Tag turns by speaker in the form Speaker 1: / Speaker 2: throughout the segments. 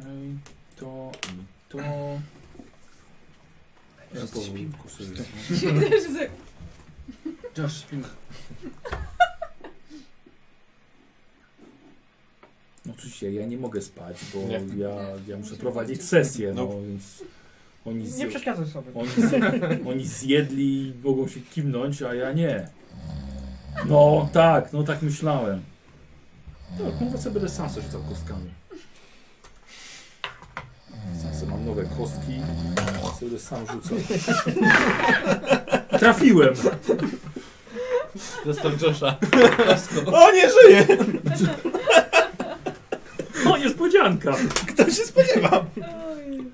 Speaker 1: Okej, to... to...
Speaker 2: Wszyscy
Speaker 1: powiem.
Speaker 2: śpinku sobie.
Speaker 3: Się też za...
Speaker 1: Josh, śpimy. No oczywiście, ja nie mogę spać, bo
Speaker 4: Nie.
Speaker 1: ja, ja muszę prowadzić sesję, no, więc... Oni
Speaker 5: Nie
Speaker 1: zje,
Speaker 5: przeszkadzaj sobie.
Speaker 1: oni, zje, oni zjedli, mogą się kimnąć, a ja nie. No tak, no tak myślałem. Tak, mówię sobie, będę sam sobie rzucał kostkami. Sam sobie mam nowe kostki, sobie będę sam rzucał. Trafiłem!
Speaker 4: Zostaw Josha.
Speaker 2: O, nie żyje!
Speaker 1: O, niespodzianka!
Speaker 2: Kto się spodziewa?
Speaker 3: Oj.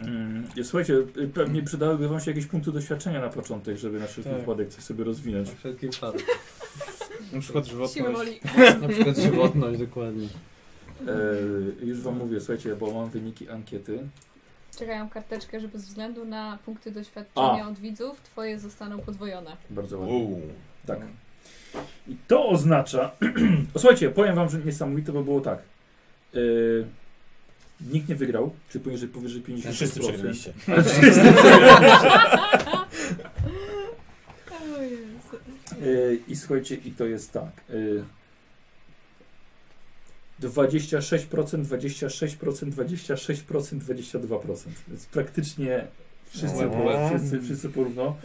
Speaker 1: Mm, Słuchajcie, y, pewnie przydałyby wam się jakieś punkty doświadczenia na początek, żeby na wszelki
Speaker 2: Tak.
Speaker 1: wypadek coś sobie rozwinąć.
Speaker 4: Wszelkie pary. Na przykład
Speaker 3: Siły
Speaker 4: żywotność.
Speaker 3: woli.
Speaker 4: Na przykład żywotność, dokładnie.
Speaker 1: E, już wam mówię, słuchajcie, bo mam wyniki ankiety.
Speaker 3: Czekają karteczkę, żeby z względu na punkty doświadczenia od widzów, twoje zostaną podwojone.
Speaker 1: Bardzo ładnie.
Speaker 2: Uuu.
Speaker 1: Tak. I to oznacza... O, słuchajcie, powiem wam, że niesamowite, bo było tak. E, nikt nie wygrał, czy poniżej, powyżej 50%.
Speaker 2: Wszyscy przegraliście.
Speaker 1: Ale wszyscy przegrali.
Speaker 3: O Jezu.
Speaker 1: E, I słuchajcie, i to jest tak. E, 26%, 26%, 26%, 22%. Więc praktycznie wszyscy,
Speaker 2: No,
Speaker 1: po,
Speaker 2: no.
Speaker 1: wszyscy, wszyscy porówno.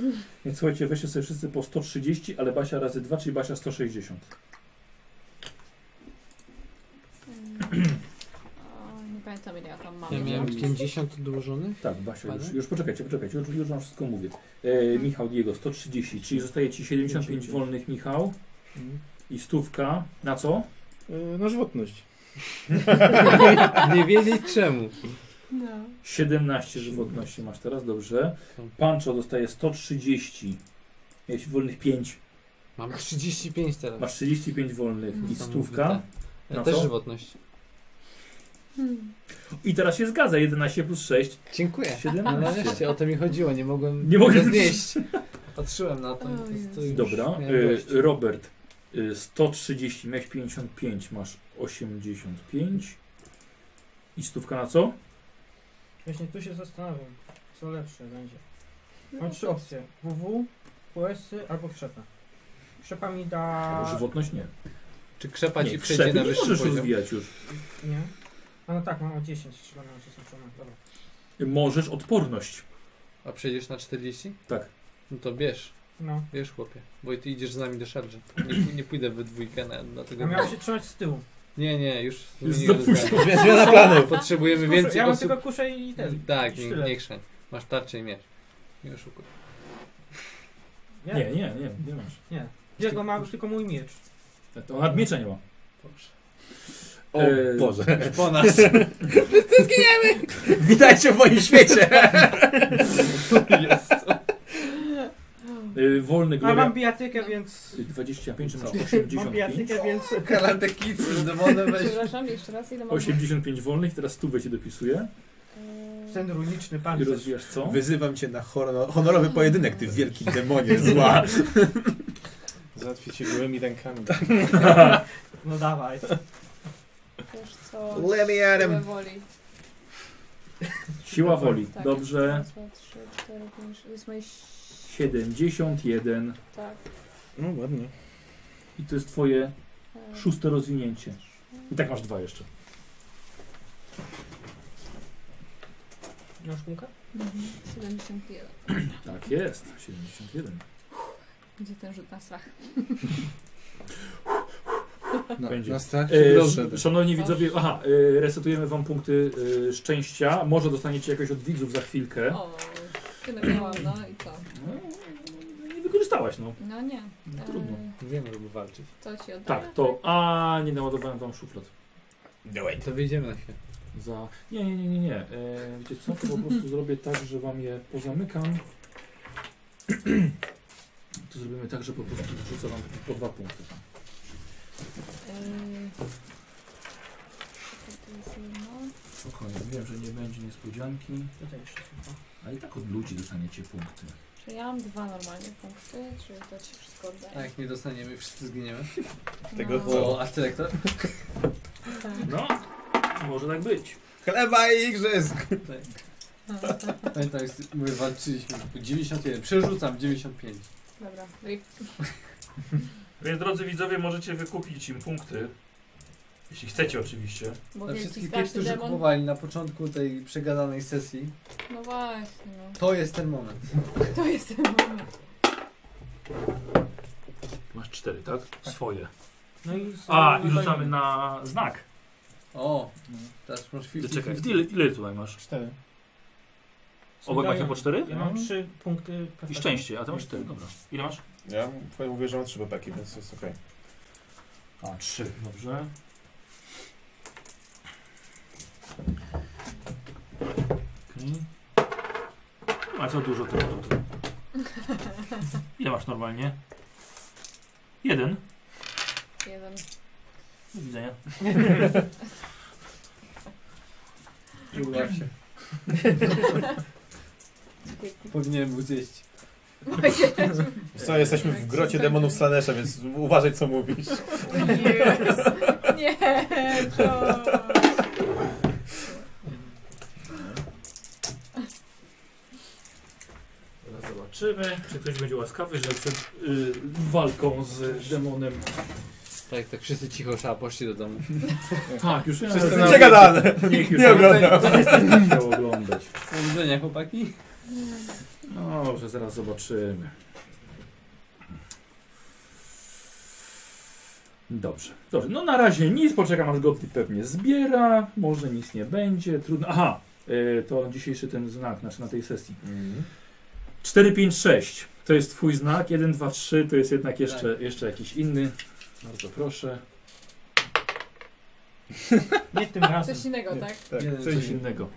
Speaker 1: Więc słuchajcie, weźcie sobie wszyscy po 130, ale Basia razy 2, czyli Basia 160.
Speaker 3: Mm. O, Nie pamiętam ile ja tam mam. No.
Speaker 4: Ja miałem 50 odłożonych.
Speaker 1: Tak, Basia, już,
Speaker 4: Ładnie.
Speaker 1: już poczekajcie, poczekajcie, już, już wam wszystko mówię. E, Michał Diego 130, czyli zostaje ci 75 wolnych, Michał.
Speaker 5: Mhm.
Speaker 1: I stówka. Na co?
Speaker 4: E,
Speaker 2: Yy,
Speaker 4: no,
Speaker 2: Na żywotność.
Speaker 4: Nie wiedzieć czemu.
Speaker 3: No.
Speaker 1: 17 żywotności masz teraz, dobrze. Pancho dostaje 130. Miałeś wolnych 5.
Speaker 4: Mam 35 teraz.
Speaker 1: Masz 35 wolnych i
Speaker 4: Niesamowite.
Speaker 1: stówka.
Speaker 4: Ja
Speaker 1: No
Speaker 4: też
Speaker 1: co?
Speaker 4: żywotność.
Speaker 3: Hmm.
Speaker 1: I teraz się zgadza. 11 plus 6,
Speaker 4: Dziękuję. No
Speaker 1: 17.
Speaker 4: nareszcie, o to mi chodziło, nie mogłem
Speaker 1: Nie mogłem
Speaker 4: tego znieść. Patrzyłem na to i po prostu już
Speaker 1: Dobra.
Speaker 4: miałem
Speaker 1: Y,
Speaker 4: dość.
Speaker 1: Robert y, 130, miałeś 55, masz 85. I stówka na co?
Speaker 5: Właśnie tu się zastanawiam, co lepsze będzie. Mam trzy opcje. WW, US y albo Krzepa. Krzepa mi
Speaker 1: Albo
Speaker 5: da...
Speaker 1: Żywotność nie.
Speaker 4: Czy krzepać
Speaker 1: nie,
Speaker 4: i przejdzie
Speaker 1: krzepy
Speaker 4: na
Speaker 1: nie
Speaker 4: wyższy
Speaker 1: możesz
Speaker 4: poziom?
Speaker 1: rozwijać już.
Speaker 5: Nie? A no tak, mam o 10, chyba mam się skończone. Dobra.
Speaker 1: Y, Możesz odporność.
Speaker 4: A przejdziesz na 40?
Speaker 1: Tak.
Speaker 4: No to bierz,
Speaker 5: No.
Speaker 4: bierz chłopie. Bo i ty idziesz z nami do szarży. Nie, pó- nie pójdę we dwójkę na, na
Speaker 5: A
Speaker 4: tego.
Speaker 5: miałem się trzymać z tyłu.
Speaker 4: Nie, nie, już
Speaker 1: Już
Speaker 4: zmieniłem
Speaker 1: za późno.
Speaker 4: zdanie.
Speaker 2: Zmiana planów.
Speaker 4: Potrzebujemy
Speaker 5: Kuszę-
Speaker 4: więcej
Speaker 5: ja mam
Speaker 4: osób.
Speaker 5: tylko kuszę i ten.
Speaker 4: Tak,
Speaker 5: i
Speaker 4: nie,
Speaker 5: sztylet.
Speaker 4: nie krzeń. Masz tarczę i miecz. Nie oszukuj.
Speaker 5: Nie,
Speaker 1: Nie,
Speaker 5: nie.
Speaker 1: nie, nie, nie masz.
Speaker 5: Jego ma tylko mój miecz.
Speaker 1: To nad miecza nie ma.
Speaker 4: Proszę.
Speaker 2: O
Speaker 1: Yy,
Speaker 2: Boże.
Speaker 4: Po nas.
Speaker 2: Witajcie w moim świecie.
Speaker 4: Jest.
Speaker 1: Y, Wolny
Speaker 5: A
Speaker 1: gloria.
Speaker 5: mam bijatykę, więc...
Speaker 1: y, 25, czy masz
Speaker 5: Mam
Speaker 1: 85.
Speaker 5: bijatykę, więc...
Speaker 4: Kalate kids z demonem weź.
Speaker 3: Przepraszam, jeszcze raz ile mam?
Speaker 1: 85 wolnych, teraz stówę ci dopisuję.
Speaker 3: Eee,
Speaker 5: Ten runiczny
Speaker 1: I
Speaker 5: pancerz.
Speaker 1: rozwijasz co?
Speaker 2: Wyzywam cię na honor honorowy pojedynek, ty wielki demonie zła.
Speaker 6: Załatwię cię gołymi rękami.
Speaker 5: Tak. No dawaj.
Speaker 3: Też co?
Speaker 2: Let me at
Speaker 3: Siłę
Speaker 2: him.
Speaker 3: woli.
Speaker 1: Siła woli.
Speaker 3: Tak.
Speaker 1: Dobrze.
Speaker 3: Raz, dwa, trzy, cztery, pięć, to jest moje... ś-
Speaker 1: 71.
Speaker 3: Tak.
Speaker 6: No ładnie.
Speaker 1: I to jest twoje
Speaker 3: Eee,
Speaker 1: szóste rozwinięcie. I tak masz dwa jeszcze.
Speaker 5: Masz kółka?
Speaker 3: mhm, 71.
Speaker 1: Tak jest. 71.
Speaker 3: Gdzie ten rzut na strach?
Speaker 4: No,
Speaker 6: Na,
Speaker 1: Będzie.
Speaker 6: na
Speaker 4: Tak
Speaker 6: strach
Speaker 1: E,
Speaker 6: Dobrze.
Speaker 1: sz- szanowni widzowie, aha, e, resetujemy wam punkty e, szczęścia. Może dostaniecie jakoś od widzów za chwilkę.
Speaker 3: O, tyle miałam, no i co?
Speaker 1: No, nie wykorzystałaś, no.
Speaker 3: No nie.
Speaker 1: No,
Speaker 3: Eee,
Speaker 1: trudno.
Speaker 4: Wiemy, żeby walczyć.
Speaker 3: To ci oddaję.
Speaker 1: Tak, to... A, nie naładowałem wam szuflad.
Speaker 2: Do it.
Speaker 4: To wyjdziemy na chwilę.
Speaker 1: Za... Nie, nie, nie, nie, nie. E, wiecie co, to po prostu zrobię tak, że wam je pozamykam. To zrobimy tak, że po prostu wrzucę wam po dwa punkty.
Speaker 3: Eee, to jest jedno.
Speaker 1: Spokojnie, wiem, że nie będzie niespodzianki,
Speaker 5: Tutaj jeszcze są.
Speaker 1: a i tak od ludzi dostaniecie punkty.
Speaker 3: Czy ja mam dwa normalnie punkty, czy to ci wszystko oddaję?
Speaker 4: A jak nie Tak,
Speaker 2: No.
Speaker 4: dostaniemy, wszyscy zginiemy.
Speaker 3: Tego
Speaker 4: O, a ty lektor?
Speaker 3: tak.
Speaker 1: No, Może tak być.
Speaker 2: Chleba i igrzysk!
Speaker 3: tak,
Speaker 4: Pamiętam, jak z- my walczyliśmy. 91. Przerzucam 95.
Speaker 3: Dobra, Rick.
Speaker 1: Więc drodzy widzowie, możecie wykupić im punkty. Jeśli chcecie oczywiście.
Speaker 3: Bo
Speaker 4: Dla
Speaker 3: wielki
Speaker 4: wszystkich tych,
Speaker 3: starszy
Speaker 4: którzy
Speaker 3: demon.
Speaker 4: kupowali na początku tej przegadanej sesji,
Speaker 3: No właśnie, no.
Speaker 4: to jest ten moment.
Speaker 3: To jest ten moment.
Speaker 1: Masz cztery, tak? Swoje.
Speaker 5: No i są
Speaker 1: A, i
Speaker 5: rozdajemy.
Speaker 1: rzucamy na znak.
Speaker 4: O, teraz masz 50.
Speaker 1: Ty czekaj, ile, ile tutaj masz?
Speaker 6: Cztery.
Speaker 5: Są
Speaker 1: Obaj macie
Speaker 5: dają.
Speaker 1: po cztery? Mhm.
Speaker 5: Ja mam trzy punkty
Speaker 1: I
Speaker 5: perfekcji.
Speaker 1: szczęście, a ty masz cztery, dobra. Ile masz?
Speaker 6: Ja powiem, mówię, że mam trzy bebeki, więc jest okej.
Speaker 1: A, trzy, dobrze. Okej. Nie ma co dużo tego tutaj. Ile masz normalnie? Jeden.
Speaker 3: Jeden.
Speaker 1: Do widzenia.
Speaker 4: Nie udało się.
Speaker 3: Dzięki.
Speaker 4: Powinienem był zjeść.
Speaker 2: Wiesz Co, jesteśmy w
Speaker 4: Tak.
Speaker 2: grocie demonów Slanesha, więc uważaj co mówisz.
Speaker 3: Yes. Nie, George.
Speaker 1: Teraz zobaczymy, czy ktoś będzie łaskawy, że przed y, walką z demonem.
Speaker 4: Tak, tak wszyscy cicho trzeba poszli do domu.
Speaker 1: Tak, już
Speaker 6: Wszyscy
Speaker 1: ja-
Speaker 6: na-
Speaker 2: Nie gadane!
Speaker 1: Niech już
Speaker 2: Nie oglądam.
Speaker 1: To jest tak chciał oglądać.
Speaker 4: Powodzenia chłopaki.
Speaker 1: No dobrze, zaraz zobaczymy. Dobrze, dobrze. No na razie nic, poczekam aż Gottlieb pewnie zbiera, może nic nie będzie, trudno. Aha, y, to dzisiejszy ten znak, znaczy na tej sesji.
Speaker 2: Mhm.
Speaker 1: 4, 5, 6 to jest twój znak, 1, 2, 3 to jest jednak jeszcze,
Speaker 5: Tak.
Speaker 1: jeszcze jakiś inny. Bardzo proszę.
Speaker 5: Nie tym razem.
Speaker 3: Coś innego, tak?
Speaker 2: Tak,
Speaker 4: Jeden,
Speaker 1: Coś
Speaker 4: drugi.
Speaker 1: innego.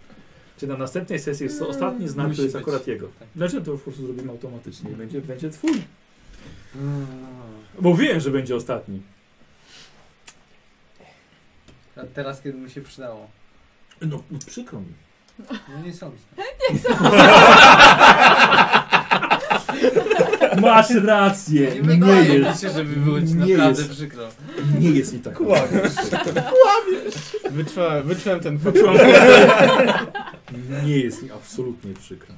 Speaker 1: Czy na następnej sesji jest to ostatni znak,
Speaker 4: Musi
Speaker 1: to jest
Speaker 4: być.
Speaker 1: akurat jego.
Speaker 4: Tak.
Speaker 1: Znaczy to już po prostu zrobimy automatycznie. Będzie, będzie twój.
Speaker 4: Mm.
Speaker 1: Mówiłem, że będzie ostatni.
Speaker 4: A teraz, kiedy mi się przydało.
Speaker 1: No, przykro mi.
Speaker 4: No nie sądzę.
Speaker 1: Masz rację.
Speaker 4: Nie
Speaker 1: Nie
Speaker 4: wydaje mi
Speaker 1: jest,
Speaker 4: się, żeby było ci
Speaker 1: Nie
Speaker 4: naprawdę
Speaker 1: jest.
Speaker 4: przykro.
Speaker 1: nie jest i tak.
Speaker 6: Kłamiesz. Wyczułem, wyczułem ten fakt.
Speaker 1: Nie jest mi absolutnie przykro.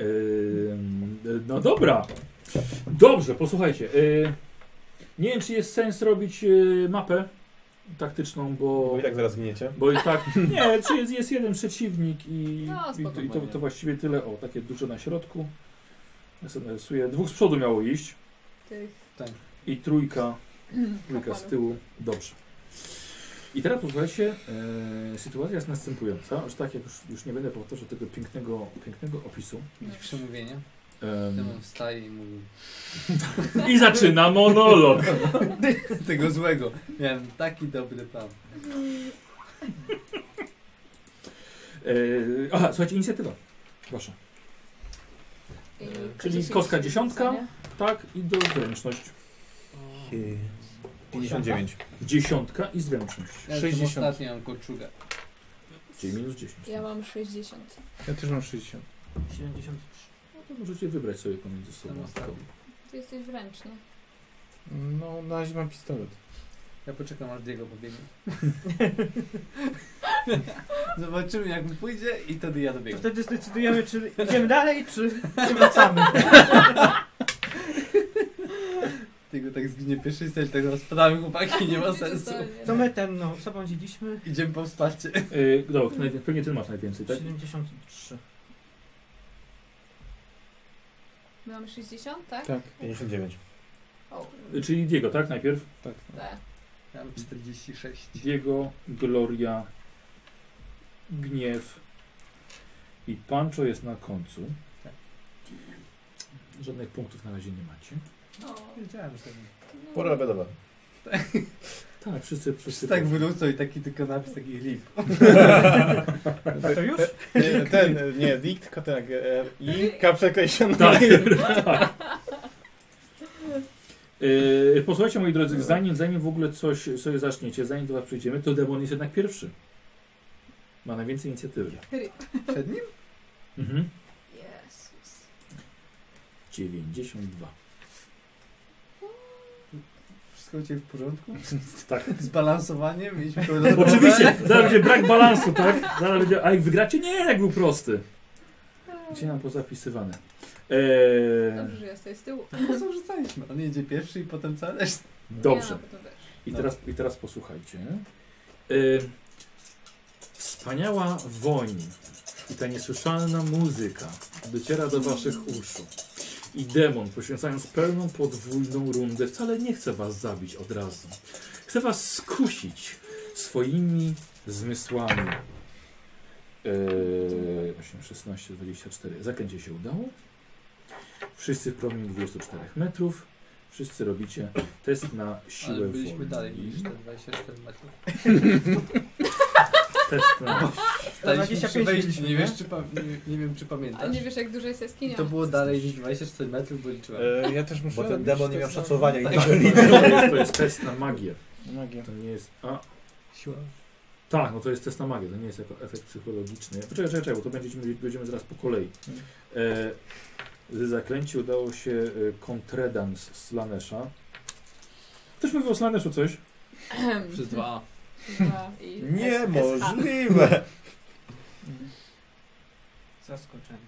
Speaker 1: Ym, No dobra. Dobrze, posłuchajcie. y, Nie wiem, czy jest sens robić y, mapę taktyczną, bo...
Speaker 2: Bo i tak zaraz gniecie.
Speaker 1: Bo i tak. Nie, czy jest, jest jeden przeciwnik i,
Speaker 3: No,
Speaker 1: i, to, i to,
Speaker 4: spoko.
Speaker 1: to właściwie tyle. O, takie duże na środku. Ja sobie narysuję. Dwóch z przodu miało iść
Speaker 3: Tych
Speaker 1: i trójka, trójka z
Speaker 3: kapłanów.
Speaker 1: tyłu. Dobrze. I teraz posłuchajcie, e, sytuacja jest następująca, że tak jak już, już nie będę powtarzał tego pięknego, pięknego opisu.
Speaker 3: no.
Speaker 2: Mm.
Speaker 4: Jakieś przemówienie.
Speaker 1: Em,
Speaker 4: Demon wstaje i mówi.
Speaker 1: I zaczyna monolog.
Speaker 4: Tego złego. Miałem taki dobry plan.
Speaker 1: E, aha, słuchajcie, inicjatywa. Proszę.
Speaker 3: I
Speaker 1: Czyli
Speaker 3: dziesięć
Speaker 1: kostka dziesiątka.
Speaker 3: nie?
Speaker 1: Tak, i do zręczność.
Speaker 2: 59.
Speaker 1: Dziesiątka i zręczność.
Speaker 4: Ja
Speaker 6: 60.
Speaker 4: jestem ostatni, mam kolczugę.
Speaker 1: Czyli minus 10.
Speaker 3: Ja mam 60.
Speaker 6: Ja też mam 60.
Speaker 5: 73.
Speaker 1: No to możecie wybrać sobie pomiędzy sobą.
Speaker 4: Jestem ostatni.
Speaker 3: Ty jesteś wręcz, nie?
Speaker 6: No, na razie mam pistolet.
Speaker 4: Ja poczekam aż Diego pobiegnie. Zobaczymy jak mu pójdzie i wtedy ja
Speaker 5: To
Speaker 4: dobiegam.
Speaker 5: wtedy zdecydujemy, czy idziemy dalej, czy, czy wracamy.
Speaker 4: Diego tak zginie pierwszy cel, tak zaraz padamy chłopaki, nie ma sensu.
Speaker 5: To my ten, no, co powiedzieliśmy?
Speaker 4: Idziemy po wsparcie.
Speaker 1: Yy, dobra, najwię- pewnie ty masz najwięcej, tak?
Speaker 5: 73.
Speaker 3: My mamy 60, tak?
Speaker 6: Tak.
Speaker 2: 59.
Speaker 3: O,
Speaker 1: Y,
Speaker 4: Znaczy-
Speaker 1: Czyli Diego, tak? Najpierw
Speaker 6: Tak.
Speaker 3: tak.
Speaker 4: Ja mam 46.
Speaker 1: Diego, Gloria, Gniew i Pancho jest na końcu.
Speaker 4: Tak.
Speaker 1: Żadnych punktów na razie nie macie.
Speaker 3: O,
Speaker 4: Wiedziałem, że tak
Speaker 3: no.
Speaker 2: Pora obiadowa.
Speaker 1: Tak, wszyscy,
Speaker 4: Wszyscy
Speaker 1: wszyscy
Speaker 4: tak wrócą i taki tylko napis, taki rip.
Speaker 5: To już?
Speaker 6: Nie, ten, e, nie, dikt, k- tak, e, i k przekreślony.
Speaker 1: Tak, tak. Yy, posłuchajcie moi drodzy, zanim, zanim w ogóle coś sobie zaczniecie, zanim do was przyjdziemy, to Demon jest jednak pierwszy. Ma najwięcej inicjatywy.
Speaker 4: Przed nim?
Speaker 1: Mhm.
Speaker 3: Jezus.
Speaker 1: 92.
Speaker 4: Wszystko u Ciebie w porządku?
Speaker 1: Tak.
Speaker 4: Zbalansowanie? Mieliśmy pełną głowę?
Speaker 1: Oczywiście, zaraz będzie brak balansu, tak? Zaraz będzie, a jak wygracie? Nie, jak był prosty. Gdzie nam pozapisywane? Eee,
Speaker 3: Dobrze, że ja stoję z tyłu.
Speaker 4: Po prostu No, rzucaliśmy. On jedzie pierwszy i potem cała reszta.
Speaker 1: dobrze.
Speaker 3: Ja, potem też.
Speaker 1: I
Speaker 4: No.
Speaker 1: teraz, i teraz posłuchajcie. Y, wspaniała woń i ta niesłyszalna muzyka dociera do waszych uszu. I demon, poświęcając pełną podwójną rundę, wcale nie chce was zabić od razu. Chce was skusić swoimi zmysłami. Yy, 8, 16, 24. Zaklęcie się udało. Wszyscy w promieniu 24 metrów. Wszyscy robicie test na siłę
Speaker 4: Ale byliśmy
Speaker 1: woli.
Speaker 4: dalej niż te 24 metrów.
Speaker 1: Test na...
Speaker 4: Staliśmy przy
Speaker 2: 25
Speaker 4: wejściu,
Speaker 2: mieliśmy,
Speaker 4: nie,
Speaker 2: nie?
Speaker 4: wiesz, czy pa- nie, nie wiem czy
Speaker 3: A
Speaker 4: pamiętasz.
Speaker 3: nie wiesz, jak duża jest
Speaker 4: I tak.
Speaker 3: jaskinia?
Speaker 4: to było dalej niż 24 metrów, bo liczyłem.
Speaker 7: E, ja też muszę...
Speaker 8: Bo ten
Speaker 7: robić
Speaker 8: demon nie
Speaker 7: to
Speaker 8: miał
Speaker 7: samo.
Speaker 8: szacowania i
Speaker 7: Tak.
Speaker 8: tego liczy.
Speaker 1: to, jest, to jest test na magię.
Speaker 7: Magia.
Speaker 1: To nie jest... A,
Speaker 4: Siła.
Speaker 1: tak, no to jest test na magię. To nie jest jako efekt psychologiczny. Poczekaj, czekaj, czekaj, bo to będziemy, będziemy zaraz po kolei. E, z zaklęci udało się e, kontredans Slanesha. Ktoś mówił o Slaneshu coś?
Speaker 4: Przez dwa.
Speaker 3: Dwa i S- SH.
Speaker 8: Niemożliwe.
Speaker 2: Mhm. Zaskoczenie.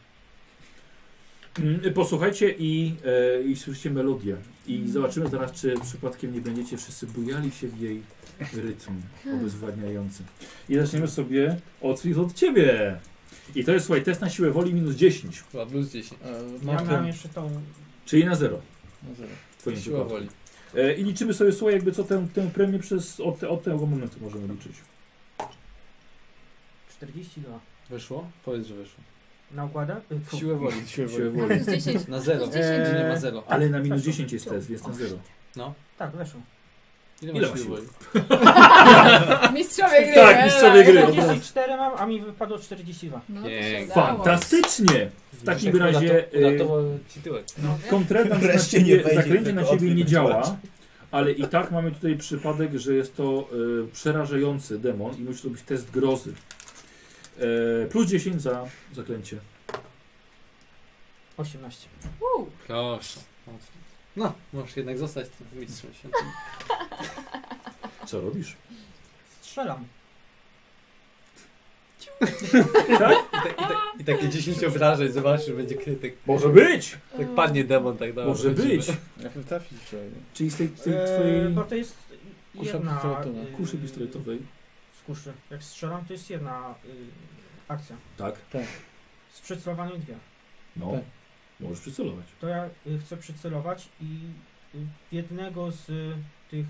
Speaker 1: Mm, Posłuchajcie i, e, i słyszycie melodię.
Speaker 4: Mm.
Speaker 1: I zobaczymy zaraz, czy przypadkiem nie będziecie wszyscy bujali się w jej rytm
Speaker 4: Hmm.
Speaker 1: obezwładniający. I zaczniemy sobie od, od ciebie. I to jest, słuchaj, test na siłę woli minus 10,
Speaker 4: Chyba plus 10.
Speaker 7: E,
Speaker 2: Ja
Speaker 7: Mam
Speaker 2: mam
Speaker 7: ten...
Speaker 2: jeszcze tą...
Speaker 1: czyli na 0
Speaker 7: no zero.
Speaker 1: w twoim
Speaker 4: Siła
Speaker 1: przypadku.
Speaker 4: woli.
Speaker 1: E, I liczymy sobie, słuchaj, jakby co tę, tę premię przez, od, te, od tego momentu możemy liczyć.
Speaker 2: 42.
Speaker 4: Wyszło? Powiedz, że wyszło.
Speaker 2: Na układach? Yy,
Speaker 4: Siłę woli.
Speaker 7: Siłę woli.
Speaker 1: Siłę woli.
Speaker 3: Plus 10.
Speaker 4: Na zero.
Speaker 3: Plus 10.
Speaker 4: Gdzie nie ma
Speaker 7: Eee.
Speaker 4: zero.
Speaker 1: Ale na
Speaker 4: tak.
Speaker 1: minus 10 jest test, więc na 0.
Speaker 2: Tak, weszło.
Speaker 1: Ile
Speaker 4: Ile
Speaker 1: ma
Speaker 4: masz siły
Speaker 1: siły?
Speaker 4: woli?
Speaker 3: Mistrzowie gry.
Speaker 1: Tak, mistrzowie
Speaker 7: no
Speaker 1: gry. od razu.
Speaker 2: 44 mam, a mi wypadło 42.
Speaker 3: No to się
Speaker 4: Nie.
Speaker 3: udało.
Speaker 1: Fantastycznie! W takim razie... e,
Speaker 4: ci tyłek.
Speaker 3: Mogę?
Speaker 1: Kontredans No, na
Speaker 8: Wreszcie
Speaker 1: siebie,
Speaker 8: nie wejdzie,
Speaker 1: zaklęcie na
Speaker 8: tylko
Speaker 1: siebie nie
Speaker 8: odwróć
Speaker 1: działa,
Speaker 8: płacz.
Speaker 1: ale i tak mamy tutaj przypadek, że jest to y, przerażający demon i musi to być test grozy. E, plus 10 za zaklęcie.
Speaker 2: 18.
Speaker 3: Uuu,
Speaker 4: Proszę. No, możesz jednak zostać tym mistrzem świętym.
Speaker 1: Co robisz?
Speaker 2: Strzelam.
Speaker 4: I, tak, i, tak, I takie 10 obrażeń, zobaczysz, że będzie krytyk.
Speaker 1: Może być!
Speaker 4: Tak padnie demon, tak dalej.
Speaker 1: Może być!
Speaker 7: Jak wytrafić wczoraj.
Speaker 1: Czyli z tej, tej
Speaker 2: Eee,
Speaker 1: twojej
Speaker 2: bo to jest
Speaker 7: Kusza
Speaker 2: jedna...
Speaker 7: pistoletowa.
Speaker 2: y,
Speaker 1: kuszy pistoletowej.
Speaker 2: Z kuszy. Jak strzelam, to jest jedna y, akcja.
Speaker 1: Tak,
Speaker 2: Z przycelowaniem dwie.
Speaker 1: no.
Speaker 7: Tak.
Speaker 1: Możesz przycelować.
Speaker 2: To ja y, chcę przycelować i y, w jednego z y, tych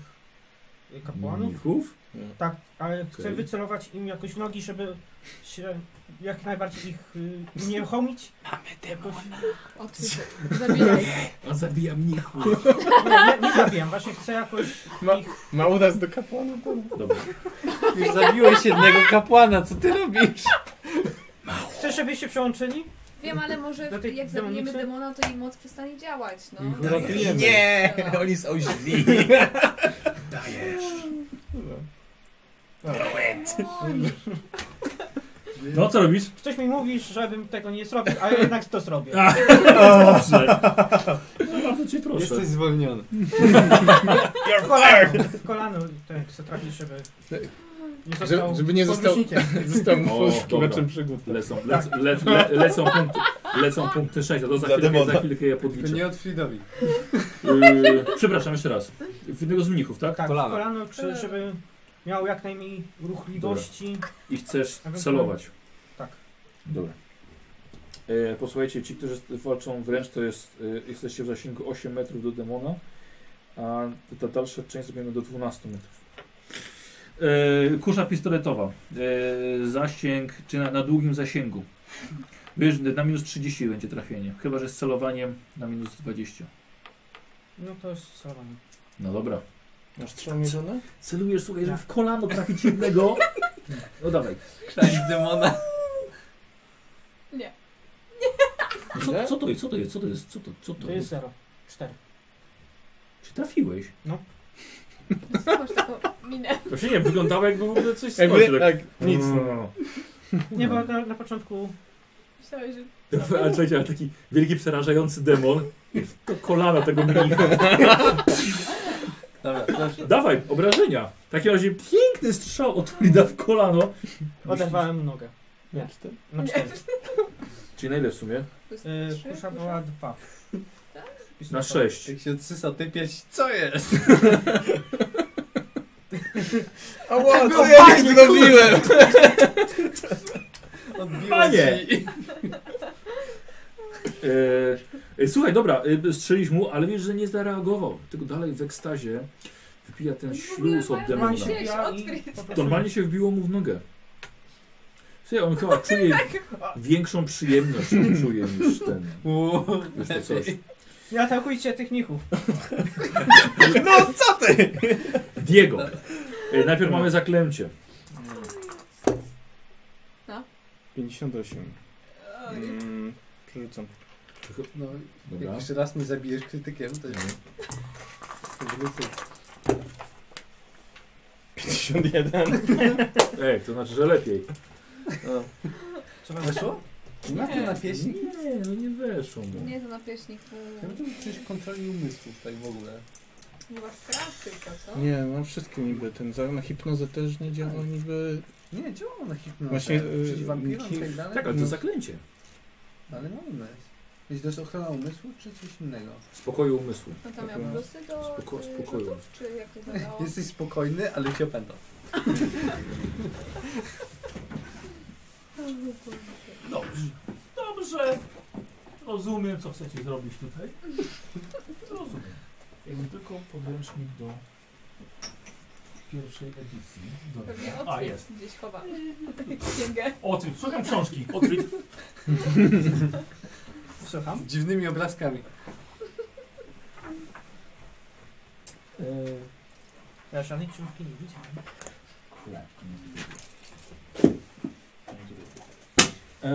Speaker 2: y, kapłanów.
Speaker 1: Mnichów?
Speaker 2: Tak, ale chcę
Speaker 1: Okej.
Speaker 2: wycelować im jakoś w nogi, żeby się jak najbardziej ich y, unieruchomić. Jakoś...
Speaker 3: o ty, zabijaj.
Speaker 1: On zabija mnichów.
Speaker 2: Nie, nie zabijam, właśnie chcę jakoś
Speaker 7: Ma-
Speaker 2: ich...
Speaker 7: Ma udas do kapłana? to-
Speaker 1: Dobra.
Speaker 4: Już zabiłeś jednego kapłana, co ty robisz?
Speaker 2: Chcę, żeby się przełączyli.
Speaker 3: Wiem, ale
Speaker 2: Do
Speaker 3: może
Speaker 2: tej
Speaker 3: jak zabijemy
Speaker 2: demonicy?
Speaker 3: demona, to jej moc przestanie działać, no.
Speaker 4: No i
Speaker 3: Dajesz.
Speaker 8: Nie,
Speaker 3: Dobra.
Speaker 8: oni są źli. Dajesz.
Speaker 3: Demoni.
Speaker 1: No co robisz?
Speaker 2: Ktoś mi mówi, żebym tego nie zrobił, ale jednak to zrobię.
Speaker 1: A, dobrze. No, bardzo cię proszę.
Speaker 4: Jesteś zwolniony.
Speaker 2: W kolano, w kolano tak, chcę trafić, żeby nie
Speaker 7: Że-
Speaker 2: został
Speaker 7: żeby nie został-
Speaker 2: podręcznikiem.
Speaker 7: Został mu
Speaker 1: O,
Speaker 7: poszukiwaczem przygód.
Speaker 1: Lecą, lec, le, le, lecą, punkty, lecą punkty 6, a to za
Speaker 8: Dla
Speaker 1: chwilkę,
Speaker 8: demona.
Speaker 1: za chwilkę je
Speaker 4: Tylko
Speaker 1: podliczę.
Speaker 4: nie od Fridowi.
Speaker 1: Yy, przepraszam jeszcze raz. W jednego z mnichów, tak?
Speaker 2: Tak,
Speaker 4: Kolano.
Speaker 2: w kolano, czy, żeby miał jak najmniej ruchliwości.
Speaker 1: I chcesz celować.
Speaker 2: Tak.
Speaker 1: Dobra. E, posłuchajcie, ci, którzy walczą wręcz, to jest, e, jesteście w zasięgu 8 metrów do demona, a ta dalsza część zrobimy do 12 metrów. E, kusza pistoletowa. E, zasięg, czy na, na długim zasięgu. Wiesz, na minus 30 będzie trafienie, chyba że z celowaniem na minus 20.
Speaker 2: No to jest celowanie.
Speaker 1: No dobra.
Speaker 7: Masz strzał mierzony?
Speaker 1: Celujesz, słuchaj, żeby w kolano trafić jednego. Tak. No dawaj.
Speaker 4: Krzać demona.
Speaker 3: Nie.
Speaker 1: No Co, co to jest? Co to jest? Co to jest? Co to, co to,
Speaker 2: To jest 0. 4.
Speaker 1: Czy trafiłeś?
Speaker 3: Masz taką minę.
Speaker 1: Właśnie nie, wyglądało jakby w ogóle coś Mm.
Speaker 7: Jakby, tak, nic.
Speaker 2: Nie, bo na, na początku
Speaker 3: Myślałeś, że...
Speaker 1: Ale słuchajcie, ale taki wielki, przerażający demon. To kolana tego mnicha.
Speaker 4: Dobra, też.
Speaker 1: Dawaj, obrażenia. W takim razie piękny strzał od Frida w kolano.
Speaker 5: Oderwałem nogę. Nie.
Speaker 2: No
Speaker 5: Na cztery.
Speaker 1: Czyli na ile w sumie?
Speaker 5: Y,
Speaker 2: E,
Speaker 3: Trzy?
Speaker 5: Kusza była dwa. Tak?
Speaker 1: Na sześć.
Speaker 4: Jak się odsysa ty pięć, co jest?
Speaker 2: A ła, co ja nie zrobiłem?
Speaker 4: Odbiło
Speaker 1: Panie!
Speaker 4: ci.
Speaker 1: E, e, słuchaj, dobra, e, strzelisz mu, ale wiesz, że nie zareagował. Tylko dalej w ekstazie wypija ten śluz od demona.
Speaker 5: mają się-
Speaker 1: Normalnie się wbiło mu w nogę. Słuchaj, on chyba czuje większą przyjemność, czuje niż ten,
Speaker 4: Uuu,
Speaker 1: niż to coś.
Speaker 5: Nie atakujcie tych michów.
Speaker 2: No co ty?
Speaker 1: Diego. E, Najpierw mamy zaklęcie.
Speaker 6: 58. Mm, przerzucam.
Speaker 4: No,
Speaker 1: Dobra.
Speaker 4: jak jeszcze raz mnie zabijesz krytykiem, to to wrócę.
Speaker 6: 51.
Speaker 1: Ej, to znaczy, że lepiej.
Speaker 4: O,
Speaker 5: Co wam
Speaker 4: Weszło? Na
Speaker 3: Nie.
Speaker 4: tym na pieśni?
Speaker 1: Nie, no nie weszło mu.
Speaker 3: Nie, to na e, pieśniku.
Speaker 4: Ja bym tu coś kontroli umysłów tak w ogóle.
Speaker 3: Była strach tylko, co?
Speaker 6: Nie, mam wszystkie niby. Ten zarzut na hipnozę też nie działa niby.
Speaker 4: Nie, działa na hipnozę.
Speaker 6: Właśnie, y,
Speaker 4: Przeciw wampirom i tak dalej?
Speaker 1: Tak, ale to
Speaker 6: No.
Speaker 1: zaklęcie.
Speaker 4: Ale na umysł. Jest to jest ochrona umysłu czy coś innego?
Speaker 1: Spokoju umysłu.
Speaker 3: No to miał plusy do
Speaker 1: Spoko-
Speaker 3: y,
Speaker 1: spokoju.
Speaker 3: rzutów, czy jak to dawało?
Speaker 4: Jesteś spokojny, ale cię opęta.
Speaker 3: No,
Speaker 1: Dobrze. Dobrze. Rozumiem, co chcecie zrobić tutaj. Rozumiem. Jakby tylko podręcznik do pierwszej edycji.
Speaker 3: Pewnie
Speaker 1: Dobrze. A,
Speaker 3: odkryć
Speaker 1: jest.
Speaker 3: gdzieś chowa. Księgę.
Speaker 1: Otryt. Szukam książki. Otryt.
Speaker 5: Słucham?
Speaker 4: Z dziwnymi obrazkami.
Speaker 5: Ja żadnej książki nie widziałem.
Speaker 1: Eee,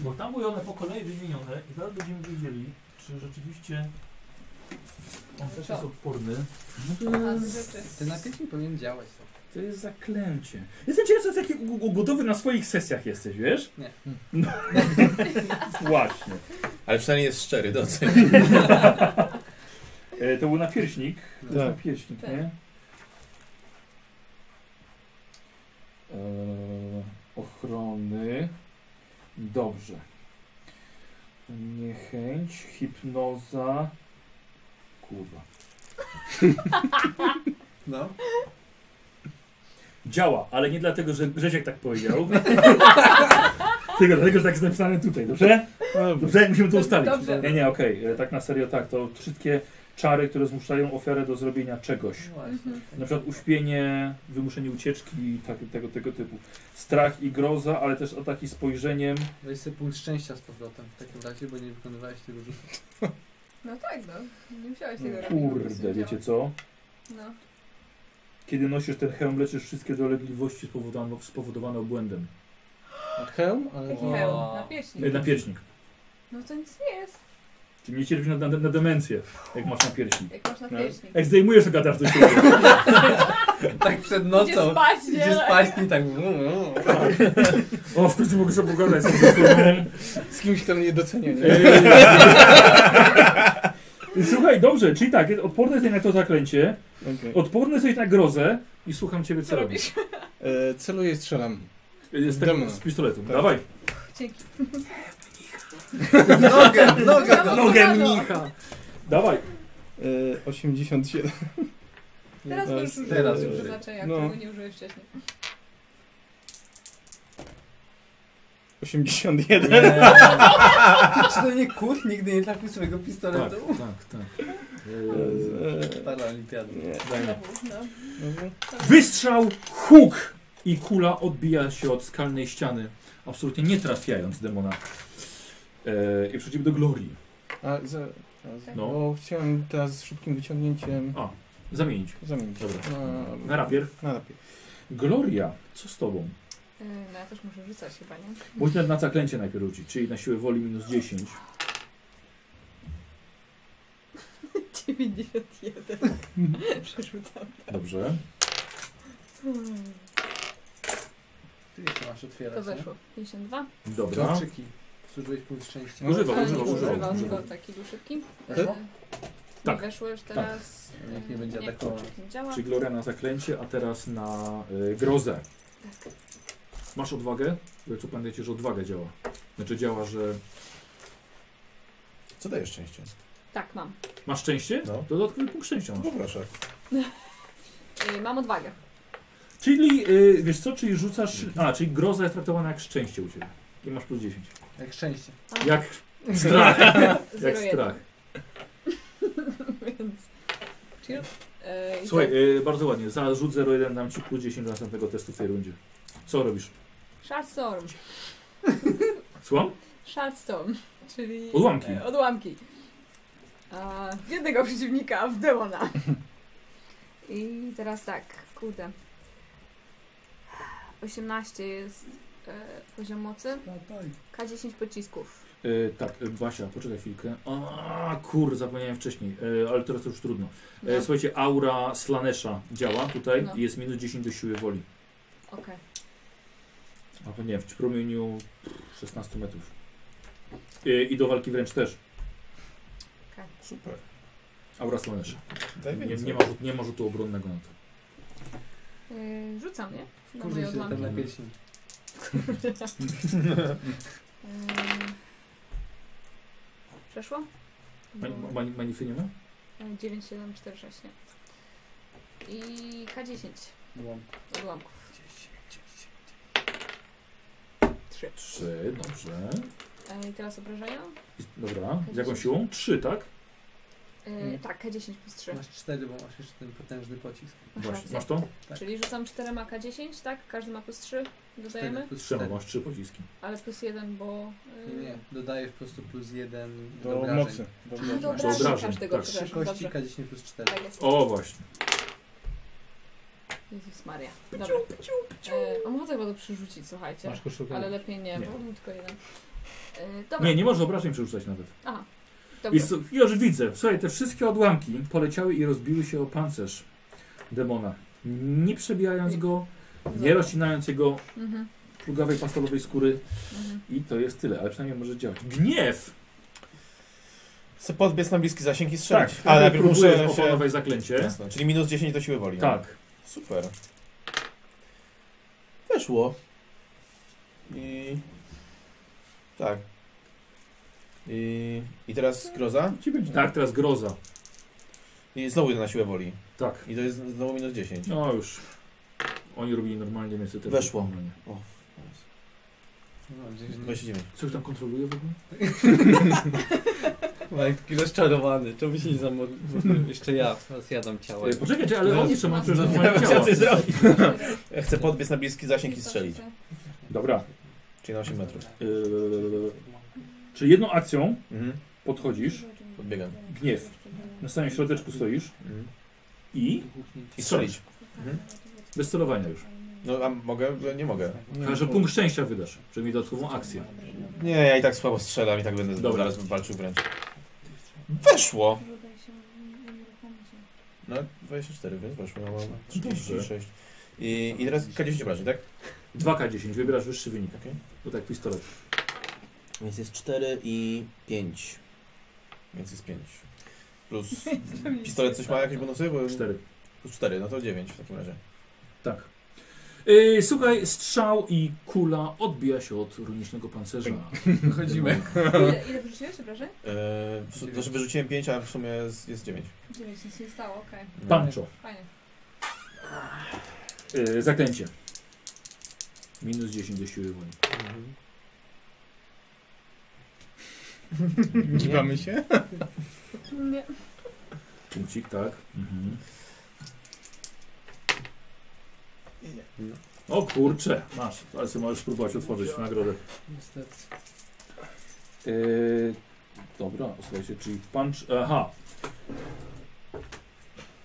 Speaker 1: bo tam były one po kolei wymienione i zaraz będziemy wiedzieli, czy rzeczywiście on też
Speaker 3: Co?
Speaker 1: jest odporny. No
Speaker 3: A z rzeczy.
Speaker 4: Ten na pieśni powinien działać. tak.
Speaker 1: To jest zaklęcie. Jestem ciekaw, co taki gotowy na swoich sesjach jesteś, wiesz?
Speaker 4: Nie.
Speaker 1: No. Właśnie.
Speaker 2: Ale przynajmniej jest szczery, doceń.
Speaker 1: E, to był napierśnik. To jest
Speaker 6: Tak.
Speaker 1: napierśnik,
Speaker 3: Tak.
Speaker 1: nie? E, ochrony. Dobrze. Niechęć, hipnoza. Kurwa.
Speaker 4: No.
Speaker 1: Działa, ale nie dlatego, że Rzeziek tak powiedział. Tylko dlatego, że tak jest napisane tutaj, dobrze? Dobrze, musimy to ustalić.
Speaker 3: Dobrze.
Speaker 1: Nie, nie, okej, e, tak na serio, tak. To wszystkie czary, które zmuszają ofiarę do zrobienia czegoś.
Speaker 4: Właśnie.
Speaker 1: Mhm. Na przykład uśpienie, wymuszenie ucieczki i tak, tego, tego typu. Strach i groza, ale też ataki spojrzeniem.
Speaker 4: Weź sobie punkt szczęścia z powrotem w takim razie, bo nie wykonywałeś tego rzutu.
Speaker 3: No tak, no. Nie musiałeś tego robić. po prostu
Speaker 1: Kurde,
Speaker 3: działa.
Speaker 1: wiecie co?
Speaker 3: No.
Speaker 1: Kiedy nosisz ten hełm, leczysz wszystkie dolegliwości spowodowane, spowodowane obłędem.
Speaker 6: Hełm? Ale...
Speaker 3: Jaki
Speaker 4: O.
Speaker 3: hełm? Na pieśni.
Speaker 1: E, Napierśnik.
Speaker 3: No to nic nie jest.
Speaker 1: Czyli nie cierpisz na, na, na demencję, jak masz napierśnik.
Speaker 3: Jak masz na
Speaker 6: No.
Speaker 3: pieśni.
Speaker 1: Jak zdejmujesz, to gadasz do siebie.
Speaker 4: Tak przed
Speaker 3: Idzie
Speaker 4: nocą.
Speaker 3: spać, nie?
Speaker 4: Idzie spać i tak. mm, mm.
Speaker 1: O, w końcu mogę sobie pogadać. z tym człowiekiem.
Speaker 6: Z kimś, kto mnie docenia, nie?
Speaker 1: Eee, Słuchaj, dobrze, czyli tak, odporny jesteś na to zaklęcie,
Speaker 6: Okej.
Speaker 1: odporny jesteś na grozę i słucham ciebie, co
Speaker 3: Co
Speaker 1: robisz.
Speaker 3: robisz?
Speaker 6: E, Celuję i strzelam.
Speaker 1: Z, tego,
Speaker 6: Demon.
Speaker 1: z pistoletu.
Speaker 6: Tak.
Speaker 1: Dawaj.
Speaker 3: Dzięki.
Speaker 4: Nogę, nogę,
Speaker 3: Samo
Speaker 1: Nogę
Speaker 3: kolano.
Speaker 1: mnicha. Dawaj.
Speaker 6: E, 87.
Speaker 3: Teraz
Speaker 6: Teraz-
Speaker 3: możesz użyć
Speaker 4: No, teraz
Speaker 3: teraz
Speaker 4: użyj.
Speaker 3: przeznaczenia,
Speaker 6: No.
Speaker 3: którego nie użyłeś wcześniej.
Speaker 6: 81.
Speaker 4: Eee, Czy to nie kurt nigdy nie trafił swojego
Speaker 1: Tak,
Speaker 4: pistoletu?
Speaker 1: tak, tak.
Speaker 6: E,
Speaker 4: Paralimpiady.
Speaker 6: nie.
Speaker 3: Znowu, no.
Speaker 6: Dobra.
Speaker 1: Wystrzał, huk i kula odbija się od skalnej ściany, absolutnie nie trafiając demona. Eee, I przejdziemy do glorii.
Speaker 6: A, za, a, za,
Speaker 1: No.
Speaker 6: bo chciałem teraz szybkim wyciągnięciem
Speaker 1: A, zamienić.
Speaker 6: zamienić.
Speaker 1: Dobra.
Speaker 6: Na,
Speaker 1: Na rapier.
Speaker 6: Mm. na rapier.
Speaker 1: Gloria, co z tobą?
Speaker 3: Yy, No ja też muszę rzucać chyba, nie?
Speaker 1: Musisz na- na zaklęcie najpierw rzucić, czyli na siłę woli minus 10.
Speaker 3: 91. Przerzucam.
Speaker 1: Dobrze.
Speaker 4: Ty jeszcze masz
Speaker 3: To
Speaker 4: otwierać,
Speaker 3: weszło. 52?
Speaker 4: nie?
Speaker 1: Dobra.
Speaker 4: Dobrczyki. Służyłeś punkt szczęścia.
Speaker 1: Używał,
Speaker 3: Ale nie
Speaker 1: używał, używał.
Speaker 3: używam,
Speaker 1: używał.
Speaker 3: Tak. tylko taki był szybki.
Speaker 4: Weszło?
Speaker 3: Yy,
Speaker 1: Tak.
Speaker 3: mi weszło już teraz.
Speaker 4: Tak?
Speaker 3: E,
Speaker 4: Niech nie będzie
Speaker 3: nie,
Speaker 4: atakował.
Speaker 3: kurczę, nie działa.
Speaker 1: Czyli Gloria na zaklęcie, a teraz na y, grozę.
Speaker 3: Tak.
Speaker 1: Masz odwagę? Co pamiętajcie, że odwaga działa. Znaczy działa, że
Speaker 2: Co dajesz szczęście?
Speaker 3: tak, mam.
Speaker 1: masz szczęście?
Speaker 2: No.
Speaker 1: Dodatkowy punkt szczęścia masz.
Speaker 2: No proszę.
Speaker 3: Y, mam odwagę.
Speaker 1: Czyli, y, wiesz co, czyli rzucasz... A, czyli groza jest traktowana jak szczęście u Ciebie. I masz plus 10.
Speaker 4: Jak szczęście.
Speaker 3: Mam
Speaker 1: Jak strach.
Speaker 3: zero
Speaker 1: jak
Speaker 3: jeden.
Speaker 1: strach.
Speaker 3: Więc. Chill. Y, i
Speaker 1: Słuchaj,
Speaker 3: tak.
Speaker 1: y, bardzo ładnie. Za rzut 0,1 dam Ci plus 10 do następnego testu w tej rundzie. Co robisz?
Speaker 3: tak. Shardstorm.
Speaker 1: Słucham?
Speaker 3: Shardstorm, czyli
Speaker 1: Odłamki.
Speaker 3: e, odłamki. A, w jednego przeciwnika, w demona. I teraz tak, kurde. 18 jest e, poziom mocy. K10 pocisków.
Speaker 1: Y, tak, y, Basia, poczekaj chwilkę. A, kur, zapomniałem wcześniej, y, ale teraz to już trudno.
Speaker 3: No,
Speaker 1: E, słuchajcie, aura Slanesha działa tutaj
Speaker 3: No.
Speaker 1: i jest minus 10 do siły woli.
Speaker 3: Okej.
Speaker 1: A to nie, w promieniu 16 metrów. E, I do walki wręcz też.
Speaker 2: Super.
Speaker 1: Aura Slanesha.
Speaker 2: Daj
Speaker 1: Nie,
Speaker 2: więcej.
Speaker 1: nie, ma, rzut- nie ma rzutu obronnego na to.
Speaker 3: E, Rzucam, nie? Na
Speaker 4: Kurzy
Speaker 3: moje
Speaker 4: się
Speaker 3: odłamki.
Speaker 4: tam na piersi.
Speaker 3: E, Przeszło? E,
Speaker 1: Mani- mani- Manify nie ma?
Speaker 3: 9, 7, 4, 6, nie. I K10
Speaker 4: Byłam.
Speaker 3: odłamków. Trzy.
Speaker 1: 3, dobrze.
Speaker 3: E, I teraz obrażenia?
Speaker 1: I- Dobra, z jaką siłą? 3, tak?
Speaker 3: E, Tak, K10 plus 3.
Speaker 4: Masz cztery, bo masz jeszcze ten potężny pocisk.
Speaker 1: Właśnie, masz to?
Speaker 4: tak.
Speaker 3: Czyli rzucam 4 ma K10, tak? Każdy ma plus 3,
Speaker 4: Cztery
Speaker 3: dodajemy,
Speaker 4: plus
Speaker 1: 3,
Speaker 6: Tak.
Speaker 4: cztery.
Speaker 1: masz 3 pociski.
Speaker 3: ale plus 1, bo... e,
Speaker 4: Nie, nie, dodajesz po prostu plus jeden
Speaker 6: Do mocy. Do
Speaker 3: A, do
Speaker 6: obrażeń.
Speaker 1: Do
Speaker 3: obrażeń
Speaker 1: obrażeń,
Speaker 3: każdego,
Speaker 1: tak.
Speaker 4: Trzy
Speaker 3: przepraszam,
Speaker 4: kości,
Speaker 3: dobrze.
Speaker 4: K10 plus cztery.
Speaker 3: Tak jest.
Speaker 1: O, właśnie.
Speaker 3: Jezus Maria. Dobra. E, on ma chyba to przerzucić, słuchajcie.
Speaker 6: Masz koszulkę.
Speaker 3: Ale lepiej nie,
Speaker 1: Nie.
Speaker 3: bo był tylko jeden. E, dobra.
Speaker 1: Nie, nie można obrażeń przerzucać nawet.
Speaker 3: Aha.
Speaker 1: I
Speaker 3: Dobra.
Speaker 1: s- już widzę, słuchaj, te wszystkie odłamki poleciały i rozbiły się o pancerz demona. Nie przebijając go, nie rozcinając jego
Speaker 3: Mhm,
Speaker 1: plugawej pastelowej skóry
Speaker 3: mhm.
Speaker 1: i to jest tyle, ale przynajmniej może działać. Gniew!
Speaker 2: Chcę podbiec na bliski zasięg i strzelić.
Speaker 1: ale
Speaker 2: ale najpierw muszę
Speaker 1: próbujesz
Speaker 2: się...
Speaker 1: Tak, opanować zaklęcie.
Speaker 2: Jasne, czyli minus 10 do siły woli.
Speaker 1: Tak.
Speaker 2: Super. Weszło. I... Tak. I, I teraz groza?
Speaker 1: Tak, teraz groza.
Speaker 2: I znowu idę na siłę woli.
Speaker 1: Tak.
Speaker 2: I to jest znowu minus 10.
Speaker 1: No już. Oni robili normalnie, więc ty też.
Speaker 2: Weszło.
Speaker 1: Normalnie.
Speaker 2: O,
Speaker 4: No, mam nadzieję, że nie-
Speaker 2: 29.
Speaker 1: Coś tam kontroluje w ogóle?
Speaker 4: Marek taki rozczarowany, czemu się nie zamorduje? Jeszcze ja, zjadam ciało.
Speaker 1: E, poczekajcie, ale oni jeszcze mają przecież
Speaker 3: No,
Speaker 1: normalnie
Speaker 2: chciał
Speaker 1: ciała.
Speaker 2: coś zrobić.
Speaker 3: Dobra.
Speaker 2: Chcę podbiec na bliski zasięg i strzelić.
Speaker 1: Dobra.
Speaker 2: Czyli na 8 metrów.
Speaker 1: E, czyli jedną akcją
Speaker 2: Mhm.
Speaker 1: podchodzisz,
Speaker 2: Podbiegam.
Speaker 1: Gniew. na samym środeczku stoisz
Speaker 2: Mhm.
Speaker 1: i
Speaker 2: I strzelić.
Speaker 1: Mhm. bez celowania już.
Speaker 2: No a mogę? Nie mogę.
Speaker 1: Chyba, że punkt szczęścia wydasz, czyli mi dodatkową akcję.
Speaker 2: Nie, ja i tak słabo strzelam i tak będę
Speaker 1: Dobra.
Speaker 2: zaraz walczył wręcz. Weszło! No 24, więc weszło. Ja mam 36. I, I teraz K10 obrażeń, tak?
Speaker 1: 2K10, wybierasz wyższy wynik.
Speaker 2: Okej.
Speaker 1: To tak pistolet.
Speaker 2: Więc jest 4 i 5. Więc jest 5. Plus pistolet coś ma jakieś bonusy? Bo
Speaker 1: 4.
Speaker 2: Plus 4, no to 9 w takim razie.
Speaker 1: Tak. Yy, słuchaj, strzał i kula odbija się od runicznego pancerza.
Speaker 4: Chodzimy.
Speaker 3: Ile, ile wyrzuciłeś obrażeń?
Speaker 2: Eee, w su- znaczy wyrzuciłem 5, a w sumie jest, jest 9.
Speaker 3: 9, nic się nie stało, okej.
Speaker 1: Pancho.
Speaker 3: Fajnie.
Speaker 1: Yy, zaklęcie. Minus 10 do siły woli.
Speaker 6: Gibamy się?
Speaker 3: Nie.
Speaker 1: Punkcik, tak. Mhm. O kurcze, masz, ale sobie możesz spróbować otworzyć w nagrodę.
Speaker 4: Niestety.
Speaker 1: Yy, dobra, słuchajcie, czyli punch. Aha.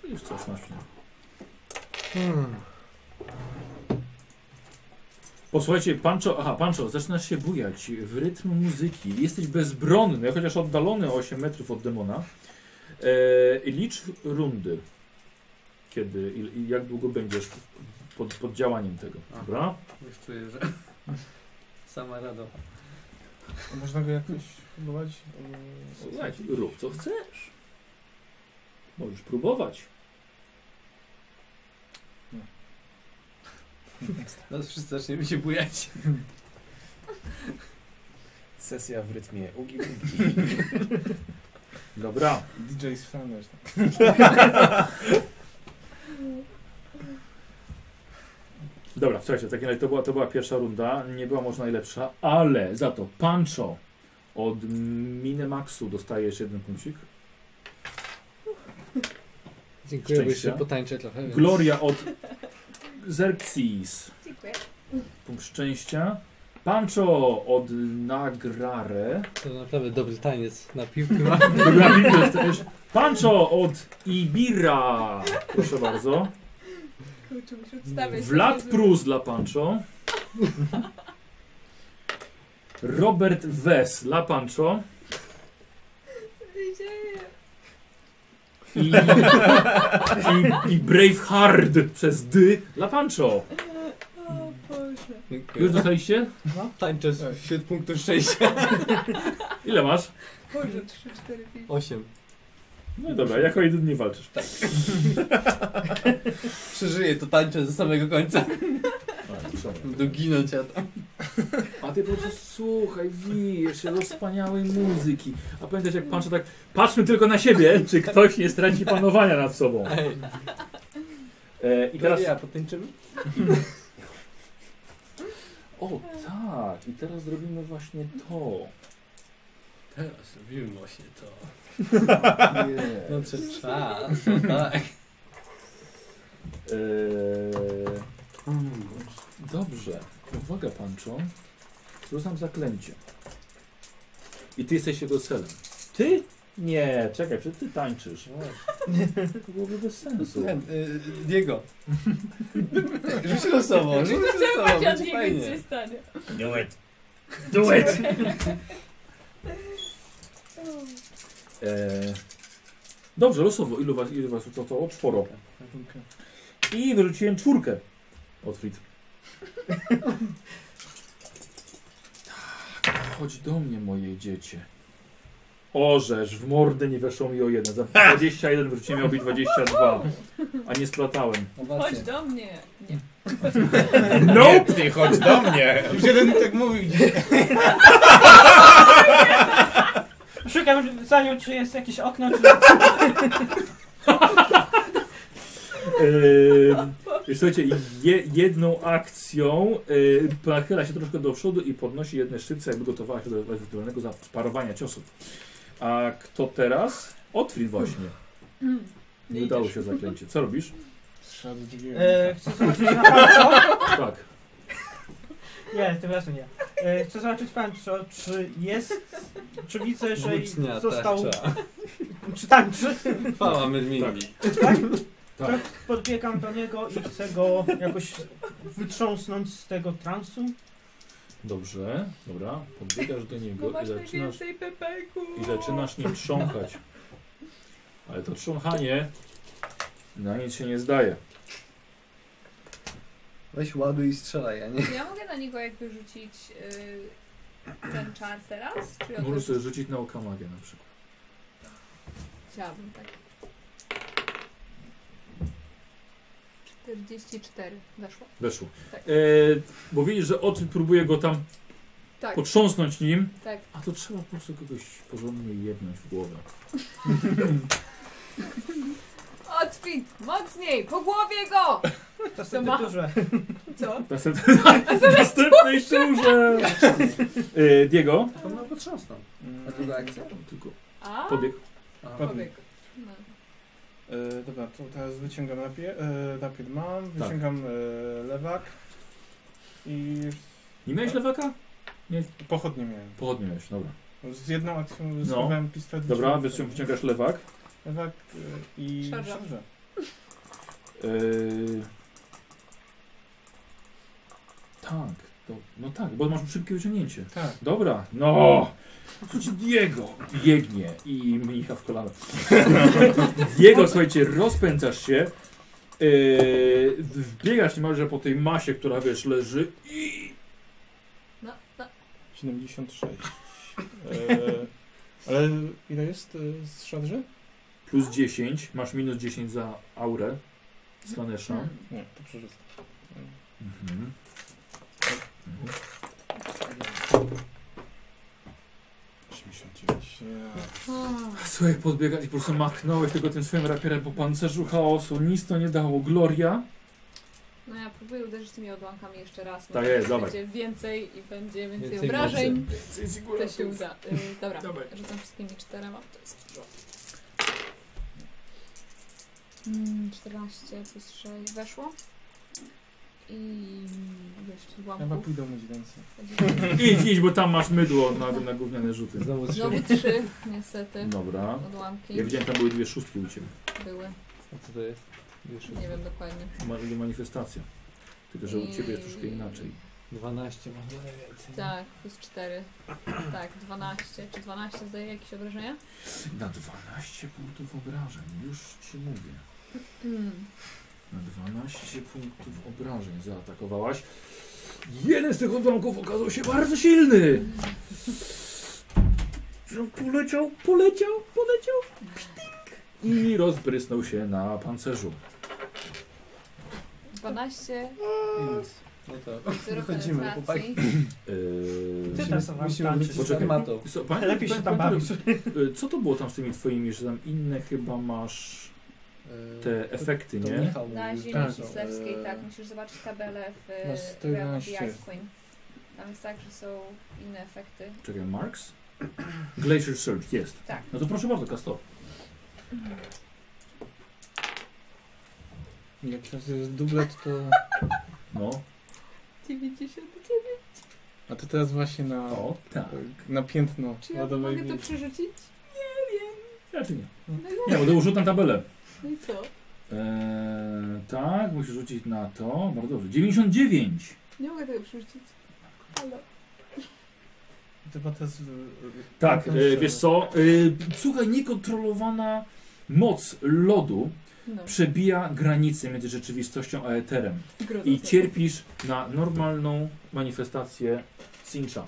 Speaker 1: Już coś masz. nie?
Speaker 4: Hmm.
Speaker 1: Posłuchajcie, Pancho, aha, Pancho, zaczynasz się bujać w rytm muzyki. Jesteś bezbronny, chociaż oddalony o 8 metrów od demona. E, licz rundy. Kiedy i, i jak długo będziesz pod, pod działaniem tego,
Speaker 4: Aha.
Speaker 1: dobra?
Speaker 4: Już czuję, że sama rado.
Speaker 6: Można go jakoś próbować?
Speaker 1: Słuchajcie, rób co chcesz. Możesz próbować.
Speaker 4: Nas wszyscy zaczniemy się bujać.
Speaker 2: Sesja w rytmie ugi
Speaker 1: Dobra.
Speaker 6: DJ Sanders.
Speaker 1: Dobra, słuchajcie, w takim razie to była, to była pierwsza runda. Nie była może najlepsza, ale za to Pancho od Minemaxu dostajesz jeden punkcik.
Speaker 9: Dziękuję, bo jeszcze
Speaker 1: Szczęścia.
Speaker 9: potańczę trochę. Więc...
Speaker 1: Gloria od Xerxes.
Speaker 3: Dziękuję.
Speaker 1: Punkt szczęścia. Pancho od Nagrare.
Speaker 9: To naprawdę dobry taniec na piłkę. ma.
Speaker 1: Dobra, widzę, to już. Pancho od Ibira. Proszę bardzo.
Speaker 3: Kurczę, muszę odstawiać.
Speaker 1: Vlad Prus dla Pancho. Robert Wes dla Pancho.
Speaker 3: Co się dzieje?
Speaker 1: I, i, i Braveheart przez D dla Pancho.
Speaker 3: O Boże.
Speaker 1: Już dostaliście?
Speaker 4: Tańczę z- wśród punktu szczęścia.
Speaker 1: Ile masz?
Speaker 3: Boże, 3, 4, 5.
Speaker 4: Osiem.
Speaker 1: No dobra, jako jedyny nie walczysz. Tak.
Speaker 4: Przeżyję to tańczę do samego końca. Będą ginąć, a tam...
Speaker 1: A ty po prostu słuchaj, wiesz, wspaniałej muzyki. A pamiętasz jak Pancho tak, patrzmy tylko na siebie, czy ktoś nie straci panowania nad sobą. E, I teraz...
Speaker 4: Ja, potańczymy?
Speaker 1: O tak, i teraz zrobimy właśnie to.
Speaker 4: Teraz robimy właśnie to.
Speaker 1: Nie.
Speaker 4: No przez czas, no tak.
Speaker 1: E, Dobrze, uwaga Pancho. Rzucam zaklęcie. I ty jesteś jego celem. Ty? Nie, czekaj, przecież ty tańczysz. To byłoby bez sensu.
Speaker 4: Ten, y, Diego. Rzuć losowo,
Speaker 3: No
Speaker 4: rzuć losowo, będzie fajnie.
Speaker 3: stanie.
Speaker 1: Do it. Do it. E, dobrze, losowo. Ilu was, ilu was to Czworo. I wyrzuciłem czwórkę. Otwit. Tak, Chodź do mnie, moje dziecię. Orzesz, w mordę nie weszło mi o jeden. Za 21 wróciłem, miał być 22. A nie splatałem.
Speaker 3: Chodź do mnie. Nie.
Speaker 1: Nope!
Speaker 2: Ty chodź do mnie!
Speaker 6: Już jeden tak mówił dzisiaj.
Speaker 5: Szukam zajął, czy jest jakieś okno, czy...
Speaker 1: Yy, słuchajcie, je, jedną akcją yy, nachyla się troszkę do przodu i podnosi jedne szczypce, jakby gotowała się do ewentualnego zaparowania ciosów. A kto teraz? Otwit właśnie.
Speaker 3: Mm.
Speaker 1: Nie udało się zaklęcie. Co robisz?
Speaker 6: Strzał do drugiego.
Speaker 5: E, chcę zobaczyć na Pancho...
Speaker 1: Tak.
Speaker 5: Nie, tym razem nie. E, chcę zobaczyć Pancho, czy jest... Czy widzę, że i
Speaker 4: Włócznia,
Speaker 5: został...
Speaker 4: tarcza.
Speaker 5: Czy tańczy?
Speaker 4: Chwała Mermini.
Speaker 5: Tak?
Speaker 1: Tak.
Speaker 5: tak. Podbiegam do niego i chcę go jakoś wytrząsnąć z tego transu.
Speaker 1: Dobrze, dobra. Podbiegasz do
Speaker 3: Bo
Speaker 1: niego i
Speaker 3: masz
Speaker 1: zaczynasz,
Speaker 3: najwięcej pepeku.
Speaker 1: i zaczynasz nim trząchać. Ale to trząchanie na nic się nie zdaje.
Speaker 4: Weź ładuj i strzelaj, a nie...
Speaker 3: Ja mogę na niego jakby rzucić y, ten czar teraz? Czy ja
Speaker 1: Możesz
Speaker 3: to-
Speaker 1: sobie rzucić na okamagę na przykład.
Speaker 3: Chciałabym tak. 44 weszło.
Speaker 1: Weszło.
Speaker 3: Tak.
Speaker 1: E, bo widzisz, że Otwit próbuje go tam
Speaker 3: Tak,
Speaker 1: potrząsnąć nim,
Speaker 3: tak.
Speaker 1: a to trzeba po prostu kogoś porządnie jednąć w głowę.
Speaker 3: Otwit! Mocniej! Po głowie go!
Speaker 5: To
Speaker 3: ma?
Speaker 5: sobie duże.
Speaker 3: Co?
Speaker 1: Następny, następnej szurze! E, Diego?
Speaker 4: To no potrząsną. A druga akcja?
Speaker 1: Tylko
Speaker 3: A?
Speaker 1: pobieg.
Speaker 3: Pobieg. No.
Speaker 6: E, dobra, to teraz wyciągam napier. E, napier mam, wyciągam e, lewak i
Speaker 1: Nie miałeś lewaka?
Speaker 6: pochodnie miałem.
Speaker 1: Pochodnie miałeś, dobra.
Speaker 6: Z jedną akcją schowałem pistolet.
Speaker 1: Dobra,
Speaker 6: wyciągnąłem
Speaker 1: wycią- wyciągasz lewak.
Speaker 6: Lewak e, i
Speaker 3: Szarża.
Speaker 6: szarża.
Speaker 1: Eee, Tak, to, no tak, bo masz szybkie wyciągnięcie.
Speaker 6: Tak.
Speaker 1: Dobra, no! Chodź Diego! Biegnie i mnicha w kolano. Diego, słuchajcie, rozpędzasz się, yy, wbiegasz niemalże po tej masie, która wiesz, leży i...
Speaker 3: No, no.
Speaker 6: 76. E, ale ile jest e, z szarży?
Speaker 1: plus 10, masz minus 10 za aurę z Lanesza.
Speaker 3: Hmm.
Speaker 6: Nie, to przerzucam.
Speaker 1: Mhm. Mhm.
Speaker 6: 89. Ja.
Speaker 3: No.
Speaker 1: Słuchaj, podbiegać i po prostu machnąłeś tylko tym swoim rapierem po pancerzu chaosu. Nic to nie dało. Gloria.
Speaker 3: No ja próbuję uderzyć tymi odłamkami jeszcze raz.
Speaker 1: Tak
Speaker 3: może
Speaker 1: jest, dawaj.
Speaker 3: Będzie więcej i będzie więcej,
Speaker 9: Więcej
Speaker 3: obrażeń. To się
Speaker 1: Więcej
Speaker 3: uda. Y, dobra,
Speaker 1: Dawaj.
Speaker 3: rzucam wszystkimi czterema. To jest dużo. Mm, 14 plus 6 weszło. I jeszcze
Speaker 6: Chyba
Speaker 3: odłamków.
Speaker 6: pójdą mieć więcej.
Speaker 1: Idź, idź, bo tam masz mydło na, na gówniane rzuty.
Speaker 9: Znowu trzy.
Speaker 3: Znowu 3 niestety.
Speaker 1: Dobra.
Speaker 3: Odłamki
Speaker 1: No. Ja widziałem, tam były dwie szóstki u Ciebie.
Speaker 3: były.
Speaker 9: A co to jest? Już
Speaker 3: Nie wiem dokładnie.
Speaker 1: Masz manifestacja. Tylko, że u Ciebie jest troszkę inaczej.
Speaker 9: 12 mam najwięcej.
Speaker 3: Tak, plus 4. Tak, 12. Czy 12 zdaje jakieś obrażenia?
Speaker 1: Na 12 punktów obrażeń, już Ci mówię.
Speaker 3: Hmm.
Speaker 1: Na 12 punktów obrażeń zaatakowałaś. Jeden z tych odłamków okazał się bardzo silny. Że Poleciał, poleciał, poleciał. Psztyk. I rozprysnął się na pancerzu.
Speaker 3: 12
Speaker 4: No to.
Speaker 3: Zero
Speaker 4: Wychodzimy,
Speaker 3: penetracji.
Speaker 5: Ty
Speaker 1: Yy,
Speaker 5: tam sobie tańczysz.
Speaker 1: Poczekaj.
Speaker 4: armatą.
Speaker 1: co, pan-
Speaker 5: Lepiej się
Speaker 1: pan-
Speaker 5: tam
Speaker 1: pan-
Speaker 5: bawić.
Speaker 1: y, Co to było tam z tymi twoimi, że tam inne chyba masz te efekty,
Speaker 4: E, To
Speaker 1: nie?
Speaker 4: Michał
Speaker 3: Na
Speaker 4: mówił.
Speaker 3: ziemi
Speaker 6: Tak,
Speaker 3: Kislewskiej,
Speaker 4: e,
Speaker 3: tak. Musisz zobaczyć tabelę w e,
Speaker 6: na
Speaker 3: Realm of the
Speaker 6: 11.
Speaker 3: Ice Queen. Tam jest tak, że są inne efekty.
Speaker 1: Czekaj, Marks? Glacier Surge, jest.
Speaker 3: Tak.
Speaker 1: No to proszę bardzo, Kastor.
Speaker 6: Jak teraz jest dublet, to...
Speaker 1: No,
Speaker 3: 99.
Speaker 6: A to teraz właśnie na...
Speaker 1: o, tak.
Speaker 6: Na piętno
Speaker 3: Czy
Speaker 1: No
Speaker 3: ja
Speaker 6: lodowej
Speaker 3: mogę to
Speaker 6: wilki.
Speaker 3: przerzucić? Nie wiem.
Speaker 1: Raczej nie.
Speaker 3: No
Speaker 1: Nie, bo to użyłem tabelę.
Speaker 3: No i co?
Speaker 1: Eee, tak, musisz rzucić na to. Bardzo dobrze. 99.
Speaker 3: Nie mogę tego przerzucić. Halo.
Speaker 6: Chyba teraz... y, y,
Speaker 1: Tak,
Speaker 2: No
Speaker 6: na
Speaker 1: e,
Speaker 6: ten
Speaker 1: wiesz co? E, słuchaj, niekontrolowana moc lodu
Speaker 3: No.
Speaker 1: przebija granice między rzeczywistością a eterem.
Speaker 3: Groda
Speaker 1: I
Speaker 3: znowu.
Speaker 1: cierpisz na normalną manifestację Sincha.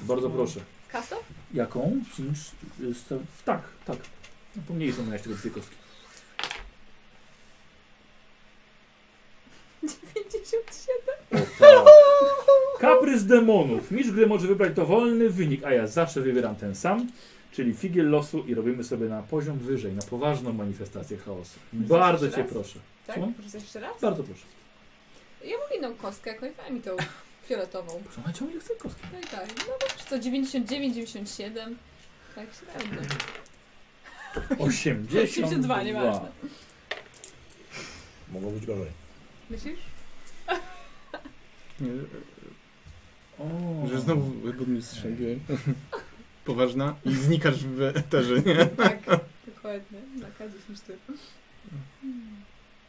Speaker 1: Bardzo proszę.
Speaker 3: Kasto?
Speaker 1: Jaką? Cinch? y, sta- Tak, tak. No, Pomniejszą miałeś tego dwie kostki.
Speaker 3: 57.
Speaker 1: Kaprys demonów. Mistrz gry może wybrać dowolny wynik, a ja zawsze wybieram ten sam, czyli figiel losu i robimy sobie na poziom wyżej, na poważną manifestację chaosu. Bardzo
Speaker 3: jeszcze
Speaker 1: cię
Speaker 3: raz?
Speaker 1: proszę.
Speaker 3: Tak?
Speaker 1: Co?
Speaker 3: Proszę jeszcze raz?
Speaker 1: Bardzo proszę.
Speaker 3: Ja mam inną kostkę, jakąś daj mi tą fioletową.
Speaker 1: Proszę, macie ile chcę kostki?
Speaker 3: No i tak. No wiesz co, 99, 97. Tak średnio.
Speaker 1: 82.
Speaker 3: 82, nieważne.
Speaker 2: Mogło być gorzej.
Speaker 3: Myślisz?
Speaker 6: Nie,
Speaker 1: O.
Speaker 6: Że znowu godnie strzeliłem. Poważna. I znikasz w eterze, nie?
Speaker 3: Tak, dokładnie. Na K10 ty. Hmm.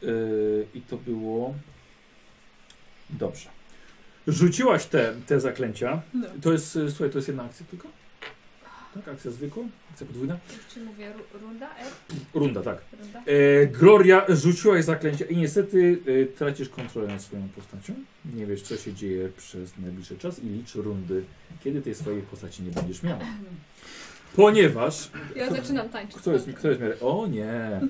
Speaker 1: Yy, I to było... Dobrze. Rzuciłaś te, te zaklęcia.
Speaker 3: No.
Speaker 1: To jest, y, słuchaj, to jest jedna akcja tylko? Tak, akcja zwykła? Akcja podwójna?
Speaker 3: Czy mówię ru- runda? R?
Speaker 1: Runda, tak.
Speaker 3: Runda?
Speaker 1: E, Gloria rzuciłaś zaklęcie i niestety e, tracisz kontrolę nad swoją postacią. Nie wiesz, co się dzieje przez najbliższy czas i licz rundy, kiedy tej swojej postaci nie będziesz miała. Ponieważ.
Speaker 3: Ja zaczynam tańczyć.
Speaker 1: Kto jest, kto jest w miarę. O nie!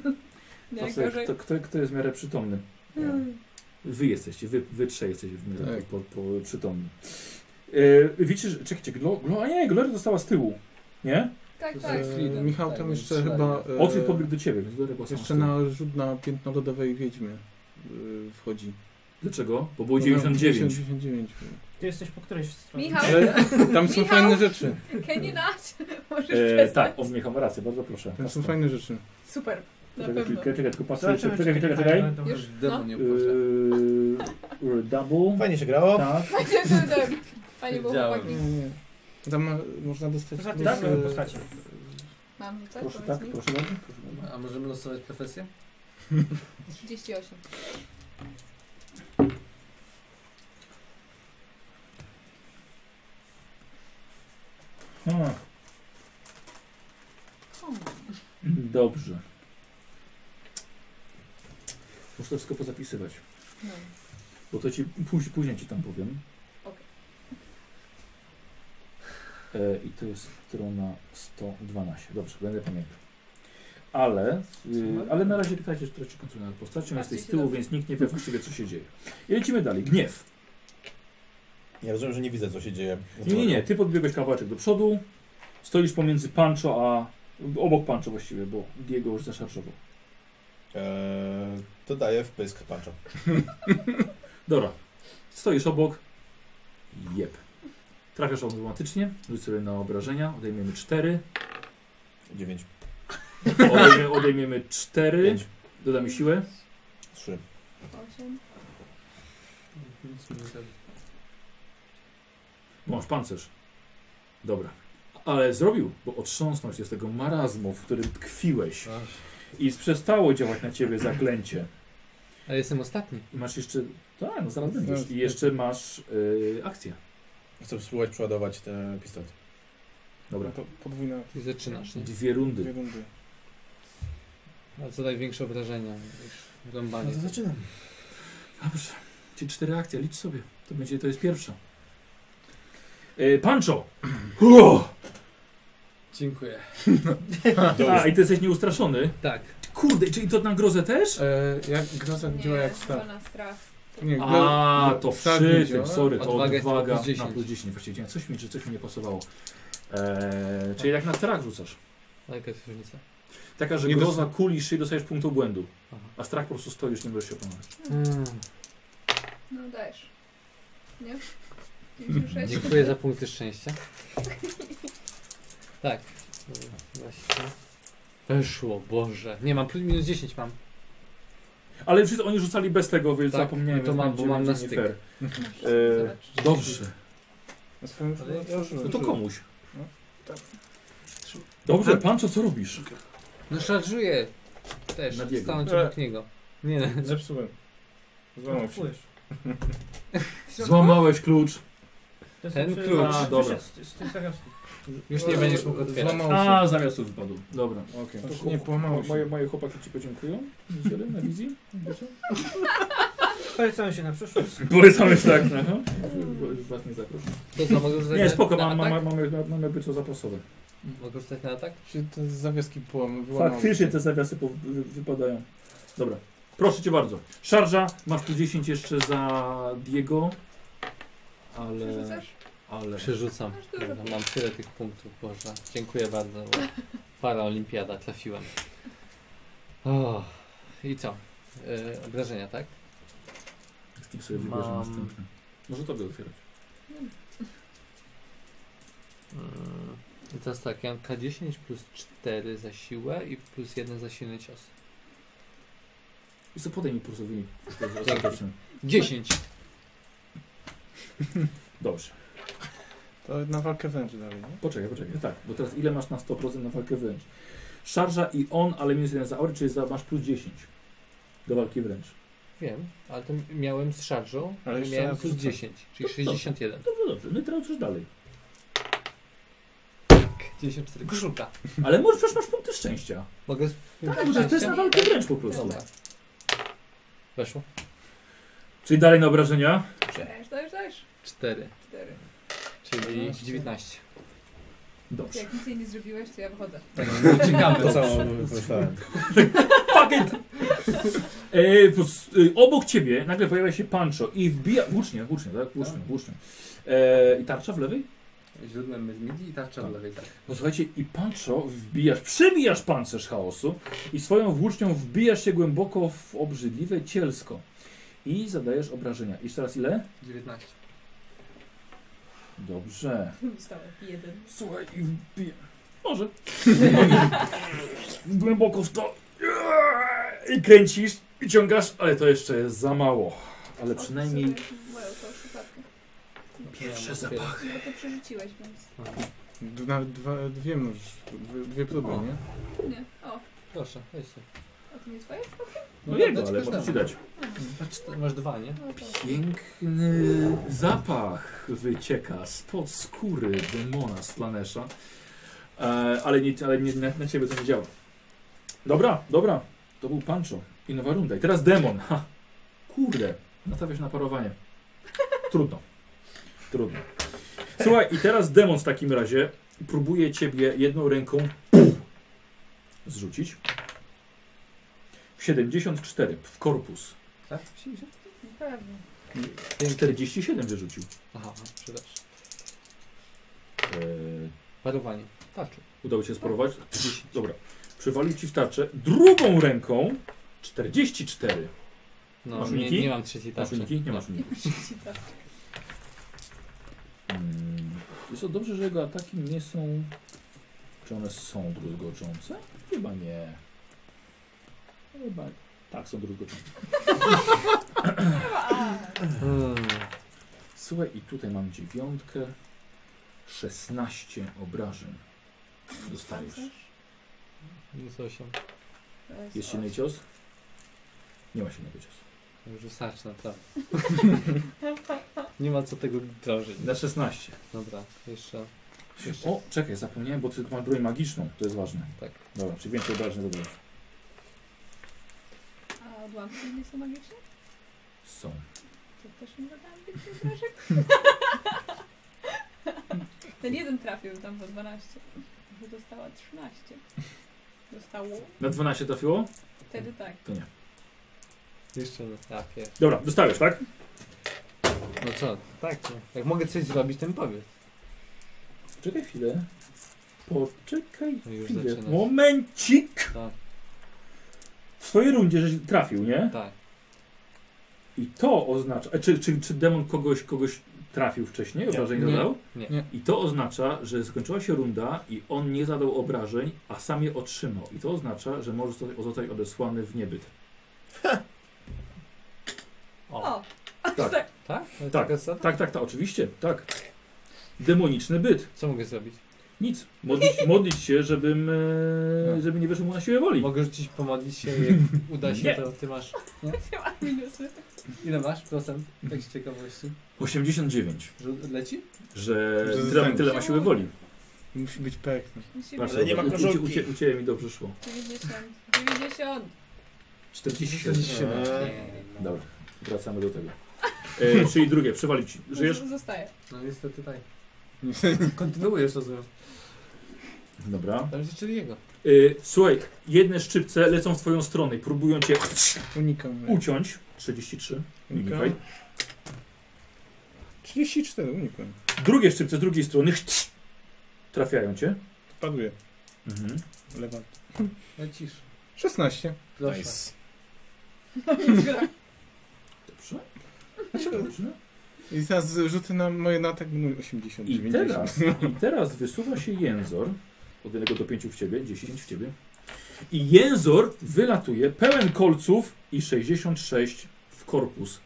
Speaker 3: Nie,
Speaker 1: Patrzę,
Speaker 3: gorzej.
Speaker 1: kto, kto, kto jest w miarę przytomny?
Speaker 3: Mm.
Speaker 1: Wy jesteście, wy, wy trzej jesteście w miarę
Speaker 6: Tak.
Speaker 1: po, po, przytomni. E, widzicie, że- czekajcie, Glo, Glo, a nie, Gloria została z tyłu. Nie?
Speaker 3: Tak,
Speaker 2: To
Speaker 3: tak.
Speaker 2: jest- Freedom.
Speaker 6: Michał tam
Speaker 2: Tak,
Speaker 6: jeszcze
Speaker 2: strzelanie.
Speaker 6: chyba... e,
Speaker 1: Otwórz pobiegł do ciebie, więc Gloria była sama
Speaker 6: Jeszcze
Speaker 1: z tyłu.
Speaker 6: na rzut na piętno lodowej wiedźmy e, wchodzi.
Speaker 1: Dlaczego? Bo było 99.
Speaker 6: 99.
Speaker 5: Ty jesteś po którejś stronie.
Speaker 3: Michał,
Speaker 6: Ale tam są
Speaker 3: Michał?
Speaker 6: fajne rzeczy.
Speaker 3: can you not? Możesz
Speaker 1: E,
Speaker 3: przestać.
Speaker 1: tak, on Michał ma rację, bardzo proszę.
Speaker 6: Tam są
Speaker 1: Kasper.
Speaker 6: fajne rzeczy.
Speaker 3: Super, na
Speaker 1: Czekaj,
Speaker 3: pewno.
Speaker 1: Czekaj, czekaj, tylko patrzę.
Speaker 5: Zobaczymy,
Speaker 1: Czekaj,
Speaker 5: czy
Speaker 1: czekaj,
Speaker 5: takie
Speaker 1: czekaj.
Speaker 5: fajne
Speaker 1: czekaj.
Speaker 5: będą
Speaker 3: Już. No.
Speaker 5: różne.
Speaker 2: Demon nie uprasza.
Speaker 1: Yy, double.
Speaker 2: Fajnie się grało.
Speaker 1: Tak.
Speaker 3: Fajnie, tak, tak. Fajnie było
Speaker 4: Wiedziałem.
Speaker 3: chłopaki.
Speaker 6: Nie, nie. Tam ma, można dostać...
Speaker 5: Poza tym
Speaker 6: plus,
Speaker 5: są
Speaker 6: e,
Speaker 5: postacie.
Speaker 3: Mam rzucać,
Speaker 1: Proszę
Speaker 3: powiedz
Speaker 1: tak,
Speaker 3: mi.
Speaker 1: proszę bardzo. Proszę
Speaker 3: tak,
Speaker 1: bardzo.
Speaker 4: A możemy losować profesję?
Speaker 3: 38. tak.
Speaker 1: A, Hmm. Dobrze. Muszę to wszystko pozapisywać,
Speaker 3: No.
Speaker 1: bo to ci póź- później ci tam powiem.
Speaker 3: Okej.
Speaker 1: E, I to jest strona 112. Dobrze, będę pamiętał. ale, y, ale na razie pytajcie, że traci kontrolę nad postacią, jesteś z tyłu, więc nikt nie wie właściwie co się dzieje. I lecimy dalej. Gniew.
Speaker 10: Ja rozumiem, że nie widzę, co się dzieje.
Speaker 1: Nie, nie, nie, ty podbiegłeś kawałeczek do przodu, stoisz pomiędzy Pancho a... obok Pancho właściwie, bo Diego już zaszarżował.
Speaker 10: Eee, to daję wpysk panczo.
Speaker 1: Dobra, stoisz obok, jeb. Trafiasz automatycznie, rzuć sobie na obrażenia, odejmiemy 4,
Speaker 10: 9,
Speaker 1: odejmiemy, odejmiemy 4,
Speaker 10: 5,
Speaker 1: dodamy siłę,
Speaker 10: 3.
Speaker 3: Osiem.
Speaker 1: bo masz pancerz. Dobra, ale zrobił, bo otrząsnął się z tego marazmu, w którym tkwiłeś i przestało działać na ciebie zaklęcie.
Speaker 4: Ale jestem ostatni.
Speaker 1: I masz jeszcze. Tak, no zaraz będziesz. I jeszcze masz yy, akcję.
Speaker 10: Chcę spróbować przeładować ten pistolet.
Speaker 1: Dobra.
Speaker 2: To podwójna
Speaker 4: Ty zaczynasz, nie?
Speaker 1: Dwie rundy.
Speaker 2: dwie rundy.
Speaker 4: A co największe obrażenia? Już Rąbanie.
Speaker 6: No
Speaker 10: zaczynam.
Speaker 1: Dobrze. Czyli cztery akcje, licz sobie. To będzie, to jest pierwsza. Yy, Pancho! Uuu!
Speaker 4: Dziękuję.
Speaker 1: A, i ty jesteś nieustraszony.
Speaker 4: Tak.
Speaker 1: Kurde, czyli to na grozę też?
Speaker 11: E, jak groza
Speaker 3: Nie,
Speaker 11: działa jak
Speaker 3: to
Speaker 11: strach.
Speaker 3: na strach.
Speaker 11: Nie,
Speaker 1: A,
Speaker 11: gro-
Speaker 1: to
Speaker 11: strach
Speaker 1: przy
Speaker 11: nie działa.
Speaker 1: tym, sorry, to
Speaker 4: Odwaga
Speaker 1: odwaga,
Speaker 4: jest plus 10.
Speaker 1: na plus 10. Właściwie widziałem, coś mi, czy coś mi nie pasowało. Eee, czyli jak na strach rzucasz.
Speaker 4: Ale jaka jest różnica?
Speaker 1: Taka, że
Speaker 11: Nie dos-
Speaker 1: groza kulisz i dostajesz punktu błędu.
Speaker 4: Aha.
Speaker 1: A strach po prostu stoisz, nie możesz się opanować.
Speaker 3: Hmm. No dajesz. Nie? 56.
Speaker 4: Dziękuję za punkty szczęścia. Tak. Dobra, Właśnie. Weszło, Boże. Nie, mam plus minus 10 mam.
Speaker 1: Ale wszyscy oni rzucali bez tego, więc
Speaker 4: Tak,
Speaker 1: zapomniałem.
Speaker 4: no to
Speaker 1: więc
Speaker 4: mam,
Speaker 1: będzie-
Speaker 4: bo mam na
Speaker 1: będzie nie
Speaker 4: styk.
Speaker 1: fair.
Speaker 3: Masz,
Speaker 1: E,
Speaker 3: zobacz.
Speaker 1: Dobrze.
Speaker 2: Na swoim
Speaker 4: Ale-
Speaker 2: ja już
Speaker 1: No to komuś.
Speaker 2: No, tak.
Speaker 1: Dobrze, Pancho, co robisz?
Speaker 4: No szarżuję. Też.
Speaker 1: Na Diego.
Speaker 4: Stanąć obok niego. Nie, no.
Speaker 2: Zepsułem. Złamał się.
Speaker 12: Kupujesz.
Speaker 1: Złamałeś klucz.
Speaker 12: To jest
Speaker 4: Ten
Speaker 12: przy-
Speaker 4: klucz.
Speaker 12: przy-
Speaker 1: A, dobra.
Speaker 12: przy- Z, z tych zagawskich.
Speaker 4: Już nie
Speaker 2: E,
Speaker 4: będziesz mógł otwierać.
Speaker 2: Złamał się.
Speaker 1: A, zamiastów wypadł. Dobra.
Speaker 2: Okej.
Speaker 1: To
Speaker 2: Nie
Speaker 1: chłop-
Speaker 2: połamało się.
Speaker 1: Moje, moje chłopaki ci podziękują. w niedzielę Na wizji.
Speaker 12: Polecamy się na przyszłość.
Speaker 1: Polecamy się tak. Was nie zaproszę.
Speaker 4: To co, mogę już
Speaker 1: Nie,
Speaker 4: zagrać
Speaker 1: spoko,
Speaker 4: na
Speaker 1: mam, mam,
Speaker 4: atak?
Speaker 1: mamy, mamy być co zapasowe.
Speaker 4: Mogę rzucać na atak?
Speaker 11: Się te zawiaski
Speaker 2: No,
Speaker 11: połam, wyłamały
Speaker 1: Faktycznie
Speaker 11: się.
Speaker 1: te zawiasy po, wy, wypadają. Dobra. Proszę cię bardzo. Szarża, masz tu 10 jeszcze za Diego. Ale.
Speaker 3: Przerzucasz?
Speaker 1: Ale.
Speaker 4: Przerzucam.
Speaker 3: Masz dużo
Speaker 4: Dobra, mam tyle tych punktów, Boże. Dziękuję bardzo, bo para olimpiada trafiłem. O, I co? Yy, obrażenia, tak?
Speaker 1: Z nim sobie wybierze
Speaker 4: Mam-
Speaker 1: następny. Może tobie otwierać.
Speaker 4: Yy, teraz tak, ja mam K10 plus 4 za siłę i plus 1 za silny cios.
Speaker 1: I co podaj mi po prostu wynik. To jest
Speaker 4: Dzięki.
Speaker 1: ostateczny.
Speaker 4: 10!
Speaker 1: Dobrze.
Speaker 2: To na walkę wręcz dalej, nie?
Speaker 1: Poczekaj, poczekaj. Tak, bo teraz ile masz na 100% na walkę wręcz? Szarża i on, ale minus 1 za aury, czyli za, masz plus 10 do walki wręcz.
Speaker 4: Wiem, ale to miałem z szarżą,
Speaker 2: Ale
Speaker 4: ale
Speaker 2: jeszcze
Speaker 4: miałem
Speaker 2: raz
Speaker 4: plus
Speaker 2: rzucam.
Speaker 4: 10, czyli 61.
Speaker 1: Dobrze, dobrze. No i teraz już dalej.
Speaker 4: 94 koszulka.
Speaker 1: Ale może też masz punkty szczęścia.
Speaker 4: Mogę z...
Speaker 1: Tak, bo to jest na walkę wręcz po prostu.
Speaker 4: Dobra.
Speaker 3: Tak.
Speaker 4: Weszło?
Speaker 1: Czyli dalej na obrażenia.
Speaker 3: Dajesz, dajesz, dajesz.
Speaker 4: 4,
Speaker 3: Cztery.
Speaker 4: czyli 19.
Speaker 1: Dobrze.
Speaker 3: Jak nic jej nie zrobiłeś, to ja wychodzę.
Speaker 1: Tak.
Speaker 10: Czekamy, co myślałem.
Speaker 1: Fuck it! E, po, s- e, obok ciebie nagle pojawia się Pancho i wbija... Włócznie, włócznie, tak? Włócznie, włócznie. E, I tarcza w lewej?
Speaker 11: Źródłem z midi i tarcza
Speaker 1: Tak.
Speaker 11: w lewej tak.
Speaker 1: No słuchajcie, i Pancho wbijasz, przebijasz pancerz chaosu i swoją włócznią wbijasz się głęboko w obrzydliwe cielsko. I zadajesz obrażenia. I teraz ile?
Speaker 11: 19.
Speaker 1: Dobrze.
Speaker 3: Zostałem jeden.
Speaker 1: Słuchaj, i wbija... Może. głęboko w to. I kręcisz, i ciągasz, ale to jeszcze jest za mało. Ale przynajmniej
Speaker 3: Moją tą szufladkę.
Speaker 1: pierwsze zapachy.
Speaker 3: No to przerzuciłeś, więc...
Speaker 4: No.
Speaker 2: D- Nawet dwa, dwie możesz, dwie, dwie próby,
Speaker 4: O.
Speaker 2: nie?
Speaker 3: Nie. O,
Speaker 4: Proszę, weź sobie.
Speaker 3: a to nie twoje?
Speaker 1: No jego,
Speaker 4: dać
Speaker 1: ale
Speaker 4: każdemu.
Speaker 1: mogę ci dać.
Speaker 4: Masz cztery- Masz dwa, nie?
Speaker 3: No to...
Speaker 1: Piękny zapach wycieka spod skóry demona Slanesha. E, ale nie, ale nie na, na ciebie to nie działa. Dobra, dobra. To był Pancho. I nowa runda. I teraz demon. Ha. Kurde. Nastawiasz na parowanie. Trudno. Trudno. Słuchaj, i teraz demon w takim razie próbuje ciebie jedną ręką zrzucić. 74 w korpus.
Speaker 13: Tak?
Speaker 3: Pewnie.
Speaker 1: 47 wyrzucił.
Speaker 4: Aha, przepraszam.
Speaker 1: Eee,
Speaker 4: Parowanie. Tarczy.
Speaker 1: Udało się sporować? Dobra. Przywalił ci w tarczę. Drugą ręką 44.
Speaker 4: No,
Speaker 1: Masz
Speaker 4: nie,
Speaker 1: uniki?
Speaker 4: nie mam trzeciej
Speaker 1: Masz
Speaker 4: tarczy.
Speaker 1: uniki? Nie masz uniki. Mm, Jest to dobrze, że jego ataki nie są... Czy one są druzgoczące? Chyba nie. Chyba... Tak, są druzgoczące.
Speaker 4: Hmm.
Speaker 1: Słuchaj, i tutaj mam dziewiątkę. 16 obrażeń. Dostajesz.
Speaker 4: Minus 8.
Speaker 3: To jest
Speaker 1: Jest
Speaker 3: osiem.
Speaker 1: silny cios? Nie ma silnego ciosu.
Speaker 4: Już wystarczy naprawdę. nie ma co tego drożyć.
Speaker 1: Na 16.
Speaker 4: Dobra, jeszcze.
Speaker 1: O, czekaj, zapomniałem, bo ty masz broń magiczną. To jest ważne.
Speaker 4: Tak.
Speaker 1: Dobra, czyli więcej obrażeń zadajesz.
Speaker 3: A odłamki nie są magiczne?
Speaker 1: Są.
Speaker 3: To też nie dodałam tych obrażek? Ten jeden trafił tam po 12. Może dostała 13. Dostało?
Speaker 1: Na 12 trafiło?
Speaker 3: Wtedy tak.
Speaker 1: To nie.
Speaker 4: Jeszcze na trafię.
Speaker 1: Dobra, dostajesz, tak?
Speaker 4: No co? Tak, no. Jak mogę coś zrobić, to mi powiedz.
Speaker 1: Czekaj chwilę. Poczekaj
Speaker 4: No już
Speaker 1: chwilę.
Speaker 4: zaczynasz.
Speaker 1: Momencik!
Speaker 4: Tak,
Speaker 1: W swojej rundzie żeś trafił, nie?
Speaker 4: tak.
Speaker 1: I to oznacza... e, Czy, czy, czy demon kogoś, kogoś trafił wcześniej? Obrażeń
Speaker 14: Nie.
Speaker 1: zadał?
Speaker 4: Nie.
Speaker 14: Nie.
Speaker 1: I to oznacza, że skończyła się runda i on nie zadał obrażeń, a sam je otrzymał. I to oznacza, że może zostać- zostać odesłany w niebyt.
Speaker 4: O,
Speaker 3: O!
Speaker 1: Tak,
Speaker 4: tak?
Speaker 1: Tak.
Speaker 4: Ale taka zasada?
Speaker 1: tak, tak, tak, oczywiście, tak. Demoniczny byt.
Speaker 4: Co mogę zrobić?
Speaker 1: Nic. Modlić, modlić się, żebym, e,
Speaker 4: No.
Speaker 1: żeby nie wyszło mu na siłę woli.
Speaker 4: Mogę rzucić, pomodlić się i jak uda się,
Speaker 1: Nie.
Speaker 4: to ty masz.
Speaker 3: Miałam Tak, minusy.
Speaker 4: Ile masz procent? Tak z ciekawości.
Speaker 1: 89.
Speaker 4: Że Leci?
Speaker 1: Że
Speaker 2: Że
Speaker 1: tyle,
Speaker 2: zostaniesz.
Speaker 1: tyle ma siłę woli.
Speaker 2: Musi być E piękny.
Speaker 3: Musi
Speaker 1: Patrz,
Speaker 3: być
Speaker 15: Ale nie ma
Speaker 1: u- u-
Speaker 15: korzonki.
Speaker 1: u cie- U ciebie mi dobrze szło.
Speaker 3: 90. 90!
Speaker 1: 47.
Speaker 15: Eee.
Speaker 1: Dobra, wracamy do tego. E, czyli drugie, przewalić ci. Żyjesz?
Speaker 3: Z- Zostaje.
Speaker 4: No niestety tak. Kontynuujesz, rozumiem.
Speaker 1: Dobra.
Speaker 4: Tam jeszcze jego.
Speaker 1: E, słuchaj, jedne szczypce lecą w twoją stronę i próbują cię
Speaker 2: Unikam. E
Speaker 1: uciąć. 33. Unikaj.
Speaker 2: 34, unikłem.
Speaker 1: Drugie szczypce z drugiej strony trafiają cię.
Speaker 2: Paduję.
Speaker 1: Mhm.
Speaker 2: Lewak.
Speaker 4: Lecisz.
Speaker 2: 16.
Speaker 4: Proszę.
Speaker 1: Dobrze.
Speaker 2: Znaczy,
Speaker 1: Dobrze.
Speaker 2: I teraz rzuty na moje na atak będą 80,
Speaker 1: I
Speaker 2: 90.
Speaker 1: teraz, I teraz wysuwa się jęzor. Od 1 do 5 w ciebie, 10 w ciebie. I jęzor wylatuje pełen kolców i 66 w korpus.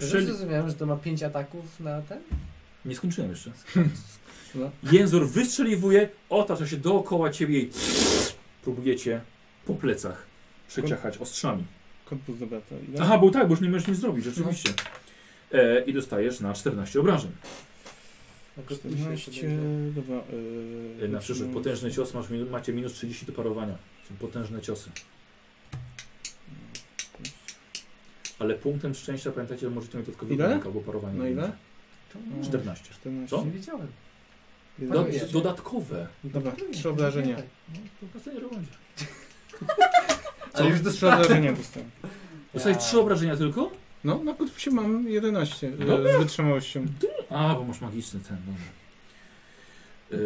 Speaker 4: Dobrze
Speaker 1: Przel-
Speaker 4: zrozumiałem, że to ma 5 ataków na ten?
Speaker 1: Nie skończyłem jeszcze.
Speaker 4: No.
Speaker 1: Jęzor wystrzeliwuje, otacza się dookoła ciebie i próbujecie po plecach przeciachać ostrzami.
Speaker 2: Korpus dobra, to ile?
Speaker 1: Aha, bo tak, bo już nie możesz nic zrobić, rzeczywiście. E, I dostajesz na 14 obrażeń.
Speaker 4: Jakoś to mi się
Speaker 2: 14,
Speaker 4: podoba.
Speaker 2: dobra.
Speaker 1: E,
Speaker 2: Yy,
Speaker 1: Na przyszły potężny cios masz, min- macie minus 30 do parowania. Są potężne ciosy. Ale punktem szczęścia pamiętajcie, że możecie mieć dodatkowy
Speaker 2: Ile?
Speaker 1: wynik albo parowanie.
Speaker 2: Na ile? no,
Speaker 4: Czemu?
Speaker 1: 14.
Speaker 2: 14.
Speaker 1: Co?
Speaker 4: Nie widziałem.
Speaker 1: Do,
Speaker 4: Dziękuję.
Speaker 1: dodatkowe.
Speaker 2: Dobra,
Speaker 4: Dziękuję.
Speaker 2: trzy obrażenia.
Speaker 1: No, to wracanie do bądź.
Speaker 2: Ale już do
Speaker 4: Tak.
Speaker 2: sprawozdania dostałem.
Speaker 1: Dostajesz
Speaker 4: Ja-
Speaker 1: 3 obrażenia tylko?
Speaker 2: No, na kutupsie mam 11 e,
Speaker 1: Dobra.
Speaker 2: z wytrzymałością.
Speaker 1: A, bo masz magiczny ten, dobra.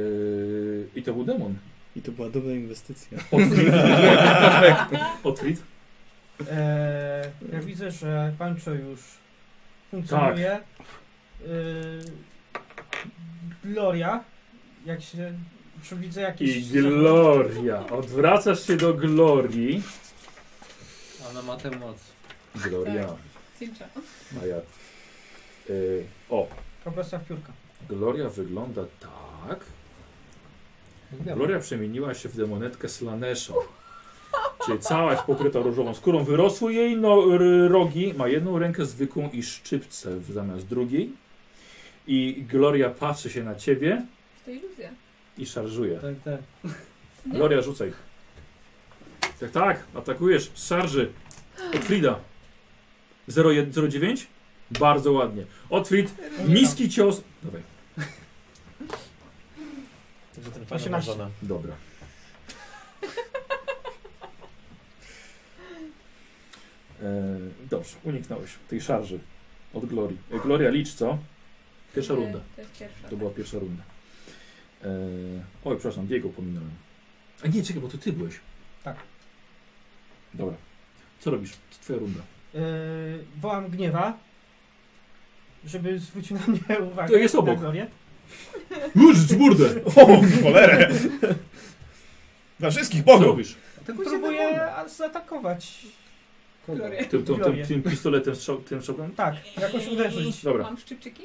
Speaker 1: Yy, I to był demon.
Speaker 2: I to była dobra inwestycja.
Speaker 1: Otwit. Otwit.
Speaker 14: Eee, ja widzę, że Pancho już funkcjonuje.
Speaker 1: Tak.
Speaker 14: Eee, Gloria, jak się... Czy widzę jakieś...
Speaker 1: I Gloria. Odwracasz się do Glorii.
Speaker 4: Ona ma tę moc.
Speaker 1: Gloria.
Speaker 3: Cincza.
Speaker 1: A ja. Yy, o,
Speaker 14: Kompresja w piórka.
Speaker 1: Gloria wygląda tak. Gloria przemieniła się w demonetkę Slanesha. Czyli cała jest pokryta różową skórą. Wyrosły jej no, r, rogi. Ma jedną rękę zwykłą i szczypce w- zamiast drugiej. I Gloria patrzy się na ciebie
Speaker 3: To iluzja.
Speaker 1: i szarżuje.
Speaker 4: Tak, tak.
Speaker 3: Nie?
Speaker 1: Gloria, rzucaj. Tak, tak, atakujesz z szarży. Otfrida. 0,9? Bardzo ładnie. Otfrid, niski cios. Dawaj,
Speaker 15: Także ten
Speaker 14: 18.
Speaker 15: fajny
Speaker 1: dobra. E, dobrze, uniknąłeś tej szarży od Glorii. E, Gloria, licz co?
Speaker 3: E.
Speaker 1: Pierwsza runda.
Speaker 3: To jest pierwsza.
Speaker 1: To była pierwsza runda. E, oj, przepraszam, Diego pominąłem. A nie, czekaj, bo to ty byłeś.
Speaker 5: Tak.
Speaker 1: Dobra. Co robisz? To twoja runda.
Speaker 14: E,
Speaker 5: Yy, wołam gniewa, żeby zwrócił na mnie uwagę.
Speaker 1: To jest obok.
Speaker 5: Na Glorię.
Speaker 1: Już burdę!
Speaker 2: O, w cholerę! Dla wszystkich
Speaker 1: Co
Speaker 2: bogów!
Speaker 1: robisz?
Speaker 5: Próbuję a- zaatakować.
Speaker 3: Gloria.
Speaker 1: Tym, tym, tym,
Speaker 5: Glorię.
Speaker 1: tym pistoletem, strzał, tym strzałkiem?
Speaker 5: Tak, jakoś uderzyć.
Speaker 1: Dobra.
Speaker 3: Mam szczypczyki?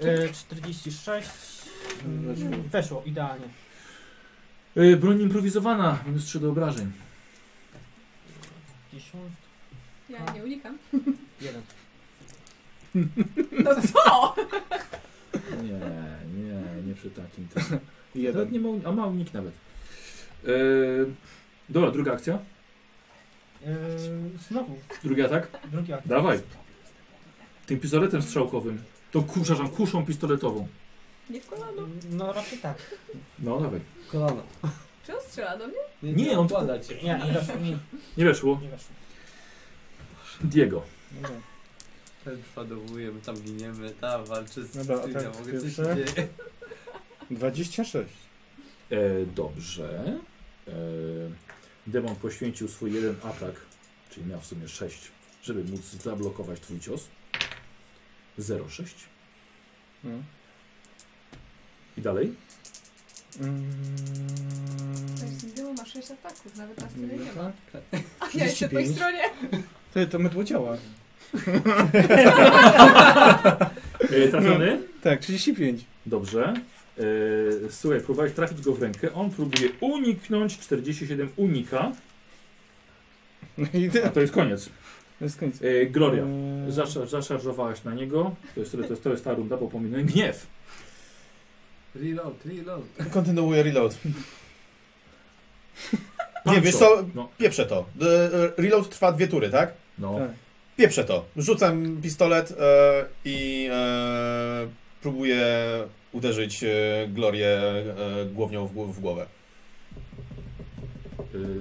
Speaker 5: Yy, 46. Yy, Weszło, idealnie.
Speaker 1: E, broń improwizowana, minus 3 do obrażeń.
Speaker 5: 50.
Speaker 3: Ja nie unikam.
Speaker 5: Jeden.
Speaker 3: No co?
Speaker 1: Nie, nie, nie przy takim. Tym. Nawet
Speaker 4: Jeden.
Speaker 1: nie ma, uni- a ma unik nawet. E, dobra, druga akcja.
Speaker 5: Yy, znowu,
Speaker 1: Drugi atak.
Speaker 5: drugi akt.
Speaker 1: Dawaj. Tym pistoletem strzałkowym. To kusza, kuszą pistoletową.
Speaker 3: Nie w kolano.
Speaker 5: No raczej tak.
Speaker 1: No dawaj.
Speaker 4: Kolano.
Speaker 3: Czy on strzela do mnie?
Speaker 1: Nie, on-
Speaker 4: Kłada cię.
Speaker 5: Nie, nie weszło. Nie,
Speaker 1: Nie weszło.
Speaker 5: nie weszło.
Speaker 1: Diego.
Speaker 6: Dobra.
Speaker 4: Ten przeładowujemy, tam giniemy, tam walczy z
Speaker 6: Dobra,
Speaker 4: tym,
Speaker 6: tak,
Speaker 4: ja mogę coś
Speaker 6: pierwszy.
Speaker 4: dzieje.
Speaker 6: 26.
Speaker 1: E, dobrze. E, demon poświęcił swój jeden atak, czyli miał w sumie 6, żeby móc zablokować twój cios. 0,6.
Speaker 5: No.
Speaker 6: Mm.
Speaker 1: I dalej?
Speaker 2: Mm.
Speaker 1: Mm.
Speaker 3: Właśnie, Dymo ma 6 ataków, nawet nas tyle nie ma.
Speaker 6: Tak?
Speaker 3: A ja jeszcze po tej
Speaker 6: 35.
Speaker 3: stronie.
Speaker 6: Ty, to mydło działa.
Speaker 1: E, trafiony?
Speaker 6: Tak, 35.
Speaker 1: Dobrze. E, słuchaj, próbowałeś trafić go w rękę. On próbuje uniknąć. 47 unika.
Speaker 6: No i
Speaker 1: A
Speaker 6: tyle.
Speaker 1: to jest koniec.
Speaker 6: To jest koniec.
Speaker 1: E, Gloria.
Speaker 6: Eee,
Speaker 1: Zaszar- Zaszarżowałaś na niego. To jest, to jest, to jest ta runda, bo pominąłem gniew.
Speaker 4: Reload, reload.
Speaker 2: Kontynuuję reload.
Speaker 1: Pancho.
Speaker 2: wiesz co?
Speaker 1: No,
Speaker 2: Pieprzę to. E, e, Reload trwa dwie tury, tak?
Speaker 1: no.
Speaker 6: Tak.
Speaker 2: Pieprzę to. Rzucam pistolet e, i e, próbuję uderzyć e, Glorię e, głownią w, głow- w głowę.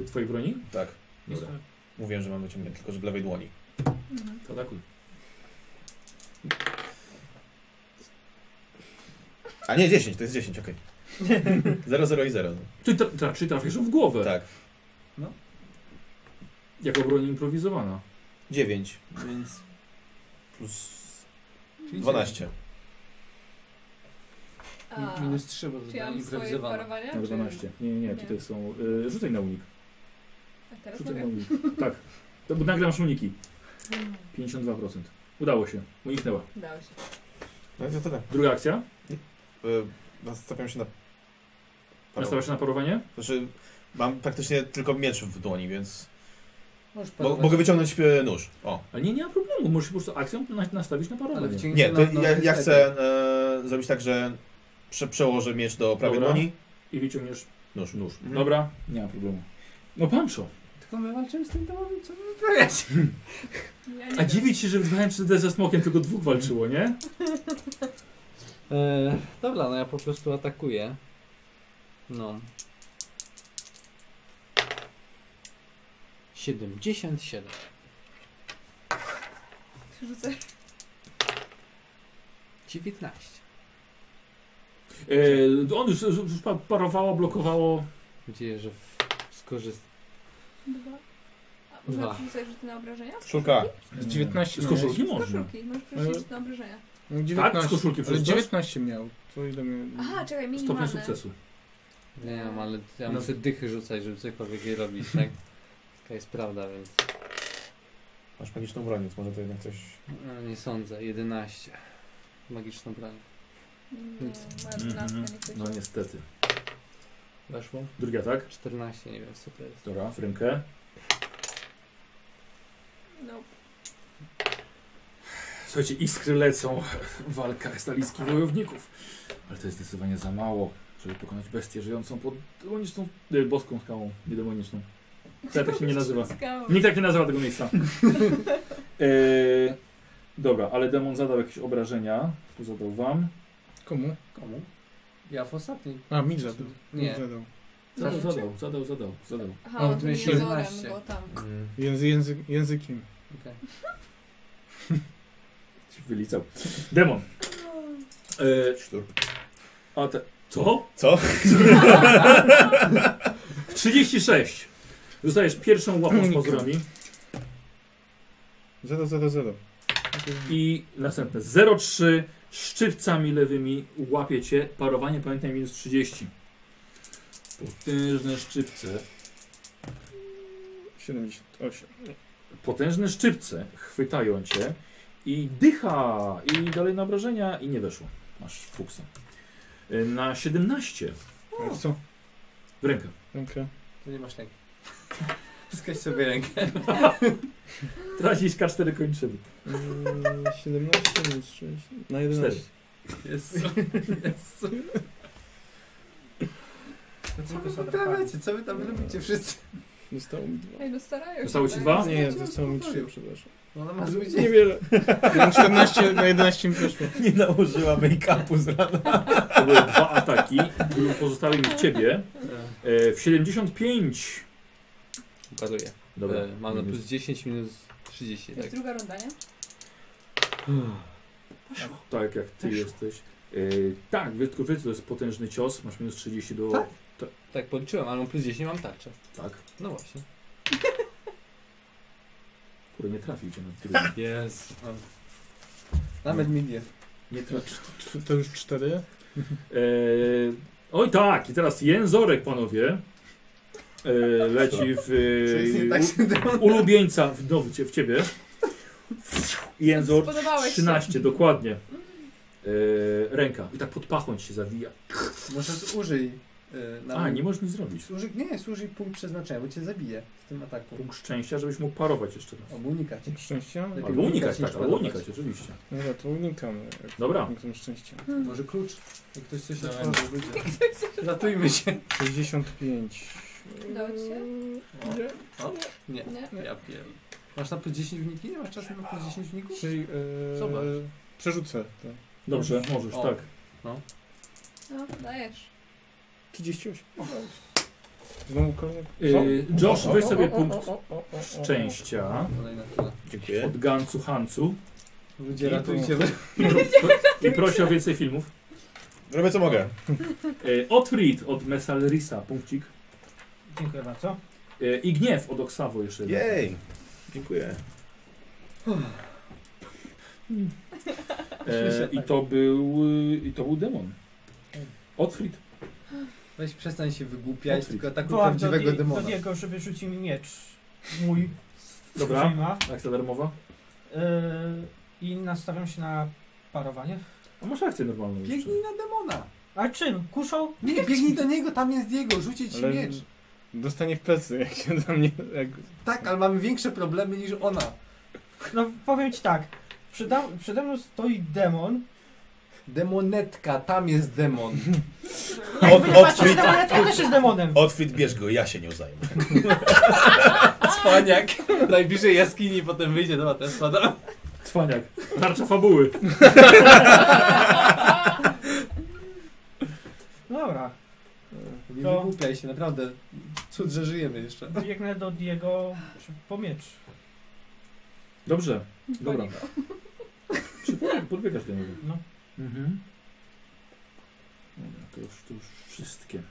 Speaker 1: E, twojej broni?
Speaker 2: Tak.
Speaker 1: Dobra.
Speaker 2: Mówiłem, że mam wyciągnięty, tylko że w lewej dłoni.
Speaker 3: Mhm.
Speaker 1: To atakuj.
Speaker 2: A nie, 10, to jest 10, okej. 0, 0 i 0.
Speaker 1: Ty tra tra czy trafisz w głowę?
Speaker 2: Tak.
Speaker 1: Jako broń improwizowana.
Speaker 2: 9, więc plus
Speaker 4: Czyli
Speaker 2: 12.
Speaker 3: A,
Speaker 4: Minus 3, bo
Speaker 3: Czy ja
Speaker 4: została
Speaker 3: mam swoje
Speaker 4: improwizowana.
Speaker 3: parowania?
Speaker 1: Na
Speaker 3: czy-
Speaker 1: 12. Nie, nie, nie, tutaj są. Y, rzucaj na unik.
Speaker 3: A teraz
Speaker 1: Rzucaj na
Speaker 3: mogę. Hmm.
Speaker 1: unik. Tak. To, bo nagle masz uniki. 52%. Udało się. Uniknęła.
Speaker 3: Udało się.
Speaker 2: No i to tyle.
Speaker 1: Druga akcja.
Speaker 2: Y, Stawiam się na...
Speaker 1: Nastawiasz się na parowanie?
Speaker 2: Znaczy, mam praktycznie tylko miecz w dłoni, więc
Speaker 4: Możesz
Speaker 2: mo
Speaker 4: parować.
Speaker 2: mogę wyciągnąć e, nóż. O.
Speaker 1: Ale nie, nie ma problemu. Możesz po prostu akcją na nastawić na
Speaker 4: Ale
Speaker 1: parowanie.
Speaker 4: wyciągnij
Speaker 2: Nie,
Speaker 4: się
Speaker 2: to
Speaker 4: na- na
Speaker 2: ja, ja
Speaker 4: lewą
Speaker 2: chcę e, zrobić tak, że prze przełożę miecz do prawej
Speaker 1: Dobra.
Speaker 2: dłoni.
Speaker 1: I wyciągniesz
Speaker 2: Nóż.
Speaker 1: nóż.
Speaker 2: Mhm.
Speaker 1: Dobra? Nie ma problemu. No Pancho.
Speaker 4: Tylko my walczymy z tym domowym, co my wyprawiać?
Speaker 3: Ja nie
Speaker 1: A
Speaker 3: wiem.
Speaker 1: dziwić się, że wybrałem 3D ze smokiem, tylko dwóch walczyło, nie?
Speaker 9: E, dobra, no ja po prostu atakuję. No. 77.
Speaker 3: Rzucę.
Speaker 9: 19.
Speaker 1: E, on już, już pa- parowało, blokowało.
Speaker 9: Mam nadzieję, że w- skorzyst...
Speaker 3: Dwa. A można
Speaker 9: Dwa.
Speaker 3: przerzucać rzuty na obrażenia?
Speaker 2: Szulka.
Speaker 6: Z 19
Speaker 1: Z
Speaker 6: miałeś.
Speaker 1: koszulki
Speaker 3: Z
Speaker 1: można.
Speaker 3: koszulki, możesz przerzucić rzuty na obrażenia.
Speaker 6: No, 19.
Speaker 1: Tak, z koszulki
Speaker 6: Ale
Speaker 1: przerzucasz?
Speaker 6: 19 miał. To ile miał?
Speaker 3: Aha, czekaj,
Speaker 1: Stopień
Speaker 3: minimalne.
Speaker 1: sukcesu.
Speaker 9: Nie wiem, ale ja
Speaker 1: No.
Speaker 9: muszę dychy rzucać, żeby cokolwiek je robić, tak? Taka jest prawda, więc...
Speaker 2: Masz magiczną broń, więc może to jednak coś...
Speaker 9: No, nie sądzę. 11. Magiczną broń.
Speaker 3: No, moja dwunastka
Speaker 1: Mhm.
Speaker 3: nie chce
Speaker 1: No niestety.
Speaker 9: Weszło?
Speaker 1: Drugi atak.
Speaker 9: 14, nie wiem co to jest.
Speaker 1: Dobra, w rękę.
Speaker 3: Nope.
Speaker 1: Słuchajcie, iskry lecą. Walka estalickich wojowników. Ale to jest zdecydowanie za mało, żeby pokonać bestię żyjącą pod demoniczną... e, boską skałą, nie demoniczną. To ja tak się nie nazywa.
Speaker 3: Skał.
Speaker 1: Nikt tak nie nazywa tego miejsca. e, dobra, ale demon zadał jakieś obrażenia. Tu zadał wam.
Speaker 6: Komu?
Speaker 4: Komu? Ja w ostatniej.
Speaker 6: A, mi zadał.
Speaker 9: Nie.
Speaker 6: Mi zadał.
Speaker 1: Zadał, zadał, zadał, zadał, zadał.
Speaker 3: Aha,
Speaker 16: O,
Speaker 3: on
Speaker 16: tu
Speaker 3: tym
Speaker 16: jest
Speaker 3: jezorem,
Speaker 16: 17.
Speaker 3: bo tam.
Speaker 17: Mm.
Speaker 2: Języ, język, językiem.
Speaker 16: Okej.
Speaker 1: Ci Wylicał. Demon. E,
Speaker 17: Sztur.
Speaker 1: a te... Co?
Speaker 17: Co?
Speaker 1: W 36. Dostajesz pierwszą łapą z pozorami
Speaker 2: Zero, zero, zero.
Speaker 1: i następne 0,3 szczypcami lewymi łapie cię. Parowanie pamiętaj minus 30. Potężne szczypce.
Speaker 2: 78.
Speaker 1: Potężne szczypce chwytają cię i dycha i dalej na obrażenia i nie weszło. Masz fuksa. E, Na 17
Speaker 2: A co?
Speaker 1: w rękę.
Speaker 2: Rękę.
Speaker 16: Tu nie masz ręki. Wskaź sobie rękę.
Speaker 1: Tracisz K4 kończyny.
Speaker 2: Mm, 17 minus 6. Na 11.
Speaker 1: Cztery.
Speaker 16: Jezu. Jezu. Co wy
Speaker 6: Wysoka
Speaker 16: wyprawiacie? Co wy tam robicie wszyscy?
Speaker 2: Zostało mi 2.
Speaker 3: Ej, no starają się.
Speaker 1: Zostało ci
Speaker 3: tak.
Speaker 1: dwa?
Speaker 2: Nie, zostało mi 3, przepraszam.
Speaker 16: Ona No, ma zły dzień.
Speaker 2: Niewiele. Na 14, na 11 mi wyszło.
Speaker 17: Nie nałożyła make-upu z rana.
Speaker 1: To były dwa ataki. Pozostały mi ciebie. E, W 75.
Speaker 16: Paruję.
Speaker 1: Dobra.
Speaker 16: E, Mam na
Speaker 1: Minus.
Speaker 16: plus 10, minus 30,
Speaker 3: Jest
Speaker 16: tak?
Speaker 3: druga runda, nie?
Speaker 1: Tak jak ty jesteś. E, tak, wy- tylko wiecie, to jest potężny cios. Masz minus 30 do.
Speaker 16: Tak? Tak, policzyłem, ale mam plus 10 mam tarczę.
Speaker 1: Tak.
Speaker 16: No właśnie.
Speaker 1: Kurde, nie trafił cię na drugi.
Speaker 16: Jest. Nawet mi nie.
Speaker 1: Nie trafił.
Speaker 2: To już 4.
Speaker 1: E, oj tak, i teraz jęzorek, panowie. E, leci w.
Speaker 16: Nie tak się
Speaker 1: e, ulubieńca w, do, w ciebie. Jęzor
Speaker 3: Spodobałeś się.
Speaker 1: 13, dokładnie. E, ręka. I tak pod pachą ci się zawija.
Speaker 4: Możesz użyj.
Speaker 16: e,
Speaker 4: y, na
Speaker 1: A, nie możesz nic zrobić.
Speaker 4: Służy, nie, służy punkt przeznaczenia, bo cię zabije w tym ataku.
Speaker 1: Punkt szczęścia, żebyś mógł parować jeszcze raz.
Speaker 4: Albo unikać.
Speaker 2: Szczęścia? No
Speaker 4: Lepiej
Speaker 1: Albo unikać, tak,
Speaker 4: niż
Speaker 1: albo
Speaker 4: parować.
Speaker 1: unikać, oczywiście.
Speaker 2: Dobra, to unikamy. jak-
Speaker 1: Dobra.
Speaker 2: Punktem szczęścia.
Speaker 4: Może klucz. Jak ktoś coś
Speaker 16: Dawaj.
Speaker 4: otworzył, wyjdzie. Ratujmy się.
Speaker 2: 65.
Speaker 3: Udało ci się?
Speaker 16: Nie.
Speaker 3: Nie.
Speaker 16: Ja pierdolę.
Speaker 4: Masz na plus 10 wniki? Nie masz czasu na plus 10 wników?
Speaker 2: Czyli... e,
Speaker 16: Zobacz.
Speaker 2: Przerzucę. Tak.
Speaker 1: Dobrze, możesz,
Speaker 16: O.
Speaker 1: tak.
Speaker 3: No, dajesz.
Speaker 2: 38. Znowu kolejny...
Speaker 1: Yy, Josh,
Speaker 2: O,
Speaker 1: weź
Speaker 2: o,
Speaker 1: sobie
Speaker 2: o, o,
Speaker 1: punkt
Speaker 2: o, o, o, o.
Speaker 1: szczęścia
Speaker 16: Kolejna tura.
Speaker 17: Dziękuję.
Speaker 1: od Gancu Hancu
Speaker 4: Ludzie,
Speaker 2: I
Speaker 4: ratujcie.
Speaker 1: i, i prosi o więcej filmów.
Speaker 17: Robię co mogę.
Speaker 1: Yy, Otfried od Mesalrisa, punkcik.
Speaker 6: Dziękuję bardzo.
Speaker 1: Yy, I Gniew od Oksawo jeszcze. jeden.
Speaker 17: Jej. Dziękuję.
Speaker 1: E, I to był, yy, i to był demon. Otfried.
Speaker 4: Weź przestań się wygłupiać, tylko atakuj
Speaker 6: Wołam do,
Speaker 4: prawdziwego
Speaker 6: Di- do
Speaker 4: demona.
Speaker 6: Diego, żeby rzucił mi miecz. Mój. z
Speaker 1: Dobra.
Speaker 6: Krzyma.
Speaker 1: Akcja darmowa.
Speaker 6: Yy, I nastawiam się na parowanie.
Speaker 1: A masz akcję normalną jeszcze.
Speaker 4: Biegnij na demona.
Speaker 6: A czym? Kuszą?
Speaker 4: Nie, biegnij do niego, tam jest Diego, rzucię ci
Speaker 2: Ale-
Speaker 4: miecz.
Speaker 2: Dostanie w plecy, jak się do mnie... Jak...
Speaker 4: Tak, ale mamy większe problemy niż ona.
Speaker 6: No powiem ci tak. Przeda, przede mną stoi demon.
Speaker 4: Demonetka, tam jest demon.
Speaker 17: Od,
Speaker 6: Jakby nie patrzeć,
Speaker 17: Otfrid,
Speaker 6: demon, ja też jest demonem.
Speaker 17: Otfrid, bierz go, ja się nią zajmę.
Speaker 16: Cwaniak. Najbliżej jaskini, potem wyjdzie do ten spada.
Speaker 1: Cwaniak. Tarcza fabuły.
Speaker 6: Dobra.
Speaker 4: Nie
Speaker 6: To-
Speaker 4: wygłupiaj się, naprawdę. Cud, że żyjemy jeszcze.
Speaker 6: Biegnę do Diego po miecz.
Speaker 1: Dobrze. Dobra. Czy podbieg- podbiegasz do niego?
Speaker 6: No.
Speaker 1: Mhm. Dobra, to już, to już wszystkie.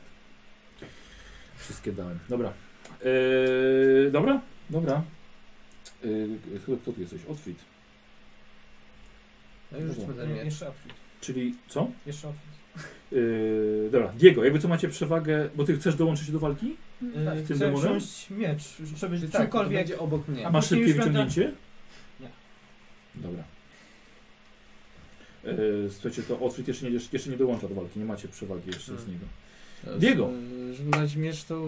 Speaker 1: Wszystkie dałem. Dobra. Eee, dobra, dobra. Eee, kto- kto ty jesteś? Otwit.
Speaker 16: No już rzućmy ten
Speaker 6: Nie,
Speaker 16: miecz.
Speaker 6: Jeszcze outfit.
Speaker 1: Czyli co?
Speaker 6: Jeszcze outfit.
Speaker 1: Eee, dobra, Diego, jakby co macie przewagę, bo ty chcesz dołączyć się do walki?
Speaker 6: Yy,
Speaker 3: Mm.
Speaker 4: Tak,
Speaker 1: tym
Speaker 6: chcę
Speaker 1: demonem?
Speaker 6: wziąć miecz, żeby
Speaker 4: Tak, to
Speaker 6: czymkolwiek...
Speaker 4: będzie obok mnie.
Speaker 6: A
Speaker 1: Masz
Speaker 6: później
Speaker 1: szybkie
Speaker 6: już będę-
Speaker 1: wyciągnięcie?
Speaker 6: Nie.
Speaker 1: Dobra. Eee, słuchajcie, to Otwit jeszcze nie, jeszcze nie dołącza do walki, nie macie przewagi jeszcze z
Speaker 4: Hmm.
Speaker 1: niego.
Speaker 2: E,
Speaker 1: Diego.
Speaker 2: Żeby dać miecz, to...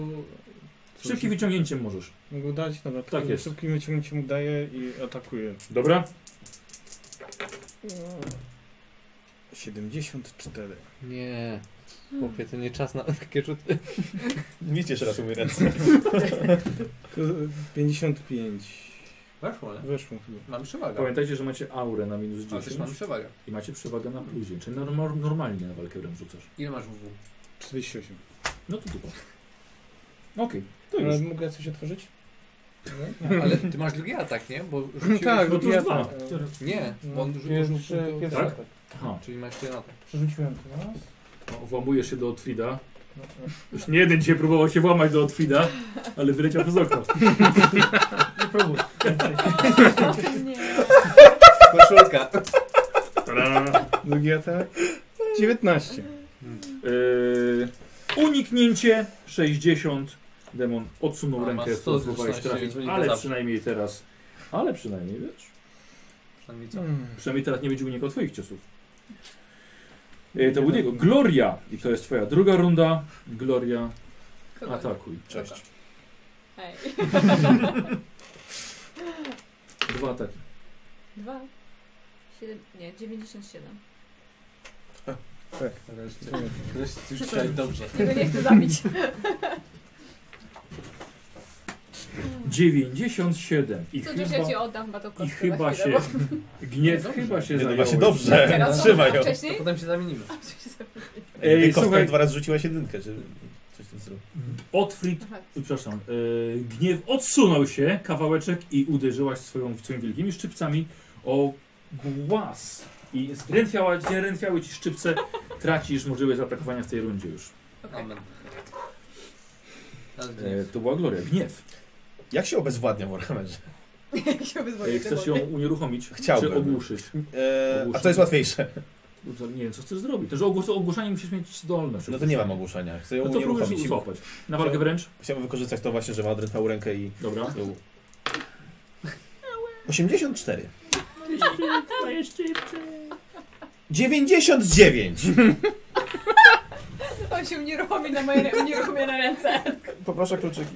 Speaker 2: cóż,
Speaker 1: Szybkim wyciągnięciem możesz.
Speaker 2: Mogę dać, dobra.
Speaker 1: Tak
Speaker 2: to
Speaker 1: jest.
Speaker 2: Szybkim wyciągnięciem udaję i atakuję.
Speaker 1: Dobra?
Speaker 2: 74.
Speaker 16: Nie.
Speaker 6: Y,
Speaker 16: Chłopie, to nie czas na takie rzuty.
Speaker 17: Nic jeszcze raz umie ręce.
Speaker 2: To 55.
Speaker 4: Weszło, nie?
Speaker 2: Weszło chyba.
Speaker 4: Mam przewagę.
Speaker 1: Pamiętajcie, że macie aurę na minus
Speaker 4: A, też
Speaker 1: 10
Speaker 4: mam przewagę.
Speaker 1: i macie przewagę na plusie, czyli norm- normalnie na walkę wręcz rzucasz.
Speaker 4: Ile masz WW?
Speaker 2: 48.
Speaker 1: No to tylko. Okej,
Speaker 4: No
Speaker 1: to już.
Speaker 18: Ale mogę coś otworzyć?
Speaker 4: Ale ty masz drugi atak, nie? Bo rzuciłeś...
Speaker 18: Tak,
Speaker 1: no
Speaker 18: bo
Speaker 1: to
Speaker 18: to
Speaker 1: już
Speaker 18: ja
Speaker 1: dwa.
Speaker 18: tak.
Speaker 6: Który?
Speaker 4: Nie, bo on rzu- rzucił...
Speaker 18: Pierwszy,
Speaker 4: tylko-
Speaker 18: pierwszy
Speaker 1: tak?
Speaker 18: atak.
Speaker 1: Aha,
Speaker 4: Czyli masz ten atak.
Speaker 18: Przerzuciłem to raz.
Speaker 1: no, włamuje się do Otwida.
Speaker 18: No, tak.
Speaker 1: Już nie jeden dzisiaj próbował się włamać do Otwida, ale wyleciał przez okno.
Speaker 6: Nie próbuj.
Speaker 3: Nie.
Speaker 4: Koszulka.
Speaker 1: Tada.
Speaker 18: Drugi atak. 19.
Speaker 1: Yy, uniknięcie 60. Demon odsunął
Speaker 4: A, ma
Speaker 1: rękę,
Speaker 4: 100
Speaker 1: próbowałeś
Speaker 4: zręczności,
Speaker 1: trafić,
Speaker 4: więc będzie
Speaker 1: ale
Speaker 4: zawsze.
Speaker 1: przynajmniej teraz. Ale przynajmniej wiesz.
Speaker 4: Przynajmniej co?
Speaker 18: Hmm.
Speaker 1: Przynajmniej teraz nie będzie unikał twoich ciosów. Yy, to był jego. Gloria! I to jest twoja druga runda. Gloria,
Speaker 4: Tak.
Speaker 1: atakuj.
Speaker 2: Cześć.
Speaker 3: Hej.
Speaker 1: Dwa ataki.
Speaker 3: Dwa. Siedem. Nie, 97.
Speaker 4: Wreszcie. Wreszcie już chciałeś dobrze.
Speaker 3: Tego nie chcę zabić.
Speaker 1: 97. I
Speaker 3: Co
Speaker 1: chyba,
Speaker 3: też ja ci oddam chyba tą
Speaker 1: i
Speaker 3: kostkę na
Speaker 1: chyba się.
Speaker 3: chwilę, bo
Speaker 1: Gniew
Speaker 4: Dobrze.
Speaker 1: chyba się
Speaker 2: Nie, to
Speaker 1: zająłeś.
Speaker 2: właśnie dobrze.
Speaker 3: Teraz
Speaker 2: Trzymaj ją.
Speaker 4: To
Speaker 3: wcześniej.
Speaker 4: potem się zamienimy.
Speaker 3: A, co się zabiło?
Speaker 1: Ej,
Speaker 2: Ej,
Speaker 1: słuchaj,
Speaker 2: dwa razy rzuciłaś jedynkę, czy coś w tym stylu.
Speaker 1: Otfrid
Speaker 3: Aha.
Speaker 1: Y, Przepraszam, y, gniew odsunął się kawałeczek i uderzyłaś swoją, swoimi wielkimi szczypcami o głaz. I zdrętwiała, zdrętwiały ci szczypce, tracisz możliwość zaatakowania w tej rundzie już.
Speaker 3: Okej.
Speaker 4: Amen. Ale
Speaker 1: E,
Speaker 4: gniew.
Speaker 1: to była Gloria, gniew.
Speaker 2: Jak się obezwładnia Warhammerze?
Speaker 3: Jak się
Speaker 1: E,
Speaker 3: wyzwolić?
Speaker 1: chcesz ją unieruchomić?
Speaker 2: Chciałbym.
Speaker 1: Czy ogłuszyć?
Speaker 2: Eee, a
Speaker 1: Ogłuszenie.
Speaker 2: to jest łatwiejsze.
Speaker 1: No to Nie wiem, co chcesz zrobić. Też ogłus ogłuszanie musisz mieć zdolne.
Speaker 2: No to nie mam ogłuszenia. Chcę ją
Speaker 1: No to próbujesz
Speaker 2: unieruchomić.
Speaker 1: jej złapać. Na walkę wręcz?
Speaker 2: Chciałbym wykorzystać to właśnie, że ma odrętałą rękę i...
Speaker 1: Dobra.
Speaker 2: ją- 84. 99!
Speaker 3: On się unieruchomi na moje rę- unieruchomia na ręce.
Speaker 18: Poproszę kluczyki.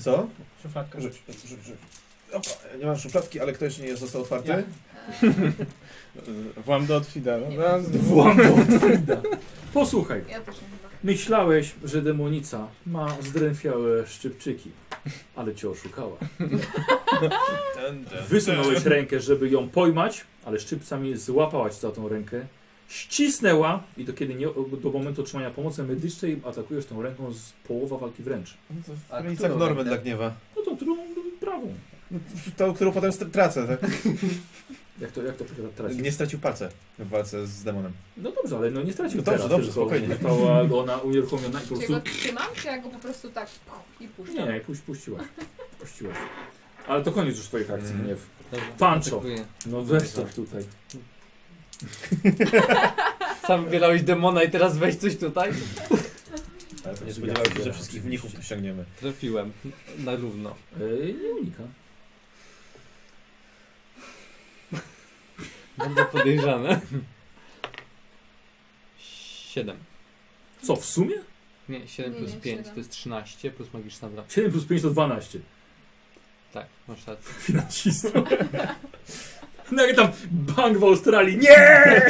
Speaker 2: Co?
Speaker 6: Szufladka.
Speaker 2: Rzuć, rzuć, rzuć. rzuć. Opa, nie mam szufladki, ale ktoś nie został otwarty.
Speaker 6: Ja.
Speaker 18: Włam do Otwida.
Speaker 3: Nie.
Speaker 18: Raz, dwa.
Speaker 1: Włamał Otfrida. Posłuchaj.
Speaker 3: Ja też nie chyba.
Speaker 1: Myślałeś, że demonica ma zdrętwiałe szczypczyki, ale cię oszukała. Wysunąłeś rękę, żeby ją pojmać, ale szczypcami złapałaś za tą rękę, ścisnęła i do, kiedy nie, do momentu otrzymania pomocy medycznej atakujesz tą ręką z połowa walki wręcz.
Speaker 4: A
Speaker 2: No i tak
Speaker 4: którą
Speaker 2: Norman
Speaker 4: rękę?
Speaker 2: tak gniewa.
Speaker 1: No to którą prawą?
Speaker 2: Tą, którą potem str- tracę, tak?
Speaker 1: Jak to, jak to teraz?
Speaker 2: Nie stracił palce w walce z demonem.
Speaker 1: No dobrze, ale no nie stracił
Speaker 2: No dobrze,
Speaker 1: teraz,
Speaker 2: dobrze,
Speaker 1: tylko
Speaker 2: spokojnie.
Speaker 1: Została go ona unieruchomiona i po
Speaker 3: Czy
Speaker 1: prostu
Speaker 3: ja go trzymam, czy ja go po prostu tak puch, i puszczam?
Speaker 1: nie, puś, puściłaś. Puściłaś. Ale to koniec już twoich akcji,
Speaker 2: Mhm.
Speaker 1: nie.
Speaker 4: Dobra,
Speaker 1: Pancho.
Speaker 4: dziękuję.
Speaker 1: No weź to
Speaker 2: Tak.
Speaker 1: tutaj.
Speaker 4: Sam wybierałeś demona i teraz weź coś tutaj?
Speaker 2: Ale to nie spodziewałem się, że wszystkich mnichów tu ściągniemy.
Speaker 4: Trafiłem. Na równo.
Speaker 1: Yy, nie unika.
Speaker 4: Bardzo podejrzane. Siedem.
Speaker 1: Co, w sumie?
Speaker 4: Nie, 7
Speaker 3: Nie,
Speaker 4: plus
Speaker 3: nie,
Speaker 4: 5
Speaker 3: siedem.
Speaker 4: to jest 13 plus magiczna broń.
Speaker 1: 7 plus 5 to 12.
Speaker 4: Tak, masz rację.
Speaker 1: Finansista. Nagle No tam bank w Australii. Nie!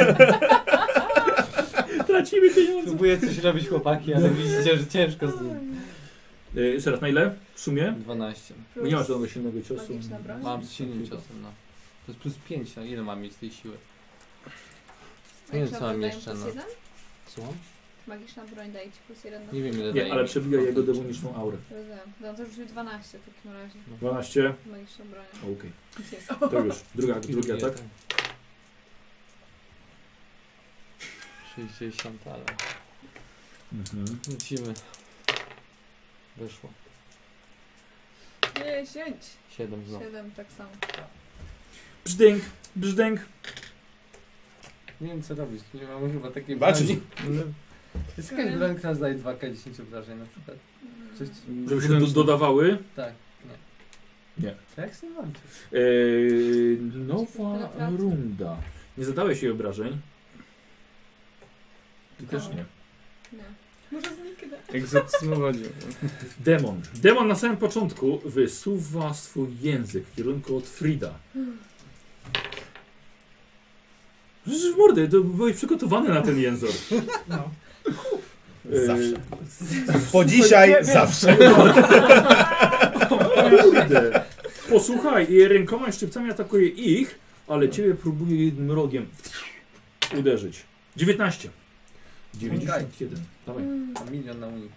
Speaker 1: Tracimy pieniądze.
Speaker 4: Próbuję coś robić chłopaki, ale widzicie, że ciężko z nim.
Speaker 1: Yy, jeszcze raz, na ile? W sumie?
Speaker 4: 12.
Speaker 1: Bo nie masz żadnego silnego ciosu.
Speaker 3: magiczna broń.
Speaker 4: Mam z silnym ciosem, no. To jest plus 5, no ile mam mieć tej siły?
Speaker 3: Magiczna
Speaker 4: Nie wiem, co mam
Speaker 3: broń daje
Speaker 4: jeszcze,
Speaker 3: plus
Speaker 4: no.
Speaker 3: jeden?
Speaker 4: Słucham?
Speaker 3: Magiczna broń daje ci plus jeden.
Speaker 4: Nie wiem ile daje
Speaker 1: Nie, ale
Speaker 4: mi.
Speaker 1: przebija jego demoniczną aurę.
Speaker 3: Rozumiem. No to rzucił 12 w takim razie.
Speaker 1: 12.
Speaker 3: Magiczna broń.
Speaker 1: Okej.
Speaker 3: Nic jest.
Speaker 1: To już. Druga, drugi atak.
Speaker 4: tak. 60, ale
Speaker 1: Mhm.
Speaker 4: lecimy. Wyszło.
Speaker 3: 10.
Speaker 4: 7 znowu.
Speaker 3: 7 tak samo.
Speaker 1: Brzdęk, brzdęk.
Speaker 4: Nie wiem co robić, nie mam chyba takiej
Speaker 2: Walczyć.
Speaker 4: broni. Jest jakaś broń, która zdaje 2k10 obrażeń na przykład. Coś...
Speaker 1: Żeby się do, dodawały.
Speaker 4: Tak, nie.
Speaker 1: Nie.
Speaker 4: To Jak z tym walczyć?
Speaker 1: Yy, nowa runda. Nie zadałeś jej obrażeń. Ty też nie.
Speaker 3: No. Może zniknę.
Speaker 18: Egzorcyzmowadził.
Speaker 1: Demon. Demon na samym początku wysuwa swój język w kierunku od Frida. Rzecz w mordę, to byłeś przygotowany na ten język.
Speaker 6: No.
Speaker 2: Zawsze. Po
Speaker 1: No
Speaker 2: dzisiaj zawsze.
Speaker 1: Kurde. Posłuchaj, i rękoma i szczypcami atakuje ich, ale ciebie próbuje jednym rogiem uderzyć. 19. 91. Dawaj.
Speaker 3: Mm.
Speaker 4: A milion na Unii.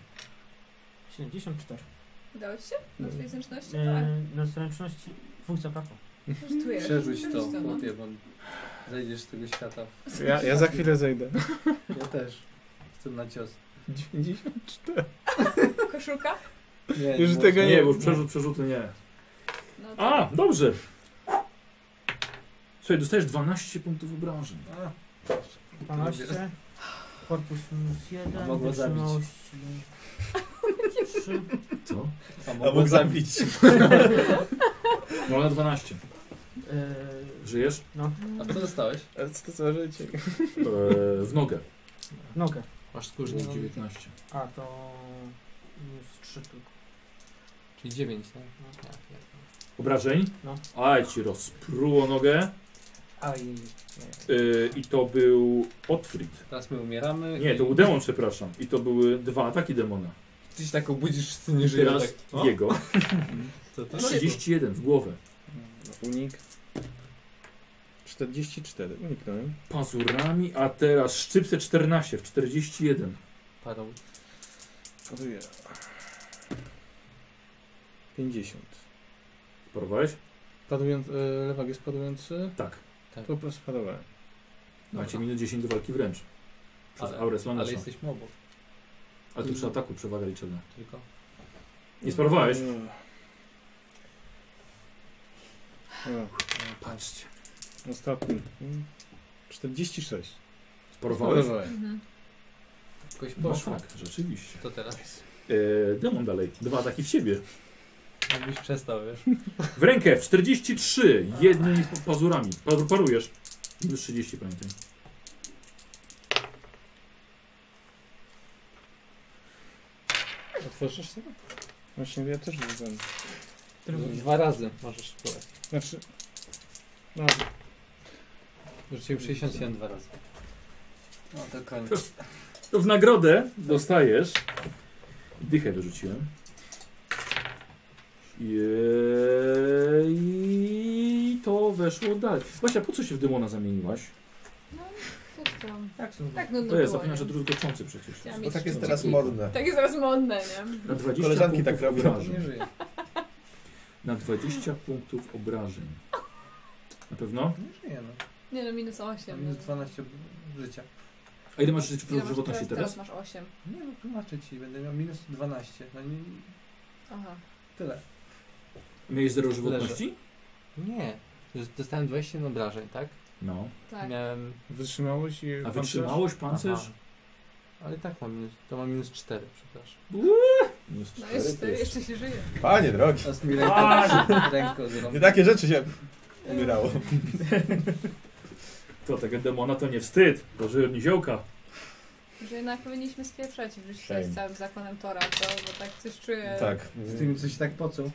Speaker 5: 74.
Speaker 3: Udało ci się? Na twojej zręczności? Tak.
Speaker 5: E, na zręczności funkcja prawa.
Speaker 3: Rzutuję.
Speaker 4: Przerzuć to,
Speaker 3: Rzuć no.
Speaker 4: chłopie, bo zejdziesz z tego świata.
Speaker 6: Ja, ja za chwilę zejdę.
Speaker 4: Ja też. Chcę na cios.
Speaker 6: 94.
Speaker 3: Koszulka?
Speaker 4: Nie,
Speaker 6: Już
Speaker 4: może-
Speaker 6: tego
Speaker 1: Nie, bo już przerzut, przerzuty nie.
Speaker 3: No to...
Speaker 1: A, dobrze. Słuchaj, dostajesz 12 punktów obrażeń.
Speaker 4: A,
Speaker 5: 12. Korpus minus
Speaker 4: A
Speaker 5: 1.
Speaker 4: mogło zabić.
Speaker 5: Wytrzymałości. 3.
Speaker 1: Co?
Speaker 4: a
Speaker 2: A
Speaker 4: mogę
Speaker 2: mógł
Speaker 4: zabić.
Speaker 2: zabić.
Speaker 1: No na 12.
Speaker 5: E,
Speaker 1: Żyjesz?
Speaker 4: A co dostałeś?
Speaker 6: Ale co to za życie?
Speaker 1: Eee, w nogę.
Speaker 5: nogę.
Speaker 9: No. Masz skórznik.
Speaker 4: No.
Speaker 1: Później 19.
Speaker 5: A to minus 3 tylko.
Speaker 9: Czyli 9, tak?
Speaker 5: No.
Speaker 9: Ja pierdolę.
Speaker 1: Obrażeń?
Speaker 5: No.
Speaker 1: Aj ci rozpruło nogę.
Speaker 5: Aj.
Speaker 1: Eee, I to był Otfrid.
Speaker 4: Teraz my umieramy.
Speaker 1: Nie, to był demon, przepraszam. I to były dwa ataki demona.
Speaker 4: Ty się tak obudzisz, wszyscy nie żyją.
Speaker 1: Teraz
Speaker 4: tak. O,
Speaker 1: jego.
Speaker 4: co to?
Speaker 1: 31 w głowę.
Speaker 6: Unik. 44. Uniknąłem.
Speaker 1: Pazurami, a teraz szczypce 14 w 41.
Speaker 9: Parą.
Speaker 6: Koduję. 50.
Speaker 1: Porwałeś?
Speaker 6: Padując, e, lewak jest padujący.
Speaker 1: Tak.
Speaker 6: Po prostu padowałem.
Speaker 1: Macie minus 10 do walki wręcz. Przez
Speaker 9: Ale-
Speaker 1: aurę
Speaker 9: Ale
Speaker 1: słoneczną.
Speaker 9: jesteśmy obok
Speaker 1: Ale tu przy ataku przewaga liczebna.
Speaker 9: tylko.
Speaker 1: Nie sparowałeś?
Speaker 2: Mm.
Speaker 6: No. E,
Speaker 1: Patrzcie.
Speaker 6: Ostatni. Mm. 46.
Speaker 1: Sparowałeś?
Speaker 3: Mhm.
Speaker 4: Jakoś
Speaker 1: No
Speaker 4: poszło.
Speaker 1: tak, rzeczywiście.
Speaker 9: To teraz.
Speaker 1: Eee, demon dalej. Dwa ataki w siebie.
Speaker 4: Jakbyś przestał, wiesz.
Speaker 1: W rękę w 43. Jednymi pa- pazurami. Pa- Parujesz. Minus 30 pamiętaj.
Speaker 9: Otworzysz sobie?
Speaker 6: Właśnie ja też widzę.
Speaker 9: Dwa razy możesz spróbować.
Speaker 6: Znaczy. No,
Speaker 9: Rzuciłem 67 dwa razy.
Speaker 4: No to koniec.
Speaker 1: To w nagrodę dostajesz. Dychę wyrzuciłem. e, I to weszło dalej. Właśnie, a po co się w demona zamieniłaś?
Speaker 3: Tak to.
Speaker 5: Tak są.
Speaker 3: Tak nudno
Speaker 1: To jest
Speaker 3: było,
Speaker 1: zapewne, że
Speaker 3: nie?
Speaker 1: druzgoczący przecież.
Speaker 3: Chciałam
Speaker 2: Bo
Speaker 3: mieć-
Speaker 2: tak jest teraz modne.
Speaker 3: Tak jest teraz modne, nie?
Speaker 1: Na 20
Speaker 2: Koleżanki tak
Speaker 1: punktów
Speaker 2: robią.
Speaker 1: obrażeń.
Speaker 4: Nie żyje.
Speaker 1: Na 20 punktów obrażeń. Na pewno?
Speaker 4: Nie żyje, no.
Speaker 3: Nie no, minus 8.
Speaker 4: Minus 12 życia.
Speaker 1: A ile masz żyć
Speaker 3: Ile masz
Speaker 1: żywotności
Speaker 3: teraz? Teraz
Speaker 1: teraz?
Speaker 3: masz 8.
Speaker 4: Nie no, tłumaczę ci. Będę miał minus 12. No nie,
Speaker 3: Aha.
Speaker 4: tyle.
Speaker 1: Miałeś 0 żywotności?
Speaker 9: Nie. Dostałem 21 obrażeń, tak?
Speaker 1: No.
Speaker 3: Tak.
Speaker 9: Miałem.
Speaker 6: wytrzymałość i.
Speaker 1: A
Speaker 6: pancerz?
Speaker 1: wytrzymałość, pancerz?
Speaker 9: Aha. Ale i tak mam minus. To mam minus 4, przepraszam.
Speaker 1: Minus
Speaker 3: No
Speaker 1: cztery to
Speaker 3: jest 4,
Speaker 1: jest-
Speaker 3: jeszcze się żyje.
Speaker 2: Panie drogi.
Speaker 4: Teraz mi ręką, ręką
Speaker 2: Nie
Speaker 4: zrobię.
Speaker 1: tak-
Speaker 2: takie rzeczy się umierało.
Speaker 1: To tego demona to nie wstyd. Dożyłem niziołka.
Speaker 3: Że jednak powinniśmy spieprzać w życiu
Speaker 2: Shame.
Speaker 3: z całym zakonem Tora, to, bo tak coś czuję.
Speaker 2: Tak.
Speaker 4: Z tymi, co się tak pocą.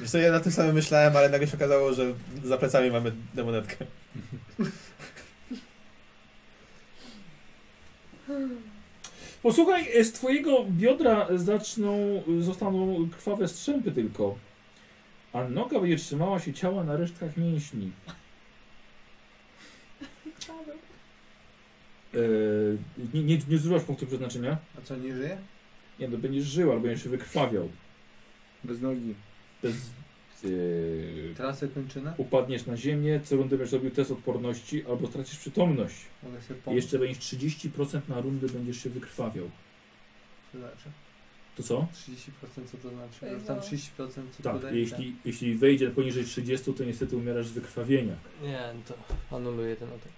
Speaker 2: Wiesz co, ja na tym samym myślałem, ale nagle się okazało, że za plecami mamy demonetkę.
Speaker 1: Posłuchaj, z twojego biodra zaczną, zostaną krwawe strzępy tylko. A noga będzie trzymała się ciała na resztkach mięśni. Eee, nie, nie, nie zużywasz punktu przeznaczenia?
Speaker 4: A co, nie żyje?
Speaker 1: Nie, to będziesz żył, albo będziesz się wykrwawiał.
Speaker 6: Bez nogi.
Speaker 1: Bez, eee,
Speaker 4: Trasę kończynę?
Speaker 1: upadniesz na ziemię, co rundę będziesz robił test odporności, albo stracisz przytomność.
Speaker 4: Mogę sobie
Speaker 1: I
Speaker 4: pomóc.
Speaker 1: jeszcze będziesz 30% na rundę będziesz się wykrwawiał.
Speaker 4: Co to znaczy?
Speaker 1: To co?
Speaker 4: 30% co to znaczy?
Speaker 3: To jest
Speaker 4: Że tam
Speaker 3: mało.
Speaker 4: 30% co
Speaker 1: Tak,
Speaker 4: tutaj?
Speaker 1: jeśli, jeśli wejdzie poniżej 30, to niestety umierasz z wykrwawienia.
Speaker 4: tak.
Speaker 9: Nie, no to anuluję ten atak.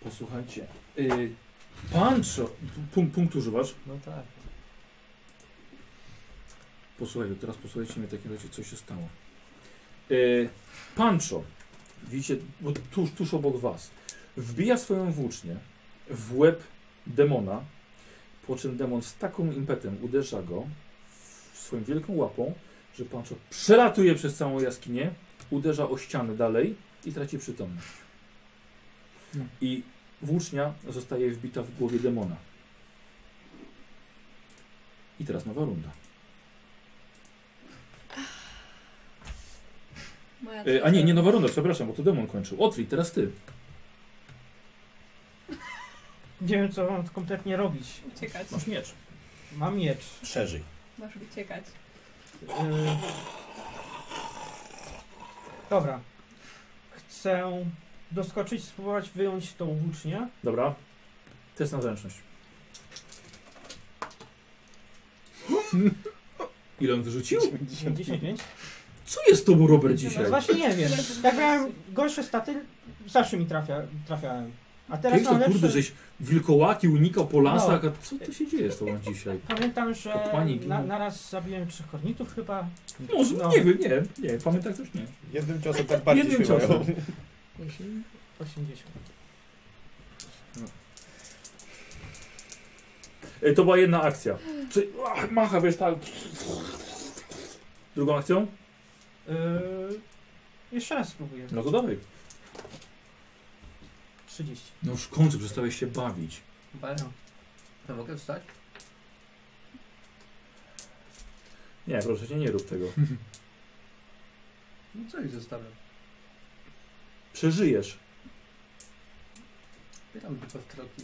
Speaker 1: Posłuchajcie. Y, Pancho, pun- punkt używasz?
Speaker 4: No tak.
Speaker 1: Posłuchajcie, teraz posłuchajcie mnie w takim razie, co się stało. Y, Pancho, widzicie, bo tuż, tuż obok was, wbija swoją włócznię w łeb demona, po czym demon z takim impetem uderza go w- swoją wielką łapą, że Pancho przelatuje przez całą jaskinię, uderza o ścianę dalej i traci przytomność.
Speaker 6: No.
Speaker 1: I włócznia zostaje wbita w głowie demona. I teraz nowa runda.
Speaker 3: Moja
Speaker 1: Y, E, a nie, nie nowa runda, przepraszam, bo to demon kończył. Otwij, teraz ty.
Speaker 5: Nie wiem, co mam kompletnie robić.
Speaker 3: Uciekać.
Speaker 1: Masz miecz.
Speaker 5: Mam miecz.
Speaker 2: Przeżyj.
Speaker 3: Masz uciekać.
Speaker 5: Yy... Dobra. Chcę doskoczyć, spróbować wyjąć tą włócznię.
Speaker 1: Dobra. Test na zręczność. Ile on wyrzucił?
Speaker 5: 95.
Speaker 1: Co jest z tobą, Robert,
Speaker 5: No
Speaker 1: dzisiaj?
Speaker 5: właśnie nie wiem. Jak miałem gorsze staty, zawsze mi trafia, trafiałem. A teraz
Speaker 1: Jak to
Speaker 5: mam lepsze... No.
Speaker 1: kurde, żeś wilkołaki unikał po lasach, a co to się dzieje z tobą dzisiaj?
Speaker 5: Pamiętam,
Speaker 1: To
Speaker 5: że
Speaker 1: pani ginie.
Speaker 5: na, naraz zabiłem trzech kornitów chyba.
Speaker 1: Może,
Speaker 5: No.
Speaker 1: nie wiem, nie, nie, pamiętam też nie.
Speaker 2: Jednym ciosem tak bardziej
Speaker 1: Jednym
Speaker 2: śpiewają.
Speaker 1: ciosem.
Speaker 5: 80.
Speaker 1: E, To była jedna akcja. Czy, ach, macha, wiesz, tak... Drugą akcją?
Speaker 5: Yy... Jeszcze raz spróbuję.
Speaker 1: No to dawaj.
Speaker 5: 30.
Speaker 1: No już w końcu przestałeś się bawić.
Speaker 6: No.
Speaker 4: Bardzo. To mogę wstać?
Speaker 1: Nie, proszę cię, nie rób tego.
Speaker 4: No co ich zostawiam?
Speaker 1: Przeżyjesz.
Speaker 4: Pytam tylko w kroki.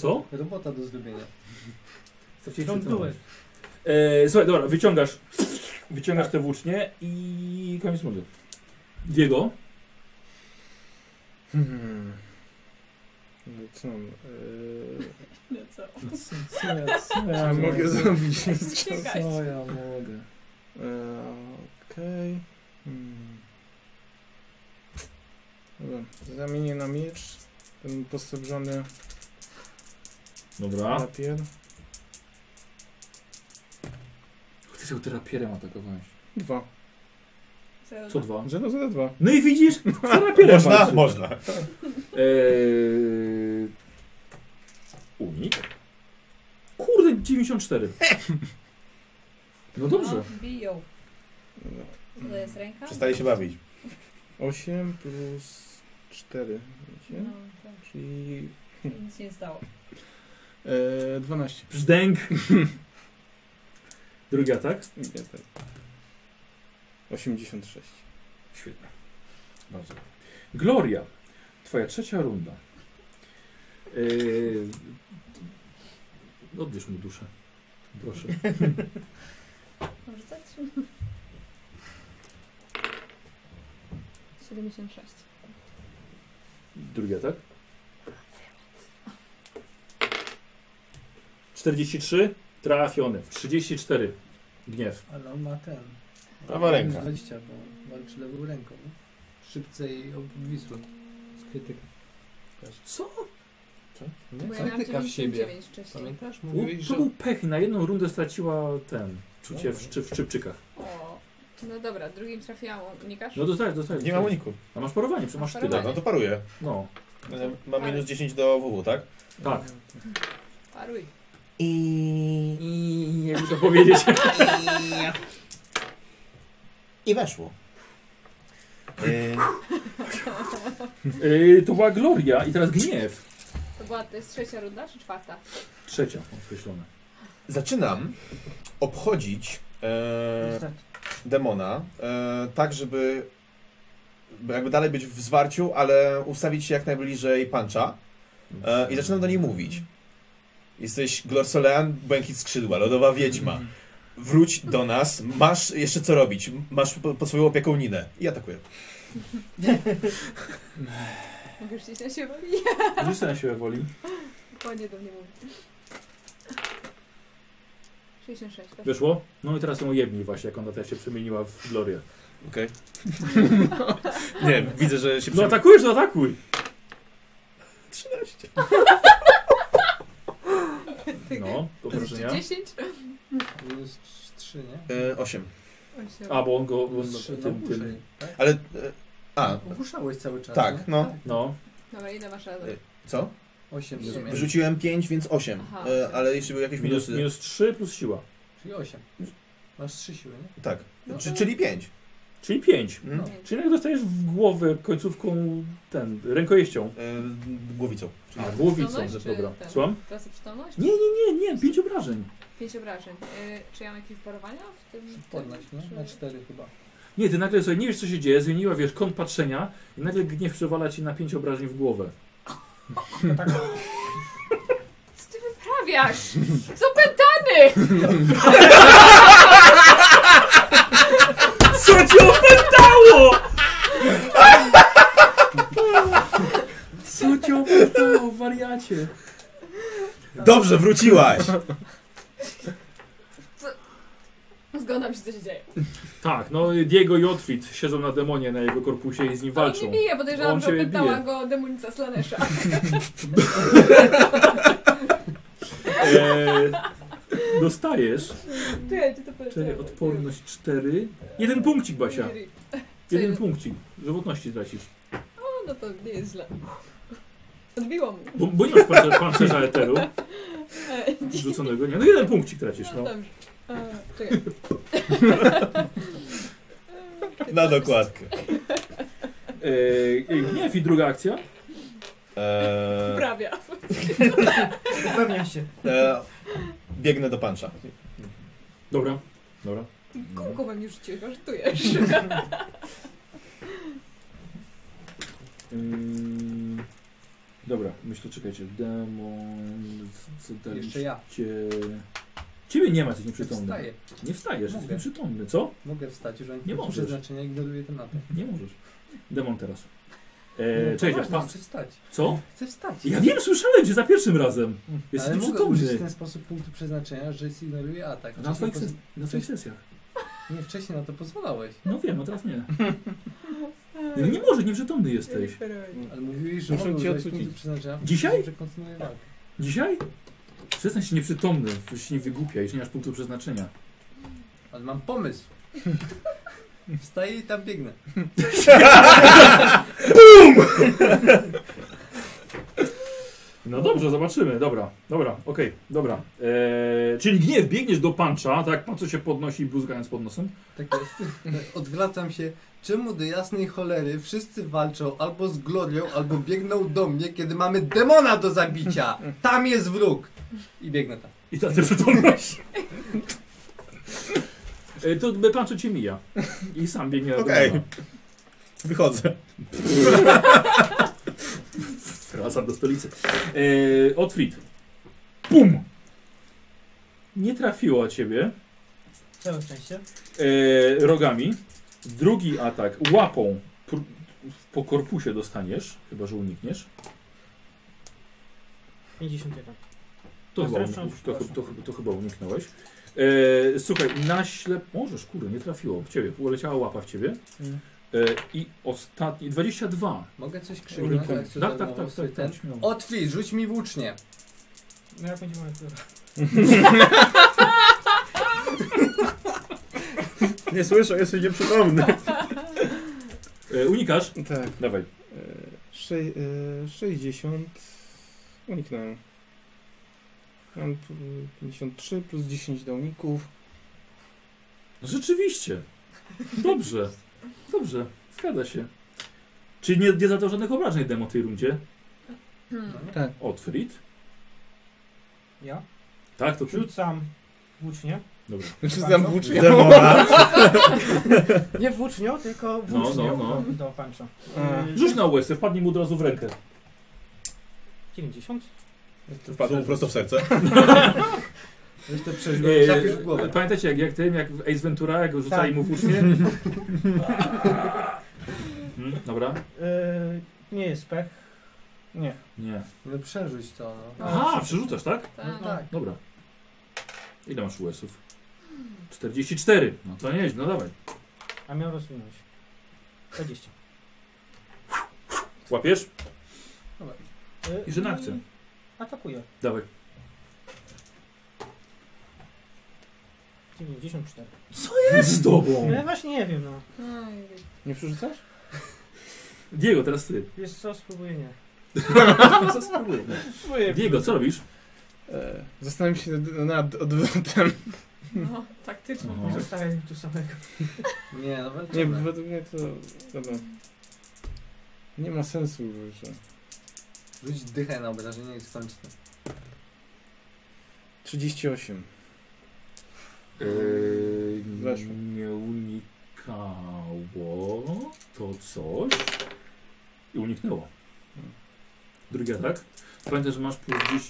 Speaker 1: Co?
Speaker 4: Robota do zrobienia.
Speaker 1: Co
Speaker 5: Don't do it.
Speaker 1: E, słuchaj, dobra, wyciągasz. Wyciągasz te włócznie i koniec rundy. Diego,
Speaker 6: Hmm. No i co mam? Yy,
Speaker 3: No co?
Speaker 6: co, ja- co ja mogę zrobić? Co ja mogę? Yy, Okej. Hmm. Dobra, Zamienię na miecz. Ten posrebrzony
Speaker 1: Dobra.
Speaker 6: papier.
Speaker 1: Ty się terapierem atakowałeś.
Speaker 6: Dwa.
Speaker 1: Co dwa?
Speaker 6: Że no za dwa.
Speaker 1: No i widzisz? Terapierem
Speaker 2: Można?
Speaker 1: walczy. E,
Speaker 2: Można.
Speaker 1: Eee, unik. Kurde, 94. No dobrze.
Speaker 3: No, biją.
Speaker 6: No.
Speaker 3: To jest ręka?
Speaker 2: Przestaje się bawić.
Speaker 6: 8 plus 4.
Speaker 3: No, tak.
Speaker 6: Czyli
Speaker 3: Nic się nie stało.
Speaker 6: e, 12.
Speaker 1: Brzdęk. Drugi atak.
Speaker 6: Nie, tak. 86.
Speaker 1: Świetnie. Dobrze. Gloria, twoja trzecia runda. Yy... Odbierz mu duszę. Proszę.
Speaker 3: Może tak? 76.
Speaker 1: Drugi atak. 43. Trafiony. 34. Gniew.
Speaker 4: Ale on ma ten.
Speaker 2: Prawa ręka.
Speaker 4: 20, bo walczy lewą ręką. Szybcej obwisły. Z krytyką.
Speaker 1: Co?
Speaker 9: Nie,
Speaker 3: Bo ja miałam
Speaker 9: krytyka w siebie.
Speaker 3: 99 wcześniej.
Speaker 9: Pamiętasz?
Speaker 1: U,
Speaker 9: Mówiłeś, że...
Speaker 1: to był pech. Na jedną rundę straciła ten. Czucie w, szczy, w szczypczykach.
Speaker 3: O. No dobra, drugim trafiłam. Unikasz?
Speaker 1: No dostajesz, dostajesz.
Speaker 2: Nie ma uniku.
Speaker 1: A masz parowanie, przecież masz
Speaker 2: No,
Speaker 1: tyle.
Speaker 2: no to paruję.
Speaker 1: No.
Speaker 2: E, Mam minus 10 do WW, tak?
Speaker 1: Tak.
Speaker 3: Paruj.
Speaker 2: I...
Speaker 1: I jakby to powiedzieć.
Speaker 2: I weszło. E,
Speaker 1: Yy, to była Gloria i teraz gniew.
Speaker 3: To była to jest trzecia runda czy czwarta?
Speaker 1: Trzecia określona.
Speaker 2: zaczynam obchodzić e,
Speaker 5: Niestety.
Speaker 2: demona e, tak, żeby jakby dalej być w zwarciu, ale ustawić się jak najbliżej puncha. E, I zaczynam do niej mówić. Jesteś Glorsolean, błękit skrzydła, lodowa wiedźma. Wróć do nas, masz jeszcze co robić, masz po- pod swoją opieką Ninę. I atakuję.
Speaker 3: Możesz gdzieś na siebie?
Speaker 1: Rzuć na siłę woli.
Speaker 3: Dokładnie do mnie mówi. 66. tak?
Speaker 1: Wyszło? No i teraz ją jebnij właśnie, jak ona teraz się przemieniła w Glorię.
Speaker 2: Okej. Nie, widzę, że się
Speaker 1: No atakujesz, no atakuj!
Speaker 2: 13.
Speaker 1: No, do
Speaker 3: Znaczy,
Speaker 1: wrażenia.
Speaker 3: 10?
Speaker 4: Minus 3, nie?
Speaker 2: E, 8.
Speaker 1: A, bo on go... bo On,
Speaker 4: Minus 3 na
Speaker 2: no,
Speaker 1: tym, tym,
Speaker 4: dłużej. tak?
Speaker 2: Ale... E, a,
Speaker 4: Ogłuszałeś cały czas.
Speaker 2: tak,
Speaker 4: nie?
Speaker 2: no.
Speaker 1: no.
Speaker 3: Dobra, ile masz razem?
Speaker 2: Y, Co?
Speaker 4: 8 w sumie.
Speaker 2: Wrzuciłem 5, więc 8.
Speaker 3: Aha.
Speaker 2: E, ale jeszcze były jakieś
Speaker 1: Minus,
Speaker 2: minusy.
Speaker 1: minus 3 plus siła.
Speaker 4: Czyli 8. Masz 3 siły, nie?
Speaker 2: Tak.
Speaker 4: No
Speaker 2: Czy,
Speaker 4: to-
Speaker 2: czyli 5.
Speaker 1: Czyli 5.
Speaker 2: Mm.
Speaker 3: Pięć.
Speaker 1: Czyli jak dostajesz w głowę końcówką, ten, rękojeścią.
Speaker 2: E, głowicą.
Speaker 1: A, głowicą,
Speaker 3: Zdolność
Speaker 1: że
Speaker 3: czy
Speaker 1: dobra.
Speaker 3: ten?
Speaker 1: Słucham?
Speaker 3: Tracę przytomność?
Speaker 1: Nie, nie, nie, nie, 5 obrażeń.
Speaker 3: 5 obrażeń. Y, czy ja mam jakieś parowania w tym?
Speaker 4: Podnoś,
Speaker 3: tym, czy-
Speaker 4: no? Na
Speaker 1: Znaczy,
Speaker 4: 4 chyba.
Speaker 1: Nie, ty nagle sobie nie wiesz co się dzieje, zmieniła wiesz kąt patrzenia i nagle gniew przewala ci na 5 obrażeń w głowę.
Speaker 5: To tak.
Speaker 3: trafiasz! Są pętany!
Speaker 1: Co cię opętało? Co cię opętało, wariacie?
Speaker 2: Dobrze, wróciłaś!
Speaker 3: Zgadzam się, co się dzieje.
Speaker 1: Tak, no Diego i Otwit siedzą na demonie na jego korpusie i z nim
Speaker 3: To on
Speaker 1: walczą.
Speaker 3: nie bije, podejrzewam,
Speaker 1: On
Speaker 3: że
Speaker 1: cię
Speaker 3: opętała
Speaker 1: bije.
Speaker 3: go demonica Slanesha.
Speaker 1: Eee, dostajesz
Speaker 3: Czekaj, czy to
Speaker 1: cztery,
Speaker 3: powiedziałem?
Speaker 1: odporność 4. Jeden punkcik, Basia.
Speaker 3: Co
Speaker 1: Jeden
Speaker 3: jeden?
Speaker 1: punkcik. Żywotności stracisz.
Speaker 3: No, no to nie jest źle. Odbiło mu.
Speaker 1: Bo, bo nie masz pancer- pancerza eteru
Speaker 3: E,
Speaker 1: rzuconego. Nie, no jeden punkcik tracisz,
Speaker 3: No,
Speaker 1: no.
Speaker 3: dobrze. E, czekaj.
Speaker 2: Na dokładkę.
Speaker 1: Eee, gniew i druga akcja.
Speaker 2: Eee,
Speaker 3: Uprawia.
Speaker 5: Upewniam się.
Speaker 2: e, biegnę do pancza.
Speaker 1: Dobra.
Speaker 2: Dobra.
Speaker 3: Kółko wam już cię żartujesz.
Speaker 1: Ym, dobra, myślę, czekajcie. Demon, c- co daliście?
Speaker 4: Jeszcze ja.
Speaker 1: Ciebie nie ma, jesteś nieprzytomny.
Speaker 4: Wstaję.
Speaker 1: Nie wstajesz, jesteś
Speaker 4: Mogę.
Speaker 1: nieprzytomny, co?
Speaker 4: Mogę wstać, już ani
Speaker 1: Nie
Speaker 4: punktu
Speaker 1: możesz.
Speaker 4: przeznaczenia ignoruję ten atak.
Speaker 1: Nie możesz. Demon teraz.
Speaker 4: No
Speaker 1: Eee,
Speaker 4: to
Speaker 1: cześć,
Speaker 4: ważne,
Speaker 1: pan.
Speaker 4: Chcę wstać.
Speaker 1: Co?
Speaker 4: Chcę wstać.
Speaker 1: Ja wiem, słyszałem cię za pierwszym razem. Jesteś
Speaker 4: Ale mogę użyć w
Speaker 1: nieprzytomny.
Speaker 4: ten sposób punktu przeznaczenia, że ignoruję atak.
Speaker 1: Na
Speaker 4: Wcześniej
Speaker 1: twoich, ses- na twoich sesjach.
Speaker 4: poz- Nie, wcześniej na to pozwalałeś.
Speaker 1: No wiem, a teraz nie. No Nie może, nieprzytomny jesteś.
Speaker 4: Ale mówiłeś, że
Speaker 6: Muszę
Speaker 4: mogę
Speaker 6: cię
Speaker 4: użyć
Speaker 6: odrzucić.
Speaker 4: punktu przeznaczenia.
Speaker 1: Dzisiaj?
Speaker 4: Że kontynuuję walkę.
Speaker 1: Dzisiaj? Przestań się nieprzytomny, bo się nie wygłupiaj, że nie masz punktu przeznaczenia.
Speaker 4: Ale mam pomysł. Wstaję i tam biegnę.
Speaker 1: No dobrze, zobaczymy. Dobra, dobra, okej, dobra. Eee, czyli gniew, biegniesz do pancza, tak? Pan co się podnosi, bluzgając pod nosem.
Speaker 4: Tak jest. Odwracam się. Czemu do jasnej cholery wszyscy walczą albo z Glorią, albo biegną do mnie, kiedy mamy demona do zabicia? Tam jest wróg! I biegnę tam.
Speaker 1: I ta nieprzytomność. Eee, to by panczo cię mija. I sam biegnie do
Speaker 2: Okej.
Speaker 1: demona.
Speaker 2: Wychodzę.
Speaker 1: Wracam do stolicy. Eee, Otfrid. Pum! Nie trafiło ciebie.
Speaker 5: Całe szczęście.
Speaker 1: e, rogami. Drugi atak łapą pr- po korpusie dostaniesz, chyba że unikniesz.
Speaker 5: 51.
Speaker 1: To,
Speaker 5: No
Speaker 1: chyba,
Speaker 5: zresztą,
Speaker 1: unik- to, to,
Speaker 5: przepraszam.
Speaker 1: to, chyba- to chyba uniknąłeś. E, słuchaj, na ślep... Możesz, kurde, nie trafiło w ciebie. Uleciała łapa w ciebie.
Speaker 5: Mm.
Speaker 1: E, I ostatni... 22.
Speaker 4: Mogę coś krzyknąć?
Speaker 1: Uniknął.
Speaker 4: akcją
Speaker 1: Tak, tak,
Speaker 4: darmową
Speaker 1: tak. tak,
Speaker 4: sobie
Speaker 1: tak
Speaker 4: ten?
Speaker 1: śmiało.
Speaker 4: Otwij, rzuć mi włócznie.
Speaker 5: No jak będzie moja tura?
Speaker 6: Nie słyszę, jesteś nieprzytomny.
Speaker 1: e, unikasz?
Speaker 6: Tak.
Speaker 1: Dawaj.
Speaker 6: E, sze, e, 60. Uniknąłem. Mam p- 53 plus 10 do uników.
Speaker 1: Rzeczywiście. Dobrze. Dobrze. Zgadza się. Czyli nie, nie zadał żadnych obrażeń demo w tej rundzie?
Speaker 4: Hmm,
Speaker 1: Tak. Otfrid?
Speaker 5: Ja?
Speaker 1: Tak, to ty?
Speaker 5: Rzucam włócznie.
Speaker 1: Dobra.
Speaker 5: Rzucam
Speaker 6: włócznią.
Speaker 5: Nie włócznią, tylko
Speaker 1: No,
Speaker 5: włócznią
Speaker 1: no, no.
Speaker 5: do, do pancza.
Speaker 6: A.
Speaker 5: Yy,
Speaker 1: Rzuć na łez, wpadnie mu od razu w rękę.
Speaker 5: 90.
Speaker 2: Wpadł mu prosto w serce.
Speaker 4: Weź to
Speaker 1: Eee,
Speaker 4: przeżyć, trafisz w głowę.
Speaker 1: Pamiętacie jak, jak tym, jak w Ace Ventura, jak go rzucali
Speaker 5: Tak.
Speaker 1: mu włócznie? hmm, dobra?
Speaker 5: Yy, nie jest pech. Nie.
Speaker 1: Nie.
Speaker 4: No przerzuć to, no.
Speaker 1: Aha, przerzucasz, tak?
Speaker 4: No
Speaker 3: Tak.
Speaker 4: tak.
Speaker 1: Dobra. Ile masz US-ów? 44. No to nieźle, no dawaj.
Speaker 5: A miał rozwinąć. 20.
Speaker 1: Łapiesz?
Speaker 5: Yy,
Speaker 1: I że na akcję.
Speaker 5: Atakuje.
Speaker 1: Dawaj.
Speaker 5: 94.
Speaker 1: Jest z tobą!
Speaker 5: No ja właśnie nie wiem, no.
Speaker 3: Aj,
Speaker 6: Nie przerzucasz?
Speaker 1: Diego, teraz ty.
Speaker 5: Wiesz co, spróbuję nie.
Speaker 1: Co spróbuję?
Speaker 6: Moje.
Speaker 1: Diego, co robisz?
Speaker 6: E, zastanawiam się nad, nad odwrotem.
Speaker 3: No, taktyczne.
Speaker 1: Aha.
Speaker 5: Zostawiam mnie tu samego.
Speaker 4: Nie, no walczymy.
Speaker 6: Nie, według mnie to... Dobra. Nie ma sensu, że...
Speaker 4: Rzuć dychę na obrażenie i skończ to.
Speaker 6: 38.
Speaker 1: Eee,
Speaker 6: Weszło.
Speaker 1: nie unikało to coś tak? i uniknęło. Drugi atak. Pamiętaj, że masz plus 10.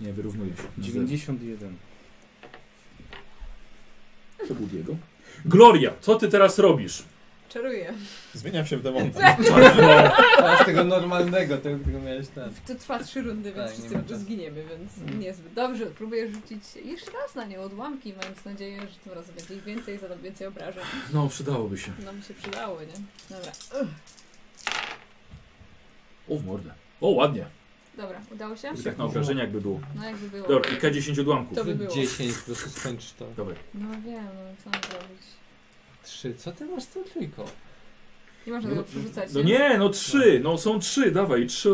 Speaker 1: Nie, wyrównuje się. Na zero.
Speaker 6: 91.
Speaker 1: To był Diego. Gloria, co ty teraz robisz?
Speaker 3: Czaruję.
Speaker 2: Zmieniam się w demona.
Speaker 4: Teraz tego normalnego, tego, którego miałeś ten.
Speaker 3: To trwa trzy rundy,
Speaker 4: Tak,
Speaker 3: więc
Speaker 4: nie
Speaker 3: wszyscy
Speaker 4: ma
Speaker 3: wszyscy
Speaker 4: czasu.
Speaker 3: zginiemy, więc
Speaker 1: Mm.
Speaker 3: niezbyt. Dobrze, próbuję rzucić jeszcze raz na nią odłamki, mając nadzieję, że tym razem będzie ich więcej, zadam więcej obrażeń.
Speaker 1: No, przydałoby się.
Speaker 3: Nam się przydało, nie? Dobra.
Speaker 1: O, w mordę. O, ładnie.
Speaker 3: Dobra, udało się?
Speaker 1: I tak na obrażenia jakby było.
Speaker 3: No jakby było.
Speaker 1: Dobra, i K10 odłamków.
Speaker 3: To by było.
Speaker 9: 10 po prostu skończysz to.
Speaker 1: Dobra.
Speaker 3: No wiem, no co mam zrobić.
Speaker 9: 3. Co ty masz z tą trójką?
Speaker 3: Eee. Nie można
Speaker 1: No,
Speaker 3: tego przerzucać.
Speaker 1: No nie, no trzy, no są trzy, dawaj, trzy.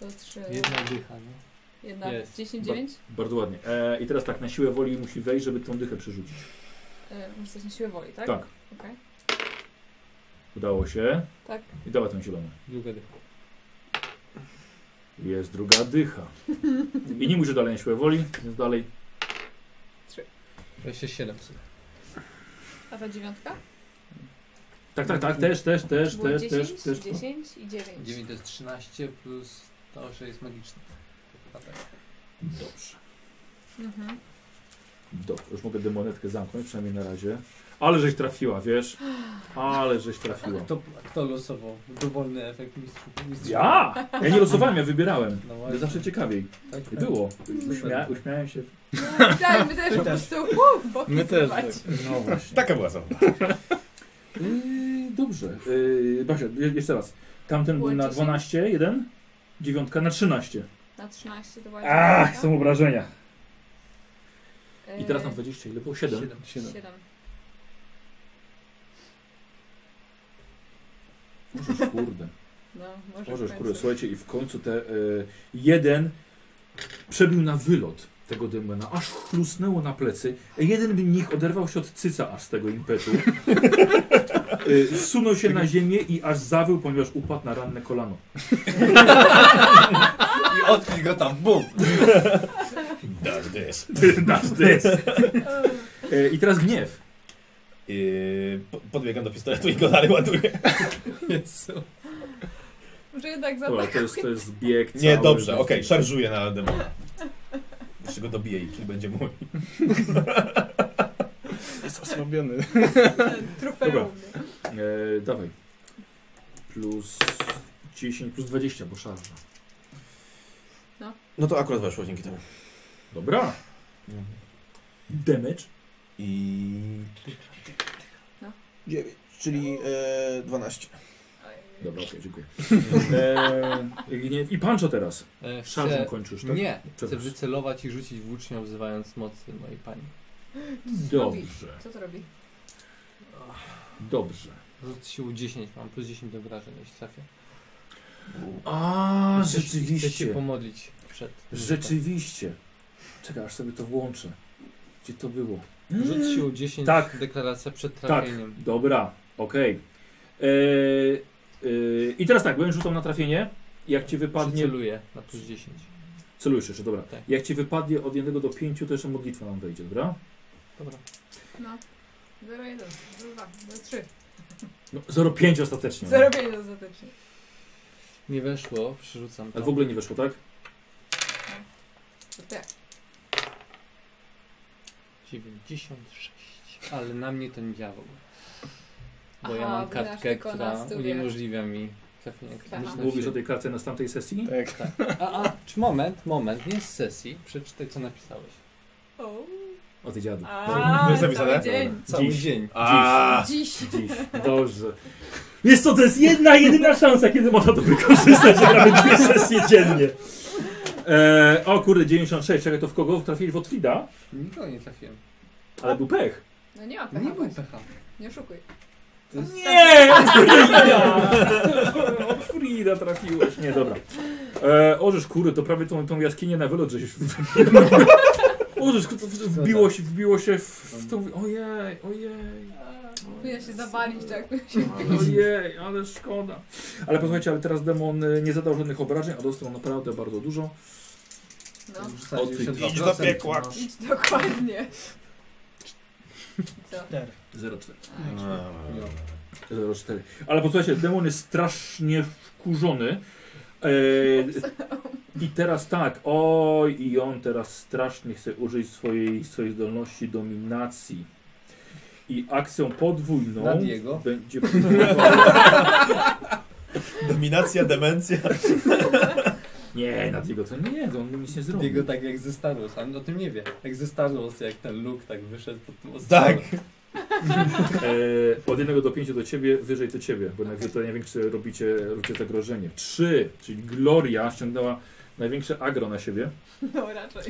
Speaker 3: To trzy.
Speaker 9: Jedna dycha, no.
Speaker 3: Jedna.
Speaker 9: Jest.
Speaker 3: 10, 9?
Speaker 1: Bardzo ładnie. E, I teraz tak, na siłę woli musi wejść, żeby tą dychę przerzucić.
Speaker 3: E, Muszę coś na siłę woli, tak?
Speaker 1: Tak.
Speaker 3: Okej.
Speaker 1: Udało się.
Speaker 3: Tak.
Speaker 1: I dawaj tą zieloną.
Speaker 9: Druga dycha.
Speaker 1: Jest druga dycha. I nie muszę dalej na siłę woli, więc dalej.
Speaker 9: 27 sobie.
Speaker 3: A ta dziewiątka?
Speaker 1: Tak, tak, tak, też, też, też,
Speaker 3: Było
Speaker 1: też,
Speaker 3: 10,
Speaker 1: też, też.
Speaker 3: 10 i 9.
Speaker 9: 9 to jest 13 plus to, że jest magiczny. A tak.
Speaker 1: Dobrze.
Speaker 3: Mhm.
Speaker 1: Dobrze, już mogę demonetkę zamknąć, przynajmniej na razie. Ale żeś trafiła, wiesz? Ale żeś trafiła.
Speaker 4: Kto, kto losował? Dowolny efekt mistrzów. mistrzów.
Speaker 1: Ja! Ja nie losowałem, ja wybierałem.
Speaker 4: No
Speaker 1: To
Speaker 4: właśnie.
Speaker 1: zawsze ciekawiej.
Speaker 4: Tak,
Speaker 1: I
Speaker 4: tak.
Speaker 1: było. Uśmia uśmiałem się.
Speaker 3: Tak, my też po prostu. Uh, boki
Speaker 6: My też.
Speaker 3: zrywać.
Speaker 1: No właśnie.
Speaker 2: Taka była zabawa.
Speaker 1: Yy, dobrze. Yy, Basia, je- jeszcze raz. Tamten był
Speaker 3: Było
Speaker 1: na
Speaker 3: 10?
Speaker 1: 12, jeden. Dziewiątka na 13.
Speaker 3: Na 13 to była
Speaker 1: Ach,
Speaker 3: dziewiątka.
Speaker 1: są obrażenia.
Speaker 3: E,
Speaker 1: I teraz na 20, ile było?
Speaker 4: tak.
Speaker 1: 7.
Speaker 9: 7.
Speaker 3: 7.
Speaker 1: Możesz, kurde.
Speaker 3: No, może
Speaker 1: Możesz,
Speaker 3: w
Speaker 1: kurde.
Speaker 3: końcu.
Speaker 1: Słuchajcie, i w końcu te yy, jeden przebił na wylot tego demona, aż chlusnęło na plecy. Jeden z nich oderwał się od cyca aż z tego impetu. Yy, sunął się na ziemię i aż zawył, ponieważ upadł na ranne kolano.
Speaker 4: I odkryj go tam, bum!
Speaker 2: Does this.
Speaker 1: Dasz ty.
Speaker 3: Eee,
Speaker 1: E, I teraz gniew.
Speaker 2: Yy, po- podbiegam do pistoletu i go dalej ładuję.
Speaker 9: Jezu.
Speaker 3: Może jednak
Speaker 1: Dobra, to
Speaker 3: zaatakuj.
Speaker 1: jest, to jest bieg cały.
Speaker 2: Nie, dobrze, okej, szarżuję na demona. Jeszcze go dobiję i kill będzie mój.
Speaker 6: Jest osłabiony.
Speaker 1: Dobra.
Speaker 3: Trofeum.
Speaker 1: E, dawaj. Plus 10, plus 20, bo szarża.
Speaker 2: No to akurat weszło dzięki temu.
Speaker 1: Dobra. Damage.
Speaker 2: I...
Speaker 3: No.
Speaker 2: 9, czyli e, 12.
Speaker 3: Oj.
Speaker 1: Dobra, okej, dziękuję. E, gniew. I pancho teraz.
Speaker 9: E, chcę-
Speaker 4: Eee,
Speaker 1: Szarżą kończysz, tak?
Speaker 9: Nie, chcę
Speaker 1: Przepraszam.
Speaker 9: wycelować i rzucić włócznią, wzywając mocy mojej pani.
Speaker 1: Dobrze,
Speaker 3: Co to robi?
Speaker 1: dobrze.
Speaker 9: Rzut sił 10 mam, plus 10 do wrażeń, jeśli trafię.
Speaker 1: A,
Speaker 9: Chcę- Chcę się
Speaker 1: rzeczywiście.
Speaker 9: pomodlić przed...
Speaker 1: Rzeczywiście. Czekaj, aż sobie to włączę. Gdzie to było?
Speaker 9: Rzut sił 10,
Speaker 1: Tak.
Speaker 9: deklaracja przed
Speaker 1: Tak,
Speaker 9: trafieniem.
Speaker 1: dobra, okej. Eee, eee, I teraz tak, byłem rzucał na trafienie. Jak ci wypadnie.
Speaker 9: Przyceluję na plus 10.
Speaker 1: Celujesz jeszcze, dobra.
Speaker 9: Tak.
Speaker 1: Jak ci wypadnie od 1 do 5, to jeszcze modlitwa nam wejdzie, dobra?
Speaker 9: Dobra.
Speaker 3: No. 0, 1, 0, 2, 0, 3.
Speaker 1: No, 0,5 ostatecznie. no.
Speaker 3: 0, 5 ostatecznie.
Speaker 9: Nie weszło, przerzucam to.
Speaker 1: Ale w ogóle nie weszło, tak?
Speaker 3: To te.
Speaker 9: 96. Ale na mnie to nie działał. Bo ja
Speaker 3: Aha,
Speaker 9: mam
Speaker 3: bo masz
Speaker 9: kartkę,
Speaker 3: tylko na
Speaker 9: która
Speaker 3: studiach. Tak.
Speaker 9: uniemożliwia mi trafienie krytyczne.
Speaker 1: Mówisz o tej kartce na z tamtej sesji?
Speaker 6: Tak.
Speaker 9: Tak. A, a, czy moment, moment, nie z sesji. Przeczytaj, co napisałeś.
Speaker 3: O.
Speaker 1: O tej dziadu.
Speaker 3: A,
Speaker 2: Jest
Speaker 3: cały
Speaker 2: napisane?
Speaker 3: dzień.
Speaker 9: Cały
Speaker 1: Dziś.
Speaker 9: dzień.
Speaker 2: A,
Speaker 3: Dziś.
Speaker 1: Dziś. Dobrze. Jest to, to jest jedna, jedyna szansa, kiedy można to wykorzystać, że gramy dwie sesje dziennie. Eee, o kurde, 96, czekaj, to w kogo trafiłeś w Otwida?
Speaker 9: Nikogo nie trafiłem.
Speaker 1: Ale był pech.
Speaker 3: No nie ma
Speaker 4: Nie
Speaker 3: pecha.
Speaker 4: był
Speaker 3: właśnie.
Speaker 4: pecha.
Speaker 3: Nie oszukuj.
Speaker 4: To jest...
Speaker 1: Nie! od Frida! Od Frida trafiłeś. Nie, dobra. E, orzesz, kurde, to prawie tą, tą jaskinię na wylot, żeś wybił. Orzesz, to wbiło się, wbiło się w, w tą... Ojej, ojej.
Speaker 3: Powinna się zawalić tak.
Speaker 1: Ojej, ale szkoda. Ale posłuchajcie, ale teraz demon y, nie zadał żadnych obrażeń, a dostał naprawdę bardzo dużo.
Speaker 3: No.
Speaker 2: idź do piekła.
Speaker 3: Idź dokładnie. Co?
Speaker 6: 4.
Speaker 1: 0,4.
Speaker 2: No, no,
Speaker 1: 0,4. Ale posłuchajcie, demon jest strasznie wkurzony. E, I teraz tak, oj, i on teraz strasznie chce użyć swojej, swojej zdolności dominacji. I akcją podwójną
Speaker 4: Nad jego.
Speaker 1: będzie próbował...
Speaker 2: Dominacja, demencja.
Speaker 1: Nie, nad jego co? Nie, to on mu nic nie zrobi.
Speaker 4: Diego tak jak ze Star Wars, a on o tym nie wie. Jak ze Star Wars, jak ten Luke tak wyszedł pod tym
Speaker 2: Tak.
Speaker 4: ostrzałem.
Speaker 1: E, od 1 do 5 do ciebie, wyżej do ciebie, bo najwy- to największe robicie, robicie zagrożenie. 3, czyli Gloria ściągnęła największe agro na siebie.
Speaker 3: No raczej.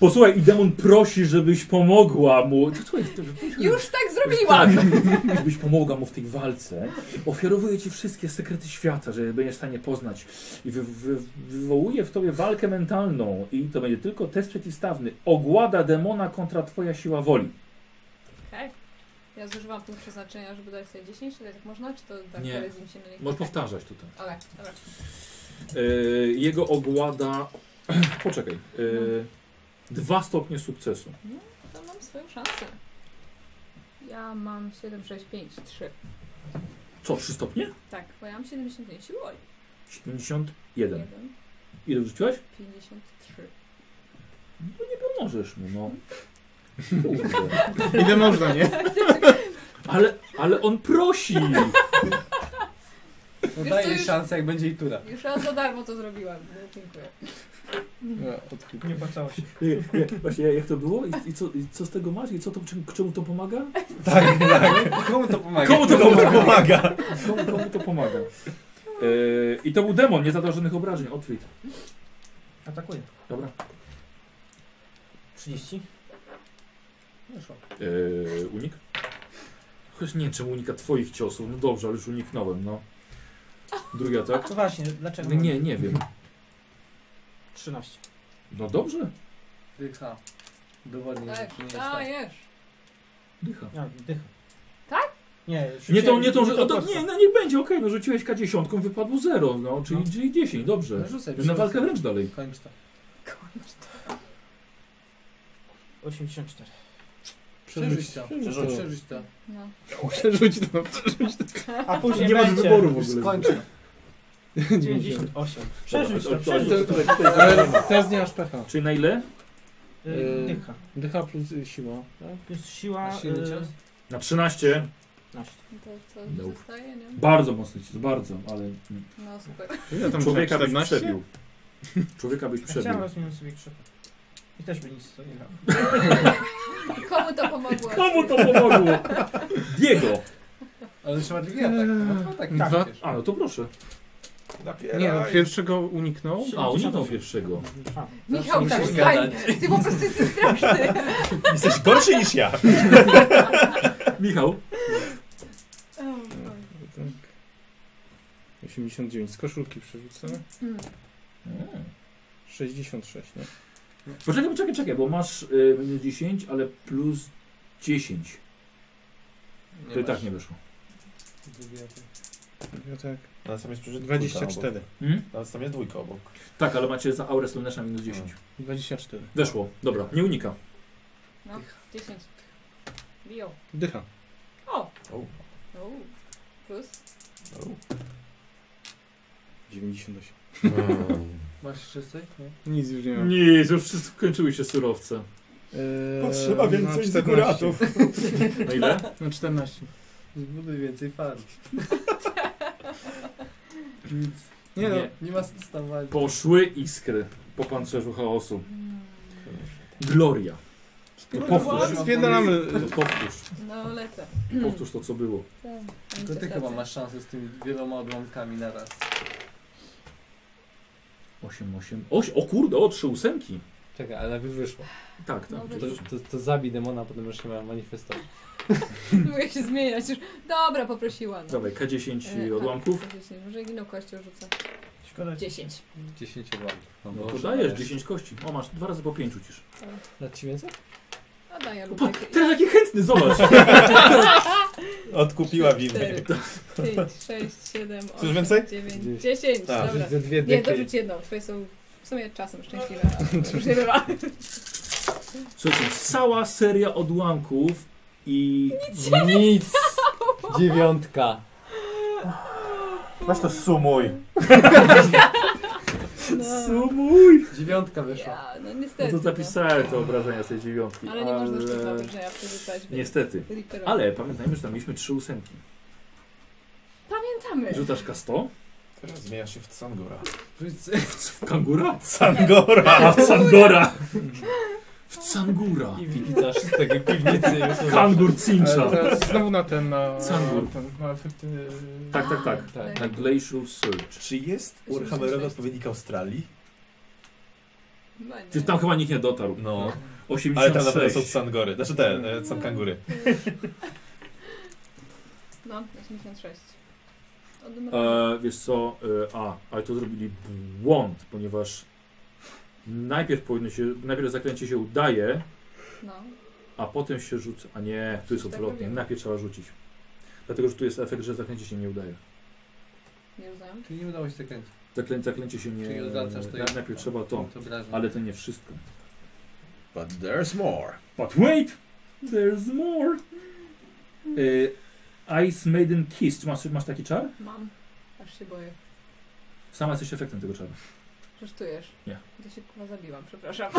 Speaker 1: Posłuchaj, i demon prosi, żebyś pomogła mu. To, słuchaj, to,
Speaker 3: Już tak zrobiłam!
Speaker 1: Tak, żebyś pomogła mu w tej walce. Ofiarowuję ci wszystkie sekrety świata, że będziesz w stanie poznać. I wy, wy, wywołuje w tobie walkę mentalną. I to będzie tylko test przeciwstawny. Ogłada demona kontra twoja siła woli.
Speaker 3: Okej. Ja zużywam punkt przeznaczenia, żeby dać sobie 10, ale tak można? Czy to tak
Speaker 1: Nie.
Speaker 3: koledzy mi się myli?
Speaker 1: Możesz powtarzać tutaj.
Speaker 3: Okej, dobra.
Speaker 1: E, jego ogłada. Poczekaj. E, dwa stopnie sukcesu.
Speaker 3: To mam swoją szansę. Ja mam 7, 6, 5, 3.
Speaker 1: Co, trzy stopnie?
Speaker 3: Tak, bo ja mam 75 siły woli.
Speaker 1: 71.
Speaker 3: 1,
Speaker 1: Ile rzuciłeś?
Speaker 3: 53.
Speaker 1: Pomożesz mu, no. Kurde.
Speaker 6: Ile można, nie?
Speaker 1: Ale, ale on prosi! E,
Speaker 4: No
Speaker 3: Wiesz
Speaker 4: daj
Speaker 3: co,
Speaker 4: jej
Speaker 3: już-
Speaker 4: No szansę, jak będzie i tura.
Speaker 3: Już raz za darmo to zrobiłam. No, dziękuję.
Speaker 5: Nie opłacało się.
Speaker 1: Nie, nie, e, Właśnie jak to było? I, i, co, i co z tego masz? I co to, czym, czemu to pomaga?
Speaker 2: Tak, tak.
Speaker 4: Komu to pomaga?
Speaker 1: Komu to
Speaker 2: Komu to
Speaker 1: pomaga?
Speaker 2: pomaga?
Speaker 1: Komu, komu to pomaga? Yy, I to był demon, nie zadał żadnych obrażeń. Otwit.
Speaker 5: Atakuje.
Speaker 1: Dobra.
Speaker 5: 30. Wyszło.
Speaker 1: Yy, unik? Chociaż nie wiem, czemu unika twoich ciosów. No dobrze, ale już uniknąłem, no. Drugi atak?
Speaker 5: To właśnie, dlaczego?
Speaker 1: No nie, nie wiem.
Speaker 5: 13.
Speaker 1: No dobrze.
Speaker 4: Dycha. Dowodnie, że
Speaker 3: Tak,
Speaker 4: ci nie jest tak.
Speaker 3: dajesz.
Speaker 1: Dycha.
Speaker 5: Ja, dycha.
Speaker 3: Tak?
Speaker 5: Nie,
Speaker 1: Nie tą, nie tą,
Speaker 5: tą
Speaker 1: że... o, to, nie, no niech będzie, okej, no rzuciłeś K10, wypadło 0, no, czyli,
Speaker 5: No.
Speaker 1: czyli 10, dobrze.
Speaker 5: Rzucaj.
Speaker 1: Na walkę wręcz dalej.
Speaker 5: Kończ to.
Speaker 3: Kończ to.
Speaker 5: 84.
Speaker 4: Przerzuć to.
Speaker 2: Przerzuć.
Speaker 4: Przerzuć to.
Speaker 3: No.
Speaker 9: Przerzuć to.
Speaker 5: A później
Speaker 1: Nie masz
Speaker 5: będzie.
Speaker 1: wyboru w
Speaker 4: Już
Speaker 1: ogóle.
Speaker 4: skończę.
Speaker 5: 98. Przerzuć to,
Speaker 1: Dobra,
Speaker 5: przerzuć to.
Speaker 9: Ale teraz nie masz pecha.
Speaker 1: Czyli na ile?
Speaker 5: Y, Dycha.
Speaker 9: Dycha plus y, siła. tak? E,
Speaker 5: Plus siła...
Speaker 4: A silny cios?
Speaker 1: Na 13.
Speaker 5: 15.
Speaker 3: No To co
Speaker 1: Nope.
Speaker 3: zostaje, nie?
Speaker 1: Bardzo mocny cios, bardzo, ale mm,
Speaker 3: No super.
Speaker 6: Ile tam
Speaker 1: człowieka byś
Speaker 6: 14?
Speaker 1: przebił. Człowieka byś przebił.
Speaker 5: Chciałem rozwinąć sobie krzyk. I też by nic to nie dało.
Speaker 3: Komu to pomogło?
Speaker 1: Komu to pomogło? Diego!
Speaker 4: Ale trzeba drugi atak. No to tak,
Speaker 6: Dwa.
Speaker 4: tak przecież.
Speaker 1: A, no to proszę.
Speaker 6: Nie, no,
Speaker 2: Napieraj.
Speaker 6: pierwszego uniknął.
Speaker 1: A, uniknął pierwszego.
Speaker 5: A,
Speaker 3: Michał,
Speaker 4: Zawsze musisz
Speaker 3: przestań!
Speaker 4: gadać.
Speaker 3: Ty po prostu jesteś straszny.
Speaker 2: Jesteś gorszy niż ja.
Speaker 1: Michał,
Speaker 3: O, Boże.
Speaker 6: Tak. 89. Z koszulki przerzucę.
Speaker 3: Mm.
Speaker 6: 66, no.
Speaker 1: poczekaj, poczekaj, czekaj, bo masz y, minus 10, ale plus 10. To i
Speaker 4: masz.
Speaker 1: tak nie wyszło.
Speaker 4: Drugi atak.
Speaker 6: Ja tak.
Speaker 2: No, tam jest przerzutka
Speaker 6: 24.
Speaker 1: Hmm?
Speaker 2: obok. No, Tam jest dwójka obok.
Speaker 1: Tak, ale macie za aurę Slumnesha minus 10.
Speaker 6: 24.
Speaker 1: Weszło, dobra, nie unika.
Speaker 3: No, 10. Biją.
Speaker 6: Dycha.
Speaker 3: O!
Speaker 2: O.
Speaker 3: O. Plus?
Speaker 6: 98.
Speaker 4: Masz jeszcze coś? Nie.
Speaker 6: Nic już nie mam.
Speaker 1: Nie, już skończyły się surowce.
Speaker 6: Eee,
Speaker 2: Potrzeba więcej
Speaker 6: na 14.
Speaker 2: dekoratów.
Speaker 1: Na ile?
Speaker 6: Na 14.
Speaker 4: Zbuduj więcej farm.
Speaker 6: Nie, no.
Speaker 1: Nie.
Speaker 4: Nie ma sensu tam walczyć.
Speaker 1: Poszły iskry po pancerzu chaosu. Gloria. No powtórz,
Speaker 6: Spierdalamy.
Speaker 1: no powtórz,
Speaker 3: No, lecę.
Speaker 1: powtórz to co było.
Speaker 3: Ten.
Speaker 4: Tylko ty chyba masz szansę z tymi wieloma odłamkami na raz.
Speaker 1: 8, 8, 8, o kurde, o trzy ósemki.
Speaker 9: Czekaj, ale najpierw wyszło.
Speaker 1: Tak, tak.
Speaker 4: No
Speaker 3: Dobra.
Speaker 9: To, to, to zabij demona, potem już nie mam manifestować.
Speaker 3: Mogę się zmieniać już. Dobra, poprosiła. No.
Speaker 1: Dawaj, K10
Speaker 3: E,
Speaker 1: odłamków.
Speaker 3: tak, 10. Może inną kością rzucę.
Speaker 5: Szkoda.
Speaker 3: 10.
Speaker 9: 10 obłędów.
Speaker 1: No to dajesz 10 kości. O, masz dwa razy po 5 ucisz.
Speaker 9: Na ci więcej?
Speaker 3: A No daj, ja lubię.
Speaker 1: Pa, teraz jaki chętny, zobacz.
Speaker 2: Odkupiła winę.
Speaker 3: 4, 5, 6, 7, 8,
Speaker 2: Chcesz więcej?
Speaker 3: 9, 10.
Speaker 2: Tak.
Speaker 3: Dobra.
Speaker 9: Ze dwie
Speaker 3: Nie,
Speaker 9: dychy.
Speaker 3: dorzuć jedną. Twoje są w sumie czasem szczęśliwe. ale Już nie bywa.
Speaker 1: Słuchajcie, cała seria odłamków i...
Speaker 9: Nic! Dziewiątka.
Speaker 2: Weź to sumuj.
Speaker 1: Sumuj!
Speaker 4: Dziewiątka wyszła.
Speaker 3: Ja, no
Speaker 1: No
Speaker 3: niestety.
Speaker 1: to
Speaker 3: no.
Speaker 1: zapisałem te obrażenia z tej dziewiątki.
Speaker 3: Ale nie można już tak tych
Speaker 1: ale-
Speaker 3: obrażenia przerzucać. więc
Speaker 1: Niestety.
Speaker 3: Reapera.
Speaker 1: Ale pamiętajmy, że tam mieliśmy trzy ósemki.
Speaker 3: Pamiętamy.
Speaker 1: Rzucasz K100?
Speaker 2: Teraz zmienia się w Tsangora.
Speaker 1: W kangura?
Speaker 2: Tsangora!
Speaker 1: A, w Sangora! W Cangura!
Speaker 9: I widzasz z tego piwnicy już.
Speaker 1: Kangur Cincha!
Speaker 6: Ale teraz znowu na ten, na,
Speaker 1: Sangur.
Speaker 6: na, ten, na efekty...
Speaker 1: Tak, tak, tak.
Speaker 9: Tak.
Speaker 1: Na Glacial Search.
Speaker 2: Czy jest Warhammerowy odpowiednik Australii?
Speaker 3: No nie.
Speaker 1: Ty tam chyba nikt nie dotarł.
Speaker 2: No. Ale tam na pewno są
Speaker 1: 86.
Speaker 2: Tsangory. Znaczy te, Tsankangury.
Speaker 3: No, 86. Od numeru-
Speaker 1: E, wiesz co, e, a, ale to zrobili błąd, ponieważ najpierw powinno się, najpierw zaklęcie się udaje,
Speaker 3: No.
Speaker 1: a potem się rzuca. A nie, tu jest
Speaker 3: Tak
Speaker 1: odwrotnie,
Speaker 3: robię.
Speaker 1: najpierw trzeba rzucić. Dlatego, że tu jest efekt, że zaklęcie się nie udaje.
Speaker 3: Nie rozumiem.
Speaker 4: Czyli nie udało się zakręcić.
Speaker 1: Zaklę, zaklęcie się nie...
Speaker 4: Czyli odwracasz to
Speaker 1: naj-
Speaker 4: i-
Speaker 1: najpierw trzeba to,
Speaker 4: To obrażam.
Speaker 1: ale to nie wszystko.
Speaker 2: But there's more.
Speaker 1: But wait! There's more! E, Ice Maiden Kiss. Czy masz, masz taki czar?
Speaker 3: Mam. Aż się boję.
Speaker 1: Sama jesteś efektem tego czaru.
Speaker 3: Żartujesz.
Speaker 1: Nie.
Speaker 3: To się kurwa zabiłam, przepraszam.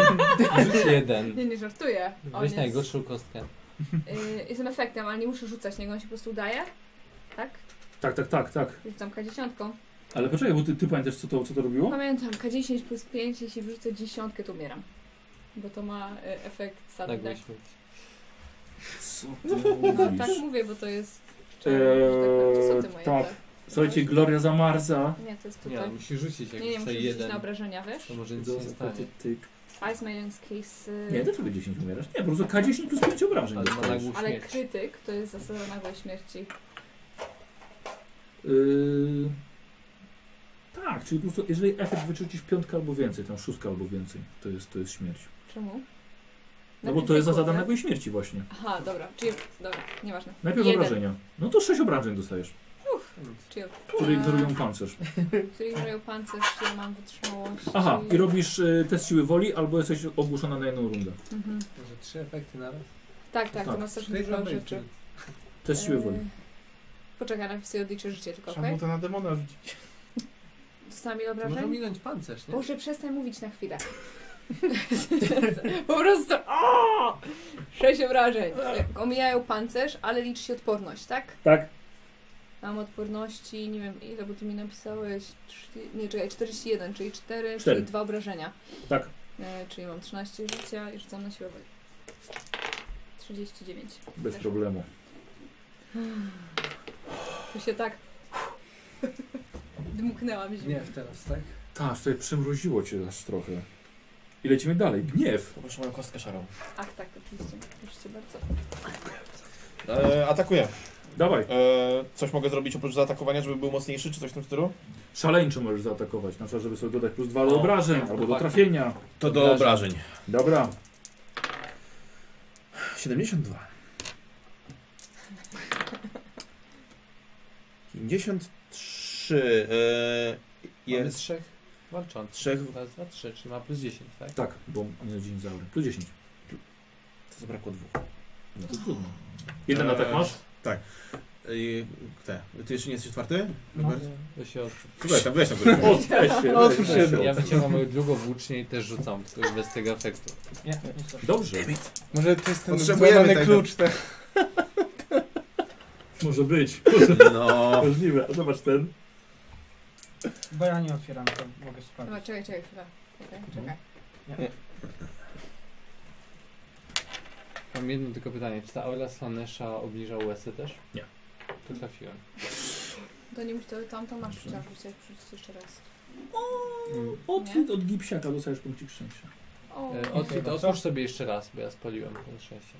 Speaker 9: Rzuć jeden.
Speaker 3: nie, nie żartuję. On
Speaker 9: Weź
Speaker 3: jest,
Speaker 9: najgorszą kostkę.
Speaker 3: y, jestem efektem, ale nie muszę rzucać niego, on się po prostu udaje. Tak?
Speaker 1: Tak, tak, tak, tak.
Speaker 3: Rzucam K10.
Speaker 1: Ale poczekaj, bo ty, ty pamiętasz, co to, co to robiło?
Speaker 3: Pamiętam, K10 plus 5, jeśli wyrzucę dziesiątkę, to umieram. Bo to ma y, efekt
Speaker 9: Tak,
Speaker 3: sadnek.
Speaker 1: Co
Speaker 3: No tak
Speaker 1: mówisz?
Speaker 3: mówię, bo to jest.
Speaker 1: Eee,
Speaker 3: Eee, są te moje
Speaker 1: tak.
Speaker 3: te?
Speaker 1: Słuchajcie, Gloria zamarza.
Speaker 3: Nie, to jest
Speaker 9: Nie,
Speaker 3: tutaj.
Speaker 9: on musi rzucić jak
Speaker 3: Nie, nie, muszę
Speaker 9: dostaje
Speaker 3: rzucić na
Speaker 9: jeden.
Speaker 3: obrażenia, wiesz?
Speaker 9: To może nic się nie stanie.
Speaker 1: Tyk.
Speaker 3: Ice Maiden's Case. y,
Speaker 1: Nie, dlaczego 10 umierasz? Nie, po prostu K10 plus 5 obrażeń
Speaker 9: Ale ma tak
Speaker 1: dostajesz.
Speaker 9: nagłą
Speaker 3: Ale
Speaker 9: śmierć.
Speaker 3: krytyk to jest zasada nagłej śmierci.
Speaker 1: Yy, tak, czyli po prostu, jeżeli efekt wyczucisz piątkę albo więcej, tam szóstka albo więcej, to jest, to jest śmierć.
Speaker 3: Czemu?
Speaker 1: No
Speaker 3: Na
Speaker 1: bo to jest
Speaker 3: krytyku,
Speaker 1: zasada
Speaker 3: tak?
Speaker 1: nagłej śmierci właśnie.
Speaker 3: Aha, dobra, czyli. Dobra, nieważne.
Speaker 1: Najpierw
Speaker 3: Jeden.
Speaker 1: obrażenia. No to 6 obrażeń dostajesz,
Speaker 9: Hmm,
Speaker 3: Czyli, Eee,
Speaker 1: które ignorują pancerz.
Speaker 3: czyli ignorują pancerz, czyli ja mam wytrzymałość.
Speaker 1: Aha, i robisz y, test siły woli, albo jesteś ogłuszona na jedną rundę.
Speaker 3: Mhm.
Speaker 4: Może trzy efekty na raz?
Speaker 3: Tak, tak,
Speaker 1: Tak.
Speaker 3: to masz strasznie
Speaker 4: Trzy
Speaker 3: dużo
Speaker 4: żaby,
Speaker 3: rzeczy.
Speaker 1: Test siły woli.
Speaker 3: Eee, Poczekaj, najpierw sobie odliczę życie tylko,
Speaker 6: Trzeba
Speaker 3: okej?
Speaker 6: mu to na demona rzucić.
Speaker 3: Dostałam ile
Speaker 4: czyli- Może
Speaker 3: obrażeń?
Speaker 4: minąć pancerz, nie?
Speaker 3: Boże, przestań mówić na chwilę. po prostu. O! Sześć obrażeń. Omijają pancerz, ale liczy się odporność, tak?
Speaker 1: Tak.
Speaker 3: Mam odporności, nie wiem ile, bo ty mi napisałeś. Trzy- Nie, czekaj, 41, czyli 4,
Speaker 1: Cztery.
Speaker 3: czyli 2 obrażenia.
Speaker 1: Tak.
Speaker 3: E, czyli mam 13 życia i rzucam na siłowy. 39.
Speaker 1: Bez problemu.
Speaker 3: Tu się tak. Dmuchnęłam
Speaker 4: Nie,
Speaker 3: zimno.
Speaker 4: w teraz, tak?
Speaker 1: Tak, tutaj przymroziło cię aż trochę. I lecimy dalej. Gniew.
Speaker 2: Poproszę moją kostkę szarą.
Speaker 3: Ach, tak, oczywiście. Proszę cię bardzo.
Speaker 1: Tak.
Speaker 2: E, atakuję.
Speaker 1: Dawaj.
Speaker 2: E, coś mogę zrobić oprócz zaatakowania, żeby był mocniejszy, czy coś w tym stylu?
Speaker 1: Szaleńczo możesz zaatakować. Na przykład, żeby sobie dodać plus dwa
Speaker 9: O, tak,
Speaker 1: do obrażeń albo do
Speaker 9: chłopaki.
Speaker 1: trafienia.
Speaker 2: To
Speaker 9: do
Speaker 2: obrażeń.
Speaker 1: Dobra.
Speaker 2: 72. 53. E,
Speaker 9: Mamy
Speaker 2: jest
Speaker 9: trzech walczących.
Speaker 2: trzech.
Speaker 9: Raz, dwa, trzy, czyli ma plus 10, tak?
Speaker 1: Tak, bo nie dinozaury. Plus 10.
Speaker 2: To zabrakło dwóch.
Speaker 1: No Eee. to trudno. Jeden atak tak masz?
Speaker 2: Ej, te. Ty jeszcze nie jesteś czwarty?
Speaker 5: No.
Speaker 2: Robert?
Speaker 9: To się od...
Speaker 2: Weź tam, weź tam. Górę.
Speaker 1: O, cześć.
Speaker 2: No, otwórz
Speaker 1: cześć.
Speaker 2: się.
Speaker 9: Ja wyciągam moją drugą włócznię i też rzucam, tylko już bez tego efektu.
Speaker 5: Nie, nie stoi.
Speaker 1: Dobrze.
Speaker 6: Może to jest ten
Speaker 2: Potrzebujemy
Speaker 6: złamany
Speaker 2: tego.
Speaker 6: klucz, tak? ten.
Speaker 1: Może być.
Speaker 2: No.
Speaker 1: Możliwe. A zobacz ten.
Speaker 5: Bo ja nie otwieram, to mogę
Speaker 3: Dobra,
Speaker 5: spać.
Speaker 3: czekaj, czekaj, chwilę. Czekaj, czekaj.
Speaker 9: Mam jedno tylko pytanie, czy ta aura Slanesha obniża USy też?
Speaker 1: Nie.
Speaker 9: To trafiłem.
Speaker 3: To nie musisz, to tamto masz, chciałam rzucić rzucić jeszcze raz.
Speaker 1: O, od, od gipsiaka dostajesz punkcik szczęścia.
Speaker 3: O,
Speaker 9: E, Od,
Speaker 5: Dziękuję
Speaker 9: otwórz sobie jeszcze raz, bo ja spaliłem ten szczęście.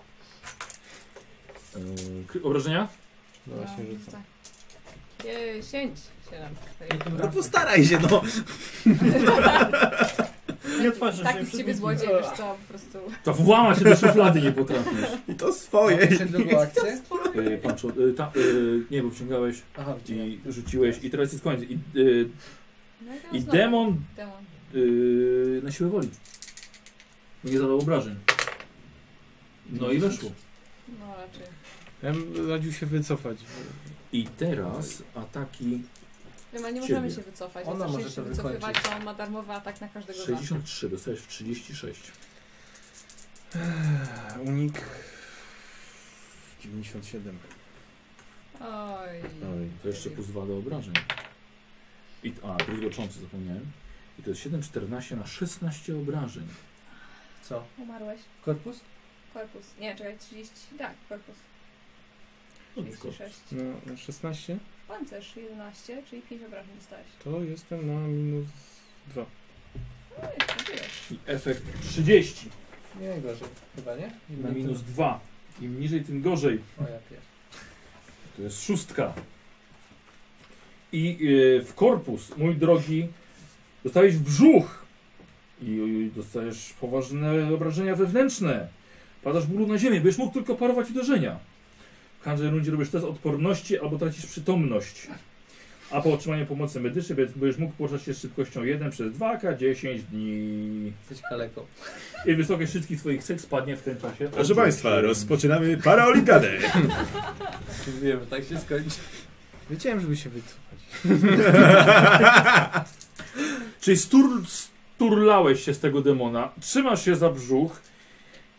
Speaker 1: Eee, kry- obrażenia?
Speaker 9: No właśnie rzucam.
Speaker 3: tak. Dziesięć, siedem,
Speaker 5: I tym
Speaker 2: No
Speaker 5: razem.
Speaker 2: postaraj się, no.
Speaker 5: Nie otwarzasz
Speaker 3: Taki
Speaker 5: się,
Speaker 3: Tak z ciebie złodziej, wiesz co, po prostu.
Speaker 1: To włama się do szuflady nie potrafisz.
Speaker 2: I to
Speaker 4: Mam
Speaker 2: swoje.
Speaker 4: jeszcze drugą akcję?
Speaker 1: Eee, patrz, eee, ta, eee, nie, bo wciągałeś
Speaker 4: Aha, wyciągam.
Speaker 1: i rzuciłeś i teraz jest koniec. I, eee,
Speaker 3: No teraz
Speaker 1: i
Speaker 3: znowu.
Speaker 1: demon
Speaker 3: Demon.
Speaker 1: Yy, na siłę woli. Bo Nie zadał obrażeń. No i weszło.
Speaker 3: No raczej.
Speaker 6: Ja bym radził się wycofać.
Speaker 1: I teraz ataki
Speaker 3: Ryma, nie
Speaker 1: Ciebie.
Speaker 3: możemy się wycofać.
Speaker 4: Ona
Speaker 3: Ona
Speaker 4: może
Speaker 3: może się
Speaker 4: to
Speaker 3: wycofywać,
Speaker 4: wykończyć.
Speaker 3: to on ma darmowy atak na każdego z nas.
Speaker 1: 63, dostajesz w 36.
Speaker 6: Unik 97.
Speaker 3: Oj.
Speaker 2: Oj.
Speaker 1: To jeszcze plus 2 do obrażeń. I, a, plus goczący zapomniałem. I to jest 7, 14 na 16 obrażeń.
Speaker 4: Co?
Speaker 3: Umarłeś.
Speaker 4: Korpus?
Speaker 3: Korpus. Nie, czekaj, 30. Tak, korpus.
Speaker 1: No, tylko
Speaker 3: 36.
Speaker 6: No, na 16
Speaker 3: Pancerz 11, czyli 5 obrażeń dostałeś.
Speaker 6: to jestem na minus 2.
Speaker 3: No jeszcze, wyjesz.
Speaker 1: I efekt 30
Speaker 4: Nie gorzej, chyba nie?
Speaker 1: na minus 2. Im niżej, tym gorzej.
Speaker 4: O ja pier...
Speaker 1: To jest szóstka. I y, w korpus, mój drogi, dostałeś w brzuch. I y, dostajesz poważne obrażenia wewnętrzne. Padasz bólu na ziemię, byś mógł tylko parować uderzenia. W każdej rundzie robisz test odporności albo tracisz przytomność. A po otrzymaniu pomocy medycznej będziesz- będziesz mógł poruszać się z szybkością 1 przez 2K 10 dni.
Speaker 4: Jesteś kaleką.
Speaker 1: I wysokość wszystkich swoich cech spadnie w tym czasie.
Speaker 19: Proszę Państwa, rozpoczynamy paraolimpiadę.
Speaker 4: Wiem, że tak się skończy.
Speaker 6: Wiedziałem, żeby się wycofać.
Speaker 1: Czyli stur, sturlałeś się z tego demona, trzymasz się za brzuch.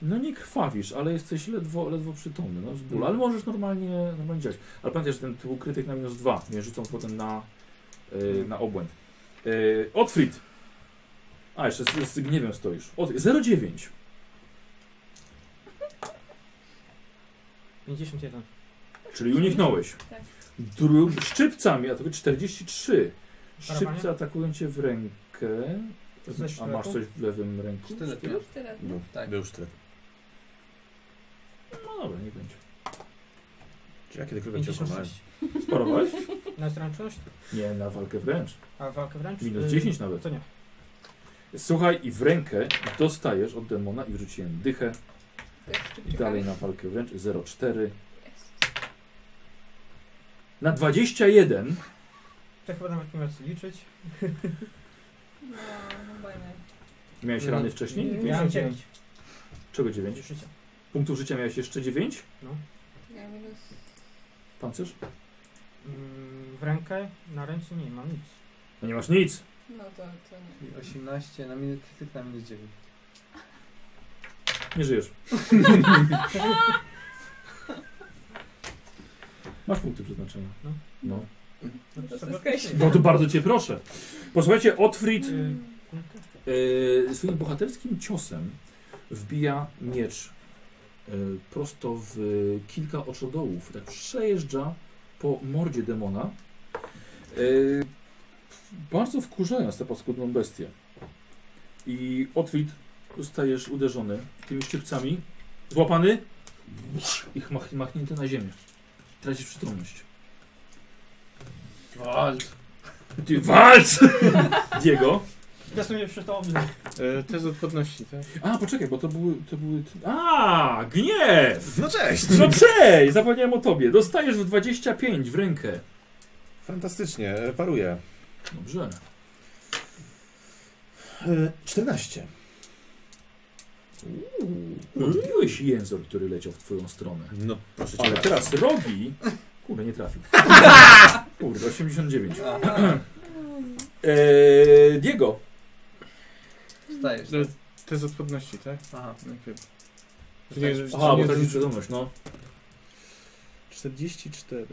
Speaker 1: No nie krwawisz, ale jesteś ledwo, ledwo przytomny, no z bólu, ale możesz normalnie, normalnie działać. Ale pamiętaj, że ten tył krytyk na minus dwa, nie rzucą potem na, yy, na obłęd. Yy, Otfrid! A, jeszcze z, z gniewem stoisz. Ot- 0,9.
Speaker 5: 51.
Speaker 1: Czyli uniknąłeś.
Speaker 3: Tak.
Speaker 1: Dru- szczypcami atakuje 43. Szczypce
Speaker 5: Parowanie?
Speaker 1: atakują cię w rękę.
Speaker 5: To coś w
Speaker 1: A masz
Speaker 5: ręku?
Speaker 1: coś w lewym ręku?
Speaker 4: Sztylet.
Speaker 3: To już tyle. No.
Speaker 2: Był,
Speaker 4: Tak.
Speaker 2: był sztylet.
Speaker 1: No dobra, nie będzie.
Speaker 2: Czy ja kiedy krywę cię okłamałem?
Speaker 5: 56.
Speaker 1: Sparowałeś?
Speaker 5: Na zręczność?
Speaker 1: Nie, na walkę wręcz.
Speaker 5: A walkę wręcz?
Speaker 1: Minus
Speaker 5: Y,
Speaker 1: 10 nawet.
Speaker 5: To nie.
Speaker 1: Słuchaj, i w rękę dostajesz od demona i wrzuciłem dychę. I dalej na walkę wręcz 0,4. Na 21
Speaker 5: To chyba nawet nie ma co liczyć.
Speaker 3: No, chyba nie.
Speaker 1: miałeś rany wcześniej?
Speaker 5: Ja mam 9.
Speaker 1: Czego 9?
Speaker 5: życia.
Speaker 1: Punktów życia miałeś jeszcze 9?
Speaker 3: Ja minus...
Speaker 1: Pancerz?
Speaker 5: Mm, W rękę, na ręce nie mam nic.
Speaker 1: No nie masz nic.
Speaker 3: No to, to nie.
Speaker 4: I 18 na minus krytyk na minus 9.
Speaker 1: Nie żyjesz. masz punkty przeznaczenia.
Speaker 5: No.
Speaker 1: No.
Speaker 3: No to
Speaker 5: to
Speaker 3: wszystko
Speaker 5: faktycznie.
Speaker 3: jest-
Speaker 1: No to bardzo cię proszę. Posłuchajcie, Otfrid
Speaker 5: Y,
Speaker 1: E, swoim bohaterskim ciosem wbija miecz e, prosto w kilka oczodołów. Tak przejeżdża po mordzie demona. E, bardzo wkurzając tę paskudną bestię. I Otwit zostajesz uderzony tymi szczypcami, złapany i mach, machnięty na ziemię. Tracisz przytomność. Walcz! Ty walcz! Diego.
Speaker 5: Ja sobie przytomny.
Speaker 6: E, test odporności, tak?
Speaker 1: A, poczekaj, bo to były... To były... A, gniew!
Speaker 2: No cześć!
Speaker 1: No cześć! Zapomniałem o tobie. Dostajesz w 25 w rękę.
Speaker 2: Fantastycznie, e, paruję.
Speaker 1: Dobrze.
Speaker 2: E, 14.
Speaker 1: Odbiłeś jęzor, który leciał w twoją stronę.
Speaker 2: No proszę cię
Speaker 1: Ale
Speaker 2: bardzo.
Speaker 1: teraz robi... Kurde, nie trafił. Kurde, 89.
Speaker 3: No,
Speaker 1: Eee, Diego.
Speaker 4: Wstajesz. tak?
Speaker 6: No, Test odporności, tak?
Speaker 4: Aha.
Speaker 6: Najpierw.
Speaker 4: Wstajesz.
Speaker 6: Nie, że- tak-
Speaker 1: Aha, bo
Speaker 6: nie,
Speaker 1: to
Speaker 6: że-
Speaker 1: jest wiadomość, no.
Speaker 6: 44.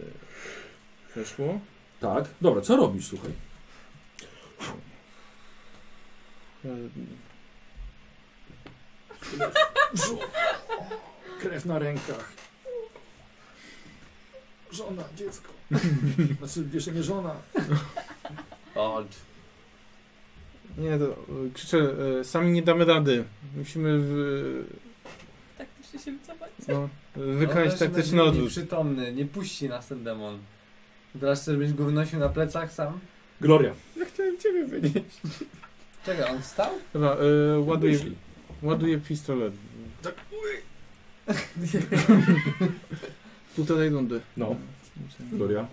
Speaker 6: Weszło.
Speaker 1: Tak. Dobra, co robisz, słuchaj?
Speaker 6: E,
Speaker 1: Krew na rękach. Żona, dziecko. Znaczy, jeszcze nie żona.
Speaker 4: Old.
Speaker 6: Nie, to e, krzyczę, e, sami nie damy rady. Musimy w,
Speaker 3: Tak, muszę się wycofać.
Speaker 6: no, wykonać
Speaker 4: No, też
Speaker 6: taktyczny
Speaker 4: będzie
Speaker 6: odwrót.
Speaker 4: Nieprzytomny, nie puści nas ten demon. Wyobraź sobie, żebyś go wynosił na plecach sam?
Speaker 1: Gloria.
Speaker 6: Ja chciałem ciebie wynieść.
Speaker 4: Czekaj, on wstał?
Speaker 6: Dobra, e, ładuję, ładuję pistolet. Tak. Półtorej rundy.
Speaker 1: No. Gloria.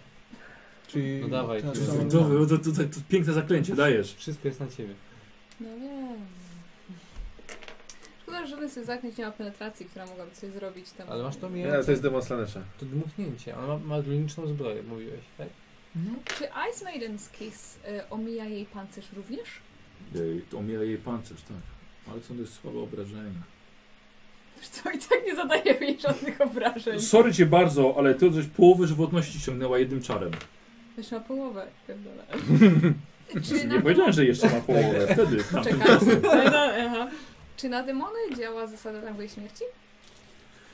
Speaker 6: Czyli...
Speaker 9: No dawaj,
Speaker 6: tak,
Speaker 9: ty
Speaker 6: tak.
Speaker 9: zrób.
Speaker 1: To, to, to, to, to piękne zaklęcie, dajesz.
Speaker 9: Wszystko jest na ciebie.
Speaker 3: No nie. Szkoda, że żaden sobie zaknąć nie ma penetracji, która mogłaby coś zrobić tam.
Speaker 9: Ale masz to
Speaker 2: Nie,
Speaker 9: miecz,
Speaker 2: to jest demon Slanesha.
Speaker 9: to dmuchnięcie. On ma, ma droniczną zbroję, mówiłeś, tak?
Speaker 3: Czy Ice Maiden's Kiss y, omija jej pancerz również?
Speaker 1: Ej, to Omiera jej pancerz, tak. Ale są dość słabe obrażenia.
Speaker 3: Wiesz Co i tak nie zadaje mi żadnych obrażeń.
Speaker 1: Sorry cię bardzo, ale ty coś połowy żywotności ciągnęła jednym czarem.
Speaker 3: Wiesz, na Znaczy, połowę. pierdolę. Czy
Speaker 1: Nie
Speaker 3: na,
Speaker 1: powiedziałem, że jeszcze ma połowę. Wtedy. tamtym
Speaker 3: Czekaj.
Speaker 1: razem.
Speaker 3: czy na demony działa zasada nagłej śmierci?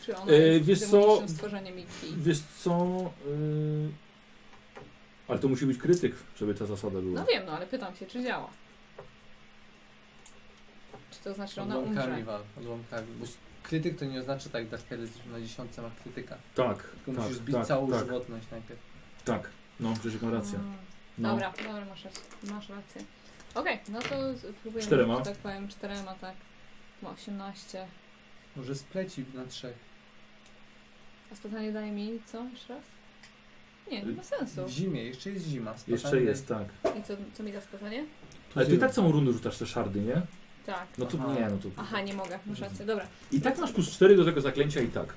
Speaker 3: Czy ona
Speaker 1: E,
Speaker 3: jest
Speaker 1: wiesz co?
Speaker 3: demonicznym stworzeniem i krwi?
Speaker 1: Wiesz co? y, Ale to musi być krytyk, żeby ta zasada była.
Speaker 3: No wiem, no ale pytam się, czy działa. Czy to znaczy, że ona
Speaker 9: Odłamkami
Speaker 3: umrze?
Speaker 9: wal, odłamkami. Bo s- krytyk to nie oznacza tak, że na dziesiątce ma krytyka.
Speaker 1: Tak,
Speaker 9: Tylko
Speaker 1: tak,
Speaker 9: musisz zbić
Speaker 1: tak,
Speaker 9: całą
Speaker 1: tak,
Speaker 9: żywotność najpierw.
Speaker 1: tak. No, Grzesiek ma rację.
Speaker 3: Mm.
Speaker 1: No.
Speaker 3: Dobra, dobra, masz rację. Masz rację. Okej, no to z- próbujemy,
Speaker 1: Czterema?
Speaker 3: że tak powiem, czterema, tak. Ma 18.
Speaker 9: Może spleci na trzech.
Speaker 3: A spytanie daje mi co? Jeszcze raz? Nie, nie ma sensu.
Speaker 9: W zimie, jeszcze jest zima. spadamy
Speaker 1: Jeszcze jest,
Speaker 9: na-
Speaker 1: tak.
Speaker 3: I co, co mi da spytanie?
Speaker 1: Ale ty i tak całą rundę rzucasz te szardy, nie?
Speaker 3: Tak.
Speaker 1: No to
Speaker 9: Aha.
Speaker 1: nie, no to...
Speaker 3: Aha, nie mogę, masz rację. Dobra,
Speaker 1: I tak masz plus 4 do tego zaklęcia i tak.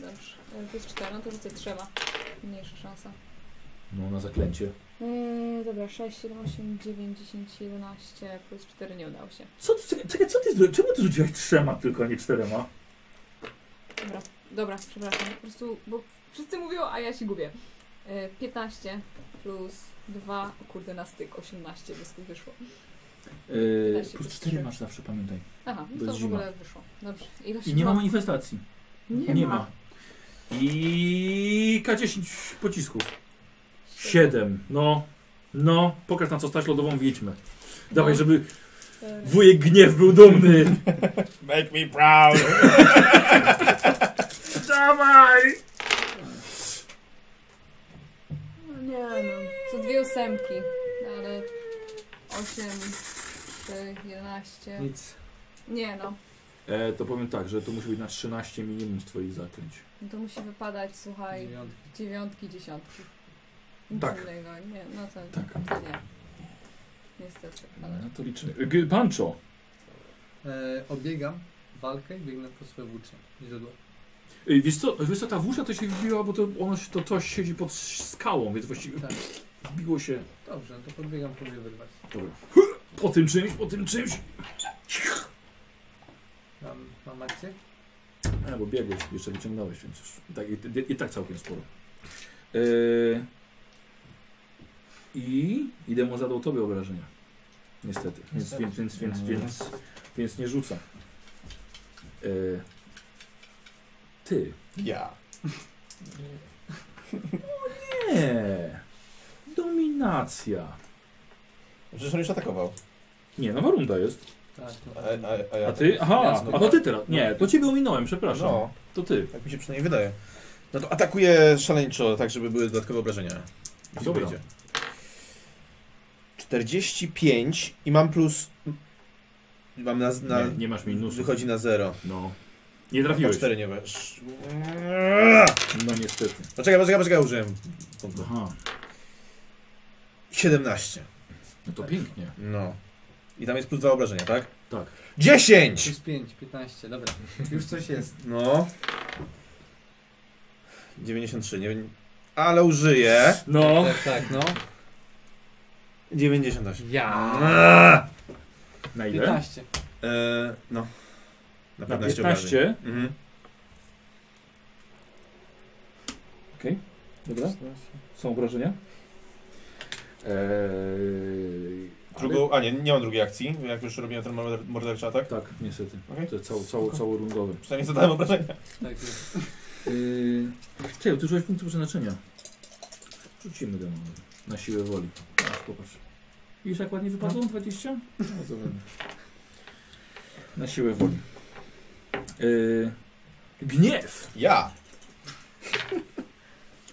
Speaker 3: dobrze. E, Plus 4, no to rzucę trzema. Mniejsza szansa.
Speaker 1: No, na zaklęcie.
Speaker 3: Eee, dobra, 6, 7, 8, 9, 10, 11, plus 4 nie udało się.
Speaker 1: Co ty, czekaj, czekaj, co ty zrobiłeś? Czemu ty rzuciłaś trzema tylko, a nie czterema?
Speaker 3: Dobra, dobra, przepraszam. Po prostu, bo wszyscy mówią, a ja się gubię. E, 15 plus 2, o kurde, na styk, 18 wysku wyszło.
Speaker 1: Yy,
Speaker 3: Też się
Speaker 1: plus
Speaker 3: to
Speaker 1: 4
Speaker 3: słyszy.
Speaker 1: masz zawsze, pamiętaj.
Speaker 3: Aha,
Speaker 1: Bo
Speaker 3: no to
Speaker 1: jest
Speaker 3: w
Speaker 1: zima.
Speaker 3: ogóle wyszło. Dobrze. Ilość
Speaker 1: I nie ma
Speaker 3: ma-
Speaker 1: manifestacji.
Speaker 3: Nie,
Speaker 1: Nie ma. I K10 pocisków. 7. No, no, pokaż na co stać lodową wiedźmę. Dawaj,
Speaker 3: No.
Speaker 1: żeby
Speaker 3: Cztery.
Speaker 1: wujek gniew był dumny.
Speaker 2: Make me proud!
Speaker 1: Dawaj!
Speaker 3: Nie no. Co dwie ósemki, ale 8, 3, 11.
Speaker 9: Nic.
Speaker 3: Nie no.
Speaker 1: E, to powiem tak, że to musi być na 13 minimum z twoich zaklęć.
Speaker 3: No To musi wypadać, słuchaj,
Speaker 9: Dziewiątki.
Speaker 3: dziewiątki, dziesiątki. Nic
Speaker 1: Tak.
Speaker 3: innego. Nie, no co?
Speaker 1: Tak.
Speaker 3: to Nie. Niestety, ale.
Speaker 1: No to liczymy. G- Pancho,
Speaker 4: E, obiegam walkę i biegnę po swoje włócznie i źródło.
Speaker 1: Ej, wiesz co, wiesz co, ta włócznia to się wbiła, bo to, ono, się- to coś siedzi pod skałą, więc właściwie
Speaker 4: Tak.
Speaker 1: wbiło się
Speaker 4: Dobrze, no to podbiegam, próbuję wyrwać.
Speaker 1: Dobra. po tym czymś, po tym czymś.
Speaker 4: Mam, mam akcję?
Speaker 1: A, bo biegłeś, jeszcze wyciągnąłeś, więc już i tak, i, i tak całkiem sporo. Yy, I idę mu zadał tobie obrażenia. Niestety. Więc, więc, więc, więc, więc, więc nie rzuca. Yy, ty.
Speaker 2: Ja.
Speaker 1: Nie. Dominacja.
Speaker 2: Przecież on już atakował.
Speaker 1: Nie, nowa runda jest.
Speaker 4: Tak, no.
Speaker 2: A, a, a, ja
Speaker 1: A ty? Aha,
Speaker 2: Ja
Speaker 1: a to ty teraz. Nie, to ciebie ominąłem, przepraszam.
Speaker 2: No,
Speaker 1: To ty.
Speaker 2: tak mi się przynajmniej wydaje. No to atakuje szaleńczo, tak żeby były dodatkowe obrażenia. Jeśli
Speaker 1: Dobra.
Speaker 2: wyjdzie. 45 i mam plus... Mam na... na
Speaker 1: Nie, nie masz minusu.
Speaker 2: No, wychodzi na 0.
Speaker 1: No. Nie trafiłeś.
Speaker 2: 4 nie wiesz.
Speaker 1: No niestety.
Speaker 2: Poczekaj, poczekaj, poczekaj, użyłem. punktu.
Speaker 1: Aha,
Speaker 2: 17.
Speaker 1: no to pięknie.
Speaker 2: No. I tam jest plus dwa obrażenia, tak?
Speaker 1: Tak.
Speaker 2: 10!
Speaker 4: Plus 5, 15, dobra. Już coś jest.
Speaker 2: No. 93, nie wiem. Ale użyję.
Speaker 1: No.
Speaker 9: Tak, tak, no.
Speaker 2: 98.
Speaker 9: Ja.
Speaker 2: Eee,
Speaker 1: Na ile?
Speaker 9: 15.
Speaker 2: no.
Speaker 1: Na
Speaker 2: Na 15
Speaker 1: 15.
Speaker 2: obrażeń. Mhm.
Speaker 1: Okej, dobra. Są obrażenia? Eee, ale...
Speaker 2: Drugą, a nie, nie mam drugiej akcji, bo jak już robiłem ten morder- morderczy atak.
Speaker 1: Tak, niestety.
Speaker 2: Okej.
Speaker 1: To jest cało, cało, cało rundowy.
Speaker 2: Przynajmniej zadałem obrażenia.
Speaker 9: Tak jest.
Speaker 1: Eee, czekaj, ty użyłeś punktu przeznaczenia. Rzucimy go na- na siłę woli. Aż popatrz. Widzisz jak ładnie wypadło? 20? No, to ładnie. Na siłę woli. Eee, gniew!
Speaker 2: Ja!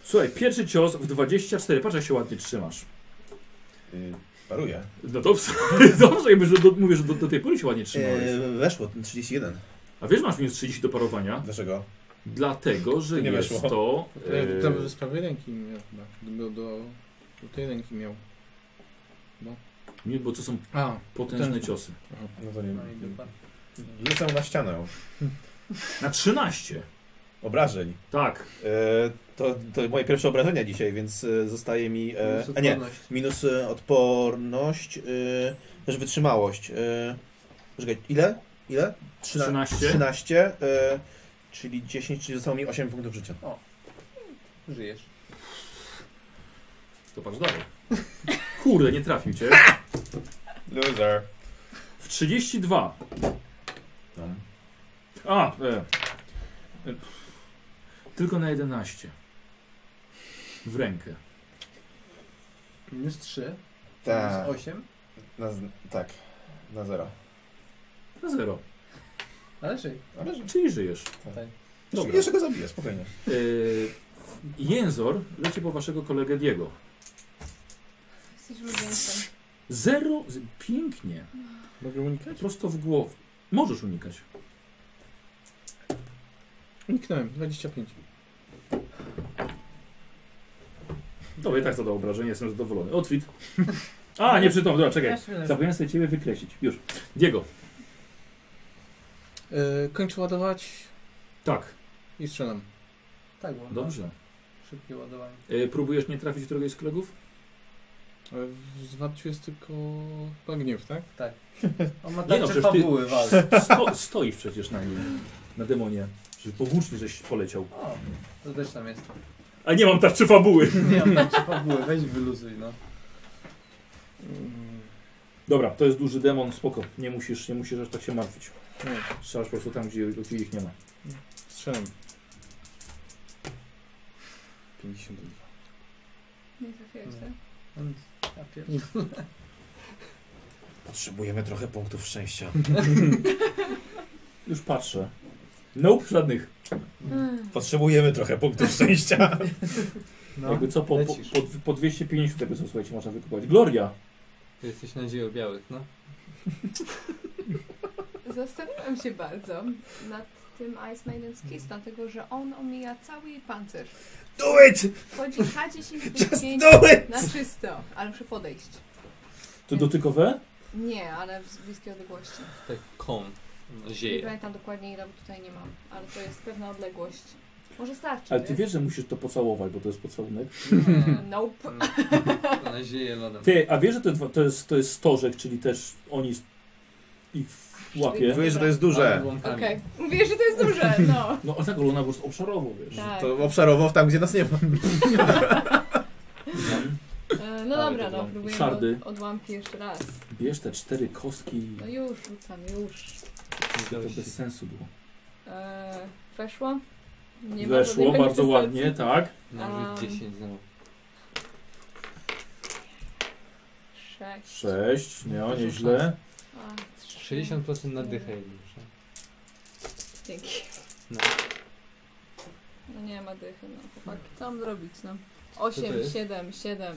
Speaker 1: Słuchaj, pierwszy cios w 24. Patrz jak się ładnie trzymasz.
Speaker 2: Y, paruję.
Speaker 1: No dobrze, dobrze jakby, że do, mówię, że do, do tej pory się ładnie trzymałeś.
Speaker 2: Y, weszło, 31.
Speaker 1: A wiesz, masz minus 30 do parowania,
Speaker 2: Dlaczego?
Speaker 1: dlatego, że
Speaker 2: Nie
Speaker 1: jest
Speaker 2: weszło.
Speaker 1: to... e,
Speaker 6: Tam z prawej ręki miał chyba. Do, do, do tej ręki miał.
Speaker 1: nie, bo to są
Speaker 6: A,
Speaker 1: potężne
Speaker 6: Potężne.
Speaker 1: ciosy.
Speaker 2: No to nie
Speaker 4: No i dupa.
Speaker 2: Rzucam na ścianę.
Speaker 1: Na 13.
Speaker 2: Obrażeń.
Speaker 1: Tak.
Speaker 2: E, to, to moje pierwsze obrażenia dzisiaj, więc e, zostaje mi. E,
Speaker 4: Minus
Speaker 2: a nie,
Speaker 4: odporność.
Speaker 2: minus e, odporność, e, też wytrzymałość. E, poczekaj, ile? Ile? Trzyna-
Speaker 1: 13.
Speaker 2: 13 e, czyli 10, czyli zostało mi 8 punktów życia.
Speaker 9: Żyjesz.
Speaker 1: To patrz dalej. Kurde, nie trafił cię.
Speaker 2: Loser.
Speaker 1: W 32.
Speaker 6: No.
Speaker 2: Tam.
Speaker 1: A, e, e, tylko na 11. W rękę.
Speaker 4: Minus 3,
Speaker 2: Tak.
Speaker 4: minus 8,
Speaker 2: Na, z- tak, na zero.
Speaker 1: Na zero.
Speaker 4: ale żyj.
Speaker 2: Ale że-
Speaker 1: Czyli żyjesz.
Speaker 4: Tak.
Speaker 1: Dobra.
Speaker 2: Jeszcze go zabiję, spokojnie.
Speaker 1: E, Jęzor leci po waszego kolegę Diego.
Speaker 3: Jesteś ulubieńcem.
Speaker 1: Zero. z- Pięknie.
Speaker 6: Mogę unikać?
Speaker 1: Prosto w głowę. Możesz unikać.
Speaker 6: Uniknąłem, 25.
Speaker 1: Dobra, i tak zadał obrażenie, jestem zadowolony. Otwit. A, nie przytom, dobra, czekaj.
Speaker 5: Ja sobie leżę.
Speaker 1: Zapomniałem sobie ciebie wykreślić. Już. Diego.
Speaker 6: Yy, kończę ładować
Speaker 1: Tak,
Speaker 6: i strzelam.
Speaker 4: Tak, bo
Speaker 1: dobrze.
Speaker 4: szybkie ładowanie.
Speaker 1: E, próbujesz nie trafić któregoś z kolegów?
Speaker 6: Ale E, w zwarciu jest tylko chyba gniew, tak?
Speaker 4: On ma
Speaker 1: Nie no,
Speaker 4: tarczę
Speaker 1: przecież ty-
Speaker 4: fabuły walki.
Speaker 1: Sto, stoisz przecież na nim. Na demonie. Że powłócznie żeś poleciał.
Speaker 4: O, to też tam jest.
Speaker 1: A nie mam tarczy fabuły.
Speaker 4: Nie mam tarczy fabuły, weź wyluzuj, no.
Speaker 6: Mm,
Speaker 1: Dobra, to jest duży demon, spoko. Nie musisz, nie musisz aż tak się martwić.
Speaker 6: nie,
Speaker 1: Strzelasz po prostu tam, gdzie, gdzie ich nie ma.
Speaker 6: strzelam. 52.
Speaker 3: Nie trafiłeś, tak?
Speaker 4: On- ja pier-
Speaker 2: Potrzebujemy trochę punktów szczęścia.
Speaker 1: Już patrzę. Nope, żadnych.
Speaker 2: Potrzebujemy trochę punktów szczęścia.
Speaker 4: No,
Speaker 1: Jakby co, po, po,
Speaker 4: lecisz.
Speaker 1: po, po 250 tego, co słuchajcie, można wykupać. Gloria!
Speaker 9: Jesteś nadzieją białych, no.
Speaker 3: Zastanawiam się bardzo nad tym Ice Maiden's Kiss,
Speaker 1: Mm.
Speaker 3: dlatego że on omija cały jej pancerz.
Speaker 2: Do it!
Speaker 3: Chodzi
Speaker 2: Just
Speaker 3: H10
Speaker 2: do it!
Speaker 3: na czysto, ale muszę podejść.
Speaker 1: To dotykowe?
Speaker 3: Nie, ale z bliskiej odległości.
Speaker 9: Tak kon
Speaker 3: Nie
Speaker 9: zieje.
Speaker 3: pamiętam dokładnie ile, bo tutaj nie mam, ale to jest pewna odległość. Może starczy,
Speaker 1: Ale ty wiesz, że musisz to pocałować, bo to jest pocałunek.
Speaker 9: Nie,
Speaker 3: Nope.
Speaker 9: Ona zieje No. lodem.
Speaker 1: Ty, a wiesz, że to, dwa- to, jest, to jest stożek, czyli też oni s- ich łapie.
Speaker 2: Mówię, że to jest duże.
Speaker 9: Łąkami.
Speaker 3: Okej. Mówię, że to jest duże, no.
Speaker 1: No, a tak, ona po prostu obszarowo, wiesz.
Speaker 3: Tak.
Speaker 2: To obszarowo tam, gdzie nas nie ma.
Speaker 3: E, No
Speaker 9: Ale
Speaker 3: dobra,
Speaker 9: to
Speaker 3: no
Speaker 9: odłamki.
Speaker 3: próbujemy
Speaker 1: Szardy.
Speaker 3: od, odłamki jeszcze raz.
Speaker 1: Bierz te cztery kostki.
Speaker 3: No już, rzucam, już.
Speaker 1: To bez sensu było.
Speaker 3: E, weszło? Nie ma
Speaker 1: Weszło
Speaker 3: żadnej
Speaker 1: bardzo
Speaker 3: manifestacji.
Speaker 1: ładnie, tak.
Speaker 9: No,
Speaker 3: Am.
Speaker 9: 10 znowu.
Speaker 3: Sześć.
Speaker 1: Sześć, no nieźle.
Speaker 3: A, trzy.
Speaker 9: 60% na dychę jednym.
Speaker 3: Dzięki.
Speaker 9: No.
Speaker 3: No nie ma dychy, no chłopaki. Co mam zrobić, no?
Speaker 9: Co to
Speaker 3: Osiem,
Speaker 9: jest?
Speaker 3: siedem, siedem.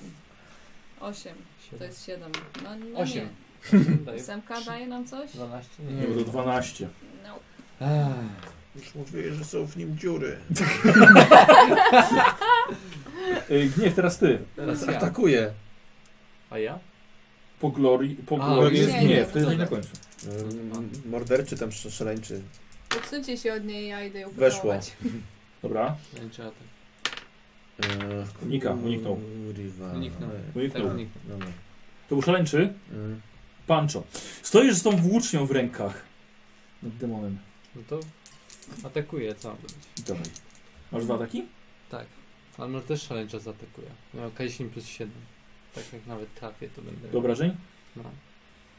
Speaker 3: Osiem. To jest siedem. No, no
Speaker 9: Osiem. No.
Speaker 3: nie.
Speaker 9: Daje
Speaker 3: Ósemka daje nam coś?
Speaker 9: 12?
Speaker 1: Nie, bo to 12.
Speaker 3: No.
Speaker 9: Ach,
Speaker 2: Już mówię, że są w nim dziury.
Speaker 1: Ej, Gniew, teraz ty.
Speaker 9: Teraz
Speaker 4: tak-
Speaker 9: ja.
Speaker 2: Atakuje.
Speaker 9: A ja?
Speaker 1: Po glorii, po
Speaker 9: A,
Speaker 1: glorii
Speaker 9: nie,
Speaker 1: jest
Speaker 3: nie,
Speaker 1: gniew,
Speaker 3: nie,
Speaker 1: to jest
Speaker 3: to
Speaker 1: nie na
Speaker 3: tak.
Speaker 1: końcu.
Speaker 2: Mm, Morderczy tam sz- szaleńczy.
Speaker 3: Odsuńcie się od niej, ja idę ją
Speaker 2: Weszło.
Speaker 3: pocałować.
Speaker 1: Dobra,
Speaker 9: Lęczy atak.
Speaker 2: Ech,
Speaker 1: Unika, uniknął.
Speaker 2: kurwa.
Speaker 9: Uniknął.
Speaker 1: uniknął.
Speaker 9: Tak, nikt.
Speaker 2: Mm, Dobra.
Speaker 1: To był szaleńczy?
Speaker 2: Mm.
Speaker 1: Pancho. Stoisz z tą włócznią w rękach. Nad demonem.
Speaker 9: No to atakuje, co?
Speaker 1: Dawaj. Masz dwa ataki?
Speaker 9: Tak. Ale może też szaleńcza zaatakuje. No, K10 plus 7. Tak jak nawet trafię, to będę...
Speaker 1: Do obrażeń?
Speaker 9: No,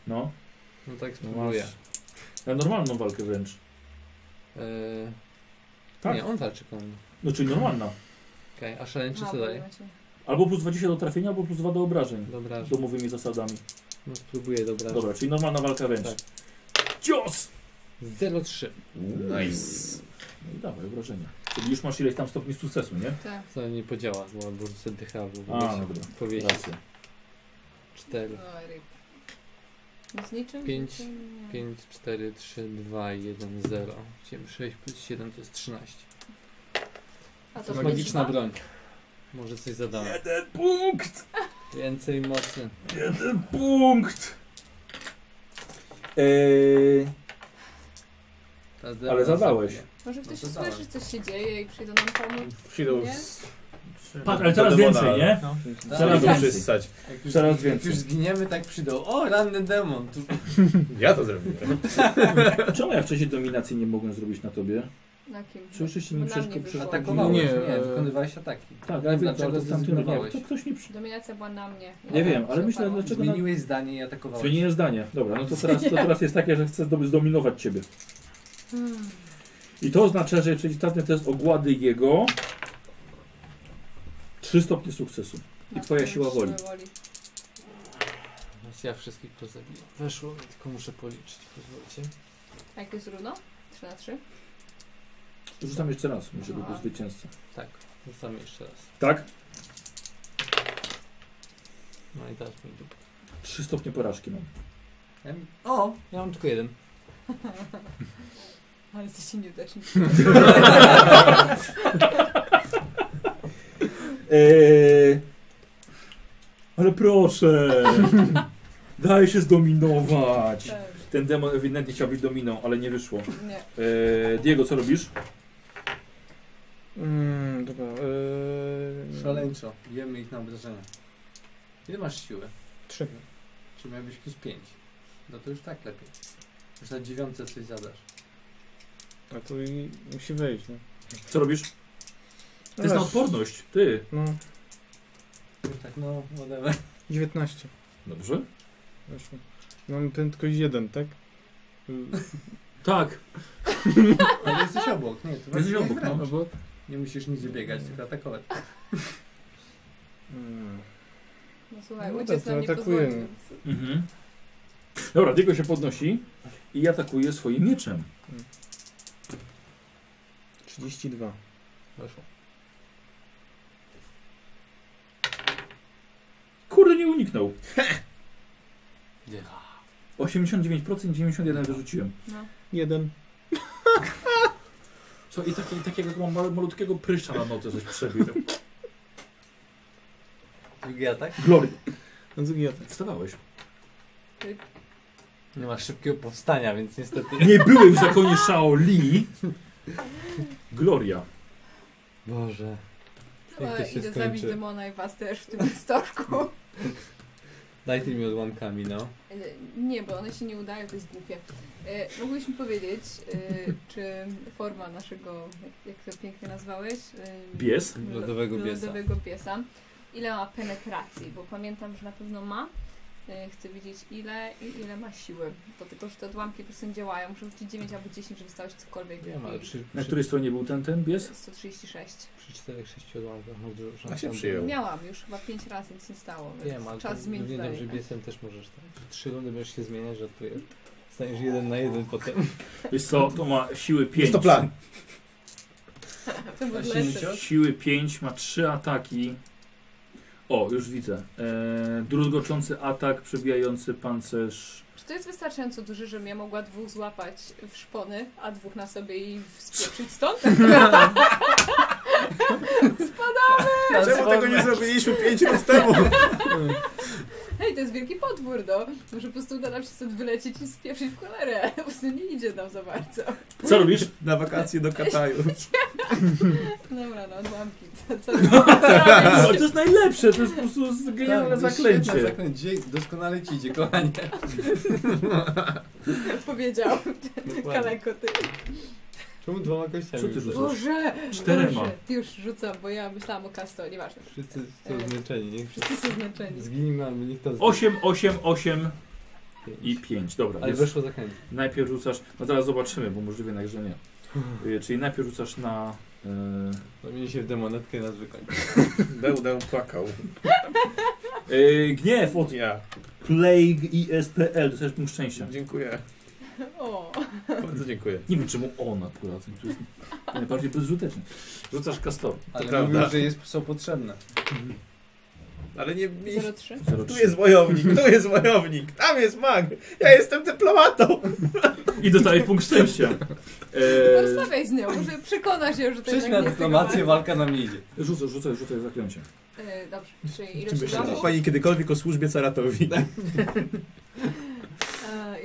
Speaker 1: No.
Speaker 9: no tak
Speaker 1: No
Speaker 9: spróbuję.
Speaker 1: Na normalną walkę wręcz.
Speaker 9: Eee,
Speaker 1: Tak.
Speaker 9: Nie, on tarczy koło mnie.
Speaker 1: No czyli normalna.
Speaker 9: Okej, a szaleńczy co daje?
Speaker 1: Albo plus 20 do trafienia, albo plus 2 do obrażeń.
Speaker 9: Dobra,
Speaker 1: Domowymi zasadami.
Speaker 9: no spróbuję, dobra.
Speaker 1: Dobra, czyli normalna walka wręcz.
Speaker 9: Tak.
Speaker 1: Cios!
Speaker 9: 0,3.
Speaker 2: Nice.
Speaker 1: No i dawaj, obrażenia. Czyli już masz ileś tam stopni sukcesu, nie?
Speaker 3: Tak.
Speaker 9: Co nie podziała, bo albo rzucę dycha, albo
Speaker 1: A, no
Speaker 9: powieści-
Speaker 1: dobra.
Speaker 9: powieści.
Speaker 1: Racja.
Speaker 9: 4.
Speaker 3: No, ryb. Z niczym?
Speaker 9: Pięć,
Speaker 3: Z niczym? Nie.
Speaker 9: 5, 4, 3, 2, 1, 0. 6 plus 7 to jest 13.
Speaker 3: A
Speaker 9: To
Speaker 3: to
Speaker 9: jest magiczna broń. Może coś zadałem.
Speaker 1: Jeden punkt!
Speaker 9: Więcej mocy.
Speaker 1: Jeden punkt! Eee,
Speaker 9: Ta
Speaker 2: E,
Speaker 1: Ale zadałeś.
Speaker 9: zabije.
Speaker 3: Może ktoś
Speaker 4: No to
Speaker 3: usłyszy, coś się dzieje i przyjdą nam pomóc.
Speaker 2: Przyjdą
Speaker 3: Nie?
Speaker 2: z...
Speaker 1: Patrz, ale coraz
Speaker 2: Do demona.
Speaker 1: więcej, nie?
Speaker 5: No.
Speaker 1: Coraz
Speaker 2: Przyjdą
Speaker 1: więcej.
Speaker 2: przystać.
Speaker 4: Jak już,
Speaker 1: Coraz
Speaker 4: jak
Speaker 1: więcej.
Speaker 4: już zginiemy, tak przyjdą. O, ranny demon. Tu
Speaker 2: Ja to zrobiłem.
Speaker 1: Czemu ja wcześniej dominacji nie mogłem zrobić na tobie?
Speaker 3: Na kim?
Speaker 1: Czy oczywiście
Speaker 3: Bo
Speaker 1: nie
Speaker 3: na mnie
Speaker 1: przeszkodził?
Speaker 3: wyszło.
Speaker 4: atakowałeś, nie,
Speaker 9: Nie, e,
Speaker 4: wykonywałeś ataki.
Speaker 1: Tak, ale
Speaker 4: Dlaczego
Speaker 1: dlaczego to
Speaker 4: zrezygnowałeś?
Speaker 1: To ktoś nie przy...
Speaker 3: Dominacja była na mnie.
Speaker 1: Nie wiem, ale
Speaker 3: się
Speaker 1: myślę,
Speaker 3: oparłam.
Speaker 1: dlaczego na...
Speaker 4: Zmieniłeś zdanie i atakowałeś.
Speaker 1: Zmieniłem zdanie. Dobra, no to teraz, to teraz jest takie, że chcę zdoby- zdominować ciebie.
Speaker 3: Hmm.
Speaker 1: I to oznacza, że przeciwstawny test ogłady jego 3 stopnie sukcesu.
Speaker 3: Matko,
Speaker 1: twoja siła
Speaker 3: siły
Speaker 1: woli.
Speaker 9: Więc ja wszystkich pozabiję. Weszło, tylko muszę policzyć, pozwólcie.
Speaker 3: A jak jest równo? 3 na 3?
Speaker 1: Rzucam jeszcze raz, żeby był
Speaker 3: Aha.
Speaker 1: zwycięzca.
Speaker 9: Tak, rzucamy jeszcze raz.
Speaker 1: Tak?
Speaker 9: No i teraz mi dupa.
Speaker 1: 3 stopnie porażki mam.
Speaker 4: Em, O,
Speaker 9: Ja mam tylko jeden.
Speaker 3: Ale jesteście nieudacznicy.
Speaker 1: Eee, ale proszę! Daj się zdominować!
Speaker 3: Tak.
Speaker 1: Ten demon ewidentnie chciał być dominą, ale nie wyszło.
Speaker 3: Nie.
Speaker 1: Eee, Diego, co robisz?
Speaker 6: Mm, dobra. Yy...
Speaker 4: szaleńczo. Jemy ich na obrażenia. Ile masz siły?
Speaker 6: Trzy.
Speaker 4: Czy miałbyś plus 5? No to już tak lepiej. Już na dziewiątce coś zadasz.
Speaker 6: A tu i musi wyjść, nie?
Speaker 1: Co robisz? To jest na odporność, ty.
Speaker 6: No,
Speaker 4: Już tak, no, whatever.
Speaker 6: 19.
Speaker 1: Dobrze?
Speaker 6: Weszło. Mam ten tylko jeden, tak? Y,
Speaker 1: Tak.
Speaker 4: Ale jesteś obok, nie? To
Speaker 1: Jesteś
Speaker 4: właśnie
Speaker 1: obok, no.
Speaker 4: wręcz. Nie musisz nigdzie biegać, tylko atakować.
Speaker 6: mm.
Speaker 3: No słuchaj,
Speaker 6: No
Speaker 3: ojciec
Speaker 6: dobra,
Speaker 3: nam nie
Speaker 6: to
Speaker 3: pozwolił.
Speaker 6: atakujemy.
Speaker 3: więc-
Speaker 1: Mhm. Dobra, Diego się podnosi i atakuje swoim mieczem.
Speaker 6: 32.
Speaker 9: Weszło.
Speaker 1: Kurde, nie uniknął.
Speaker 9: Dycha.
Speaker 1: 89%, 91% wyrzuciłem.
Speaker 3: No.
Speaker 6: Jeden.
Speaker 1: Co, i taki, takiego mam mal, malutkiego pryszcza na nocy żeś przebił.
Speaker 4: Drugi atak?
Speaker 1: Glory.
Speaker 6: No drugi atak.
Speaker 1: Wstawałeś.
Speaker 9: Nie ma szybkiego powstania, więc niestety.
Speaker 1: Nie byłem w zakonie Shaoli. Gloria.
Speaker 9: Boże. Jak to
Speaker 3: Ale
Speaker 9: się
Speaker 3: idę zabić
Speaker 9: skończy?
Speaker 3: demona i was też w tym storku.
Speaker 9: Daj tymi odłamkami, no.
Speaker 3: E, Nie, bo one się nie udają, to jest głupie. E, mogłyśmy powiedzieć, e, czy forma naszego, jak- jak to pięknie nazwałeś? E,
Speaker 1: Bies.
Speaker 9: Lodowego biesa.
Speaker 3: Lodowego piesa. Ile ma penetracji? Bo pamiętam, że na pewno ma. E, Chcę wiedzieć ile i ile ma siły. To tylko, że te odłamki po prostu nie działają. Muszę wrócić 9 albo 10, żeby stało się cokolwiek.
Speaker 9: Wiem, ale
Speaker 3: I
Speaker 9: przy,
Speaker 1: Na
Speaker 9: przy,
Speaker 1: której stronie był ten, ten bies?
Speaker 3: 136.
Speaker 9: przy 4-6 odłamkach mam dużo szans.
Speaker 2: A się
Speaker 9: tam
Speaker 2: przyjął.
Speaker 3: Miałam już chyba 5 razy, nic nie stało. Więc
Speaker 9: Wiem, ale
Speaker 3: czas
Speaker 9: Czas
Speaker 3: zmienić
Speaker 9: równie
Speaker 3: zdanie.
Speaker 9: dobrze biesem też możesz tak. Trzy rundy będziesz się zmieniać, żartuję. Staniesz jeden na jeden potem.
Speaker 1: Wiesz co, to ma siły 5.
Speaker 2: Jest to plan.
Speaker 3: To był
Speaker 4: A
Speaker 3: lecę.
Speaker 4: 60?
Speaker 1: Siły 5, ma 3 ataki. O, już widzę. Eee, druzgoczący atak, przebijający pancerz.
Speaker 3: Czy to jest wystarczająco duży, żebym ja mogła dwóch złapać w szpony, a dwóch na sobie i spieprzyć stąd?
Speaker 2: Czemu tak- tego nie zrobiliśmy 5 lat temu?
Speaker 3: Hej, to jest wielki podwór, no. Może po prostu uda nam się stąd wylecieć i spieprzyć w cholerę. Po prostu nie idzie nam za bardzo.
Speaker 1: Co robisz?
Speaker 2: Na wakacje do Kataju.
Speaker 3: Dobra, no odłamki. Co, co, co
Speaker 1: Ale to jest najlepsze, to jest po prostu z- genialne
Speaker 4: Tak, to jest świetne
Speaker 1: zaklęcie.
Speaker 4: zaklęcie. Doskonale ci idzie, kochanie.
Speaker 3: powiedział Kaleko, ty.
Speaker 9: Czemu dwoma kościami?
Speaker 1: Co ty rzucasz?
Speaker 3: Boże!
Speaker 1: Czterema.
Speaker 3: Boże, Ty już rzucam, bo ja myślałam o kasto, nieważne.
Speaker 9: Wszyscy są zmęczeni, niech
Speaker 3: Wszyscy są zmęczeni.
Speaker 9: zginijmy, albo niech to zginie.
Speaker 1: 8, 8, 8 i 5. Dobra,
Speaker 9: Ale
Speaker 1: więc
Speaker 9: weszło za chęć.
Speaker 1: najpierw rzucasz. No zaraz zobaczymy, bo możliwe jednak, że nie. Yy, Czyli najpierw rzucasz na. y,
Speaker 9: Zamieni się w demonetkę i nas wykończy.
Speaker 2: Będę płakał.
Speaker 1: Yy, yy, gniew od
Speaker 2: Ja.
Speaker 1: Plague ISPL, dostajesz punkt szczęścia.
Speaker 2: Dziękuję.
Speaker 3: O,
Speaker 2: Bardzo dziękuję.
Speaker 1: Nie wiem czemu on akurat. To jest najbardziej bezużyteczny. Rzucasz kastor.
Speaker 4: Ale
Speaker 2: prawda.
Speaker 4: mówił, że jest, są potrzebne.
Speaker 2: Ale nie... nie
Speaker 3: 03.
Speaker 2: tu jest wojownik, tu jest wojownik, tam jest mag. Ja jestem dyplomatą.
Speaker 1: I dostajesz punkt szczęścia. Eee,
Speaker 3: Porozmawiaj z nią, może przekona się, że to
Speaker 4: Przyjdź
Speaker 9: tak
Speaker 3: jednak
Speaker 4: na
Speaker 3: nie jest tego warte.
Speaker 4: dyplomację, walka nam nie idzie.
Speaker 1: rzucaj, rzucaj, rzucaj zaklęcie.
Speaker 3: E, Dobrze, czyli
Speaker 2: Czy
Speaker 3: ilość
Speaker 2: myślała
Speaker 3: odłamków?
Speaker 2: pani kiedykolwiek o służbie Caratowi?
Speaker 3: E,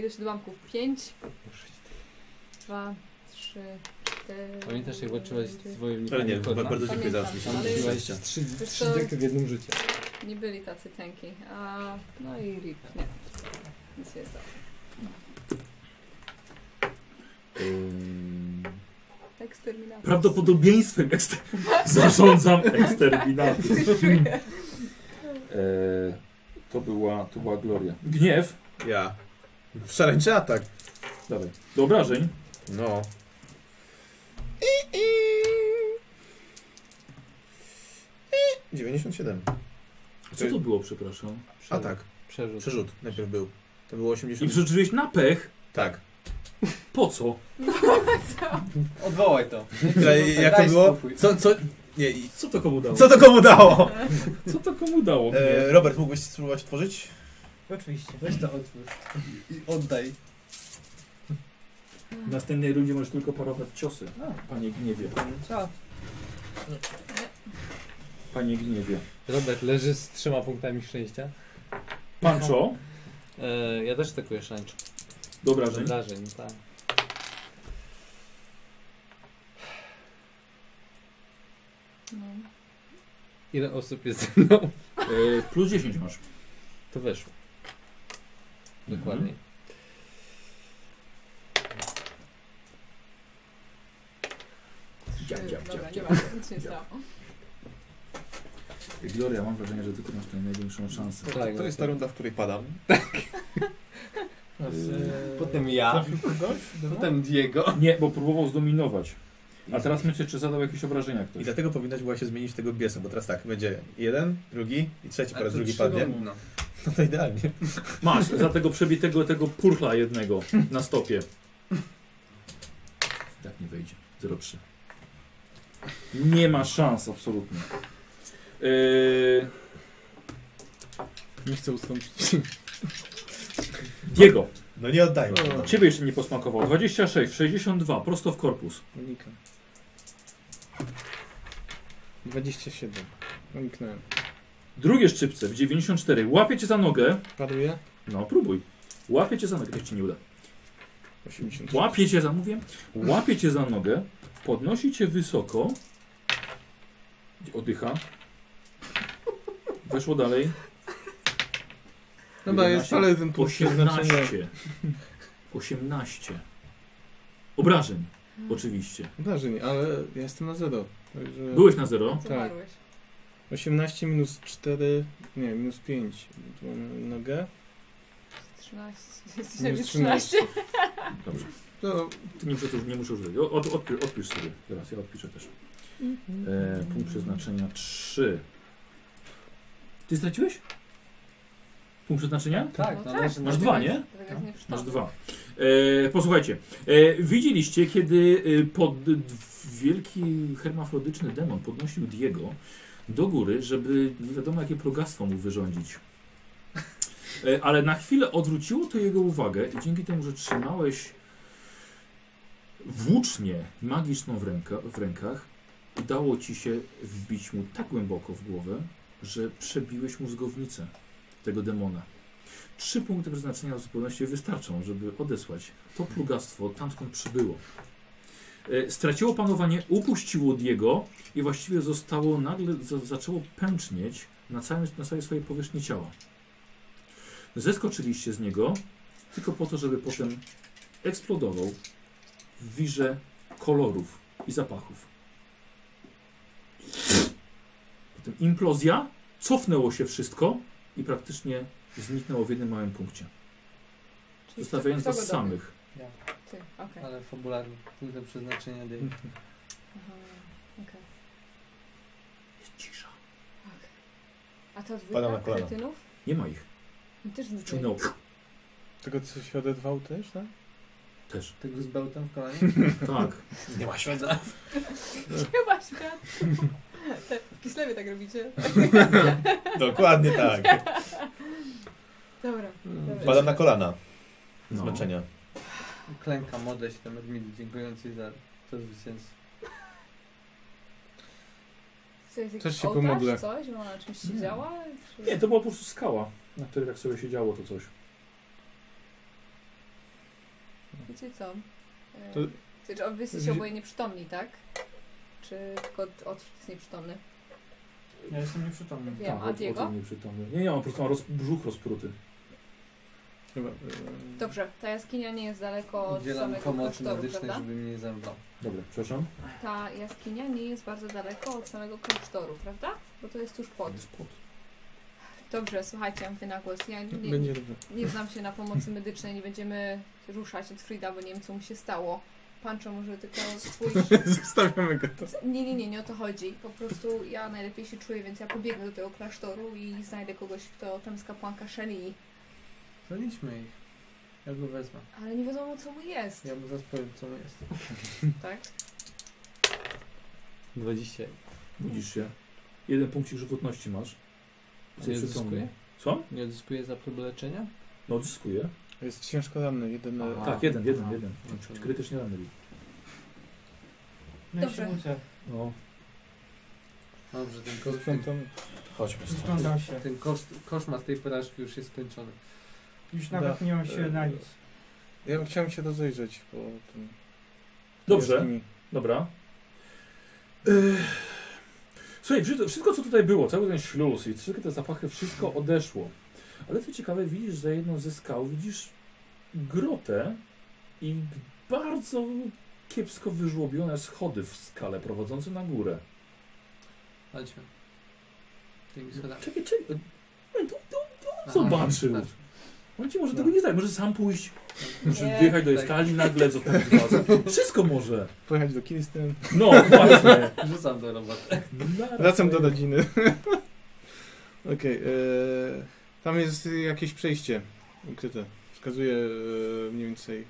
Speaker 3: Ilość odłamków? 5, 2, 3, Yy,
Speaker 9: Pamiętasz, jak walczyłeś z twoim
Speaker 2: Ale nie,
Speaker 9: Nikodem?
Speaker 2: ba- bardzo dziękuję za
Speaker 3: Pamiętam,
Speaker 2: myślenie.
Speaker 3: ale-
Speaker 9: Zrobiłeś
Speaker 2: szczęścia.
Speaker 9: trzy,
Speaker 3: Wiesz
Speaker 9: trzy
Speaker 3: co?
Speaker 9: dziecka w jednym życiu.
Speaker 3: Nie byli tacy tęki. A, no i rip, nie. Nic nie stało.
Speaker 2: Ym,
Speaker 3: Eksterminator.
Speaker 1: Prawdopodobieństwem ekster... zarządzam eksterminatem.
Speaker 3: Czuję.
Speaker 1: Eee, to, była, to była gloria. Gniew.
Speaker 2: Ja. Szaleńczy atak.
Speaker 1: Dawaj. Do obrażeń.
Speaker 2: No. I, i. I 97.
Speaker 1: Co to było, przepraszam?
Speaker 9: Przerzut.
Speaker 2: Atak.
Speaker 9: Przerzut.
Speaker 2: tak. Przerzut najpierw był. To było
Speaker 1: I
Speaker 2: 80.
Speaker 1: przeczyłeś na pech.
Speaker 2: Tak.
Speaker 1: Po co?
Speaker 3: No,
Speaker 4: Odwołaj to.
Speaker 2: Ale jak to
Speaker 4: Daj
Speaker 2: było?
Speaker 4: spokój.
Speaker 2: Co, co, nie, i-
Speaker 1: Co to komu dało?
Speaker 2: co to komu dało?
Speaker 1: Co to komu dało?
Speaker 2: E,
Speaker 1: Gniew?
Speaker 2: Robert, mógłbyś spróbować otworzyć?
Speaker 5: Oczywiście.
Speaker 4: Weź to otwórz. I oddaj.
Speaker 1: W następnej rundzie możesz tylko parować ciosy. A, panie gniewie.
Speaker 5: Co?
Speaker 1: Panie gniewie.
Speaker 9: Robert leży z trzema punktami szczęścia.
Speaker 1: Pancho.
Speaker 9: E, ja też atakuję szarańczą.
Speaker 1: Do obrażeń.
Speaker 9: Wrażeń, tak.
Speaker 3: No.
Speaker 9: Ile osób jest ze mną?
Speaker 1: Eee, plus 10 masz.
Speaker 9: To weszło. Dokładnie.
Speaker 1: Dziab, dziab, dziab,
Speaker 3: Dobra, nie
Speaker 1: dziab.
Speaker 3: ma, nic się nie stało.
Speaker 1: Gloria, mam wrażenie, że ty tu masz tę największą szansę.
Speaker 9: Tak,
Speaker 2: No, To jest ta runda, w której padam.
Speaker 4: Potem ja.
Speaker 6: Trafił kogoś? Potem...
Speaker 4: Potem Diego.
Speaker 1: E, Nie, bo próbował zdominować. A teraz myślę, czy zadał jakieś obrażenia
Speaker 2: I
Speaker 1: ktoś.
Speaker 2: dlatego powinnaś była się zmienić w tego biesa, bo teraz tak, będzie jeden, drugi i trzeci, po
Speaker 4: A
Speaker 2: raz
Speaker 4: to
Speaker 2: drugi
Speaker 4: trzy
Speaker 2: padnie.
Speaker 4: równo.
Speaker 2: No to idealnie.
Speaker 1: Masz, za tego przebitego tego purchla jednego na stopie. Tak nie wejdzie. 0,3. Nie ma szans absolutnie. Yy,
Speaker 9: Nie chcę ustąpić.
Speaker 1: Diego,
Speaker 2: No nie oddajmy.
Speaker 1: ciebie jeszcze nie posmakował. 26, 62, prosto w korpus.
Speaker 6: Unikam. 27. Uniknąłem.
Speaker 1: Drugie szczypce w 94. Łapie cię za nogę.
Speaker 6: Paduję?
Speaker 1: No, próbuj. Łapie cię za nogę, jak ci nie uda.
Speaker 6: 80.
Speaker 1: Łapie cię za, mówię, łapie cię za nogę, podnosi cię wysoko, oddycha, weszło dalej, No
Speaker 6: Dobra, jest
Speaker 1: 11.
Speaker 6: ale jeden punkt
Speaker 1: 18, 18, obrażeń oczywiście,
Speaker 6: Zdarzeń, ale ja jestem na zero. Także
Speaker 1: byłeś na zero,
Speaker 9: Tak.
Speaker 3: Zamarłeś.
Speaker 6: 18 minus 4, nie, minus 5. Tu mam nogę.
Speaker 3: 13.
Speaker 6: Minus
Speaker 3: Jesteś 13.
Speaker 1: dobrze,
Speaker 6: To
Speaker 1: ty nie muszę już, nie muszę już, od, od, odpi- odpisz sobie, teraz ja odpiszę też, e, punkt przeznaczenia 3, ty straciłeś? Punkt przeznaczenia?
Speaker 4: Tak,
Speaker 3: No
Speaker 4: należy
Speaker 3: tak.
Speaker 4: na
Speaker 1: Masz dwa, nie?
Speaker 3: Tak jak nie
Speaker 1: Masz
Speaker 3: przytomny.
Speaker 1: dwa. E, posłuchajcie. E, widzieliście, kiedy e, pod d- wielki hermafrodyczny demon podnosił Diego do góry, żeby nie wiadomo jakie plugastwo mu wyrządzić. E, ale na chwilę odwróciło to jego uwagę i dzięki temu, że trzymałeś włócznię magiczną w, ręka, w rękach, udało ci się wbić mu tak głęboko w głowę, że przebiłeś mózgownicę tego demona. Trzy punkty przeznaczenia w zupełności wystarczą, żeby odesłać to plugastwo tam, skąd przybyło. E, Straciło panowanie, upuściło Diego i właściwie zostało nagle, za- zaczęło pęcznieć na, całym, na całej swojej powierzchni ciała. Zeskoczyliście z niego tylko po to, żeby potem eksplodował w wirze kolorów i zapachów. Potem implozja, cofnęło się wszystko i praktycznie
Speaker 19: Zniknęło w jednym małym punkcie.
Speaker 3: Czyli
Speaker 19: Zostawiając
Speaker 3: kto go
Speaker 19: was
Speaker 3: dobił?
Speaker 19: samych.
Speaker 3: Ty, okej.
Speaker 2: Tak.
Speaker 9: Ale fabularny. Punktem przeznaczenia Dave.
Speaker 3: Aha, okej.
Speaker 19: Jest cisza.
Speaker 3: Okej. A to
Speaker 2: Pada na
Speaker 3: dwójka
Speaker 2: kolana.
Speaker 3: kretynów?
Speaker 19: Nie ma ich.
Speaker 3: No Też zniknęli.
Speaker 19: Wciągnął.
Speaker 6: tego co się odedwał też, tak?
Speaker 19: Też.
Speaker 4: Tego z bełtem w kolanie?
Speaker 19: Tak.
Speaker 2: Nie ma świata.
Speaker 3: Chyba świat. W Kislewie tak robicie.
Speaker 2: Dokładnie tak.
Speaker 3: Dobra. dobra.
Speaker 2: Padam na kolana.
Speaker 19: No.
Speaker 2: Zmęczenia.
Speaker 4: Klęka, modlę się do Medmidi, dziękującej za to zwycięstwo.
Speaker 3: Co, jest jakiś
Speaker 6: Też się
Speaker 3: ołtarz,
Speaker 6: pomodlę.
Speaker 3: coś? Ona na czymś siedziała? Czy...
Speaker 1: Nie, to była po prostu skała, na której tak sobie siedziało to coś.
Speaker 3: Wiecie co? E,
Speaker 6: To-
Speaker 3: Czyli wy jesteście oboje nieprzytomni, tak? Czy tylko Otwit jest nieprzytomny?
Speaker 5: Ja jestem nieprzytomny.
Speaker 3: Wiem, a
Speaker 1: Tak, od-
Speaker 3: Diego?
Speaker 1: od- nieprzytomny. Nie, nie, on po prostu ma roz, brzuch rozpruty.
Speaker 2: Chyba, e,
Speaker 3: Dobrze, ta jaskinia nie jest daleko od
Speaker 4: Udzielam
Speaker 3: samego
Speaker 4: pomocy
Speaker 3: klasztoru,
Speaker 4: medycznej,
Speaker 3: prawda?
Speaker 4: żeby mnie nie zemdlał.
Speaker 1: Dobra, przepraszam.
Speaker 3: Ta jaskinia nie jest bardzo daleko od samego klasztoru, prawda? Bo to jest tuż pod.
Speaker 1: Jest pot.
Speaker 3: Dobrze, słuchajcie, mówię na głos. Ja nie,
Speaker 6: Będzie dobrze.
Speaker 3: nie znam się na pomocy medycznej, nie będziemy ruszać od Frida, bo nie wiem co mu się stało. Pancho może tylko spójrz.
Speaker 6: Zostawiamy go to.
Speaker 3: Nie, nie, nie, nie o to chodzi. Po prostu ja najlepiej się czuję, więc ja pobiegnę do tego klasztoru i znajdę kogoś, kto tam z kapłanka szeli.
Speaker 4: Zaliśmy ich. Ja go wezmę.
Speaker 3: Ale nie wiadomo co mu jest,
Speaker 4: Ja mu zaraz powiem, co mu jest.
Speaker 3: tak?
Speaker 9: 20.
Speaker 1: Budzisz się. Jeden punkcik żywotności masz.
Speaker 9: Co nie
Speaker 1: Nieprzytomny.
Speaker 9: odzyskuje?
Speaker 1: Co?
Speaker 9: Nie odzyskuje za próbę leczenia?
Speaker 1: No odzyskuję.
Speaker 6: Jest ciężko ranny, jeden...
Speaker 9: Aha.
Speaker 1: Tak, jeden, jeden,
Speaker 9: A.
Speaker 1: jeden. Znaczy, Krytycznie ranny. był.
Speaker 5: No ja się
Speaker 3: Dobrze.
Speaker 5: budzę.
Speaker 1: No,
Speaker 4: Dobrze, ten, ko- ten,
Speaker 6: Sprzątamy.
Speaker 2: Chodźmy stąd.
Speaker 5: Rozglądam się.
Speaker 4: ten koszt, koszmar z tej porażki już jest skończony.
Speaker 5: Już nawet nie mam się na nic.
Speaker 6: Ja bym chciałem się rozejrzeć po tym...
Speaker 1: Dobrze,
Speaker 6: jaskini.
Speaker 1: dobra. Ech. E, Słuchaj, wszy- wszystko co tutaj było, cały ten śluz i wszystkie te zapachy, wszystko odeszło. Ale co ciekawe, widzisz za jedną ze skał, widzisz grotę i bardzo kiepsko wyżłobione schody w skale prowadzące na górę.
Speaker 4: Chodźmy. Tymi schodami.
Speaker 1: Czekaj, czekaj,
Speaker 4: Aha,
Speaker 1: zobaczył.
Speaker 4: tak.
Speaker 1: on ci może
Speaker 6: No.
Speaker 1: tego nie zdać, może sam pójść, może
Speaker 3: Nie.
Speaker 1: wjechać do jej
Speaker 4: Tak.
Speaker 1: skali, nagle zostać w was. Wszystko może.
Speaker 6: Pojechać do Kirsten.
Speaker 1: No, właśnie.
Speaker 4: tak. Rzucam do roboty.
Speaker 1: Naraz
Speaker 6: Wracam do
Speaker 1: pojedzie.
Speaker 6: rodziny. Okej, e, tam jest jakieś przejście ukryte. Wskazuję e, mniej więcej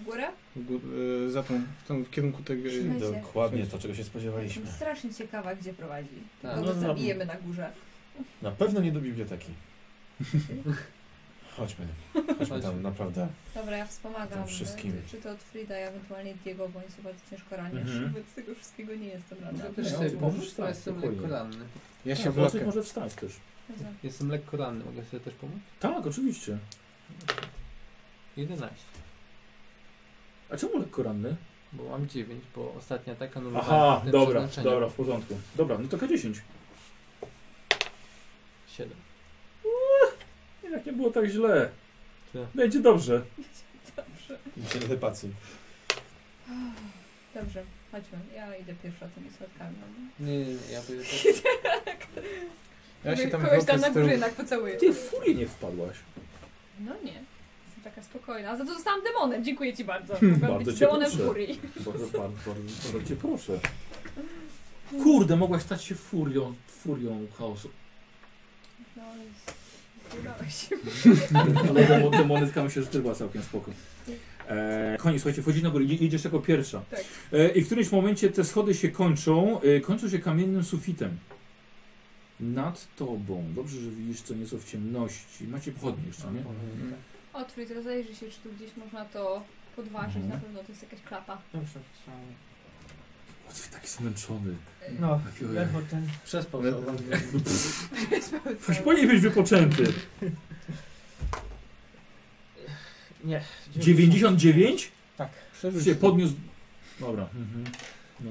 Speaker 3: W górę?
Speaker 6: w, gó- e, za tą, w, tą, w kierunku tego...
Speaker 2: Dokładnie to, czego się spodziewaliśmy.
Speaker 3: Jestem strasznie ciekawa, gdzie prowadzi.
Speaker 4: Tak.
Speaker 3: Kogo
Speaker 6: No, dobra.
Speaker 3: zabijemy na górze.
Speaker 2: Na pewno nie do biblioteki. Chodźmy. Chodźmy tam, naprawdę.
Speaker 3: Dobra, ja wspomagam.
Speaker 2: Tam wszystkim.
Speaker 3: Czy to od Frida, ja ewentualnie Diego, bo oni są bardzo ciężko raniesz.
Speaker 1: Mhm.
Speaker 3: Wobec tego wszystkiego nie jestem rada.
Speaker 4: Ja
Speaker 1: No,
Speaker 4: też sobie
Speaker 1: no,
Speaker 4: pomóż,
Speaker 1: możesz
Speaker 4: bo
Speaker 1: tak,
Speaker 4: jestem
Speaker 1: spokojnie.
Speaker 4: lekko ranny.
Speaker 6: Ja się
Speaker 1: Tak, Włosek
Speaker 6: wlokę.
Speaker 1: może wstać też.
Speaker 3: Dobrze.
Speaker 9: Jestem lekko ranny, mogę sobie też pomóc?
Speaker 1: Tak, oczywiście.
Speaker 9: 11.
Speaker 1: A czemu lekko ranny?
Speaker 9: Bo mam 9, bo ostatnia taka anulowałem
Speaker 1: Aha,
Speaker 9: punktem
Speaker 1: dobra,
Speaker 9: przeznaczenia.
Speaker 1: dobra, w porządku. Dobra, no to K10.
Speaker 9: 7.
Speaker 1: Jak nie było tak źle.
Speaker 9: Ty.
Speaker 1: Będzie dobrze.
Speaker 3: Dobrze.
Speaker 2: Myślę, pacy.
Speaker 3: Dobrze, chodźmy. Ja idę pierwsza tymi schodkami. no.
Speaker 4: Nie, nie, nie, ja pójdę
Speaker 6: Ja się tam
Speaker 3: Kogoś tam na
Speaker 6: wlokę z
Speaker 3: górze
Speaker 6: tyłu.
Speaker 3: jednak pocałuję.
Speaker 1: Ty w furię nie wpadłaś.
Speaker 3: No nie. Jestem taka spokojna. A za to zostałam demonem. Dziękuję ci bardzo. Mogłam
Speaker 1: Bardzo
Speaker 3: być
Speaker 1: cię
Speaker 3: demonem
Speaker 1: proszę.
Speaker 3: furii.
Speaker 1: Bardzo, bardzo, bardzo, bardzo cię proszę. Kurde, mogłaś stać się furią, furią chaosu.
Speaker 3: No i zjebałeś się.
Speaker 1: Ale demo- demonetka myślę, że też była całkiem spoko. E, koniec, słuchajcie, wchodzi na górę, je- jedziesz jako pierwsza.
Speaker 3: Tak.
Speaker 1: E, I w którymś momencie te schody się kończą, e, kończą się kamiennym sufitem. Nad tobą. Dobrze, że widzisz co nieco w ciemności. Macie pochodnie jeszcze, No nie?
Speaker 3: Otwórz, rozejrzyj się, czy tu gdzieś można to podważyć.
Speaker 1: Mhm.
Speaker 3: Na pewno to jest jakaś klapa.
Speaker 5: Dobrze. wstałem.
Speaker 1: O, ty taki zmęczony.
Speaker 5: No,
Speaker 1: Taki, ojej.
Speaker 6: Tak.
Speaker 5: ledwo ten...
Speaker 4: Przespał
Speaker 6: Ale-
Speaker 4: całą noc.
Speaker 1: Już powinien być wypoczęty.
Speaker 5: Nie.
Speaker 1: 99?
Speaker 5: Tak.
Speaker 1: Się podniósł. Dobra. Mhm. No.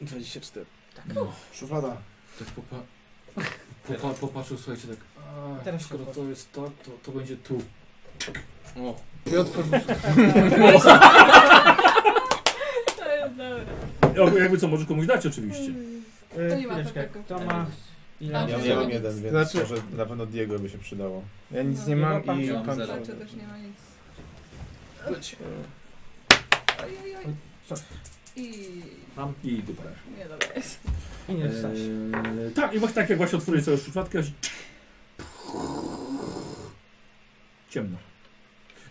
Speaker 6: 24.
Speaker 1: No.
Speaker 2: Szuflada.
Speaker 1: Tak popa... Popa, popatrzył, słuchajcie, tak. A,
Speaker 5: Teraz się
Speaker 1: skoro
Speaker 5: pod-
Speaker 1: to jest to, to, to będzie tu. O.
Speaker 4: I otworzył
Speaker 3: To jest dobre.
Speaker 1: Jakby co, może komuś dać oczywiście.
Speaker 3: To
Speaker 5: To
Speaker 3: nie ma takiego.
Speaker 5: Kto ma...
Speaker 3: A,
Speaker 5: Ile?
Speaker 2: Ja,
Speaker 3: Dobrze.
Speaker 2: ja mam jeden, więc
Speaker 6: Znaczy-
Speaker 2: może na pewno Diego by się przydało.
Speaker 6: Ja nic
Speaker 3: No,
Speaker 6: nie
Speaker 5: ja
Speaker 6: mam
Speaker 5: mam
Speaker 6: i
Speaker 5: zero.
Speaker 6: pan...
Speaker 3: Zobaczę, też nie ma nic. Oj, oj, oj.
Speaker 5: Co?
Speaker 3: I...
Speaker 1: Mam i dupa.
Speaker 3: Nie, dobra jest.
Speaker 5: I nie wstać.
Speaker 1: Eee, tak, i właśnie tak jak właśnie otworzyłeś sobie szufladkę, aż... Ciemno.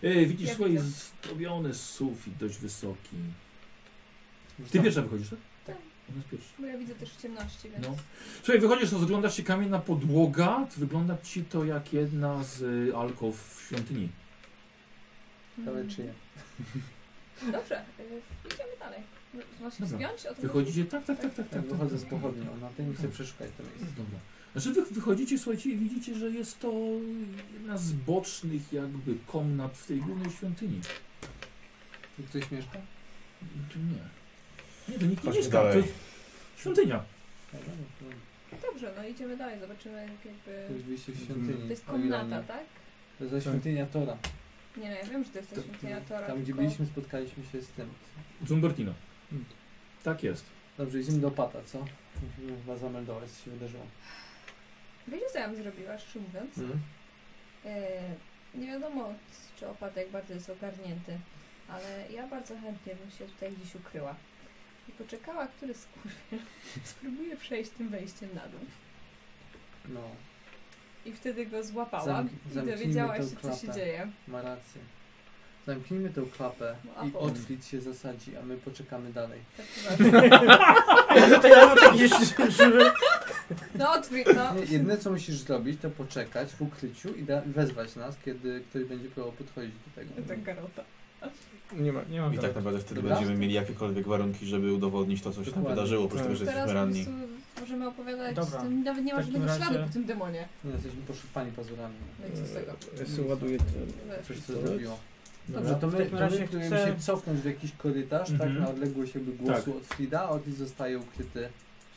Speaker 1: Eee, widzisz,
Speaker 3: Jak
Speaker 1: słuchaj,
Speaker 3: to?
Speaker 1: zrobiony sufit, dość wysoki. Ty
Speaker 4: Ty
Speaker 1: pierwsza wychodzisz, tak?
Speaker 3: Tak.
Speaker 1: Ona jest pierwsza.
Speaker 3: Bo ja widzę też w ciemności, więc...
Speaker 1: No. Słuchaj, wychodzisz, rozglądasz się kamienna podłoga, wygląda ci to jak jedna z y, alków w świątyni.
Speaker 3: Mm.
Speaker 4: Ale czy nie?
Speaker 3: Dobrze, y, idziemy dalej. Masz się
Speaker 1: Dobra.
Speaker 3: wspiąć? Odwrócić?
Speaker 1: Wychodzicie, tak, tak, tak, tak,
Speaker 4: Tak,
Speaker 1: tak. tak,
Speaker 4: wychodzę
Speaker 1: tak.
Speaker 4: z pochodnią. Na tym chcę przeszukać to miejsce.
Speaker 1: Dobra. Znaczy wy wychodzicie, słuchajcie, i widzicie, że jest to jedna z bocznych jakby komnat w tej głównej świątyni.
Speaker 4: Tu Ktoś mieszka?
Speaker 1: Tu Nie. Nie, to nikt nie
Speaker 2: Chodźmy
Speaker 1: mieszka. To
Speaker 2: dalej.
Speaker 1: jest świątynia.
Speaker 3: Dobrze, no idziemy dalej, zobaczymy jak jakby...
Speaker 4: Ktoś wyjście w
Speaker 3: To
Speaker 4: świątyni.
Speaker 3: jest komnata, tak?
Speaker 4: To jest świątynia Tora.
Speaker 3: Nie no, ja wiem, że to jest ta
Speaker 4: To-
Speaker 3: świątynia Tora,
Speaker 4: Tam gdzie
Speaker 3: tylko-
Speaker 4: byliśmy spotkaliśmy się z tym.
Speaker 1: Zumbertino. Tak jest.
Speaker 4: Dobrze, idziemy do Pata, co? Musimy chyba zameldować, co się wydarzyło.
Speaker 3: Wiecie co ja bym zrobiła, szczerze mówiąc? E, nie wiadomo, czy opadek bardzo jest ogarnięty, ale ja bardzo chętnie bym się tutaj gdzieś ukryła. I poczekała, który skurwiel spróbuje przejść tym wejściem na dół.
Speaker 4: No,
Speaker 3: I wtedy go złapałam
Speaker 4: Zamk-
Speaker 3: i
Speaker 4: zamknijmy
Speaker 3: dowiedziała
Speaker 4: tę
Speaker 3: się, co się
Speaker 4: klapę.
Speaker 3: dzieje.
Speaker 4: ma rację. Zamknijmy tą klapę
Speaker 3: No, a
Speaker 4: i
Speaker 3: potem?
Speaker 4: Otwit się zasadzi, a my poczekamy dalej.
Speaker 3: Tak uważam.
Speaker 6: To ja mam takie żywe.
Speaker 3: No, odwróć, no.
Speaker 4: Nie, jedyne co musisz zrobić, to poczekać w ukryciu i da- wezwać nas, kiedy ktoś będzie próbował podchodzić do tego.
Speaker 3: Tak, Karota.
Speaker 6: Nie ma, nie mam
Speaker 2: I tak naprawdę wtedy
Speaker 4: Dobra.
Speaker 2: będziemy mieli jakiekolwiek warunki, żeby udowodnić to, co się tam
Speaker 4: Dokładnie.
Speaker 2: wydarzyło, oprócz
Speaker 6: Tak.
Speaker 2: tego, że
Speaker 3: Teraz
Speaker 2: jesteśmy
Speaker 3: po
Speaker 2: ranni.
Speaker 3: prostu możemy opowiadać,
Speaker 5: Dobra.
Speaker 3: tam nawet nie ma
Speaker 5: W takim
Speaker 3: żadnego śladu
Speaker 5: razie-
Speaker 3: po tym demonie.
Speaker 4: Nie, jesteśmy poszupani pazurami.
Speaker 3: No i co z tego?
Speaker 6: Ja sobie ładuję ten.
Speaker 3: Wiesz.
Speaker 4: Coś co zrobiło.
Speaker 5: Dobra,
Speaker 4: Dobrze, to
Speaker 5: w
Speaker 4: my,
Speaker 5: takim
Speaker 4: to
Speaker 5: razie
Speaker 4: my próbujemy
Speaker 5: chcę-
Speaker 4: się cofnąć w jakiś korytarz, tak?
Speaker 1: Mhm.
Speaker 4: Na odległość jakby głosu od Frida, a Otwit zostaje ukryty.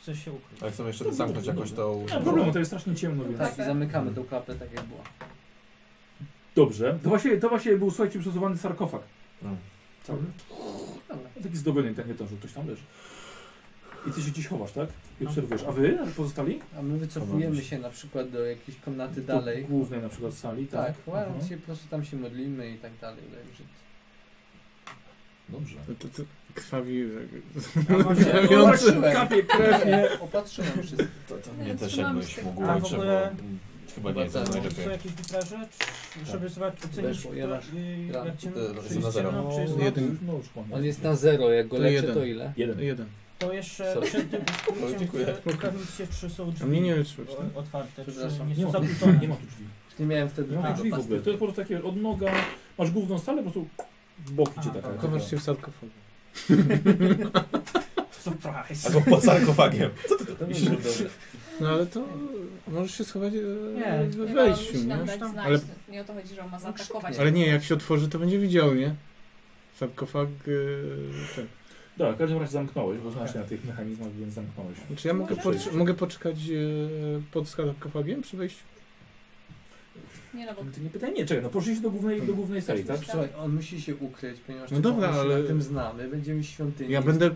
Speaker 5: Chcę się ukryć.
Speaker 2: Ale chcemy jeszcze
Speaker 6: No,
Speaker 2: zamknąć jakoś tą...
Speaker 1: Nie ma problemu, No to jest strasznie ciemno, więc...
Speaker 4: Tak, i zamykamy tą klapę tak jak było.
Speaker 1: Dobrze. To właśnie, to właśnie był, słuchajcie, przesuwany sarkofag. No
Speaker 2: Mm.
Speaker 4: Co? Dobra.
Speaker 1: Taki zdobiony, ten nie to, że ktoś tam leży. I ty się gdzieś chowasz, tak? I obserwujesz. A wy? A pozostali?
Speaker 4: A my wycofujemy się na przykład do jakiejś komnaty dalej.
Speaker 1: Do Głównej na przykład sali, tak?
Speaker 4: Tak, ładnie,
Speaker 1: Mhm.
Speaker 4: się, po prostu tam się modlimy i tak dalej. tak, że-
Speaker 1: Dobrze.
Speaker 6: To, to, to krwawi.
Speaker 5: A właśnie-
Speaker 4: Kapie krew, nie? Opatrzyłem wszystko.
Speaker 2: To, to
Speaker 3: Nie,
Speaker 2: mnie też
Speaker 3: trzymamy
Speaker 2: jakbyś
Speaker 3: się.
Speaker 2: mógł
Speaker 5: A w
Speaker 2: ojcze,
Speaker 5: ogóle-
Speaker 2: bo mm, chyba nie jest
Speaker 9: Chyba tak.
Speaker 5: Są
Speaker 2: najlepiej.
Speaker 5: jakieś witraże, czy- żeby zobaczyć, ocenić
Speaker 4: Weszło, ja
Speaker 5: to,
Speaker 4: masz.
Speaker 5: i
Speaker 4: Gra.
Speaker 5: jak ciemno,
Speaker 2: To
Speaker 5: czy
Speaker 2: jest
Speaker 5: jest
Speaker 2: na zero.
Speaker 5: ciemno, czy jest
Speaker 1: No,
Speaker 5: noc.
Speaker 6: jeden.
Speaker 1: już mączko, nie?
Speaker 9: On jest na zero, jak go
Speaker 6: To
Speaker 9: leczę,
Speaker 6: jeden.
Speaker 9: to ile?
Speaker 1: Jeden.
Speaker 6: Jeden.
Speaker 5: To jeszcze
Speaker 9: Sorry.
Speaker 5: przed tym
Speaker 2: O, dziękuję.
Speaker 5: pójściem chcę upewnić się, czy są
Speaker 6: A mnie
Speaker 5: drzwi
Speaker 6: nie wyszło. czy
Speaker 5: o- otwarte, czy
Speaker 4: Przepraszam.
Speaker 5: nie
Speaker 1: Nie
Speaker 5: są
Speaker 1: ma, tu,
Speaker 5: zakłócone.
Speaker 1: nie ma tu drzwi.
Speaker 4: Nie miałem wtedy
Speaker 6: No,
Speaker 1: Nie ma
Speaker 5: A,
Speaker 1: tu drzwi w ogóle. To jest po prostu takie odnoga. Masz główną salę, po prostu boki cię tak
Speaker 5: A,
Speaker 1: taka.
Speaker 5: dobra.
Speaker 6: To masz się w sarkofagu.
Speaker 5: Surprise!
Speaker 2: Albo pod sarkofagiem.
Speaker 4: To nie było dobre.
Speaker 6: No ale to możesz się schować e,
Speaker 5: Nie.
Speaker 6: w
Speaker 3: Nie, no, on
Speaker 6: wejściu,
Speaker 3: musi nam
Speaker 6: nie?
Speaker 3: dać
Speaker 5: Tam-
Speaker 3: znać.
Speaker 6: ale-
Speaker 3: Nie o to chodzi, że
Speaker 5: No,
Speaker 3: on ma zaatakować.
Speaker 6: Ale nie, jak się otworzy, to będzie widział, nie? Sarkofag. e, Ten.
Speaker 1: Dobra, Tak, w każdym razie zamknąłeś, bo znasz się na tych mechanizmach, więc zamknąłeś.
Speaker 6: Czy Znaczy, ja mogę,
Speaker 1: Możesz.
Speaker 6: pocz- mogę poczekać e, pod sarkofagiem przy wejściu?
Speaker 3: Nie no, bo
Speaker 1: Ty nie pytaj, nie, czekaj, no poszliście do głównej, do głównej sali, tak?
Speaker 4: Słuchaj, on musi się ukryć, ponieważ
Speaker 6: No
Speaker 4: tylko
Speaker 6: dobra,
Speaker 4: on się
Speaker 6: ale-
Speaker 4: na tym znamy. Będziemy w świątyni.
Speaker 6: Ja będę e,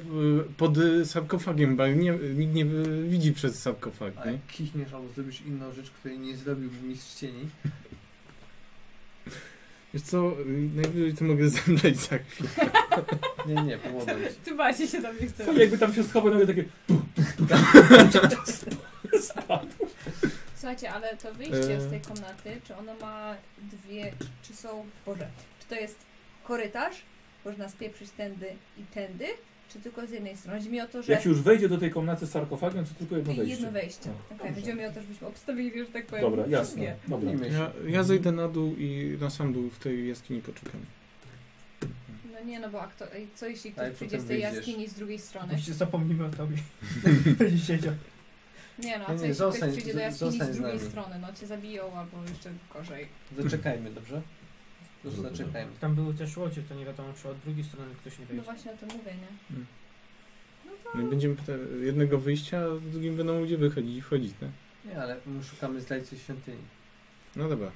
Speaker 6: pod e, sarkofagiem, bo nie, nikt nie e, widzi przez sarkofag,
Speaker 4: A
Speaker 6: nie?
Speaker 4: jak kichniesz albo zrobisz inną rzecz, której nie zrobiłby mistrz cieni,
Speaker 6: Wiesz co, e, najwyżej to mogę zemdleć za chwilę.
Speaker 4: nie, nie, pomogę ci.
Speaker 3: ty właśnie się tam nie chcesz.
Speaker 1: Tak, jakby tam się schował, nagle takie...
Speaker 3: Słuchajcie, ale to wyjście
Speaker 6: E.
Speaker 3: z tej komnaty, czy ono ma dwie, czy są, Boże, czy to jest korytarz, można spieprzyć tędy i tędy, czy tylko z jednej strony? Chodzi mi o to, że
Speaker 1: Jak się już wejdzie do tej komnaty z sarkofagiem, to tylko jedno wejście.
Speaker 3: jedno wejście. Okej, chodzi mi o to, żebyśmy obstawili, że tak powiem,
Speaker 1: Dobra, jasne.
Speaker 3: wszystkie.
Speaker 1: Dobra.
Speaker 4: Mówimy się.
Speaker 6: Ja, ja zejdę na dół i na sam dół w tej jaskini poczekam.
Speaker 3: No nie, no bo a kto, ej, co jeśli
Speaker 4: Ale
Speaker 3: ktoś
Speaker 4: potem
Speaker 3: przyjdzie z tej
Speaker 4: wyjdziesz. No
Speaker 3: jaskini z drugiej strony?
Speaker 5: Oczywiście zapomnimy o tobie. Będzie siedział.
Speaker 3: Nie no, a co
Speaker 4: Nie, nie,
Speaker 3: jeśli ktoś
Speaker 4: zostań-
Speaker 3: przyjdzie do
Speaker 4: z-
Speaker 3: jaskini
Speaker 4: zostań
Speaker 3: z
Speaker 4: z
Speaker 3: drugiej
Speaker 4: nami.
Speaker 3: strony? No cię zabiją albo jeszcze gorzej.
Speaker 4: Zaczekajmy, dobrze? Dobrze,
Speaker 2: Dobra.
Speaker 4: zaczekajmy.
Speaker 5: Tam były też łodzie, to nie wiadomo, czy od drugiej strony ktoś nie
Speaker 3: No
Speaker 5: wejdzie.
Speaker 3: właśnie o tym mówię, nie?
Speaker 6: No i będziemy te, jednego wyjścia, a w drugim będą ludzie wychodzić i wchodzić, nie?
Speaker 4: Nie, ale my szukamy zdrajcy świątyni.
Speaker 6: No dobra.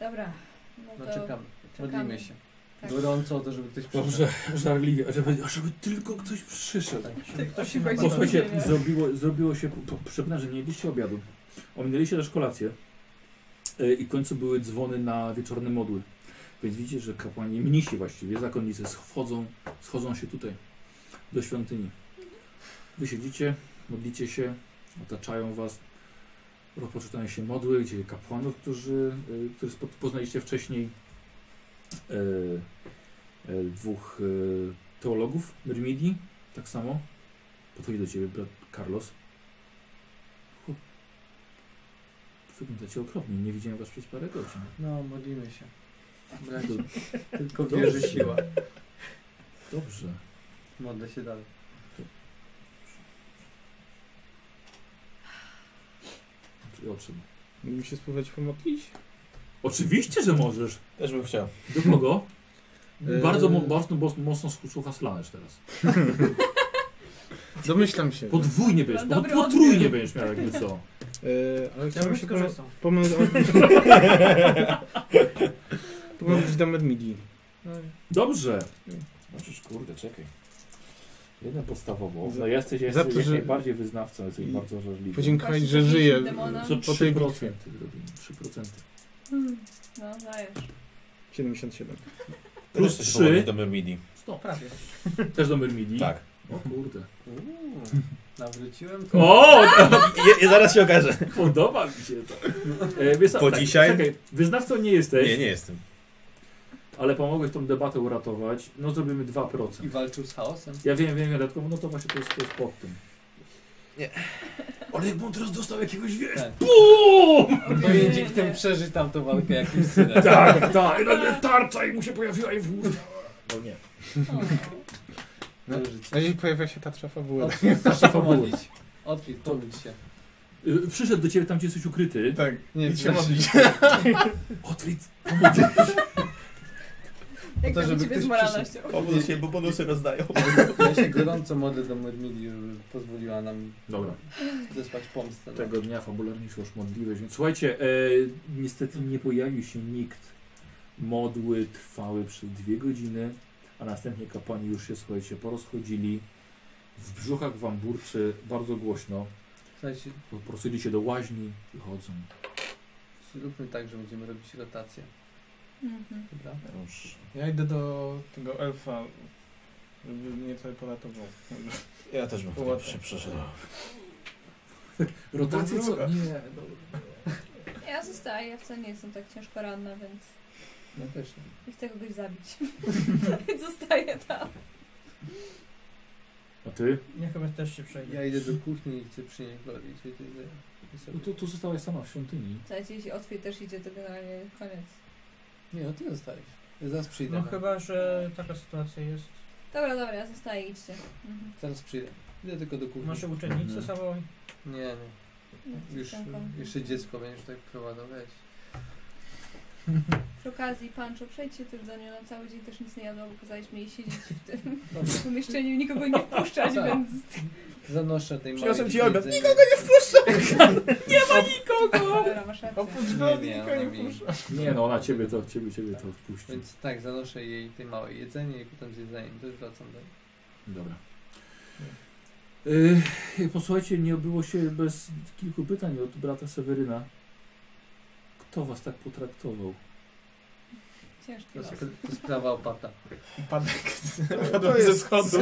Speaker 3: Dobra, no
Speaker 4: No
Speaker 3: to
Speaker 4: czekamy.
Speaker 3: czekamy.
Speaker 4: Modlimy się.
Speaker 3: Tak.
Speaker 4: Gorąco o to, żeby ktoś przyszedł.
Speaker 1: Dobrze, żarliwie, żeby, żeby tylko ktoś przyszedł.
Speaker 4: Tak. No,
Speaker 5: Ktoś się
Speaker 1: Bo
Speaker 6: no,
Speaker 1: słuchajcie, zrobiło, zrobiło się, to przypomnę, że nie jedliście obiadu, ominęliście też kolację e, i w końcu były dzwony na wieczorne modły. Więc widzicie, że kapłani, mnisi właściwie, zakonnicy schodzą, schodzą się tutaj, do świątyni. Wy siedzicie, modlicie się, otaczają was, rozpoczynają się modły, gdzie kapłanów, którzy, e, których spo- poznaliście wcześniej, e, e, dwóch e, teologów, Myrmidii, tak samo, Podchodzi do ciebie brat Carlos. Chłop. Wyglądacie okropnie. Nie widziałem was przez parę godzin.
Speaker 4: No, modlimy się. Bracie,
Speaker 1: Tak, To
Speaker 4: tylko
Speaker 1: Dobrze.
Speaker 4: wierzy siła.
Speaker 1: dobrze.
Speaker 4: Modlę się dalej.
Speaker 1: I Otrzym.
Speaker 6: Będziemy się spróbować pomodlić?
Speaker 1: Oczywiście, że możesz.
Speaker 2: Też bym chciał.
Speaker 1: Do kogo?
Speaker 6: Yy,
Speaker 1: Bardzo, mo- bardzo mo- mocno słucha Slanesh teraz.
Speaker 6: Domyślam
Speaker 1: Yy.
Speaker 6: się.
Speaker 1: Podwójnie będziesz,
Speaker 3: Dobry
Speaker 1: pod, potrójnie będziesz miał jak nieco.
Speaker 6: Yy, ale chciałbym
Speaker 5: bym
Speaker 6: się pomóc.
Speaker 5: skorzystał.
Speaker 6: Pomóc do Medmidi.
Speaker 1: Dobrze.
Speaker 19: Znaczysz, kurde, czekaj. Jeden podstawowo.
Speaker 1: No jesteś,
Speaker 6: za
Speaker 1: jesteś,
Speaker 6: to,
Speaker 1: jesteś
Speaker 6: że-
Speaker 1: najbardziej wyznawcą, jesteś
Speaker 6: I-
Speaker 1: bardzo żarliwy.
Speaker 6: Podziękować,
Speaker 3: Właśnie
Speaker 6: że
Speaker 3: to
Speaker 6: żyję.
Speaker 3: demona.
Speaker 1: Co
Speaker 6: po tej
Speaker 1: 3%
Speaker 6: bitwie.
Speaker 1: zrobimy, 3%.
Speaker 3: No, dajesz.
Speaker 6: 77.
Speaker 1: Plus
Speaker 2: Też
Speaker 1: trzy.
Speaker 2: powoli do Myrmidii.
Speaker 1: Stop.
Speaker 5: Prawie.
Speaker 1: Też do Myrmidii?
Speaker 2: Tak.
Speaker 1: O kurde.
Speaker 4: Nawróciłem to.
Speaker 1: O!
Speaker 2: I, zaraz się okaże.
Speaker 1: Podoba mi się to. E, wiesz co,
Speaker 2: Po dzisiaj?
Speaker 1: Czekaj, wyznawcą nie jesteś,
Speaker 2: Nie, nie jestem.
Speaker 1: ale pomogłeś tą debatę uratować. No zrobimy 2%.
Speaker 4: I walczył z chaosem.
Speaker 1: Ja wiem, wiem, wiem, dlatego no to właśnie to jest, to jest pod tym.
Speaker 2: Nie.
Speaker 1: Ale jakbym teraz dostał jakiegoś wiesz.
Speaker 4: Tak.
Speaker 1: BUM!
Speaker 4: Powinien dzięki temu przeżyć tamtą walkę jakimś synem.
Speaker 1: Tak, tak. I nagle tarcza i mu się pojawiła i w No nie.
Speaker 3: O,
Speaker 6: No i pojawia się ta trzefa
Speaker 2: No
Speaker 6: była.
Speaker 4: Proszę pomodlić. Otwit, pomódl się.
Speaker 1: Y, Przyszedł do ciebie tam, gdzie jesteś ukryty.
Speaker 6: Tak, nie,
Speaker 4: Idź
Speaker 6: się
Speaker 4: na
Speaker 6: modlić.
Speaker 1: Otwit.
Speaker 3: Jak
Speaker 4: to,
Speaker 3: tam u
Speaker 4: żeby
Speaker 3: ciebie
Speaker 4: ktoś
Speaker 3: z moralnością?
Speaker 2: Pomóż się, bo bonusy rozdają.
Speaker 4: Ja się gorąco modlę do Medmidi, żeby pozwoliła nam
Speaker 1: Dobra.
Speaker 4: zespać pomstę. no.
Speaker 1: Tego dnia fabularnie się już modliłeś, więc słuchajcie, e, niestety nie pojawił się nikt. Modły trwały przez dwie godziny, a następnie kapłani już się, słuchajcie, porozchodzili. W brzuchach wam burczy bardzo głośno.
Speaker 4: Słuchajcie,
Speaker 1: Prosili się do łaźni, wychodzą.
Speaker 4: zróbmy tak, że będziemy robić rotację.
Speaker 3: Mhm.
Speaker 4: Dobra?
Speaker 6: Ja idę do tego elfa, żeby mnie trochę poratował.
Speaker 2: Ja też bym
Speaker 6: Połatę.
Speaker 2: się przeszedł.
Speaker 1: Rotacje co? Nie,
Speaker 3: Ja zostaję, ja wcale nie jestem tak ciężko ranna, więc
Speaker 4: No też nie.
Speaker 3: nie chcę kogoś zabić. Więc zostaję tam.
Speaker 1: A ty?
Speaker 5: Ja chyba też się przejdę.
Speaker 4: Ja idę do kuchni i chcę przynieść Glorii. Czy ty, ty, ty
Speaker 1: No
Speaker 4: sobie...
Speaker 1: to, to zostałaś sama w świątyni.
Speaker 3: Słuchajcie, jeśli otwier też idzie, to generalnie koniec.
Speaker 4: Nie, no ty zostajesz. Ja zaraz przyjdę.
Speaker 5: No chyba, że taka sytuacja jest.
Speaker 3: Dobra, dobra, ja zostaję, idźcie. Mhm.
Speaker 4: Zaraz przyjdę. Idę tylko do kuchni.
Speaker 5: Nasze uczennice
Speaker 1: Mhm.
Speaker 5: sobą.
Speaker 4: Nie,
Speaker 3: No,
Speaker 4: nie. Już,
Speaker 3: dziewczynką.
Speaker 4: jeszcze dziecko będziesz tak prowadzał, weź.
Speaker 3: Przy okazji, Pancho, przejdźcie też do niej, no cały dzień też nic nie jadła, bo kazaliśmy jej siedzieć w tym
Speaker 4: Dobra,
Speaker 3: pomieszczeniu i nikogo nie wpuszczać,
Speaker 4: Tak.
Speaker 3: więc...
Speaker 4: zanoszę tej
Speaker 2: Przyniosłem
Speaker 4: małej
Speaker 2: ci obiad.
Speaker 4: jedzenie.
Speaker 3: Nikogo! Dobra, masz rację.
Speaker 4: Nie, nie, ona mi-
Speaker 1: Nie no, ona ciebie to, ciebie, ciebie to wpuści.
Speaker 4: Więc tak, zanoszę jej tej małej jedzenie i potem z jedzeniem też wracam do
Speaker 1: Dobra. Yy, posłuchajcie, nie obyło się bez kilku pytań od brata Seweryna. Kto was tak potraktował?
Speaker 3: Ciężki
Speaker 4: To
Speaker 3: los.
Speaker 4: sp- to sprawa opata.
Speaker 6: Padek
Speaker 2: To
Speaker 6: padłem ze
Speaker 2: jest
Speaker 6: schodu.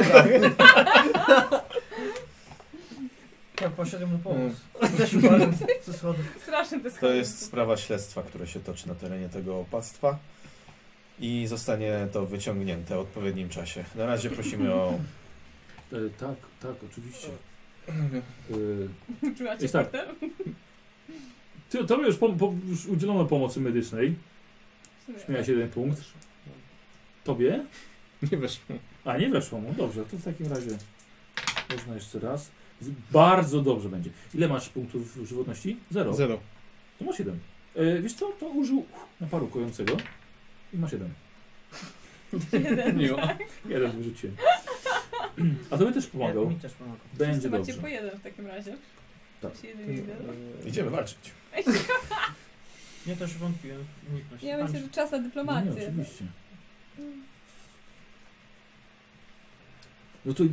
Speaker 5: Ja poszedłem mu pomóc. Ze schodów.
Speaker 3: Straszny to
Speaker 2: To jest sprawa śledztwa, które się toczy na terenie tego opactwa i zostanie to wyciągnięte w odpowiednim czasie. Na razie prosimy o...
Speaker 1: E, tak, tak, oczywiście. E,
Speaker 3: Czuła cię
Speaker 1: Jest tak.
Speaker 3: potem?
Speaker 1: ty, tobie już, pom- po, już udzielono pomocy medycznej.
Speaker 3: W sumie.
Speaker 1: Miałeś jeden punkt. Tobie?
Speaker 6: Nie weszło.
Speaker 1: A, nie weszło mu. Dobrze, to w takim razie można jeszcze raz. Z- Bardzo dobrze będzie. Ile masz punktów żywotności? Zero.
Speaker 6: Zero.
Speaker 1: To masz jeden. E, wiesz co, to użył naparu kojącego i masz jeden.
Speaker 3: Jeden,
Speaker 4: Miło.
Speaker 3: tak.
Speaker 1: Jeden wyrzuciłem. A to by też pomagał.
Speaker 5: Mi też pomagał.
Speaker 1: Będzie
Speaker 3: Wszyscy macie
Speaker 1: dobrze.
Speaker 3: po jeden w takim razie.
Speaker 1: Tak.
Speaker 3: Czy jeden, jeden?
Speaker 2: Idziemy walczyć.
Speaker 5: Ja też wątpiłem w umiejętności.
Speaker 3: Ja myślę, że czas na
Speaker 1: No nie,
Speaker 3: dyplomację.
Speaker 1: oczywiście. No to,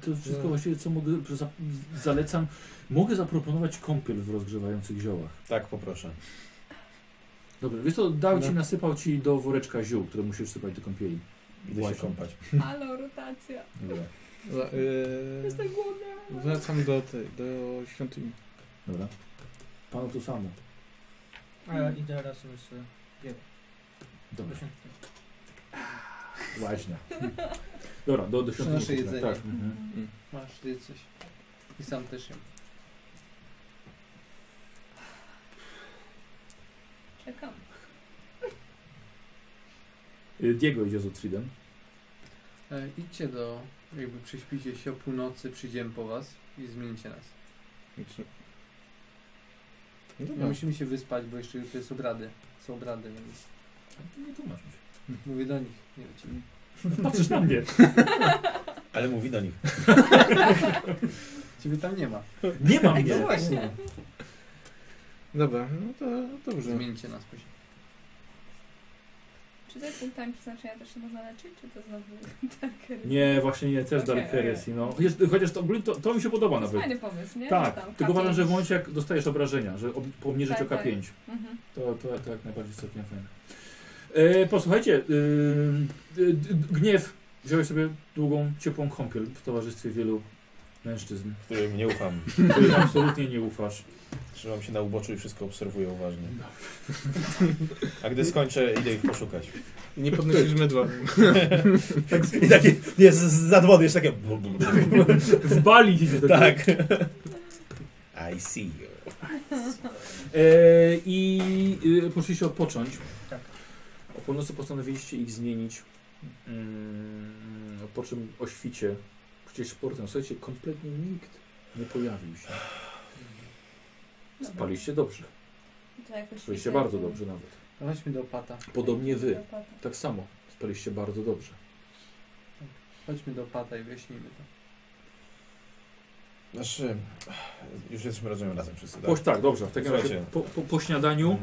Speaker 1: to, to wszystko właściwie, co mogę, za, zalecam. Mogę zaproponować kąpiel w rozgrzewających ziołach.
Speaker 2: Tak, poproszę.
Speaker 1: Dobra, wiesz co, dał ci,
Speaker 6: No.
Speaker 1: nasypał ci do woreczka ziół, które musisz sypać do kąpieli.
Speaker 2: Idę się
Speaker 1: Właśnie.
Speaker 2: kąpać.
Speaker 3: Halo, rotacja.
Speaker 1: Dobra.
Speaker 6: Za- y,
Speaker 3: Jestem głodna.
Speaker 6: Wracam do, tej, do świątyni.
Speaker 1: Dobra. Panu to samo.
Speaker 5: A
Speaker 6: e,
Speaker 5: ja idę razem z...
Speaker 1: Dobra, właśnie. Dobra, do, do świątyni.
Speaker 4: Przynoszę
Speaker 1: poszedłem.
Speaker 4: jedzenie.
Speaker 1: Tak, mhm.
Speaker 2: Mm.
Speaker 4: Masz ty coś. I sam też jem.
Speaker 3: Czekam.
Speaker 1: Y, Diego idzie z Otridem.
Speaker 4: E, idźcie do, jakby prześpicie się o północy, przyjdziemy po was i zmieńcie nas.
Speaker 6: No
Speaker 4: No,
Speaker 6: dobra.
Speaker 2: No
Speaker 4: musimy się wyspać, bo jeszcze jutro jest obrady. Są obrady, więc
Speaker 1: Nie tłumacz mi się.
Speaker 4: Mówię do nich, nie do ciebie.
Speaker 1: Patrzysz na mnie.
Speaker 2: Ale mówi do nich.
Speaker 4: Ciebie tam nie ma.
Speaker 1: Nie mam
Speaker 4: No
Speaker 1: mnie.
Speaker 4: właśnie.
Speaker 6: Dobra, no to dobrze.
Speaker 4: Zmieńcie nas później.
Speaker 3: Czy te punktami przeznaczenia też się można leczyć, czy to znowu tak?
Speaker 1: Nie, właśnie nie, też
Speaker 3: Okej,
Speaker 1: Dark Heresy. No. Jest, chociaż to, ogólnie to, to mi się podoba
Speaker 3: To jest
Speaker 1: nawet.
Speaker 3: fajny pomysł, nie?
Speaker 1: Tak,
Speaker 3: Tam
Speaker 1: tylko uważam, że w
Speaker 3: kapieć.
Speaker 1: momencie jak dostajesz obrażenia, że ob- pomniejszyć
Speaker 3: Tak,
Speaker 1: o K5,
Speaker 3: Mhm.
Speaker 1: to, to, to jak najbardziej jest całkiem fajne. E, posłuchajcie, y, y, d- gniew wziąłeś sobie długą, ciepłą kąpiel w towarzystwie wielu mężczyzn,
Speaker 2: Którym nie ufam.
Speaker 1: którym absolutnie nie ufasz.
Speaker 2: Trzymam się na uboczu i wszystko obserwuję uważnie. A gdy skończę, idę ich poszukać.
Speaker 6: Nie podnosisz mydła.
Speaker 2: Tak I takie, jest z wody, jest takie...
Speaker 1: W Bali idzie do ciebie.
Speaker 2: Tak. I see you.
Speaker 1: E, I y, poszliście odpocząć.
Speaker 5: Tak.
Speaker 1: O północy postanowiliście ich zmienić. Mm, po czym o świcie, przecież portem, słuchajcie, kompletnie nikt nie pojawił się.
Speaker 3: Dobra.
Speaker 1: Spaliście dobrze,
Speaker 3: To jakoś
Speaker 1: spaliście
Speaker 3: widzę,
Speaker 1: bardzo
Speaker 3: że-
Speaker 1: dobrze nawet.
Speaker 4: Chodźmy do opata.
Speaker 1: Podobnie wy,
Speaker 3: Opata.
Speaker 1: tak samo, spaliście bardzo dobrze.
Speaker 4: Chodźmy do opata i wyjaśnijmy to.
Speaker 2: Znaczy, już jesteśmy razem, razem wszyscy, tak?
Speaker 1: Po, tak, dobrze, w takim razie
Speaker 2: Słuchajcie.
Speaker 1: po, po, po śniadaniu,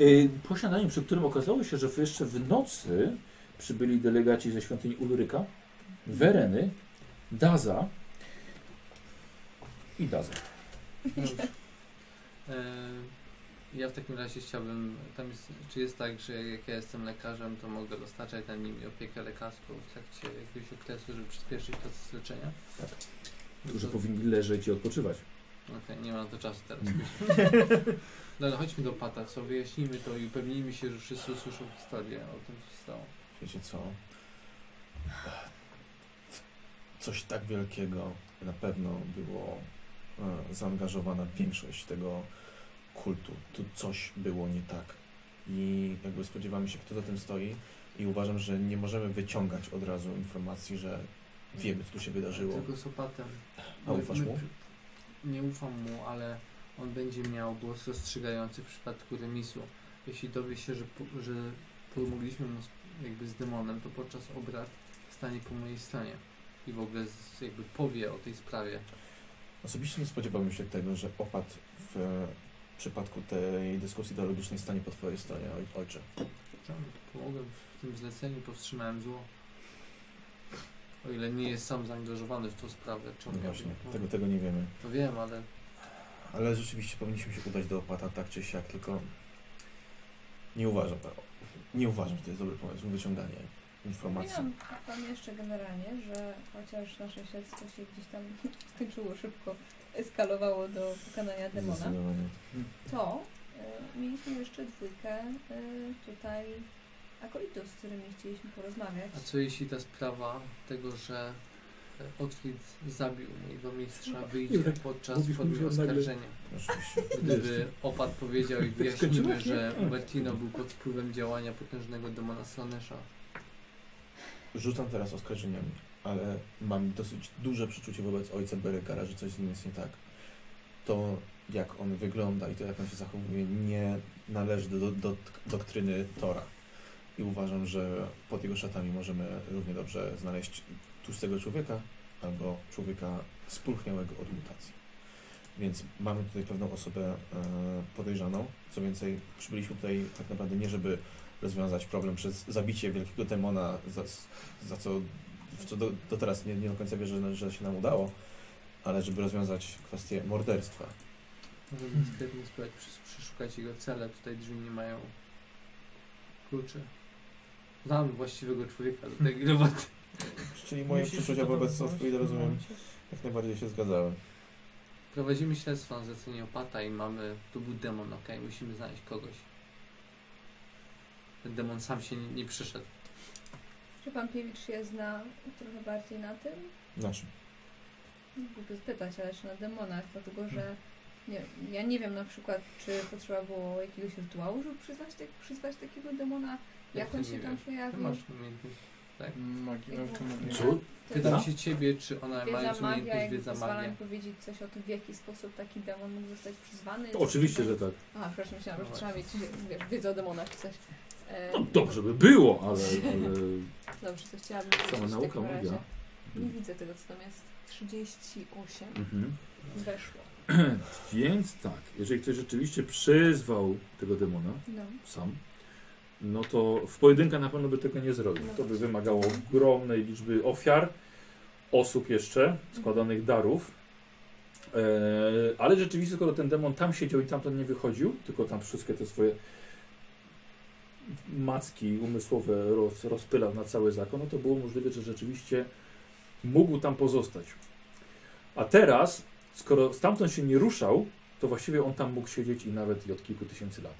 Speaker 1: y, po śniadaniu, przy którym okazało się, że jeszcze w nocy przybyli delegaci ze świątyni Ulryka, Wereny, Daza i Daza.
Speaker 4: E, Ja w takim razie chciałbym, tam jest, czy jest tak, że jak ja jestem lekarzem, to mogę dostarczać na nim opiekę lekarską w trakcie jakiegoś okresu, żeby przyspieszyć proces leczenia?
Speaker 1: Tak.
Speaker 4: No
Speaker 1: którzy
Speaker 4: to-
Speaker 1: powinni leżeć i odpoczywać.
Speaker 4: Okej, nie mam na to czasu teraz. No ale chodźmy do Pata, co wyjaśnijmy to i upewnijmy się, że wszyscy usłyszą historię o tym, co się stało.
Speaker 2: Wiecie co? Coś tak wielkiego na pewno było e, zaangażowana większość tego kultu. Tu coś było nie tak. I jakby spodziewamy się, kto za tym stoi. I uważam, że nie możemy wyciągać od razu informacji, że wiemy, co tu się wydarzyło.
Speaker 1: Tak.
Speaker 4: Tylko z opatem.
Speaker 2: A ufasz mu?
Speaker 4: Nie ufam mu, ale on będzie miał głos rozstrzygający w przypadku remisu. Jeśli dowie się, że, po- że pomogliśmy mu z, jakby z demonem, to podczas obrad stanie po mojej stronie i w ogóle z, jakby powie o tej sprawie.
Speaker 2: Osobiście nie spodziewałbym się tego, że opat w e, przypadku tej dyskusji teologicznej stanie po twojej stronie, oj, ojcze.
Speaker 4: Czemu? Pomogłem w tym zleceniu, powstrzymałem zło. O ile nie jest sam zaangażowany w tą sprawę, czy
Speaker 2: No
Speaker 4: on
Speaker 2: właśnie,
Speaker 4: jakby-
Speaker 2: tego, tego nie wiemy.
Speaker 4: To wiem, ale
Speaker 2: Ale rzeczywiście powinniśmy się udać do opata tak czy siak, tylko nie uważam, tak, nie uważam, że to jest dobry pomysł, wyciąganie informacji.
Speaker 3: Wspominam Wam jeszcze generalnie, że chociaż nasze śledztwo się gdzieś tam skończyło szybko, eskalowało do pokonania demona,
Speaker 2: Zdecydowanie.
Speaker 3: to y, mieliśmy jeszcze dwójkę y, tutaj akolitów, z którymi chcieliśmy porozmawiać.
Speaker 4: A co jeśli ta sprawa tego, że e, Otwit zabił mojego mistrza, wyjdzie
Speaker 1: Jurek,
Speaker 4: podczas
Speaker 1: No, tak mówisz,
Speaker 4: formy
Speaker 1: mówisz od nagle.
Speaker 4: oskarżenia?
Speaker 2: Oczywiście.
Speaker 4: Gdyby opat powiedział i wyjaśniły,
Speaker 1: skończyłaś,
Speaker 4: że
Speaker 1: nie? Tak.
Speaker 4: Bertino był pod wpływem działania potężnego demona Slanesha.
Speaker 2: Rzucam teraz oskarżeniami, ale mam dosyć duże przeczucie wobec ojca Berekara, że coś z nim jest nie tak. To, jak on wygląda i to, jak on się zachowuje, nie należy do, do, do doktryny Tora. I uważam, że pod jego szatami możemy równie dobrze znaleźć tłustego człowieka albo człowieka spulchniałego od mutacji. Więc mamy tutaj pewną osobę e, podejrzaną. Co więcej, przybyliśmy tutaj tak naprawdę nie, żeby rozwiązać problem przez zabicie wielkiego demona, za, za co, w co do, do teraz nie, nie do końca wierzę, że się nam udało, ale żeby rozwiązać kwestię morderstwa.
Speaker 4: Możemy
Speaker 1: Hmm.
Speaker 4: sklepnie spróbować przes- przeszukać jego cele. Tutaj drzwi nie mają kluczy. Znam właściwego człowieka
Speaker 1: Hmm.
Speaker 4: do tej gry, bo
Speaker 2: Czyli moje
Speaker 5: Myślisz,
Speaker 2: przeczucia
Speaker 5: że to
Speaker 2: wobec
Speaker 5: dobrze
Speaker 2: Sotwy i
Speaker 5: w tym
Speaker 2: rozumiem,
Speaker 5: momencie?
Speaker 2: jak najbardziej się zgadzały.
Speaker 4: prowadzimy śledztwo na zlecenie opata i mamy, tu był demon, okej, musimy znaleźć kogoś. Ten demon sam się nie, nie przyszedł.
Speaker 3: Czy Pan Piewicz się zna trochę bardziej na tym?
Speaker 2: Znaczy,
Speaker 3: Głupio spytać, ale czy na demonach, dlatego że
Speaker 4: Hmm.
Speaker 3: nie, ja nie wiem na przykład, czy potrzeba było jakiegoś rytuału, żeby przyznać tak, przyzwać takiego demona, jak
Speaker 4: to
Speaker 3: on
Speaker 4: nie
Speaker 3: się tam
Speaker 4: wiesz? Ty
Speaker 3: pojawił.
Speaker 4: masz umiejętność.
Speaker 5: Tak.
Speaker 6: Magii, nauka magii.
Speaker 1: Co?
Speaker 4: Pytam
Speaker 1: Wiedza?
Speaker 4: się ciebie, czy ona mając
Speaker 3: Wiedza magia,
Speaker 4: umiejętność
Speaker 3: jakby
Speaker 4: wiedza
Speaker 3: pozwala
Speaker 4: magia.
Speaker 3: mi powiedzieć coś o tym, w jaki sposób taki demon mógł zostać przyzwany.
Speaker 1: To oczywiście, że tak.
Speaker 3: A, przepraszam, myślałam,
Speaker 4: No
Speaker 3: że trzeba mieć wiesz, wiedzę o demonach czy coś. E,
Speaker 1: No dobrze by było, ale, ale
Speaker 3: Dobrze, to chciałabym wiedzieć
Speaker 1: sama
Speaker 3: w
Speaker 1: nauka Hmm.
Speaker 3: takim razie.
Speaker 1: mówiła.
Speaker 3: Nie widzę tego, co tam jest. 38
Speaker 1: Mhm.
Speaker 3: weszło.
Speaker 1: Więc tak, jeżeli ktoś rzeczywiście przyzwał tego demona
Speaker 3: No.
Speaker 1: sam, no to w pojedynkę na pewno by tego nie zrobił. To by wymagało ogromnej liczby ofiar, osób jeszcze, składanych darów. Eee, ale rzeczywiście, skoro ten demon tam siedział i tamten nie wychodził, tylko tam wszystkie te swoje macki umysłowe roz, rozpylał na cały zakon, no to było możliwe, że rzeczywiście mógł tam pozostać. A teraz, skoro stamtąd się nie ruszał, to właściwie on tam mógł siedzieć i nawet i od kilku tysięcy lat.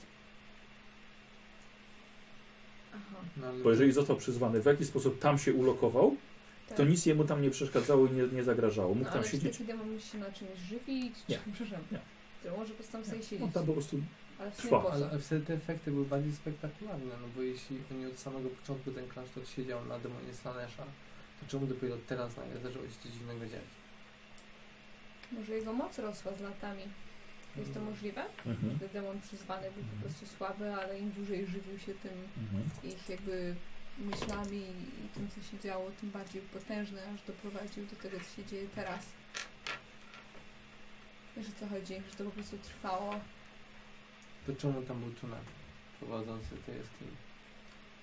Speaker 3: Aha,
Speaker 4: No, ale
Speaker 1: Bo jeżeli został przyzwany, w jaki sposób tam się ulokował,
Speaker 3: tak.
Speaker 1: to nic jemu tam nie przeszkadzało i nie, nie zagrażało. Mógł
Speaker 3: no,
Speaker 1: tam
Speaker 3: ale czy
Speaker 1: siedzieć.
Speaker 3: taki demon musi się na czymś żywić?
Speaker 1: Nie.
Speaker 3: Czy, przepraszam.
Speaker 1: Nie.
Speaker 3: To może po prostu tam sobie siedzieć.
Speaker 1: On tam po prostu.
Speaker 3: Ale w sumie
Speaker 1: trwa.
Speaker 3: po co?
Speaker 4: Ale ale wtedy te efekty były bardziej spektakularne, no bo jeśli oni od samego początku ten klasztor siedział na demonie Slanesha, to czemu dopiero teraz nagle zaczęło się coś dziwnego dziać?
Speaker 3: Może jego moc rosła z latami. Jest to możliwe?
Speaker 1: Mhm.
Speaker 3: Że demon przyzwany był
Speaker 1: Mhm.
Speaker 3: po prostu słaby, ale im dłużej żywił się tym
Speaker 1: Mhm.
Speaker 3: ich jakby myślami i tym, co się działo, tym bardziej potężny, aż doprowadził do tego, co się dzieje teraz. Wiesz o co chodzi? Że to po prostu trwało.
Speaker 4: To czemu tam był tunel prowadzący te jaskini?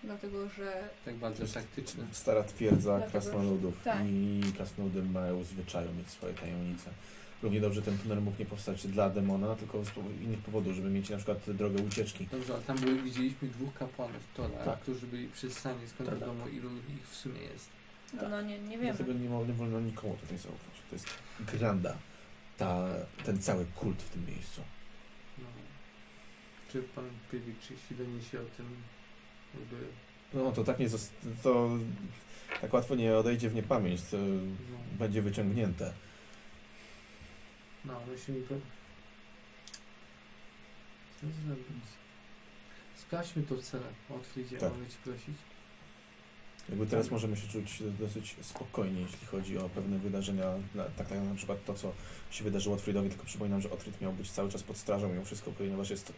Speaker 3: Dlatego, że
Speaker 4: Tak bardzo taktyczny.
Speaker 2: Stara twierdza
Speaker 3: Dlatego,
Speaker 2: krasnoludów
Speaker 3: że- tak.
Speaker 2: i krasnoludy mają zwyczaju mieć swoje tajemnice. Równie dobrze ten tunel mógł nie powstać dla demona, tylko z powo- innych powodów, żeby mieć na przykład drogę ucieczki.
Speaker 4: Dobrze, ale tam były, widzieliśmy dwóch kapłanów Tora,
Speaker 2: Tak.
Speaker 4: którzy byli przystani, skąd
Speaker 2: Tak,
Speaker 4: wiadomo ilu ich w sumie jest.
Speaker 3: no, no nie, nie wiemy.
Speaker 2: Dlatego nie, mo- nie wolno nikomu tutaj zaufać. To jest granda, ta, ten cały kult w tym miejscu.
Speaker 4: No. Czy pan Piewicz, jeśli doniesie o tym, jakby...
Speaker 2: No to tak nie zos- to tak łatwo nie odejdzie w niepamięć, to
Speaker 4: No,
Speaker 2: będzie wyciągnięte.
Speaker 4: no jeśli mi po... Co zrobić? Sprawdźmy to cele, o której
Speaker 2: Tak.
Speaker 4: mogę ci prosić.
Speaker 2: Jakby
Speaker 4: Tak.
Speaker 2: teraz możemy się czuć dosyć spokojnie, jeśli chodzi o pewne wydarzenia, na- tak jak na przykład to, co się wydarzyło Otfridowi, tylko przypominam, że Otfrid miał być cały czas pod strażą mimo wszystko, ponieważ jest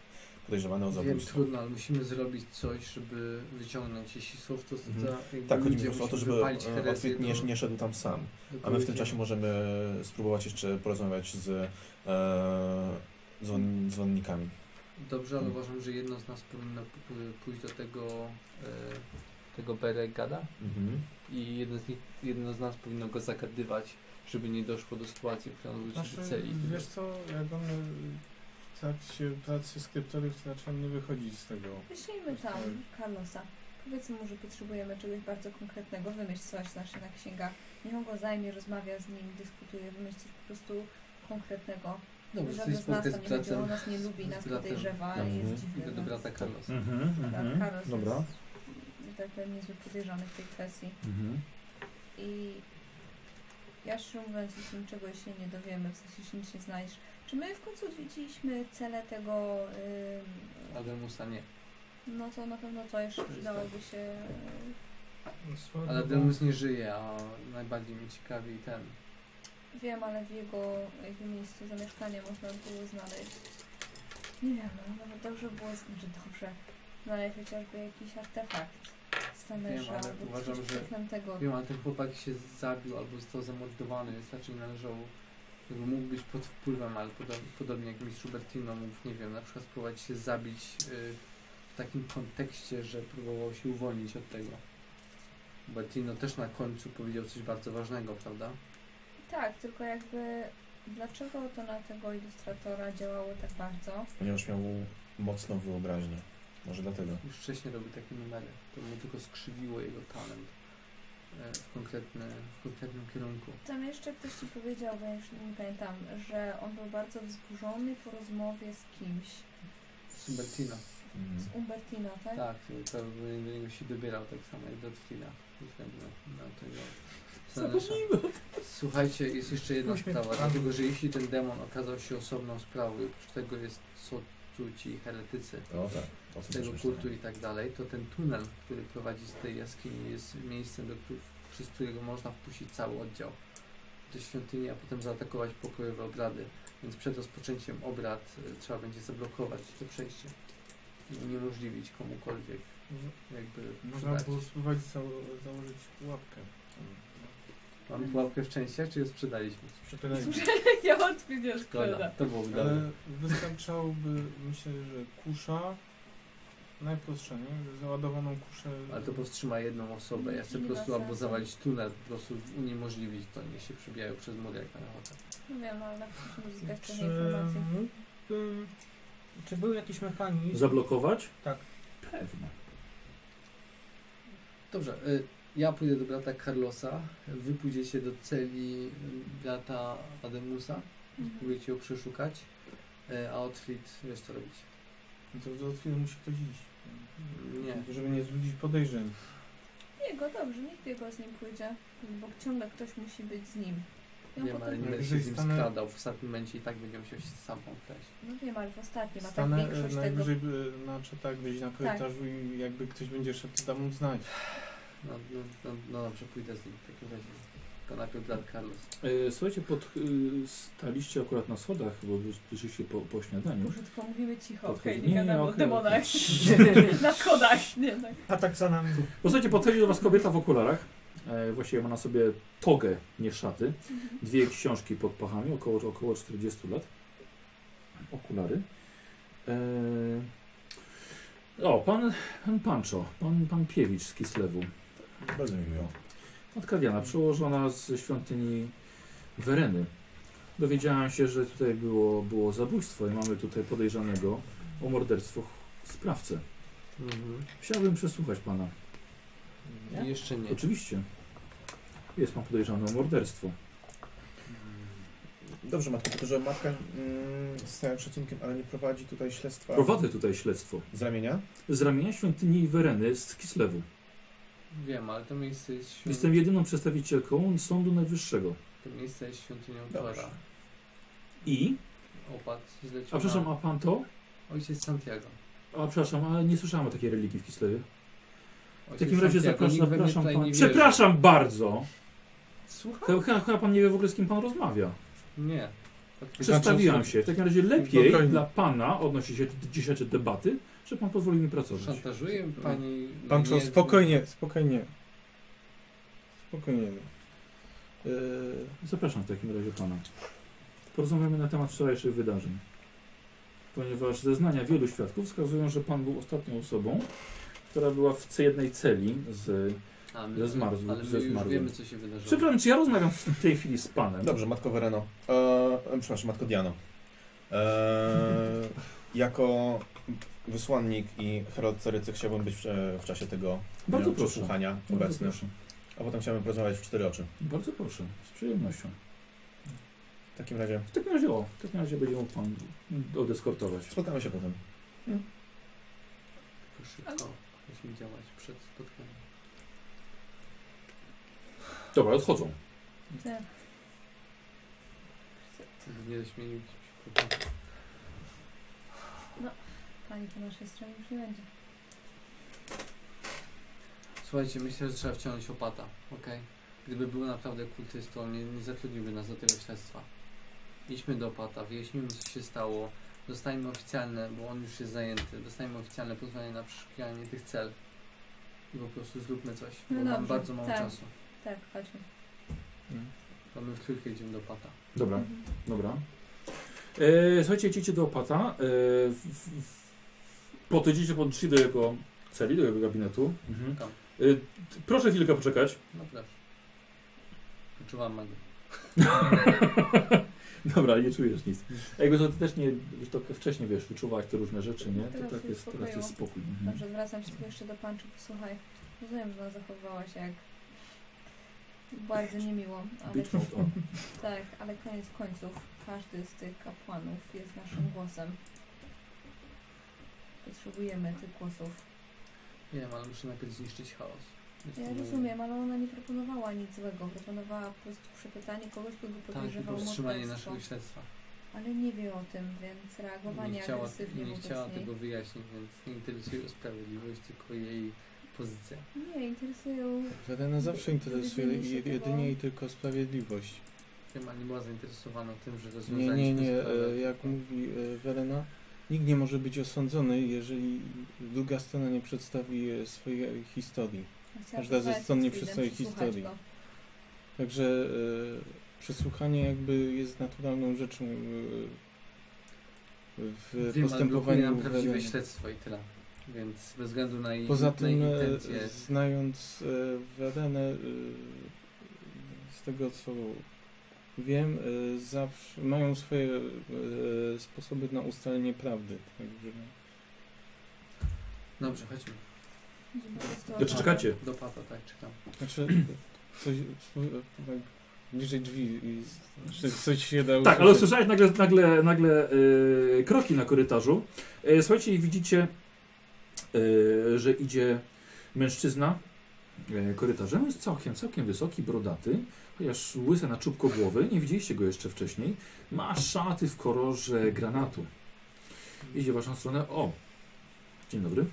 Speaker 2: podejrzewany o
Speaker 4: Wiem,
Speaker 2: zabójstwo.
Speaker 4: trudno, ale musimy zrobić coś, żeby wyciągnąć, jeśli są to
Speaker 2: Mhm.
Speaker 4: za, jakby
Speaker 2: Tak, chodzi mi
Speaker 4: ludzie,
Speaker 2: po prostu o to,
Speaker 4: musimy
Speaker 2: żeby
Speaker 4: wypalić
Speaker 2: e,
Speaker 4: herezję
Speaker 2: Otfrid nie,
Speaker 4: do-
Speaker 2: nie szedł tam sam.
Speaker 4: do
Speaker 2: A my w tym
Speaker 4: powiedzenia.
Speaker 2: czasie możemy spróbować jeszcze porozmawiać z e, dzwon, dzwonnikami.
Speaker 4: Dobrze, ale
Speaker 2: Mhm.
Speaker 4: uważam, że jedno z nas powinno p- pójść do tego, e, tego Beregada
Speaker 2: Mhm.
Speaker 9: I jedno z, nich, jedno z nas powinno go zagadywać, żeby nie doszło do sytuacji, w której on wróci do
Speaker 6: Znaczy,
Speaker 9: celi.
Speaker 6: wiesz co, jak on y, w trakcie pracy skryptoriów, to raczej on nie wychodzi z tego.
Speaker 3: Wyślijmy tam Carlosa. Powiedzmy mu, że potrzebujemy czegoś bardzo konkretnego. Wymyśl coś znaczy na księgach. Niech on go zajmie, rozmawia z nim, dyskutuje. Wymyśl coś po prostu konkretnego.
Speaker 4: Dobrze,
Speaker 3: Żaden
Speaker 4: jesteś
Speaker 3: z nas
Speaker 4: spotkać
Speaker 3: to
Speaker 4: z
Speaker 3: nie będzie, on
Speaker 4: bratem.
Speaker 3: nas nie lubi,
Speaker 4: z
Speaker 3: nas
Speaker 4: bratem.
Speaker 3: podejrzewa,
Speaker 2: Mhm.
Speaker 3: jest
Speaker 4: Idę
Speaker 3: dziwny.
Speaker 4: do
Speaker 3: no.
Speaker 4: brata Carlosa.
Speaker 1: Mhm,
Speaker 3: Tak,
Speaker 1: mhm.
Speaker 3: Carlos
Speaker 1: Dobra.
Speaker 3: jest, że tak powiem, niezły podejrzany w tej kwestii.
Speaker 1: Mhm.
Speaker 3: I ja szczerze mówiąc, jeśli niczego się nie dowiemy, w sensie jeśli nic nie znajdziesz, czy my w końcu odwiedziliśmy cele tego, ym,
Speaker 4: Ademusa nie.
Speaker 3: no to na pewno to jeszcze
Speaker 4: To jest
Speaker 3: przydałoby się...
Speaker 6: No
Speaker 5: Swoją
Speaker 4: Ale
Speaker 5: drogą-
Speaker 4: Ademus nie żyje, a najbardziej mnie ciekawi ten.
Speaker 3: y, Wiem, ale w jego jakby miejscu zamieszkania można było znaleźć, nie wiem, no, nawet dobrze było, z- znaczy dobrze, znaleźć chociażby jakiś artefakt
Speaker 4: Wiem,
Speaker 3: Stanesza,
Speaker 4: ale
Speaker 3: albo
Speaker 4: uważam,
Speaker 3: coś
Speaker 4: że-
Speaker 3: przeklętego.
Speaker 4: Wiem, ale ten chłopak się zabił albo został zamordowany, więc raczej należało. Jakby mógł być pod wpływem, ale podo- podobnie jak mistrz Bertino mógł, nie wiem, na przykład spróbować się zabić y, w takim kontekście, że próbował się uwolnić od tego. Bertino też na końcu powiedział coś bardzo ważnego, prawda?
Speaker 3: Tak, tylko jakby dlaczego to na tego ilustratora działało tak bardzo?
Speaker 2: Ponieważ miał mocną wyobraźnię. Może dlatego.
Speaker 4: Już wcześniej robił takie numery. To mu tylko skrzywiło jego talent e, w, konkretny, w konkretnym kierunku.
Speaker 3: Tam jeszcze ktoś ci powiedział, bo ja już nie pamiętam, że on był bardzo wzburzony po rozmowie z kimś.
Speaker 4: Subertino.
Speaker 2: Mhm.
Speaker 3: Z Umbertino, tak?
Speaker 4: Tak, pewnie do niego się dobierał tak samo jak do Twila. Względnie na tego. Slanesha. Słuchajcie, jest jeszcze jedna
Speaker 5: Uśmiech.
Speaker 4: sprawa, dlatego że jeśli ten demon okazał się osobną sprawą, i oprócz tego jest co tu ci heretycy
Speaker 2: O tak. O
Speaker 4: z
Speaker 2: tym
Speaker 4: tego
Speaker 2: też
Speaker 4: kultu
Speaker 2: myślałem.
Speaker 4: i tak dalej, to ten tunel, który prowadzi z tej jaskini jest miejscem, do któ- przez którego można wpuścić cały oddział do świątyni, a potem zaatakować pokojowe obrady. Więc przed rozpoczęciem obrad e, trzeba będzie zablokować to przejście i uniemożliwić komukolwiek jakby
Speaker 6: Mhm. Można
Speaker 4: przydać.
Speaker 6: było spróbować zało- założyć pułapkę.
Speaker 4: Mam pułapkę szczęścia, czy ją sprzedaliśmy?
Speaker 6: Przepylenie.
Speaker 3: Ja odpiliłem
Speaker 4: Szkoda,
Speaker 3: szkoda.
Speaker 4: to byłoby dobre.
Speaker 6: Ale wystarczałoby, myślę, że kusza. Najprostsza, nie? Załadowaną kuszę.
Speaker 4: Ale to powstrzyma jedną osobę. Ja chcę po prostu albo zawalić tunel, po prostu uniemożliwić to, niech się przebijają przez mur jak na ochotę.
Speaker 3: No wiem, ale musimy uzyskać
Speaker 5: Czy,
Speaker 3: trochę informacji.
Speaker 6: hmm,
Speaker 5: mógłbym- czy był jakiś
Speaker 6: Mhm.
Speaker 5: mechanizm?
Speaker 1: Zablokować?
Speaker 5: Tak.
Speaker 1: Pewnie.
Speaker 4: Dobrze, y, ja pójdę do brata Carlosa, wy pójdziecie do celi y, brata Ademusa,
Speaker 3: Mhm.
Speaker 4: próbujecie ją przeszukać, y, a Otfrid, wiesz co robić.
Speaker 6: To za chwilę musi ktoś iść.
Speaker 4: Nie,
Speaker 6: Żeby nie zbudzić podejrzeń.
Speaker 3: Jego dobrze, niech Diego z nim pójdzie, bo ciągle ktoś musi być z nim. Ja
Speaker 4: wiem, ale
Speaker 3: potem...
Speaker 4: nie
Speaker 6: Jak
Speaker 4: będę się
Speaker 6: No tak, jeżeli
Speaker 4: z nim
Speaker 6: stanę-
Speaker 4: skradał, w ostatnim momencie i tak będzie musiał się sam ukraść.
Speaker 3: No wiem, ale w ostatnim, a tak
Speaker 6: Stanę e,
Speaker 3: większość tego... Tak.
Speaker 6: najwyżej by e, na czetach wyjść na korytarzu i jakby ktoś będzie szedł, to dam mu znać.
Speaker 4: No, no, no, no dobrze, pójdę z nim w takim razie. To najpierw brat Carlos.
Speaker 1: E, Słuchajcie, pod, y, staliście akurat na schodach, bo wy- wyszliście po, po śniadaniu.
Speaker 3: Boże, tylko mówimy cicho,
Speaker 1: Podchodzi-
Speaker 3: okej, nie,
Speaker 1: nie,
Speaker 3: gadamy
Speaker 1: okej,
Speaker 3: o demonach. Na schodach, nie tak.
Speaker 5: A tak za nami.
Speaker 1: Posłuchajcie, podchodzi do was kobieta w okularach. E, właściwie ma na sobie togę, nie szaty. Dwie książki pod pachami, około, około 40 lat. Okulary. E, o, pan, pan Pancho, pan, pan Piewicz z Kislewu.
Speaker 2: Bardzo mi miło.
Speaker 1: Matka Diana, przełożona ze świątyni Wereny. Dowiedziałem się, że tutaj było, było zabójstwo i mamy tutaj podejrzanego o morderstwo ch- sprawcę. Mhm. Chciałbym przesłuchać pana.
Speaker 9: Nie? Jeszcze nie.
Speaker 1: Oczywiście. Jest pan podejrzany o morderstwo.
Speaker 2: Dobrze, matko, tylko że matka mm, z całym szacunkiem, ale nie prowadzi tutaj śledztwa.
Speaker 1: Prowadzę tutaj śledztwo.
Speaker 2: Z ramienia?
Speaker 1: Z ramienia świątyni Wereny z Kislewu.
Speaker 4: Wiem, ale to miejsce jest świąt...
Speaker 1: Jestem jedyną przedstawicielką Sądu Najwyższego.
Speaker 4: To miejsce jest świątynią
Speaker 2: Dobrze.
Speaker 4: Tora.
Speaker 1: I?
Speaker 4: Opat zlecił
Speaker 1: A przepraszam,
Speaker 4: na...
Speaker 1: a pan to?
Speaker 4: Ojciec Santiago.
Speaker 1: A przepraszam, ale nie słyszałem o takiej religii w Kislewie. W
Speaker 4: Ojciec
Speaker 1: takim razie
Speaker 4: Santiago,
Speaker 1: zapraszam,
Speaker 4: nikt we mnie
Speaker 1: zapraszam
Speaker 4: tutaj nie
Speaker 1: pan.
Speaker 4: wierzy.
Speaker 1: Przepraszam bardzo!
Speaker 4: Słucham?
Speaker 1: Chyba, chyba pan nie wie w ogóle z kim pan rozmawia.
Speaker 4: Nie. Tak
Speaker 1: Przedstawiłam się. W takim razie lepiej
Speaker 6: Spokojnie.
Speaker 1: dla pana odnosi się do dzisiejszej debaty, że pan pozwoli mi pracować.
Speaker 4: Szantażuję pani...
Speaker 6: Pan
Speaker 4: nie-
Speaker 6: Czo, spokojnie, spokojnie. Spokojnie. no. Yy,
Speaker 1: Zapraszam w takim razie pana. Porozmawiamy na temat wczorajszych wydarzeń. Ponieważ zeznania wielu świadków wskazują, że pan był ostatnią osobą, która była w c- jednej celi z...
Speaker 4: A
Speaker 1: Ze
Speaker 4: my,
Speaker 1: zmarzł-
Speaker 4: ale
Speaker 1: ze
Speaker 4: my już
Speaker 1: zmarzł.
Speaker 4: wiemy, co się wydarzyło.
Speaker 1: Przepraszam, czy ja rozmawiam w tej chwili z panem?
Speaker 2: Dobrze, matko Wereno. E, przepraszam, matko Diano. E, jako wysłannik i herald Cerycy chciałbym być w, e, w czasie tego
Speaker 1: Bardzo
Speaker 2: e,
Speaker 1: proszę.
Speaker 2: przesłuchania
Speaker 1: Bardzo
Speaker 2: obecnym,
Speaker 1: proszę.
Speaker 2: a potem chciałbym porozmawiać w cztery oczy.
Speaker 1: Bardzo proszę. Z przyjemnością.
Speaker 2: W takim razie
Speaker 1: W takim razie o, w takim razie będzie mógł pan odeskortować.
Speaker 2: spotkamy się potem.
Speaker 4: Tylko Szybko. Musimy działać przed spotkaniem.
Speaker 1: Dobra, odchodzą.
Speaker 3: Tak.
Speaker 4: Żeby Nie dośmielić się chłopaka.
Speaker 3: Pani po naszej stronie już nie będzie.
Speaker 4: Słuchajcie, myślę, że trzeba wciągnąć opata, okej? Gdyby był naprawdę kultystą, nie, nie zatrudniłby nas do tego śledztwa. Idźmy do opata, wyjaśnijmy co się stało, dostajmy oficjalne, bo on już jest zajęty, dostajmy oficjalne pozwolenie na przeszukiwanie tych cel i po prostu zróbmy coś, bo
Speaker 3: No
Speaker 4: mam
Speaker 3: dobrze,
Speaker 4: bardzo mało
Speaker 3: tak.
Speaker 4: czasu.
Speaker 3: Tak, chodźmy.
Speaker 4: To my w trójkę idziemy do opata.
Speaker 1: Dobra.
Speaker 3: Mhm.
Speaker 1: Dobra. E, słuchajcie, idziecie do opata. E, w, w, w- podejdziecie pod drzwi do jego celi, do jego gabinetu.
Speaker 4: Tam.
Speaker 1: E, t- proszę chwilkę poczekać.
Speaker 4: No proszę. Poczuwam magię.
Speaker 1: Dobra, nie czujesz nic. Jakby to ty też nie, już to wcześniej wiesz, wyczuwałaś te różne rzeczy, nie?
Speaker 3: Teraz
Speaker 1: To tak
Speaker 3: się
Speaker 1: jest, teraz jest spokój. Mhm.
Speaker 3: Dobrze, zwracam się tylko jeszcze do Panczy, posłuchaj. Rozumiem, że ona zachowywała się jak... Bardzo niemiło, ale
Speaker 1: Być może. o.
Speaker 3: tak, ale koniec końców każdy z tych kapłanów jest naszym głosem. Potrzebujemy tych głosów.
Speaker 4: Nie wiem, ale muszę najpierw zniszczyć chaos. Jest
Speaker 3: Ja
Speaker 4: to-
Speaker 3: rozumiem, ale ona nie proponowała nic złego. Proponowała po prostu przepytanie kogoś, kogo
Speaker 4: Tak, i
Speaker 3: podejrzewał o
Speaker 4: powstrzymanie
Speaker 3: morderstwo.
Speaker 4: naszego śledztwa.
Speaker 3: Ale nie wie o tym, więc reagowanie
Speaker 4: nie chciała,
Speaker 3: agresywnie
Speaker 4: nie
Speaker 3: wobec
Speaker 4: chciała
Speaker 3: niej.
Speaker 4: tego wyjaśnić, więc nie interesuje o sprawiedliwość, tylko jej pozycja.
Speaker 3: Nie, interesują.
Speaker 6: Werena zawsze interesuje
Speaker 3: Dowiedzenie się
Speaker 6: je-
Speaker 3: tego-
Speaker 6: jedynie i tylko sprawiedliwość.
Speaker 4: Wiem, ale nie była zainteresowana tym, że
Speaker 6: Nie, nie,
Speaker 2: e,
Speaker 4: rozwiązaliśmy
Speaker 6: nie.
Speaker 4: sprawę.
Speaker 6: e, Jak mówi e, Werena,
Speaker 2: Nikt nie może być osądzony, jeżeli druga strona nie przedstawi e, swojej historii. Każda ze stron nie przedstawi historii. Także e, przesłuchanie jakby jest naturalną rzeczą e, w
Speaker 4: Wiem, ale blokuje
Speaker 2: postępowaniu.
Speaker 4: nam prawdziwe
Speaker 2: wewnętrznym.
Speaker 4: śledztwo i tyle. Więc bez względu na jej
Speaker 2: Poza
Speaker 4: na jej
Speaker 2: tym, e,
Speaker 4: intencje.
Speaker 2: znając e, Werenę, e, z tego co wiem, e, zawsze mają swoje e, sposoby na ustalenie prawdy. Także
Speaker 4: Dobrze, chodźmy.
Speaker 1: Znaczy, czekacie.
Speaker 4: Do papa, tak, czekam.
Speaker 2: Znaczy, coś, tak, bliżej drzwi i czy coś się da
Speaker 1: Tak, ale
Speaker 2: usłyszeć.
Speaker 1: usłyszałeś nagle, nagle, nagle e, kroki na korytarzu. E, słuchajcie, i widzicie, e, że idzie mężczyzna e, korytarzem. Jest całkiem, całkiem wysoki, brodaty, chociaż łysy na czubko głowy. Nie widzieliście go jeszcze wcześniej. Ma szaty w kolorze granatu. Idzie w waszą stronę. O! Dzień dobry.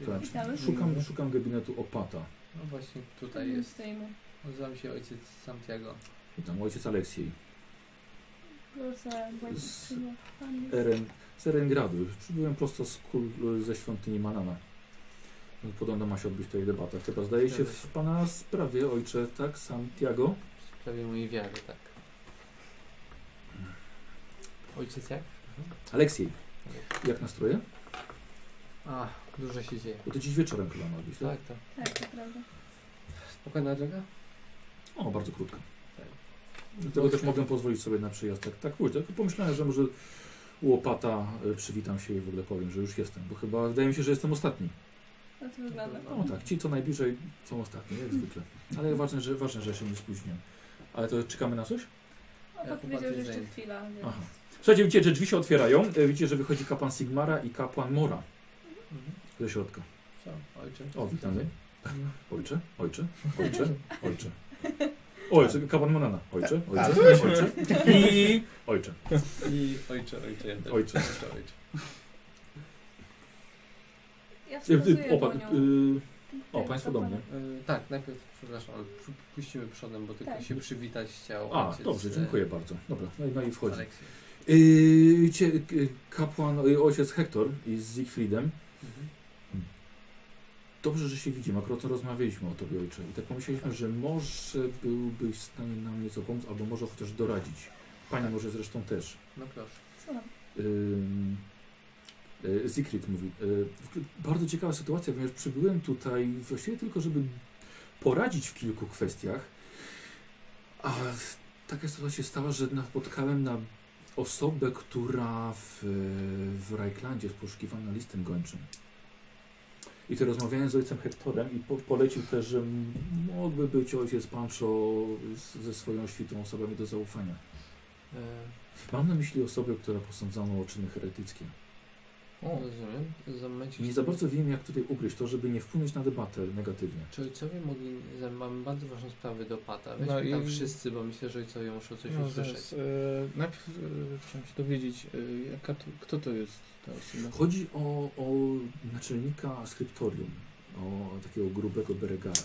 Speaker 1: Zobacz,
Speaker 3: Witamy.
Speaker 1: Szukam, szukam gabinetu opata.
Speaker 4: No właśnie tutaj
Speaker 3: Mhm.
Speaker 4: jest.
Speaker 3: Stoimy.
Speaker 4: Nazywam się ojciec Santiago.
Speaker 1: I tam ojciec Aleksiej.
Speaker 3: Proszę, bądź
Speaker 1: Z-
Speaker 3: przyjemny. Pan jest-
Speaker 1: Eren, z Erengradu. Przybyłem prosto z kul, ze świątyni Manana. No, Podobno ma się odbyć tutaj debata. Chyba zdaje się w Pana sprawie, ojcze, tak, Santiago?
Speaker 20: W sprawie mojej wiary, tak. Ojciec jak?
Speaker 1: Aleksiej, jak nastroje?
Speaker 20: A, dużo się dzieje.
Speaker 1: Bo to dziś wieczorem chyba ma być, tak?
Speaker 20: Tak, tak.
Speaker 3: Tak, to prawda.
Speaker 4: Spokojna droga?
Speaker 1: O, bardzo krótko. Dlatego też mogę pozwolić sobie na przyjazd. Tak, tak pójdę. Tylko pomyślałem, że może łopata y, przywitam się i w ogóle powiem, że już jestem. Bo chyba wydaje mi się, że jestem ostatni.
Speaker 3: No to wygląda.
Speaker 1: No tak, ci co najbliżej są ostatni, jak zwykle. Ale ważne, że, ważne, że się nie spóźniłem. Ale to czekamy na coś?
Speaker 3: A
Speaker 4: Ja
Speaker 3: pan powiedział, że jeszcze
Speaker 4: popatrzę,
Speaker 3: chwila, więc...
Speaker 1: Aha. Słuchajcie, widzicie, że drzwi się otwierają. E, Widzicie, że wychodzi kapłan Sigmara i kapłan Mora
Speaker 4: Mhm.
Speaker 1: ze środka.
Speaker 4: Co? Ojcze?
Speaker 1: O, witamy. Ojcze, ojcze, ojcze, ojcze. Ojcze, kapłan Morana. Ojcze, ojcze, ojcze. I ojcze.
Speaker 4: I ojcze, ojcze. ja też.
Speaker 1: Ojcze.
Speaker 4: Ojcze, ojcze.
Speaker 3: Ja
Speaker 1: E,
Speaker 3: wskazuję
Speaker 1: e, Opa,
Speaker 3: dłonią.
Speaker 1: y, o,
Speaker 3: Tak,
Speaker 1: państwo
Speaker 3: do
Speaker 1: do mnie.
Speaker 4: Y,
Speaker 20: E,
Speaker 4: tak, najpierw, przepraszam, ale przy- puścimy przodem, bo tylko
Speaker 3: Tak.
Speaker 4: się przywitać chciał
Speaker 1: A,
Speaker 4: ojciec,
Speaker 1: dobrze,
Speaker 4: e,
Speaker 1: dziękuję bardzo. Dobra, no, i- no i wchodzi.
Speaker 4: Aleksiej.
Speaker 1: Y, Widzicie, k- kapłan, y, ojciec Hektor i z Siegfriedem.
Speaker 4: Mhm.
Speaker 1: Dobrze, że się widzimy. Akurat rozmawialiśmy o tobie, ojcze. I tak pomyśleliśmy, że może byłbyś w stanie nam nieco pomóc, albo może chociaż doradzić. Pani może zresztą też.
Speaker 4: No proszę.
Speaker 3: Słucham.
Speaker 1: Ym, y, Siegfried mówi. y, w ogóle Bardzo ciekawa sytuacja, ponieważ przybyłem tutaj właściwie tylko, żeby poradzić w kilku kwestiach, a w- taka sytuacja się stała, że napotkałem na osobę, która w, w Rajklandzie jest poszukiwana listem gończym. I to rozmawiałem z ojcem Hektorem i po, polecił też, że m- mógłby być ojciec Pancho z, ze swoją świtą osobami do zaufania.
Speaker 20: E,
Speaker 1: Mam na myśli osobę, która posądzono o czyny heretyckie.
Speaker 20: o, rozumiem. Zamyć...
Speaker 1: Nie za bardzo wiem, jak tutaj ugryźć to, żeby nie wpłynąć na debatę negatywnie.
Speaker 20: Czy ojcowie mogli... za- Mamy bardzo ważną sprawę do pata. Weźmy
Speaker 2: No i-
Speaker 20: tam wszyscy, bo myślę, że ojcowie muszą coś
Speaker 2: No,
Speaker 20: usłyszeć.
Speaker 2: zaraz, e, najpierw e, chciałem się dowiedzieć, e, jaka to, kto to jest ta osoba.
Speaker 1: Chodzi o, o naczelnika skryptorium, o takiego grubego beregara.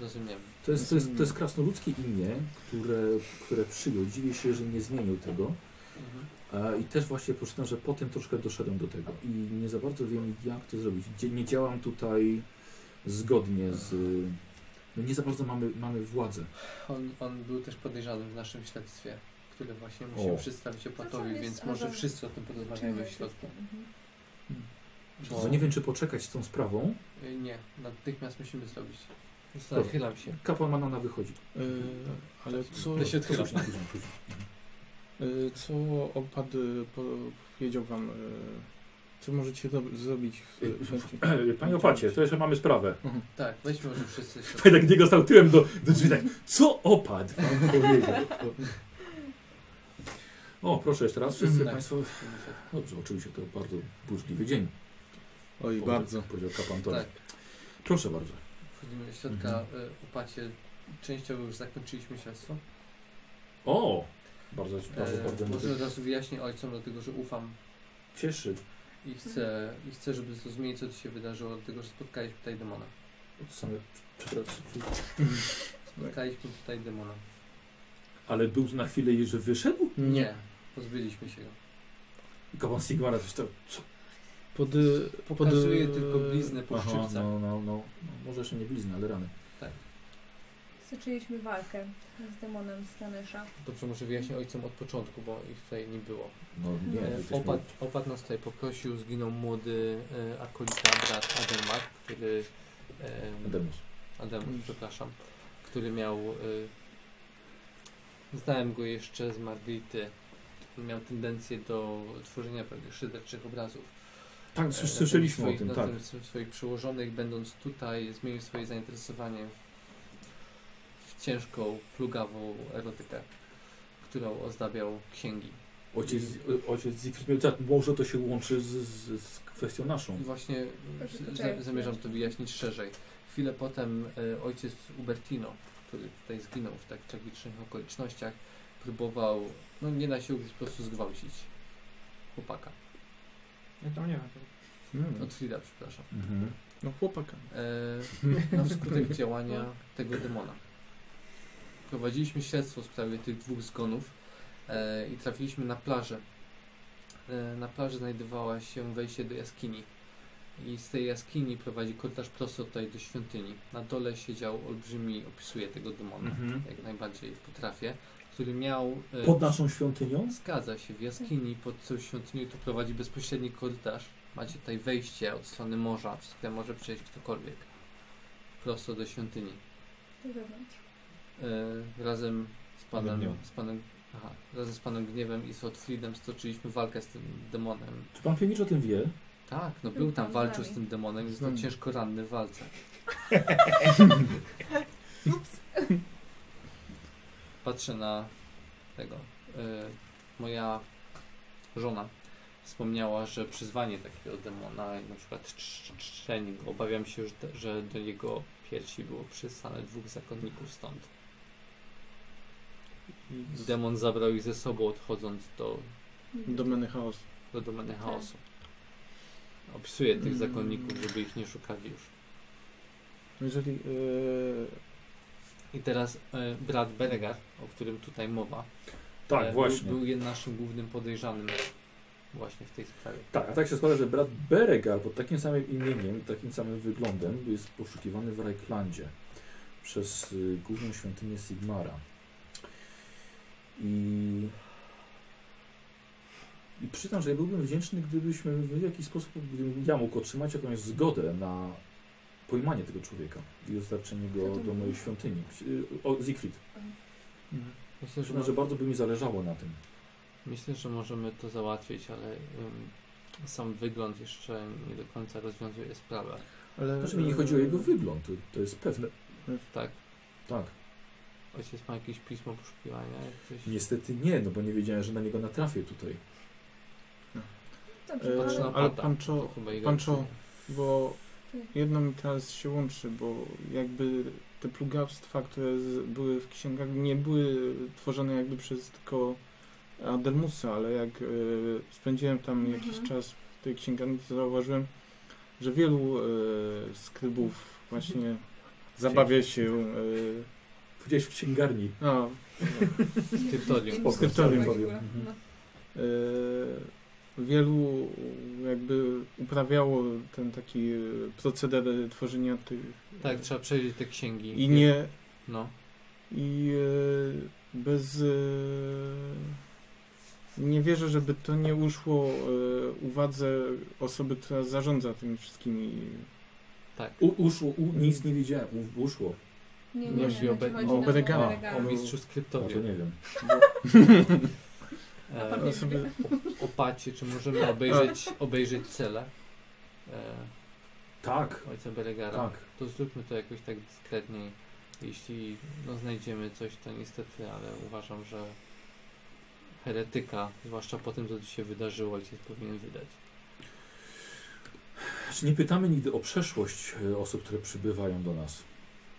Speaker 20: Rozumiem.
Speaker 1: To jest, to jest, to jest krasnoludzkie imię, które, które przyjął. Dziwię się, że nie zmienił tego.
Speaker 4: Mhm.
Speaker 1: E, I też właśnie poczytam, że potem troszkę doszedłem do tego. I nie za bardzo wiem, jak to zrobić. Dzie- Nie działam tutaj zgodnie z... No nie za bardzo mamy, mamy władzę.
Speaker 4: On, on był też podejrzany w naszym śledztwie, które właśnie musi
Speaker 1: O.
Speaker 4: przedstawić
Speaker 3: To co
Speaker 4: opatowi,
Speaker 3: jest-
Speaker 4: więc
Speaker 3: a,
Speaker 4: może
Speaker 3: dobra.
Speaker 4: wszyscy o tym porozmawiamy w
Speaker 3: Czego
Speaker 4: środku.
Speaker 3: Mhm.
Speaker 1: Bo nie wiem, czy poczekać z tą sprawą.
Speaker 4: Y, Nie, natychmiast musimy zrobić. Tak,
Speaker 20: Nachylam się.
Speaker 1: Kapłan Manana wychodzi.
Speaker 2: E, ale
Speaker 20: Tak.
Speaker 2: co,
Speaker 4: Ja się odchylam.
Speaker 1: Później, później, później.
Speaker 2: e, co opad e, po, powiedział wam, e, co możecie do, zrobić w
Speaker 1: Y,
Speaker 2: w kwestii?
Speaker 1: Panie opacie, to jeszcze mamy sprawę.
Speaker 4: Tak, weźmy może wszyscy się.
Speaker 1: Tutaj tak niego stał tyłem do, do drzwi, tak, co opadł? Pan powiedział. O, proszę jeszcze raz, wszyscy
Speaker 4: Tak.
Speaker 1: Państwo. Dobrze, oczywiście to bardzo burzliwy dzień.
Speaker 2: Oj,
Speaker 1: powiedział-
Speaker 2: bardzo.
Speaker 1: Powiedział kapan Tony.
Speaker 4: Tak,
Speaker 1: Proszę bardzo.
Speaker 4: wchodzimy do środka. Mhm. Upacie, częściowo już zakończyliśmy śledztwo.
Speaker 1: O! Bardzo, bardzo, bardzo
Speaker 4: E,
Speaker 1: mnie
Speaker 4: może
Speaker 1: to
Speaker 4: od razu wyjaśnię ojcom, dlatego że ufam
Speaker 1: cieszy.
Speaker 4: i chcę, i chcę żeby zrozumieli, co tu się wydarzyło, dlatego że spotkaliśmy tutaj demona.
Speaker 1: Tak. Od samego- No przepraszam.
Speaker 4: Spotkaliśmy tutaj demona.
Speaker 1: Ale był na chwilę i że wyszedł?
Speaker 4: Nie.
Speaker 21: Pozbyliśmy się go.
Speaker 1: I Kapłan Sigmara coś to... Co?
Speaker 2: Pod, e,
Speaker 21: Pokazuje tylko bliznę po
Speaker 1: Aha,
Speaker 21: szczypcach.
Speaker 1: no, no, no, no. Może jeszcze nie blizny, ale rany.
Speaker 3: Zaczęliśmy walkę z demonem Stanesza.
Speaker 4: Dobrze, może wyjaśnię ojcom od początku, bo ich tutaj nie było.
Speaker 22: No nie,
Speaker 4: E,
Speaker 22: jesteśmy...
Speaker 4: Opat, opat nas tutaj poprosił, zginął młody e, akolita brat Adelmar, który... e, em,
Speaker 22: Ademus.
Speaker 4: Adamus,
Speaker 1: Mm.
Speaker 4: przepraszam, który miał. Y, znałem go jeszcze z Margrity. Miał tendencję do tworzenia pewnych szyderczych obrazów.
Speaker 1: Tak,
Speaker 4: E,
Speaker 1: słys-
Speaker 4: na
Speaker 1: słyszeliśmy o
Speaker 4: temat
Speaker 1: tym,
Speaker 4: swoich-
Speaker 1: tak.
Speaker 4: Na temat sw- swoich przełożonych, będąc tutaj, zmienił swoje zainteresowanie w ciężką, plugawą erotykę, którą ozdabiał księgi.
Speaker 1: Ojciec, ojciec Zigfried miał tak, może to się łączy z, z, z kwestią naszą.
Speaker 4: I właśnie
Speaker 3: Proszę,
Speaker 4: z-
Speaker 3: poczekaj.
Speaker 4: z, zamierzam to wyjaśnić szerzej. Chwilę potem e, ojciec Ubertino, który tutaj zginął w tak tragicznych okolicznościach, próbował, no nie na siłę, po prostu zgwałcić chłopaka.
Speaker 6: Ja tam nie wiem.
Speaker 4: Od Frida, przepraszam.
Speaker 1: Mhm.
Speaker 2: No chłopaka.
Speaker 4: E, na wskutek działania tego demona. Prowadziliśmy śledztwo w sprawie tych dwóch zgonów e, i trafiliśmy na plażę. E, na plaży znajdowała się wejście do jaskini. I z tej jaskini prowadzi korytarz prosto tutaj do świątyni. Na dole siedział olbrzymi, opisuje tego demona,
Speaker 1: Mhm.
Speaker 4: jak najbardziej potrafię, który miał... e,
Speaker 1: Pod naszą świątynią?
Speaker 4: Zgadza się, w jaskini pod tą świątynią to prowadzi bezpośredni korytarz. Macie tutaj wejście od strony morza, przez które może przejść ktokolwiek. Prosto do świątyni.
Speaker 3: Do wewnątrz.
Speaker 4: Yy, razem z panem,
Speaker 22: Gniewem.
Speaker 4: z panem aha, razem z panem Gniewem i z Otfriedem stoczyliśmy walkę z tym demonem.
Speaker 1: Czy pan Piewicz o tym wie?
Speaker 4: Tak, no
Speaker 3: Był
Speaker 4: był
Speaker 3: pan
Speaker 4: tam,
Speaker 3: z
Speaker 4: walczył
Speaker 3: nami.
Speaker 4: z tym demonem i został
Speaker 2: nami.
Speaker 4: ciężko ranny w walce. Patrzę na tego. Y, moja żona wspomniała, że przyzwanie takiego demona, na przykład trz- czczenie go, obawiam się, że, te- że do jego piersi było przystane dwóch zakonników stąd. Demon zabrał ich ze sobą, odchodząc do
Speaker 2: Domeny chaosu.
Speaker 4: do domeny chaosu. Opisuję tych
Speaker 2: Mm.
Speaker 4: zakonników, żeby ich nie szukali już.
Speaker 2: Jeżeli e,
Speaker 4: I teraz e, brat Beregar, o którym tutaj mowa,
Speaker 1: Tak,
Speaker 4: e,
Speaker 1: właśnie.
Speaker 4: Był, był jed- naszym głównym podejrzanym właśnie w tej sprawie.
Speaker 1: Tak, a tak się składa, że brat Berega pod takim samym imieniem, takim samym wyglądem jest poszukiwany w Rajklandzie przez y, główną świątynię Sigmara. I... I przyznam, że ja byłbym wdzięczny, gdybyśmy w jakiś sposób, gdybym ja mógł otrzymać jakąś zgodę na pojmanie tego człowieka i dostarczenie
Speaker 3: Kto
Speaker 1: go
Speaker 3: to
Speaker 1: do
Speaker 3: był?
Speaker 1: mojej świątyni. Y, O, Siegfried.
Speaker 2: mhm.
Speaker 4: Myślę, że,
Speaker 1: Przyznam, że bardzo by mi zależało na tym.
Speaker 4: myślę, że możemy to załatwić, ale ym, sam wygląd jeszcze nie do końca rozwiązuje sprawę.
Speaker 2: ale,
Speaker 1: Znaczy mi nie chodzi o jego wygląd, to, to jest pewne.
Speaker 4: Tak?
Speaker 1: Tak.
Speaker 4: Ojciec ma jakieś pismo poszukiwania? jak Coś?
Speaker 1: Niestety nie, no bo nie wiedziałem, że na niego natrafię tutaj.
Speaker 3: Dobrze,
Speaker 2: E,
Speaker 3: to
Speaker 4: Patrzę na
Speaker 3: ale...
Speaker 2: ale
Speaker 4: Pata.
Speaker 2: Pancho-
Speaker 4: To chyba jego
Speaker 2: Pancho-
Speaker 4: opcja.
Speaker 2: Bo jedno mi teraz się łączy, bo jakby te plugawstwa, które z, były w księgach, nie były tworzone jakby przez tylko Adelmusa, ale jak e, spędziłem tam
Speaker 3: Mhm.
Speaker 2: jakiś czas w tej księgarni, to zauważyłem, że wielu e, skrybów właśnie zabawia się e,
Speaker 1: Gdzieś w księgarni.
Speaker 2: no,
Speaker 4: Skryptorium.
Speaker 1: Spoko,
Speaker 2: Skryptorium.
Speaker 1: sorry, powiem.
Speaker 3: No,
Speaker 1: Mhm.
Speaker 2: E, wielu jakby uprawiało ten taki e, proceder tworzenia tych
Speaker 4: Tak, trzeba przejrzeć te księgi.
Speaker 2: i nie
Speaker 4: No.
Speaker 2: i e, bez e, nie wierzę, żeby to nie uszło e, uwadze osoby, która zarządza tymi wszystkimi.
Speaker 4: Tak.
Speaker 1: U, uszło, u, nic nie widziałem, u, uszło.
Speaker 3: nie, nie,
Speaker 4: Nie
Speaker 3: nie,
Speaker 4: musi
Speaker 3: nie,
Speaker 4: obe-
Speaker 3: chodzi
Speaker 2: o
Speaker 3: nam
Speaker 2: Bergama.
Speaker 3: Bergama.
Speaker 4: O mistrzu
Speaker 1: No to
Speaker 4: skryptorium.
Speaker 1: nie wiem.
Speaker 4: E,
Speaker 3: Pan
Speaker 2: Osoby,
Speaker 4: o pacie, czy możemy obejrzeć, obejrzeć cele e,
Speaker 1: Tak,
Speaker 4: ojca Beregara?
Speaker 1: tak.
Speaker 4: To zróbmy to jakoś tak dyskretniej. Jeśli no, znajdziemy coś, to niestety, ale uważam, że heretyka, zwłaszcza po tym, co tu się wydarzyło, ojciec powinien wydać.
Speaker 1: Czy nie pytamy nigdy o przeszłość e, osób, które przybywają do nas?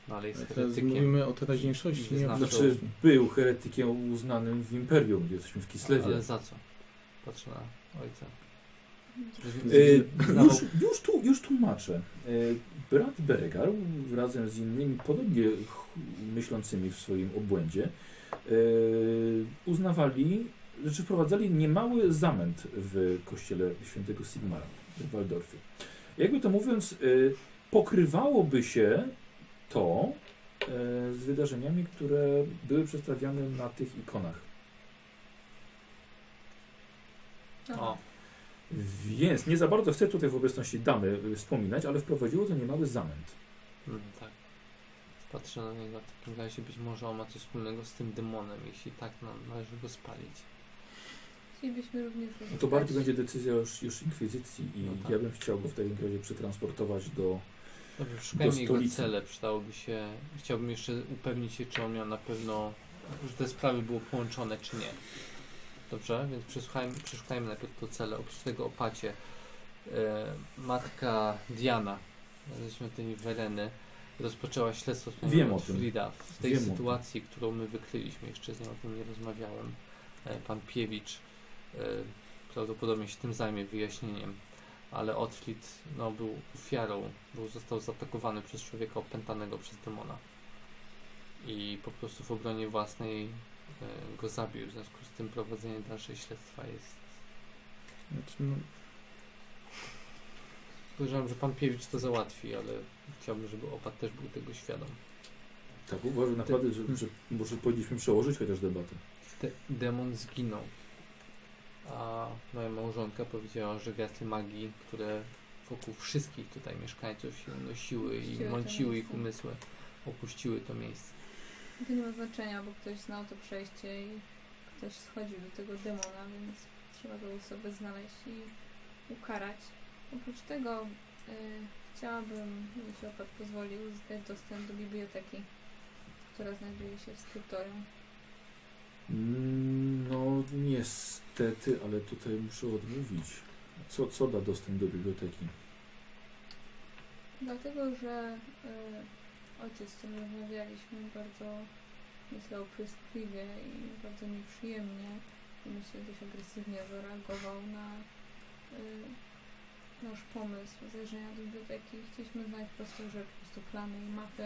Speaker 4: No ale jest
Speaker 2: teraz
Speaker 4: heretykiem.
Speaker 2: mówimy o teraźniejszości.
Speaker 4: Nie
Speaker 2: Nie,
Speaker 4: znam.
Speaker 2: o-
Speaker 1: Znaczy, był heretykiem uznanym w Imperium, gdy jesteśmy w
Speaker 4: Ale
Speaker 1: Kislewie.
Speaker 4: za co? Patrzę na ojca.
Speaker 1: E,
Speaker 4: Zdawał-
Speaker 1: już, już, tu, już tłumaczę. E, brat Beregar razem z innymi podobnie ch- myślącymi w swoim obłędzie e, y, uznawali, znaczy wprowadzali niemały zamęt w kościele świętego Sigmara w Waldorfie. Jakby to mówiąc, y, pokrywałoby się to y, z wydarzeniami, które były przedstawiane na tych ikonach.
Speaker 3: O.
Speaker 1: Więc nie za bardzo chcę tutaj w obecności damy y, wspominać, ale wprowadziło to niemały zamęt.
Speaker 4: Mm, tak. Patrzę na niego w takim razie, być może on ma coś wspólnego z tym demonem. Jeśli tak, no, należy go spalić.
Speaker 3: Chcielibyśmy również
Speaker 1: No to bardziej będzie decyzja już, już inkwizycji i
Speaker 4: No tak.
Speaker 1: ja bym chciał go w takim razie przetransportować do...
Speaker 4: Dobrze, szukajmy jego
Speaker 1: stolicy.
Speaker 4: cele. Przydałoby się. Chciałbym jeszcze upewnić się, czy on miał na pewno. że te sprawy były połączone, czy nie. Dobrze, więc przesłuchajmy, przeszukajmy najpierw to cele. Oprócz tego opacie. E, matka Diana ze świątyni Wereny rozpoczęła śledztwo z
Speaker 1: Wiem o tym.
Speaker 4: Frida. W tej
Speaker 1: Wiem o tym.
Speaker 4: sytuacji, którą my wykryliśmy, jeszcze z nią o tym nie rozmawiałem. E, pan Piewicz e, prawdopodobnie się tym zajmie wyjaśnieniem ale Otflit no, był ofiarą, był, został zaatakowany przez człowieka opętanego przez demona i po prostu w obronie własnej e, go zabił, w związku z tym prowadzenie dalszej śledztwa jest...
Speaker 2: Znaczy, no,
Speaker 4: Podejrzewam, że pan Piewicz to załatwi, ale chciałbym, żeby opat też był tego świadom.
Speaker 1: Tak, uważam naprawdę, że, że może powinniśmy przełożyć chociaż debatę.
Speaker 4: De- demon zginął. A moja małżonka powiedziała, że wiatry magii, które wokół wszystkich tutaj mieszkańców się unosiły i
Speaker 3: Opuściły to
Speaker 4: mąciły ich
Speaker 3: miejsce.
Speaker 4: umysły, opuściły to miejsce.
Speaker 3: To nie ma znaczenia, bo ktoś znał to przejście i ktoś schodził do tego demona, więc trzeba tą osobę znaleźć i ukarać. Oprócz tego y, chciałabym, jeśli opat pozwolił, uzyskać dostęp do biblioteki, która znajduje się w skryptorium.
Speaker 1: Mm, No niestety, ale tutaj muszę odmówić. Co, co da dostęp do biblioteki?
Speaker 3: Dlatego, że y, ojciec, z którym rozmawialiśmy, bardzo myślał opryskliwie i bardzo nieprzyjemnie, i myślę dość agresywnie zareagował na y, nasz pomysł zajrzenia do biblioteki. Chcieliśmy znaleźć prostą rzecz, po prostu plany i mapy.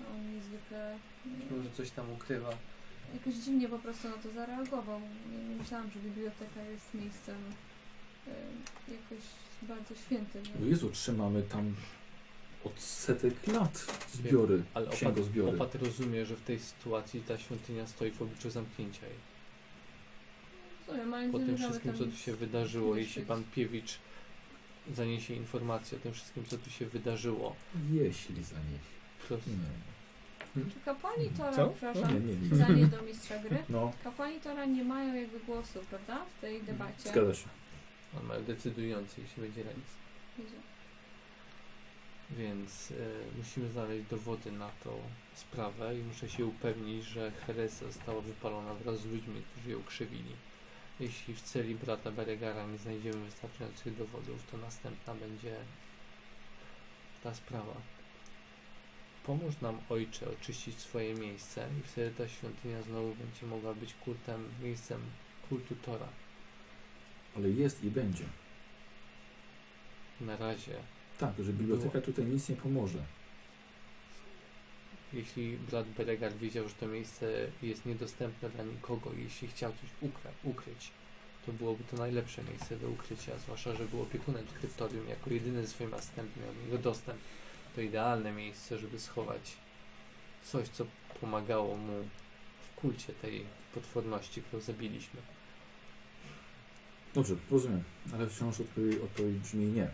Speaker 3: A On niezwykle
Speaker 23: Być
Speaker 3: y,
Speaker 23: może coś tam ukrywa.
Speaker 3: jakoś dziwnie po prostu na to zareagował. Nie- Nie myślałam, że biblioteka jest miejscem y, jakoś bardzo świętym.
Speaker 1: O Jezu, trzymamy tam od setek lat zbiory,
Speaker 4: Ale opat-
Speaker 1: księgozbiory.
Speaker 4: Opat rozumie, że w tej sytuacji ta świątynia stoi w obliczu zamknięcia jej.
Speaker 3: Rozumiem, ale
Speaker 4: Po
Speaker 3: nie
Speaker 4: tym
Speaker 3: zamierzamy
Speaker 4: wszystkim,
Speaker 3: tam
Speaker 4: co tu się wydarzyło, jeśli
Speaker 3: wyszyć.
Speaker 4: pan Piewicz zaniesie informację o tym wszystkim, co tu się wydarzyło,
Speaker 24: Jeśli za nie.
Speaker 4: to
Speaker 23: Hmm.
Speaker 1: Nie,
Speaker 3: Czy kapłani Tora,
Speaker 1: Co?
Speaker 3: przepraszam,
Speaker 1: nie, nie. nie.
Speaker 3: zdanie do mistrza gry,
Speaker 1: No,
Speaker 3: kapłani Tora nie mają jakby głosu, prawda, w tej debacie?
Speaker 1: zgadza się.
Speaker 4: on ma decydujący, jeśli będzie remis.
Speaker 3: Wiecie.
Speaker 4: Więc e, musimy znaleźć dowody na tą sprawę i muszę się upewnić, że herezja została wypalona wraz z ludźmi, którzy ją krzywili. Jeśli w celi brata Beregara nie znajdziemy wystarczających dowodów, to następna będzie ta sprawa. Pomóż nam, ojcze, oczyścić swoje miejsce i wtedy ta świątynia znowu będzie mogła być kultem, miejscem kultu Tora.
Speaker 1: Ale jest i będzie.
Speaker 4: Na razie
Speaker 1: Tak, że biblioteka
Speaker 4: Było.
Speaker 1: tutaj nic nie pomoże.
Speaker 4: Jeśli brat Beregar wiedział, że to miejsce jest niedostępne dla nikogo i jeśli chciał coś ukra- ukryć, to byłoby to najlepsze miejsce do ukrycia, zwłaszcza, że był opiekunem kryptorium jako jedyny swoim następnym miał do niego dostęp. To idealne miejsce, żeby schować coś, co pomagało mu w kulcie tej potworności, którą zabiliśmy.
Speaker 1: Dobrze, rozumiem, ale wciąż odpowiedź, odpowiedź brzmi nie.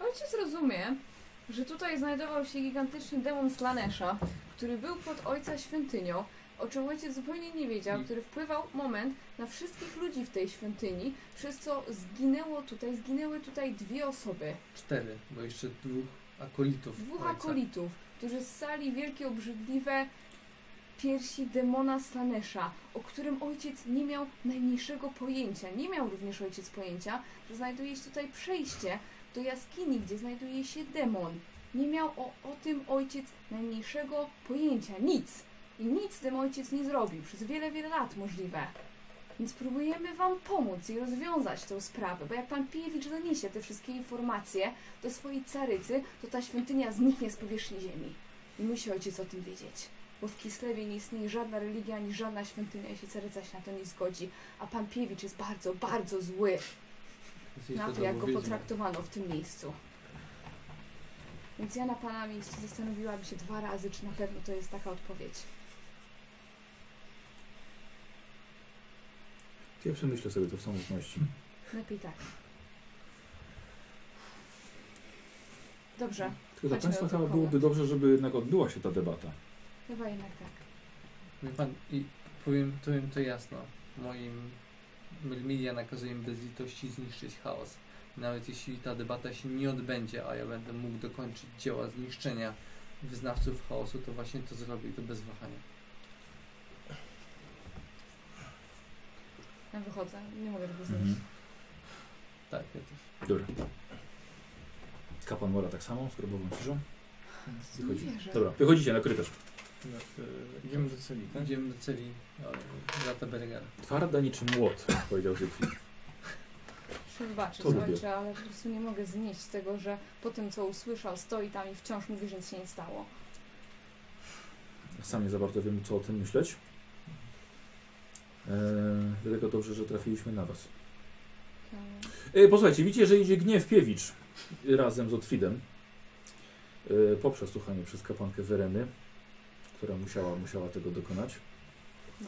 Speaker 3: Ojciec rozumie, że tutaj znajdował się gigantyczny demon Slanesha, który był pod ojca świątynią, o czym ojciec zupełnie nie wiedział, który wpływał moment na wszystkich ludzi w tej świątyni, przez co zginęło tutaj, zginęły tutaj dwie osoby.
Speaker 23: Cztery, bo jeszcze dwóch akolitów.
Speaker 3: dwóch
Speaker 23: ojca.
Speaker 3: akolitów, którzy ssali wielkie, obrzydliwe piersi demona Slanesha, o którym ojciec nie miał najmniejszego pojęcia. Nie miał również ojciec pojęcia, że znajduje się tutaj przejście do jaskini, gdzie znajduje się demon. Nie miał o, o tym ojciec najmniejszego pojęcia, nic. I nic z tym ojciec nie zrobił, przez wiele, wiele lat możliwe. Więc próbujemy Wam pomóc i rozwiązać tę sprawę, bo jak Pan Pijewicz zaniesie te wszystkie informacje, do swojej carycy, to ta świątynia zniknie z powierzchni ziemi. I musi ojciec o tym wiedzieć. bo w Kislewie nie istnieje żadna religia, ani żadna świątynia i się caryca się na to nie zgodzi. A pan Piewicz jest bardzo, bardzo zły
Speaker 9: Jesteś
Speaker 3: na to,
Speaker 9: dobrą
Speaker 3: jak go
Speaker 9: wiedźmą.
Speaker 3: potraktowano w tym miejscu. Więc ja na pana miejscu zastanowiłabym się dwa razy, czy na pewno to jest taka odpowiedź.
Speaker 1: Ja przemyślę sobie to w samotności.
Speaker 3: Lepiej tak. Dobrze,
Speaker 1: Tylko dla
Speaker 3: Chodźmy
Speaker 1: Państwa
Speaker 3: o tym
Speaker 1: chyba
Speaker 3: koło.
Speaker 1: byłoby dobrze, żeby jednak odbyła się ta debata.
Speaker 3: chyba jednak tak.
Speaker 9: Mówi pan, i powiem, powiem to jasno. Moim media nakazuje mi bez litości zniszczyć chaos. Nawet jeśli ta debata się nie odbędzie, a ja będę mógł dokończyć dzieła zniszczenia wyznawców chaosu, to właśnie to zrobię i to bez wahania.
Speaker 3: Ja wychodzę, nie mogę tego zrobić.
Speaker 1: Mhm.
Speaker 9: Tak, ja też.
Speaker 1: Dobra. Kapłan Mora tak samo, z grobową ciszą.
Speaker 3: Nie
Speaker 1: Wychodzi.
Speaker 3: wierzę.
Speaker 1: Dobra, wychodzicie na korytarz.
Speaker 3: Znaczy,
Speaker 6: Idziemy do celi, tak?
Speaker 9: Idziemy do celi e, brata Bergera.
Speaker 1: Twarda niczym młot, powiedział Zygfried.
Speaker 3: Przebaczę,
Speaker 1: To lubię.
Speaker 3: słuchajcie, ale po prostu nie mogę znieść tego, że po tym, co usłyszał, stoi tam i wciąż mówi, że nic się nie stało.
Speaker 1: Sam nie za bardzo wiem, co o tym myśleć. Eee, dlatego dobrze, że trafiliśmy na was.
Speaker 3: Hmm.
Speaker 1: E, posłuchajcie, widzicie, że idzie Gniew Piewicz razem z Otwidem. E, poprzez słuchanie przez kapłankę Wereny, która musiała, musiała tego dokonać.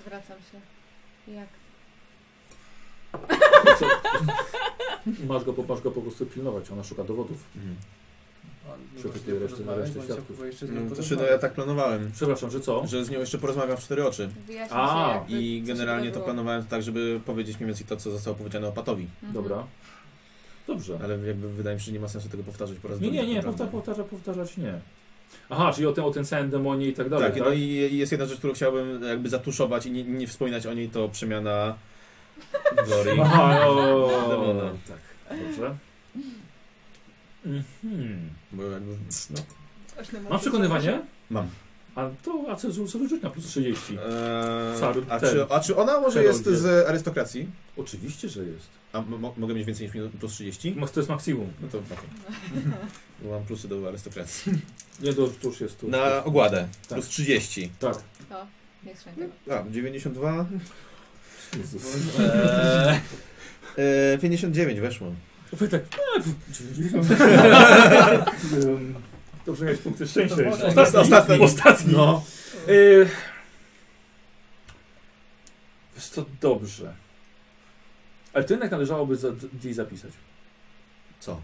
Speaker 3: Zwracam się. Jak?
Speaker 1: Co? Masz go, po- masz go po prostu pilnować, ona szuka dowodów.
Speaker 2: Mhm.
Speaker 9: On nie
Speaker 1: Przy
Speaker 9: może
Speaker 1: takiej
Speaker 9: nie
Speaker 1: reszty-
Speaker 9: porozmawiać,
Speaker 1: reszty
Speaker 9: bo on
Speaker 1: świadków.
Speaker 9: chciał chyba jeszcze z nią
Speaker 2: No, to czy no
Speaker 9: porozmawiać.
Speaker 2: ja tak planowałem,
Speaker 1: Przepraszam, że co?
Speaker 2: że z nią jeszcze porozmawiam w cztery oczy.
Speaker 3: Wyjaśnię
Speaker 1: A,
Speaker 3: się, jakby,
Speaker 2: I
Speaker 3: co się
Speaker 2: generalnie to
Speaker 3: wydarzyło.
Speaker 2: planowałem tak, żeby powiedzieć mniej więcej to, co zostało powiedziane o Patowi.
Speaker 3: Mhm.
Speaker 1: Dobra. Dobrze.
Speaker 2: Ale jakby wydaje mi się, że nie ma sensu tego powtarzać po raz
Speaker 1: Nie,
Speaker 2: drugi.
Speaker 1: nie, nie,
Speaker 2: tak
Speaker 1: powtarza,
Speaker 2: naprawdę.
Speaker 1: powtarza, powtarzać nie. Aha, czyli o tym, o tym samym demonie i tak dalej,
Speaker 2: Tak,
Speaker 1: tak?
Speaker 2: no i i jest jedna rzecz, którą chciałbym jakby zatuszować i nie, nie wspominać o niej, to przemiana Glory.
Speaker 1: Aha, o,
Speaker 2: Demona.
Speaker 1: tak, dobrze. Mhm.
Speaker 2: Bo jakby, no.
Speaker 3: Aż nie mogę
Speaker 1: Mam przekonywanie?
Speaker 2: Mam.
Speaker 1: A to, a co, sobie rzuć na plus 30.
Speaker 2: Eee,
Speaker 1: Cały
Speaker 2: a,
Speaker 1: ten.
Speaker 2: czy, a czy ona może
Speaker 1: Heroldzie.
Speaker 2: jest z arystokracji?
Speaker 1: Oczywiście, że jest.
Speaker 2: A m- mo- mogę mieć więcej niż minus- plus 30?
Speaker 1: Ma- To jest maksimum.
Speaker 2: No to okej. Bo Mam plusy do arystokracji.
Speaker 1: Nie, to już jest tu.
Speaker 2: Na ogładę.
Speaker 1: Tak.
Speaker 2: Plus 30.
Speaker 1: Tak.
Speaker 3: No, nie słyszę tego.
Speaker 2: A, 92.
Speaker 1: Jezus.
Speaker 2: Eee, eee, 59 weszło.
Speaker 1: Wy tak. Em, Dobrze miałeś punkty szczęścia. jeszcze.
Speaker 2: Ostatni, ostatni.
Speaker 1: Ostatni.
Speaker 2: No.
Speaker 1: Y, Wiesz to dobrze. Ale to jednak należałoby za, gdzieś zapisać.
Speaker 2: Co?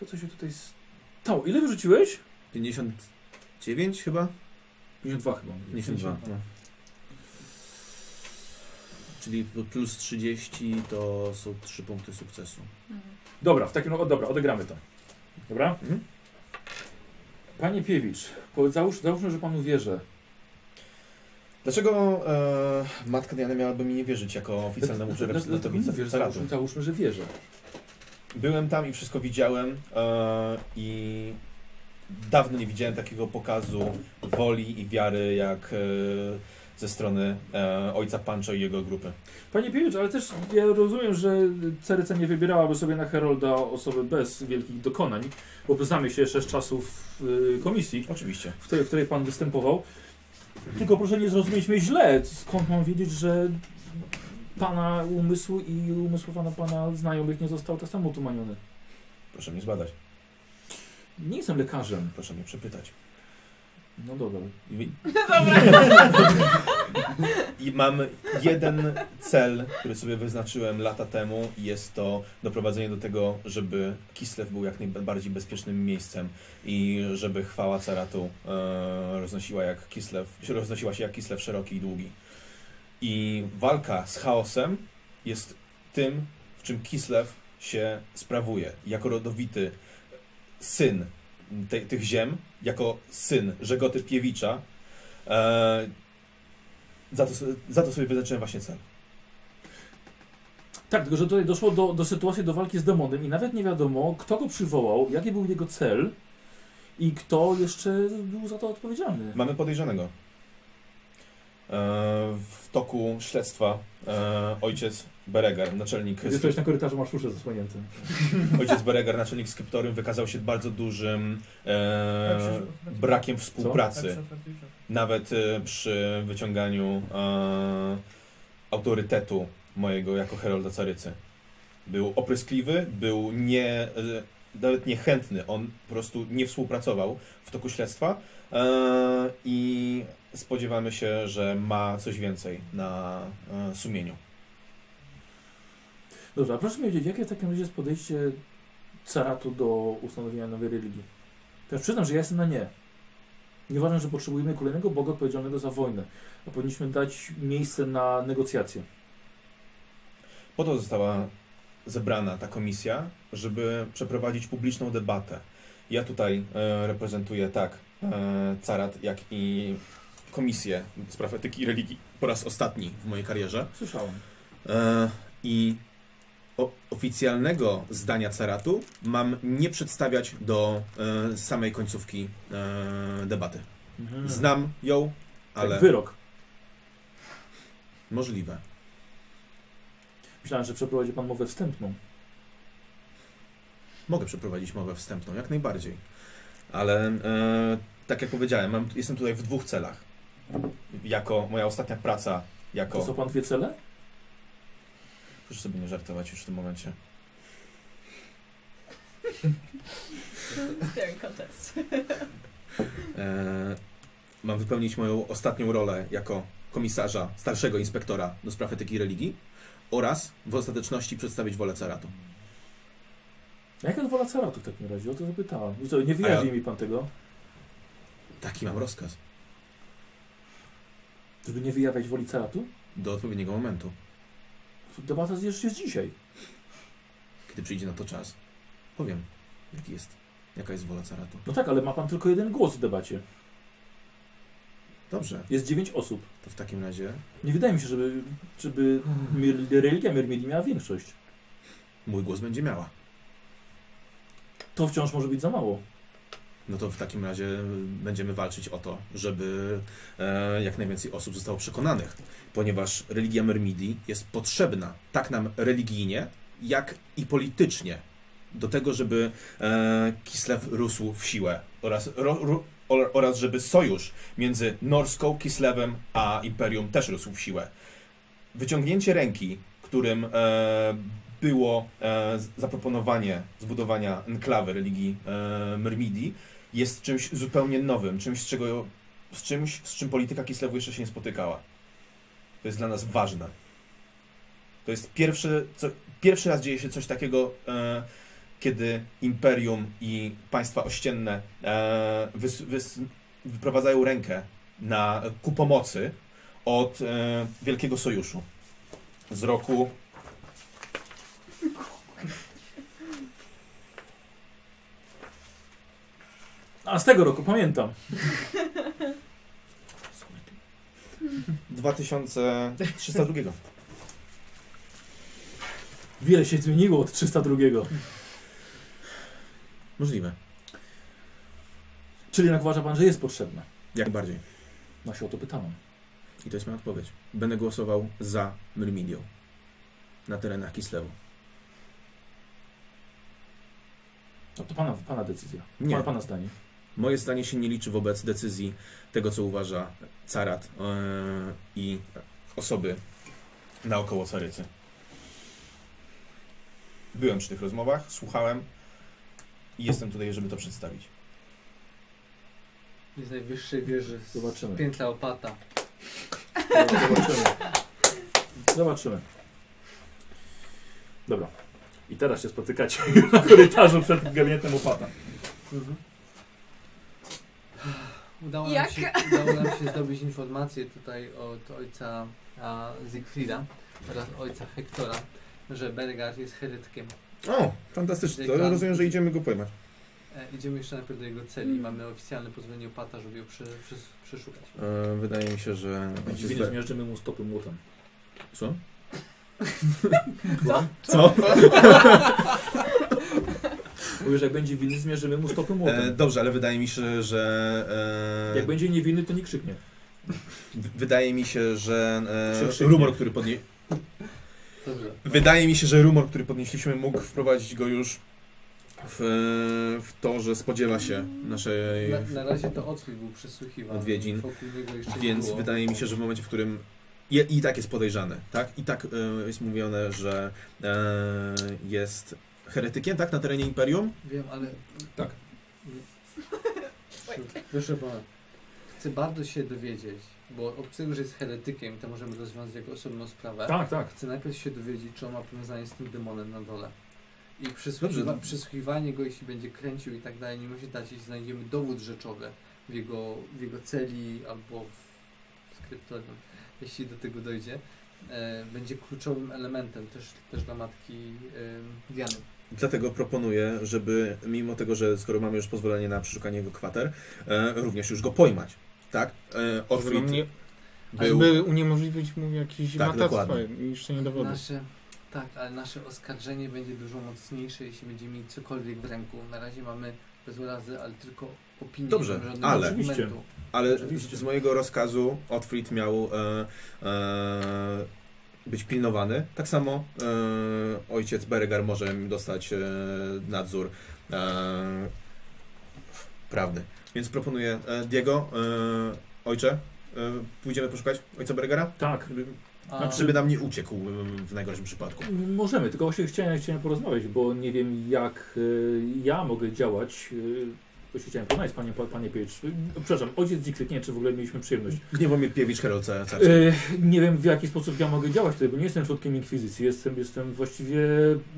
Speaker 1: To, co się tutaj stało. Ile wyrzuciłeś?
Speaker 2: 59 chyba?
Speaker 1: 52 chyba.
Speaker 2: 52. No. Czyli plus 30 to są 3 punkty sukcesu.
Speaker 4: Hmm?
Speaker 3: Mhm.
Speaker 1: Dobra, w takim razie, dobra, odegramy to. Dobra?
Speaker 2: Mhm.
Speaker 1: Panie Piewicz, po- załóż, załóżmy, że panu wierzę.
Speaker 2: Dlaczego e, matka Diana miałaby mi nie wierzyć jako oficjalnemu
Speaker 1: No,
Speaker 2: reprezentantowi
Speaker 1: Wiesz,
Speaker 2: Zaratu?
Speaker 1: załóżmy, załóżmy, że wierzę.
Speaker 2: Tak, Byłem tam i wszystko widziałem e, i dawno nie widziałem takiego pokazu woli i wiary jak e, ze strony e, ojca Pancho i jego grupy.
Speaker 1: Panie Piewicz, ale też ja rozumiem, że Ceryca nie wybierałaby sobie na Herolda osoby bez wielkich dokonań, bo znamy się jeszcze z czasów y, komisji,
Speaker 2: Oczywiście.
Speaker 1: w której, w której pan występował. Tylko proszę nie zrozumieć mnie źle, skąd mam wiedzieć, że pana umysł i umysł pana, pana znajomych nie został tak samo utumaniony.
Speaker 2: Proszę mnie zbadać,
Speaker 1: Nie jestem lekarzem.
Speaker 2: proszę mnie przepytać.
Speaker 1: No dobra.
Speaker 2: I, I mam jeden cel, który sobie wyznaczyłem lata temu i jest to doprowadzenie do tego, żeby Kislev był jak najbardziej bezpiecznym miejscem i żeby chwała Caratu e, roznosiła, jak Kislev, się roznosiła się jak Kislev szeroki i długi. I walka z chaosem jest tym, w czym Kislev się sprawuje. Jako rodowity syn te, tych ziem, jako syn Żegoty Piewicza, e, za to, sobie- za to sobie wyznaczyłem właśnie cel.
Speaker 1: Tak, tylko że tutaj doszło do, do sytuacji, do walki z demonem i nawet nie wiadomo, kto go przywołał, jaki był jego cel i kto jeszcze był za to odpowiedzialny.
Speaker 2: Mamy podejrzanego. E, w toku śledztwa e, ojciec Beregar, naczelnik,
Speaker 1: Kiedy stoisz na korytarzu, masz uszy zasłonięte.
Speaker 2: ojciec Beregar, naczelnik skryptorium, wykazał się bardzo dużym e, brakiem
Speaker 6: tak,
Speaker 2: współpracy. Nawet e, przy wyciąganiu e, autorytetu mojego jako herolda carycy. Był opryskliwy, był nie, e, nawet niechętny. On po prostu nie współpracował w toku śledztwa e, i spodziewamy się, że ma coś więcej na e, sumieniu.
Speaker 1: Dobrze, a proszę mi wiedzieć, jakie w takim razie jest podejście caratu do ustanowienia nowej religii? To już przyznam, że ja jestem na nie. Nie uważam, że potrzebujemy kolejnego Boga odpowiedzialnego za wojnę, a powinniśmy dać miejsce na negocjacje.
Speaker 2: Po to została zebrana ta komisja, żeby przeprowadzić publiczną debatę. Ja tutaj e, reprezentuję tak e, carat, jak i komisję spraw etyki i religii po raz ostatni w mojej karierze.
Speaker 1: Słyszałem.
Speaker 2: E, I o, oficjalnego zdania caratu mam nie przedstawiać do e, samej końcówki e, debaty. Znam ją, ale
Speaker 1: Mhm. Tak, wyrok.
Speaker 2: możliwe.
Speaker 1: Myślałem, że przeprowadzi pan mowę wstępną.
Speaker 2: Mogę przeprowadzić mowę wstępną, jak najbardziej. Ale e, tak jak powiedziałem, mam, jestem tutaj w dwóch celach. Jako moja ostatnia praca,
Speaker 1: To co
Speaker 2: jako.
Speaker 1: pan dwie cele?
Speaker 2: Proszę sobie nie żartować już w tym momencie.
Speaker 3: Staring contest.
Speaker 2: E, mam wypełnić moją ostatnią rolę jako komisarza, starszego inspektora do spraw etyki i religii oraz w ostateczności przedstawić wolę caratu.
Speaker 1: A Jaka jest wola caratu w takim razie? O to zapytałem. I co, nie wyjawi
Speaker 2: A ja-
Speaker 1: mi pan tego?
Speaker 2: Taki mam rozkaz
Speaker 1: Żeby nie wyjawiać woli caratu?
Speaker 2: do odpowiedniego momentu,
Speaker 1: To Debata jeszcze jest dzisiaj.
Speaker 2: kiedy przyjdzie na to czas. Powiem, jaki jest, jaka jest wola caratu.
Speaker 1: No tak, ale ma pan tylko jeden głos w debacie.
Speaker 2: Dobrze,
Speaker 1: Jest dziewięć osób.
Speaker 2: to w takim razie
Speaker 1: Nie wydaje mi się, żeby, żeby mir- religia Myrmidii miała większość.
Speaker 2: mój głos będzie miała.
Speaker 1: To wciąż może być za mało.
Speaker 2: No to w takim razie będziemy walczyć o to, żeby e, jak najwięcej osób zostało przekonanych, ponieważ religia Myrmidii jest potrzebna tak nam religijnie, jak i politycznie do tego, żeby e, Kislew rósł w siłę oraz, ro, ro, or- oraz żeby sojusz między Norską, Kislewem a Imperium też rósł w siłę. Wyciągnięcie ręki, którym e, było e, z- zaproponowanie zbudowania enklawy religii e, Myrmidii jest czymś zupełnie nowym, czymś z, czego, z czymś, z czym polityka Kislewu jeszcze się nie spotykała. To jest dla nas ważne. To jest pierwszy, co, pierwszy raz dzieje się coś takiego, e, kiedy imperium i państwa ościenne e, wys, wys, wyprowadzają rękę na, ku pomocy od e, Wielkiego Sojuszu z roku
Speaker 1: A z tego roku pamiętam.
Speaker 2: 2302.
Speaker 1: Wiele się zmieniło od 302.
Speaker 2: Możliwe,
Speaker 1: Czyli jak uważa pan, że jest potrzebne?
Speaker 2: jak bardziej.
Speaker 1: No się o to pytałem.
Speaker 2: I to jest moja odpowiedź. Będę głosował za Myrmidią na terenach Kislewu.
Speaker 1: No to pana, pana decyzja.
Speaker 2: Nie.
Speaker 1: Pana, pana zdanie.
Speaker 2: Moje zdanie się nie liczy wobec decyzji tego, co uważa carat e, i osoby naokoło carycy. Byłem przy tych rozmowach, słuchałem i jestem tutaj, żeby to przedstawić.
Speaker 4: Z najwyższej wieży. z
Speaker 1: Zobaczymy.
Speaker 4: Piętla opata.
Speaker 1: Zobaczymy. Zobaczymy. Dobra. I teraz się spotykacie na korytarzu przed gabinetem opata.
Speaker 4: Mhm. Udało nam,
Speaker 3: Jak?
Speaker 4: się, udało nam się zdobyć informację tutaj od ojca a, Siegfrieda oraz ojca Hektora, że Bergard jest heretykiem.
Speaker 2: O, fantastycznie. To rozumiem, że idziemy go pojmać.
Speaker 4: E, idziemy jeszcze najpierw do jego celi. Mamy oficjalne pozwolenie opata, żeby ją prze, prze, przeszukać.
Speaker 2: E, wydaje mi się, że...
Speaker 1: Dziwnie zmierzymy mu stopy młotem.
Speaker 2: Co? Co?
Speaker 1: Mówisz, jak będzie winny, zmierzymy mu stopy
Speaker 2: E,
Speaker 1: młotem.
Speaker 2: dobrze, ale wydaje mi się, że... E,
Speaker 1: Jak będzie niewinny, to nie krzyknie.
Speaker 2: W- Wydaje mi się, że e,
Speaker 25: Przykrzyknie.
Speaker 2: rumor, który podnie...
Speaker 4: Dobrze.
Speaker 2: Wydaje mi się, że rumor, który podnieśliśmy, mógł wprowadzić go już w, w to, że spodziewa się naszej.
Speaker 4: Na, na razie to Otwór był przesłuchiwany.
Speaker 2: Odwiedzin.
Speaker 4: Wokół niego jeszcze nie
Speaker 2: Więc
Speaker 4: było.
Speaker 2: wydaje mi się, że w momencie, w którym. I, i tak jest podejrzany, tak? I tak e, jest mówione, że e, jest heretykiem, tak? Na terenie imperium?
Speaker 4: Wiem, ale...
Speaker 2: Tak.
Speaker 4: Proszę pana, chcę bardzo się dowiedzieć, bo oprócz tego, że jest heretykiem, to możemy rozwiązać jako osobną sprawę.
Speaker 1: Tak, tak.
Speaker 4: Chcę najpierw się dowiedzieć, czy on ma powiązanie z tym demonem na dole. I
Speaker 2: Dobrze,
Speaker 4: przysłuchiwa-
Speaker 2: no.
Speaker 4: przysłuchiwanie go, jeśli będzie kręcił i tak dalej, nie musi dać, jeśli znajdziemy dowód rzeczowy w jego, w jego celi albo w skryptorium, jeśli do tego dojdzie, e, będzie kluczowym elementem też, też dla matki e, Diany.
Speaker 2: Dlatego proponuję, żeby mimo tego, że skoro mamy już pozwolenie na przeszukanie jego kwater, e, również już go pojmać, tak? E, Orfrid
Speaker 25: Żeby
Speaker 2: był...
Speaker 25: uniemożliwić mu jakieś
Speaker 2: Tak,
Speaker 25: tak, matactwa
Speaker 2: dokładnie.
Speaker 25: i jeszcze nie dowody.
Speaker 4: Nasze, tak, ale nasze oskarżenie będzie dużo mocniejsze, jeśli będziemy mieli cokolwiek w ręku. Na razie mamy bez urazy, ale tylko opinię.
Speaker 2: Dobrze,
Speaker 4: nie mamy żadnego
Speaker 2: ale-
Speaker 4: dokumentu.
Speaker 1: Oczywiście.
Speaker 2: Ale
Speaker 1: Oczywiście.
Speaker 2: z z mojego rozkazu Otfrid miał e, e, być pilnowany. Tak samo e, ojciec Beregar może dostać e, nadzór e, prawny. Więc proponuję e, Diego, e, ojcze, e, pójdziemy poszukać ojca Beregara,
Speaker 1: Tak.
Speaker 2: żeby,
Speaker 4: A-
Speaker 2: żeby nam nie uciekł e, w najgorszym przypadku.
Speaker 1: M- Możemy, tylko właśnie chciałem, chciałem porozmawiać, bo nie wiem jak y, ja mogę działać. Y, właśnie chciałem poznać panie, pa- panie Piecz. y, Przepraszam, ojciec Dikryt, nie wiem, czy w ogóle mieliśmy przyjemność.
Speaker 2: Gniewo mnie Piewicz Herald Car- Carski.
Speaker 1: Y, nie wiem w jaki sposób ja mogę działać tutaj, bo nie jestem członkiem inkwizycji. Jestem, jestem właściwie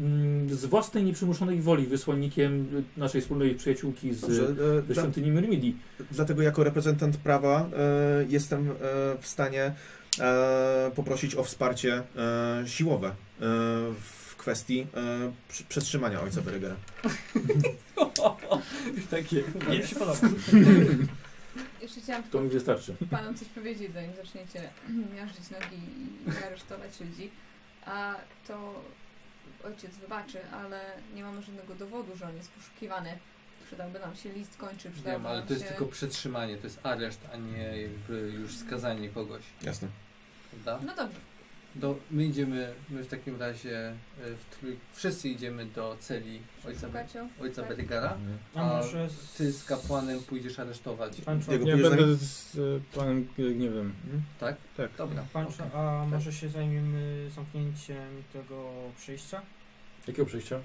Speaker 1: mm, z własnej nieprzymuszonej woli wysłannikiem y, naszej wspólnej przyjaciółki z,
Speaker 2: Dobrze,
Speaker 1: ze
Speaker 2: e, dla,
Speaker 1: świątyni Myrmidii.
Speaker 2: Dlatego jako reprezentant prawa e, jestem e, w stanie e, poprosić o wsparcie e, siłowe e, w kwestii e, przy- przetrzymania ojca Bergera.
Speaker 4: Takie.
Speaker 6: Mi się podoba.
Speaker 3: Jeszcze chciałam
Speaker 1: To mi wystarczy.
Speaker 3: panom coś powiedzieć, zanim zaczniecie miażdżyć nogi i aresztować ludzi. A to ojciec wybaczy, ale nie mamy żadnego dowodu, że on jest poszukiwany. Przydałby nam się list kończy, przydałby
Speaker 4: Wiem, ale
Speaker 3: nam
Speaker 4: to jest
Speaker 3: się...
Speaker 4: tylko przetrzymanie, to jest areszt, a nie jakby już skazanie kogoś,
Speaker 2: Jasne.
Speaker 4: prawda?
Speaker 3: No dobrze,
Speaker 4: Do, my idziemy, my w takim razie y, w trój... wszyscy idziemy do celi ojca, Be-
Speaker 3: szukacie.
Speaker 4: ojca
Speaker 3: tak.
Speaker 4: Bergara.
Speaker 2: Mhm.
Speaker 6: A może z...
Speaker 4: Ty z kapłanem pójdziesz aresztować.
Speaker 6: Pan
Speaker 2: Jego
Speaker 6: człowiek.
Speaker 25: Ja
Speaker 2: pójdziesz z
Speaker 25: będę z e, panem Gniewem.
Speaker 4: Tak?
Speaker 25: Tak.
Speaker 4: Dobra.
Speaker 6: Pan,
Speaker 4: okej.
Speaker 6: A może się zajmiemy zamknięciem tego przejścia?
Speaker 1: Jakiego przejścia?
Speaker 4: Y,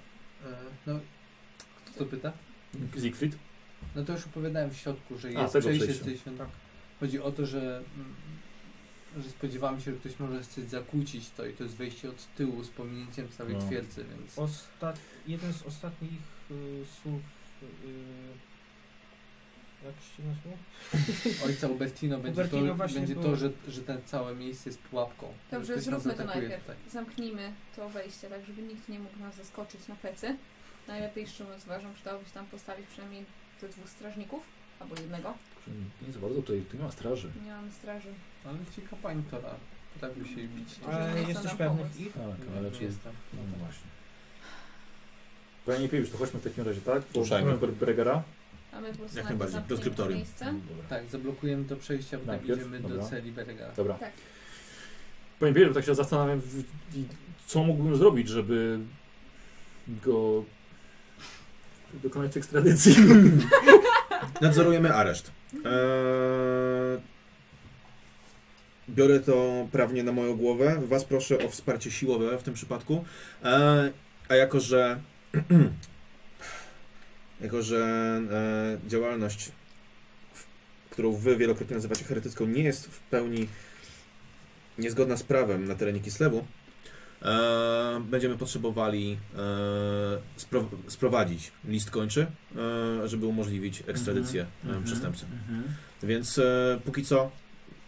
Speaker 4: No, kto to pyta?
Speaker 1: Siegfried?
Speaker 4: No to już opowiadałem w środku, że
Speaker 1: A,
Speaker 4: jest
Speaker 1: tego
Speaker 4: przejście z
Speaker 1: przejścia.
Speaker 4: tej świątyni.
Speaker 6: Tak.
Speaker 4: Chodzi o to, że, mm, że spodziewamy się, że ktoś może chcieć zakłócić to i to jest wejście od tyłu z pominięciem całej
Speaker 1: No.
Speaker 4: twierdzy, więc...
Speaker 6: Ostat... Jeden z ostatnich y, słów... Y, jak się nazywa?
Speaker 4: Ojca Ubertino będzie
Speaker 6: Ubertino
Speaker 4: to,
Speaker 6: właśnie
Speaker 4: będzie
Speaker 6: było.
Speaker 4: to że, że ten całe miejsce jest pułapką.
Speaker 3: Dobrze,
Speaker 4: Ktoś nas
Speaker 3: zróbmy to
Speaker 4: atakuje
Speaker 3: najpierw. Zamknijmy to wejście, tak żeby nikt nie mógł nas zaskoczyć na plecy. Najlepiej szczerze uważam, przydałoby się tam postawić przynajmniej do dwóch strażników, albo jednego.
Speaker 1: Nie za bardzo tutaj, tu nie ma straży.
Speaker 3: Nie mam straży.
Speaker 4: Ale ci kapań Tora potrafił się bić.
Speaker 3: Może
Speaker 6: Ale
Speaker 3: nie chcą
Speaker 6: E, jesteś
Speaker 3: nam
Speaker 6: pewny
Speaker 3: pomóc.
Speaker 6: ich?
Speaker 1: Tak,
Speaker 4: Nie,
Speaker 1: ale
Speaker 4: nie
Speaker 1: czy jest...
Speaker 4: jestem.
Speaker 1: No właśnie. Panie Piecz, to chodźmy w takim razie, tak? Po
Speaker 2: Ruszajmy.
Speaker 1: Ber- Bergera.
Speaker 3: A my po prostu
Speaker 2: Jak najbardziej, do
Speaker 3: najpierw zamkniemy to
Speaker 2: skryptorium.
Speaker 3: miejsce.
Speaker 1: Mm, Dobra.
Speaker 4: Tak, zablokujemy to przejście, a potem
Speaker 1: Najpierw,
Speaker 4: idziemy do
Speaker 1: dobra.
Speaker 4: celi Berega. E,
Speaker 1: Dobra.
Speaker 3: Tak.
Speaker 1: Panie Pierre, tak się zastanawiam, w- i co mógłbym zrobić, żeby go dokonać ekstradycji.
Speaker 2: Nadzorujemy areszt. E, biorę to prawnie na moją głowę. Was proszę o wsparcie siłowe w tym przypadku. E, a jako, że jako, że e, działalność, w, którą wy wielokrotnie nazywacie heretycką, nie jest w pełni niezgodna z prawem na terenie Kislewu, E, będziemy potrzebowali e, spro, sprowadzić list kończy, e, żeby umożliwić ekstradycję
Speaker 1: mhm.
Speaker 2: e, przestępcy. Więc e, póki co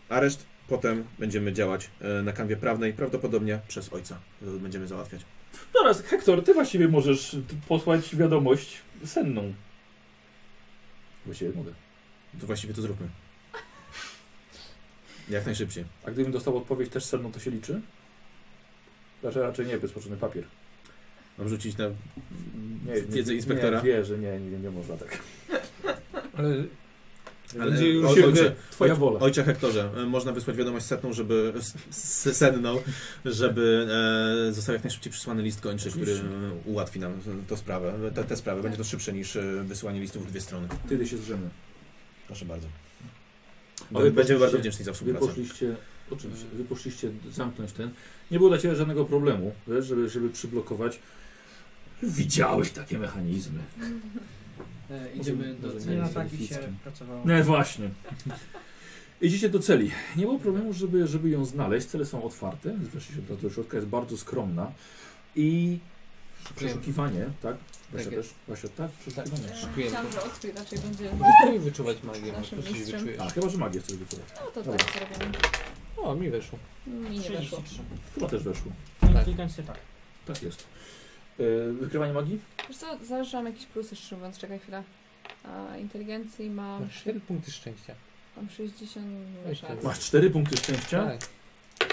Speaker 2: areszt, potem będziemy działać e, na kanwie prawnej, prawdopodobnie przez ojca e, będziemy załatwiać.
Speaker 1: Teraz, No Hektor, ty właściwie możesz t- posłać wiadomość senną. Właściwie mogę.
Speaker 2: To właściwie to zróbmy. Jak najszybciej.
Speaker 1: A gdybym dostał odpowiedź też senną, to się liczy? Znaczy raczej nie, bezpoczynny papier.
Speaker 2: Mam rzucić na
Speaker 1: Nie,
Speaker 2: wiedzę inspektora.
Speaker 1: Nie, wie, że nie, nie, nie można tak.
Speaker 25: Ale
Speaker 2: Ale-
Speaker 1: Będzie już
Speaker 2: oj-
Speaker 1: się
Speaker 2: ojcze,
Speaker 1: twoja
Speaker 2: oj-
Speaker 1: wola.
Speaker 2: Ojcze Hektorze, e, można wysłać wiadomość setną, żeby, s- s- senną, żeby e, został jak najszybciej przysłany list kończy, który e, ułatwi nam tę sprawę, te, te sprawy. Będzie to szybsze niż e, wysyłanie listów w dwie strony.
Speaker 1: Wtedy się zrzemy.
Speaker 2: Proszę bardzo.
Speaker 1: Ale
Speaker 2: Będziemy bardzo
Speaker 1: poszliście-
Speaker 2: wdzięczni za
Speaker 1: Wy
Speaker 2: współpracę.
Speaker 1: poszliście, oczywiście, wy poszliście zamknąć ten. Nie było dla ciebie żadnego problemu, wiesz, żeby, żeby przyblokować. Widziałeś takie mechanizmy.
Speaker 4: E, idziemy
Speaker 1: Może-
Speaker 4: do
Speaker 1: może
Speaker 5: Nie
Speaker 4: celi.
Speaker 5: na
Speaker 1: jest
Speaker 5: taki się
Speaker 1: elfickim.
Speaker 5: pracowało.
Speaker 1: No właśnie. Idziecie do celi. Nie było problemu, żeby, żeby ją znaleźć. Cele są otwarte. Zresztą się do środka jest bardzo skromna. I przeszukiwanie, tak? Właśnie
Speaker 4: Tak
Speaker 1: też, właśnie tak? Przeszukiwanie.
Speaker 3: E,
Speaker 4: Szykujemy.
Speaker 3: Chciałam, że odkryj, raczej będzie...
Speaker 4: I wyczuwać magię,
Speaker 3: Naszym
Speaker 4: może coś
Speaker 3: mistrzem.
Speaker 4: wyczujesz.
Speaker 1: A, chyba, że magię chcesz wykonać.
Speaker 3: No to
Speaker 1: Dobra.
Speaker 3: tak zrobimy.
Speaker 4: O, mi weszło.
Speaker 3: Mi nie weszło.
Speaker 5: 33.
Speaker 1: Chyba też weszło.
Speaker 5: Inteligencja tak.
Speaker 1: Tak jest. Yy, wykrywanie magii?
Speaker 3: Wiesz co, zaznaczam jakieś plusy szczerze mówiąc, czekaj chwilę. A, inteligencji mam,
Speaker 4: Masz 4 punkty szczęścia.
Speaker 3: mam 60...
Speaker 4: Weź tak.
Speaker 1: Masz 4 punkty szczęścia.
Speaker 4: Tak.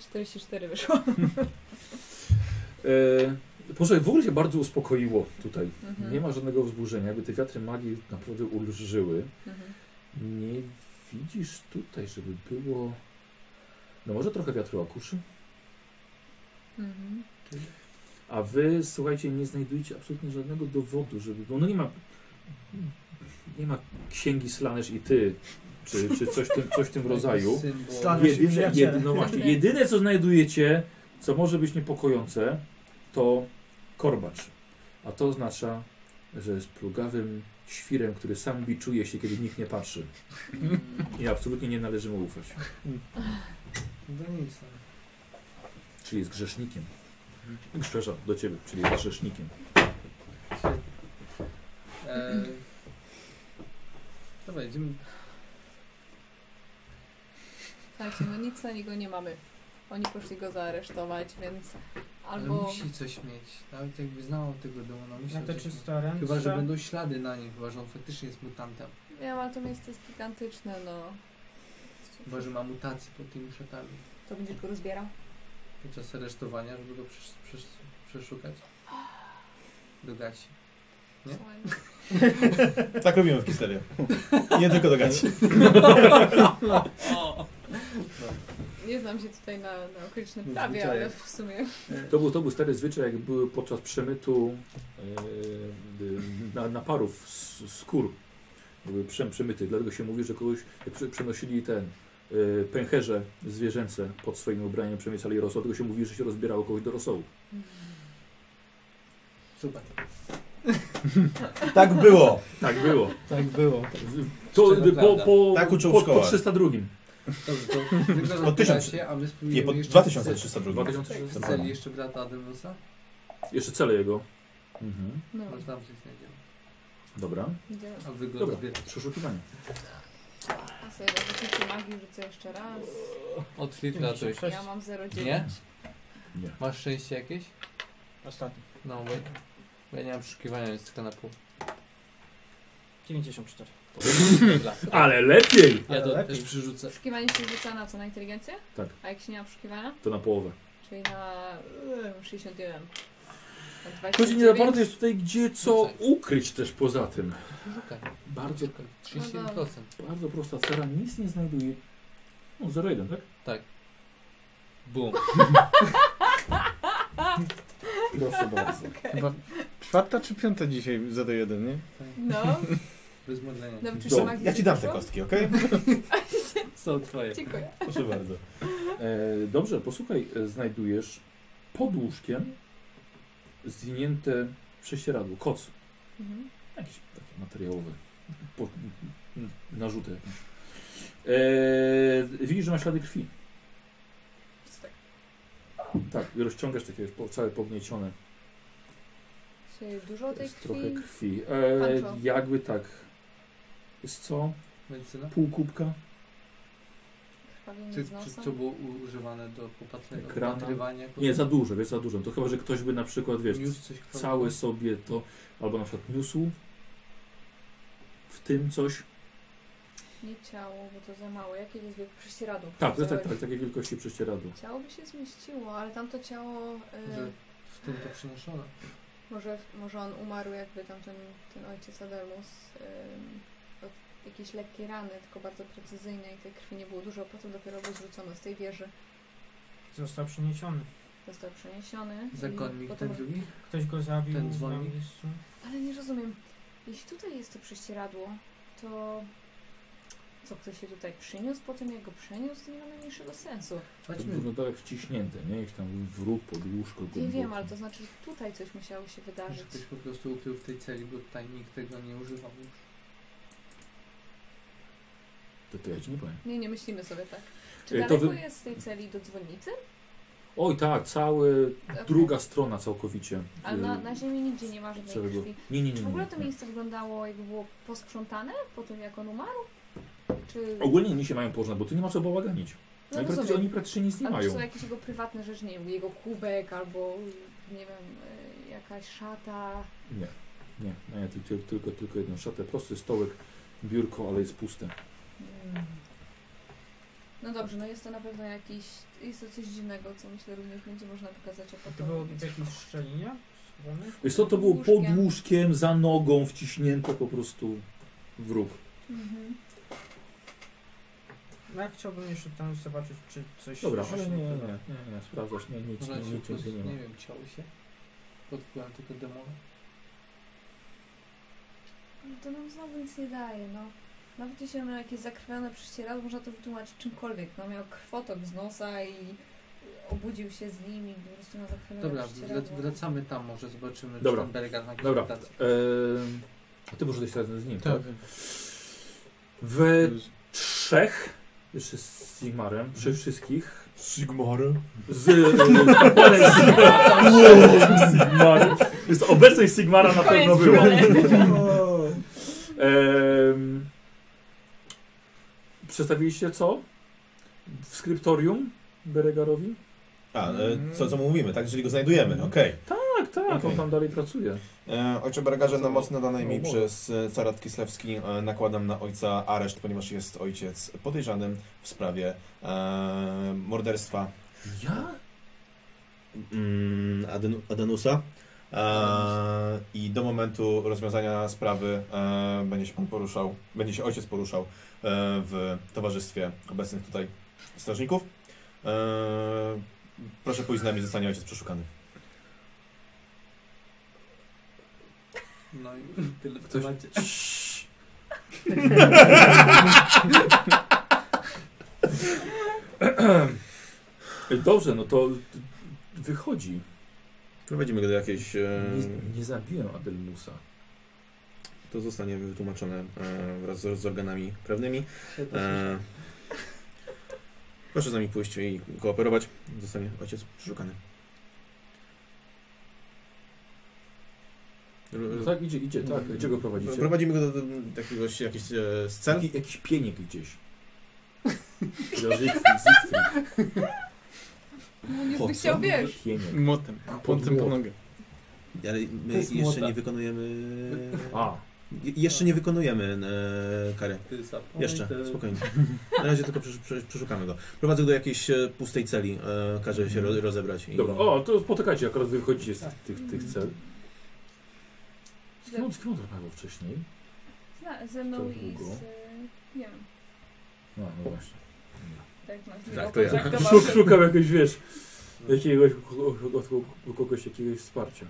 Speaker 3: 44 wyszło.
Speaker 1: E, Proszę, w ogóle się bardzo uspokoiło tutaj.
Speaker 3: Mhm.
Speaker 1: Nie ma żadnego wzburzenia, jakby te wiatry magii naprawdę ulżyły.
Speaker 3: Mhm.
Speaker 1: Nie widzisz tutaj, żeby było. No może trochę wiatru akuszy.
Speaker 3: Mhm.
Speaker 1: A wy, słuchajcie, nie znajdujecie absolutnie żadnego dowodu, żeby było. No nie ma. Nie ma księgi Slanesz i ty, czy, czy coś, w tym, coś w tym rodzaju.
Speaker 4: Symbol.
Speaker 5: Stan- Nasi
Speaker 1: Jedyne,
Speaker 5: przyjaciele.
Speaker 1: jedyne, no właśnie, jedyne co znajdujecie, co może być niepokojące, to korbacz. A to oznacza, że jest plugawym świrem, który sam biczuje się, kiedy nikt nie patrzy.
Speaker 3: mhm.
Speaker 1: I absolutnie nie należy mu ufać.
Speaker 4: Do No nic.
Speaker 1: Czyli jest grzesznikiem. Przepraszam, do ciebie, czyli jest grzesznikiem.
Speaker 4: no. E... Dobra, idziemy.
Speaker 3: Słuchajcie, no nic na niego nie mamy. Oni poszli go zaaresztować, więc
Speaker 4: Ale
Speaker 3: albo...
Speaker 4: musi coś mieć. Nawet jakby znał tego demona, musi
Speaker 5: Na te
Speaker 4: coś mieć.
Speaker 5: czyste ręce.
Speaker 4: Chyba, że będą ślady na nim, chyba, że on faktycznie jest mutantem.
Speaker 3: Nie, ale to miejsce jest gigantyczne, no.
Speaker 4: Chyba, że ma mutację pod tymi szatami.
Speaker 3: To będziesz go rozbierał?
Speaker 4: Podczas aresztowania, żeby go przesz przesz przeszukać. Do gaci. Nie?
Speaker 3: Słuchaj,
Speaker 2: Tak robimy w Kistewie. Nie tylko do gaci.
Speaker 3: Nie znam się tutaj na, na okolicznym
Speaker 4: Na
Speaker 3: prawie, ale
Speaker 4: zwyczajach.
Speaker 3: w sumie...
Speaker 1: To był, to był stary zwyczaj, jak były podczas przemytu yy, yy, na, naparów s- skór. Były przem, przemyty, dlatego się mówi, że kogoś jak prze- przenosili ten yy, pęcherze zwierzęce pod swoim ubraniem, przemycali rosoł, dlatego się mówi, że się rozbierało kogoś do rosołu.
Speaker 4: Super.
Speaker 2: Tak było.
Speaker 1: Tak było.
Speaker 6: Tak było.
Speaker 1: To,
Speaker 4: Szczera
Speaker 1: po,
Speaker 4: prawda.
Speaker 1: po,
Speaker 2: Tak uczą w
Speaker 1: po, po
Speaker 2: szkołach.
Speaker 1: 302.
Speaker 4: Dobrze, to wygląda
Speaker 2: Pod
Speaker 4: na
Speaker 2: tysiąc-
Speaker 4: gacie, a my spróbujemy
Speaker 2: Nie, pod
Speaker 4: jeszcze
Speaker 2: 2302.
Speaker 1: 2006.
Speaker 4: w celi jeszcze brata Ademusa.
Speaker 1: Jeszcze cele jego. Mhm.
Speaker 3: No,
Speaker 4: Może tam coś znajdziemy.
Speaker 1: Dobra.
Speaker 3: idziemy.
Speaker 4: A wy go
Speaker 1: Dobra.
Speaker 4: zbieracie.
Speaker 1: Przeszukiwanie.
Speaker 3: A sobie do magii rzucę jeszcze raz.
Speaker 4: Od litra to jest.
Speaker 3: Ja mam 0,9.
Speaker 4: Nie?
Speaker 1: Nie.
Speaker 4: Masz szczęście jakieś?
Speaker 5: Ostatni.
Speaker 4: No, bo, bo ja nie mam przeszukiwania, więc tylko na pół.
Speaker 5: 94.
Speaker 4: Dobra.
Speaker 1: Ale lepiej!
Speaker 4: Ja to
Speaker 5: Ale
Speaker 4: też
Speaker 5: lepiej.
Speaker 4: przerzucę.
Speaker 3: Poszukiwanie się rzuca na co? Na inteligencję?
Speaker 1: Tak.
Speaker 3: A jak się nie ma poszukiwania?
Speaker 1: To na połowę.
Speaker 3: Czyli na em, 61. Na
Speaker 1: Chodzi nie za
Speaker 3: 29.
Speaker 1: bardzo jest tutaj gdzie co ukryć też poza tym.
Speaker 4: Szukaj.
Speaker 1: Bardzo,
Speaker 4: 37%.
Speaker 1: bardzo prosta cera, nic nie znajduje. No 0,1, tak?
Speaker 4: Bum.
Speaker 19: Proszę bardzo.
Speaker 6: Chyba czwarta czy piąta dzisiaj za do jeden, nie?
Speaker 3: No,
Speaker 4: Bez modlenia.
Speaker 3: nauczysz się
Speaker 2: Do,
Speaker 3: magii.
Speaker 2: ja ci dam te
Speaker 3: wyszło?
Speaker 2: kostki, okej?
Speaker 4: Są twoje.
Speaker 3: Dziękuję.
Speaker 2: Proszę bardzo.
Speaker 1: E, dobrze, posłuchaj, e, znajdujesz pod łóżkiem zdjęte prześcieradło, koc.
Speaker 3: Mhm.
Speaker 1: Jakieś takie materiałowe po, n- narzuty jakieś. E, widzisz, że ma ślady krwi.
Speaker 3: Co tak?
Speaker 1: Tak, i rozciągasz takie już po- całe pogniecione.
Speaker 3: Czyli dużo tej
Speaker 1: Jest trochę
Speaker 3: krwi.
Speaker 1: krwi. E,
Speaker 3: Pancho.
Speaker 1: jakby tak. Jest co?
Speaker 4: Medycyna?
Speaker 1: Pół kubka?
Speaker 3: Krwawienie
Speaker 4: Czy,
Speaker 3: z
Speaker 4: czy
Speaker 3: nosa.
Speaker 4: to było u- używane do popatrzenia,
Speaker 1: Ekrana?
Speaker 4: opatrywania?
Speaker 1: Nie, za dużo, wiesz, za dużo. To chyba, że ktoś by na przykład, wiesz,
Speaker 4: News coś
Speaker 1: cały sobie to, albo na przykład niósł w tym coś.
Speaker 3: Nie ciało, bo to za mało. Jakie jest wielkie prześcieradło?
Speaker 1: Tak, to jest tak,
Speaker 3: Powiedziałeś.
Speaker 1: tak, takiej wielkości prześcieradło. Tak
Speaker 3: Ciało by się zmieściło, ale tamto ciało... y,
Speaker 4: Że w tym to przynoszone.
Speaker 3: Może, może on umarł, jakby tamten ten ojciec Adelmus ym, y, od jakieś lekkie rany, tylko bardzo precyzyjne i tej krwi nie było dużo. Potem dopiero go zrzucono z tej wieży.
Speaker 5: Został przeniesiony.
Speaker 3: Został przeniesiony. i
Speaker 4: Zakonnik
Speaker 3: potem-
Speaker 4: ten drugi?
Speaker 5: Ktoś go zabił
Speaker 4: Ten
Speaker 5: na
Speaker 4: dzwonnik?
Speaker 5: miejscu.
Speaker 3: Ale nie rozumiem. Jeśli tutaj jest to prześcieradło, to co ktoś się tutaj przyniósł po tym, jak go przeniósł, to nie ma najmniejszego sensu.
Speaker 1: To
Speaker 4: Chodźmy.
Speaker 1: wyglądało jak tak wciśnięte, nie? Jakiś tam wróg pod łóżko.
Speaker 3: Nie
Speaker 1: głęboki.
Speaker 3: wiem, ale to znaczy, że tutaj coś musiało się
Speaker 4: Może
Speaker 3: wydarzyć.
Speaker 4: ktoś po prostu ukrył w tej celi, bo tutaj nikt tego nie używał już.
Speaker 1: To, to ja ci nie powiem.
Speaker 3: Nie, nie myślimy sobie tak. Czy
Speaker 1: Ej, Y, to
Speaker 3: daleko
Speaker 1: wy-
Speaker 3: jest z tej celi do dzwonnicy?
Speaker 1: Oj tak, cały,
Speaker 3: Okej.
Speaker 1: druga strona całkowicie.
Speaker 3: Ale na,
Speaker 1: y,
Speaker 3: na ziemi nigdzie nie ma żadnej
Speaker 1: całego- Hmm.
Speaker 3: krwi.
Speaker 1: Nie, nie, nie.
Speaker 3: Czy
Speaker 1: nie,
Speaker 3: w ogóle to
Speaker 1: nie.
Speaker 3: miejsce wyglądało jakby było posprzątane po tym, jak on umarł? Czy...
Speaker 1: Ogólnie mi się mają porównać, bo tu nie ma co bałaganić.
Speaker 3: No
Speaker 1: oni, praktycznie,
Speaker 3: rozumiem.
Speaker 1: oni praktycznie nic nie
Speaker 3: Ale czy
Speaker 1: mają.
Speaker 3: są jakieś jego prywatne rzeczy, nie wiem, jego kubek albo, nie wiem, y, jakaś szata?
Speaker 1: Nie, nie, nie ty- ty- tylko, tylko jedną szatę. Prosty stołek, biurko, ale jest puste.
Speaker 3: Mm. No dobrze, no jest to na pewno jakiś, jest to coś dziwnego, co myślę również będzie można pokazać jako
Speaker 5: To było
Speaker 3: to.
Speaker 5: w jakiejś szczelinie? schowane?
Speaker 1: Wiesz co, to było
Speaker 3: Łóżkiem.
Speaker 1: pod łóżkiem, za nogą, wciśnięte po prostu w róg.
Speaker 3: Mhm.
Speaker 5: No ja chciałbym jeszcze tam zobaczyć, czy coś...
Speaker 1: Dobra,
Speaker 5: coś
Speaker 1: ale nie,
Speaker 5: się
Speaker 1: nie, nie,
Speaker 5: ukrywa.
Speaker 1: nie, nie, sprawdzasz, nie, nic,
Speaker 4: Może
Speaker 1: nic,
Speaker 4: ci po
Speaker 1: nic
Speaker 4: prostu,
Speaker 1: więcej nie ma.
Speaker 4: nie wiem, ciało się pod wpływem tego demona.
Speaker 3: Ale No to nam znowu nic nie daje, no. Nawet jeśli mamy jakieś zakrwione prześcieradło, można to wytłumaczyć czymkolwiek. No miał krwotok z nosa i obudził się z nim i po prostu miał zakrwione
Speaker 4: Dobra,
Speaker 3: prześcieradło.
Speaker 4: wrac- wracamy tam, może zobaczymy,
Speaker 1: Dobra.
Speaker 4: czy ten Berger na
Speaker 1: Dobra,
Speaker 4: konsultację.
Speaker 1: em, a ty możesz dojść razem z nim, tak?
Speaker 6: Tak.
Speaker 1: W trzech, jeszcze z Sigmarem, przy wszystkich,
Speaker 2: Sigmar.
Speaker 1: z... e, dalej z Sigmarem. Jest obecność Sigmara na pewno
Speaker 3: Koniec
Speaker 1: była.
Speaker 3: problemu.
Speaker 1: Ehm, przedstawiliście co? W skryptorium Beregarowi?
Speaker 2: A, e, co, co mówimy, tak? Jeżeli go znajdujemy, okej.
Speaker 1: Tak, tak, on
Speaker 2: Okej.
Speaker 1: tam dalej pracuje.
Speaker 2: E, Ojcze Bergarze, na moc nadanej mi
Speaker 1: Umowę.
Speaker 2: przez e, carat Kislewski e, nakładam na ojca areszt, ponieważ jest ojciec podejrzanym w sprawie e, morderstwa
Speaker 1: Ja?
Speaker 2: mm, Aden- Adenusa. E, I do momentu rozwiązania sprawy e, będzie się pan poruszał, będzie się ojciec poruszał e, w towarzystwie obecnych tutaj strażników. E, proszę pójść z nami, zostanie ojciec przeszukany.
Speaker 4: No i tyle w
Speaker 1: Ktoś-
Speaker 4: temacie.
Speaker 1: Dobrze, no to wychodzi.
Speaker 2: Prowadzimy go do jakiejś... e,
Speaker 1: Nie, nie zabiłem Adelmusa.
Speaker 2: To zostanie wytłumaczone e, wraz z, z organami prawnymi. E, proszę z nami pójść i kooperować. Zostanie ojciec przeszukany.
Speaker 1: No tak, idzie, idzie, tak. Gdzie go prowadzicie?
Speaker 2: Prowadzimy go do, do jakiegoś, jakiejś e, scen.
Speaker 1: Taki, jakiś pieniek gdzieś. Ja Zygfryd, Zygfryd.
Speaker 3: No nie
Speaker 2: Po
Speaker 3: by
Speaker 2: co?
Speaker 3: chciał, wiesz.
Speaker 1: Pieniek.
Speaker 6: Motem, pontem po nogę.
Speaker 2: Ale
Speaker 4: To
Speaker 2: my
Speaker 4: jest młoda.
Speaker 2: jeszcze nie wykonujemy...
Speaker 1: A,
Speaker 2: Je, jeszcze nie wykonujemy e, kary.
Speaker 4: Ty zapomnij
Speaker 2: Jeszcze,
Speaker 4: te-
Speaker 2: spokojnie. Na razie tylko przesz- przesz- przeszukamy go. Prowadzę go do jakiejś e, pustej celi. E, każe się ro, rozebrać. I...
Speaker 1: Mhm. dobra. O, to poczekajcie, akurat wychodzicie z tych, tych cel. Skąd, skąd ona była wcześniej?
Speaker 3: Zna, ze mną
Speaker 1: To
Speaker 3: i
Speaker 1: długo.
Speaker 3: z... y, nie wiem,
Speaker 1: No, no właśnie.
Speaker 3: tak nas
Speaker 2: Tak, to ja.
Speaker 1: Szuk, szukam jakiegoś, wiesz, jakiegoś, od, od kogoś jakiegoś wsparcia.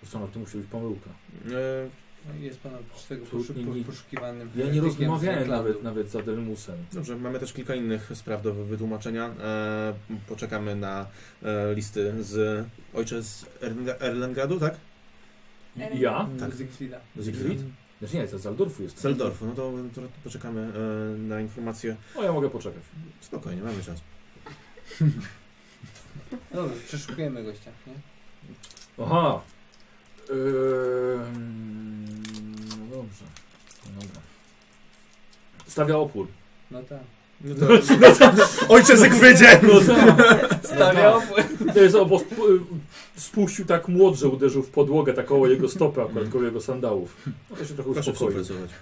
Speaker 1: Zresztą no, to musi być pomyłka.
Speaker 2: E,
Speaker 4: No i Jest pan oprócz tego
Speaker 1: Absolutnie
Speaker 4: poszu- po-
Speaker 1: nie-
Speaker 4: poszukiwanym.
Speaker 1: Ja nie
Speaker 4: etykiem z
Speaker 1: rozmawiałem
Speaker 4: Grenlandu.
Speaker 1: nawet, nawet z Adelmusem.
Speaker 2: Dobrze, mamy też kilka innych spraw do wytłumaczenia. E, poczekamy na e, listy z ojcze z Erlenga- Erlengradu, tak?
Speaker 1: I- Ja?
Speaker 4: Tak. Zygfrida.
Speaker 1: Zygfryd?
Speaker 2: Mhm.
Speaker 1: Znaczy nie, to z Zaldorfu jest.
Speaker 2: Seldorfu, no to, to poczekamy e, na informację.
Speaker 1: O, ja mogę poczekać.
Speaker 2: Spokojnie, mamy czas.
Speaker 4: Dobra, przeszukujemy gościa, nie?
Speaker 1: Aha. Ym, no dobrze. No Dobra. Stawia opór.
Speaker 4: No tak.
Speaker 2: No to, No ojcze Zygfrydzie!
Speaker 1: No Stawia opór. tak. No To jest obo, spuścił tak młot, że uderzył w podłogę, tak koło jego stopy, akurat koło jego sandałów. No to się trochę
Speaker 2: Proszę
Speaker 1: uspokoił.
Speaker 2: współpracować.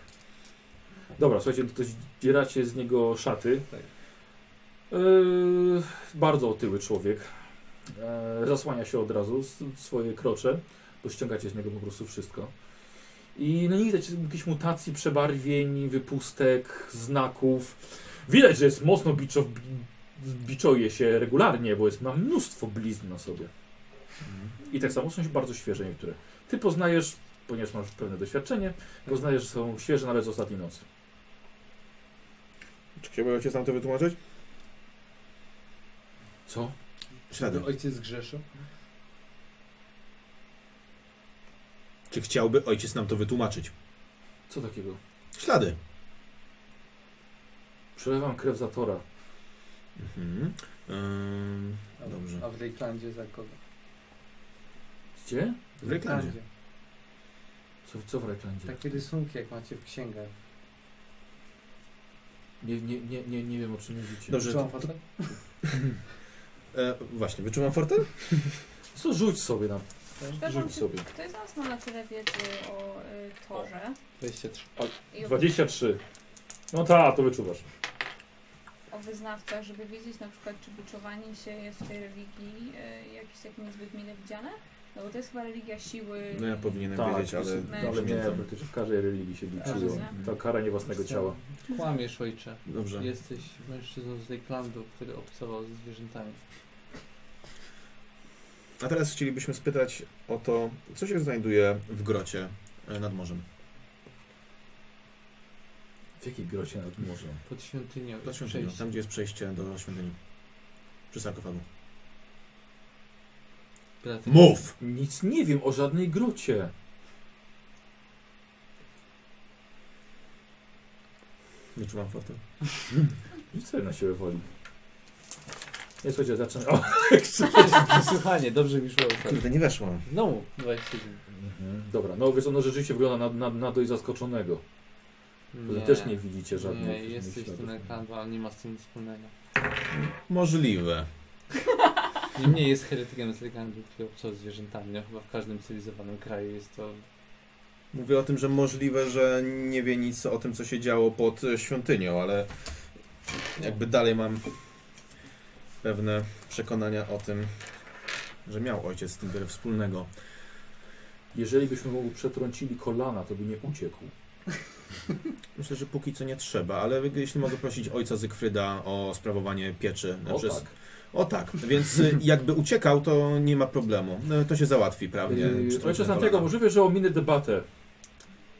Speaker 1: Dobra, słuchajcie, no to zdzieracie z niego szaty.
Speaker 4: Tak.
Speaker 1: Yy, bardzo otyły człowiek. E, Yy, zasłania się od razu s- swoje krocze, bo ściągacie z niego po prostu wszystko. I no nie widać jakichś mutacji, przebarwień, wypustek, znaków. Widać, że jest mocno biczo, bi, biczoje się regularnie, bo jest, ma mnóstwo blizn na sobie.
Speaker 2: Mhm.
Speaker 1: I tak samo są się bardzo świeże niektóre. Ty poznajesz, ponieważ masz pewne doświadczenie, poznajesz, że są świeże nawet z ostatniej nocy.
Speaker 2: Czy chciałby ojciec nam to wytłumaczyć?
Speaker 1: Co?
Speaker 2: Ślady.
Speaker 4: Ojciec grzeszył.
Speaker 2: Czy chciałby ojciec nam to wytłumaczyć?
Speaker 1: Co takiego?
Speaker 2: Ślady.
Speaker 1: Przelewam krew zatora.
Speaker 2: Mhm. Ym,
Speaker 4: A-
Speaker 2: Dobrze.
Speaker 4: A w Rejklandzie za kogo?
Speaker 1: Gdzie?
Speaker 2: W reklamie.
Speaker 1: Co, co w Reklandzie?
Speaker 4: Takie rysunki jak macie w księgach.
Speaker 1: Nie, nie, nie, nie, nie wiem o czym mówicie.
Speaker 2: Dobrze.
Speaker 4: Czy mam fotel?
Speaker 2: E, właśnie, wyczuwam fortel?
Speaker 1: Co rzuć sobie tam.
Speaker 3: Przepraszam,
Speaker 1: Rzuć
Speaker 3: czy
Speaker 1: sobie.
Speaker 3: ktoś z nas ma na tyle wiedzy o y, torze?
Speaker 4: 23.
Speaker 3: I o,
Speaker 1: 23. No ta, to wyczuwasz.
Speaker 3: o wyznawcach, żeby wiedzieć na przykład, czy biczowanie się jest w tej religii y, jakieś takie niezbyt mile widziane? No bo to jest chyba religia siły.
Speaker 2: No ja powinienem
Speaker 1: Tak,
Speaker 2: wiedzieć, ale
Speaker 3: mężczyzn.
Speaker 1: Ale
Speaker 2: ale
Speaker 1: nie,
Speaker 2: pamiętam.
Speaker 1: praktycznie w każdej religii się biczują.
Speaker 3: Rozumiem.
Speaker 1: Ta kara niewłasnego ciała.
Speaker 4: Kłamiesz ojcze.
Speaker 2: Dobrze.
Speaker 4: Jesteś mężczyzną z Rejklandu, który obcował ze zwierzętami.
Speaker 2: A teraz chcielibyśmy spytać o to, co się znajduje w grocie e, nad morzem.
Speaker 1: W jakiej grocie nad morzem?
Speaker 4: Pod świątynią.
Speaker 2: Pod
Speaker 4: jest
Speaker 2: świątynią, tak.
Speaker 4: przejście.
Speaker 2: tam gdzie jest przejście do świątyni. Przy sarkofagu.
Speaker 4: Brat-
Speaker 2: Mów!
Speaker 1: Nic nie wiem o żadnej grocie.
Speaker 2: Wyczuwam fortel.
Speaker 1: Rzuć sobie na siłę woli. Nie, słuchajcie, zaczynam. O!
Speaker 9: Słuchanie, dobrze mi szło.
Speaker 2: Kurde, nie weszło.
Speaker 4: No, 27.
Speaker 1: Mhm. Dobra, no wiesz, ono rzeczywiście wygląda na, na, na dość zaskoczonego. Wy też nie widzicie żadnych.
Speaker 4: Nie,
Speaker 1: żadnych
Speaker 4: jesteś
Speaker 1: śladów.
Speaker 4: tym Rejklandu, ale nie ma z tym nic wspólnego.
Speaker 2: Możliwe.
Speaker 4: Niemniej jest heretykiem z Rejklandu, który obcował ze zwierzętami. No chyba w każdym cywilizowanym kraju jest to...
Speaker 2: Mówię o tym, że możliwe, że nie wie nic o tym, co się działo pod e, świątynią, ale jakby dalej mam pewne przekonania o tym, że miał ojciec z tym wiele wspólnego.
Speaker 1: Jeżeli byśmy mu przetrącili kolana, to by nie uciekł.
Speaker 2: Myślę, że póki co nie trzeba, ale jeśli mogę prosić ojca Zygfryda o sprawowanie pieczy
Speaker 1: O
Speaker 2: przez
Speaker 1: tak.
Speaker 2: O tak, więc y, jakby uciekał, to nie ma problemu. No, To się załatwi prawnie.
Speaker 1: Yy,
Speaker 2: Czy
Speaker 1: Ojcze
Speaker 2: to
Speaker 1: Santiago,
Speaker 2: kolana.
Speaker 1: możliwe, że ominę debatę.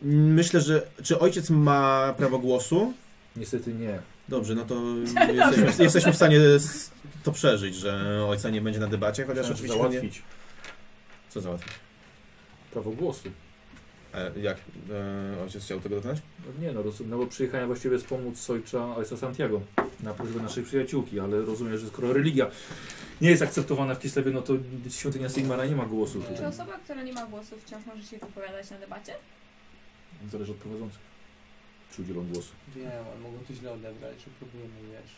Speaker 2: Myślę, że... Czy ojciec ma prawo głosu?
Speaker 1: Niestety nie.
Speaker 2: Dobrze, no to jesteśmy, jesteśmy w stanie s- to przeżyć, że ojca nie będzie na debacie, chociaż
Speaker 1: Chciałem
Speaker 2: oczywiście... Nie...
Speaker 1: załatwić
Speaker 2: Co załatwić?
Speaker 1: prawo głosu.
Speaker 2: E, jak e, ojciec chciał tego dokonać?
Speaker 1: No Nie no, rozumiem, no bo przyjechałem właściwie z pomóc ojca, ojca Santiago na prośbę naszej przyjaciółki, ale rozumiem, że skoro religia nie jest akceptowana w Kislewie, no to świątynia Sigmara nie ma głosu
Speaker 4: Nie.
Speaker 3: Czy
Speaker 1: tutaj.
Speaker 3: osoba, która nie ma głosu, wciąż może się wypowiadać na debacie?
Speaker 1: Zależy od prowadzących. Czy udzielą głosu.
Speaker 4: Wiem, ale mogą to źle odebrać, że próbujemy, wiesz.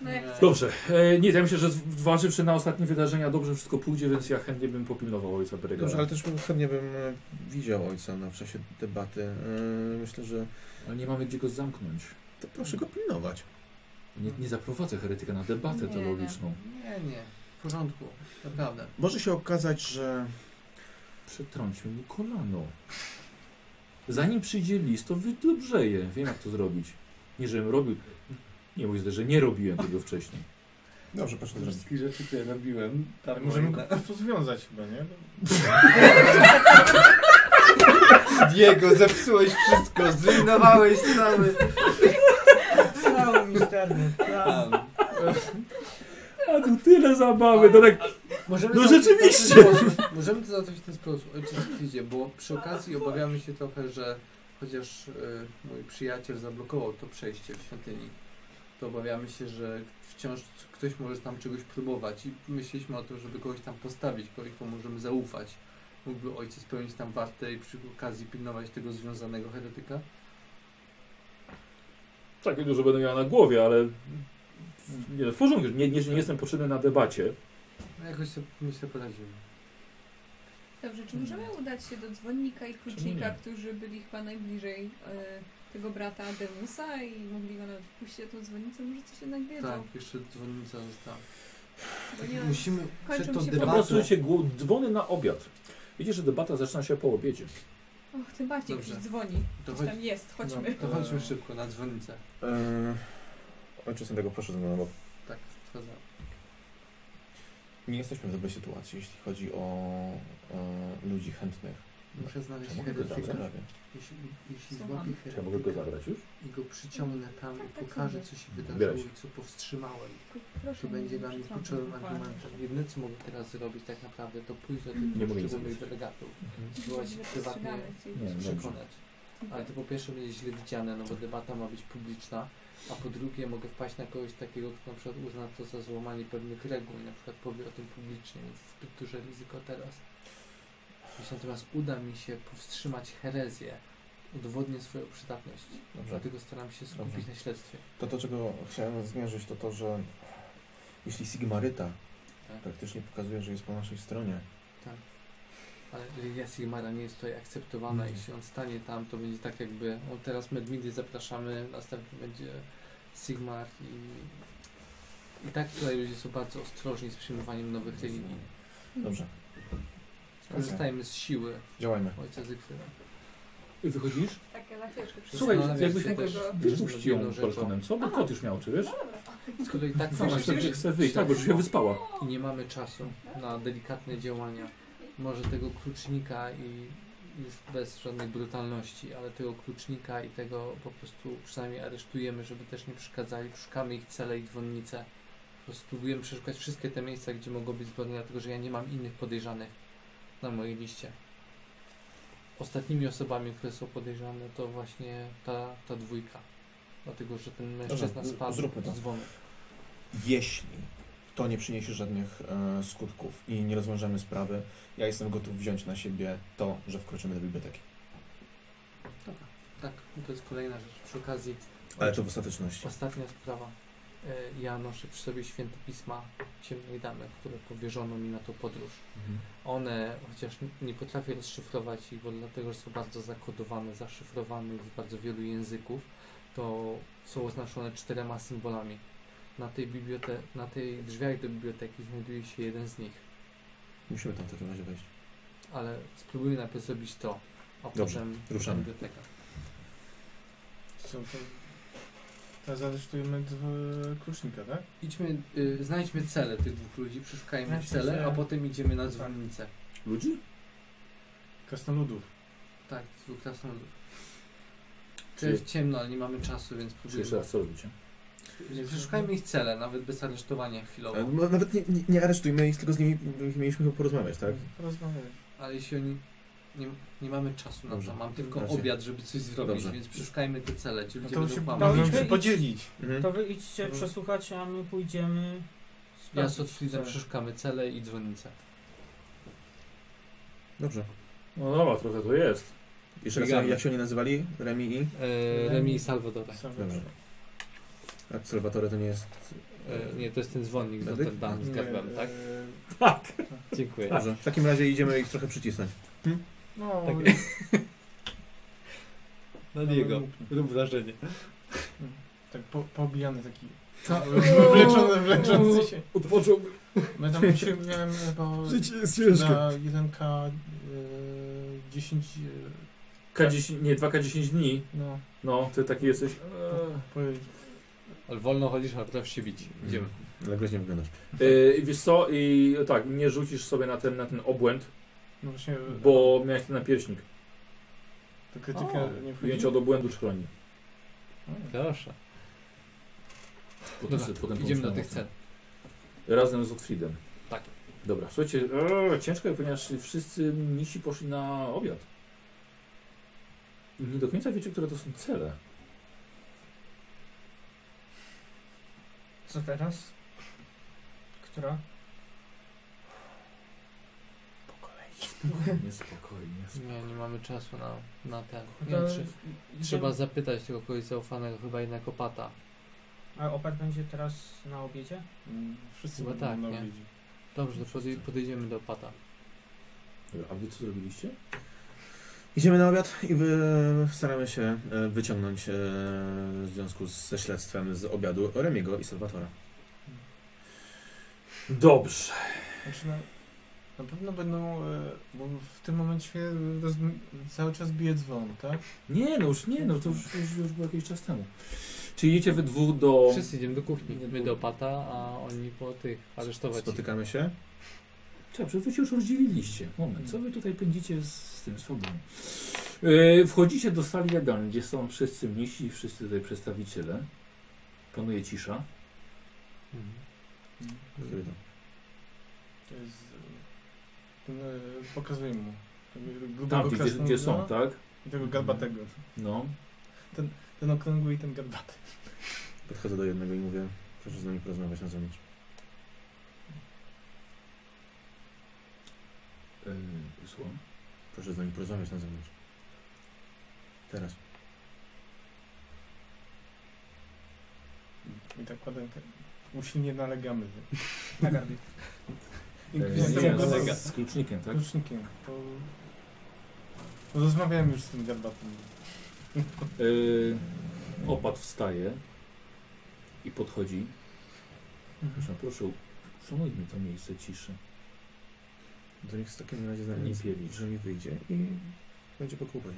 Speaker 3: No jak
Speaker 4: Nie.
Speaker 3: chcesz.
Speaker 1: Dobrze, e, nie, ja myślę, że zważywszy na ostatnie wydarzenia, dobrze wszystko pójdzie, więc ja chętnie bym popilnował ojca Beregara.
Speaker 2: Dobrze, ale
Speaker 1: ale...
Speaker 2: też chętnie bym e, widział ojca no, w czasie debaty. E, myślę, że...
Speaker 1: nie mamy gdzie go zamknąć.
Speaker 2: To proszę go pilnować.
Speaker 1: Nie, nie zaprowadzę heretyka na debatę
Speaker 3: Nie, nie.
Speaker 1: teologiczną.
Speaker 4: Nie, nie. W porządku. Naprawdę.
Speaker 2: Może się okazać, że...
Speaker 1: Przetrąćmy mu kolano. Zanim przyjdzie list, to wydobrzeje. Wiem, jak to zrobić. Nie, żebym robił. Nie mówię, że nie robiłem tego wcześniej.
Speaker 19: Dobrze, proszę zrobić.
Speaker 4: Wszystkie rzeczy, które robiłem, tam
Speaker 6: Możemy go po prostu związać chyba, nie?
Speaker 9: Diego, zepsułeś wszystko, zrujnowałeś cały.
Speaker 5: Cały misterny plan.
Speaker 4: Tam.
Speaker 1: A tu tyle zabawy, to tak.
Speaker 4: Możemy
Speaker 1: No
Speaker 4: załatwić
Speaker 1: rzeczywiście!
Speaker 4: to w ten sposób- Możemy to załatwić w ten sposób, ojciec przyjdzie, bo przy okazji obawiamy się trochę, że chociaż y, mój przyjaciel zablokował to przejście w świątyni, to obawiamy się, że wciąż c- ktoś może tam czegoś próbować i myśleliśmy o tym, żeby kogoś tam postawić, kogoś komu możemy zaufać. Mógłby ojciec pełnić tam wartę i przy okazji pilnować tego związanego heretyka.
Speaker 1: Tak, wiem, że będę miał na głowie, ale. Nie, no, w porządku, nie, nie, nie jestem potrzebny na debacie.
Speaker 4: No jakoś sobie, myślę, poradzimy.
Speaker 3: Dobrze, czy możemy udać się do dzwonnika i klucznika,
Speaker 1: nie?
Speaker 3: którzy byli chyba najbliżej e, tego brata Demusa i mogli go nawet wpuścić tą dzwonnicę, może coś jednak wiedzą.
Speaker 4: Tak, jeszcze dzwonnica została.
Speaker 3: Bo nie
Speaker 4: Tak. Musimy
Speaker 3: kończą
Speaker 4: przed tą
Speaker 3: się
Speaker 1: Po
Speaker 4: debatą...
Speaker 1: prostu się dzwony na obiad. Widzisz, że debata zaczyna się po obiedzie.
Speaker 3: Och, tym bardziej
Speaker 4: Dobrze.
Speaker 3: ktoś dzwoni. Ktoś
Speaker 4: Dochodź-
Speaker 3: tam jest, chodźmy.
Speaker 4: To chodźmy szybko na dzwonnicę.
Speaker 2: Eee, ojcze Świętego, proszę ze mną no na bok.
Speaker 4: Tak, zgadzam.
Speaker 2: Nie jesteśmy w dobrej sytuacji, jeśli chodzi o e, ludzi chętnych.
Speaker 4: Muszę znaleźć
Speaker 2: Ja mogę go tam
Speaker 4: Hedwika.
Speaker 2: zabrać.
Speaker 4: Jeśli, jeśli
Speaker 3: Słucham.
Speaker 4: złapię
Speaker 1: Czy ja mogę go
Speaker 4: Hedwika
Speaker 1: zabrać już?
Speaker 4: i go przyciągnę tam
Speaker 3: Tak,
Speaker 4: i
Speaker 3: tak
Speaker 4: pokażę,
Speaker 3: sobie.
Speaker 4: co się
Speaker 1: Zbieraj
Speaker 4: wydarzyło
Speaker 1: się.
Speaker 4: i co powstrzymało ich.
Speaker 3: Proszę
Speaker 4: To będzie
Speaker 3: nie
Speaker 4: dla mnie
Speaker 3: przetrącać
Speaker 4: kluczowym
Speaker 3: dokładnie.
Speaker 4: argumentem. Jedyne, co mogę teraz zrobić tak naprawdę, to pójść do
Speaker 1: Nie
Speaker 4: tych
Speaker 1: mogę nic zrobić.
Speaker 4: poszczególnych delegatów. Spróbować
Speaker 3: Myślę,
Speaker 4: ich
Speaker 3: że
Speaker 4: prywatnie
Speaker 3: przestrzegamy cię.
Speaker 1: Nie, dobrze.
Speaker 4: przekonać. Ale to po pierwsze będzie źle widziane, no bo debata ma być publiczna, a po drugie mogę wpaść na kogoś takiego, kto na przykład uzna to za złamanie pewnych reguł i na przykład powie o tym publicznie, więc zbyt duże ryzyko teraz. Jeśli natomiast uda mi się powstrzymać herezję, udowodnię swoją przydatność.
Speaker 2: Dobrze.
Speaker 4: Dlatego staram się skupić
Speaker 2: Dobrze.
Speaker 4: na śledztwie.
Speaker 2: To, to czego chciałem zmierzyć, to to, że jeśli Sigmaryta
Speaker 4: Tak.
Speaker 2: praktycznie pokazuje, że jest po naszej stronie,
Speaker 4: Ale religia Sigmara nie jest tutaj akceptowana.
Speaker 2: Mhm.
Speaker 4: Jeśli on stanie tam, to będzie tak jakby... On teraz Medmidy zapraszamy, następny będzie Sigmar i... I tak tutaj ludzie są bardzo ostrożni z przyjmowaniem nowych religii.
Speaker 2: Dobrze,
Speaker 4: Skorzystajmy z siły
Speaker 2: działajmy.
Speaker 4: ojca Zygfryda.
Speaker 1: I wychodzisz?
Speaker 3: Takie na chwileczkę
Speaker 1: Słuchaj, tak-
Speaker 4: Zastanawiam
Speaker 1: jakby
Speaker 4: się
Speaker 1: się
Speaker 4: też,
Speaker 3: tego-
Speaker 4: nad
Speaker 1: Wypuść ją
Speaker 4: jedną rzeczą.
Speaker 1: balkonem, co? Bo kot już miał, czy wiesz?
Speaker 4: Skoro i tak
Speaker 1: Sama
Speaker 4: mamy
Speaker 1: chce,
Speaker 4: sobie-
Speaker 1: chce wyjść, tak, bo już się wyspała.
Speaker 4: i nie mamy czasu na delikatne działania. Może tego klucznika i już bez żadnej brutalności, ale tego klucznika i tego po prostu przynajmniej aresztujemy, żeby też nie przeszkadzali. Szukamy ich cele i dzwonnice. Po prostu próbujemy przeszukać wszystkie te miejsca, gdzie mogą być zbrodnie, dlatego że ja nie mam innych podejrzanych na mojej liście. Ostatnimi osobami, które są podejrzane, to właśnie ta, ta dwójka. Dlatego, że ten mężczyzna
Speaker 2: Dobra, z-
Speaker 4: spadł
Speaker 2: zróbmy to.
Speaker 4: z dzwonu.
Speaker 2: Jeśli to nie przyniesie żadnych e, skutków i nie rozwiążemy sprawy, ja jestem gotów wziąć na siebie to, że wkroczymy do biblioteki.
Speaker 4: Dobra, tak, to jest kolejna rzecz. Przy okazji
Speaker 2: Ale to w ostateczności.
Speaker 4: Ostatnia sprawa. E, Ja noszę przy sobie święte pisma ciemnej damy, które powierzono mi na tą podróż.
Speaker 2: Mhm.
Speaker 4: One, chociaż n- nie potrafię rozszyfrować ich, bo dlatego, że są bardzo zakodowane, zaszyfrowane w bardzo wielu języków, to są oznaczone czterema symbolami. Na tej, bibliote- na tej drzwiach do biblioteki znajduje się jeden z nich,
Speaker 2: Musimy tam w takim razie wejść.
Speaker 4: ale spróbujmy najpierw zrobić to, a
Speaker 2: Dobrze,
Speaker 4: potem
Speaker 2: ruszamy.
Speaker 4: biblioteka.
Speaker 6: Co to? Teraz aresztujemy dw- klucznika, tak?
Speaker 4: Idźmy, y, znajdźmy cele tych dwóch ludzi, przeszukajmy
Speaker 5: Znaczy,
Speaker 4: cele,
Speaker 5: że-
Speaker 4: a potem idziemy na dzwonnicę.
Speaker 1: Ludzi?
Speaker 6: Krasnoludów.
Speaker 4: Tak, z dwóch krasnoludów. To
Speaker 1: Czyli-
Speaker 4: jest ciemno, ale nie mamy czasu, więc
Speaker 1: Czy jeszcze
Speaker 4: próbujemy.
Speaker 1: raz co robicie?
Speaker 4: Przeszukajmy ich cele, nawet bez aresztowania
Speaker 2: E,
Speaker 4: chwilowo.
Speaker 2: no, Nawet nie, nie, nie aresztujmy ich, tylko z nimi mieliśmy chyba porozmawiać, tak?
Speaker 6: Porozmawiać.
Speaker 4: Ale jeśli oni. Nie, nie mamy czasu na
Speaker 2: Dobrze.
Speaker 4: to, mam tylko
Speaker 2: Racja.
Speaker 4: obiad, żeby coś zrobić,
Speaker 2: Dobrze.
Speaker 4: więc przeszukajmy te cele, gdzie
Speaker 6: No
Speaker 4: ludzie
Speaker 6: to
Speaker 4: będą
Speaker 6: się
Speaker 4: kłamać.
Speaker 5: Dobrze.
Speaker 6: możemy się podzielić.
Speaker 2: Mhm.
Speaker 5: To wy idźcie
Speaker 6: Mhm.
Speaker 5: przesłuchać, a my pójdziemy...
Speaker 4: Ja
Speaker 5: sprawdzić,
Speaker 4: z Otfridem
Speaker 5: co-
Speaker 4: przeszukamy cele i dzwonnicę.
Speaker 2: Dobrze.
Speaker 1: No dobra, trochę to jest.
Speaker 2: Jeszcze raz,
Speaker 4: Biegamy.
Speaker 2: jak się oni nazywali? Remi i?
Speaker 4: E, Remi i Salvadore.
Speaker 6: Sam-
Speaker 2: Dobrze. Obserwatore to nie jest...
Speaker 4: E, nie, to jest ten dzwonnik z
Speaker 2: Medyk?
Speaker 4: Notre Dame, z
Speaker 6: Nie,
Speaker 4: garbem, tak?
Speaker 6: e,
Speaker 4: Dziękuję.
Speaker 6: Tak.
Speaker 2: Dobrze. W takim razie idziemy ich trochę przycisnąć.
Speaker 5: No,
Speaker 4: Tak. No Diego, rób wrażenie.
Speaker 6: Tak po, poobijany taki.
Speaker 4: Tak.
Speaker 6: Wleczony, wleczący się.
Speaker 1: Odpocząłby.
Speaker 6: No tam się miałem bo
Speaker 19: Życie jest
Speaker 6: na 1K e, 10 e,
Speaker 1: K10, nie, 2K10 dni.
Speaker 6: no
Speaker 1: No, ty taki jesteś. Eee.
Speaker 6: powiedzieć.
Speaker 4: Ale wolno chodzisz, a potrafisz się bić. Idziemy.
Speaker 2: Ale groźnie wyglądasz.
Speaker 1: Yy, wiesz co, i tak, nie rzucisz sobie na ten, na ten obłęd,
Speaker 6: No właśnie
Speaker 1: bo miałeś ten napierśnik.
Speaker 6: to krytyka
Speaker 4: O.
Speaker 6: nie
Speaker 1: Ujęcie od obłędu już chroni.
Speaker 4: Proszę.
Speaker 1: Potem,
Speaker 4: Dobra,
Speaker 1: sobie- potem
Speaker 4: idziemy do
Speaker 1: pomyślałem
Speaker 4: tych
Speaker 1: o tym.
Speaker 4: cen.
Speaker 1: Razem z Otfridem.
Speaker 4: Tak.
Speaker 1: Dobra, słuchajcie, e, ciężko, ponieważ wszyscy misi poszli na obiad. I nie do końca wiecie, które to są cele.
Speaker 5: Co teraz? Która?
Speaker 1: Spokojnie, spokojnie.
Speaker 4: Nie, nie mamy czasu na, na ten. Nie,
Speaker 5: To-
Speaker 4: trze- trzeba zapytać tego kogoś zaufanego, chyba jednak opata.
Speaker 5: A opat będzie teraz na obiedzie?
Speaker 6: Mm, Wszyscy
Speaker 4: Chyba
Speaker 6: będą
Speaker 4: tak,
Speaker 6: na
Speaker 4: nie?
Speaker 6: obiedzie.
Speaker 4: Dobrze, to podej- podejdziemy do opata.
Speaker 1: Dobra, a wy co zrobiliście?
Speaker 2: Idziemy na obiad i wy, staramy się e, wyciągnąć e, w związku z, ze śledztwem z obiadu Remiego i Salwatora.
Speaker 1: Dobrze.
Speaker 6: Znaczy no, Na pewno będą, e, bo w tym momencie roz, cały czas bije dzwon, tak?
Speaker 1: Nie, no już nie, no to już, już, już był jakiś czas temu. Czy idziecie wy dwóch do...
Speaker 9: Wszyscy idziemy do kuchni. My do pata, a oni po tych aresztować. ich.
Speaker 2: Spotykamy się?
Speaker 1: Dobrze, wy się już rozdzieliliście. Moment, co wy tutaj pędzicie z, z tym swobodą? Yy, wchodzicie do sali jadalnej, gdzie są wszyscy mnisi, wszyscy tutaj przedstawiciele. Panuje cisza.
Speaker 9: Mhm.
Speaker 2: Który to?
Speaker 6: To jest, e, ten, e, pokazuję mu. Tego
Speaker 1: Tam,
Speaker 6: grubego
Speaker 1: gdzie, gdzie, gdzie są,
Speaker 6: krasnoluda
Speaker 1: tak?
Speaker 6: I tego garbatego.
Speaker 1: No.
Speaker 6: Ten okrągły i ten garbaty.
Speaker 2: Podchodzę do jednego i mówię, proszę z nami porozmawiać na zewnątrz.
Speaker 1: Yy, słucham.
Speaker 2: Proszę z nami porozmawiać na zewnątrz. Teraz.
Speaker 6: I tak kładę rękę. Usilnie nalegamy.
Speaker 5: Na garbie.
Speaker 1: Yy,
Speaker 6: Inkwizycja
Speaker 1: nie,
Speaker 6: golega.
Speaker 1: z, z klucznikiem, tak?
Speaker 6: Klucznikiem. To... Rozmawiałem już z tym garbatym.
Speaker 1: Yy, opat wstaje i podchodzi. Proszę, proszę, szanujmy to miejsce ciszy.
Speaker 2: To niech w takim razie znajdzie
Speaker 1: Nie pielić.
Speaker 2: że mi wyjdzie i będzie po kłopocie.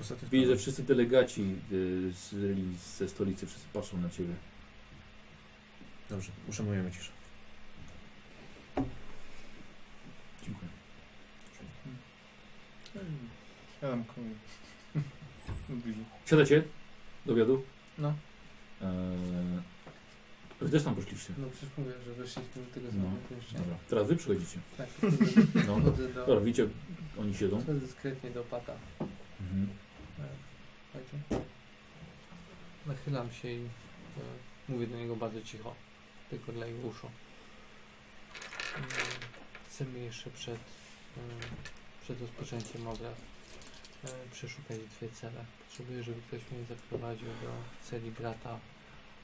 Speaker 2: Ostatnio
Speaker 1: Widzę, że wszyscy delegaci yy, z, ze stolicy wszyscy patrzą na ciebie.
Speaker 2: Dobrze, uszanujemy ciszę.
Speaker 1: Dziękuję.
Speaker 5: Hmm.
Speaker 6: Ja tam komuś.
Speaker 1: Siadacie do obiadu?
Speaker 4: No.
Speaker 1: Eee, wy też tam poszliście.
Speaker 4: No przecież mówię, że weszliśmy do tego
Speaker 1: No.
Speaker 4: samego pomieszczenia.
Speaker 1: Dobra. Teraz wy przychodzicie.
Speaker 4: Tak,
Speaker 1: No.
Speaker 4: chodzę do,
Speaker 1: Dobra, widzicie, oni siedzą.
Speaker 4: chodzę dyskretnie do pata.
Speaker 1: Mhm.
Speaker 4: Także
Speaker 9: Nachylam się i e, mówię do niego bardzo cicho, tylko dla jego uszu. Mm, Chcemy jeszcze przed, e, przed rozpoczęciem obrad e, przeszukać dwie cele. Potrzebuję, żeby ktoś mnie zaprowadził do celi brata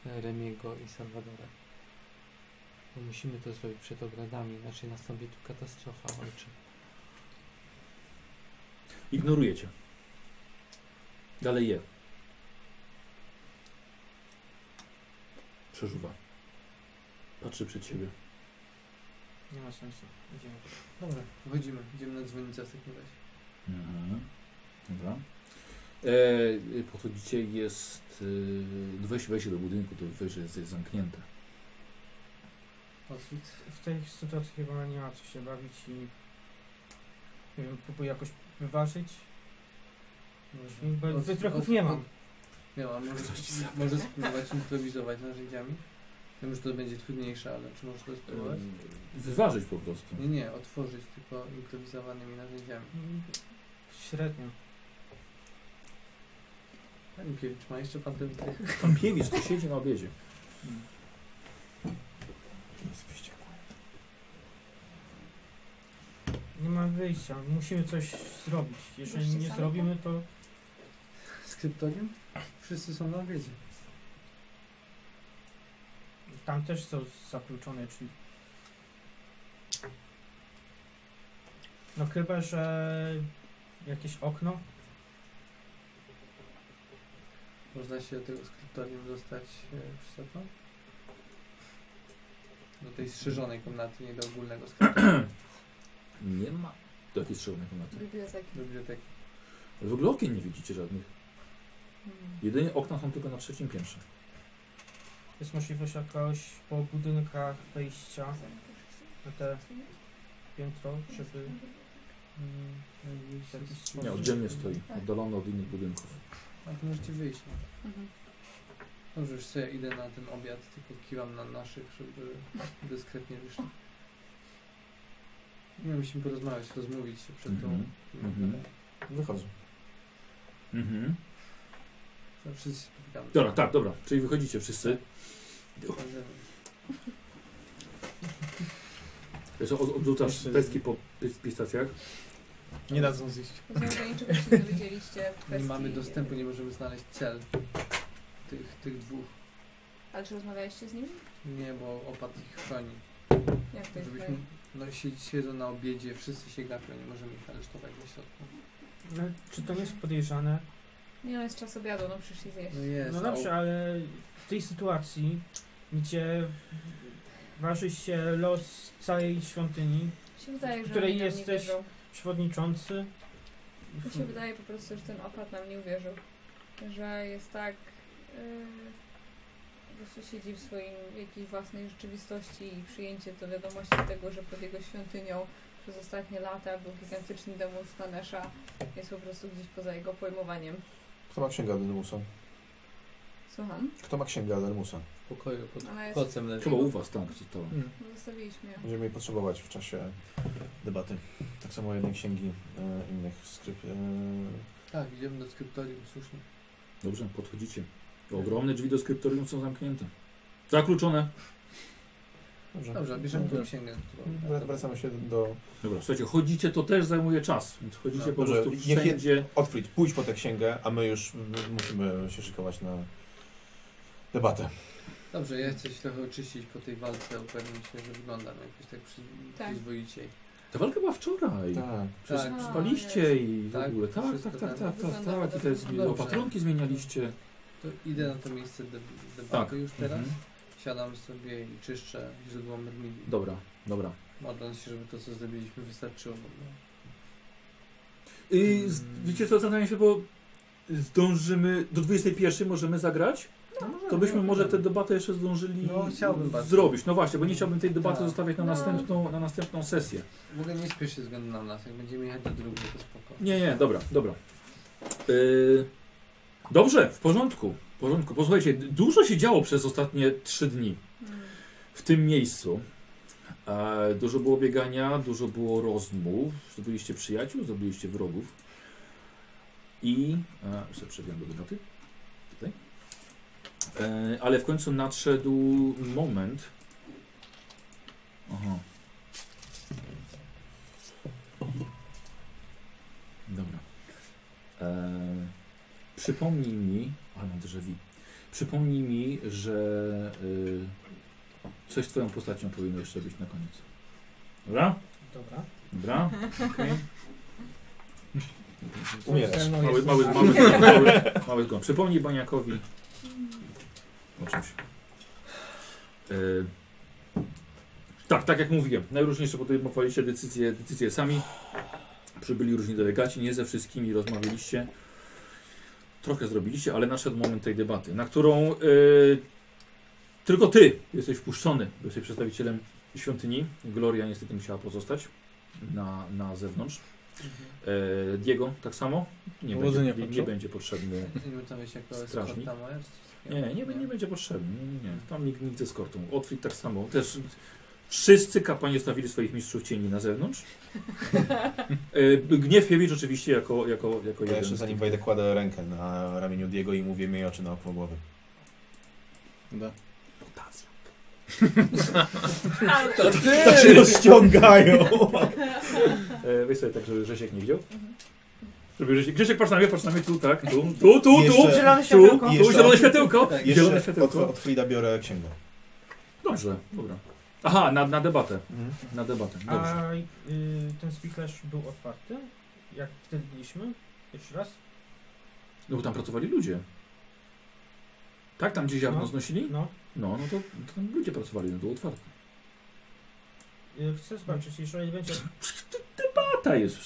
Speaker 9: e, Remiego i Salwadora. Bo musimy to zrobić przed obradami, inaczej nastąpi tu katastrofa, ojcze.
Speaker 1: Ignorujecie. Dalej je. Przeżuwa. Patrzy przed siebie.
Speaker 5: Nie ma sensu. Idziemy.
Speaker 4: dobra, wychodzimy. Idziemy na dzwonicę w takim razie.
Speaker 1: Mhm. Dobra. E, podchodzicie, jest... E, wejście, wejście do budynku, to wejście jest, jest zamknięte.
Speaker 4: Odsuć.
Speaker 5: W tej sytuacji chyba nie ma co się bawić i nie wiem, próbuję jakoś wyważyć. Bo wytrychów No, nie mam.
Speaker 4: Nie mam, może, może spróbować improwizować narzędziami. Wiem, że to będzie trudniejsze, ale czy możesz to
Speaker 1: E,
Speaker 4: spróbować?
Speaker 1: wyważyć po prostu.
Speaker 4: Nie, nie, otworzyć tylko improwizowanymi narzędziami.
Speaker 5: Mm, Średnio.
Speaker 4: Pani Piewicz, ma jeszcze pan ten tych?
Speaker 1: Pankiewicz to siedzi na obiedzie.
Speaker 5: Nie ma wyjścia. Musimy coś zrobić. Jeżeli
Speaker 3: Jeszcze
Speaker 5: nie
Speaker 3: samo?
Speaker 5: zrobimy, to
Speaker 4: Skryptoniem? Wszyscy są na obiedzie.
Speaker 5: tam też są zakluczone, czyli... No chyba, że jakieś okno.
Speaker 4: Można się do tego skryptorium dostać e, przyczepą? Do tej strzyżonej komnaty, nie do ogólnego skryptorium.
Speaker 1: Nie ma. Do jakiej strzelnej komnaty?
Speaker 3: Biblioteki.
Speaker 4: Do biblioteki.
Speaker 1: Ale w ogóle okien nie widzicie żadnych.
Speaker 3: Mm.
Speaker 1: Jedynie okna są tylko na trzecim piętrze.
Speaker 5: Jest możliwość jakoś po budynkach wejścia na te piętro, żeby...
Speaker 4: Mm, jakbyś-
Speaker 5: W jakiś sposób-
Speaker 1: Nie, oddzielnie stoi, oddalony od innych budynków.
Speaker 4: A to możecie wyjść. No.
Speaker 3: Mhm.
Speaker 4: Dobrze, już sobie idę na ten obiad, tylko kiwam na naszych, żeby dyskretnie wyszli. Nie musimy porozmawiać, rozmówić się przed tą...
Speaker 1: Mhm. Mhm.
Speaker 2: Wychodzę.
Speaker 1: Mhm.
Speaker 4: To Wszyscy się spotykamy.
Speaker 1: Dobra, tak, dobra. Czyli wychodzicie wszyscy.
Speaker 4: Będziemy.
Speaker 1: Wiesz, od, odrzucasz
Speaker 6: Jeszcze-
Speaker 1: pestki po pis- pistacjach.
Speaker 6: Nie dadzą zjeść.
Speaker 3: Rozumiem, że niczego się nie dowiedzieliście w
Speaker 4: Nie
Speaker 3: kwestii...
Speaker 4: mamy dostępu, nie możemy znaleźć cel tych, tych dwóch.
Speaker 3: Ale czy rozmawialiście z nim?
Speaker 4: Nie, bo opat ich chroni.
Speaker 3: Jak to jest?
Speaker 4: Żebyśmy, no sied- siedzą na obiedzie, wszyscy się gapią, nie możemy ich aresztować na środku.
Speaker 5: No, czy to nie jest podejrzane?
Speaker 3: Nie, no jest czas obiadu, no przyszli zjeść.
Speaker 4: No jest,
Speaker 5: No
Speaker 4: a
Speaker 5: dobrze, ale w tej sytuacji, gdzie Waży się los całej świątyni,
Speaker 3: Mi się wydaje, że
Speaker 5: Której
Speaker 3: oni nam
Speaker 5: jesteś?
Speaker 3: Nie wierzą.
Speaker 5: przewodniczący.
Speaker 3: Mi się wydaje po prostu, że ten opat nam nie uwierzył. Że jest tak... Yy, po prostu siedzi w swoim jakiejś własnej rzeczywistości i przyjęcie do wiadomości tego, że pod jego świątynią przez ostatnie lata był gigantyczny demon Stanesha jest po prostu gdzieś poza jego pojmowaniem.
Speaker 2: Kto ma księgę Adelmusa?
Speaker 3: Słucham?
Speaker 2: Kto ma księgę Adelmusa?
Speaker 4: Tak.
Speaker 9: W pokoju pod
Speaker 3: Ona jest...
Speaker 9: kocem leży.
Speaker 1: Chyba u was tak, tam została.
Speaker 5: Hmm.
Speaker 3: Zostawiliśmy ją.
Speaker 2: Będziemy jej potrzebować w czasie debaty. Tak samo jednej księgi, e, innych skryp. E,
Speaker 9: Tak, idziemy do skryptorium, słusznie.
Speaker 1: Dobrze, podchodzicie. Ogromne drzwi do skryptorium są zamknięte. Zakluczone.
Speaker 2: dobrze.
Speaker 1: Mhm.
Speaker 9: Dobrze, bierzemy tą
Speaker 2: Dobrze.
Speaker 9: księgę.
Speaker 2: Wr- Wracamy się do...
Speaker 1: Dobra, słuchajcie, chodzicie to też zajmuje czas, więc chodzicie
Speaker 2: No,
Speaker 1: po
Speaker 2: dobrze,
Speaker 1: prostu
Speaker 2: niech je-
Speaker 1: wszędzie.
Speaker 2: Otwit, pójdź po tę księgę, a my już m- musimy się szykować na debatę.
Speaker 9: Dobrze, ja chcę się trochę oczyścić po tej walce, upewnić się, że wyglądam jakoś tak, przy,
Speaker 3: Tak.
Speaker 9: przyzwoiciej.
Speaker 1: Ta walka była wczoraj.
Speaker 2: Tak.
Speaker 1: Przez
Speaker 9: Tak.
Speaker 1: spaliście i w
Speaker 9: Tak,
Speaker 1: ogóle. Tak,
Speaker 9: wszystko
Speaker 1: tak, tak,
Speaker 9: tam
Speaker 1: tak, tak,
Speaker 3: wyglądało
Speaker 1: tak. I te
Speaker 3: dobrze.
Speaker 1: zmi-
Speaker 9: Dobrze.
Speaker 1: opatrunki zmienialiście.
Speaker 9: To idę na to miejsce de- debaty
Speaker 1: Tak.
Speaker 9: już teraz.
Speaker 1: Mhm.
Speaker 9: Siadam sobie i czyszczę źródło mydli.
Speaker 1: Dobra, dobra.
Speaker 9: Modląc się, żeby to, co zrobiliśmy, wystarczyło. bo- no,
Speaker 1: I z, wiecie co, zastanawiam się, bo zdążymy, do 21 możemy zagrać,
Speaker 3: No,
Speaker 1: to byśmy może tę debatę jeszcze zdążyli
Speaker 9: No, chciałbym bardzo.
Speaker 1: zrobić. No właśnie, bo nie chciałbym tej debaty
Speaker 9: Tak.
Speaker 1: zostawiać na,
Speaker 3: No.
Speaker 1: następną, na następną sesję.
Speaker 9: W ogóle nie spieszy ze względu na nas. Jak będziemy jechać do drugiej, to spoko.
Speaker 1: Nie, nie, dobra, dobra. Yy, dobrze, w porządku, w porządku. Posłuchajcie, dużo się działo przez ostatnie trzy dni
Speaker 3: Mm.
Speaker 1: w tym miejscu. E, dużo było biegania, dużo było rozmów. Zdobyliście przyjaciół, zdobyliście wrogów. I... E, już sobie przewijam do debaty. Tutaj. E, ale w końcu nadszedł moment... Aha. Dobra. E, przypomnij mi... Ale mam drzewi. Przypomnij mi, że... Y, Coś z twoją postacią powinno jeszcze być na koniec. Dobra?
Speaker 5: Dobra.
Speaker 1: Dobra? Okej.
Speaker 2: Umierasz.
Speaker 1: Mały, mały, mały, zgon, mały, mały zgon. Przypomnij Baniakowi
Speaker 3: Mm.
Speaker 1: o czymś. Yy, tak, tak jak mówiłem, najróżniejsze podejmowaliście decyzje, decyzje sami. Przybyli różni delegaci, nie ze wszystkimi rozmawialiście. Trochę zrobiliście, ale nadszedł moment tej debaty, na którą yy, tylko ty jesteś wpuszczony, bo jesteś przedstawicielem świątyni. Gloria niestety musiała pozostać na, na zewnątrz. E, Diego tak samo. Nie będzie,
Speaker 6: Powodzenia,
Speaker 1: nie, nie
Speaker 6: Pancho.
Speaker 1: będzie potrzebny.
Speaker 9: Nie wiem, tam jest jako
Speaker 1: Strażnik?
Speaker 9: eskorta moja. czy coś
Speaker 1: Nie,
Speaker 9: takiego.
Speaker 1: nie, nie będzie potrzebny. Nie, nie, nie. Tam nikt, nikt z eskortą. Otwit tak samo. Też wszyscy kapłani stawili swoich mistrzów cieni na zewnątrz. E, Gniewkiewicz oczywiście jako, jako, jako
Speaker 2: Ja
Speaker 1: jeden.
Speaker 2: jeszcze
Speaker 1: z
Speaker 2: zanim
Speaker 1: tych.
Speaker 2: wejdę, kładę rękę na ramieniu Diego i mówię mi oczy na okrągłowy.
Speaker 6: Da.
Speaker 1: Mutacja.
Speaker 9: To ty!
Speaker 2: Tak się rozciągają!
Speaker 1: E, Weź sobie tak, żeby Grzesiek nie widział.
Speaker 3: Mhm.
Speaker 1: Żeby Grzesiek, Grzesiek patrz na mnie, patrz na mnie tu, tak, tu, tu, tu, tu,
Speaker 2: Jeszcze-
Speaker 5: Zielone
Speaker 1: tu, tu,
Speaker 5: światełko.
Speaker 2: Jeszcze-
Speaker 1: zielone światełko,
Speaker 9: Tak,
Speaker 1: zielone
Speaker 2: Jeszcze od,
Speaker 1: światełko.
Speaker 2: od Frida biorę księgę.
Speaker 1: Dobrze, dobra. Aha, na, na debatę, na debatę, dobrze.
Speaker 5: A y, ten speakers był otwarty? Jak wtedy byliśmy? Jeszcze raz?
Speaker 1: No bo tam pracowali ludzie. Tak, tam gdzie ziarno
Speaker 5: No.
Speaker 1: znosili?
Speaker 5: No.
Speaker 1: No, no to, to tam ludzie pracowali, no to otwarte.
Speaker 5: Y, chcę zobaczyć, jeżeli będzie...
Speaker 1: Lata jest.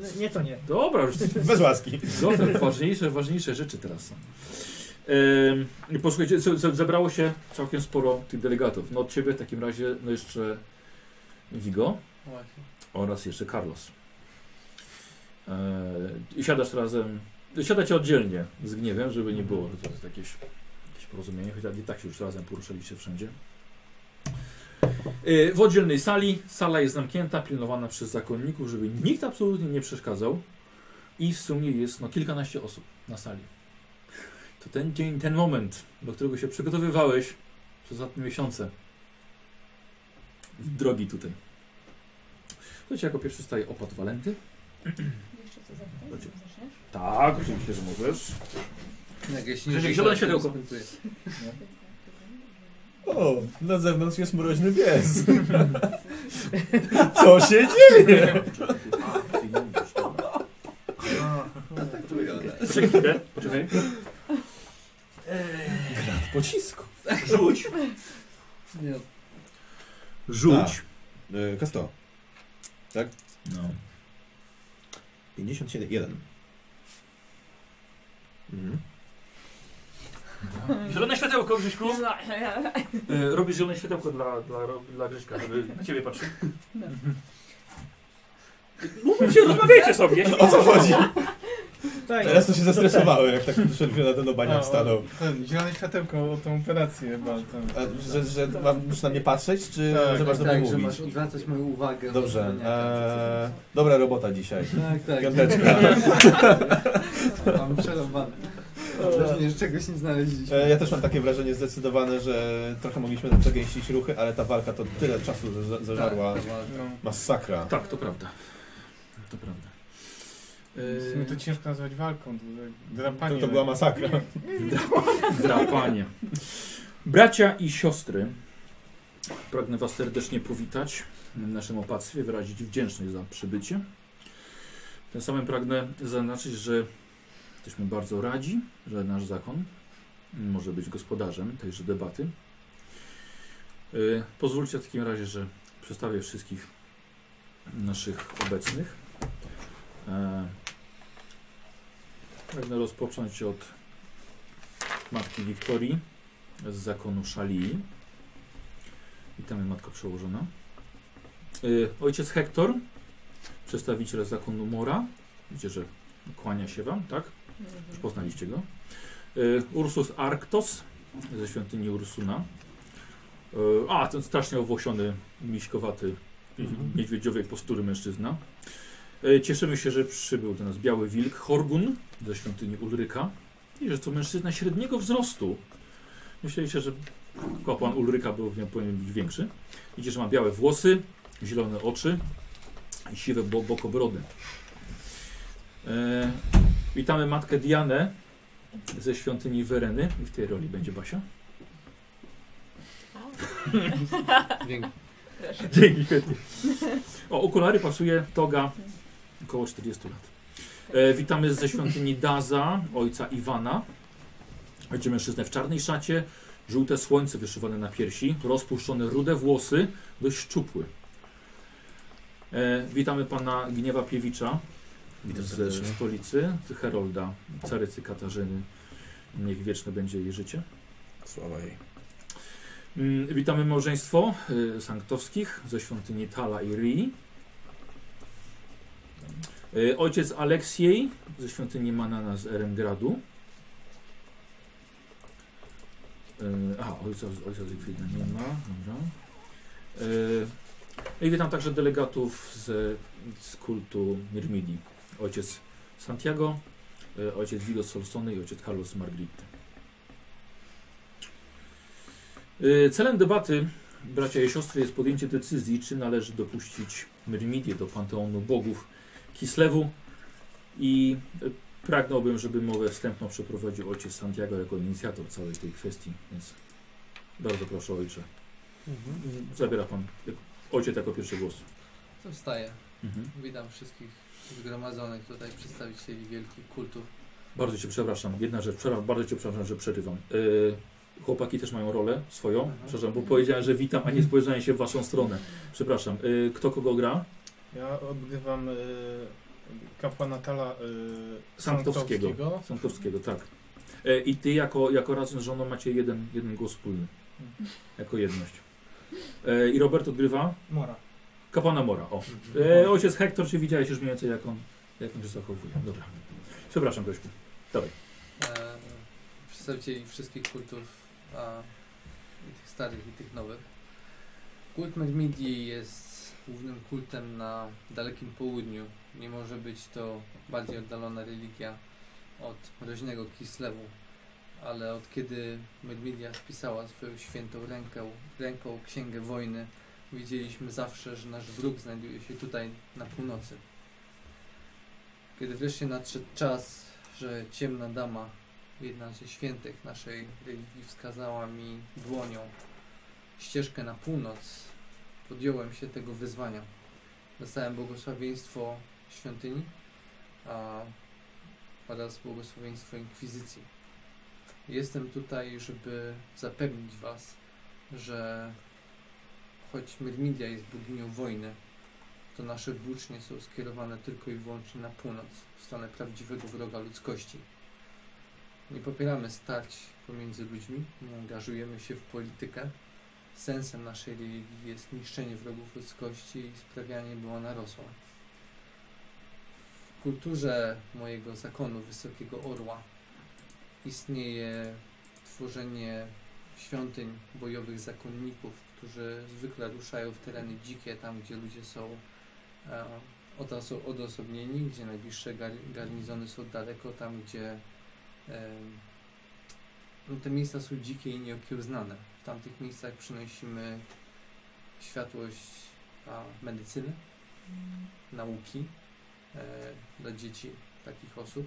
Speaker 5: Ale Nie, to nie.
Speaker 1: Dobra, już
Speaker 2: Bez łaski.
Speaker 1: zostaw, ważniejsze, ważniejsze rzeczy teraz są. Ehm, posłuchajcie, co- co- zebrało się całkiem sporo tych delegatów. No od ciebie w takim razie no jeszcze Vigo
Speaker 9: Właśnie.
Speaker 1: oraz jeszcze Carlos. Ehm, i siadasz razem, siadacie oddzielnie z gniewem, żeby nie było, że to jest jakieś, jakieś porozumienie, chociaż i tak się już razem poruszaliście wszędzie. E, W oddzielnej sali, sala jest zamknięta, pilnowana przez zakonników, żeby nikt absolutnie nie przeszkadzał. I w sumie jest no, kilkanaście osób na sali. To ten dzień, ten moment, do którego się przygotowywałeś przez ostatnie miesiące. Drogi tutaj. Słuchajcie, jako pierwszy staje opat Walenty.
Speaker 3: Jeszcze co zapytać?
Speaker 1: Chodź.
Speaker 3: Zanim zaczniesz?
Speaker 1: Tak, oczywiście, że możesz.
Speaker 9: Jak ja się nie
Speaker 1: Grzesiek,
Speaker 9: rzucę,
Speaker 1: zielone
Speaker 9: to
Speaker 1: światełko.
Speaker 9: skomentuję.
Speaker 2: O, na zewnątrz jest mroźny pies. Co się dzieje?
Speaker 1: Poczekaj chwilkę, poczekaj.
Speaker 2: Pocisku.
Speaker 1: Rzuć.
Speaker 9: Nie,
Speaker 1: Rzuć.
Speaker 2: Y, Kasto. Tak?
Speaker 1: No.
Speaker 2: 57, 1. Mhm.
Speaker 1: Tak. Zielone światełko, Grześku. Y, Robisz zielone światełko dla, dla, Ro- dla Grześka, żeby na ciebie patrzył. Mówmy się, rozmawiajcie sobie.
Speaker 2: O co chodzi?
Speaker 5: Tak,
Speaker 2: Teraz to się zestresowałem, jak tak przyszedł na ten
Speaker 5: No.
Speaker 2: obaniak stanął.
Speaker 6: Ten, zielone światełko o tą operację bardzo.
Speaker 2: A, Że, że mam, muszę na mnie patrzeć, czy
Speaker 6: Tak,
Speaker 2: że masz do mnie
Speaker 4: tak, że
Speaker 2: mówić?
Speaker 4: masz odwracać moją uwagę.
Speaker 2: Dobrze.
Speaker 4: od
Speaker 2: Eee,
Speaker 4: zdania.
Speaker 2: dobra robota dzisiaj.
Speaker 4: Tak, tak.
Speaker 2: Piąteczka.
Speaker 4: Mam przerąbane. Mam wrażenie, że czegoś nie znaleźliśmy.
Speaker 2: E, Ja też mam takie wrażenie zdecydowane, że trochę mogliśmy tam przegęścić ruchy, ale ta walka to tyle czasu ze- ze- zażarła.
Speaker 4: Tak, była-
Speaker 6: No.
Speaker 2: Masakra.
Speaker 1: Tak, to prawda. To prawda.
Speaker 6: W sumie to ciężko nazwać walką, to,
Speaker 2: To,
Speaker 6: drapanie.
Speaker 2: to była masakra.
Speaker 1: Drapanie. Bracia i siostry, pragnę Was serdecznie powitać w naszym opactwie, wyrazić wdzięczność za przybycie. Tym samym pragnę zaznaczyć, że jesteśmy bardzo radzi, że nasz zakon może być gospodarzem tejże debaty. Yy, Pozwólcie w takim razie, że przedstawię wszystkich naszych obecnych. E, Pragnę rozpocząć od matki Wiktorii z zakonu Szalii. Witamy matko przełożona. Y, ojciec Hektor, przedstawiciel zakonu Mora. Widzicie, że kłania się wam, tak? Już poznaliście go. Y, Ursus Arktos ze świątyni Ursuna. Y, a, ten strasznie owłosiony, miśkowaty,
Speaker 2: Mhm.
Speaker 1: niedźwiedziowej postury mężczyzna. Y, cieszymy się, że przybył do nas biały wilk Horgun ze świątyni Ulryka. I że to mężczyzna średniego wzrostu. Myśleliście, że kapłan Ulryka był, powinien być większy. Widzicie, że ma białe włosy, zielone oczy i siwe bo bokobrody. E, witamy matkę Dianę ze świątyni Wereny. I w tej roli będzie Basia.
Speaker 4: Dzięki.
Speaker 1: Dzięki. Katie. O, okulary pasuje toga około 40 lat. E, witamy ze świątyni Daza, ojca Iwana. Ojciec mężczyznę w czarnej szacie, żółte słońce wyszywane na piersi, rozpuszczone rude włosy, dość szczupły. E, witamy pana Gniewa Piewicza
Speaker 2: Witam
Speaker 1: z
Speaker 2: serdecznie.
Speaker 1: stolicy, z Herolda, carycy Katarzyny. Niech wieczne będzie jej życie.
Speaker 2: Sława jej.
Speaker 1: Mm, Witamy małżeństwo y, Sanktowskich ze świątyni Tala i Rii. Y, Ojciec Aleksiej ze świątyni Manana z Erengradu. Y, Aha, ojca, ojca z Likwidna nie ma, dobra. Y, I witam także delegatów z, z kultu Mirmidi. Ojciec Santiago, y, ojciec Vigo Solsony i ojciec Carlos Margrite. Y, Celem debaty, bracia i siostry, jest podjęcie decyzji, czy należy dopuścić Myrmidię do panteonu bogów Kislewu i y, pragnąłbym, żeby mowę wstępną przeprowadził ojciec Santiago jako inicjator całej tej kwestii, więc bardzo proszę ojcze. Zabiera pan jak- ojciec jako pierwszy głos.
Speaker 4: To wstaję. Witam wszystkich zgromadzonych tutaj przedstawicieli wielkich kultów.
Speaker 1: Bardzo cię przepraszam, jedna rzecz, przerwa, bardzo cię przepraszam, że przerywam. Y, Chłopaki też mają rolę swoją,
Speaker 4: Aha.
Speaker 1: przepraszam, bo powiedziałem, że witam, a nie spojrzałem się w waszą stronę. Przepraszam, y, kto kogo gra?
Speaker 6: Ja odgrywam y, kapłana Tala y,
Speaker 1: Sanktowskiego.
Speaker 6: Sanktowskiego.
Speaker 1: Sądkowskiego, tak. E, I ty jako, jako razem z żoną macie jeden, jeden głos wspólny. Jako jedność. E, I Robert odgrywa
Speaker 5: Mora.
Speaker 1: kapłana Mora. O. E, ojciec Hektor, czy widziałeś już mniej więcej jak on, jak on się zachowuje? Dobra. Przepraszam, Gośku.
Speaker 4: E, przedstawicieli wszystkich kultów, a i tych starych, i tych nowych. Kult Medmidii jest głównym kultem na dalekim południu. Nie może być to bardziej oddalona religia od mroźnego Kislewu, ale od kiedy Medmidia spisała swoją świętą rękę, ręką Księgę Wojny, widzieliśmy zawsze, że nasz wróg znajduje się tutaj na północy. Kiedy wreszcie nadszedł czas, że ciemna dama, jedna ze świętych naszej religii, wskazała mi dłonią ścieżkę na północ, podjąłem się tego wyzwania. Dostałem błogosławieństwo świątyni a, oraz błogosławieństwo inkwizycji. Jestem tutaj, żeby zapewnić Was, że Choć Myrmidia jest boginią wojny, to nasze włócznie są skierowane tylko i wyłącznie na północ, w stronę prawdziwego wroga ludzkości. Nie popieramy starć pomiędzy ludźmi, nie angażujemy się w politykę. Sensem naszej religii jest niszczenie wrogów ludzkości i sprawianie, by ona rosła. W kulturze mojego zakonu Wysokiego Orła istnieje tworzenie świątyń bojowych zakonników, którzy zwykle ruszają w tereny dzikie, tam gdzie ludzie są e, odoso- odosobnieni, gdzie najbliższe gar- garnizony są daleko, tam gdzie e, no, te miejsca są dzikie i nieokiełznane. W tamtych miejscach przynosimy światłość a, medycyny, nauki e, dla dzieci takich osób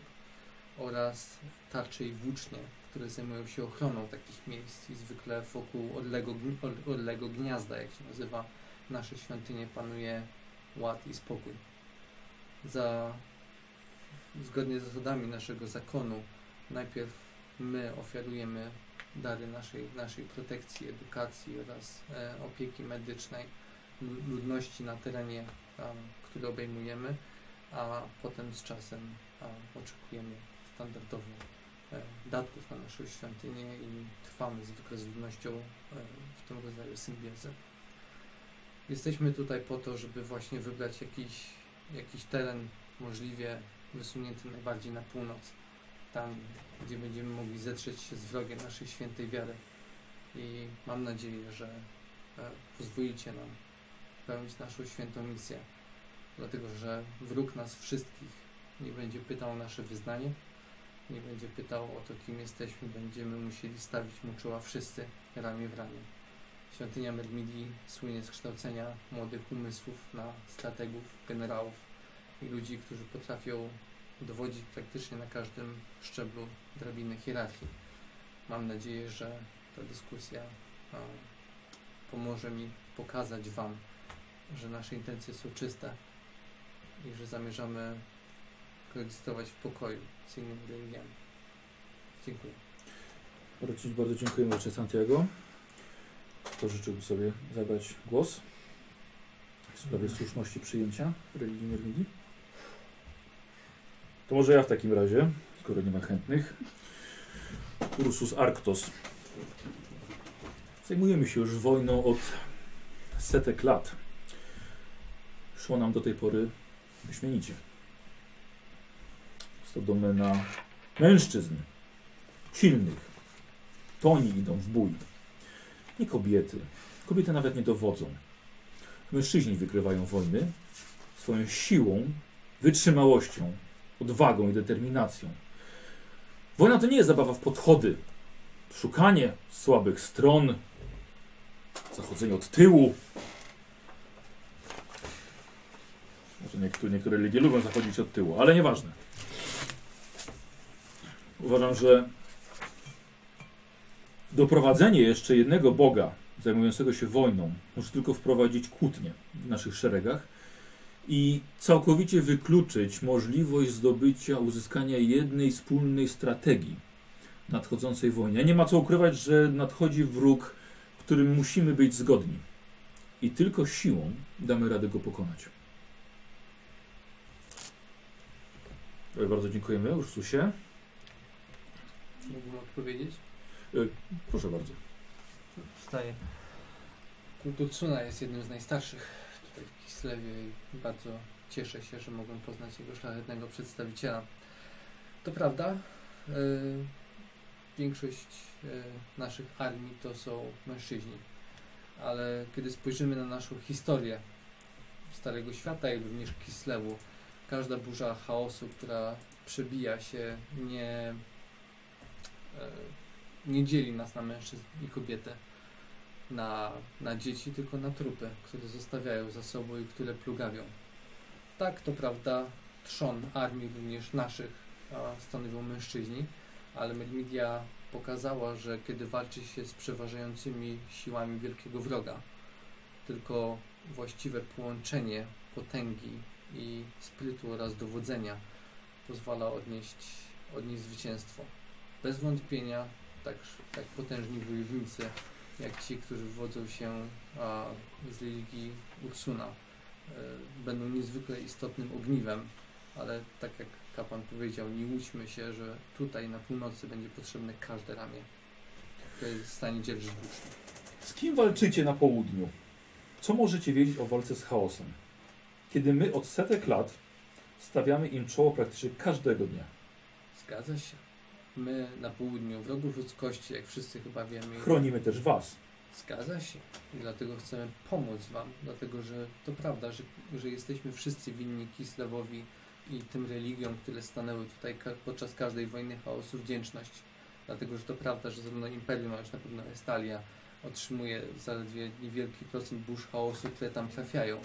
Speaker 4: oraz tarcze i włócznie, które zajmują się ochroną takich miejsc i zwykle wokół odległego, gni- odległego gniazda, jak się nazywa nasze świątynie, panuje ład i spokój. Za, zgodnie z zasadami naszego zakonu, najpierw my ofiarujemy dary naszej, naszej protekcji, edukacji oraz e, opieki medycznej lu- ludności na terenie, um, który obejmujemy, a potem z czasem um, oczekujemy standardowo e, datków na naszą świątynię i trwamy zwykle z ludnością e, w tym rodzaju symbiozy. Jesteśmy tutaj po to, żeby właśnie wybrać jakiś, jakiś teren możliwie wysunięty najbardziej na północ, tam gdzie będziemy mogli zetrzeć się z wrogiem naszej świętej wiary. I mam nadzieję, że e, pozwolicie nam pełnić naszą świętą misję, dlatego że wróg nas wszystkich nie będzie pytał o nasze wyznanie, nie będzie pytał o to, kim jesteśmy, będziemy musieli stawić mu czoła wszyscy ramię w ramię. Świątynia Mermidii słynie z kształcenia młodych umysłów na strategów, generałów i ludzi, którzy potrafią dowodzić praktycznie na każdym szczeblu drabiny hierarchii. Mam nadzieję, że ta dyskusja e, pomoże mi pokazać Wam, że nasze intencje są czyste i że zamierzamy koegzystować w pokoju z innymi religiami. Dziękuję.
Speaker 1: Bardzo, bardzo dziękujemy Ojcze Santiago. Kto życzyłby sobie zabrać głos w sprawie słuszności przyjęcia religii religii? To może ja w takim razie, skoro nie ma chętnych. Ursus Arctos. Zajmujemy się już wojną od setek lat. Szło nam do tej pory wyśmienicie. Jest to domena mężczyzn, silnych. To oni idą w bój. Nie kobiety. Kobiety nawet nie dowodzą. Mężczyźni wygrywają wojny swoją siłą, wytrzymałością, odwagą i determinacją. Wojna to nie jest zabawa w podchody, szukanie słabych stron, zachodzenie od tyłu. Może Znaczy, niektóre, niektóre religie lubią zachodzić od tyłu, ale nieważne. Uważam, że doprowadzenie jeszcze jednego Boga zajmującego się wojną może tylko wprowadzić kłótnie w naszych szeregach i całkowicie wykluczyć możliwość zdobycia, uzyskania jednej wspólnej strategii nadchodzącej wojnie. Nie ma co ukrywać, że nadchodzi wróg, którym musimy być zgodni. I tylko siłą damy radę go pokonać. Bardzo dziękujemy, Ursusie.
Speaker 4: Mógłbym odpowiedzieć?
Speaker 1: Proszę bardzo.
Speaker 4: Wstaję. Kult Utsuna jest jednym z najstarszych tutaj w Kislewie i bardzo cieszę się, że mogłem poznać jego szlachetnego przedstawiciela. To prawda, yy, większość yy, naszych armii to są mężczyźni, ale kiedy spojrzymy na naszą historię Starego Świata, jak również Kislewu, każda burza chaosu, która przebija się, nie e, nie dzieli nas na mężczyzn i kobiety, na, na dzieci, tylko na trupy, które zostawiają za sobą i które plugawią. Tak, to prawda, trzon armii również naszych a, stanowią mężczyźni, ale Mermidia pokazała, że kiedy walczy się z przeważającymi siłami wielkiego wroga, tylko właściwe połączenie potęgi i sprytu oraz dowodzenia pozwala odnieść, odnieść zwycięstwo bez wątpienia tak, tak potężni wojownicy jak ci, którzy wywodzą się a, z religii Ursuna. E, Będą niezwykle istotnym ogniwem, ale tak jak kapłan powiedział, nie łudźmy się, że tutaj na północy będzie potrzebne każde ramię, które jest w stanie dzierżyć włócznie.
Speaker 1: Z kim walczycie na południu? Co możecie wiedzieć o walce z chaosem? Kiedy my od setek lat stawiamy im czoło praktycznie każdego dnia.
Speaker 4: Zgadza się. My na południu wrogów ludzkości, jak wszyscy chyba wiemy,
Speaker 1: Chronimy też was.
Speaker 4: Zgadza się. I dlatego chcemy pomóc Wam, dlatego że to prawda, że, że jesteśmy wszyscy winni Kislewowi i tym religiom, które stanęły tutaj ka- podczas każdej wojny chaosu wdzięczność. Dlatego, że to prawda, że zarówno Imperium, a już na pewno Estalia otrzymuje zaledwie niewielki procent burz chaosu, które tam trafiają.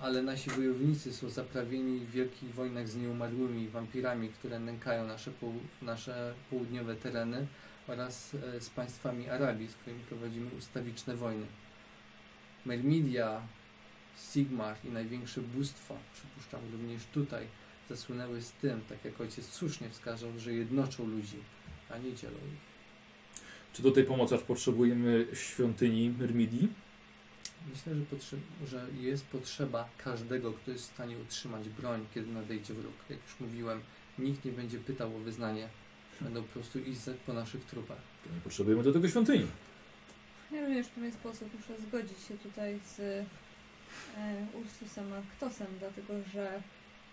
Speaker 4: Ale nasi wojownicy są zaprawieni w wielkich wojnach z nieumarłymi wampirami, które nękają nasze, pół, nasze południowe tereny oraz e, z państwami Arabii, z którymi prowadzimy ustawiczne wojny. Mermidia, Sigmar i największe bóstwa, przypuszczam również tutaj, zasłynęły z tym, tak jak ojciec słusznie wskazał, że jednoczą ludzi, a nie dzielą ich.
Speaker 1: Czy do tej pomocy aż potrzebujemy świątyni Myrmidii?
Speaker 4: Myślę, że, potrze- że jest potrzeba każdego, kto jest w stanie utrzymać broń, kiedy nadejdzie wróg. Jak już mówiłem, nikt nie będzie pytał o wyznanie. Będą po prostu iść za- po naszych trupach.
Speaker 1: To nie potrzebujemy do tego świątyni.
Speaker 3: Ja również w pewien sposób muszę zgodzić się tutaj z e, Ursusem Arktosem, dlatego że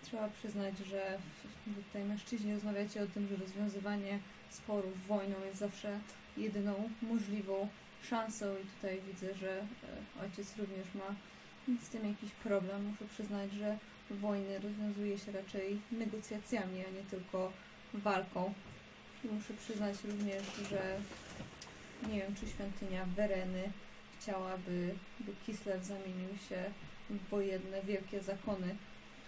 Speaker 3: trzeba przyznać, że w- w- tutaj mężczyźni rozmawiacie o tym, że rozwiązywanie sporów wojną jest zawsze jedyną możliwą szansą i tutaj widzę, że e, ojciec również ma z tym jakiś problem. Muszę przyznać, że wojny rozwiązuje się raczej negocjacjami, a nie tylko walką. I muszę przyznać również, że nie wiem, czy świątynia Wereny chciałaby, by Kislev zamienił się w wojenne wielkie zakony,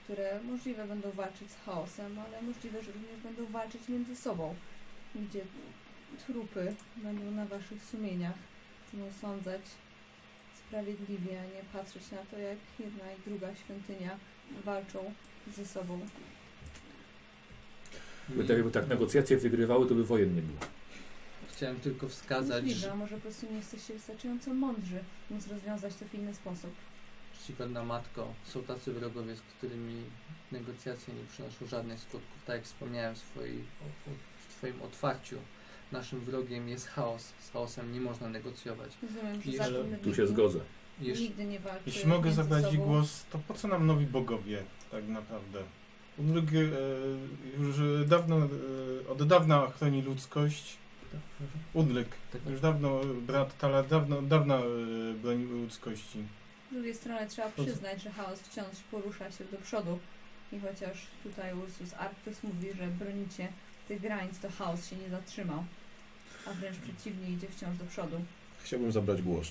Speaker 3: które możliwe będą walczyć z chaosem, ale możliwe, że również będą walczyć między sobą, gdzie trupy będą na waszych sumieniach. Chcą sądzać sprawiedliwie, a nie patrzeć na to, jak jedna i druga świątynia walczą ze sobą.
Speaker 1: Bo tak, jakby tak negocjacje wygrywały, to by wojen nie było.
Speaker 4: Chciałem tylko wskazać,
Speaker 3: Możliwe,
Speaker 4: że
Speaker 3: a może po prostu nie jesteście wystarczająco mądrzy, więc rozwiązać to w inny sposób.
Speaker 4: czcigodna matko, są tacy wrogowie, z którymi negocjacje nie przynoszą żadnych skutków. Tak jak wspomniałem w, swojej, o- o- w Twoim otwarciu, naszym wrogiem jest chaos. Z chaosem nie można negocjować.
Speaker 3: Rozumiem, że
Speaker 4: I-
Speaker 3: zakon
Speaker 1: Tu się
Speaker 3: nigdy-
Speaker 1: zgodzę.
Speaker 4: Jeszcze
Speaker 3: Nigdy nie walczy.
Speaker 6: Jeśli mogę
Speaker 3: Y, między
Speaker 6: zabrać
Speaker 3: sobą.
Speaker 6: głos, to po co nam nowi bogowie tak naprawdę? Po drugie, e, już dawno, e, od dawna chroni ludzkość Udlyk.
Speaker 4: Tak.
Speaker 6: Już dawno e, brat Tala dawno, dawno e, bronił ludzkości.
Speaker 3: Z drugiej strony trzeba przyznać, że chaos wciąż porusza się do przodu. I chociaż tutaj Ursus Arctus mówi, że bronicie tych granic, to chaos się nie zatrzymał. A wręcz przeciwnie, idzie wciąż do przodu.
Speaker 2: Chciałbym zabrać głos.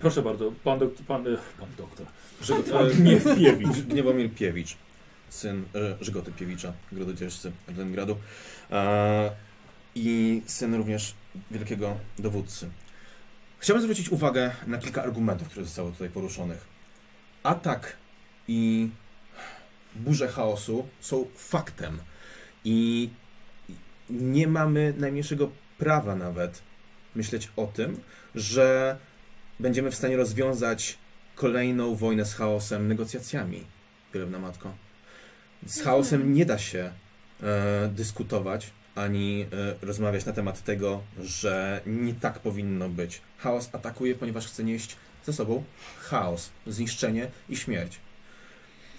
Speaker 1: Proszę bardzo, pan, dokt- pan, e, pan doktor. Że,
Speaker 2: e,
Speaker 1: pan nie wpiewicz.
Speaker 2: Gniewomir Piewicz, syn e, Żgoty Piewicza, grododzieżcy Leningradu e, i syn również wielkiego dowódcy. Chciałbym zwrócić uwagę na kilka argumentów, które zostały tutaj poruszonych. Atak i burze chaosu są faktem i nie mamy najmniejszego prawa nawet myśleć o tym, że będziemy w stanie rozwiązać kolejną wojnę z chaosem negocjacjami, królewna matko. Z chaosem nie da się e, dyskutować ani e, rozmawiać na temat tego, że nie tak powinno być. Chaos atakuje, ponieważ chce nieść ze sobą chaos, zniszczenie i śmierć.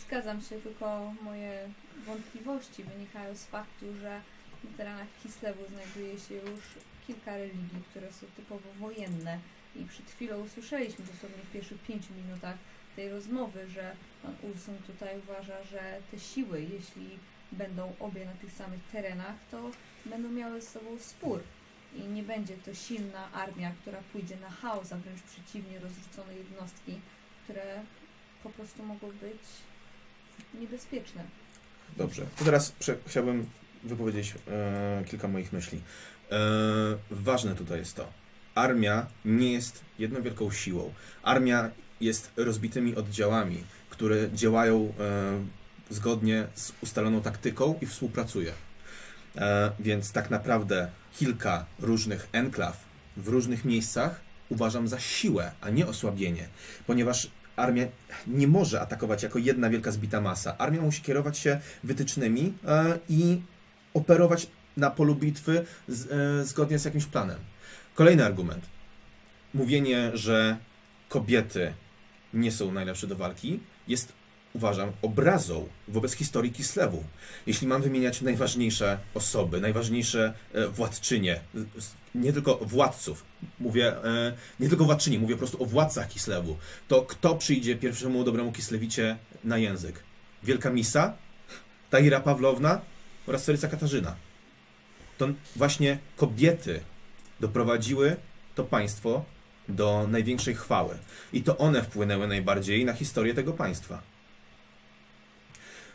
Speaker 3: Zgadzam się, tylko moje wątpliwości wynikają z faktu, że na terenach Kislewu znajduje się już kilka religii, które są typowo wojenne. I przed chwilą usłyszeliśmy dosłownie w pierwszych pięciu minutach tej rozmowy, że pan Ursun tutaj uważa, że te siły, jeśli będą obie na tych samych terenach, to będą miały z sobą spór. I nie będzie to silna armia, która pójdzie na chaos, a wręcz przeciwnie, rozrzucone jednostki, które po prostu mogą być niebezpieczne.
Speaker 2: Dobrze, to teraz prze- chciałbym wypowiedzieć e, kilka moich myśli. E, ważne tutaj jest to. Armia nie jest jedną wielką siłą. Armia jest rozbitymi oddziałami, które działają e, zgodnie z ustaloną taktyką i współpracuje. E, więc tak naprawdę kilka różnych enklaw w różnych miejscach uważam za siłę, a nie osłabienie, ponieważ armia nie może atakować jako jedna wielka zbita masa. Armia musi kierować się wytycznymi e, i operować na polu bitwy z, e, zgodnie z jakimś planem. Kolejny argument. Mówienie, że kobiety nie są najlepsze do walki, jest, uważam, obrazą wobec historii Kislewu. Jeśli mam wymieniać najważniejsze osoby, najważniejsze e, władczynie, z- nie tylko władców, mówię, e, nie tylko władczyni, mówię po prostu o władcach Kislewu, to kto przyjdzie pierwszemu dobremu Kislewicie na język? Wielka Misa, Taira Pawlowna oraz Feryca Katarzyna. To właśnie kobiety doprowadziły to państwo do największej chwały. I to one wpłynęły najbardziej na historię tego państwa.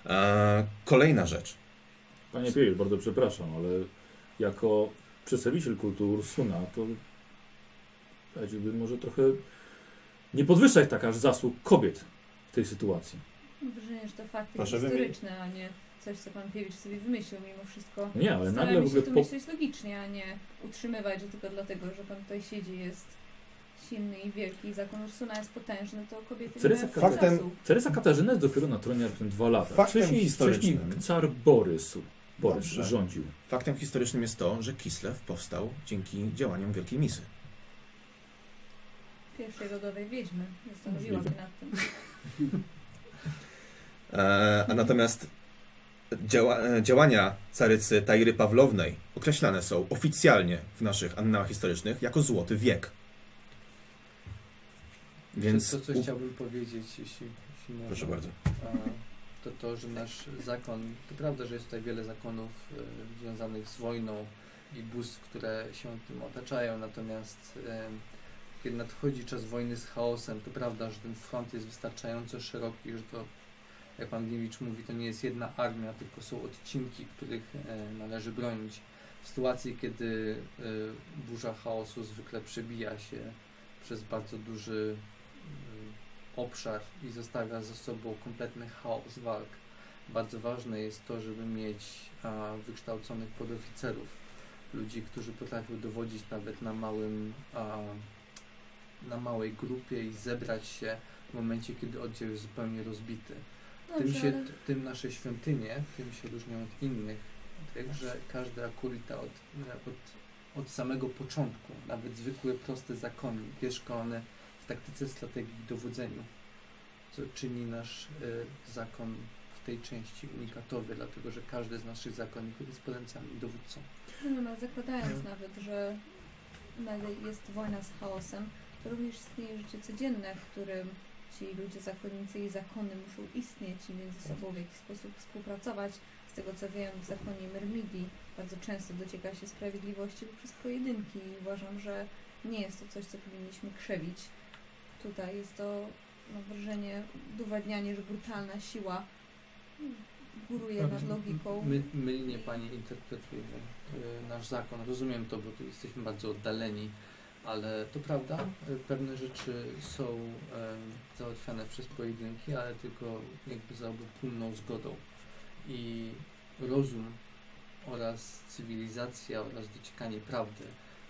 Speaker 2: Eee, kolejna rzecz.
Speaker 1: Panie Piewisz, bardzo przepraszam, ale jako przedstawiciel kultu Ursuna, to radziłbym może trochę nie podwyższać tak aż zasług kobiet w tej sytuacji.
Speaker 3: Mam wrażenie, że to fakty
Speaker 2: Proszę
Speaker 3: historyczne, a nie coś, co pan Piewicz sobie wymyślił mimo wszystko.
Speaker 1: No nie, ale nagle w
Speaker 3: Staramy się
Speaker 1: ogóle
Speaker 3: tu
Speaker 1: po,
Speaker 3: myśleć logicznie, a nie utrzymywać, że tylko dlatego, że pan tutaj siedzi jest silny i wielki i zakon Ursuna jest potężny, to kobiety
Speaker 1: Teresa
Speaker 3: nie mają
Speaker 2: Faktem-
Speaker 3: czasu.
Speaker 1: Teresa Katarzyna jest dopiero na tronie na dwa lata.
Speaker 2: Faktem
Speaker 1: wcześniej, wcześniej
Speaker 2: historycznym.
Speaker 1: car Borys, Borys
Speaker 2: Dobrze.
Speaker 1: rządził.
Speaker 2: Faktem historycznym jest to, że Kislew powstał dzięki działaniom Wielkiej Misy.
Speaker 3: Pierwszej rodowej wiedźmy. Zastanowiłam się nad tym.
Speaker 2: E, a natomiast działa, e, działania carycy Tairy Pawlownej określane są oficjalnie w naszych annałach historycznych jako Złoty Wiek. Więc...
Speaker 4: To, co
Speaker 2: u-
Speaker 4: chciałbym powiedzieć, jeśli, jeśli można.
Speaker 2: Proszę bardzo.
Speaker 4: A E, to to, że nasz zakon, to prawda, że jest tutaj wiele zakonów e, związanych z wojną i bóstw, które się tym otaczają, natomiast e, kiedy nadchodzi czas wojny z chaosem, to prawda, że ten front jest wystarczająco szeroki, że to, jak pan Gliwicz mówi, to nie jest jedna armia, tylko są odcinki, których e, należy bronić. W sytuacji, kiedy e, burza chaosu zwykle przebija się przez bardzo duży mm, obszar i zostawia za sobą kompletny chaos walk. Bardzo ważne jest to, żeby mieć a, wykształconych podoficerów, ludzi, którzy potrafią dowodzić nawet na małym, a, na małej grupie i zebrać się w momencie, kiedy oddział jest zupełnie rozbity. Tym,
Speaker 3: Dobrze,
Speaker 4: się,
Speaker 3: ale
Speaker 4: tym nasze świątynie, tym się różnią od innych, także każda akurita od, e, od, od samego początku, nawet zwykły, prosty zakonnik, wiesz, one w taktyce, strategii i dowodzeniu, co czyni nasz y, zakon w tej części unikatowy, dlatego że każdy z naszych zakonników jest potencjalnym dowódcą.
Speaker 3: no, no, zakładając nawet, że nagle jest wojna z chaosem, to również istnieje życie codzienne, w którym ci ludzie zakonnicy i zakony muszą istnieć i między sobą w jakiś sposób współpracować. Z tego co wiem, w zakonie Myrmidii bardzo często docieka się sprawiedliwości poprzez pojedynki i uważam, że nie jest to coś, co powinniśmy krzewić. Tutaj jest to mam wrażenie, udowadnianie, że brutalna siła góruje nad logiką.
Speaker 4: My, mylnie Pani interpretuje y, nasz zakon. Rozumiem to, bo tu jesteśmy bardzo oddaleni, ale to prawda, y, pewne rzeczy są y, załatwiane przez pojedynki, ale tylko jakby za obopólną zgodą. I rozum oraz cywilizacja oraz dociekanie prawdy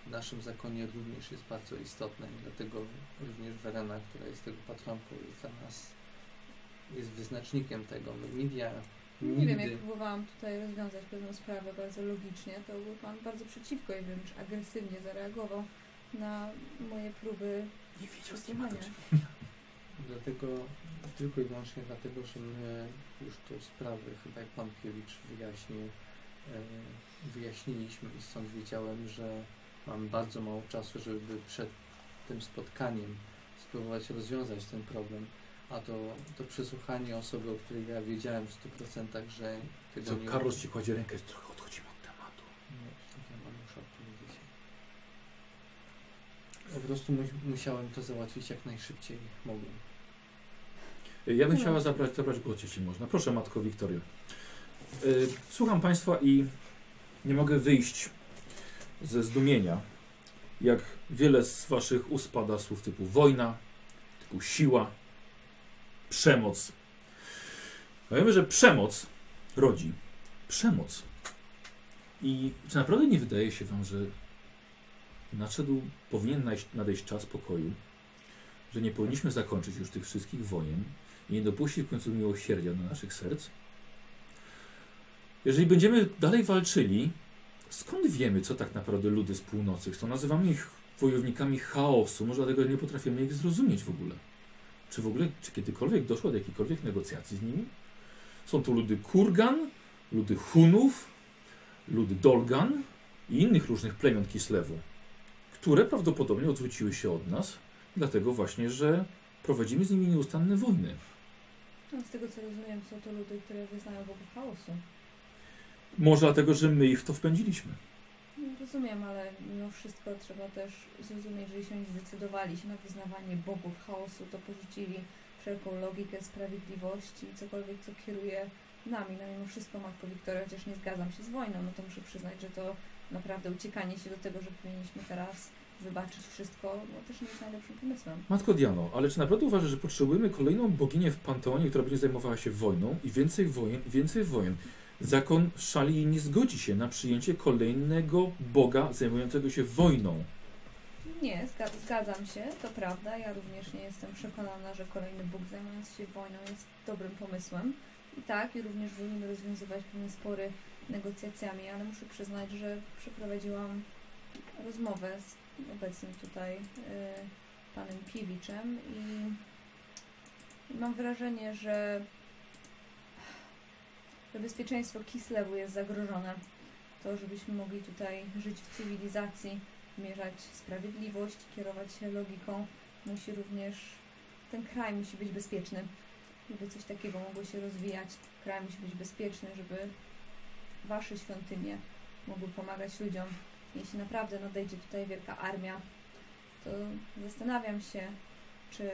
Speaker 4: w naszym zakonie również jest bardzo istotne i dlatego również Werena, która jest tego patronką, jest dla nas jest wyznacznikiem tego. Media
Speaker 3: Nie wiem,
Speaker 4: nigdy-
Speaker 3: jak próbowałam tutaj rozwiązać pewną sprawę bardzo logicznie, to był Pan bardzo przeciwko i wręcz agresywnie zareagował na moje próby
Speaker 4: Nie widział
Speaker 3: posłuchania.
Speaker 4: Dlatego, tylko i wyłącznie dlatego, że my już tą sprawę, chyba jak pan Kiewicz wyjaśnił, e, wyjaśniliśmy i stąd wiedziałem, że mam bardzo mało czasu, żeby przed tym spotkaniem spróbować rozwiązać ten problem. A to, to przesłuchanie osoby, o której ja wiedziałem w 100%, że tego
Speaker 1: Co,
Speaker 4: nie...
Speaker 1: Karol ci kładzie rękę, trochę odchodzimy od tematu.
Speaker 4: Ja mam już odpowiedzieć. Po prostu mu- musiałem to załatwić jak najszybciej mogłem.
Speaker 1: Ja bym
Speaker 3: No.
Speaker 1: chciała zabrać, zabrać głos, jeśli można. Proszę, matko Wiktorio. Y, Słucham Państwa i nie mogę wyjść ze zdumienia, jak wiele z Waszych ust pada słów typu wojna, typu siła, przemoc. A Wiemy, że przemoc rodzi przemoc. I czy naprawdę nie wydaje się Wam, że nadszedł, powinien najść- nadejść czas pokoju, że nie powinniśmy zakończyć już tych wszystkich wojen i nie dopuścić w końcu miłosierdzia do naszych serc. Jeżeli będziemy dalej walczyli, skąd wiemy, co tak naprawdę ludy z północy chcą? Nazywamy ich wojownikami chaosu, może dlatego nie potrafimy ich zrozumieć w ogóle. Czy w ogóle, czy kiedykolwiek doszło do jakichkolwiek negocjacji z nimi? Są to ludy Kurgan, ludy Hunów, ludy Dolgan i innych różnych plemion Kislewu, które prawdopodobnie odwróciły się od nas, dlatego właśnie, że prowadzimy z nimi nieustanne wojny.
Speaker 3: No, z tego co rozumiem, są to ludy, które wyznają bogów chaosu.
Speaker 1: Może dlatego, że my ich w to wpędziliśmy.
Speaker 3: No, Rozumiem, ale mimo wszystko trzeba też zrozumieć, że jeśli oni zdecydowali się na wyznawanie bogów chaosu, to porzucili wszelką logikę sprawiedliwości i cokolwiek, co kieruje nami. No mimo wszystko, Matko Wiktoria, chociaż nie zgadzam się z wojną, no to muszę przyznać, że to naprawdę uciekanie się do tego, że powinniśmy teraz wybaczyć wszystko, no też nie jest najlepszym pomysłem.
Speaker 1: Matko Diano, ale czy naprawdę uważasz, że potrzebujemy kolejną boginię w Panteonie, która będzie zajmowała się wojną i więcej wojen, i więcej wojen? Zakon Szali nie zgodzi się na przyjęcie kolejnego boga zajmującego się wojną.
Speaker 3: Nie, zga- zgadzam się, to prawda. Ja również nie jestem przekonana, że kolejny Bóg zajmujący się wojną jest dobrym pomysłem. I tak, i również powinien rozwiązywać pewne spory negocjacjami, ale muszę przyznać, że przeprowadziłam rozmowę z obecnym tutaj y, panem Piewiczem i mam wrażenie, że, że bezpieczeństwo Kislewu jest zagrożone. To, żebyśmy mogli tutaj żyć w cywilizacji, mierzać sprawiedliwość, kierować się logiką. Musi również ten kraj musi być bezpieczny. Żeby coś takiego mogło się rozwijać, kraj musi być bezpieczny, żeby wasze świątynie mogły pomagać ludziom. Jeśli naprawdę nadejdzie tutaj wielka armia, to zastanawiam się, czy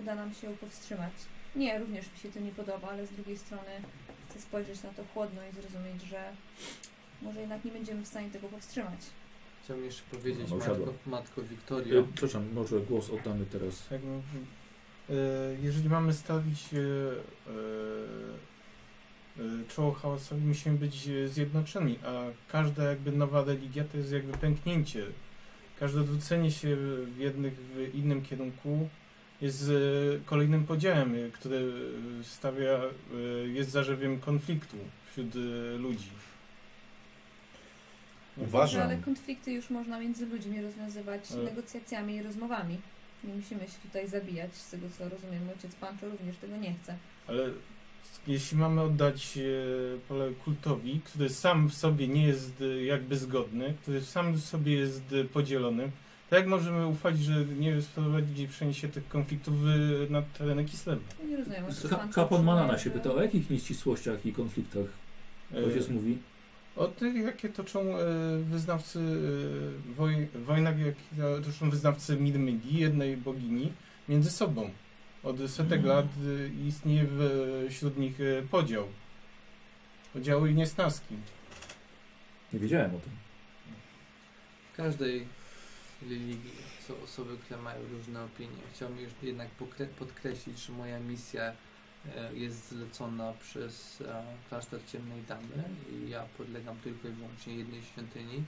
Speaker 3: uda nam się ją powstrzymać. Nie, również mi się to nie podoba, ale z drugiej strony chcę spojrzeć na to chłodno i zrozumieć, że może jednak nie będziemy w stanie tego powstrzymać.
Speaker 4: Chciałbym jeszcze powiedzieć,
Speaker 1: No, usiadła.
Speaker 4: matko, matko Wiktorio,
Speaker 1: E, przepraszam, może głos oddamy teraz.
Speaker 6: Tak, no. E, Jeżeli mamy stawić e, e, e, czoło chaosowi, musimy być e, zjednoczeni, a każda jakby nowa religia to jest jakby pęknięcie. Każde odwrócenie się w jednych, w innym kierunku jest e, kolejnym podziałem, e, który e, stawia, e, jest zarzewiem konfliktu wśród e, ludzi.
Speaker 3: No,
Speaker 2: Uważam.
Speaker 3: ale konflikty już można między ludźmi
Speaker 1: E.
Speaker 3: rozwiązywać
Speaker 6: Ale-
Speaker 3: negocjacjami i rozmowami. Nie musimy się tutaj zabijać, z tego co rozumiem. Ojciec Pancho również tego nie chce.
Speaker 6: Ale s- jeśli mamy oddać e, pole kultowi, który sam w sobie nie jest e, jakby zgodny, który sam w sobie jest e, podzielony, to jak możemy ufać, że nie sprowadzi przeniesie tych konfliktów e, na tereny Kislewu?
Speaker 3: Ja nie rozumiem, ojciec
Speaker 1: Ka-
Speaker 3: Pancho
Speaker 1: Kapłan
Speaker 3: utrzymuje,
Speaker 1: Manana się
Speaker 3: że-
Speaker 1: pytał, o jakich nieścisłościach i konfliktach
Speaker 6: E,
Speaker 1: ojciec mówi?
Speaker 6: O tych, jakie toczą e, wyznawcy e, woj, wojna, jakie toczą wyznawcy Mirmygi, jednej bogini, między sobą. Od setek
Speaker 1: Mm.
Speaker 6: lat e, istnieje w- wśród nich e, podział. Podziały i niesnaski.
Speaker 1: Nie wiedziałem o tym.
Speaker 4: w każdej religii są osoby, które mają różne opinie. Chciałbym już jednak pokre- podkreślić, że moja misja e, jest zlecona przez e, klasztor Ciemnej Damy i ja podlegam tylko i wyłącznie jednej świątyni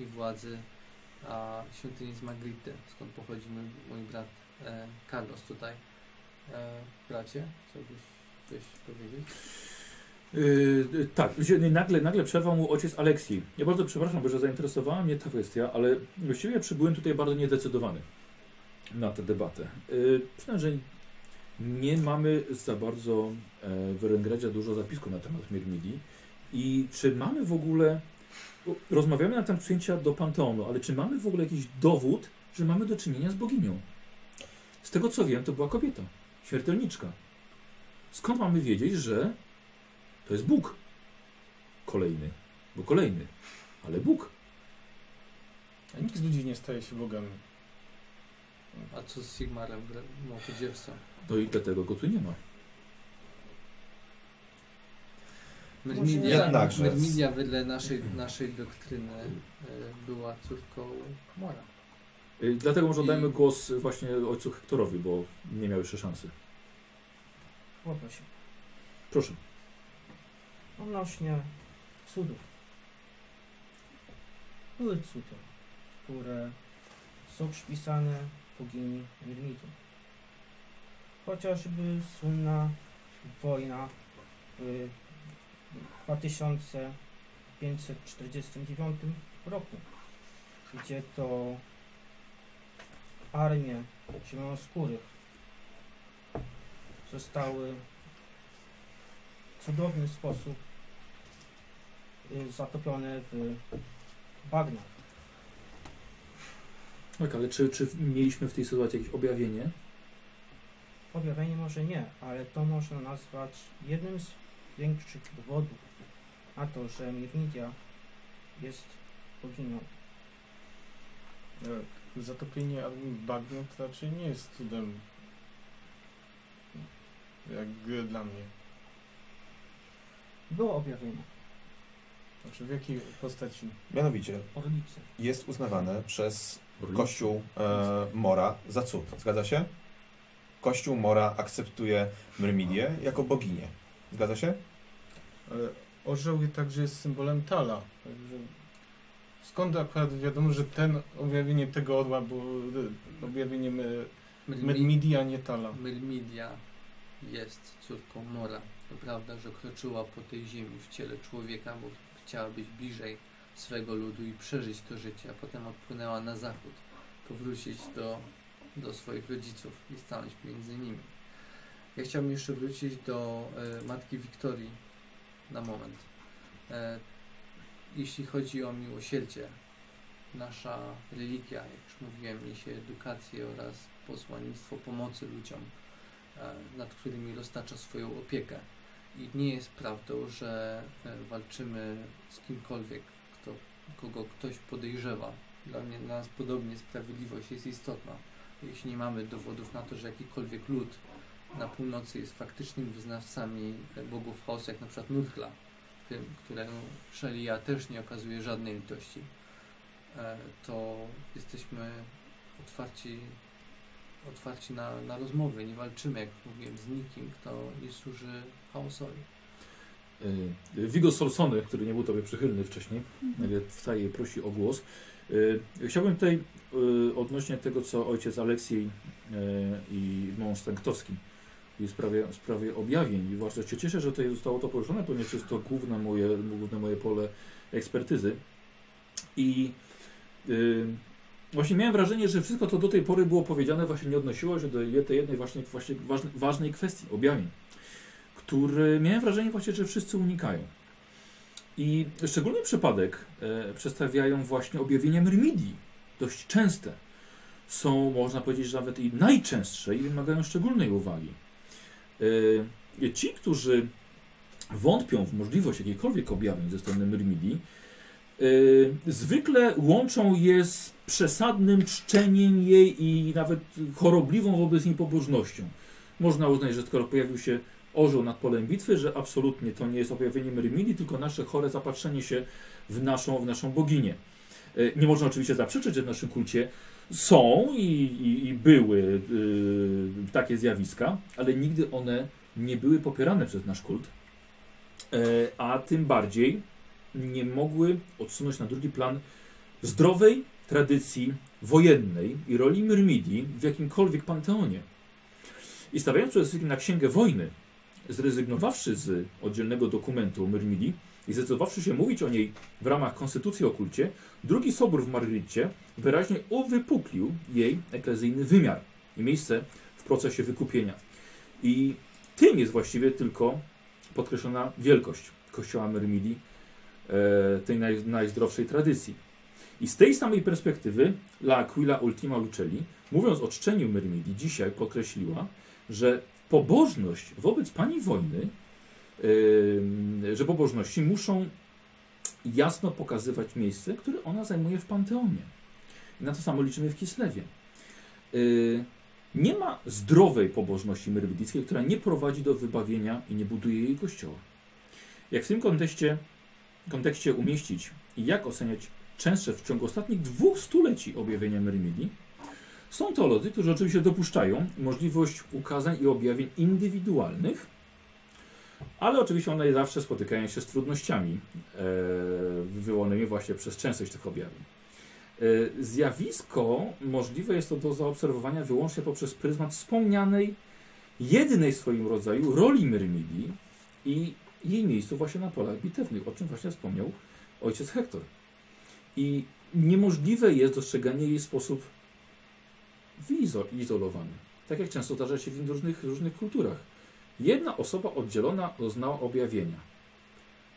Speaker 4: i władzy a, świątyni z Magrity, skąd pochodzi mój, mój brat e, Carlos tutaj. E, bracie, chciałbyś coś powiedzieć?
Speaker 1: Yy, yy, tak, wzi- nagle, nagle przerwał mu ojciec Aleksiej. Ja bardzo przepraszam, bo że zainteresowała mnie ta kwestia, ale właściwie przybyłem tutaj bardzo niedecydowany na tę debatę. Yy, przynajmniej nie mamy za bardzo e, w Rengradzie dużo zapisków na temat Mirmidi. I czy mamy w ogóle. bo Rozmawiamy na temat przyjęcia do Panteonu, ale czy mamy w ogóle jakiś dowód, że mamy do czynienia z boginią? Z tego co wiem, to była kobieta, śmiertelniczka. Skąd mamy wiedzieć, że to jest Bóg. Kolejny, bo kolejny, ale Bóg.
Speaker 6: A nikt z ludzi nie staje się bogami.
Speaker 4: A co z Sigmarem, młodzieżcą?
Speaker 1: No i dlatego go tu nie ma.
Speaker 4: Myrmidia,
Speaker 2: Jednakże.
Speaker 4: Myrmidia wedle naszej, naszej doktryny e, była córką Mora.
Speaker 1: Y, Dlatego może
Speaker 4: I-
Speaker 1: oddajmy głos y, właśnie ojcu Hektorowi, bo nie miał jeszcze szansy.
Speaker 5: Chłopak się.
Speaker 1: Proszę.
Speaker 5: Odnośnie cudów. Były cuda.
Speaker 26: które są przypisane bogini Mirmitu. Chociażby słynna wojna w 2549 roku, gdzie to armie zielonoskórych zostały w cudowny sposób y, zatopione w bagnach.
Speaker 1: Tak, ale czy, czy mieliśmy w tej sytuacji jakieś objawienie?
Speaker 26: Objawienie może nie, ale to można nazwać jednym z większych dowodów na to, że Mirnidia jest boginią.
Speaker 6: E, Zatopienie armii w bagnie to raczej nie jest cudem. Jak gry dla mnie.
Speaker 26: Było objawienie.
Speaker 6: Znaczy w jakiej postaci?
Speaker 2: Mianowicie
Speaker 26: Orlicy.
Speaker 2: jest uznawane przez
Speaker 1: Mhm.
Speaker 2: Kościół e, Mora za cud. Zgadza się? Kościół Mora akceptuje Myrmidię jako boginię. Zgadza się?
Speaker 6: Ale orzeł je także jest symbolem Tala. Także skąd akurat wiadomo, że ten objawienie tego orła było e, objawieniem e, Medmidi, a nie Tala?
Speaker 4: Melmidia jest córką Mora. To prawda, że kroczyła po tej ziemi w ciele człowieka, bo chciała być bliżej swego ludu i przeżyć to życie, a potem odpłynęła na zachód, powrócić do, do swoich rodziców i stanąć między nimi. Ja chciałbym jeszcze wrócić do e, matki Wiktorii na moment. E, jeśli chodzi o miłosierdzie, nasza religia, jak już mówiłem, niesie edukację oraz posłannictwo pomocy ludziom, e, nad którymi roztacza swoją opiekę. I nie jest prawdą, że e, walczymy z kimkolwiek, kto, kogo ktoś podejrzewa. Dla mnie, dla nas podobnie sprawiedliwość jest istotna. Jeśli nie mamy dowodów na to, że jakikolwiek lud na północy jest faktycznymi wyznawcami e, bogów chaosu, jak na przykład Nurgla, tym, któremu Szalia też nie okazuje żadnej litości, e, to jesteśmy otwarci, otwarci na, na rozmowy. Nie walczymy, jak mówiłem, z nikim, kto nie służy chaosowi.
Speaker 1: Y, Vigo Solsony, który nie był tobie przychylny wcześniej,
Speaker 3: Mhm.
Speaker 1: nagle wstaje i prosi o głos. Y, Chciałbym tutaj y, odnośnie tego, co ojciec Aleksiej y, i mąż Stanktowski i w sprawie, w sprawie objawień. I właśnie się cieszę, że tutaj zostało to poruszone, ponieważ jest to główne moje, główne moje pole ekspertyzy. I y, właśnie miałem wrażenie, że wszystko, co do tej pory było powiedziane, właśnie nie odnosiło się do je- tej jednej właśnie, właśnie ważnej, ważnej kwestii, objawień który miałem wrażenie właśnie, że wszyscy unikają. I szczególny przypadek e, przedstawiają właśnie objawienia myrmidii. Dość częste. Są, można powiedzieć, że nawet i najczęstsze i wymagają szczególnej uwagi. E, ci, którzy wątpią w możliwość jakiejkolwiek objawień ze strony myrmidii, e, zwykle łączą je z przesadnym czczeniem jej i nawet chorobliwą wobec niej pobożnością. Można uznać, że skoro pojawił się orzeł nad polem bitwy, że absolutnie to nie jest objawienie Myrmidii, tylko nasze chore zapatrzenie się w naszą, w naszą boginię. E, Nie można oczywiście zaprzeczyć, że w naszym kulcie są i, i, i były y, takie zjawiska, ale nigdy one nie były popierane przez nasz kult, E, a tym bardziej nie mogły odsunąć na drugi plan zdrowej tradycji wojennej i roli Myrmidii w jakimkolwiek panteonie. I stawiając przede wszystkim na księgę wojny, zrezygnowawszy z oddzielnego dokumentu Myrmidii i zdecydowawszy się mówić o niej w ramach konstytucji o kulcie, drugi sobór w Margrycie wyraźnie uwypuklił jej eklezyjny wymiar i miejsce w procesie wykupienia. I tym jest właściwie tylko podkreślona wielkość kościoła Myrmidii, e, tej naj, najzdrowszej tradycji. I z tej samej perspektywy La Aquila Ultima Lucelli, mówiąc o czczeniu Myrmidii, dzisiaj podkreśliła, że pobożność wobec pani wojny, ym, że pobożności muszą jasno pokazywać miejsce, które ona zajmuje w Panteonie. I na to samo liczymy w Kislewie. Yy, Nie ma zdrowej pobożności myrmidickiej, która nie prowadzi do wybawienia i nie buduje jej kościoła. Jak w tym kontekście, kontekście umieścić i jak oceniać częstsze w ciągu ostatnich dwóch stuleci objawienia Myrmidii, są teolodzy, którzy oczywiście dopuszczają możliwość ukazań i objawień indywidualnych, ale oczywiście one zawsze spotykają się z trudnościami e, wywołanymi właśnie przez częstość tych objawień. E, Zjawisko możliwe jest to do zaobserwowania wyłącznie poprzez pryzmat wspomnianej jedynej w swoim rodzaju roli Myrmidii i jej miejscu właśnie na polach bitewnych, o czym właśnie wspomniał ojciec Hektor. I niemożliwe jest dostrzeganie jej w sposób wyizolowany. Tak jak często zdarza się w różnych, różnych kulturach. Jedna osoba oddzielona doznała objawienia.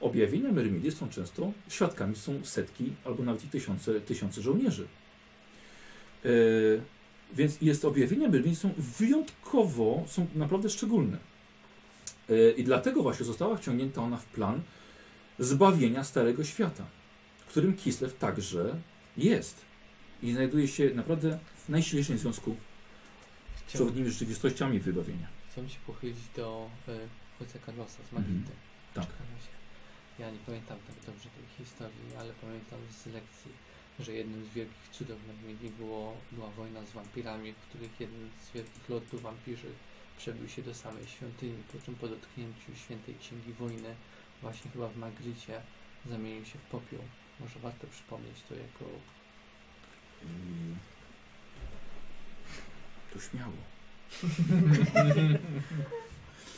Speaker 1: Objawienia Myrmidy są często świadkami są setki albo nawet i tysiące, tysiące żołnierzy. E, więc jest objawienia Myrmidy są wyjątkowo, są naprawdę szczególne. E, I dlatego właśnie została wciągnięta ona w plan zbawienia Starego Świata, w którym Kislev także jest. I znajduje się naprawdę w najsilniejszym związku z
Speaker 9: Chciałbym,
Speaker 1: przewodnimi rzeczywistościami wybawienia.
Speaker 9: chciałbym się pochylić do y, ojca Carlosa z Madryty.
Speaker 1: Tak.
Speaker 9: Czekamy się. Ja nie pamiętam tak dobrze tej historii, ale pamiętam z lekcji, że jednym z wielkich cudów Magmili było, była wojna z wampirami, w których jeden z wielkich lotów wampirzy przebił się do samej świątyni, po czym po dotknięciu świętej księgi wojny, właśnie chyba w Magricie, zamienił się w popiół. Może warto przypomnieć to jako...
Speaker 1: I... To śmiało.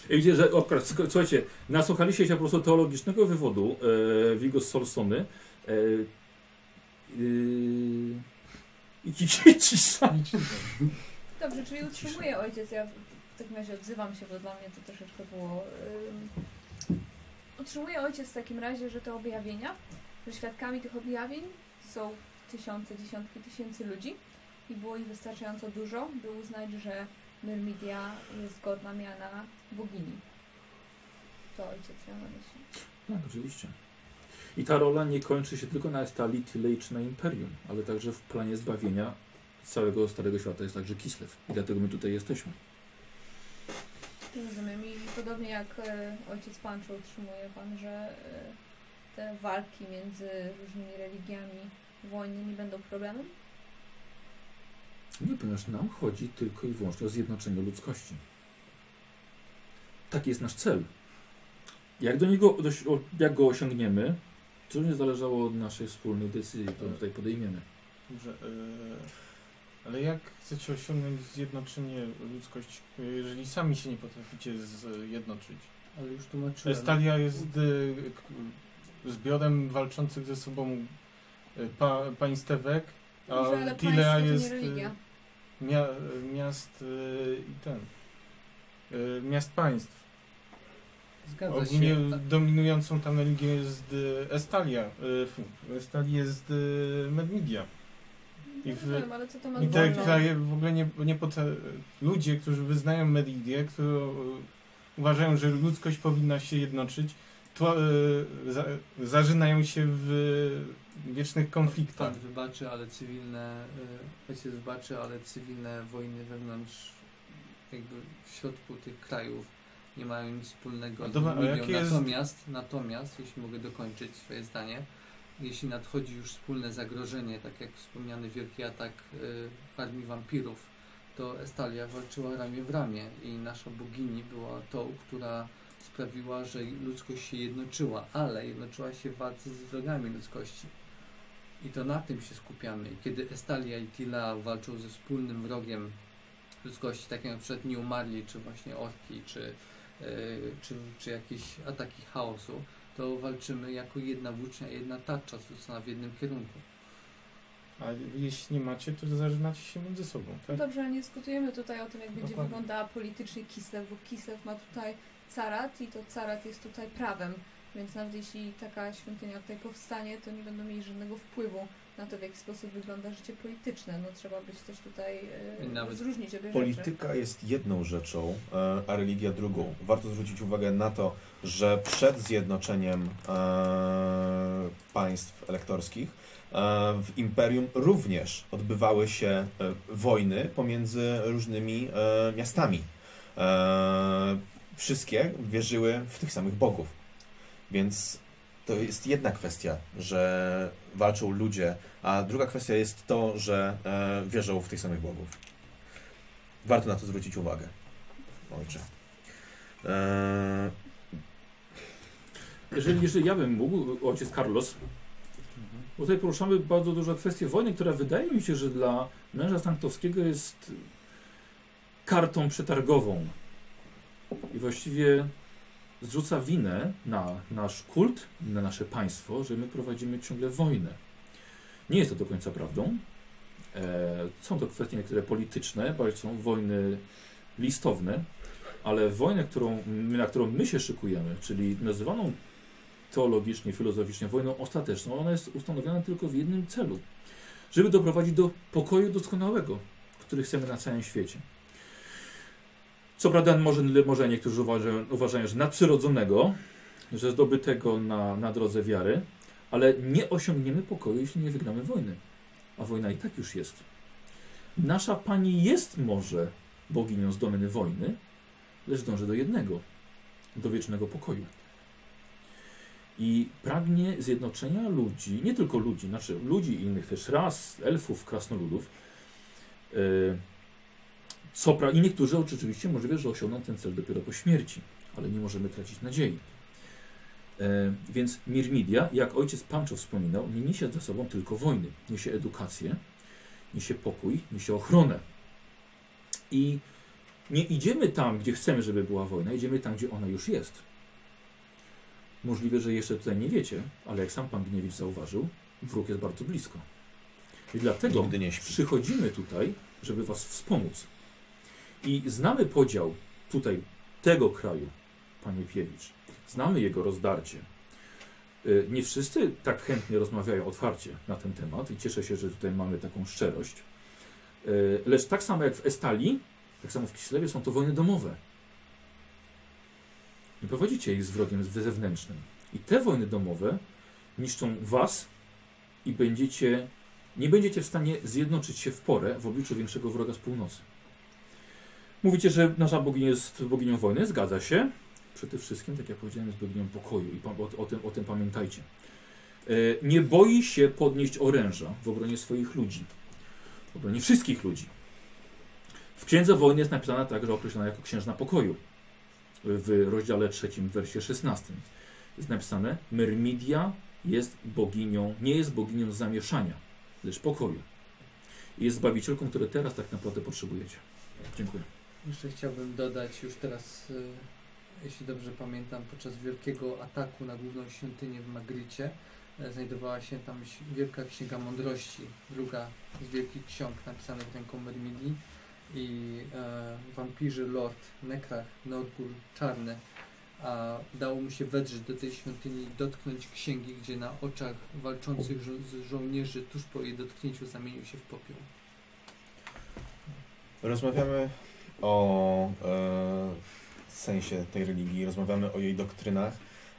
Speaker 1: I widzicie, że o, kras- słuchajcie, nasłuchaliście się po prostu teologicznego wywodu e, Vigos Solsony. E, y, I ci- cisza.
Speaker 3: Dobrze, czyli utrzymuje ojciec. Ja w takim razie odzywam się, bo dla mnie to troszeczkę było. Ym... Utrzymuje ojciec w takim razie, że te objawienia, że świadkami tych objawień są tysiące, dziesiątki tysięcy ludzi i było ich wystarczająco dużo, by uznać, że Myrmidia jest godna miana bogini. To ojciec miał na myśli.
Speaker 1: Tak, oczywiście. I ta rola nie kończy się tylko na estali Tylejcz na Imperium, ale także w planie zbawienia całego Starego Świata jest także Kislev. I dlatego my tutaj jesteśmy.
Speaker 3: Rozumiem. I podobnie jak e, ojciec Pancho utrzymuje pan, że e, te walki między różnymi religiami, wojny nie będą problemem?
Speaker 1: Nie, ponieważ nam chodzi tylko i wyłącznie o zjednoczenie ludzkości. Taki jest nasz cel. Jak, do niego, doś- o- jak go osiągniemy, to nie zależało od naszej wspólnej decyzji, którą tutaj podejmiemy.
Speaker 6: Dobrze, e, ale jak chcecie osiągnąć zjednoczenie ludzkości, e, jeżeli sami się nie potraficie zjednoczyć?
Speaker 4: Ale już tłumaczyłem.
Speaker 6: Estalia jest e, k- zbiorem walczących ze sobą e, pa, państewek, a
Speaker 3: Może, ale
Speaker 6: Tilea
Speaker 3: państwo to
Speaker 6: jest
Speaker 3: nie
Speaker 6: e,
Speaker 3: religia.
Speaker 6: mia, miast e, i ten e, miast państw.
Speaker 4: Zgadza się.
Speaker 6: Ogólnie
Speaker 2: Tak.
Speaker 6: dominującą tam religią jest e, Estalia. e, fu, Estalii jest e, Medmidia.
Speaker 3: Nie
Speaker 6: i w-
Speaker 3: No rozumiem, ale co to ma
Speaker 6: I
Speaker 3: z
Speaker 6: te
Speaker 3: wojną?
Speaker 6: kraje w ogóle nie, nie potra- Ludzie, którzy wyznają Meridię, którzy y, uważają, że ludzkość powinna się jednoczyć, to, e, za, zażynają się w e, wiecznych konfliktach.
Speaker 2: Tak.
Speaker 4: Pan wybaczy, ale cywilne, y, ojciec wybaczy, ale cywilne wojny wewnątrz, jakby w środku tych krajów nie mają nic wspólnego
Speaker 6: A
Speaker 4: z
Speaker 6: dobra, a
Speaker 4: religią.
Speaker 6: jakie jest-
Speaker 4: Natomiast, natomiast, jeśli mogę dokończyć swoje zdanie, jeśli nadchodzi już wspólne zagrożenie, tak jak wspomniany wielki atak y, armii wampirów, to Estalia walczyła ramię w ramię i nasza bogini była tą, która sprawiła, że ludzkość się jednoczyła, ale jednoczyła się w walce z wrogami ludzkości. I to na tym się skupiamy. I Kiedy Estalia i Tila walczą ze wspólnym wrogiem ludzkości, takim jak na przykład nieumarli, czy właśnie orki, czy, yy, czy, czy jakieś ataki chaosu, to walczymy jako jedna włócznia, jedna tarcza zwrócona w jednym kierunku.
Speaker 6: A jeśli nie macie, to zażynacie się między sobą.
Speaker 3: No
Speaker 6: Tak?
Speaker 3: Dobrze, ale nie dyskutujemy tutaj o tym, jak będzie
Speaker 6: Dokładnie.
Speaker 3: wyglądała politycznie Kislev, bo Kislev ma tutaj carat i to carat jest tutaj prawem. Więc nawet jeśli taka świątynia tutaj powstanie, to nie będą mieli żadnego wpływu na to, w jaki sposób wygląda życie polityczne. No trzeba być też tutaj
Speaker 4: I
Speaker 3: e,
Speaker 4: nawet
Speaker 3: zróżnić obie rzeczy.
Speaker 2: Polityka jest jedną rzeczą, e, a religia drugą. Warto zwrócić uwagę na to, że przed zjednoczeniem e, państw elektorskich e, w imperium również odbywały się e, wojny pomiędzy różnymi e, miastami. E, Wszystkie wierzyły w tych samych bogów. Więc to jest jedna kwestia, że walczą ludzie, a druga kwestia jest to, że e, wierzą w tych samych bogów. Warto na to zwrócić uwagę. Ojcze. Eee,
Speaker 1: Jeżeli, jeżeli ja bym mógł, ojciec Carlos, Bo tutaj poruszamy bardzo dużo kwestię wojny, która wydaje mi się, że dla męża Stanktowskiego jest kartą przetargową. I właściwie zrzuca winę na nasz kult, na nasze państwo, że my prowadzimy ciągle wojnę. Nie jest to do końca prawdą. E, są to kwestie niektóre polityczne, bo są wojny listowne, ale wojnę, którą, na którą my się szykujemy, czyli nazywaną teologicznie, filozoficznie wojną ostateczną, ona jest ustanowiona tylko w jednym celu. Żeby doprowadzić do pokoju doskonałego, który chcemy na całym świecie. Co prawda może, może niektórzy uważają, uważają, że nadprzyrodzonego, że zdobytego na, na drodze wiary, ale nie osiągniemy pokoju, jeśli nie wygramy wojny. A wojna i tak już jest. Nasza pani jest może boginią z domeny wojny, lecz dąży do jednego, do wiecznego pokoju. I pragnie zjednoczenia ludzi, nie tylko ludzi, znaczy ludzi innych też ras, elfów, krasnoludów, yy, co pra... I niektórzy oczywiście możliwe, że osiągną ten cel dopiero po śmierci, ale nie możemy tracić nadziei. E, więc Mirmidia, jak ojciec Pancho wspominał, nie niesie za sobą tylko wojny. Niesie edukację, niesie pokój, niesie ochronę. I nie idziemy tam, gdzie chcemy, żeby była wojna, idziemy tam, gdzie ona już jest. Możliwe, że jeszcze tutaj nie wiecie, ale jak sam pan Gniewicz zauważył, wróg jest bardzo blisko. I dlatego
Speaker 2: Nigdy nie śpi.
Speaker 1: przychodzimy tutaj, żeby was wspomóc. I znamy podział tutaj tego kraju, panie Piewicz. Znamy jego rozdarcie. Y, Nie wszyscy tak chętnie rozmawiają otwarcie na ten temat i cieszę się, że tutaj mamy taką szczerość. Y, Lecz tak samo jak w Estali, tak samo w Kislewie są to wojny domowe. Nie prowadzicie ich z wrogiem zewnętrznym. I te wojny domowe niszczą was i będziecie, nie będziecie w stanie zjednoczyć się w porę w obliczu większego wroga z północy. Mówicie, że nasza bogini jest boginią wojny, zgadza się. Przede wszystkim, tak jak powiedziałem, jest boginią pokoju i pa- o, o, tym, o tym pamiętajcie. E, Nie boi się podnieść oręża w obronie swoich ludzi, w obronie wszystkich ludzi. W Księdze Wojny jest napisana także określona jako Księżna Pokoju. W rozdziale trzecim, w wersie 16 jest napisane: Myrmidia jest boginią, nie jest boginią zamieszania, lecz pokoju. I jest zbawicielką, które teraz tak naprawdę potrzebujecie. Dziękuję.
Speaker 4: Jeszcze chciałbym dodać już teraz, y, jeśli dobrze pamiętam, podczas wielkiego ataku na główną świątynię w Magricie e, znajdowała się tam ś- Wielka Księga Mądrości, druga z wielkich ksiąg napisanych ręką Mermidi i e, wampirzy Lord Nekrach, Norgul Czarny. A udało mu się wedrzeć do tej świątyni i dotknąć księgi, gdzie na oczach walczących żo- z żołnierzy tuż po jej dotknięciu zamienił się w popiół.
Speaker 2: Rozmawiamy o e, sensie tej religii, rozmawiamy o jej doktrynach,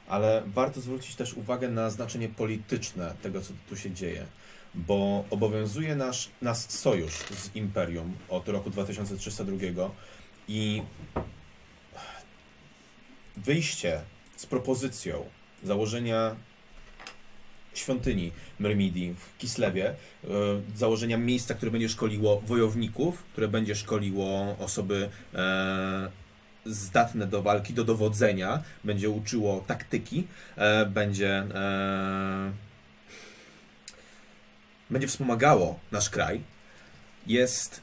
Speaker 2: ale warto zwrócić też uwagę na znaczenie polityczne tego, co tu się dzieje, bo obowiązuje nasz, nas sojusz z imperium od roku 2302 i wyjście z propozycją założenia świątyni Myrmidii w Kislewie e, założenia miejsca, które będzie szkoliło wojowników, które będzie szkoliło osoby e, zdatne do walki, do dowodzenia, będzie uczyło taktyki, e, będzie, e, będzie wspomagało nasz kraj, jest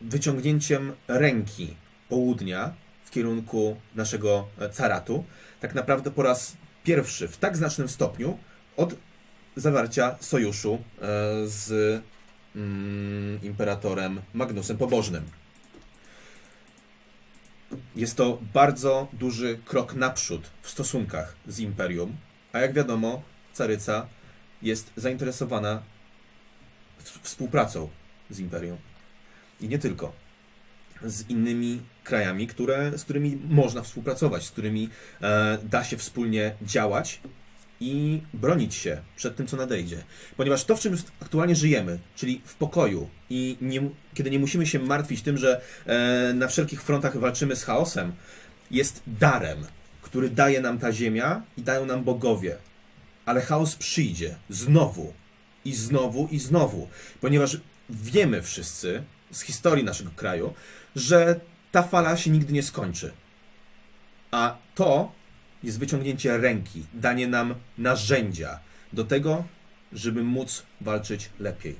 Speaker 2: wyciągnięciem ręki południa w kierunku naszego e, caratu. Tak naprawdę po raz pierwszy w tak znacznym stopniu od zawarcia sojuszu e, z mm, imperatorem Magnusem Pobożnym. Jest to bardzo duży krok naprzód w stosunkach z imperium, a jak wiadomo, caryca jest zainteresowana w- współpracą z imperium. I nie tylko. Z innymi krajami, które, z którymi można współpracować, z którymi e, da się wspólnie działać i bronić się przed tym, co nadejdzie. Ponieważ to, w czym aktualnie żyjemy, czyli w pokoju i nie, kiedy nie musimy się martwić tym, że e, na wszelkich frontach walczymy z chaosem, jest darem, który daje nam ta ziemia i dają nam bogowie. Ale chaos przyjdzie znowu i znowu i znowu, ponieważ wiemy wszyscy z historii naszego kraju, że ta fala się nigdy nie skończy. A to jest wyciągnięcie ręki, danie nam narzędzia do tego, żeby móc walczyć lepiej.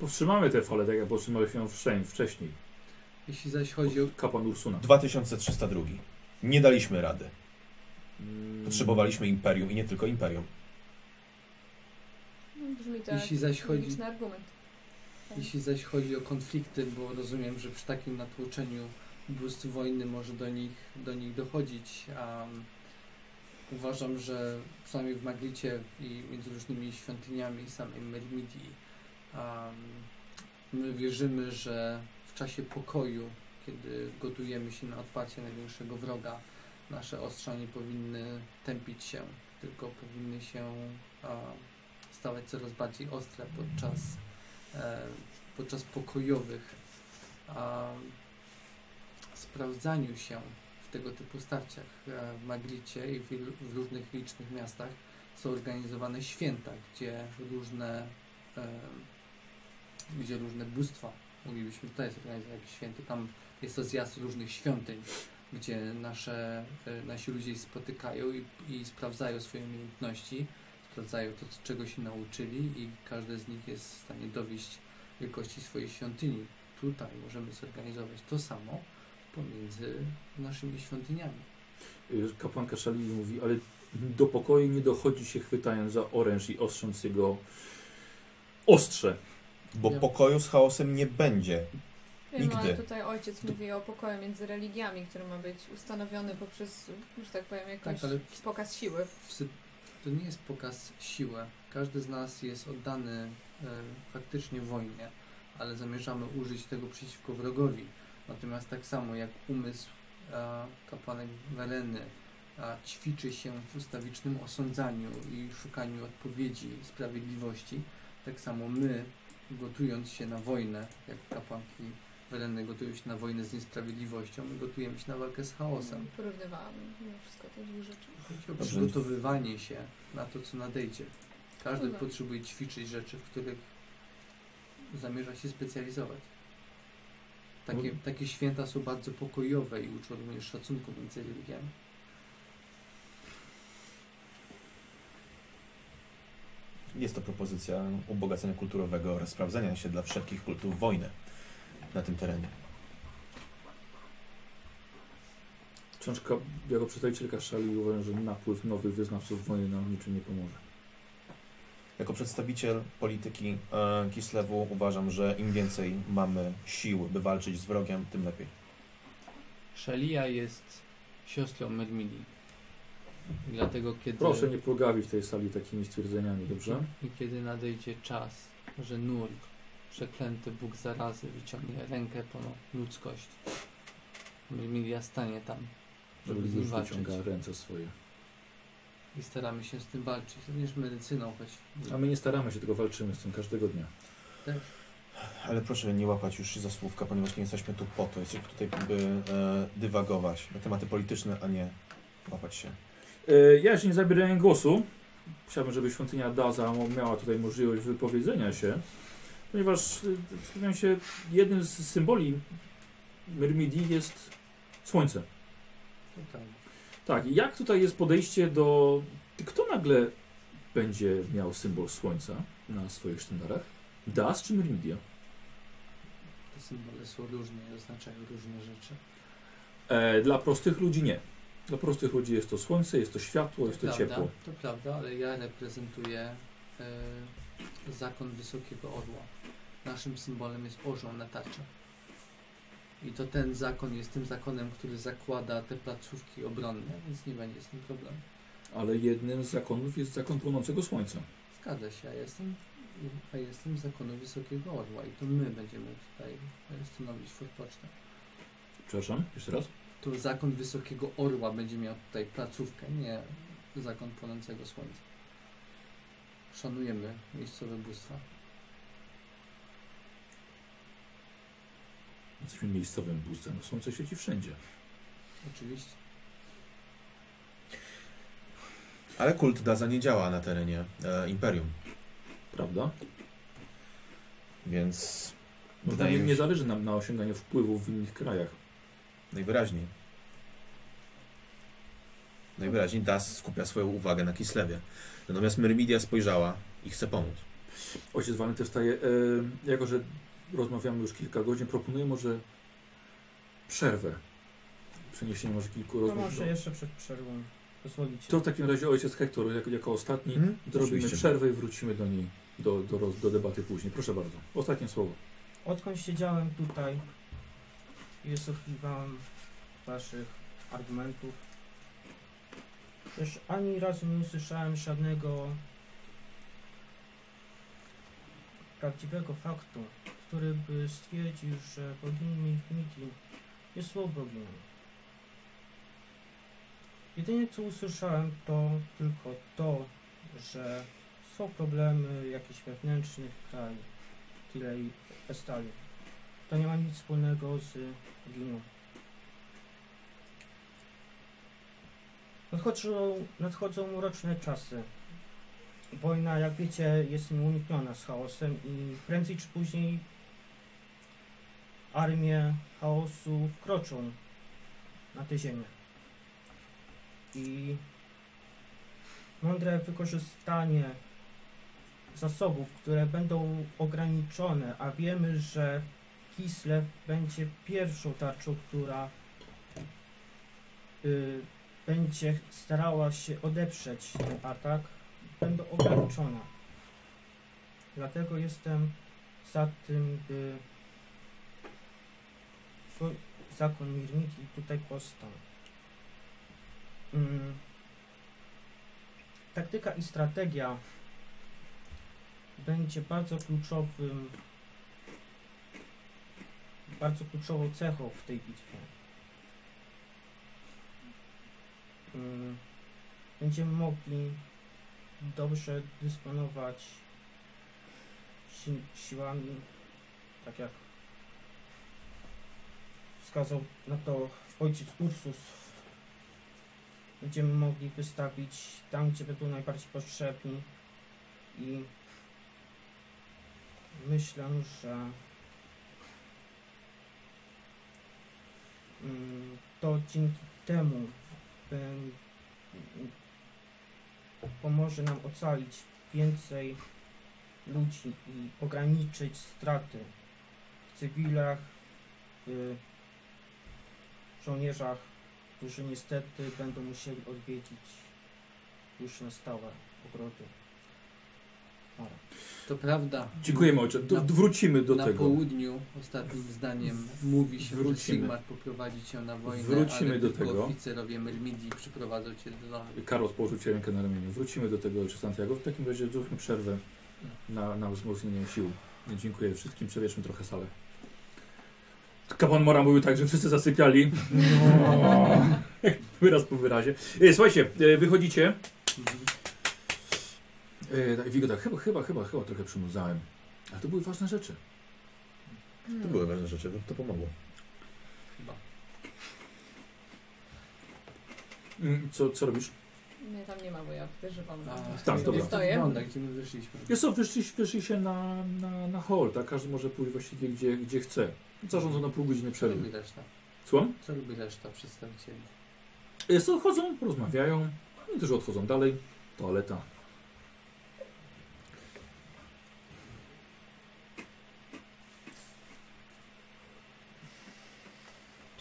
Speaker 1: Powstrzymamy tę falę, tak jak powstrzymaliśmy ją wszędzie- wcześniej.
Speaker 4: Jeśli zaś chodzi o...
Speaker 1: Kapłan Ursuna.
Speaker 2: 2302. Nie daliśmy rady.
Speaker 1: Mm,
Speaker 2: Potrzebowaliśmy imperium i nie tylko imperium.
Speaker 3: Brzmi to
Speaker 4: Jeśli zaś
Speaker 3: jak
Speaker 4: chodzi- Tak.
Speaker 3: logiczny argument. Tak.
Speaker 4: Jeśli zaś chodzi o konflikty, bo rozumiem, że przy takim natłoczeniu bóstw wojny może do nich, do nich dochodzić, a mm, uważam, że przynajmniej w Maglicie i między różnymi świątyniami samej Mermidii um, my wierzymy, że w czasie pokoju, kiedy gotujemy się na odparcie największego wroga, nasze ostrza nie powinny tępić się, tylko powinny się a, stawać coraz bardziej ostre podczas e, podczas pokojowych a, sprawdzaniu się w tego typu starciach. E, w Magricie i w, ilu- w różnych licznych miastach są organizowane święta, gdzie różne, e, gdzie różne bóstwa, moglibyśmy tutaj zorganizować jakieś święty, tam jest to zjazd różnych świątyń, gdzie nasze, e, nasi ludzie się spotykają i, i sprawdzają swoje umiejętności, sprawdzają to, z czego się nauczyli i każdy z nich jest w stanie dowieść wielkości swojej świątyni. Tutaj możemy zorganizować to samo pomiędzy naszymi świątyniami.
Speaker 1: y, Kapłanka Szali mówi, ale do pokoju nie dochodzi się chwytając za oręż i ostrząc jego ostrze.
Speaker 2: Bo
Speaker 4: Ja-
Speaker 2: pokoju z chaosem nie będzie.
Speaker 3: Wiem, ale
Speaker 2: Nigdy.
Speaker 3: tutaj ojciec mówi o pokoju między religiami, który ma być ustanowiony poprzez, że tak powiem, jakiś
Speaker 4: Tak, ale-
Speaker 3: pokaz siły.
Speaker 4: W sy- To nie jest pokaz siły. Każdy z nas jest oddany e, faktycznie wojnie, ale zamierzamy użyć tego przeciwko wrogowi. Natomiast tak samo jak umysł e, kapłanek Wereny e, ćwiczy się w ustawicznym osądzaniu i szukaniu odpowiedzi, sprawiedliwości, tak samo my, gotując się na wojnę, jak kapłanki Wereny gotują się na wojnę z niesprawiedliwością, my gotujemy się na walkę z chaosem.
Speaker 3: Porównywałam mimo wszystko te dwie rzeczy.
Speaker 4: Chodzi o
Speaker 2: Dobrze.
Speaker 4: przygotowywanie się na to, co nadejdzie. Każdy
Speaker 3: Dobra.
Speaker 4: potrzebuje ćwiczyć rzeczy, w których zamierza się specjalizować. Takie,
Speaker 1: Mhm.
Speaker 4: takie święta są bardzo pokojowe i uczą również szacunku między religiami.
Speaker 2: Jest to propozycja ubogacenia kulturowego oraz sprawdzenia się dla wszelkich kultów wojny na tym terenie.
Speaker 1: Książka, jako przedstawicielka Szali uważam, że napływ nowych wyznawców wojny nam niczym nie pomoże.
Speaker 2: Jako przedstawiciel polityki e, Kislewu uważam, że im więcej mamy sił, by walczyć z wrogiem, tym lepiej.
Speaker 4: Szalia jest siostrą Mermili. Dlatego kiedy...
Speaker 1: Proszę nie plugawić tej sali takimi stwierdzeniami, dobrze?
Speaker 4: I kiedy nadejdzie czas, że Nurg, przeklęty Bóg zarazy, wyciągnie rękę ponad ludzkość, Mirmilia stanie tam, żeby z nim
Speaker 1: już
Speaker 4: walczyć.
Speaker 1: wyciąga ręce swoje.
Speaker 4: I staramy się z tym walczyć, również medycyną, choć
Speaker 1: A my nie staramy się, tylko walczymy z tym każdego dnia.
Speaker 2: Ale proszę nie łapać już się za słówka, ponieważ nie jesteśmy tu po to. Jesteśmy tutaj, by e, dywagować na tematy polityczne, a nie łapać się.
Speaker 1: E, Ja jeszcze nie zabierałem głosu. Chciałbym, żeby świątynia Daza mo- miała tutaj możliwość wypowiedzenia się, ponieważ e, zastanawiam się, jednym z symboli Myrmidii jest słońce.
Speaker 4: tutaj.
Speaker 1: Tak, i jak tutaj jest podejście do... Kto nagle będzie miał symbol słońca na swoich sztandarach? Daz czy Myrmidia?
Speaker 4: te symbole są różne i oznaczają różne rzeczy.
Speaker 1: E, dla prostych ludzi nie. Dla prostych ludzi jest to słońce, jest to światło, jest to
Speaker 4: prawda,
Speaker 1: ciepło.
Speaker 4: To prawda, ale ja reprezentuję y, zakon Wysokiego Orła. Naszym symbolem jest orzeł na tarczy. I to ten zakon jest tym zakonem, który zakłada te placówki obronne, więc nie będzie z tym problemu.
Speaker 1: Ale jednym z zakonów jest zakon płonącego słońca.
Speaker 4: Zgadza się, ja jestem, ja jestem z zakonu Wysokiego Orła i to my będziemy tutaj y, stanowić fort pocztę.
Speaker 1: Przepraszam, jeszcze raz.
Speaker 4: To zakon Wysokiego Orła będzie miał tutaj placówkę, nie zakon płonącego słońca. Szanujemy miejscowe bóstwa.
Speaker 1: Jesteśmy miejscowym bóstwem. Słońce świeci wszędzie.
Speaker 4: Oczywiście.
Speaker 2: Ale kult Daza nie działa na terenie e, imperium,
Speaker 1: Prawda? No,
Speaker 2: więc
Speaker 1: Bo
Speaker 2: Wydaje
Speaker 1: nie,
Speaker 2: mi
Speaker 1: nie
Speaker 2: się-
Speaker 1: zależy nam na osiąganiu wpływów w innych krajach.
Speaker 2: najwyraźniej. Najwyraźniej Das skupia swoją uwagę na Kislewie. Natomiast Myrmidia spojrzała
Speaker 27: i chce pomóc.
Speaker 1: Ojciec Walenty wstaje. E, jako, że rozmawiamy już kilka godzin, proponuję może przerwę. Przeniesienie może kilku
Speaker 2: To
Speaker 1: rozmów.
Speaker 2: No może
Speaker 1: do-
Speaker 2: jeszcze przed przerwą. Pozwolicie.
Speaker 1: To w takim razie ojciec Hektor jako, jako ostatni
Speaker 27: Mhm,
Speaker 1: zrobimy
Speaker 27: oczywiście.
Speaker 1: przerwę i wrócimy do niej, do, do, roz- do debaty później. Proszę bardzo. Ostatnie słowo.
Speaker 2: Odkąd siedziałem tutaj i wysłuchiwałem waszych argumentów, też ani razu nie usłyszałem żadnego prawdziwego faktu, który by stwierdził, że bogini Infinity jest złą boginią. Jedynie co usłyszałem to tylko to, że są problemy jakichś wewnętrznych krajów, tyle i Estali. To nie ma nic wspólnego z Giną. Nadchodzą, nadchodzą mroczne czasy. Wojna, jak wiecie, jest nieunikniona z chaosem i prędzej czy później armie chaosu wkroczą na tę ziemię. I mądre wykorzystanie zasobów, które będą ograniczone, a wiemy, że Kislev będzie pierwszą tarczą, która y, będzie starała się odeprzeć ten atak, będą ograniczone. Dlatego jestem za tym, by ko- zakon Mirniki tutaj powstał. Mm. Taktyka i strategia będzie bardzo kluczowym bardzo kluczową cechą w tej bitwie. Mm, Będziemy mogli dobrze dysponować si siłami, tak jak wskazał na to ojciec Ursus. Będziemy mogli wystawić tam, gdzie będą najbardziej potrzebni i Myślę, że mm, to dzięki temu bę- pomoże nam ocalić więcej ludzi i ograniczyć straty w cywilach, w żołnierzach, którzy niestety będą musieli odwiedzić już na stałe ogrody. Mara.
Speaker 4: To prawda.
Speaker 1: Dziękujemy ojcze. Do,
Speaker 4: Na-
Speaker 1: wrócimy do
Speaker 4: na
Speaker 1: tego.
Speaker 4: południu ostatnim zdaniem mówi się,
Speaker 1: Wrócimy.
Speaker 4: że Sigmar poprowadzi cię na wojnę,
Speaker 1: Wrócimy
Speaker 4: ale
Speaker 1: do
Speaker 4: tylko
Speaker 1: tego.
Speaker 4: oficerowie Myrmidii przyprowadzą cię do domu.
Speaker 1: Karol położył ci rękę na ramieniu. Wrócimy do tego ojcze Santiago. W takim razie zróbmy przerwę na, na wzmocnienie sił. Dziękuję wszystkim. Przewietrzmy trochę salę. Kapłan Mora mówił tak, że wszyscy zasypiali. Wyraz po wyrazie. E, Słuchajcie, e, wychodzicie.
Speaker 4: Mhm.
Speaker 1: E, tak, Wigo tak, chyba, chyba, chyba, chyba trochę przymudzałem. Ale to były ważne rzeczy.
Speaker 3: Hmm.
Speaker 27: To były ważne rzeczy, to pomogło.
Speaker 4: Chyba.
Speaker 1: Mm, Co, co robisz?
Speaker 3: Mnie tam nie ma, bo ja wyżywam.
Speaker 4: A,
Speaker 1: Tak,
Speaker 4: jak
Speaker 1: dobra.
Speaker 4: to
Speaker 3: Stoję.
Speaker 4: wygląda, gdzie my wyszliśmy?
Speaker 1: Jest to, wyszli, wyszli się na, na, na hall, tak? Każdy może pójść właściwie gdzie, gdzie chce. Zarządzono pół godziny
Speaker 4: Co robi
Speaker 1: przerwy.
Speaker 4: reszta?
Speaker 1: Słucham?
Speaker 4: Co robi reszta przedstawicieli?
Speaker 1: Jest to, Y, chodzą, rozmawiają. Oni też odchodzą dalej. Toaleta.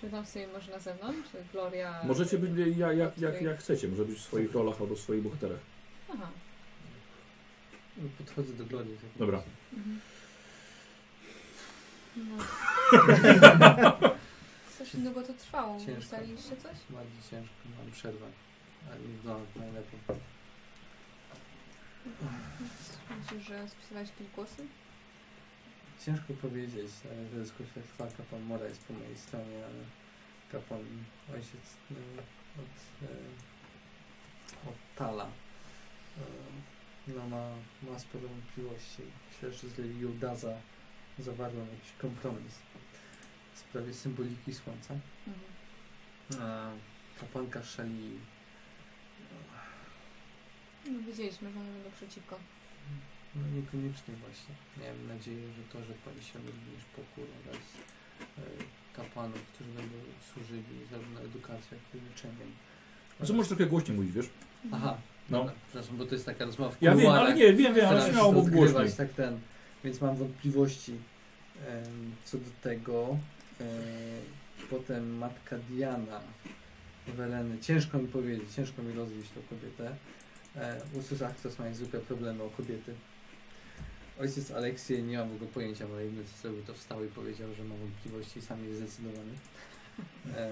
Speaker 3: Czy tam sobie może na zewnątrz? Czy Gloria...
Speaker 1: Możecie być jak, jak, jak, jak chcecie. Może być w swoich rolach albo w swoich bohaterach.
Speaker 3: Aha.
Speaker 4: No, Podchodzę do Glody. tak
Speaker 1: Dobra.
Speaker 4: mówię.
Speaker 3: Mhm. No. Coś długo to trwało.
Speaker 4: Ciężko.
Speaker 3: Ustaliliście coś?
Speaker 4: Bardziej ciężko, mam przerwę. Ale nie wygląda to najlepiej.
Speaker 3: Myślisz, że spisałeś jakieś głosy?
Speaker 4: Ciężko powiedzieć, e, to jest kwestia trwa, kapłan Mora jest po mojej stronie, ale kapłan ojciec e, od, e, od Tala e, no ma, ma sporo wątpliwości. Myślę, że z Lewią Daza zawarłem jakiś kompromis w sprawie symboliki słońca.
Speaker 3: Mhm.
Speaker 4: E, Kapłanka Szali
Speaker 3: No, wiedzieliśmy, że one będą przeciwko.
Speaker 4: No niekoniecznie właśnie. Miałem nadzieję, że to, że poniesiemy również pokój oraz e, kapłanów, którzy będą służyli zarówno edukacją, jak i leczeniem, e,
Speaker 1: Znaczy możesz trochę głośniej mówić, wiesz?
Speaker 3: Mhm.
Speaker 4: Aha,
Speaker 1: No.
Speaker 4: no. przepraszam, bo to jest taka rozmowa w
Speaker 1: Ja wiem, ale
Speaker 4: kuluarach.
Speaker 1: nie, wiem, wiem, ale
Speaker 4: Staram się
Speaker 1: śmiało
Speaker 4: to
Speaker 1: mów
Speaker 4: odgrywać,
Speaker 1: głośniej.
Speaker 4: tak ten. Więc mam wątpliwości em, co do tego. E, potem matka Diana Weleny. Ciężko mi powiedzieć, ciężko mi rozwieść tą kobietę. E, Ursus Actos ma zwykłe problemy o kobiety. Ojciec Aleksiej nie mam w ogóle pojęcia, bo jakby zrobił to wstał i powiedział, że ma wątpliwości i sam jest zdecydowany. E,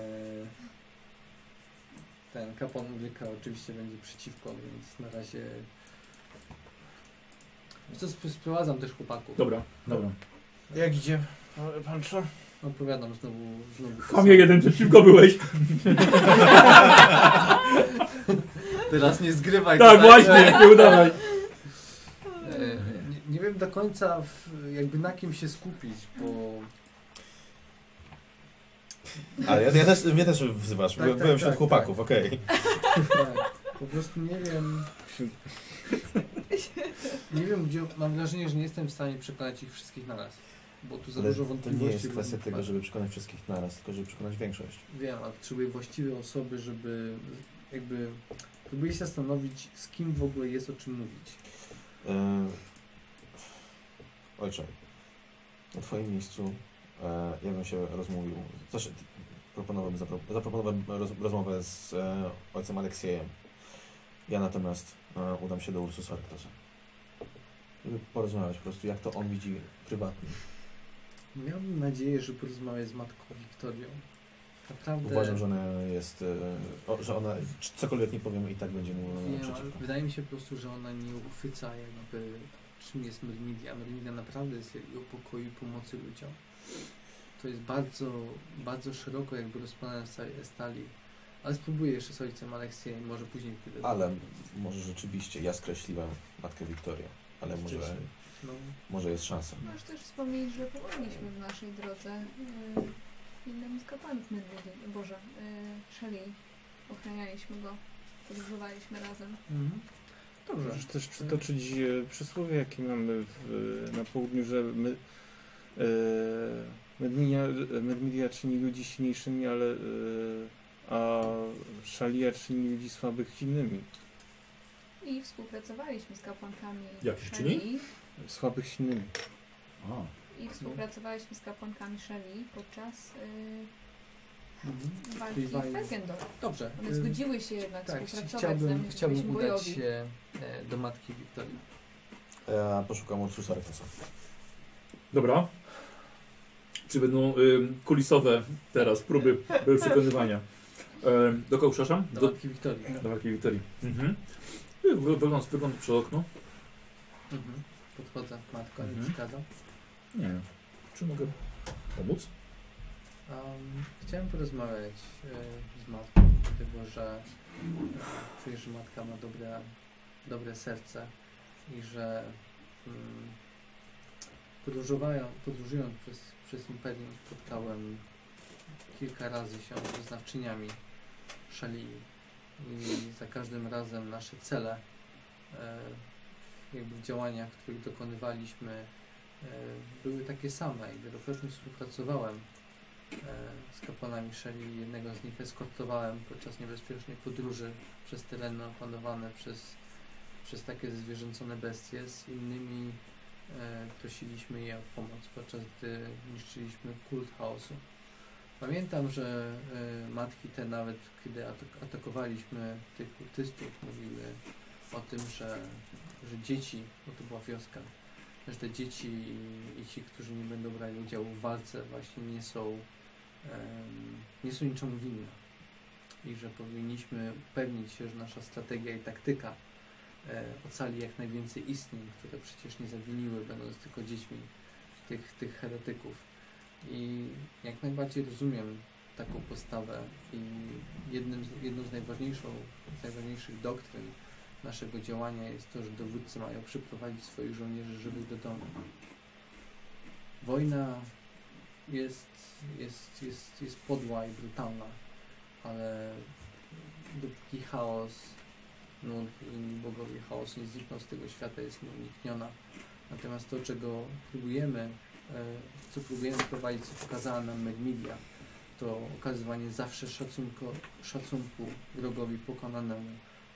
Speaker 4: ten kapłan Ulryka oczywiście będzie przeciwko, więc na razie Wiesz co, sp- sprowadzam też chłopaków.
Speaker 1: Dobra, dobra.
Speaker 2: Jak idzie?
Speaker 6: Panczo?
Speaker 4: Opowiadam znowu. znowu
Speaker 1: Chamie jeden przeciwko byłeś.
Speaker 4: Teraz nie zgrywaj.
Speaker 1: Tak,
Speaker 4: tutaj,
Speaker 1: właśnie, nie udawaj.
Speaker 4: E, nie, nie wiem do końca w, jakby na kim się skupić, bo
Speaker 2: Ale ja, ja też, mnie też wzywasz,
Speaker 4: Tak,
Speaker 2: byłem
Speaker 4: tak,
Speaker 2: byłem wśród
Speaker 4: tak,
Speaker 2: chłopaków, okej.
Speaker 4: tak, po prostu nie wiem. Nie wiem gdzie. Mam wrażenie, że nie jestem w stanie przekonać ich wszystkich naraz. Bo tu za
Speaker 2: Ale
Speaker 4: dużo
Speaker 2: To
Speaker 4: wątpliwości.
Speaker 2: nie jest
Speaker 4: bo-
Speaker 2: kwestia tego, żeby przekonać wszystkich naraz, tylko żeby przekonać większość.
Speaker 4: Wiem, ale potrzebuję właściwej osoby, żeby jakby. Próbuję się zastanowić, z kim w ogóle jest o czym mówić.
Speaker 2: E, Ojcze, na Twoim miejscu e, ja bym się rozmówił. Znaczy, proponowałbym, zapro- zaproponowałbym roz, rozmowę z e, ojcem Aleksiejem. Ja natomiast e, udam się do Ursusa Rektosa. Żeby porozmawiać po prostu, jak to on widzi prywatnie.
Speaker 4: Miałbym nadzieję, że porozmawiać z matką Wiktorią. Naprawdę.
Speaker 2: Uważam, że ona jest. E, o, że ona c- cokolwiek nie powiem i tak będzie mu
Speaker 4: Nie, ale
Speaker 2: przeciwko.
Speaker 4: wydaje mi się po prostu, że ona nie uchwyca jakby czym jest Myrmidia. Myrmidia naprawdę jest jej o pokoju i pomocy ludziom. To jest bardzo, bardzo szeroko jakby rozplanane w całej Estalii. Ale spróbuję jeszcze z ojcem Aleksiejem, może później pójdę. do-
Speaker 2: Ale może rzeczywiście ja skreśliłem matkę Wiktorię, ale może,
Speaker 4: Wcześniej. No,
Speaker 2: może jest szansa.
Speaker 3: Możesz też wspomnieć, że pomogliśmy w naszej drodze y, innemu z kapłanów Medwiedzi, Boże, y, Szeli. Ochranialiśmy go, podróżowaliśmy razem.
Speaker 4: mhm. Dobrze.
Speaker 6: Możesz też przytoczyć e, przysłowie, jakie mamy w, e, na południu, że my, e, medminia, e, medmidia czyni ludzi silniejszymi, ale e, a szalia czyni ludzi słabych silnymi.
Speaker 3: I współpracowaliśmy z kapłankami
Speaker 1: Jak się
Speaker 3: Szeli.
Speaker 6: Słabych silnymi.
Speaker 1: A,
Speaker 3: I współpracowaliśmy z kapłankami Szeli podczas y,
Speaker 4: Mhm.
Speaker 3: walki w
Speaker 4: walki.
Speaker 3: Felgendorf.
Speaker 4: Dobrze.
Speaker 3: One
Speaker 4: y,
Speaker 3: zgodziły się jednak
Speaker 4: Tak,
Speaker 3: No współpracować z nami,
Speaker 4: chciałbym,
Speaker 3: że
Speaker 4: chciałbym
Speaker 3: byliśmy
Speaker 4: udać
Speaker 3: bojowi.
Speaker 4: się e, do matki Wiktorii.
Speaker 2: Ja poszukam Ursusa Rektosa.
Speaker 1: dobra. Czy będą ym, kulisowe teraz próby y, przekonywania? Ym, do kogo, przepraszam?
Speaker 4: Do,
Speaker 1: Do,
Speaker 4: matki Wiktorii.
Speaker 1: do Wielkiej Wiktorii. Mhm. Wy- wy- Wygląd, wygląd przez okno.
Speaker 4: Mhm. Podchodzę, matka, nie
Speaker 1: Mhm.
Speaker 4: przeszkadza.
Speaker 1: Nie. Czy mogę pomóc?
Speaker 4: Um, chciałem porozmawiać e, z matką, dlatego że e, czuję, że matka ma dobre, dobre serce i że mm, podróżowają, podróżując przez, przez imperium spotkałem kilka razy się z znawczyniami szali i za każdym razem nasze cele e, jakby w działaniach, których dokonywaliśmy e, były takie same i wielokrotnie współpracowałem e, z kapłanami Szeli. Jednego z nich eskortowałem podczas niebezpiecznej podróży przez tereny opanowane przez, przez takie zwierzęcone bestie. Z innymi e, prosiliśmy je o pomoc, podczas gdy niszczyliśmy kult chaosu. Pamiętam, że e, matki te nawet, kiedy atak- atakowaliśmy tych kultystów, mówiły o tym, że, że dzieci, bo to była wioska, że te dzieci i, i ci, którzy nie będą brali udziału w walce, właśnie nie są em, nie są niczemu winne i że powinniśmy upewnić się, że nasza strategia i taktyka e, ocali jak najwięcej istnień, które przecież nie zawiniły, będąc tylko dziećmi tych, tych heretyków. I jak najbardziej rozumiem taką postawę i jednym z, jedną z, najważniejszą, z najważniejszych doktryn naszego działania jest to, że dowódcy mają przyprowadzić swoich żołnierzy żywych do domu. Wojna jest, jest, jest, jest podła i brutalna, ale dopóki chaos, nurt i inni bogowie chaosu nie znikną z tego świata, jest nieunikniona. Natomiast to, czego próbujemy, e, co próbujemy prowadzić, co pokazała nam Medmidia, to okazywanie zawsze szacunku, szacunku wrogowi pokonanemu,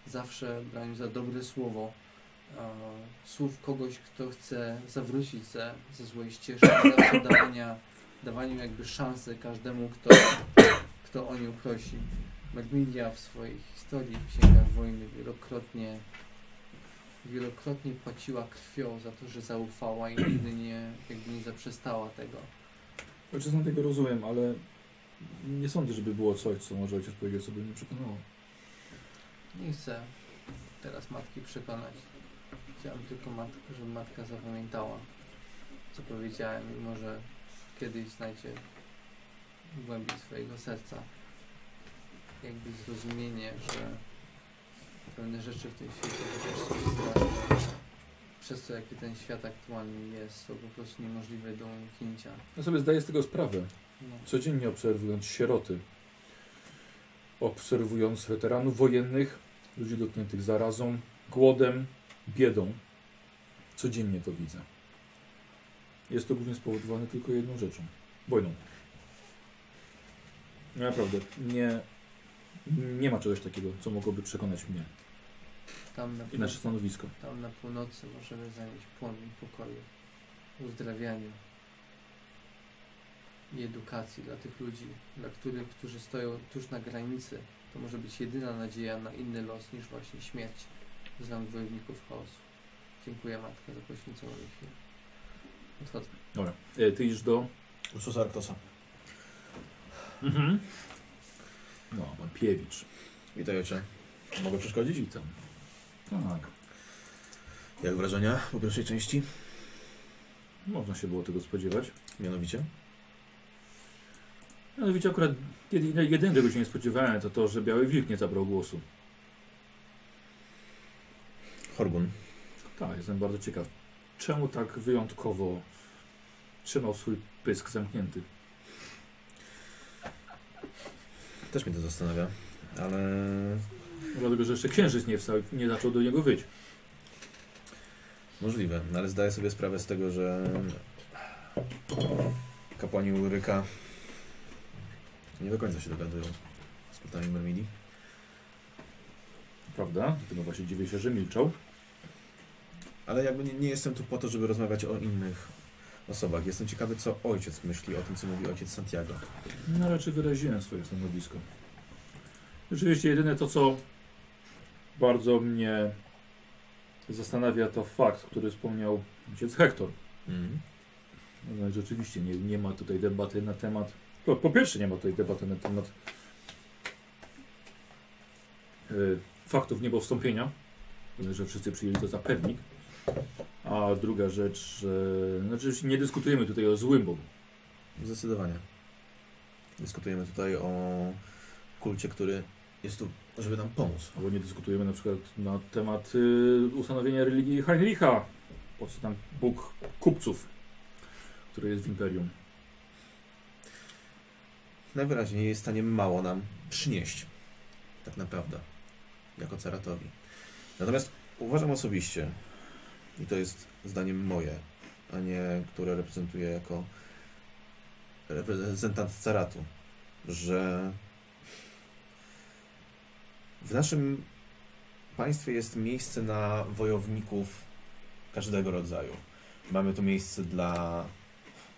Speaker 4: zawsze braniu za dobre słowo, e, słów kogoś, kto chce zawrócić ze, ze złej ścieżki, zawsze dawania, dawaniu jakby szansy każdemu, kto, kto o nią prosi. Macmillia w swojej historii w Księgach Wojny wielokrotnie wielokrotnie płaciła krwią za to, że zaufała i nigdy nie, jakby nie zaprzestała tego.
Speaker 1: Ojciec na Znaczy, tego rozumiem, ale nie sądzę, żeby było coś, co może ojciec powiedział, co by mnie przekonało.
Speaker 4: Nie chcę teraz matki przekonać. Chciałem tylko, matkę, żeby matka zapamiętała, co powiedziałem i może kiedyś znajdzie w głębi swojego serca jakby zrozumienie, że pewne rzeczy w tym świecie chociaż są straszne, przez to jaki ten świat aktualny jest, są po prostu niemożliwe do uniknięcia.
Speaker 1: Ja sobie zdaję z tego sprawę.
Speaker 4: No.
Speaker 1: Codziennie obserwując sieroty, obserwując weteranów wojennych, ludzi dotkniętych zarazą, głodem, biedą. Codziennie to widzę. Jest to głównie spowodowane tylko jedną rzeczą. Wojną. No, Naprawdę, nie, nie ma czegoś takiego, co mogłoby przekonać mnie
Speaker 4: Tam na
Speaker 1: i nasze stanowisko.
Speaker 4: Tam na północy możemy zanieść płomień pokoju, uzdrawiania i edukacji dla tych ludzi, dla których, którzy stoją tuż na granicy. To może być jedyna nadzieja na inny los niż właśnie śmierć z rąk wojowników chaosu. Dziękuję Matka za poświęconą mi chwilę. Odchodzę.
Speaker 1: Dobra, e, ty idziesz do...
Speaker 2: Ursusa Arktosa.
Speaker 1: Mhm. No, pan Piewicz.
Speaker 2: Witaj ojcze. Mogę przeszkodzić?
Speaker 1: Witam. Tak,
Speaker 2: Jak wrażenia po pierwszej części?
Speaker 1: można się było tego spodziewać.
Speaker 2: Mianowicie?
Speaker 1: Mianowicie akurat jedyne, jedyne czego się nie spodziewałem, to to, że Biały Wilk nie zabrał głosu.
Speaker 2: Horgun.
Speaker 1: Tak, jestem bardzo ciekaw. Czemu tak wyjątkowo trzymał swój pysk zamknięty?
Speaker 2: Też mnie to zastanawia, ale
Speaker 1: Dlatego, że jeszcze księżyc nie wstał i nie zaczął do niego wyć.
Speaker 2: możliwe. No, Ale zdaję sobie sprawę z tego, że kapłani Uryka nie do końca się dogadują z pytaniem Mermidi.
Speaker 1: Prawda? Dlatego właśnie dziwię się, że milczał.
Speaker 2: Ale jakby nie, nie jestem tu po to, żeby rozmawiać o innych osobach. Jestem ciekawy, co ojciec myśli o tym, co mówi ojciec Santiago.
Speaker 1: No raczej wyraziłem swoje stanowisko. Rzeczywiście jedyne to, co bardzo mnie zastanawia, to fakt, który wspomniał ojciec Hektor.
Speaker 2: Mhm.
Speaker 1: No, i rzeczywiście nie, nie ma tutaj debaty na temat. Po, po pierwsze, nie ma tutaj debaty na temat y, faktów niebowstąpienia, że wszyscy przyjęli to za pewnik. A druga rzecz, że znaczy nie dyskutujemy tutaj o złym Bogu.
Speaker 2: Zdecydowanie. Dyskutujemy tutaj o kulcie, który jest tu, żeby nam pomóc.
Speaker 1: Albo nie dyskutujemy na przykład na temat y, ustanowienia religii Heinricha, po co tam Bóg kupców, który jest w imperium.
Speaker 2: Najwyraźniej jest w stanie mało nam przynieść. Tak naprawdę. Jako ceratowi. Natomiast uważam osobiście, i to jest zdaniem moje, a nie które reprezentuję jako reprezentant ceratu, że w naszym państwie jest miejsce na wojowników każdego rodzaju. Mamy tu miejsce dla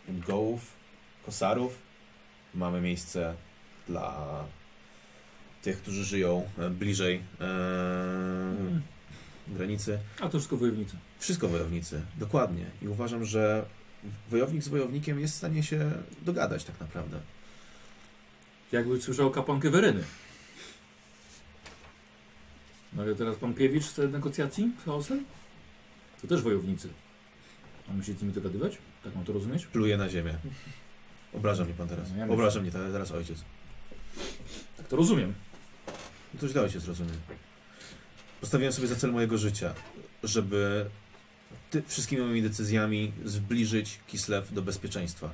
Speaker 2: gołów, kosarów, mamy miejsce dla tych, którzy żyją e, bliżej e, Mhm.
Speaker 1: Mm.
Speaker 2: granicy.
Speaker 1: A to wszystko wojownicy.
Speaker 2: Wszystko wojownicy, dokładnie. I uważam, że wojownik z wojownikiem jest w stanie się dogadać tak naprawdę.
Speaker 1: Jakby słyszał kapłankę Weryny. No ale teraz pan Piewicz chce negocjacji z chaosem? To też wojownicy. Mamy się z nimi dogadywać? Tak mam to rozumieć?
Speaker 2: Pluje na ziemię. Obraża mnie pan teraz.
Speaker 1: No ja
Speaker 2: Obraża mnie te- teraz ojciec.
Speaker 1: Tak to rozumiem.
Speaker 2: No to źle ojciec rozumie. Postawiłem sobie za cel mojego życia, żeby ty, wszystkimi moimi decyzjami zbliżyć Kislev do bezpieczeństwa.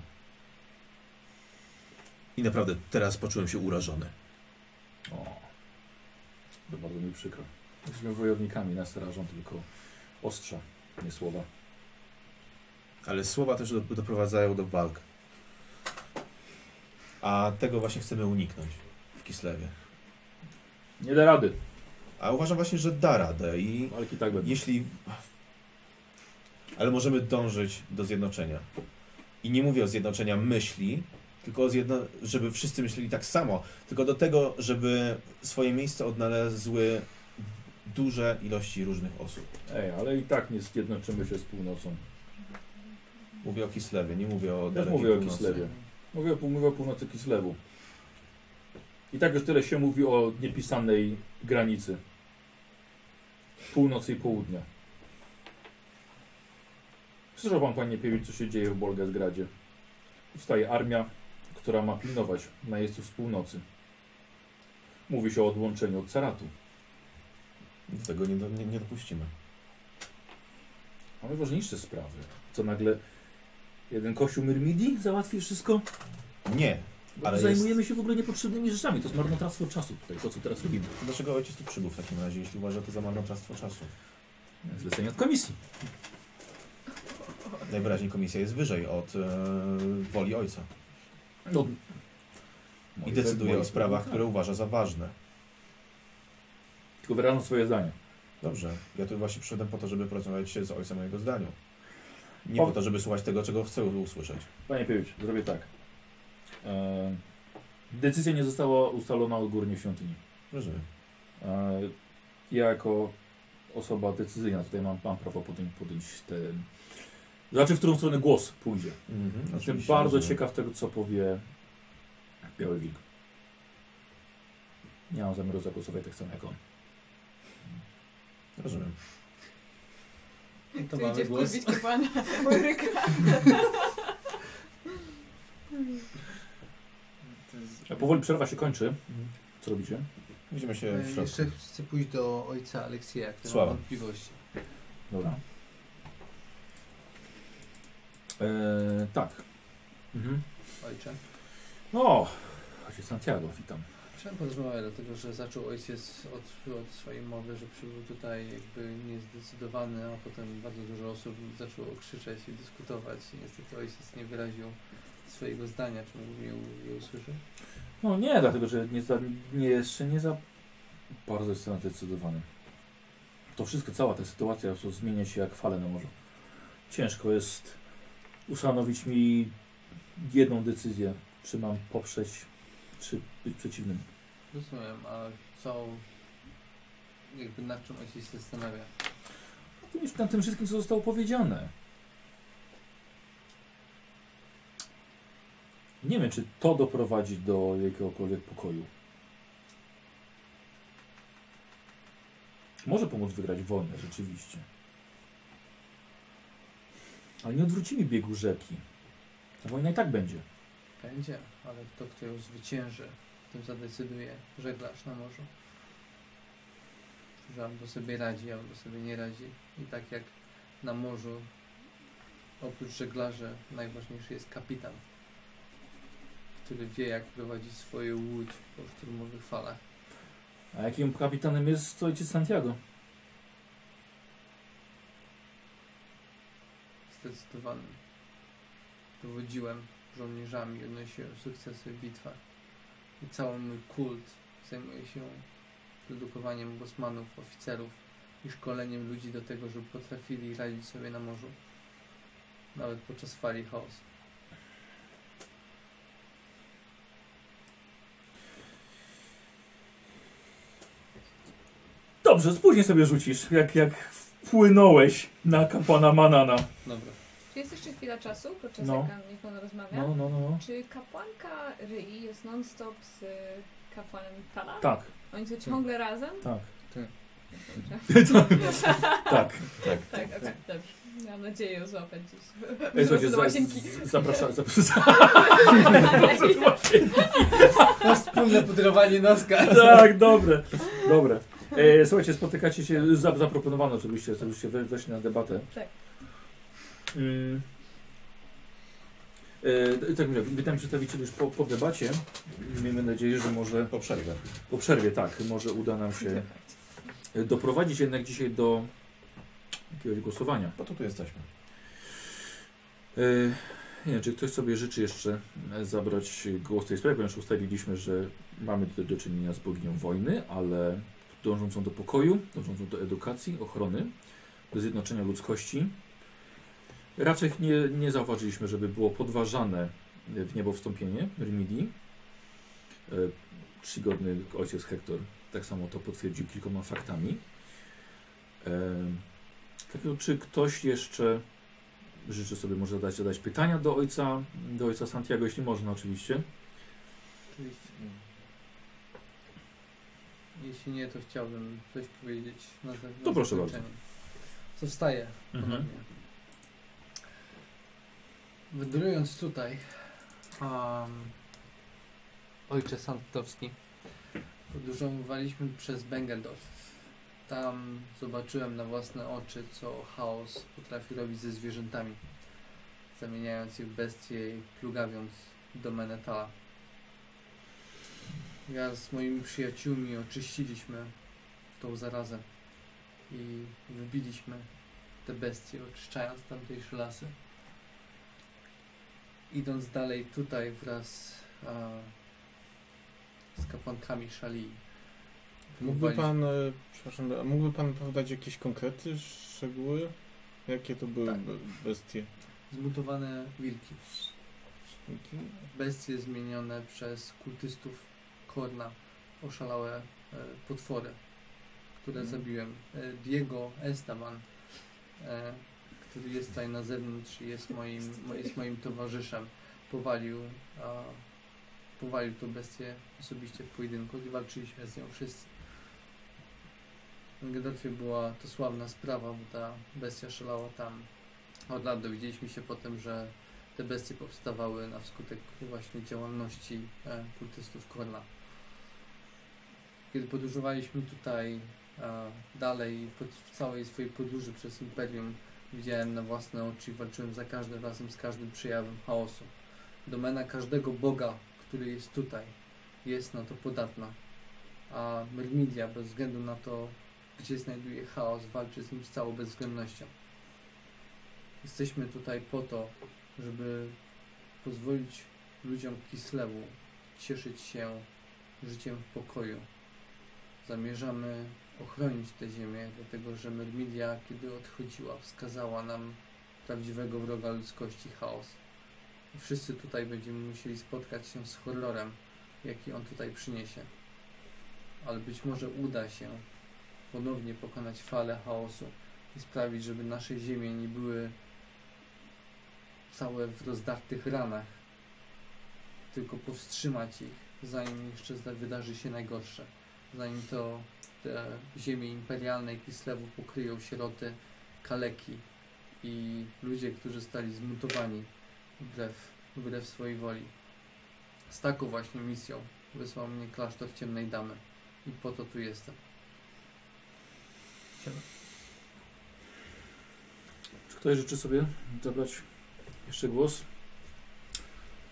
Speaker 2: I naprawdę teraz poczułem się urażony.
Speaker 1: O, to bardzo mi przykro. Jesteśmy wojownikami, nas rażą tylko ostrza, nie słowa.
Speaker 2: Ale słowa też do, doprowadzają do walk. A tego właśnie chcemy uniknąć w Kislewie.
Speaker 1: Nie da rady.
Speaker 2: A uważam właśnie, że da radę i
Speaker 1: Walki tak będą.
Speaker 2: Jeśli. Ale możemy dążyć do zjednoczenia. I nie mówię o zjednoczenia myśli, tylko o zjedno... żeby wszyscy myśleli tak samo, tylko do tego, żeby swoje miejsce odnalezły duże ilości różnych osób.
Speaker 1: Ej, ale i tak nie zjednoczymy się z północą.
Speaker 2: Mówię o Kislewie, nie mówię o
Speaker 1: Też
Speaker 2: dalekiej
Speaker 1: mówię o
Speaker 2: północy.
Speaker 1: Kislewie. Mówię, o- mówię o północy Kislewu. I tak już tyle się mówi o niepisanej granicy. Północy i południa. Słyszał pan, panie Piewicz, co się dzieje w Bolgazgradzie. Powstaje armia, która ma pilnować najeźdźców z północy. Mówi się o odłączeniu od caratu.
Speaker 2: Do tego nie, do- nie, nie dopuścimy.
Speaker 1: Mamy ważniejsze sprawy. Co nagle jeden kościół Myrmidii załatwi wszystko?
Speaker 2: Nie.
Speaker 1: Bo
Speaker 2: Ale
Speaker 1: zajmujemy się w ogóle niepotrzebnymi rzeczami. To jest marnotrawstwo czasu tutaj, to co teraz robimy.
Speaker 2: Dlaczego ojciec tu przybył w takim razie, jeśli uważa to za marnotrawstwo czasu?
Speaker 1: Zlecenie od komisji.
Speaker 2: Najwyraźniej komisja jest wyżej od e, woli ojca
Speaker 1: No.
Speaker 2: i decyduje o sprawach,
Speaker 1: Tak.
Speaker 2: które uważa za ważne.
Speaker 1: Tylko wyrażam swoje zdanie.
Speaker 2: Dobrze, ja tu właśnie przyszedłem po to, żeby porozmawiać się z ojcem o jego zdaniu. Nie
Speaker 1: O-
Speaker 2: po to, żeby słuchać tego, czego chcę usłyszeć.
Speaker 1: Panie Piewicz, zrobię tak. E, decyzja nie została ustalona odgórnie w świątyni.
Speaker 2: Rozumiem.
Speaker 1: E, ja jako osoba decyzyjna tutaj mam, mam prawo podjąć, podjąć te... Znaczy, w którą stronę głos pójdzie.
Speaker 2: Mhm,
Speaker 1: Jestem
Speaker 2: oczywiście,
Speaker 1: bardzo
Speaker 2: rozumiem.
Speaker 1: ciekaw tego, co powie Biały Wilk. Nie mam zamiaru zagłosować tak samo jak on.
Speaker 2: Rozumiem.
Speaker 4: No To
Speaker 3: Tu
Speaker 4: mamy
Speaker 3: idzie
Speaker 4: głos.
Speaker 3: wkurwić pana Boryka.
Speaker 4: To jest-
Speaker 1: A E, powoli przerwa się kończy.
Speaker 2: Mhm.
Speaker 1: Co robicie?
Speaker 2: Widzimy się w
Speaker 4: E,
Speaker 2: środku.
Speaker 4: Jeszcze chcę pójść do ojca Aleksieja, który ma
Speaker 2: Sława.
Speaker 4: wątpliwości.
Speaker 1: Dobra. Eee, tak. Mhm.
Speaker 4: Ojcze.
Speaker 1: O, ojciec Santiago, witam.
Speaker 4: Chciałem porozmawiać, dlatego że zaczął ojciec od, od swojej mowy, że przybył tutaj jakby niezdecydowany, a potem bardzo dużo osób zaczęło krzyczeć i dyskutować. I niestety ojciec nie wyraził swojego zdania, czy mógłbym je, u- je usłyszeć.
Speaker 1: No nie, dlatego że nie, za, nie jeszcze nie za bardzo jestem zdecydowany. To wszystko, cała ta sytuacja po prostu zmienia się jak fale na morzu. Ciężko jest ustanowić mi jedną decyzję, czy mam poprzeć, czy być przeciwnym.
Speaker 4: Rozumiem, a co, jakby nad czym ojciec się zastanawia?
Speaker 1: Tym, na tym wszystkim, co zostało powiedziane. Nie wiem, czy to doprowadzi do jakiegokolwiek pokoju. Może pomóc wygrać wojnę, rzeczywiście. Ale nie odwrócimy biegu rzeki. Ta wojna i tak będzie.
Speaker 4: Będzie, ale kto, kto ją zwycięży, o tym zadecyduje żeglarz na morzu. Że albo sobie radzi, albo sobie nie radzi. I tak jak na morzu, oprócz żeglarzy, najważniejszy jest kapitan, który wie, jak prowadzić swoją łódź po szturmowych falach.
Speaker 1: A jakim kapitanem jest ojciec Santiago?
Speaker 4: Zdecydowanym. Dowodziłem żołnierzami, odnosiłem sukcesy w bitwach. I cały mój kult zajmuje się produkowaniem bosmanów, oficerów i szkoleniem ludzi do tego, żeby potrafili radzić sobie na morzu. Nawet podczas fali chaosu.
Speaker 1: Dobrze, później sobie rzucisz, jak, jak wpłynąłeś na kapłana Manana.
Speaker 4: Dobra.
Speaker 3: Czy jest jeszcze chwila czasu, podczas
Speaker 1: No.
Speaker 3: jak niech on rozmawia?
Speaker 1: No, no, no. no.
Speaker 3: Czy kapłanka Ryi jest non-stop z y, kapłanem Tala?
Speaker 1: Tak,
Speaker 3: Oni są ciągle razem?
Speaker 1: tak.
Speaker 3: tak.
Speaker 1: Tak.
Speaker 3: Tak, okej, dobrze. Miałam nadzieję ją złapać dziś.
Speaker 1: Ej,
Speaker 3: Wrócę
Speaker 1: słuchajcie,
Speaker 3: do
Speaker 1: za,
Speaker 3: łazienki. Tak.
Speaker 1: z- zapraszam, zapraszam.
Speaker 4: Wspólne pudrowanie noska.
Speaker 1: tak, dobre, dobre. E, słuchajcie, spotykacie się, za- zaproponowano żebyście, żebyście we- weszli na debatę.
Speaker 3: Tak.
Speaker 1: Mm. E, d- tak mówię, witam przedstawicieli już po, po debacie. Miejmy nadzieję, że może
Speaker 2: Po przerwie.
Speaker 1: po przerwie, tak, może uda nam się
Speaker 3: Tak.
Speaker 1: e, doprowadzić jednak dzisiaj do jakiegoś głosowania.
Speaker 2: Po to tu jesteśmy.
Speaker 1: E, Nie, wiem, czy ktoś sobie życzy jeszcze e, zabrać głos w tej sprawie, ponieważ ustaliliśmy, że mamy tutaj do czynienia z boginią wojny, ale dążącą do pokoju, dążącą do edukacji, ochrony, do zjednoczenia ludzkości. Raczej nie, nie zauważyliśmy, żeby było podważane e, w niebo wstąpienie Rymidii. E, Czcigodny ojciec Hektor tak samo to potwierdził kilkoma faktami. E, tak, no, czy ktoś jeszcze Życzę sobie może zadać, zadać pytania do ojca, do ojca Santiago, jeśli można oczywiście.
Speaker 4: Oczywiście. Jeśli nie, to chciałbym coś powiedzieć na za- na
Speaker 1: To proszę bardzo. Mhm.
Speaker 4: zakończenie. Zostaję. Ponownie. Wędrując tutaj, um, ojcze Santowski, podróżowaliśmy przez Bengeldorf. Tam zobaczyłem na własne oczy, co chaos potrafi robić ze zwierzętami, zamieniając je w bestie i plugawiąc do Menetala. Ja z moimi przyjaciółmi oczyściliśmy tą zarazę i wybiliśmy te bestie, oczyszczając tamtejsze lasy. Idąc dalej tutaj wraz a, z kapłankami szali.
Speaker 6: Mógłby pan, e, przepraszam, a mógłby pan podać jakieś konkrety, szczegóły? Jakie to były
Speaker 4: Tak.
Speaker 6: be- bestie?
Speaker 4: Zmutowane wilki.
Speaker 6: Jakie?
Speaker 4: Bestie zmienione przez kultystów Korna. Oszalałe e, potwory, które
Speaker 6: Mhm.
Speaker 4: zabiłem. E, Diego Estaban, e, który jest tutaj na zewnątrz i jest moim, mo- jest moim towarzyszem, powalił, a, powalił tą bestię osobiście w pojedynku i walczyliśmy z nią wszyscy. W Gedorfie była to sławna sprawa, bo ta bestia szalała tam. Od lat dowiedzieliśmy się potem, że te bestie powstawały na skutek właśnie działalności e, kultystów Korla. Kiedy podróżowaliśmy tutaj e, dalej, pod, w całej swojej podróży przez Imperium, widziałem na własne oczy i walczyłem za każdym razem z każdym przejawem chaosu. Domena każdego boga, który jest tutaj, jest na to podatna. A Myrmidia, bez względu na to, gdzie znajduje chaos, walczy z nim z całą bezwzględnością. Jesteśmy tutaj po to, żeby pozwolić ludziom Kislewu cieszyć się życiem w pokoju. Zamierzamy ochronić tę ziemię, dlatego że Mermidia, kiedy odchodziła, wskazała nam prawdziwego wroga ludzkości chaos. I wszyscy tutaj będziemy musieli spotkać się z horrorem, jaki on tutaj przyniesie. Ale być może uda się ponownie pokonać falę chaosu i sprawić, żeby nasze ziemie nie były całe w rozdartych ranach, tylko powstrzymać ich, zanim jeszcze zda- wydarzy się najgorsze. Zanim to te ziemie imperialne Kislewu pokryją sieroty, kaleki i ludzie, którzy zostali zmutowani wbrew, wbrew swojej woli. Z taką właśnie misją wysłał mnie klasztor Ciemnej Damy i po to tu jestem.
Speaker 1: Czy ktoś życzy sobie zabrać jeszcze głos?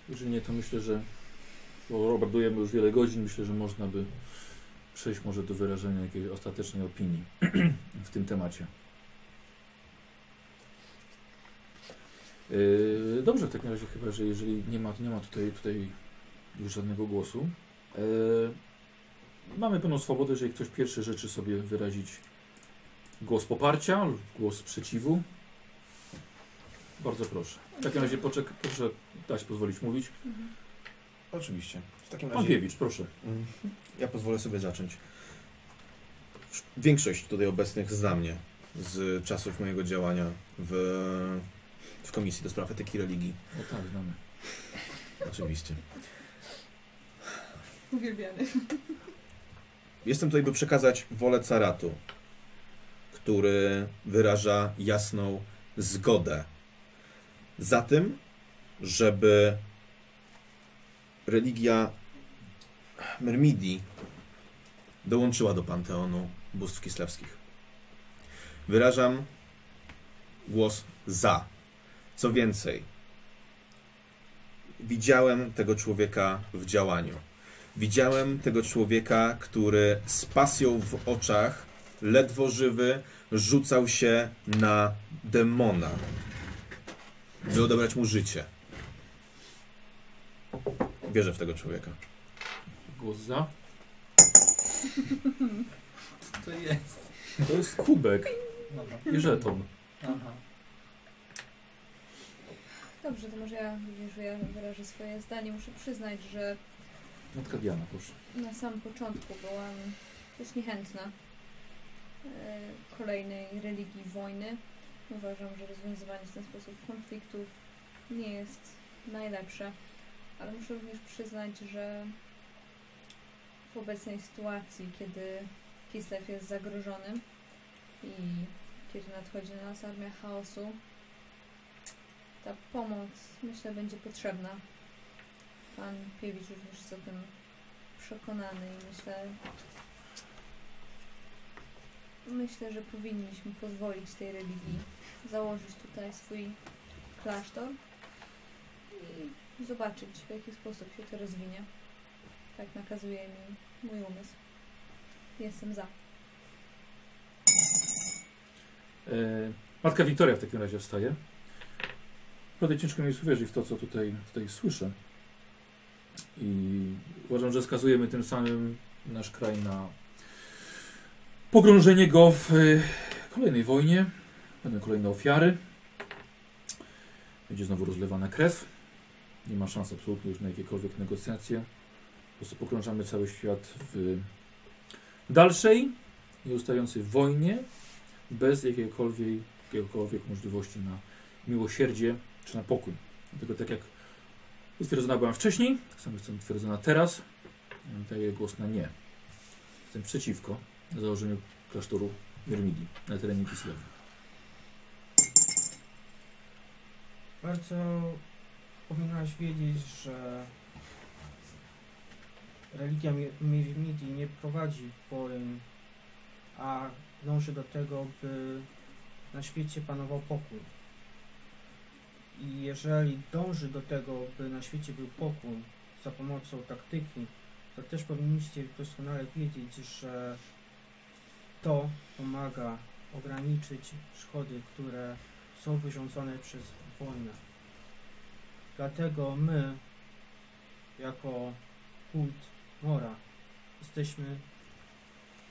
Speaker 1: Jeżeli nie, to myślę, że bo obradujemy już wiele godzin, myślę, że można by przejść może do wyrażenia jakiejś ostatecznej opinii w tym temacie. Yy, dobrze, w takim razie chyba, że jeżeli nie ma, nie ma tutaj, tutaj już żadnego głosu. Yy, mamy pełną swobodę, jeżeli ktoś pierwszy życzy sobie wyrazić głos poparcia lub głos sprzeciwu. Bardzo proszę. W takim razie poczek, proszę dać pozwolić mówić.
Speaker 2: Oczywiście. W takim
Speaker 1: Pan
Speaker 2: razie
Speaker 1: Piewicz, proszę.
Speaker 2: Mhm. ja pozwolę sobie zacząć. Większość tutaj obecnych zna mnie z czasów mojego działania w, w Komisji do Spraw Etyki i Religii.
Speaker 1: O tak, znamy.
Speaker 2: Oczywiście.
Speaker 3: Uwielbiany.
Speaker 2: Jestem tutaj, by przekazać wolę caratu, który wyraża jasną zgodę za tym, żeby religia Myrmidii dołączyła do panteonu bóstw kislewskich. Wyrażam głos za. Co więcej, widziałem tego człowieka w działaniu. Widziałem tego człowieka, który z pasją w oczach, ledwo żywy, rzucał się na demona, by odebrać mu życie. Wierzę w tego człowieka.
Speaker 9: Głos za.
Speaker 4: To jest.
Speaker 1: To jest kubek
Speaker 4: Dobra.
Speaker 1: i żeton.
Speaker 4: Aha.
Speaker 3: Dobrze, to może ja, że ja wyrażę swoje zdanie. Muszę przyznać, że
Speaker 1: Matka Diana, proszę.
Speaker 3: na samym początku byłam dość niechętna e, kolejnej religii wojny. Uważam, że rozwiązywanie w ten sposób konfliktów nie jest najlepsze, ale muszę również przyznać, że w obecnej sytuacji, kiedy Kislev jest zagrożony i kiedy nadchodzi na nas armia chaosu, ta pomoc myślę będzie potrzebna. Pan Piewicz również jest o tym przekonany i myślę, myślę, że powinniśmy pozwolić tej religii założyć tutaj swój klasztor i zobaczyć, w jaki sposób się to rozwinie. Tak nakazuje mi mój umysł. Jestem za.
Speaker 1: E, matka Wiktoria w takim razie wstaje. Naprawdę ciężko mi jest uwierzyć w to, co tutaj, tutaj słyszę. I uważam, że skazujemy tym samym nasz kraj na pogrążenie go w e, kolejnej wojnie. Będą kolejne ofiary. Będzie znowu rozlewana krew. Nie ma szans absolutnie już na jakiekolwiek negocjacje. Po prostu pogrążamy cały świat w dalszej, nieustającej wojnie bez jakiejkolwiek, jakiejkolwiek możliwości na miłosierdzie czy na pokój. Dlatego tak jak utwierdzona byłam wcześniej, tak samo jestem utwierdzona teraz, daję głos na nie. Jestem przeciwko założeniu klasztoru Myrmidii na terenie Kislewu.
Speaker 5: Bardzo powinnaś wiedzieć, że religia Mi- Mirmidi nie prowadzi wojen, a dąży do tego, by na świecie panował pokój. I jeżeli dąży do tego, by na świecie był pokój za pomocą taktyki, to też powinniście doskonale wiedzieć, że to pomaga ograniczyć szkody, które są wyrządzone przez wojnę. Dlatego my, jako kult Mora, jesteśmy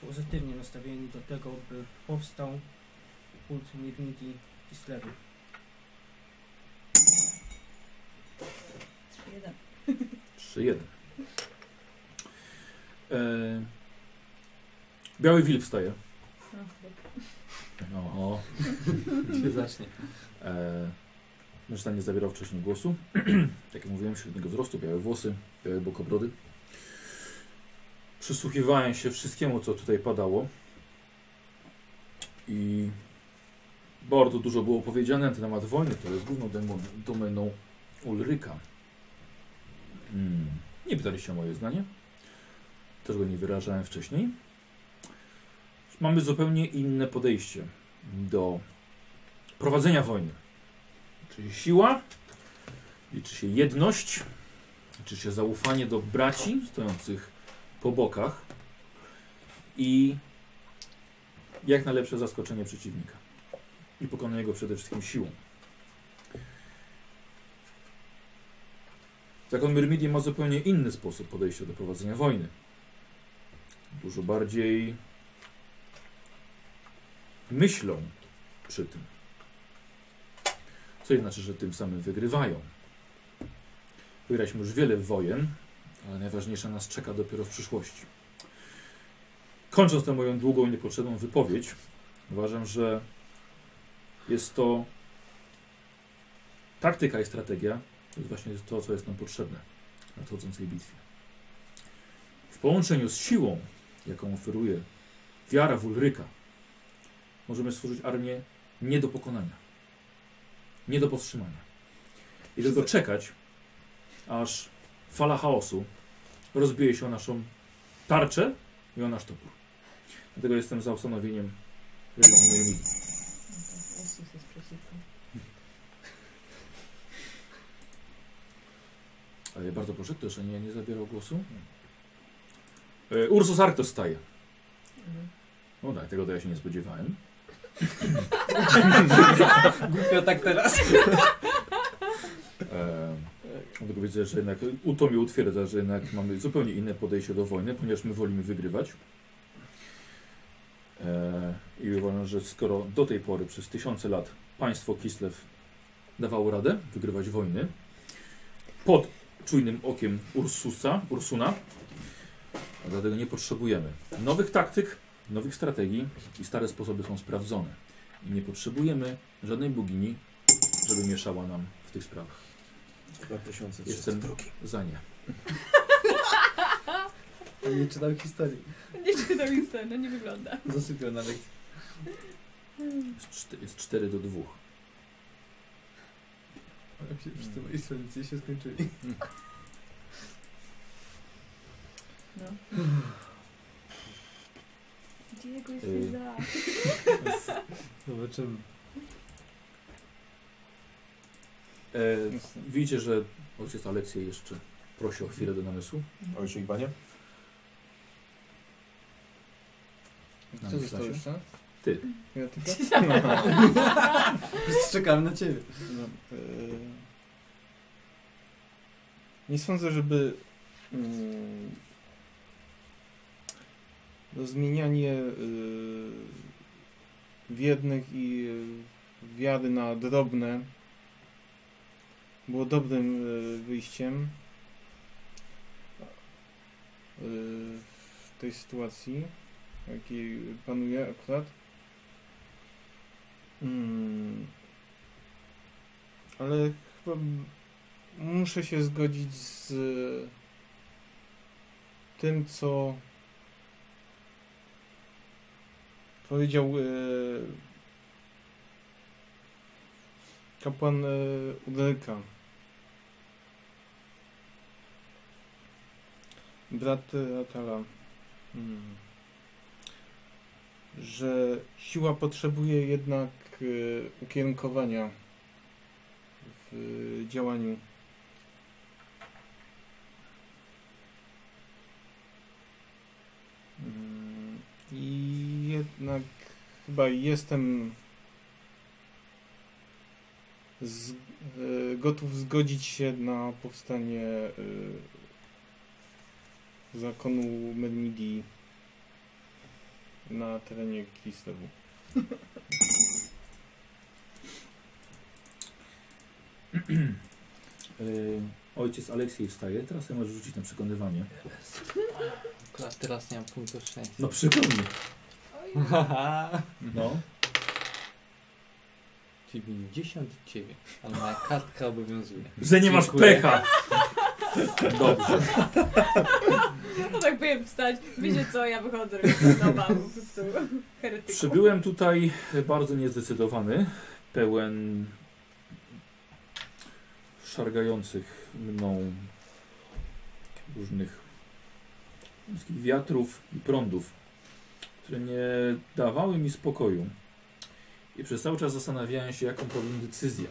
Speaker 5: pozytywnie nastawieni do tego, by powstał kult Mirmidi Kislewy.
Speaker 3: 3-1.
Speaker 1: 3-1. E... Biały wilk wstaje.
Speaker 3: No, chyba.
Speaker 1: No, o.
Speaker 4: Się zacznie.
Speaker 1: E... Mężczyzna nie zabierał wcześniej głosu. tak jak mówiłem, średniego wzrostu, białe włosy, białe bokobrody. Przysłuchiwałem się wszystkiemu, co tutaj padało. I bardzo dużo było powiedziane na temat wojny, która jest główną demo- domeną Ulryka. Mm. Nie pytaliście o moje zdanie. Też go nie wyrażałem wcześniej. Mamy zupełnie inne podejście do prowadzenia wojny. Czyli siła, liczy się jedność, liczy się zaufanie do braci stojących po bokach i jak najlepsze zaskoczenie przeciwnika i pokonanie go przede wszystkim siłą. Zakon Myrmidii ma zupełnie inny sposób podejścia do prowadzenia wojny. Dużo bardziej myślą przy tym. Co nie znaczy, że tym samym wygrywają. Wygraliśmy już wiele wojen, ale najważniejsza nas czeka dopiero w przyszłości. Kończąc tę moją długą i niepotrzebną wypowiedź, uważam, że jest to taktyka i strategia, to jest właśnie to, co jest nam potrzebne w nadchodzącej bitwie. W połączeniu z siłą, jaką oferuje wiara w Ulryka, możemy stworzyć armię nie do pokonania, nie do powstrzymania. I tylko czekać, aż fala chaosu rozbije się o naszą tarczę i o nasz topór. Dlatego jestem za ustanowieniem religii Myrmidii.
Speaker 3: No to Ursus jest przeciwko.
Speaker 1: Ale bardzo proszę, kto jeszcze nie, nie zabierał głosu? E, Ursus Arctos staje.
Speaker 3: Mhm.
Speaker 1: No tak, tego to ja się nie spodziewałem.
Speaker 4: Głupio tak teraz.
Speaker 1: E, Dlatego widzę, że jednak u to mnie utwierdza, że jednak mamy zupełnie inne podejście do wojny, ponieważ my wolimy wygrywać. E, I uważam, że skoro do tej pory przez tysiące lat państwo Kislew dawało radę wygrywać wojny pod czujnym okiem Ursusa, Ursuna, a dlatego nie potrzebujemy nowych taktyk, nowych strategii i stare sposoby są sprawdzone. I nie potrzebujemy żadnej bogini, żeby mieszała nam w tych sprawach.
Speaker 2: 2300.
Speaker 1: Jestem za nie.
Speaker 9: A nie czytał historii.
Speaker 3: Nie czytam Insta, no nie wygląda.
Speaker 9: Zasypiał na lekcji.
Speaker 1: Jest czty- Jest 4 do 2.
Speaker 9: Ale się Przy tym instrumencie się skończyli.
Speaker 3: No. Diego jesteś
Speaker 1: Y.
Speaker 3: za.
Speaker 9: Zobaczymy.
Speaker 1: E, widzicie, że ojciec Aleksiej jeszcze prosi o chwilę do namysłu.
Speaker 2: Ojcze Iwanie?
Speaker 6: Kto został
Speaker 1: Namyślacie?
Speaker 6: jeszcze?
Speaker 1: Ty.
Speaker 6: Ja tylko?
Speaker 9: Czekamy na ciebie.
Speaker 6: No, e, nie sądzę, żeby mm, to zmienianie e, wiernych i e, wiary na drobne było dobrym e, wyjściem e, w tej sytuacji, w jakiej panuje akurat. Mm. Ale chyba m- muszę się zgodzić z e, tym, co powiedział e, kapłan e, Udelka. Brat e, Atala. Mm. Że siła potrzebuje jednak e, ukierunkowania w y, działaniu. Mm, I jednak chyba jestem z, y, gotów zgodzić się na powstanie e, y, zakonu Medmidii na terenie Kislewu.
Speaker 1: E, ojciec Aleksiej wstaje. Teraz ja możesz rzucić na przekonywanie.
Speaker 9: Akurat teraz nie mam punktu szczęścia.
Speaker 1: No przypomnij.
Speaker 3: Oj,
Speaker 1: No.
Speaker 9: 99. Ale moja kartka obowiązuje.
Speaker 1: Że nie masz
Speaker 9: Dziękuję.
Speaker 1: pecha. Dobrze.
Speaker 3: ja to tak powiem wstać. Wiecie co, ja wychodzę, robię to nowa, po prostu heretyku.
Speaker 1: Przybyłem tutaj bardzo niezdecydowany, pełen szargających mną różnych wszystkich wiatrów i prądów, które nie dawały mi spokoju. I przez cały czas zastanawiałem się, jaką podjąć decyzję.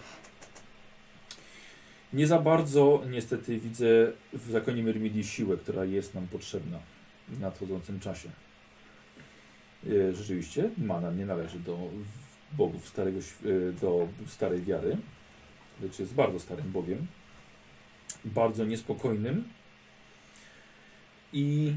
Speaker 1: Nie za bardzo niestety widzę w zakonie Myrmidii siłę, która jest nam potrzebna w nadchodzącym czasie. E, rzeczywiście mana nie należy do w- bogów starego, św- e, do starej wiary, lecz jest bardzo starym bogiem, bardzo niespokojnym i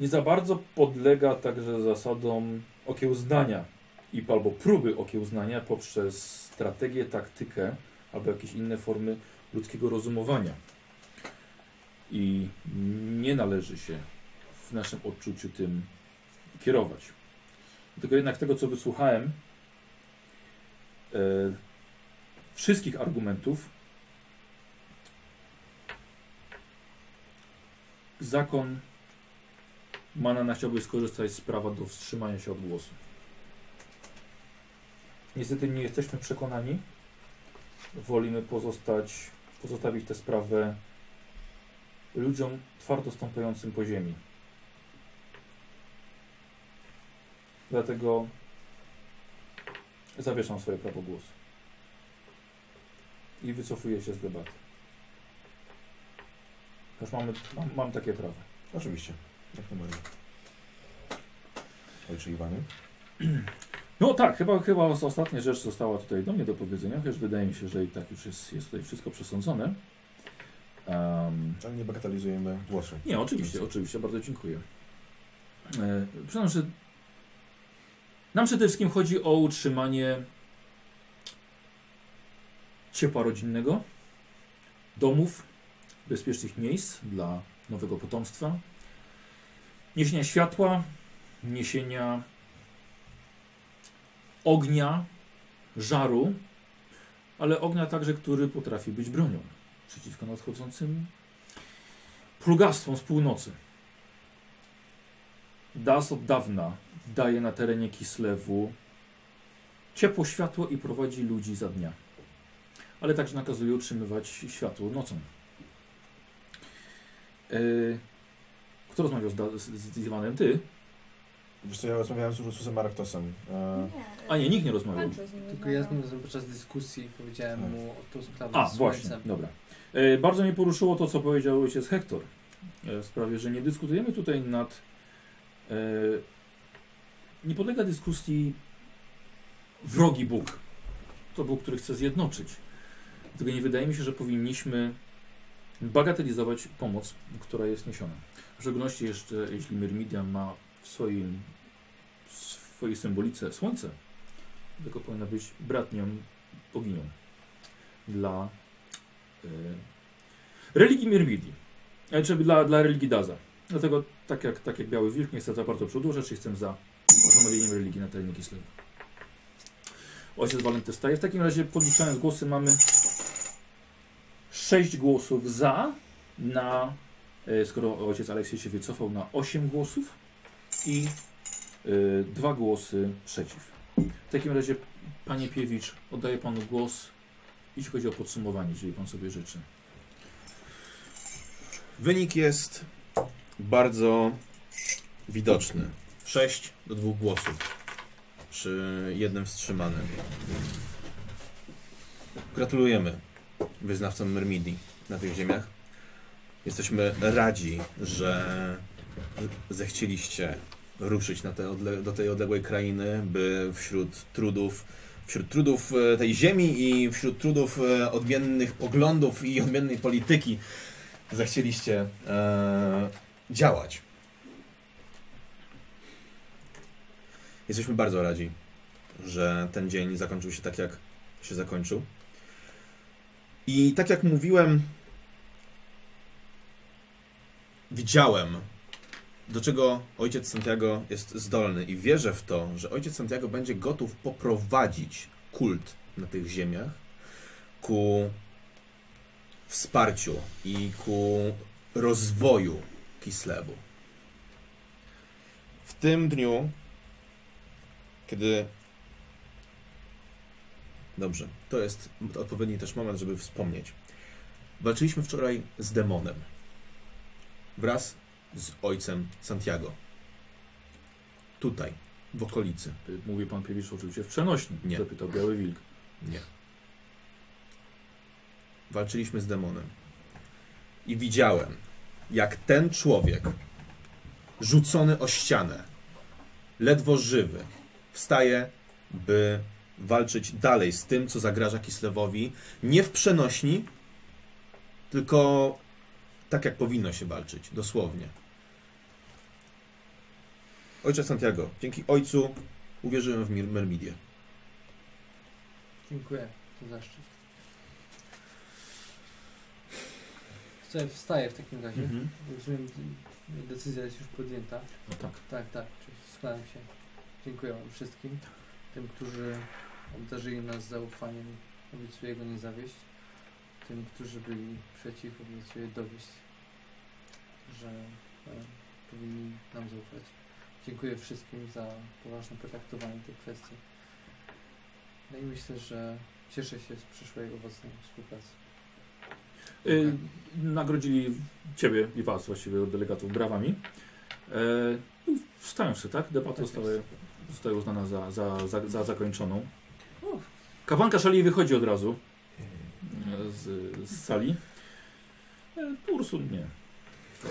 Speaker 1: nie za bardzo podlega także zasadom okiełznania i albo próby okiełznania poprzez strategię, taktykę albo jakieś inne formy ludzkiego rozumowania. I nie należy się w naszym odczuciu tym kierować. Tylko jednak tego, co wysłuchałem, e, wszystkich argumentów, zakon Manana chciałby skorzystać z prawa do wstrzymania się od głosu. Niestety nie jesteśmy przekonani. Wolimy pozostać, pozostawić tę sprawę ludziom twardo stąpającym po ziemi. Dlatego zawieszam swoje prawo głosu. I wycofuję się z debaty. Już mamy, mam, mam takie prawo.
Speaker 2: Oczywiście. Jak numer. Ojcze Iwanie?
Speaker 1: No tak, chyba, chyba os- ostatnia rzecz została tutaj do mnie do powiedzenia, chociaż wydaje mi się, że i tak już jest, jest tutaj wszystko przesądzone. Em,
Speaker 2: Ale nie bagatelizujemy głosu.
Speaker 1: nie, oczywiście, oczywiście, bardzo dziękuję. E, Przyznam, że nam przede wszystkim chodzi o utrzymanie ciepła rodzinnego, domów, bezpiecznych miejsc dla nowego potomstwa, niesienia światła, niesienia ognia, żaru, ale ognia także, który potrafi być bronią przeciwko nadchodzącym plugastwom z północy. Das od dawna daje na terenie Kislewu ciepło światło i prowadzi ludzi za dnia. Ale także nakazuje utrzymywać światło nocą. Yy, kto rozmawiał z, Da- z, z Iwanem? Ty?
Speaker 2: Wiesz co, ja rozmawiałem z Ursusem Araktosem. E,
Speaker 1: A nie, nikt nie rozmawiał.
Speaker 3: Pancho z nim
Speaker 4: Tylko ja z nim
Speaker 3: rozmawiał.
Speaker 4: razem podczas dyskusji powiedziałem
Speaker 2: Tak.
Speaker 4: mu o tą sprawę
Speaker 1: A,
Speaker 4: z
Speaker 1: właśnie,
Speaker 4: słońcem.
Speaker 1: dobra. E, bardzo mnie poruszyło to, co powiedział ojciec Hektor e, w sprawie, że nie dyskutujemy tutaj nad... E, nie podlega dyskusji wrogi Bóg. To Bóg, który chce zjednoczyć. Dlatego nie wydaje mi się, że powinniśmy bagatelizować pomoc, która jest niesiona. W szczególności jeszcze, jeśli Myrmidia ma w swoim, w swojej symbolice słońce, tylko powinna być bratnią boginią dla e, religii Myrmidii, e, czy dla, dla religii Daza. Dlatego, tak jak, tak jak Biały Wilk, nie chcę za bardzo przedłużać, jestem za ustanowieniem religii na terenie Kislewu. Ojciec Walenty staje. W takim razie, podliczając głosy, mamy sześć głosów za, na, e, skoro ojciec Aleksiej się wycofał, na osiem głosów i e, dwa głosy przeciw. W takim razie, panie Piewicz, oddaję panu głos jeśli chodzi o podsumowanie, jeżeli pan sobie życzy.
Speaker 2: Wynik jest bardzo widoczny. 6 do 2 głosów przy jednym wstrzymanym. Gratulujemy wyznawcom Myrmidii na tych ziemiach. Jesteśmy radzi, że zechcieliście ruszyć na te odle- do tej odległej krainy, by wśród trudów, wśród trudów e, tej ziemi i wśród trudów e, odmiennych poglądów i odmiennej polityki zechcieliście e, działać. Jesteśmy bardzo radzi, że ten dzień zakończył się tak, jak się zakończył. I tak jak mówiłem, widziałem, do czego ojciec Santiago jest zdolny i wierzę w to, że ojciec Santiago będzie gotów poprowadzić kult na tych ziemiach ku wsparciu i ku rozwoju Kislewu. W tym dniu, kiedy. Dobrze, to jest odpowiedni też moment, żeby wspomnieć. Walczyliśmy wczoraj z demonem. Wraz z ojcem Santiago. Tutaj, w okolicy.
Speaker 1: Y, Mówi pan Piewicz oczywiście w przenośni,
Speaker 2: Nie.
Speaker 1: zapytał Biały Wilk.
Speaker 2: Nie. Walczyliśmy z demonem. I widziałem, jak ten człowiek, rzucony o ścianę, ledwo żywy, wstaje, by walczyć dalej z tym, co zagraża Kislewowi, nie w przenośni, tylko tak, jak powinno się walczyć, dosłownie. Ojcze Santiago, dzięki ojcu uwierzyłem w Mir- Myrmidię.
Speaker 4: Dziękuję, to zaszczyt. Wstaję, wstaję w takim razie.
Speaker 1: Mhm.
Speaker 4: Rozumiem, d- decyzja jest już podjęta.
Speaker 1: No tak.
Speaker 4: Tak, tak, czyli składam się. Dziękuję wam wszystkim, tym, którzy obdarzyli nas zaufaniem, obiecuję go nie zawieść. Tym, którzy byli przeciw, obiecuję dowieść, że e, powinni nam zaufać. Dziękuję wszystkim za poważne potraktowanie tej kwestii. No i myślę, że cieszę się z przyszłej owocnej współpracy.
Speaker 1: Y, nagrodzili ciebie i was właściwie od delegatów brawami. Y, i wstają się, tak? Debata
Speaker 4: Tak
Speaker 1: została,
Speaker 4: jest.
Speaker 1: została uznana za, za, za, za zakończoną. Kawanka szali wychodzi od razu y, z, z sali. Y, Ursun nie.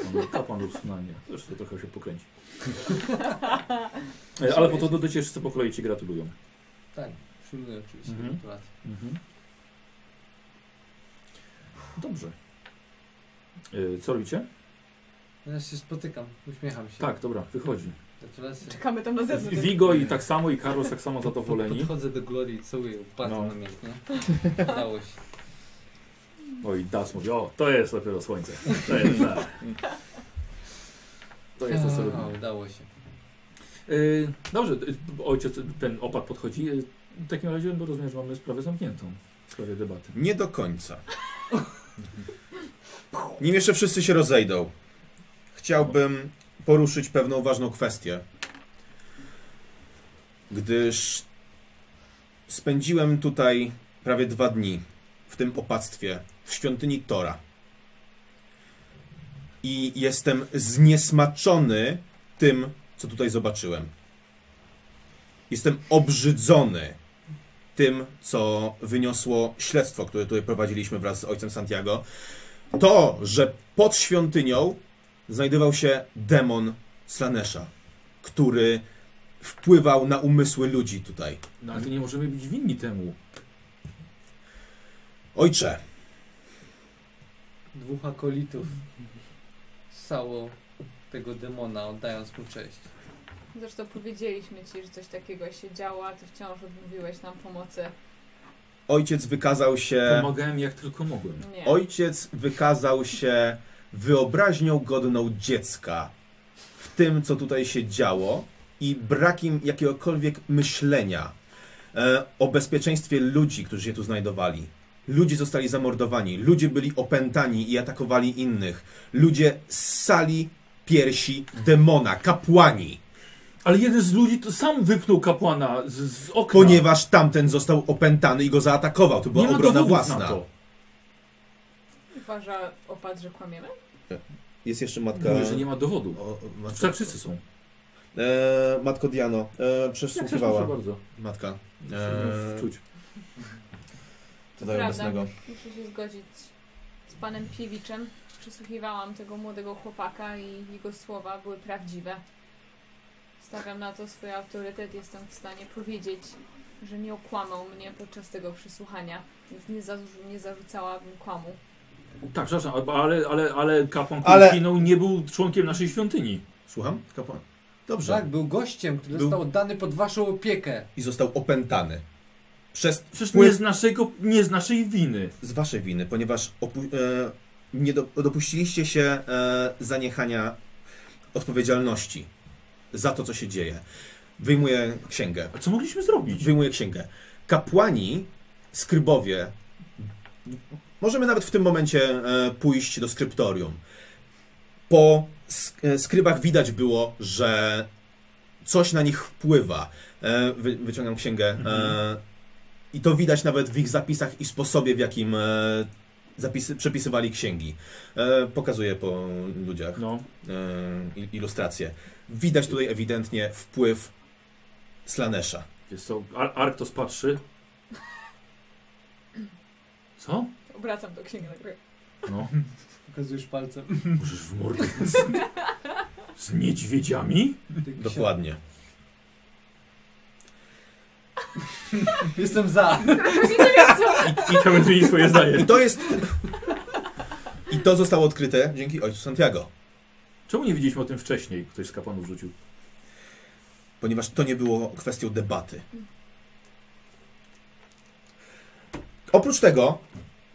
Speaker 1: Kapłan, kapłan usunania. Zresztą trochę się pokręci. E, Ale po to dodajcie wszyscy po kolei Ci gratulują.
Speaker 4: Tak, przyjmuję oczywiście
Speaker 1: Mhm.
Speaker 4: gratulacje.
Speaker 1: Mhm. Dobrze. E, Co robicie?
Speaker 4: Ja się spotykam, uśmiecham się.
Speaker 1: Tak, dobra, wychodzi.
Speaker 4: Gratulacje.
Speaker 3: Czekamy tam na zewnątrz.
Speaker 1: Vigo i tak samo, i Carlos tak samo zadowoleni.
Speaker 4: Podchodzę do Glorii i całuję ją bardzo
Speaker 1: No.
Speaker 4: namiętnie. Udało się.
Speaker 1: O i Das mówi, o, to jest dopiero słońce. To jest tak. To jest to, co
Speaker 4: A,
Speaker 1: robimy.
Speaker 4: No, Udało się.
Speaker 1: Y, Dobrze, y, ojciec, ten opat podchodzi. Y, W takim razie bo rozumiem, że mamy sprawę zamkniętą. W sprawie debaty.
Speaker 2: Nie do końca. Nim jeszcze wszyscy się rozejdą, chciałbym poruszyć pewną ważną kwestię. Gdyż spędziłem tutaj prawie dwa dni w tym opactwie, w świątyni Tora. I jestem zniesmaczony tym, co tutaj zobaczyłem. Jestem obrzydzony tym, co wyniosło śledztwo, które tutaj prowadziliśmy wraz z ojcem Santiago. To, że pod świątynią znajdował się demon Slanesha, który wpływał na umysły ludzi tutaj.
Speaker 1: No ale to nie możemy być winni temu.
Speaker 2: Ojcze,
Speaker 4: Dwóch akolitów sało tego demona, oddając mu cześć.
Speaker 3: Zresztą powiedzieliśmy ci, że coś takiego się działo, a ty wciąż odmówiłeś nam pomocy.
Speaker 2: ojciec wykazał się.
Speaker 1: Pomagałem jak tylko mogłem.
Speaker 3: Nie.
Speaker 2: Ojciec wykazał się wyobraźnią godną dziecka w tym, co tutaj się działo i brakiem jakiegokolwiek myślenia e, o bezpieczeństwie ludzi, którzy się tu znajdowali. Ludzie zostali zamordowani, ludzie byli opętani i atakowali innych. Ludzie ssali piersi demona, kapłani,
Speaker 1: Ale jeden z ludzi to sam wypnął kapłana z, z okna.
Speaker 2: ponieważ tamten został opętany i go zaatakował. To była
Speaker 1: nie ma
Speaker 2: obrona
Speaker 1: dowodów
Speaker 2: własna.
Speaker 1: na to.
Speaker 3: Uważa opat, że kłamiemy?
Speaker 2: Jest jeszcze matka.
Speaker 1: Mówię, że nie ma dowodu.
Speaker 2: O, o, matka...
Speaker 1: Tak wszyscy są.
Speaker 2: E, matko Diano, e,
Speaker 1: Jak chcesz, proszę
Speaker 2: przesłuchiwała.
Speaker 1: bardzo.
Speaker 2: Matka.
Speaker 1: Eee... Czuć.
Speaker 2: To daje
Speaker 3: Prawda.
Speaker 2: mocnego.
Speaker 3: Muszę się zgodzić z panem Piewiczem. Przesłuchiwałam tego młodego chłopaka i jego słowa były prawdziwe. Stawiam na to swój autorytet. Jestem w stanie powiedzieć, że nie okłamał mnie podczas tego przesłuchania, więc nie, zarzu- nie zarzucałabym kłamu.
Speaker 1: Tak, przepraszam, ale, ale, ale kapłan
Speaker 2: Ale-
Speaker 1: Kulkinął nie był członkiem naszej świątyni.
Speaker 2: Słucham? Kapłan. Dobrze.
Speaker 4: Tak, był gościem, który
Speaker 2: Był-
Speaker 4: został oddany pod waszą opiekę.
Speaker 2: I został opętany. Przez
Speaker 1: Przecież nie
Speaker 2: wpływ
Speaker 1: z, naszego, nie z naszej winy.
Speaker 2: z waszej winy, ponieważ opu- e, nie do- dopuściliście się e, zaniechania odpowiedzialności za to, co się dzieje. Wyjmuję księgę.
Speaker 1: A co mogliśmy zrobić?
Speaker 2: Wyjmuję księgę. Kapłani, skrybowie, możemy nawet w tym momencie e, pójść do skryptorium. Po sk- e, skrybach widać było, że coś na nich wpływa. E, wy- wyciągam księgę. E, I to widać nawet w ich zapisach i sposobie, w jakim e, zapisy, przepisywali księgi. E, pokazuję po ludziach
Speaker 1: No,
Speaker 2: e, il- ilustrację. Widać tutaj ewidentnie wpływ Slanesha.
Speaker 1: jest to. Ar Arktos patrzy. Co?
Speaker 3: Obracam do księgi nagry.
Speaker 1: No,
Speaker 4: Pokazujesz palcem.
Speaker 1: możesz w mordę. Z, z niedźwiedziami?
Speaker 4: Ty
Speaker 2: Dokładnie.
Speaker 4: księ- Jestem za.
Speaker 1: I, i Kamil zmieni swoje zdanie.
Speaker 2: I to jest. I to zostało odkryte dzięki ojcu Santiago,
Speaker 1: Czemu nie wiedzieliśmy o tym wcześniej? Ktoś z kapłanów rzucił.
Speaker 2: ponieważ to nie było kwestią debaty. Oprócz tego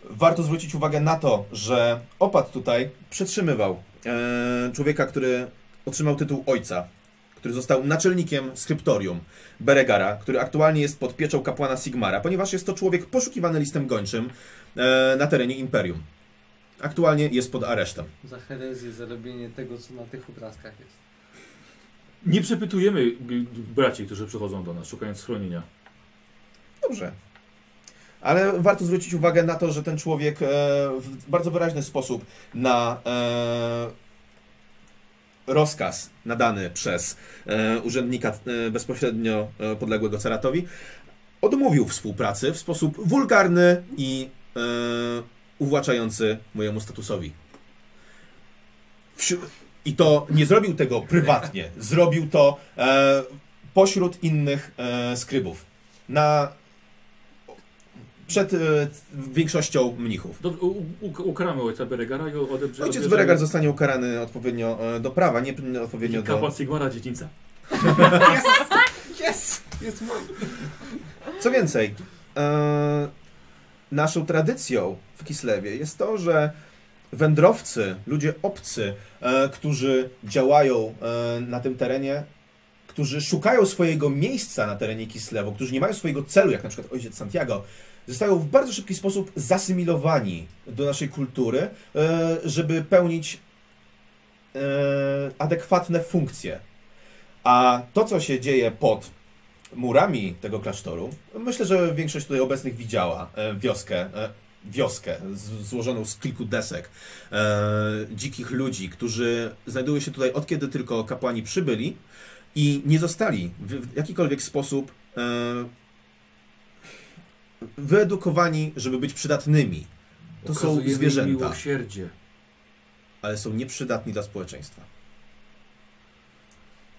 Speaker 2: warto zwrócić uwagę na to, że opat tutaj przetrzymywał e, człowieka, który otrzymał tytuł ojca, który został naczelnikiem skryptorium Beregara, który aktualnie jest pod pieczą kapłana Sigmara, ponieważ jest to człowiek poszukiwany listem gończym e, na terenie imperium. Aktualnie jest pod aresztem.
Speaker 4: Za herezję, za robienie tego, co na tych obrazkach jest.
Speaker 1: Nie przepytujemy y, braci, którzy przychodzą do nas, szukając schronienia.
Speaker 2: Dobrze. Ale warto zwrócić uwagę na to, że ten człowiek e, w bardzo wyraźny sposób na e, rozkaz nadany przez e, urzędnika e, bezpośrednio e, podległego Ceratowi odmówił współpracy w sposób wulgarny i e, uwłaczający mojemu statusowi. wśród, i to nie zrobił tego prywatnie, zrobił to e, pośród innych e, skrybów. Na, przed e, większością mnichów.
Speaker 1: Do, u, u, ukaramy ojca Beregara i odebrzemy...
Speaker 2: Ojciec Beregar zostanie ukarany odpowiednio e, do prawa, nie p- odpowiednio do...
Speaker 1: Kapłan Sigmara dziedzińca.
Speaker 2: Yes! Jest mój! Co więcej, e, naszą tradycją w Kislewie jest to, że wędrowcy, ludzie obcy, e, którzy działają e, na tym terenie, którzy szukają swojego miejsca na terenie Kislewu, którzy nie mają swojego celu, jak na przykład ojciec Santiago, zostają w bardzo szybki sposób zasymilowani do naszej kultury, e, żeby pełnić e, adekwatne funkcje. A to, co się dzieje pod murami tego klasztoru, myślę, że większość tutaj obecnych widziała e, wioskę. e, Wioskę z, złożoną z kilku desek e, dzikich ludzi, którzy znajdują się tutaj od kiedy tylko kapłani przybyli i nie zostali w, w jakikolwiek sposób e, wyedukowani, żeby być przydatnymi. To są zwierzęta,
Speaker 1: miłosierdzie.
Speaker 2: ale są nieprzydatni dla społeczeństwa.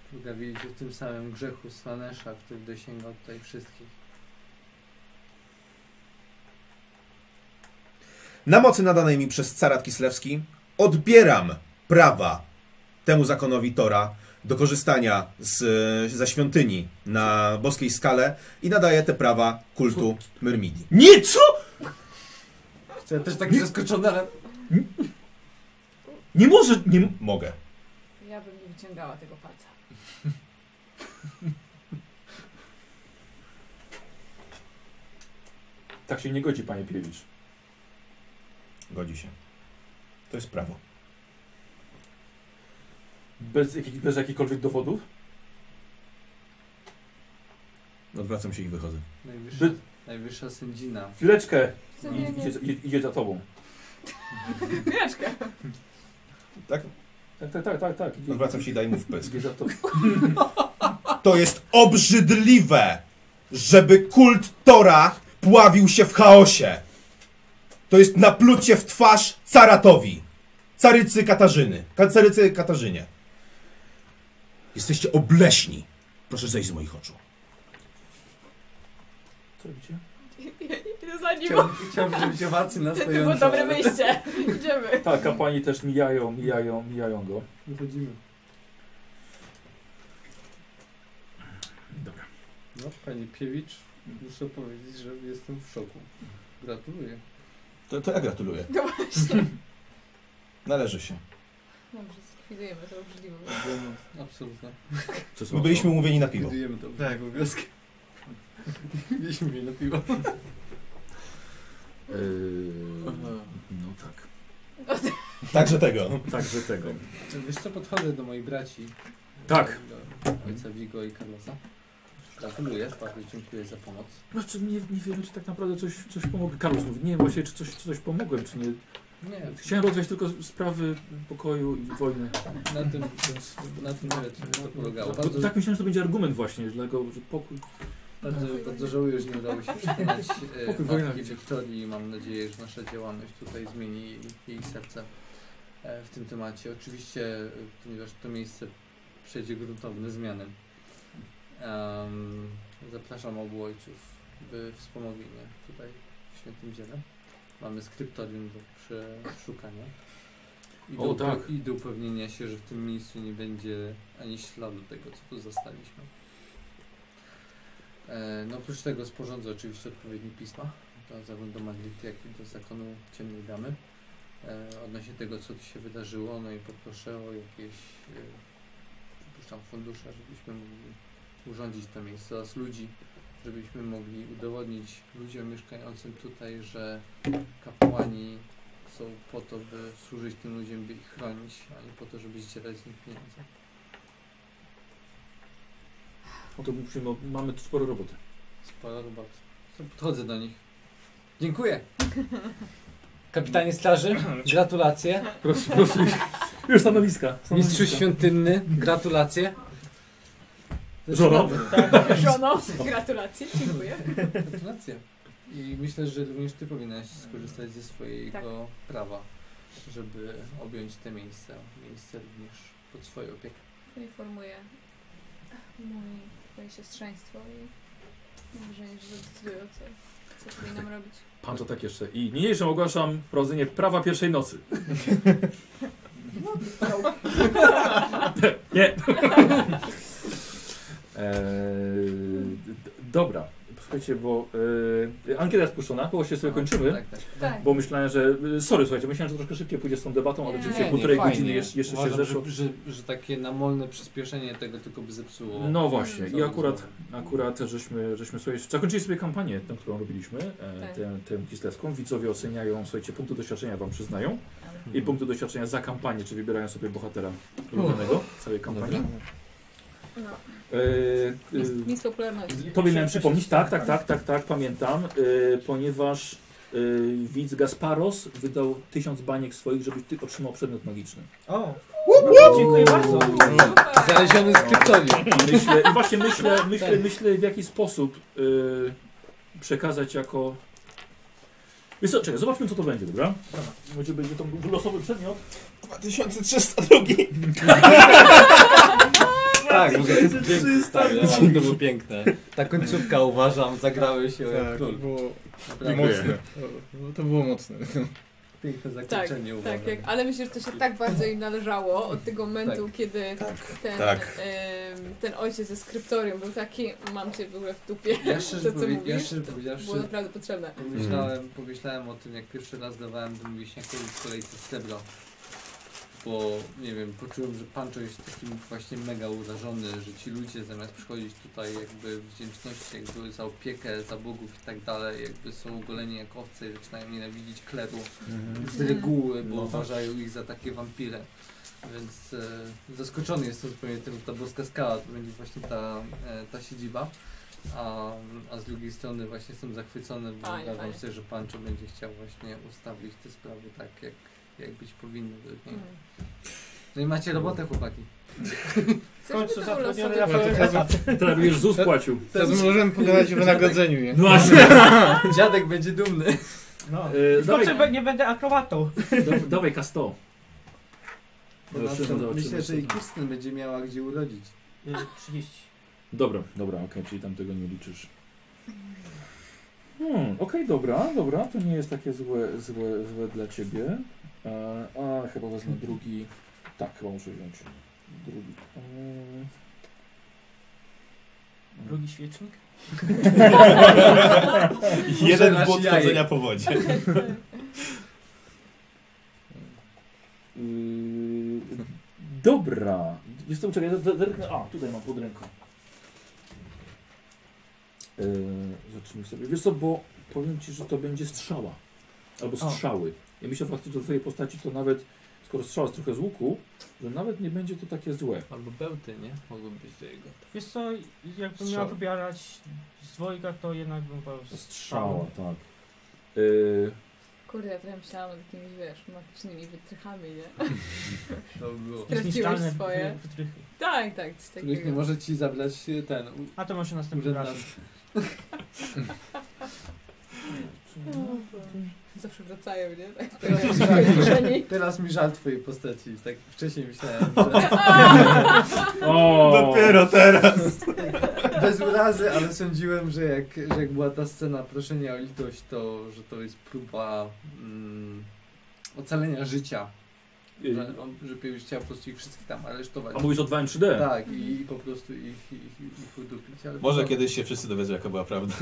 Speaker 4: Trudno wiedzieć o tym samym grzechu Slanesza, który dosięgał tutaj wszystkich.
Speaker 2: Na mocy nadanej mi przez carat Kislewski odbieram prawa temu zakonowi Tora do korzystania z, e, ze świątyni na boskiej skale i nadaję te prawa kultu Myrmidii.
Speaker 1: Nie, co?
Speaker 4: Ja też taki zaskoczony, ale
Speaker 1: Nie może, nie... m-
Speaker 2: Mogę.
Speaker 28: Ja bym nie wyciągała tego palca.
Speaker 1: Tak się nie godzi, panie Piewicz.
Speaker 2: Godzi się. To jest prawo.
Speaker 1: Bez, jakich, bez jakichkolwiek dowodów?
Speaker 2: Odwracam się i wychodzę.
Speaker 4: najwyższa,
Speaker 1: By-
Speaker 4: najwyższa sędzina.
Speaker 1: Chwileczkę.
Speaker 28: W sumie
Speaker 4: No,
Speaker 1: I- Idzie,
Speaker 28: nie.
Speaker 1: idzie, idzie za tobą.
Speaker 28: Chwileczkę.
Speaker 2: Tak?
Speaker 1: Tak, tak, tak, tak. tak. Idzie,
Speaker 2: Odwracam się i daj mu w pysk.
Speaker 1: Idzie za tobą.
Speaker 2: To jest obrzydliwe, żeby kult Tora pławił się w chaosie. To jest naplucie w twarz caratowi. Carycy Katarzyny. Ka- Carycy Katarzynie. Jesteście obleśni. Proszę zejść z moich oczu.
Speaker 1: Co robicie?
Speaker 28: Idę za nim.
Speaker 4: Chciałbym, chciałbym żeby się wacy na
Speaker 28: To było
Speaker 4: stojąco,
Speaker 28: dobre
Speaker 4: ale
Speaker 28: wyjście. Idziemy.
Speaker 1: Tak, kapłani też mijają, mijają, mijają go.
Speaker 4: Wychodzimy.
Speaker 1: Dobra.
Speaker 4: No, panie Piewicz, muszę powiedzieć, że jestem w szoku. Gratuluję.
Speaker 2: To, to ja gratuluję.
Speaker 28: No właśnie.
Speaker 2: Należy się.
Speaker 28: Dobrze, zlikwidujemy to obrzydliwe.
Speaker 4: Absolutnie.
Speaker 2: My byliśmy umówieni na piwo.
Speaker 4: Likwidujemy to. Tak, obowiązki. Mieliśmy mnie na piwo.
Speaker 1: E, no tak.
Speaker 2: Także tego.
Speaker 1: Także tego.
Speaker 4: Wiesz co, podchodzę do moich braci.
Speaker 1: Tak.
Speaker 4: Do ojca Vigo i Carlosa. Gratuluję, bardzo dziękuję za pomoc.
Speaker 1: Znaczy, nie, nie wiem, czy tak naprawdę coś, coś pomogę. Karol mówi, nie, właśnie, czy coś, czy coś pomogłem, czy nie.
Speaker 4: Nie,
Speaker 1: Chciałem rozwiać tylko sprawy pokoju i wojny.
Speaker 4: na tym, na tym rzecz to polegało. Bardzo,
Speaker 1: Tak myślałem, że to będzie argument właśnie, dlatego, że pokój...
Speaker 4: bardzo, bardzo żałuję, że nie udało się przekonać
Speaker 1: Pokój
Speaker 4: e,
Speaker 1: wojna
Speaker 4: matki
Speaker 1: idzie.
Speaker 4: Wiktorii. Mam nadzieję, że nasza działalność tutaj zmieni jej, jej serce e, w tym temacie. Oczywiście, e, ponieważ to miejsce przejdzie gruntowne zmiany, em, zapraszam obu ojców, by wspomogli mnie tutaj w świętym dziele. Mamy skryptorium do przeszukania. I do,
Speaker 1: O, tak.
Speaker 4: I do upewnienia się, że w tym miejscu nie będzie ani śladu tego, co tu zastaliśmy. E, no oprócz tego sporządzę oczywiście odpowiednie pisma, do, zarówno do Madryty, jak i do zakonu Ciemnej Damy, e, odnośnie tego, co tu się wydarzyło, no i poproszę o jakieś, e, przypuszczam, fundusze, żebyśmy mogli urządzić to miejsce oraz ludzi, żebyśmy mogli udowodnić ludziom mieszkającym tutaj, że kapłani są po to, by służyć tym ludziom, by ich chronić, a nie po to, żeby zdzierać z nich pieniądze.
Speaker 1: No to musimy, mamy tu sporo roboty.
Speaker 4: Sporo roboty. To Podchodzę do nich. Dziękuję.
Speaker 9: Kapitanie straży, gratulacje.
Speaker 1: Proszę, proszę. Już stanowiska.
Speaker 9: Mistrzu
Speaker 1: stanowiska.
Speaker 9: świątynny, gratulacje.
Speaker 1: Żono.
Speaker 28: Tak. Żono, gratulacje, dziękuję.
Speaker 3: Tak.
Speaker 4: Gratulacje. I myślę, że również ty powinnaś skorzystać ze swojego prawa. żeby objąć te miejsca, miejsce również pod swoją opiekę.
Speaker 3: Informuję mój, moje siostrzeństwo i mam wrażenie, że zdecydują, co, co powinnam robić.
Speaker 1: Pan to tak jeszcze. I niniejszym ogłaszam wprowadzenie prawa pierwszej nocy. Nie. Eee, d- dobra, posłuchajcie, bo eee, ankieta jest puszczona, bo się sobie kończymy.
Speaker 4: Tak, tak.
Speaker 3: Tak.
Speaker 1: Bo myślałem, że. e, Sorry, słuchajcie, myślałem, że troszkę szybciej pójdzie z tą debatą, ale
Speaker 3: Nie,
Speaker 1: rzeczywiście
Speaker 3: nie,
Speaker 1: półtorej
Speaker 4: fajnie.
Speaker 1: godziny jeszcze, jeszcze się
Speaker 4: Uważam,
Speaker 1: zeszło.
Speaker 4: że, że, że takie namolne przyspieszenie tego tylko by zepsuło.
Speaker 1: No właśnie, i
Speaker 4: całą
Speaker 1: akurat,
Speaker 4: rozmowę.
Speaker 1: akurat żeśmy, żeśmy sobie, zakończyli sobie kampanię, tę, którą robiliśmy, e,
Speaker 3: Tak.
Speaker 1: tę, tę kislewską. Widzowie oceniają, słuchajcie, punkty doświadczenia wam przyznają i punkty doświadczenia za kampanię, czy wybierają sobie bohatera ulubionego całej kampanii.
Speaker 3: No,
Speaker 1: E, e,
Speaker 3: mis, mis popularności.
Speaker 1: tobie miałem przypomnieć, tak, tak, tak, tak, tak, pamiętam, e, ponieważ e, widz Gasparos wydał tysiąc baniek swoich, żebyś ty otrzymał przedmiot magiczny.
Speaker 6: O! Dziękuję bardzo.
Speaker 3: Super.
Speaker 4: Znaleziony z kryptonim.
Speaker 1: I myślę, i właśnie myślę, myślę, myślę w jaki sposób y, przekazać jako... Wiesz co, czekaj, zobaczmy co to będzie, dobra? Będzie, będzie to losowy przedmiot.
Speaker 2: 2302.
Speaker 3: No,
Speaker 4: Tak, może to jest piękne. To było piękne. Ta końcówka uważam, zagrały
Speaker 6: Tak,
Speaker 4: się
Speaker 1: Tak.
Speaker 4: jak król.
Speaker 29: było
Speaker 4: Naprawdę.
Speaker 29: mocne.
Speaker 6: e,
Speaker 29: To- To było mocne.
Speaker 4: Piękne
Speaker 3: Tak,
Speaker 4: zakończenie uważam.
Speaker 3: tak, jak, ale myślę, że to się tak bardzo im należało od tego momentu,
Speaker 4: Tak.
Speaker 3: kiedy ten,
Speaker 2: Tak.
Speaker 3: em, ten ojciec ze skryptorium był taki, mam cię w ogóle w dupie,
Speaker 4: Ja szczerze,
Speaker 3: to co
Speaker 4: powie, ja
Speaker 3: mówisz,
Speaker 4: szczerze
Speaker 3: to
Speaker 4: powiedziawszy,
Speaker 3: było naprawdę potrzebne.
Speaker 4: tak pomyślałem, pomyślałem o tym, jak pierwszy raz dawałem do wieśniakowi w kolejce srebro. Bo, nie wiem, poczułem, że Pancho jest takim właśnie mega urażony, że ci ludzie zamiast przychodzić tutaj jakby wdzięczności jakby za opiekę, za bogów i tak dalej, jakby są goleni jak owce i zaczynają nienawidzić kleru z reguły, bo uważają ich za takie wampiry. Więc e, zaskoczony jestem zupełnie tym, że ta boska skała to będzie właśnie ta, e, ta siedziba. A, a z drugiej strony właśnie jestem zachwycony, bo
Speaker 3: Fajnie,
Speaker 4: uważam
Speaker 3: fajnie.
Speaker 4: sobie, że Pancho będzie chciał właśnie ustawić te sprawy tak, jak, jak być powinny. według mnie.
Speaker 3: Mm.
Speaker 4: No i macie robotę, chłopaki.
Speaker 6: W końcu
Speaker 3: Chcesz, żeby to był losowy
Speaker 6: zatrudniony Rafał
Speaker 3: przedmiot?
Speaker 6: Etat.
Speaker 1: Teraz już ZUS płacił.
Speaker 29: Teraz możemy pogadać o wynagrodzeniu. nie?
Speaker 1: No właśnie.
Speaker 4: Dziadek będzie dumny.
Speaker 6: No.
Speaker 1: Y,
Speaker 6: W
Speaker 1: dawaj,
Speaker 6: końcu be- nie będę akrobatą.
Speaker 1: da- dawaj K100. Zobaczymy,
Speaker 4: Ponadto
Speaker 1: zobaczymy,
Speaker 4: No, Myślę,
Speaker 1: co
Speaker 4: że i
Speaker 1: to.
Speaker 4: Kirsten będzie miała gdzie urodzić.
Speaker 6: Y, 30.
Speaker 1: Dobra, dobra, okej, czyli tam tego nie liczysz. Hmm, okej, dobra, dobra, to nie jest takie złe, złe, złe dla ciebie. E, a, chyba wezmę drugi. Tak, chyba muszę wziąć drugi. E,
Speaker 6: Drugi świecznik.
Speaker 2: Jeden
Speaker 4: masz
Speaker 2: błąd
Speaker 4: jajek.
Speaker 2: chodzenia po wodzie.
Speaker 1: Yy, dobra. Jest to czekaj, zer- zerknę. A, tutaj mam pod ręką. Yy, zacznijmy sobie. Wiesz co, bo powiem ci, że to będzie strzała. Albo
Speaker 6: O.
Speaker 1: strzały. Ja myślę faktycznie do twojej postaci to nawet, skoro strzała jest trochę z łuku, że nawet nie będzie to takie złe.
Speaker 4: Albo bełty, nie? Mogą być do jego.
Speaker 6: Wiesz co, jakbym miał
Speaker 4: Strzał.
Speaker 6: wybierać z dwojga, to jednak bym wolał
Speaker 1: Strzała, tak. Yy,
Speaker 3: Kurde, ja trochę myślałam o jakimiś, wiesz, magicznymi wytrychami, nie?
Speaker 4: To by było.
Speaker 3: Straciłeś
Speaker 6: Niezniszczalne
Speaker 3: swoje.
Speaker 6: wy- wytrychy.
Speaker 3: Tak, tak, coś
Speaker 4: Których nie
Speaker 3: takiego.
Speaker 4: może ci zabrać y, ten. u-
Speaker 6: A to może następnym
Speaker 4: Urzędna-
Speaker 6: razem.
Speaker 3: No, Zawsze wracają, nie? Tak,
Speaker 4: Teraz mi
Speaker 3: tak,
Speaker 4: żal-
Speaker 3: tak.
Speaker 4: Teraz mi żal twojej postaci. Tak wcześniej myślałem, że
Speaker 1: o!
Speaker 2: Dopiero teraz.
Speaker 4: bez urazy, ale sądziłem, że jak, że jak była ta scena proszenia o litość, to że to jest próba mm, ocalenia życia.
Speaker 1: Yy,
Speaker 4: Że, on, że Piewicz chciał po prostu ich wszystkich tam aresztować.
Speaker 1: A mówisz o 2 3D.
Speaker 4: Tak, i po prostu ich, ich, ich udupić. Ale
Speaker 2: Może
Speaker 4: to-
Speaker 2: kiedyś się wszyscy dowiedzą, jaka była prawda.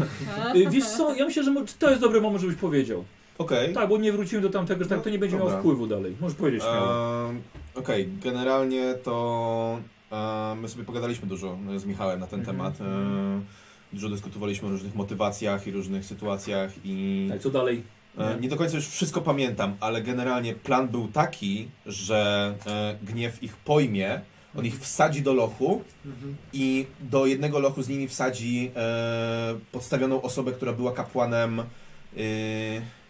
Speaker 1: Yy, wiesz co, ja myślę, że mo- to jest dobry moment, żebyś powiedział.
Speaker 2: Okej.
Speaker 1: Tak, bo nie wrócimy do tamtego, że tak to nie będzie miało
Speaker 2: Dobra.
Speaker 1: wpływu dalej. Możesz powiedzieć śmiało.
Speaker 2: Ehm, Okej, generalnie to e, my sobie pogadaliśmy dużo e, z Michałem na ten
Speaker 1: Mhm.
Speaker 2: temat. E, Dużo dyskutowaliśmy o różnych motywacjach i różnych sytuacjach i
Speaker 1: Tak, co dalej?
Speaker 2: e, nie do końca już wszystko pamiętam, ale generalnie plan był taki, że e, gniew ich pojmie, on ich wsadzi do lochu
Speaker 4: Mhm.
Speaker 2: i do jednego lochu z nimi wsadzi e, podstawioną osobę, która była kapłanem e,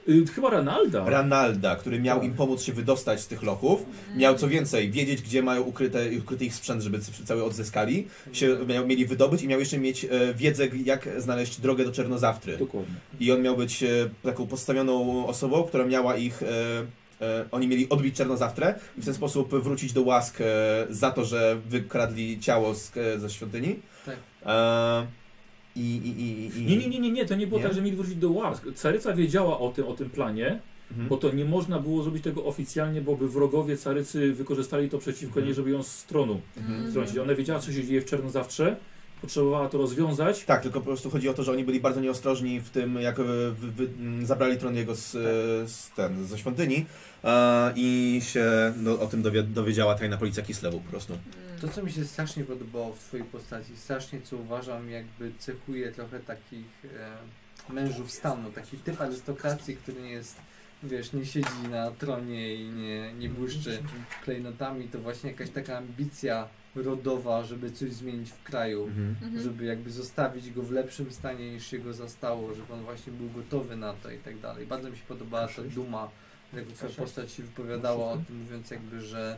Speaker 1: Y, chyba Ranalda.
Speaker 2: Ranalda, który miał
Speaker 1: Tak.
Speaker 2: im pomóc się wydostać z tych lochów. Miał co więcej, wiedzieć, gdzie mają ukryte, ukryty ich sprzęt, żeby c- cały odzyskali. Się, miał, mieli wydobyć i miał jeszcze mieć e, wiedzę, jak znaleźć drogę do Czernozawtry.
Speaker 1: Dokładnie.
Speaker 2: I on miał być e, taką podstawioną osobą, która miała ich e, e, oni mieli odbić Czernozawtrę i w ten sposób wrócić do łask e, za to, że wykradli ciało z, e, ze świątyni.
Speaker 4: Tak.
Speaker 2: E, i, i, i, i,
Speaker 1: Nie, nie, nie, nie, nie, to nie było
Speaker 2: Nie?
Speaker 1: tak, że mieli wrócić do łask. Caryca wiedziała o tym, o tym planie,
Speaker 2: Mhm.
Speaker 1: bo to nie można było zrobić tego oficjalnie, bo by wrogowie carycy wykorzystali to przeciwko niej, żeby ją z tronu
Speaker 3: Mm.
Speaker 2: Mhm.
Speaker 1: strącić. Ona wiedziała, co się dzieje w Czernozawtrze, potrzebowała to rozwiązać.
Speaker 2: Tak, tylko po prostu chodzi o to, że oni byli bardzo nieostrożni w tym, jak e, wy, wy, m, zabrali tron jego z, e, z ten, ze świątyni e, i się no, o tym dowie, dowiedziała tajna policja Kislewu po prostu.
Speaker 3: Mm.
Speaker 4: To, co mi się strasznie podobało w Twojej postaci, strasznie co uważam, jakby cechuje trochę takich e, mężów stanu, taki typ arystokracji, który nie jest, wiesz, nie siedzi na tronie i nie, nie błyszczy klejnotami, to właśnie jakaś taka ambicja rodowa, żeby coś zmienić w kraju,
Speaker 28: Mhm.
Speaker 4: żeby jakby zostawić go w lepszym stanie niż się go zastało, żeby on właśnie był gotowy na to i tak dalej. Bardzo mi się podobała ta duma, jak twoja postać się wypowiadała o tym, mówiąc jakby, że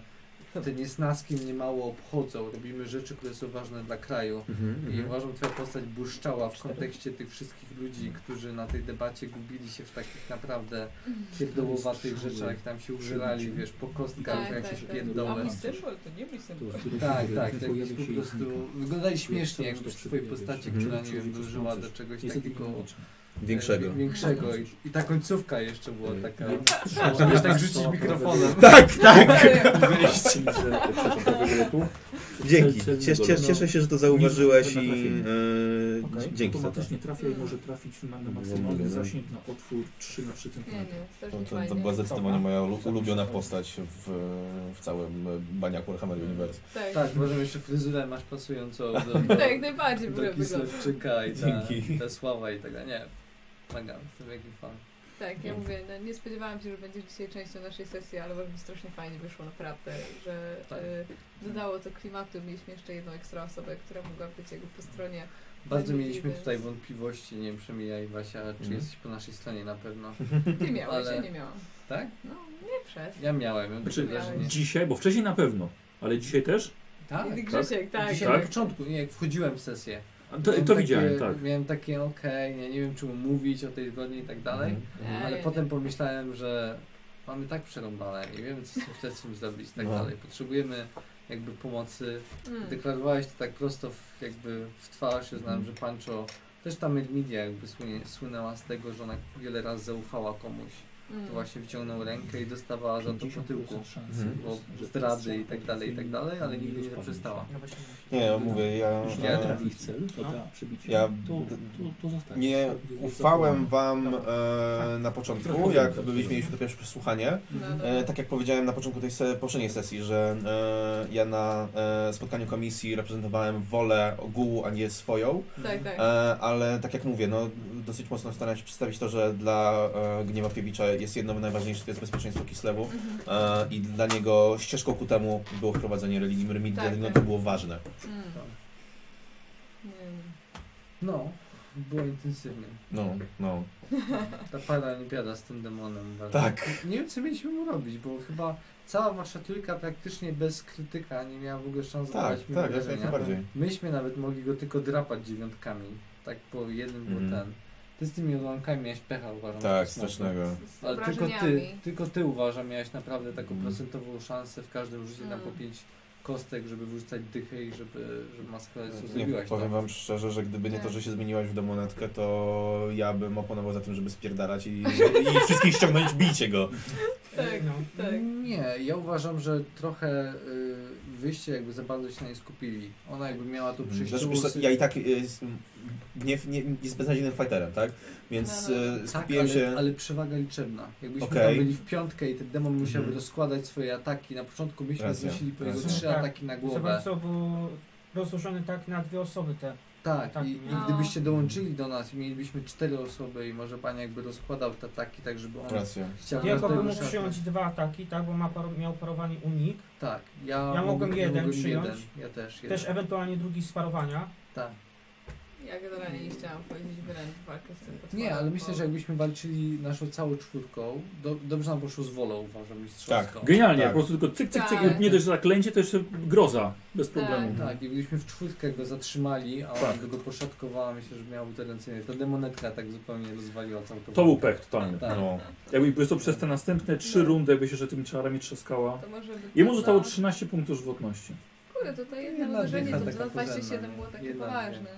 Speaker 4: te niesnaski mnie mało obchodzą, robimy rzeczy, które są ważne dla kraju.
Speaker 2: Mhm.
Speaker 4: I uważam, twoja postać błyszczała w kontekście tych wszystkich ludzi, którzy na tej debacie gubili się w takich naprawdę pierdołowatych rzeczach, jak tam się użerali, wiesz, po kostkach,
Speaker 28: Tak,
Speaker 4: jak
Speaker 28: tak,
Speaker 4: się
Speaker 28: tak.
Speaker 4: pierdolę.
Speaker 28: A Mystical to nie Mystical.
Speaker 4: Tak, tak, tak. Jest po prostu wyglądali śmiesznie jakby w twojej postaci,
Speaker 2: Mhm.
Speaker 4: która nie wiem, dążyła do czegoś takiego
Speaker 2: Większego.
Speaker 4: e, Większego i, i ta końcówka jeszcze była
Speaker 1: Tak.
Speaker 19: Mhm.
Speaker 4: taka.
Speaker 19: Mhm.
Speaker 4: Żeby tak rzucić mikrofonem.
Speaker 2: Tak, tak!
Speaker 19: Wyjść. Przepraszam, tego tu.
Speaker 2: Dzięki.
Speaker 1: Cel- celny
Speaker 2: Cies, cies,
Speaker 1: dole.
Speaker 2: cieszę się, że to zauważyłeś
Speaker 1: Nic,
Speaker 2: i
Speaker 1: trafienie.
Speaker 2: e,
Speaker 1: Okej.
Speaker 2: dzięki za to.
Speaker 1: Automatycznie trafia i może trafić na na
Speaker 2: Mogę,
Speaker 1: maksymalny
Speaker 2: no.
Speaker 1: zasięg na otwór 3 na 3
Speaker 28: Nie,
Speaker 1: cm.
Speaker 28: nie,
Speaker 2: To,
Speaker 28: strasznie
Speaker 2: to, to
Speaker 28: fajnie.
Speaker 2: była zdecydowanie moja ulu- ulubiona postać w, w całym e, baniaku Warhammer Universe.
Speaker 28: Tak, tak,
Speaker 4: Tak, może jeszcze fryzurę masz pasującą do,
Speaker 3: Tak,
Speaker 4: do,
Speaker 28: jak najbardziej
Speaker 4: do
Speaker 28: wygląda.
Speaker 4: Kislewczyka i ta,
Speaker 2: Dzięki.
Speaker 4: ta sława i tak dalej. Nie, mega, jestem wielkim fanem.
Speaker 28: Tak, ja mówię, no, nie spodziewałam się, że będziesz dzisiaj częścią naszej sesji, ale uważam, że strasznie fajnie wyszło naprawdę, że
Speaker 4: Tak.
Speaker 28: y, dodało to klimatu. Mieliśmy jeszcze jedną ekstra osobę, która mogła być jakby po stronie.
Speaker 4: Bardzo
Speaker 28: Dzięki,
Speaker 4: mieliśmy
Speaker 28: więc-
Speaker 4: tutaj wątpliwości, nie wiem, przemijaj Wasia, czy
Speaker 2: Mhm.
Speaker 4: jesteś po naszej stronie na pewno.
Speaker 28: Ty miałeś,
Speaker 4: Ale-
Speaker 28: ja nie miałam.
Speaker 4: Tak?
Speaker 28: No, nie przez.
Speaker 4: Ja miałem, mam
Speaker 1: Znaczy,
Speaker 4: takie wrażenie.
Speaker 1: Dzisiaj, bo wcześniej na pewno, ale dzisiaj też?
Speaker 4: Tak.
Speaker 28: I Grzesiek, tak.
Speaker 4: Dzisiaj
Speaker 1: tak.
Speaker 4: na początku, nie, jak wchodziłem w sesję.
Speaker 1: A To,
Speaker 4: Miałem
Speaker 1: to
Speaker 4: takie-
Speaker 1: widziałem, tak.
Speaker 4: Miałem takie, okej, nie, nie wiem czemu mówić o tej zgodnie i tak dalej,
Speaker 28: Mhm.
Speaker 4: ale
Speaker 28: Ej.
Speaker 4: potem pomyślałem, że mamy tak przerąbane i wiemy, co z tym śledztwem zrobić i tak
Speaker 2: No.
Speaker 4: dalej. Potrzebujemy jakby pomocy.
Speaker 28: Mm.
Speaker 4: Deklarowałeś to tak prosto w, jakby w twarz, ja
Speaker 1: Mhm.
Speaker 4: znam, że Pancho też ta Medmidia jakby słynie, słynęła z tego, że ona wiele razy zaufała komuś.
Speaker 28: Mm.
Speaker 4: To właśnie wyciągnął rękę i dostawała za to po tyłku.
Speaker 2: Mhm.
Speaker 4: Bo zdrady i tak dalej, i tak dalej, ale nigdy nie przestała.
Speaker 2: Nie, ja mówię, ja,
Speaker 4: Już
Speaker 1: Nie
Speaker 4: Nie.
Speaker 1: trafi w cel, to ta przybicie.
Speaker 2: Ja-
Speaker 1: to, to, to zostaje. No
Speaker 2: nie ufałem wam e, na początku, jak byliśmy, mieliśmy to pierwsze przesłuchanie.
Speaker 28: No, no.
Speaker 2: E, tak jak powiedziałem na początku tej se, poprzedniej sesji, że e, ja na e, spotkaniu komisji reprezentowałem wolę ogółu, a nie swoją,
Speaker 28: tak, tak.
Speaker 2: e, ale tak jak mówię, no, dosyć mocno staram się przedstawić to, że dla e, Gniewa Piewicza jest jedno najważniejsze, to jest bezpieczeństwo Kislewu
Speaker 28: Mhm.
Speaker 2: e, i dla niego ścieżką ku temu było wprowadzenie religii Myrmidii,
Speaker 28: Tak,
Speaker 2: tak, no
Speaker 28: tak.
Speaker 2: to było ważne.
Speaker 28: Mm. Nie wiem.
Speaker 4: No, było intensywnie.
Speaker 2: No, no.
Speaker 4: Ta paralimpiada z tym demonem. uważam.
Speaker 2: Tak.
Speaker 4: Nie wiem, co mieliśmy mu robić, bo chyba cała wasza trójka praktycznie bez krytyka nie miała w ogóle szans
Speaker 2: Tak,
Speaker 4: zadać mi
Speaker 2: tak, jak
Speaker 4: wrażenia.
Speaker 2: najbardziej.
Speaker 4: Myśmy nawet mogli go tylko drapać dziewiątkami. Tak po jeden był
Speaker 2: Mhm.
Speaker 4: ten. Ty z tymi odłamkami miałeś pecha, uważam. że
Speaker 2: Tak,
Speaker 4: to smutne.
Speaker 2: strasznego.
Speaker 28: Z
Speaker 4: Ale tylko ty,
Speaker 28: obrażeniami.
Speaker 4: tylko ty uważam, miałeś naprawdę taką
Speaker 2: Mhm.
Speaker 4: procentową szansę w każdym rzucie tam
Speaker 28: Mhm.
Speaker 4: po pięć kostek, żeby wyrzucać dychę i żeby, żeby maskować, co
Speaker 2: Nie,
Speaker 4: zrobiłaś.
Speaker 2: powiem
Speaker 4: tak?
Speaker 2: wam szczerze, że gdyby nie to, że się zmieniłaś w demonetkę, to ja bym oponował za tym, żeby spierdalać i, i wszystkich ściągnąć, bijcie go.
Speaker 28: Tak,
Speaker 5: No.
Speaker 28: tak.
Speaker 4: Nie, ja uważam, że trochę y, wyście jakby za bardzo się na nie skupili. Ona jakby miała tu przyjść.
Speaker 2: Znaczy, wiesz co, ja i tak y, s- nie, nie, jest beznadziejnym fighterem, tak? Więc
Speaker 28: No, no.
Speaker 2: y,
Speaker 4: tak,
Speaker 2: skupiłem
Speaker 4: ale,
Speaker 2: się...
Speaker 4: ale przewaga liczebna. Jakbyśmy
Speaker 2: Okej.
Speaker 4: tam byli w piątkę i ten demon musiałby
Speaker 2: Mhm.
Speaker 4: rozkładać swoje ataki. Na początku myśmy
Speaker 2: Racja,
Speaker 4: zmusili po jego
Speaker 2: racja.
Speaker 4: trzy
Speaker 5: Tak.
Speaker 4: ataki na głowę.
Speaker 5: Zobacz co, bo rozłożony tak na dwie osoby te.
Speaker 4: Tak,
Speaker 5: Tak,
Speaker 4: i,
Speaker 5: no.
Speaker 4: i gdybyście dołączyli do nas i mielibyśmy cztery osoby i może pan jakby rozkładał te ataki tak, żeby on
Speaker 2: Racja.
Speaker 4: chciał
Speaker 5: Jego
Speaker 4: każdego
Speaker 5: bym mógł
Speaker 4: szarpnąć.
Speaker 5: przyjąć dwa ataki, tak, bo ma par, miał parowany unik.
Speaker 4: Tak, ja,
Speaker 5: mogłem jeden przyjąć.
Speaker 4: jeden. Ja też jeden.
Speaker 5: Też ewentualnie drugi z parowania.
Speaker 4: Tak.
Speaker 3: Ja generalnie nie chciałam powiedzieć wręcz walkę z tym potworem.
Speaker 4: Nie, ale myślę,
Speaker 3: bo-
Speaker 4: że jakbyśmy walczyli naszą całą czwórką, do, dobrze nam poszło z wolą, uważam, mistrzowską.
Speaker 1: Genialnie,
Speaker 2: Tak.
Speaker 1: po prostu tylko cyk, cyk, cyk,
Speaker 3: Tak.
Speaker 1: nie dość, że zaklęcie, to jeszcze groza, bez problemu.
Speaker 4: Tak, i gdybyśmy w czwórkę go zatrzymali, a
Speaker 1: Tak.
Speaker 4: on by go poszatkowała, myślę, że miał uterencyjnie. Ta demonetka tak zupełnie rozwaliła całkowicie.
Speaker 1: To był pech totalny.
Speaker 4: Tak.
Speaker 2: No.
Speaker 1: Jakby po prostu przez te następne trzy
Speaker 3: No.
Speaker 1: rundy jakby się, że tymi czarami trzaskała.
Speaker 3: To może być
Speaker 1: Jemu
Speaker 3: poza-
Speaker 1: zostało 13 punktów żywotności.
Speaker 3: Kurde, to to jedno
Speaker 4: Jedna
Speaker 3: uderzenie, to
Speaker 4: wiecha taka
Speaker 3: 227
Speaker 4: porządna,
Speaker 3: było
Speaker 4: nie?
Speaker 3: takie
Speaker 4: Jedna
Speaker 3: poważne.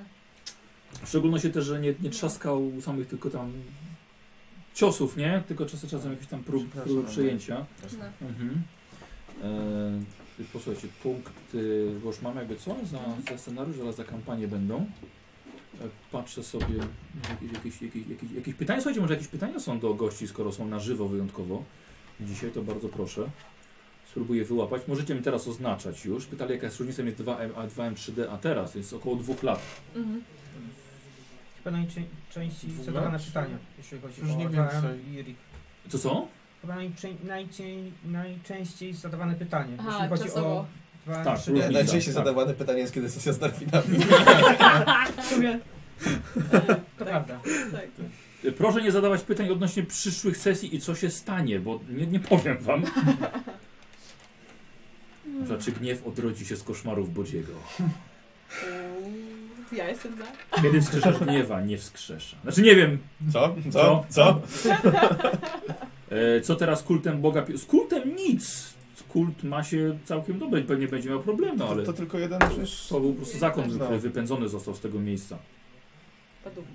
Speaker 1: W szczególności też, że nie, nie trzaskał samych tylko tam ciosów, nie? Tylko czasem, czasem jakichś tam prób, prób przejęcia.
Speaker 3: No.
Speaker 1: Mhm. Eee, posłuchajcie, punkty, bo już mam jakby co za,
Speaker 5: Mhm.
Speaker 1: za scenariusz, zaraz za kampanię będą. E, Patrzę sobie, jakieś, jakieś, jakieś, jakieś, jakieś pytania, słuchajcie, może jakieś pytania są do gości, skoro są na żywo wyjątkowo. Dzisiaj to bardzo proszę. Spróbuję wyłapać. Możecie mi teraz oznaczać już. Pytali, jaka jest różnica między 2M a 2M3D, a teraz, to jest około dwóch lat.
Speaker 3: Mhm.
Speaker 5: Chyba najczęściej
Speaker 6: Dwóch
Speaker 5: zadawane
Speaker 6: lat?
Speaker 5: pytanie, jeśli chodzi
Speaker 6: Już
Speaker 5: o
Speaker 6: nie
Speaker 5: AKM
Speaker 6: więcej.
Speaker 5: i RIG.
Speaker 1: Co są?
Speaker 5: Chyba najczę- najczę- najczęściej zadawane pytanie,
Speaker 3: Aha,
Speaker 5: jeśli chodzi
Speaker 3: czasowo.
Speaker 5: o dwa,
Speaker 1: Tak,
Speaker 5: trzy
Speaker 1: różnica.
Speaker 2: Nie,
Speaker 5: dni.
Speaker 2: najczęściej
Speaker 1: tak.
Speaker 2: zadawane pytanie jest, kiedy sesja z Darwinami.
Speaker 5: W sumie, to prawda.
Speaker 3: Tak.
Speaker 1: E, Proszę nie zadawać pytań odnośnie przyszłych sesji i co się stanie, bo nie, nie powiem wam.
Speaker 3: Mm.
Speaker 1: Znaczy gniew odrodzi się z koszmarów Bodziego.
Speaker 3: Uuu, Ja jestem za.
Speaker 1: Kiedy wskrzeszasz gniewa, nie wskrzesza. Znaczy nie wiem,
Speaker 2: Co?
Speaker 1: Co?
Speaker 2: Co? Co?
Speaker 1: e, co teraz z kultem Boga... pi- Z kultem nic. Kult ma się całkiem dobrze, pewnie będzie miał problemy, ale
Speaker 2: To, to tylko jeden przecież...
Speaker 1: to był po prostu zakon,
Speaker 2: No.
Speaker 1: który wypędzony został z tego miejsca.
Speaker 3: Padumc.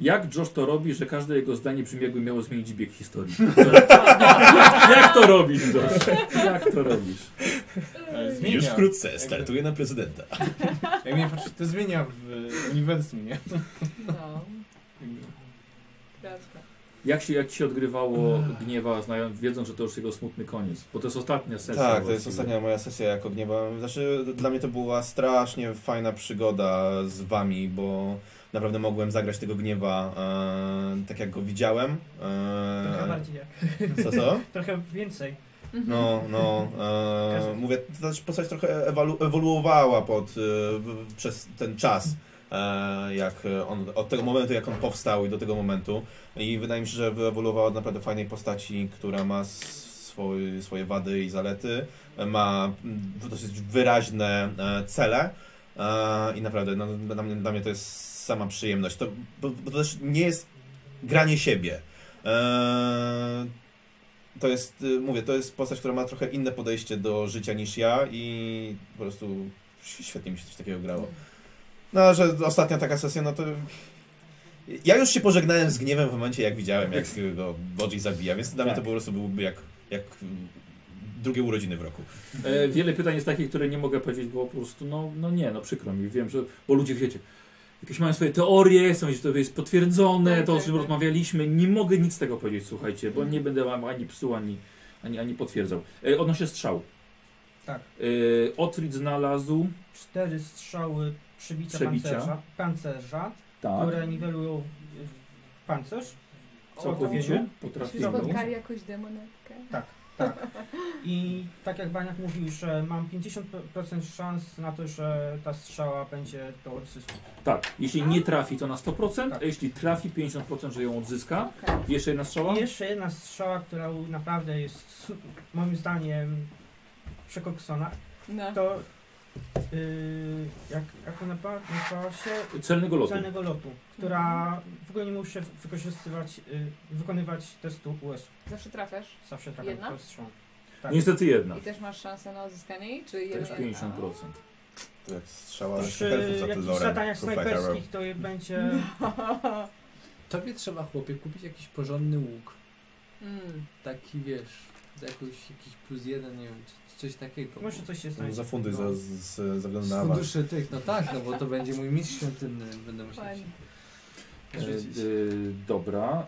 Speaker 1: Jak Josh to robi, że każde jego zdanie brzmi jakby miało zmienić bieg historii? Jak to robisz, Josh? Jak to robisz?
Speaker 6: Ale zmienia.
Speaker 2: Już wkrótce startuje na prezydenta.
Speaker 6: Jak mnie patrzy, to zmienia w e, uniwersum, nie?
Speaker 3: No, prawda.
Speaker 1: Jak się, jak ci się odgrywało gniewa, znając, wiedząc, że to już jego smutny koniec? Bo to jest ostatnia sesja.
Speaker 2: Tak, to jest
Speaker 1: właściwie.
Speaker 2: ostatnia moja sesja jako gniewa. Znaczy, dla mnie to była strasznie fajna przygoda z wami, bo naprawdę mogłem zagrać tego gniewa e, tak jak go widziałem.
Speaker 5: Trochę
Speaker 2: E,
Speaker 5: bardziej jak.
Speaker 2: co, co?
Speaker 5: Trochę więcej.
Speaker 2: No, no. E,
Speaker 5: Każdy.
Speaker 2: mówię, to znaczy postać trochę ewolu- ewoluowała pod, e, w- przez ten czas, e, jak on, od tego momentu, jak on powstał i do tego momentu. I wydaje mi się, że wyewoluowała od naprawdę fajnej postaci, która ma swój, swoje wady i zalety, ma mm, dosyć wyraźne e, cele. E, I naprawdę, no, dla, mnie, dla mnie to jest sama przyjemność. To, bo, bo to też nie jest granie siebie. E, to jest, y, mówię, to jest postać, która ma trochę inne podejście do życia niż ja i po prostu ś- świetnie mi się coś takiego grało. No, a że ostatnia taka sesja, no to... Ja już się pożegnałem z gniewem w momencie, jak widziałem, jak go Bodzi zabija, więc dla mnie
Speaker 1: Tak.
Speaker 2: to po prostu byłoby jak, jak mm, drugie urodziny w roku.
Speaker 1: E, wiele pytań jest takich, które nie mogę powiedzieć, bo po prostu, no, no nie, no przykro mi, wiem, że, bo ludzie, wiecie, jakieś mają swoje teorie, są, że to jest potwierdzone,
Speaker 5: Tak,
Speaker 1: to o czym rozmawialiśmy, nie mogę nic z tego powiedzieć, słuchajcie, bo nie będę wam ani psuł, ani, ani, ani potwierdzał. E, odnośnie strzał.
Speaker 5: Tak.
Speaker 1: E, Otrid znalazł,
Speaker 5: Cztery strzały przebicia,
Speaker 1: Przebicia.
Speaker 5: pancerza, pancerza
Speaker 1: tak,
Speaker 5: które niwelują y, pancerz.
Speaker 1: całkowicie,
Speaker 3: Czy
Speaker 1: potrafił.
Speaker 3: spotkali jakąś demonetkę?
Speaker 5: I tak jak Baniak mówił, że mam 50% szans na to, że ta strzała będzie do odzysku.
Speaker 1: Tak, jeśli nie trafi, to na 100%,
Speaker 5: Tak.
Speaker 1: a jeśli trafi, 50%, że ją odzyska.
Speaker 3: Okej.
Speaker 1: Jeszcze jedna strzała?
Speaker 5: I jeszcze jedna strzała, która u- naprawdę jest su- moim zdaniem przekoksona,
Speaker 3: No.
Speaker 5: to yy, jak, jak ona ba- nazywała się?
Speaker 1: Celnego lotu.
Speaker 5: Celnego lotu, która w ogóle nie muszę wykorzystywać, yy, wykonywać testu US.
Speaker 3: Zawsze trafiasz
Speaker 5: Zawsze tak
Speaker 3: Jedna?
Speaker 5: to strzał. Tak.
Speaker 1: Niestety jedna.
Speaker 3: i też masz szansę na odzyskanie jej, czy
Speaker 1: Też
Speaker 3: jeden?
Speaker 1: 50%.
Speaker 2: To jak Tak, strzała z
Speaker 5: Przy
Speaker 2: za
Speaker 5: jakichś
Speaker 2: Tylorem.
Speaker 5: zadaniach snajperskich to je będzie...
Speaker 4: Tobie trzeba, chłopie, kupić jakiś porządny łuk.
Speaker 3: Mm.
Speaker 4: Taki, wiesz, jakoś, jakiś plus jeden, nie wiem, c- coś takiego.
Speaker 5: Może coś się
Speaker 2: No,
Speaker 5: znajdzie.
Speaker 2: Za funduj, za, za, za względu
Speaker 4: z
Speaker 2: na awans.
Speaker 4: funduszy tych, no tak, no bo to będzie mój mistrz świątynny, będę musiał
Speaker 3: Fajnie.
Speaker 1: E,
Speaker 4: się rzucić.
Speaker 1: y, dobra.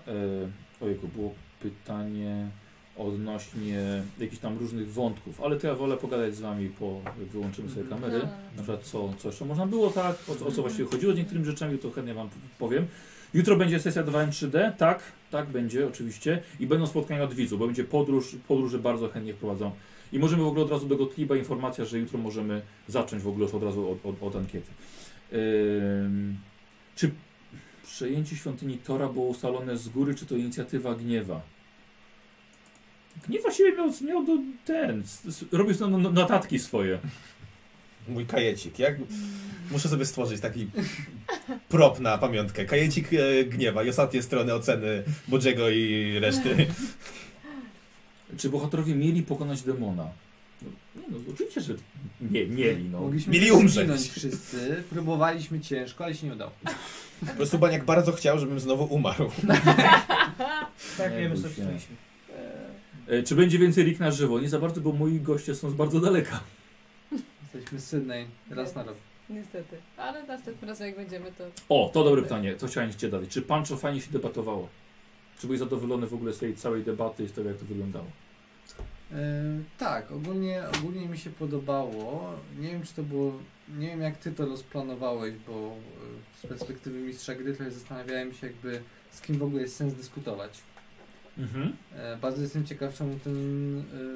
Speaker 1: E, ojku, było pytanie odnośnie jakichś tam różnych wątków, ale to ja wolę pogadać z wami, po jak wyłączymy sobie
Speaker 4: Mhm.
Speaker 1: kamery. Na przykład co, co jeszcze można było, tak? O, co- o co właściwie chodziło z niektórymi rzeczami, to chętnie wam p- powiem. Jutro będzie sesja 2M3D, tak, tak będzie oczywiście i będą spotkania od widzów, bo będzie podróż, podróże bardzo chętnie wprowadzą. I możemy w ogóle od razu do Gottlieba informacja, że jutro możemy zacząć w ogóle już od razu od, od, od ankiety. Ym, czy przejęcie świątyni Tora było ustalone z góry, czy to inicjatywa Gniewa? Gniew właściwie miał, miał do, ten, s- s- robił s- no- no- notatki swoje.
Speaker 2: Mój kajecik. Jak...
Speaker 3: Mm.
Speaker 2: Muszę sobie stworzyć taki prop na pamiątkę. Kajecik e, gniewa i ostatnie strony oceny Bodziego i reszty.
Speaker 1: Czy bohaterowie mieli pokonać demona? No, nie no, oczywiście, że nie, mieli, no.
Speaker 4: Mogliśmy
Speaker 2: Mieli
Speaker 4: się
Speaker 2: umrzeć.
Speaker 4: zwinąć wszyscy, próbowaliśmy ciężko, ale się nie udało.
Speaker 2: Po prostu Baniak bardzo chciał, żebym znowu umarł.
Speaker 5: Tak,
Speaker 1: Nie
Speaker 5: wiemy,
Speaker 1: bój
Speaker 5: co
Speaker 1: się.
Speaker 5: wstaliśmy.
Speaker 3: Mm.
Speaker 1: E, Czy będzie więcej rik na żywo? Nie za bardzo, bo moi goście są z bardzo daleka.
Speaker 4: Jesteśmy Sydney, raz na rok.
Speaker 28: Niestety. Ale następnym razem jak będziemy, to
Speaker 1: O, to dobre pytanie, to chciałem Cię dać. Czy Pancho fajnie się debatowało? Czy byłeś zadowolony w ogóle z tej całej debaty i z tego, jak to wyglądało?
Speaker 4: E, tak, ogólnie, ogólnie mi się podobało. Nie wiem, czy to było. Nie wiem, jak ty to rozplanowałeś, bo e, z perspektywy mistrza gry trochę zastanawiałem się, jakby z kim w ogóle jest sens dyskutować.
Speaker 1: Mhm.
Speaker 4: E, bardzo jestem ciekaw, czemu ten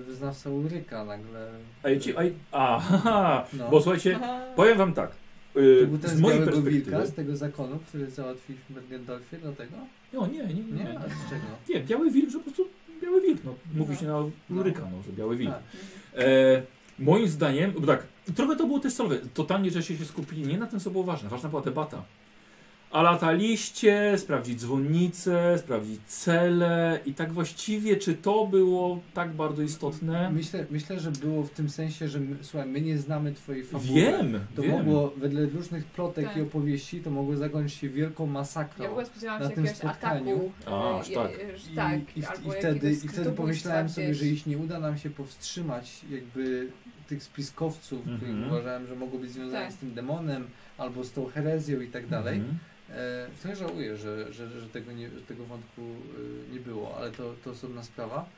Speaker 4: e, wyznawca Ulryka nagle.
Speaker 1: A, ja ci, a, a haha,
Speaker 4: No.
Speaker 1: bo słuchajcie,
Speaker 28: Aha.
Speaker 1: powiem Wam tak.
Speaker 4: To
Speaker 1: Yy,
Speaker 4: był ten
Speaker 1: z
Speaker 4: z
Speaker 1: mojej
Speaker 4: Białego Wilka,
Speaker 1: perspektywy.
Speaker 4: z tego zakonu, który załatwiliśmy w Bergendorfie, dlatego?
Speaker 1: O, nie, nie, nie.
Speaker 4: Nie?
Speaker 1: nie.
Speaker 4: A z czego?
Speaker 1: Nie, biały wilk, że po prostu biały wilk, no. Mówi
Speaker 28: No.
Speaker 1: się na Luryka, no, że biały wilk.
Speaker 4: Tak.
Speaker 1: E, moim zdaniem, bo tak, trochę to było testowe. Totalnie, że się, się skupili nie na tym, co było ważne. Ważna była debata. A lataliście, sprawdzić dzwonnicę, sprawdzić cele i tak właściwie, czy to było tak bardzo istotne?
Speaker 4: Myślę, myślę, że było w tym sensie, że my, słuchaj, my nie znamy twojej fabuły.
Speaker 1: Wiem,
Speaker 4: To tak
Speaker 1: wiem.
Speaker 4: mogło, wedle różnych plotek
Speaker 28: Tak.
Speaker 4: i opowieści, to mogło zakończyć się wielką masakrą.
Speaker 28: Ja w ogóle spodziewałam
Speaker 4: na
Speaker 28: się
Speaker 4: tym
Speaker 28: jakiegoś
Speaker 4: spotkaniu.
Speaker 28: ataku. e,
Speaker 1: Aż
Speaker 28: e,
Speaker 1: tak.
Speaker 28: e, że
Speaker 4: I,
Speaker 28: tak,
Speaker 4: i, w,
Speaker 28: albo
Speaker 4: i, wtedy,
Speaker 28: jakiegoś
Speaker 4: I wtedy
Speaker 28: krytobójstwa
Speaker 4: pomyślałem sobie,
Speaker 28: gdzieś.
Speaker 4: że jeśli nie uda nam się powstrzymać jakby tych spiskowców, których
Speaker 1: Mhm.
Speaker 4: uważałem, że mogą być związani
Speaker 28: Tak.
Speaker 4: z tym demonem albo z tą herezją i tak dalej,
Speaker 1: Mhm.
Speaker 4: E, Trochę żałuję, że, że, że, tego, nie, że tego wątku y, nie było, ale to, to osobna sprawa.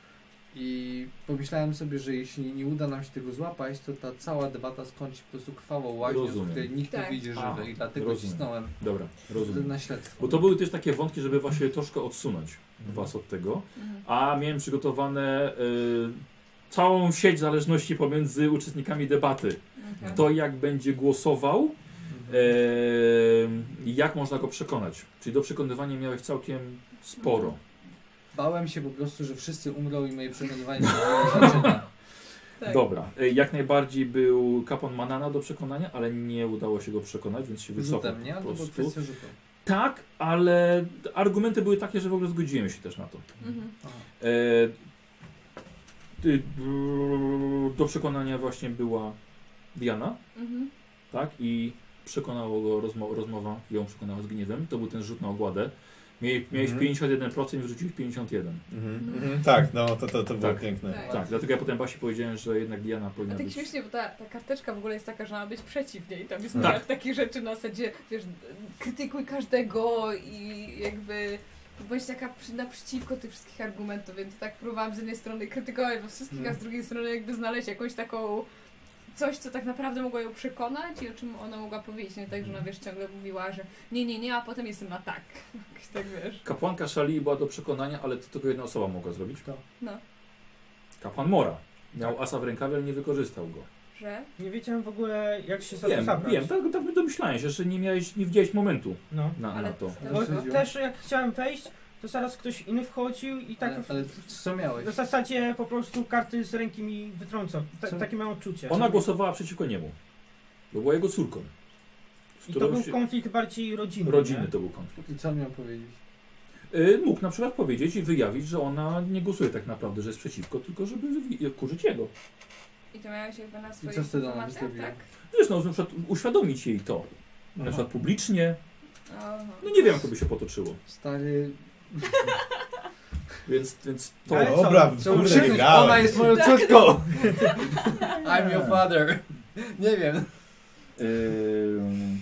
Speaker 4: I pomyślałem sobie, że jeśli nie uda nam się tego złapać, to ta cała debata skończy się po prostu krwawą łaźnią, z
Speaker 1: Rozumiem.
Speaker 4: której nikt nie
Speaker 28: Tak.
Speaker 4: wyjdzie żywy.
Speaker 1: A,
Speaker 4: I dlatego
Speaker 1: rozumiem.
Speaker 4: cisnąłem
Speaker 1: Dobra, rozumiem.
Speaker 4: na śledztwo.
Speaker 1: Bo to były też takie wątki, żeby właśnie troszkę odsunąć was od tego.
Speaker 28: Mhm.
Speaker 1: A miałem przygotowane y, całą sieć zależności pomiędzy uczestnikami debaty.
Speaker 28: Mhm.
Speaker 1: Kto jak będzie głosował,
Speaker 4: Mhm.
Speaker 1: e, y, jak można go przekonać. Czyli do przekonywania miałeś całkiem sporo.
Speaker 4: Bałem się po prostu, że wszyscy umrą i moje przekonywanie nie miało znaczenia.
Speaker 28: Tak.
Speaker 1: Dobra, y, jak najbardziej był kapłan Manana do przekonania, ale nie udało się go przekonać, więc się wycofał
Speaker 4: Rzutem, nie?
Speaker 1: po
Speaker 4: Albo
Speaker 1: prostu.
Speaker 4: kwestia rzutu.
Speaker 1: Tak, ale argumenty były takie, że w ogóle zgodziłem się też na to.
Speaker 28: Mhm.
Speaker 4: Aha.
Speaker 1: E, y, do przekonania właśnie była Diana,
Speaker 28: Mhm.
Speaker 1: tak? I przekonało go rozmo rozmowa, ją przekonała z gniewem. To był ten rzut na ogładę. Miej, miałeś
Speaker 2: Mhm.
Speaker 1: 51%, wrzuciłeś 51%.
Speaker 2: Mhm. Mhm. Tak, no to, to, to było
Speaker 1: Tak.
Speaker 2: piękne.
Speaker 28: Tak.
Speaker 1: Tak, dlatego ja potem Basi powiedziałem, że jednak Diana
Speaker 28: A
Speaker 1: powinna
Speaker 28: tak
Speaker 1: być...
Speaker 28: śmiesznie, bo ta, ta karteczka w ogóle jest taka, że ma być przeciw niej. Tam jest
Speaker 1: Tak.
Speaker 28: tak. takich rzeczy na zasadzie, wiesz, d- krytykuj każdego i jakby bądź taka przy, naprzeciwko tych wszystkich argumentów, więc tak próbowałam z jednej strony krytykować we wszystkich, a z drugiej strony jakby znaleźć jakąś taką coś, co tak naprawdę mogło ją przekonać i o czym ona mogła powiedzieć, nie tak, że ona wiesz, ciągle mówiła, że nie, nie, nie, a potem jestem na tak. Jakoś tak wiesz.
Speaker 1: Kapłanka Szali była do przekonania, ale to tylko jedna osoba mogła zrobić.
Speaker 4: Kto?
Speaker 28: No.
Speaker 1: Kapłan Mora. Miał asa w rękawie, ale nie wykorzystał go.
Speaker 28: Że?
Speaker 5: Nie wiedziałem w ogóle, jak się za to
Speaker 1: Wiem,
Speaker 5: zabrać.
Speaker 1: wiem, tak, tak domyślałem się, że nie miałeś, nie widziałeś momentu
Speaker 5: No.
Speaker 1: na, na
Speaker 28: Ale-
Speaker 1: to.
Speaker 4: Ale
Speaker 5: Bo
Speaker 4: wsadziłem.
Speaker 5: też jak chciałem wejść, to zaraz ktoś inny wchodził i tak
Speaker 4: Ale, ale co miałeś?
Speaker 5: w zasadzie po prostu karty z ręki mi wytrącał. Ta,
Speaker 4: Co?
Speaker 5: takie mam odczucie.
Speaker 1: Ona głosowała przeciwko niemu. Bo była jego córką. Z
Speaker 5: I to
Speaker 1: którą
Speaker 5: był
Speaker 1: się...
Speaker 5: konflikt bardziej rodzinny.
Speaker 1: Rodziny
Speaker 5: nie?
Speaker 1: to był konflikt.
Speaker 4: I co miał powiedzieć?
Speaker 1: Y, Mógł na przykład powiedzieć i wyjawić, że ona nie głosuje tak naprawdę, że jest przeciwko, tylko żeby wi- kurzyć jego.
Speaker 28: I to miałeś jakby na
Speaker 4: co
Speaker 28: swoich
Speaker 4: wtedy ona
Speaker 28: informacjach,
Speaker 4: wystawiła?
Speaker 28: tak?
Speaker 1: Wiesz, no, na przykład uświadomić jej to. Na przykład publicznie.
Speaker 28: Aha.
Speaker 1: No nie wiem, jak to by się potoczyło.
Speaker 4: Stary,
Speaker 1: Więc, więc to...
Speaker 5: Ale co?
Speaker 2: Dobra,
Speaker 4: Co
Speaker 2: kurde, nie
Speaker 4: krzyknąć? Ona
Speaker 2: grałem.
Speaker 4: jest moją córką! I'm your father. Nie wiem.
Speaker 1: Ym,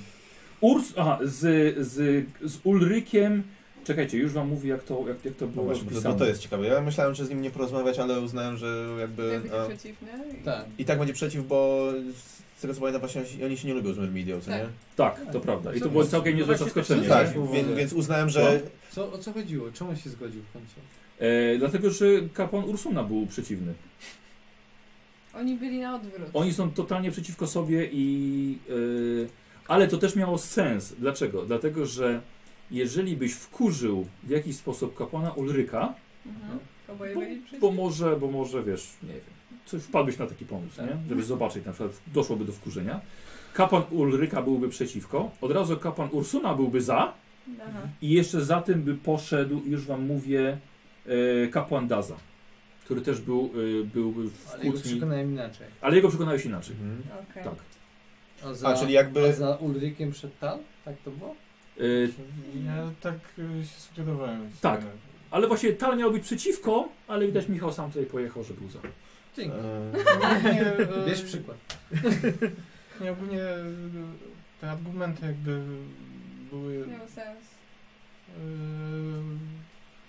Speaker 1: Urs, aha, z, z, z Ulrykiem. Czekajcie, już wam mówię, jak to, jak, jak to
Speaker 2: No
Speaker 1: było
Speaker 2: właśnie, to,
Speaker 1: rozpisane.
Speaker 2: to jest ciekawe. Ja myślałem, że z nim nie porozmawiać, ale uznałem, że jakby...
Speaker 28: Jakby
Speaker 2: a,
Speaker 28: przeciwne. i-
Speaker 4: Tak.
Speaker 2: I tak będzie przeciw, bo z tego co pamiętam właśnie oni się nie lubią z Myrmidią, co
Speaker 28: Tak.
Speaker 2: nie?
Speaker 1: Tak, to prawda. I to
Speaker 4: Co-
Speaker 1: było całkiem
Speaker 5: co-
Speaker 1: niezłe
Speaker 5: właśnie-
Speaker 1: zaskoczenie.
Speaker 5: co-
Speaker 1: Tak.
Speaker 2: Tak, więc, więc uznałem, że...
Speaker 4: Co, o co chodziło? Czemu on się zgodził w końcu?
Speaker 1: E, dlatego, że kapłan Ursuna był przeciwny.
Speaker 28: Oni byli na odwrót.
Speaker 1: Oni są totalnie przeciwko sobie i. e, Ale to też miało sens. Dlaczego? Dlatego, że jeżeli byś wkurzył w jakiś sposób kapłana Ulryka,
Speaker 28: Mhm.
Speaker 3: Oboje
Speaker 1: No. Bo-
Speaker 3: byli przy
Speaker 1: bo może, bo może wiesz, nie wiem, coś wpadłbyś na taki pomysł,
Speaker 4: Tak.
Speaker 1: nie? żeby zobaczyć, na przykład doszłoby do wkurzenia. Kapłan Ulryka byłby przeciwko, od razu kapłan Ursuna byłby za
Speaker 28: Aha.
Speaker 1: i jeszcze za tym by poszedł, już wam mówię, e, kapłan Daza, który też był, e, byłby w
Speaker 4: Ale jego
Speaker 1: kłótni,
Speaker 4: przekonałem inaczej.
Speaker 1: ale jego przekonałeś inaczej.
Speaker 2: Mhm.
Speaker 3: Okej.
Speaker 1: Tak.
Speaker 4: A za,
Speaker 2: A, czyli
Speaker 4: a
Speaker 2: jakby...
Speaker 4: za Ulrykiem przed Tal? Tak to było?
Speaker 1: E,
Speaker 6: Ja tak y, się sugerowałem.
Speaker 1: Tak. ale właśnie Tal miał być przeciwko, ale widać Michał sam tutaj pojechał, że był za.
Speaker 4: Dzięki.
Speaker 2: Mhm.
Speaker 6: Nie, y,
Speaker 4: Bierz przykład.
Speaker 6: Nie, ogólnie y, te argumenty jakby były,
Speaker 3: Miał sens.
Speaker 6: y,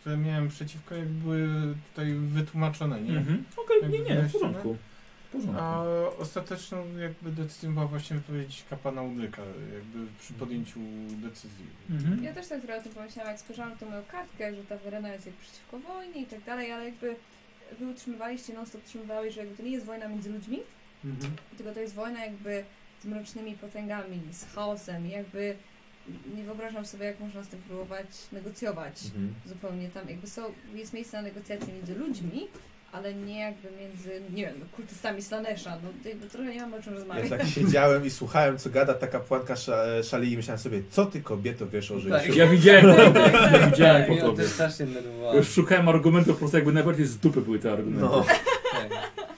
Speaker 6: które miałem przeciwko, jakby były tutaj wytłumaczone, nie?
Speaker 1: Mhm. Okej,
Speaker 6: Jakby
Speaker 1: nie, nie, w
Speaker 6: wyjaśnione.
Speaker 1: porządku. W porządku.
Speaker 6: A ostateczną jakby decyzją była właśnie wypowiedź kapłana Udryka, jakby przy podjęciu decyzji.
Speaker 1: Mhm.
Speaker 3: Ja też tak trochę o tym pomyślałam, jak spojrzałam tą moją kartkę, że ta Werena jest jak przeciwko wojnie i tak dalej, ale jakby wy utrzymywaliście, non stop utrzymywałeś, że jakby to nie jest wojna między ludźmi, tylko to jest wojna jakby z mrocznymi potęgami, z chaosem i jakby nie wyobrażam sobie, jak można z tym próbować negocjować
Speaker 2: Mhm.
Speaker 3: zupełnie tam, jakby są, jest miejsce na negocjacje między ludźmi, ale nie jakby między, nie wiem, no, kultystami Slanesha, no jakby trochę nie mam o czym
Speaker 2: Ja
Speaker 3: rozmawiać.
Speaker 2: tak siedziałem i słuchałem, co gada ta kapłanka sza, szali i myślałem sobie, co ty kobieto wiesz o życiu?
Speaker 4: Tak.
Speaker 1: Ja widziałem po tobie. Ja widziałem po
Speaker 4: Mnie to
Speaker 1: tobie.
Speaker 4: strasznie
Speaker 1: Ja
Speaker 4: denerwowało.
Speaker 1: Już szukałem argumentów, po prostu jakby najbardziej z dupy były te argumenty.
Speaker 2: No.
Speaker 4: Tak.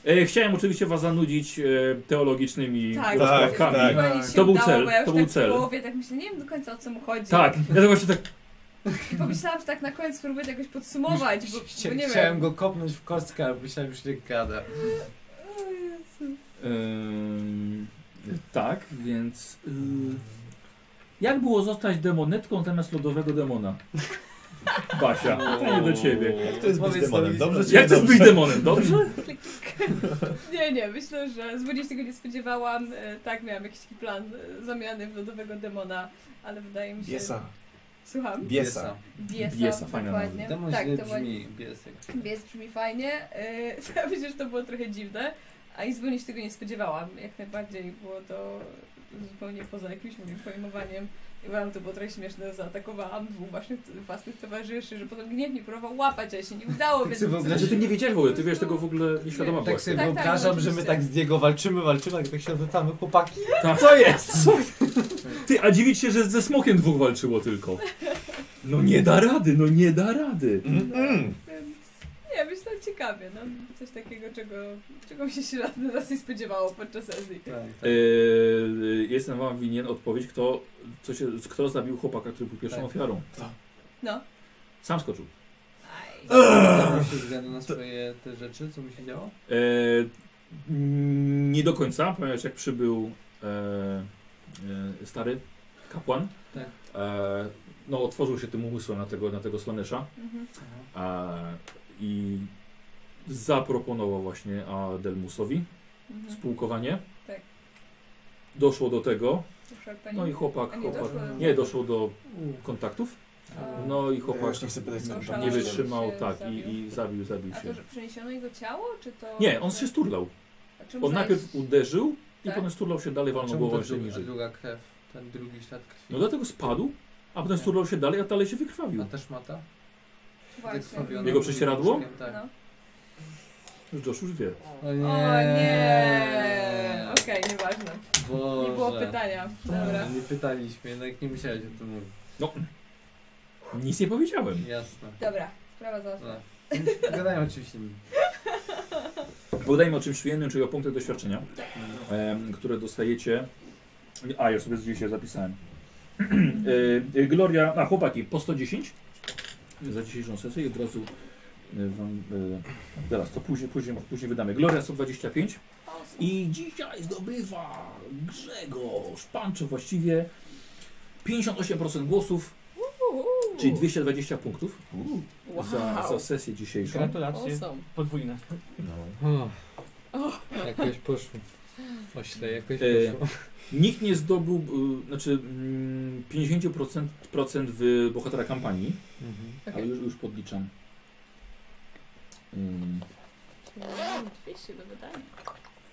Speaker 1: E, chciałem oczywiście was zanudzić e, teologicznymi
Speaker 3: Tak,
Speaker 1: rozprawkami.
Speaker 2: tak,
Speaker 1: Tak,
Speaker 3: Chyba
Speaker 6: tak.
Speaker 3: nie się
Speaker 1: To był
Speaker 3: udało,
Speaker 1: cel,
Speaker 3: Bo ja już
Speaker 1: to
Speaker 3: tak
Speaker 1: był cel.
Speaker 3: w głowie tak myślę, nie wiem do końca o co mu chodzi.
Speaker 1: ja to właśnie tak
Speaker 3: I pomyślałam, że tak na koniec spróbuję to jakoś podsumować, bo, bo
Speaker 4: Chcia-
Speaker 3: nie
Speaker 4: Chciałem
Speaker 3: wiem.
Speaker 4: go kopnąć w kostkę, ale myślałem, że nie gada.
Speaker 3: O Jezu.
Speaker 1: Ym, E, tak, więc. ym, jak było zostać demonetką zamiast lodowego demona? Basia, to nie do ciebie.
Speaker 2: Jak to jest być
Speaker 4: Powiedz
Speaker 2: demonem?
Speaker 4: to
Speaker 2: Dobrze
Speaker 4: mi-
Speaker 2: czy
Speaker 1: Jak chcesz
Speaker 2: niedobrze?
Speaker 1: być demonem, dobrze?
Speaker 3: Nie, nie, myślę, że zupełnie się tego nie spodziewałam. E, Tak, miałam jakiś taki plan e, zamiany w lodowego demona, ale wydaje mi się...
Speaker 2: Biesa.
Speaker 3: Słucham?
Speaker 2: Biesa.
Speaker 3: Biesa,
Speaker 1: Biesa, fajna
Speaker 3: dokładnie.
Speaker 4: Demon
Speaker 3: tak,
Speaker 4: źle
Speaker 3: to była-
Speaker 4: brzmi, biesek.
Speaker 3: Bies brzmi fajnie. E, Ja myślę, że to było trochę dziwne, a i zupełnie się tego nie spodziewałam. Jak najbardziej było to zupełnie poza jakimś moim pojmowaniem. I wam to było trochę śmieszne, zaatakowałam dwóch waszych własnych towarzyszy, że potem gniewnie próbował łapać, a się nie udało, więc...
Speaker 4: Ty sobie
Speaker 1: Znaczy, ty nie wiedziałeś w ogóle, ty wiesz tego w ogóle nieświadoma
Speaker 4: Tak
Speaker 1: byłaś.
Speaker 4: sobie
Speaker 3: Tak, tak,
Speaker 4: wyobrażam, że my
Speaker 3: oczywiście.
Speaker 4: tak z niego walczymy, walczymy, jak tak się odwracamy, chłopaki.
Speaker 1: Tak.
Speaker 4: Co jest?
Speaker 1: Ty, a dziwić się, że ze smokiem dwóch walczyło tylko. No nie da rady, no nie da rady.
Speaker 2: Mm.
Speaker 3: Więc nie, myślę ciekawie, no coś takiego, czego, czego mi się średnio nas nie spodziewało podczas sesji.
Speaker 1: Tak.
Speaker 4: Tak.
Speaker 1: E, Eee, jestem wam winien odpowiedź, kto, co się, kto zabił chłopaka, który był pierwszą
Speaker 4: Tak.
Speaker 1: ofiarą.
Speaker 3: No.
Speaker 1: Sam skoczył.
Speaker 3: Aj.
Speaker 4: Zdało się względu na swoje te rzeczy, co mi się działo?
Speaker 1: Eee, mm, nie do końca, ponieważ jak przybył eee, e, stary kapłan,
Speaker 4: Tak.
Speaker 1: eee, no otworzył się tym umysłem na tego, na tego Slanesha
Speaker 3: Mhm.
Speaker 1: eee, i zaproponował właśnie Adelmusowi
Speaker 4: No.
Speaker 3: Mhm.
Speaker 1: spółkowanie.
Speaker 3: Tak.
Speaker 1: Doszło do tego,
Speaker 3: Proszę pani.
Speaker 1: no i chłopak,
Speaker 3: A nie
Speaker 1: chłopak
Speaker 3: doszło?
Speaker 1: nie doszło do kontaktów,
Speaker 3: A-
Speaker 1: no i
Speaker 2: Ja
Speaker 1: chłopak
Speaker 2: już nie chcę pytać, co
Speaker 3: No,
Speaker 2: tam
Speaker 1: nie
Speaker 3: szalony
Speaker 2: jest.
Speaker 1: wytrzymał,
Speaker 3: się
Speaker 1: tak,
Speaker 3: zabił.
Speaker 1: i, i zabił, zabił
Speaker 3: A to,
Speaker 1: się.
Speaker 3: że przeniesiono jego ciało, czy to...
Speaker 1: Nie, on się sturlał.
Speaker 3: A czym
Speaker 1: On najpierw
Speaker 3: znaleźć-
Speaker 1: uderzył i
Speaker 3: Tak?
Speaker 1: potem sturlał się dalej, walnął
Speaker 4: Czemu
Speaker 1: głową
Speaker 4: to
Speaker 1: jeszcze
Speaker 4: druga-
Speaker 1: niżej.
Speaker 4: druga krew, ten drugi ślad krwi.
Speaker 1: No dlatego spadł, a potem sturlał się dalej, a dalej się wykrwawił.
Speaker 4: A też mata?
Speaker 3: Właśnie.
Speaker 4: Zakrwawiona
Speaker 1: Jego prześcieradło?
Speaker 4: łóżkiem, Tak.
Speaker 3: No.
Speaker 1: Już Josh już wie.
Speaker 4: O nie.
Speaker 3: O nie! Okej, nieważne.
Speaker 4: Boże.
Speaker 3: Nie było pytania. Dobra.
Speaker 4: Nie pytaliśmy, jednak nie musiałeś o tym mówić.
Speaker 1: Nic nie powiedziałem.
Speaker 4: Jasne.
Speaker 3: Dobra, sprawa załatwiona.
Speaker 4: No. Gadają oczywiście.
Speaker 1: Podajmy o czymś przyjemnym, czyli o punktach doświadczenia, em, które dostajecie. A, ja sobie dzisiaj zapisałem. E, e, Gloria, a chłopaki, po 110 za dzisiejszą sesję i od razu e, wam, e, zaraz, to później, później, później wydamy. Gloria 125. I dzisiaj zdobywa Grzegorz Pancho właściwie 58% głosów,
Speaker 28: Uuu.
Speaker 1: czyli 220 punktów
Speaker 28: Wow.
Speaker 1: za, za sesję dzisiejszą.
Speaker 5: Gratulacje,
Speaker 28: Awesome.
Speaker 5: podwójne.
Speaker 4: Jakoś poszło. Ośle, jakoś
Speaker 1: E,
Speaker 4: poszło.
Speaker 1: Nikt nie zdobył, y, znaczy mm, 50% procent w bohatera kampanii,
Speaker 4: Mhm.
Speaker 28: Okej.
Speaker 1: ale już, już podliczam. Y, Ym,
Speaker 28: No, 200 do wydania.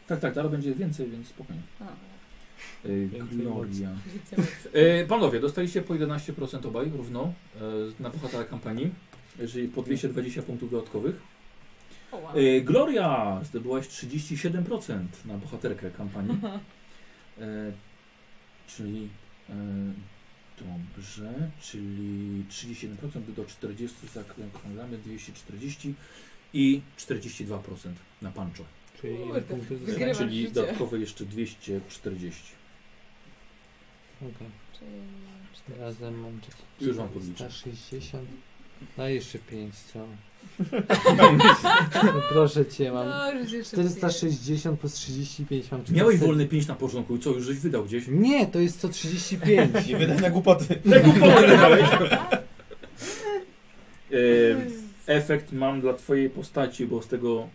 Speaker 1: tak, tak, teraz będzie więcej, więc spokojnie.
Speaker 28: A.
Speaker 1: Y,
Speaker 19: Więcej
Speaker 1: Gloria. Y, Panowie, dostaliście po 11% obaj równo y, na bohatera kampanii, jeżeli po 220 punktów dodatkowych.
Speaker 28: O, wow.
Speaker 1: Y, Gloria, zdobyłaś 37% na bohaterkę kampanii. E, czyli e, dobrze, czyli 37% by do 40 zakręglamy 240 i 42% na panczo.
Speaker 19: Czyli ile
Speaker 28: Kurde,
Speaker 19: punkty
Speaker 28: wygrywa.
Speaker 19: zostało?
Speaker 28: Wygrywasz
Speaker 1: Czyli
Speaker 28: życie.
Speaker 1: dodatkowe jeszcze 240.
Speaker 9: Okej.
Speaker 28: Czyli cztery.
Speaker 9: Razem mam
Speaker 1: Już wam podliczę.
Speaker 9: 60. No i jeszcze 5 co? no proszę cię, mam
Speaker 28: No, już jeszcze lepiej.
Speaker 9: 460 plus 35 mam 400.
Speaker 1: Miałeś wolny 5 na początku i co, już żeś wydał gdzieś?
Speaker 9: Nie, to jest 135.
Speaker 2: Nie wydaj na głupoty.
Speaker 3: No.
Speaker 1: E, efekt mam dla twojej postaci, bo z tego,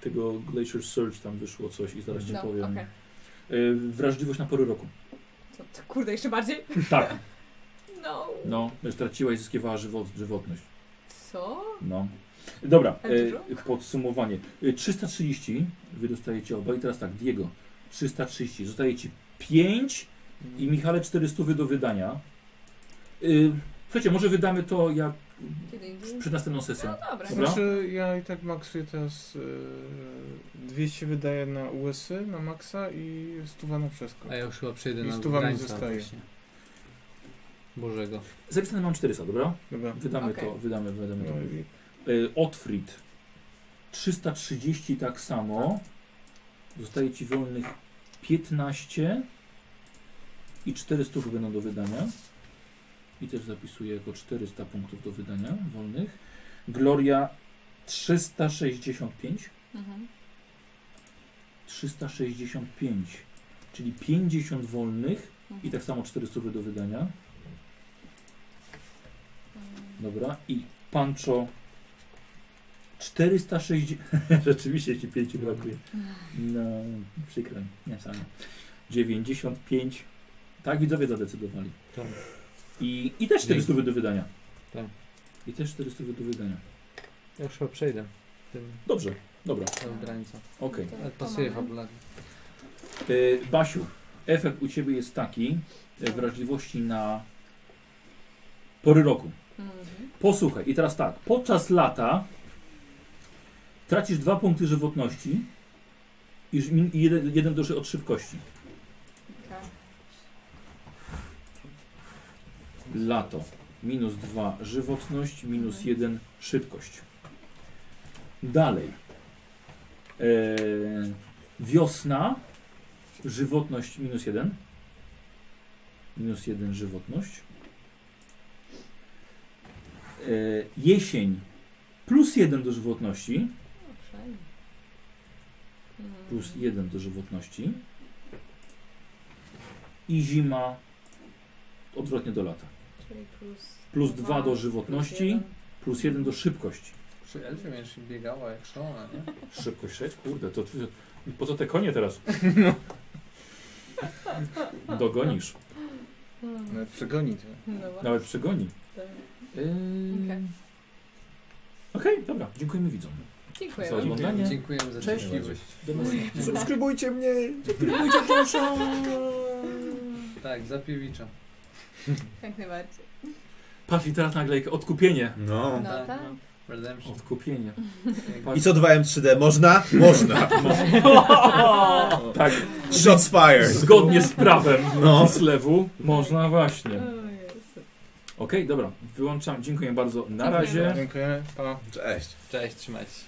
Speaker 1: tego Glacier Surge tam wyszło coś i zaraz ci
Speaker 28: No,
Speaker 1: powiem.
Speaker 28: okej.
Speaker 1: E, wrażliwość na pory roku.
Speaker 28: Co, to, kurde, jeszcze bardziej?
Speaker 1: Tak,
Speaker 28: No.
Speaker 1: no, straciła i zyskiwała żywot, żywotność.
Speaker 28: Co?
Speaker 1: No. Dobra,
Speaker 28: Ale dużo?
Speaker 1: e, podsumowanie. E, 330 wy dostajecie obaj, teraz tak, Diego, 330, zostaje ci 5 i Michale 400 wy do wydania. E, słuchajcie, może wydamy to jak
Speaker 28: Kiedy indziej?
Speaker 1: przed następną sesją.
Speaker 28: No dobra.
Speaker 1: Dobra.
Speaker 6: Znaczy ja i tak maksuję teraz y, 200 wydaję na USy na maksa i 100 na przeskok.
Speaker 9: A ja już chyba przejdę
Speaker 6: I
Speaker 9: na
Speaker 6: stuwa mi
Speaker 9: Gdańska
Speaker 6: zostaje.
Speaker 9: właśnie. Bożego.
Speaker 1: Zapisane mam 400, dobra?
Speaker 6: Dobra.
Speaker 1: Wydamy
Speaker 28: Okej.
Speaker 1: to, wydamy, wydamy to.
Speaker 6: No i
Speaker 1: E, Otfrid 330 tak samo. Zostaje ci wolnych 15 i 400 będą do wydania. I też zapisuję jako 400 punktów do wydania wolnych. Gloria 365.
Speaker 28: Mhm.
Speaker 1: 365, czyli 50 wolnych i tak samo 400 do wydania.
Speaker 28: Mhm.
Speaker 1: Dobra, i Pancho 460. Rzeczywiście ci 5 brakuje. No, przykro mi, nie sam. 95. Tak widzowie zadecydowali.
Speaker 9: Tak.
Speaker 1: I, I też 400 do wydania.
Speaker 9: Tak.
Speaker 1: I też 400 do wydania.
Speaker 9: Ja już chyba przejdę. Tym
Speaker 1: Dobrze, dobra,
Speaker 9: do Gdańca.
Speaker 1: okej.
Speaker 28: To-
Speaker 9: Ale
Speaker 28: to
Speaker 9: pasuje
Speaker 28: mamy.
Speaker 9: fabularnie.
Speaker 1: Y, Basiu, efekt u ciebie jest taki y, wrażliwości na pory roku.
Speaker 28: Mhm.
Speaker 1: Posłuchaj, i teraz tak. Podczas lata tracisz dwa punkty żywotności i ż- min- i jeden, jeden duży od szybkości.
Speaker 28: Okej.
Speaker 1: Lato. Minus dwa żywotność, minus
Speaker 28: Mhm.
Speaker 1: jeden szybkość. Dalej. Eee, wiosna. Żywotność minus jeden. Minus jeden żywotność. Eee, jesień. Plus jeden do żywotności.
Speaker 28: No, przynajmniej. Mhm.
Speaker 1: plus 1 do żywotności i zima odwrotnie do lata.
Speaker 28: Czyli plus
Speaker 1: Plus 2 do
Speaker 28: plus
Speaker 1: żywotności,
Speaker 28: jeden.
Speaker 1: plus 1 do szybkości.
Speaker 4: Przy elfie będziesz biegała jak szalona, nie?
Speaker 1: Szybkość 6? Kurde, to ty- po co te konie teraz? Dogonisz.
Speaker 28: Mhm.
Speaker 6: nawet przegoni to.
Speaker 28: No właśnie.
Speaker 1: Nawet przegoni. Yy...
Speaker 28: Okej.
Speaker 1: Okej, dobra. Dziękujemy widzom.
Speaker 28: Dziękuję.
Speaker 1: Za oglądanie.
Speaker 4: Dziękujemy za
Speaker 1: Cześć.
Speaker 4: życzliwość.
Speaker 1: Do następnego.
Speaker 2: Subskrybujcie mnie!
Speaker 1: Subskrybujcie, proszę.
Speaker 4: Tak, za piewicza.
Speaker 28: Jak najbardziej.
Speaker 1: Patrz i teraz nagle jak odkupienie.
Speaker 2: No.
Speaker 28: No tak.
Speaker 4: Redemption.
Speaker 1: Odkupienie.
Speaker 2: I co 2M3D? Można? Można.
Speaker 28: No
Speaker 1: tak,
Speaker 2: Shots fired.
Speaker 1: zgodnie z prawem
Speaker 2: No.
Speaker 1: no. z lewu można właśnie.
Speaker 28: O Jezu.
Speaker 1: Okej, dobra, wyłączam. Dziękuję bardzo. Na
Speaker 28: Dziękuję
Speaker 1: razie.
Speaker 6: Dziękuję. Pa.
Speaker 2: Cześć.
Speaker 9: Cześć, trzymajcie się.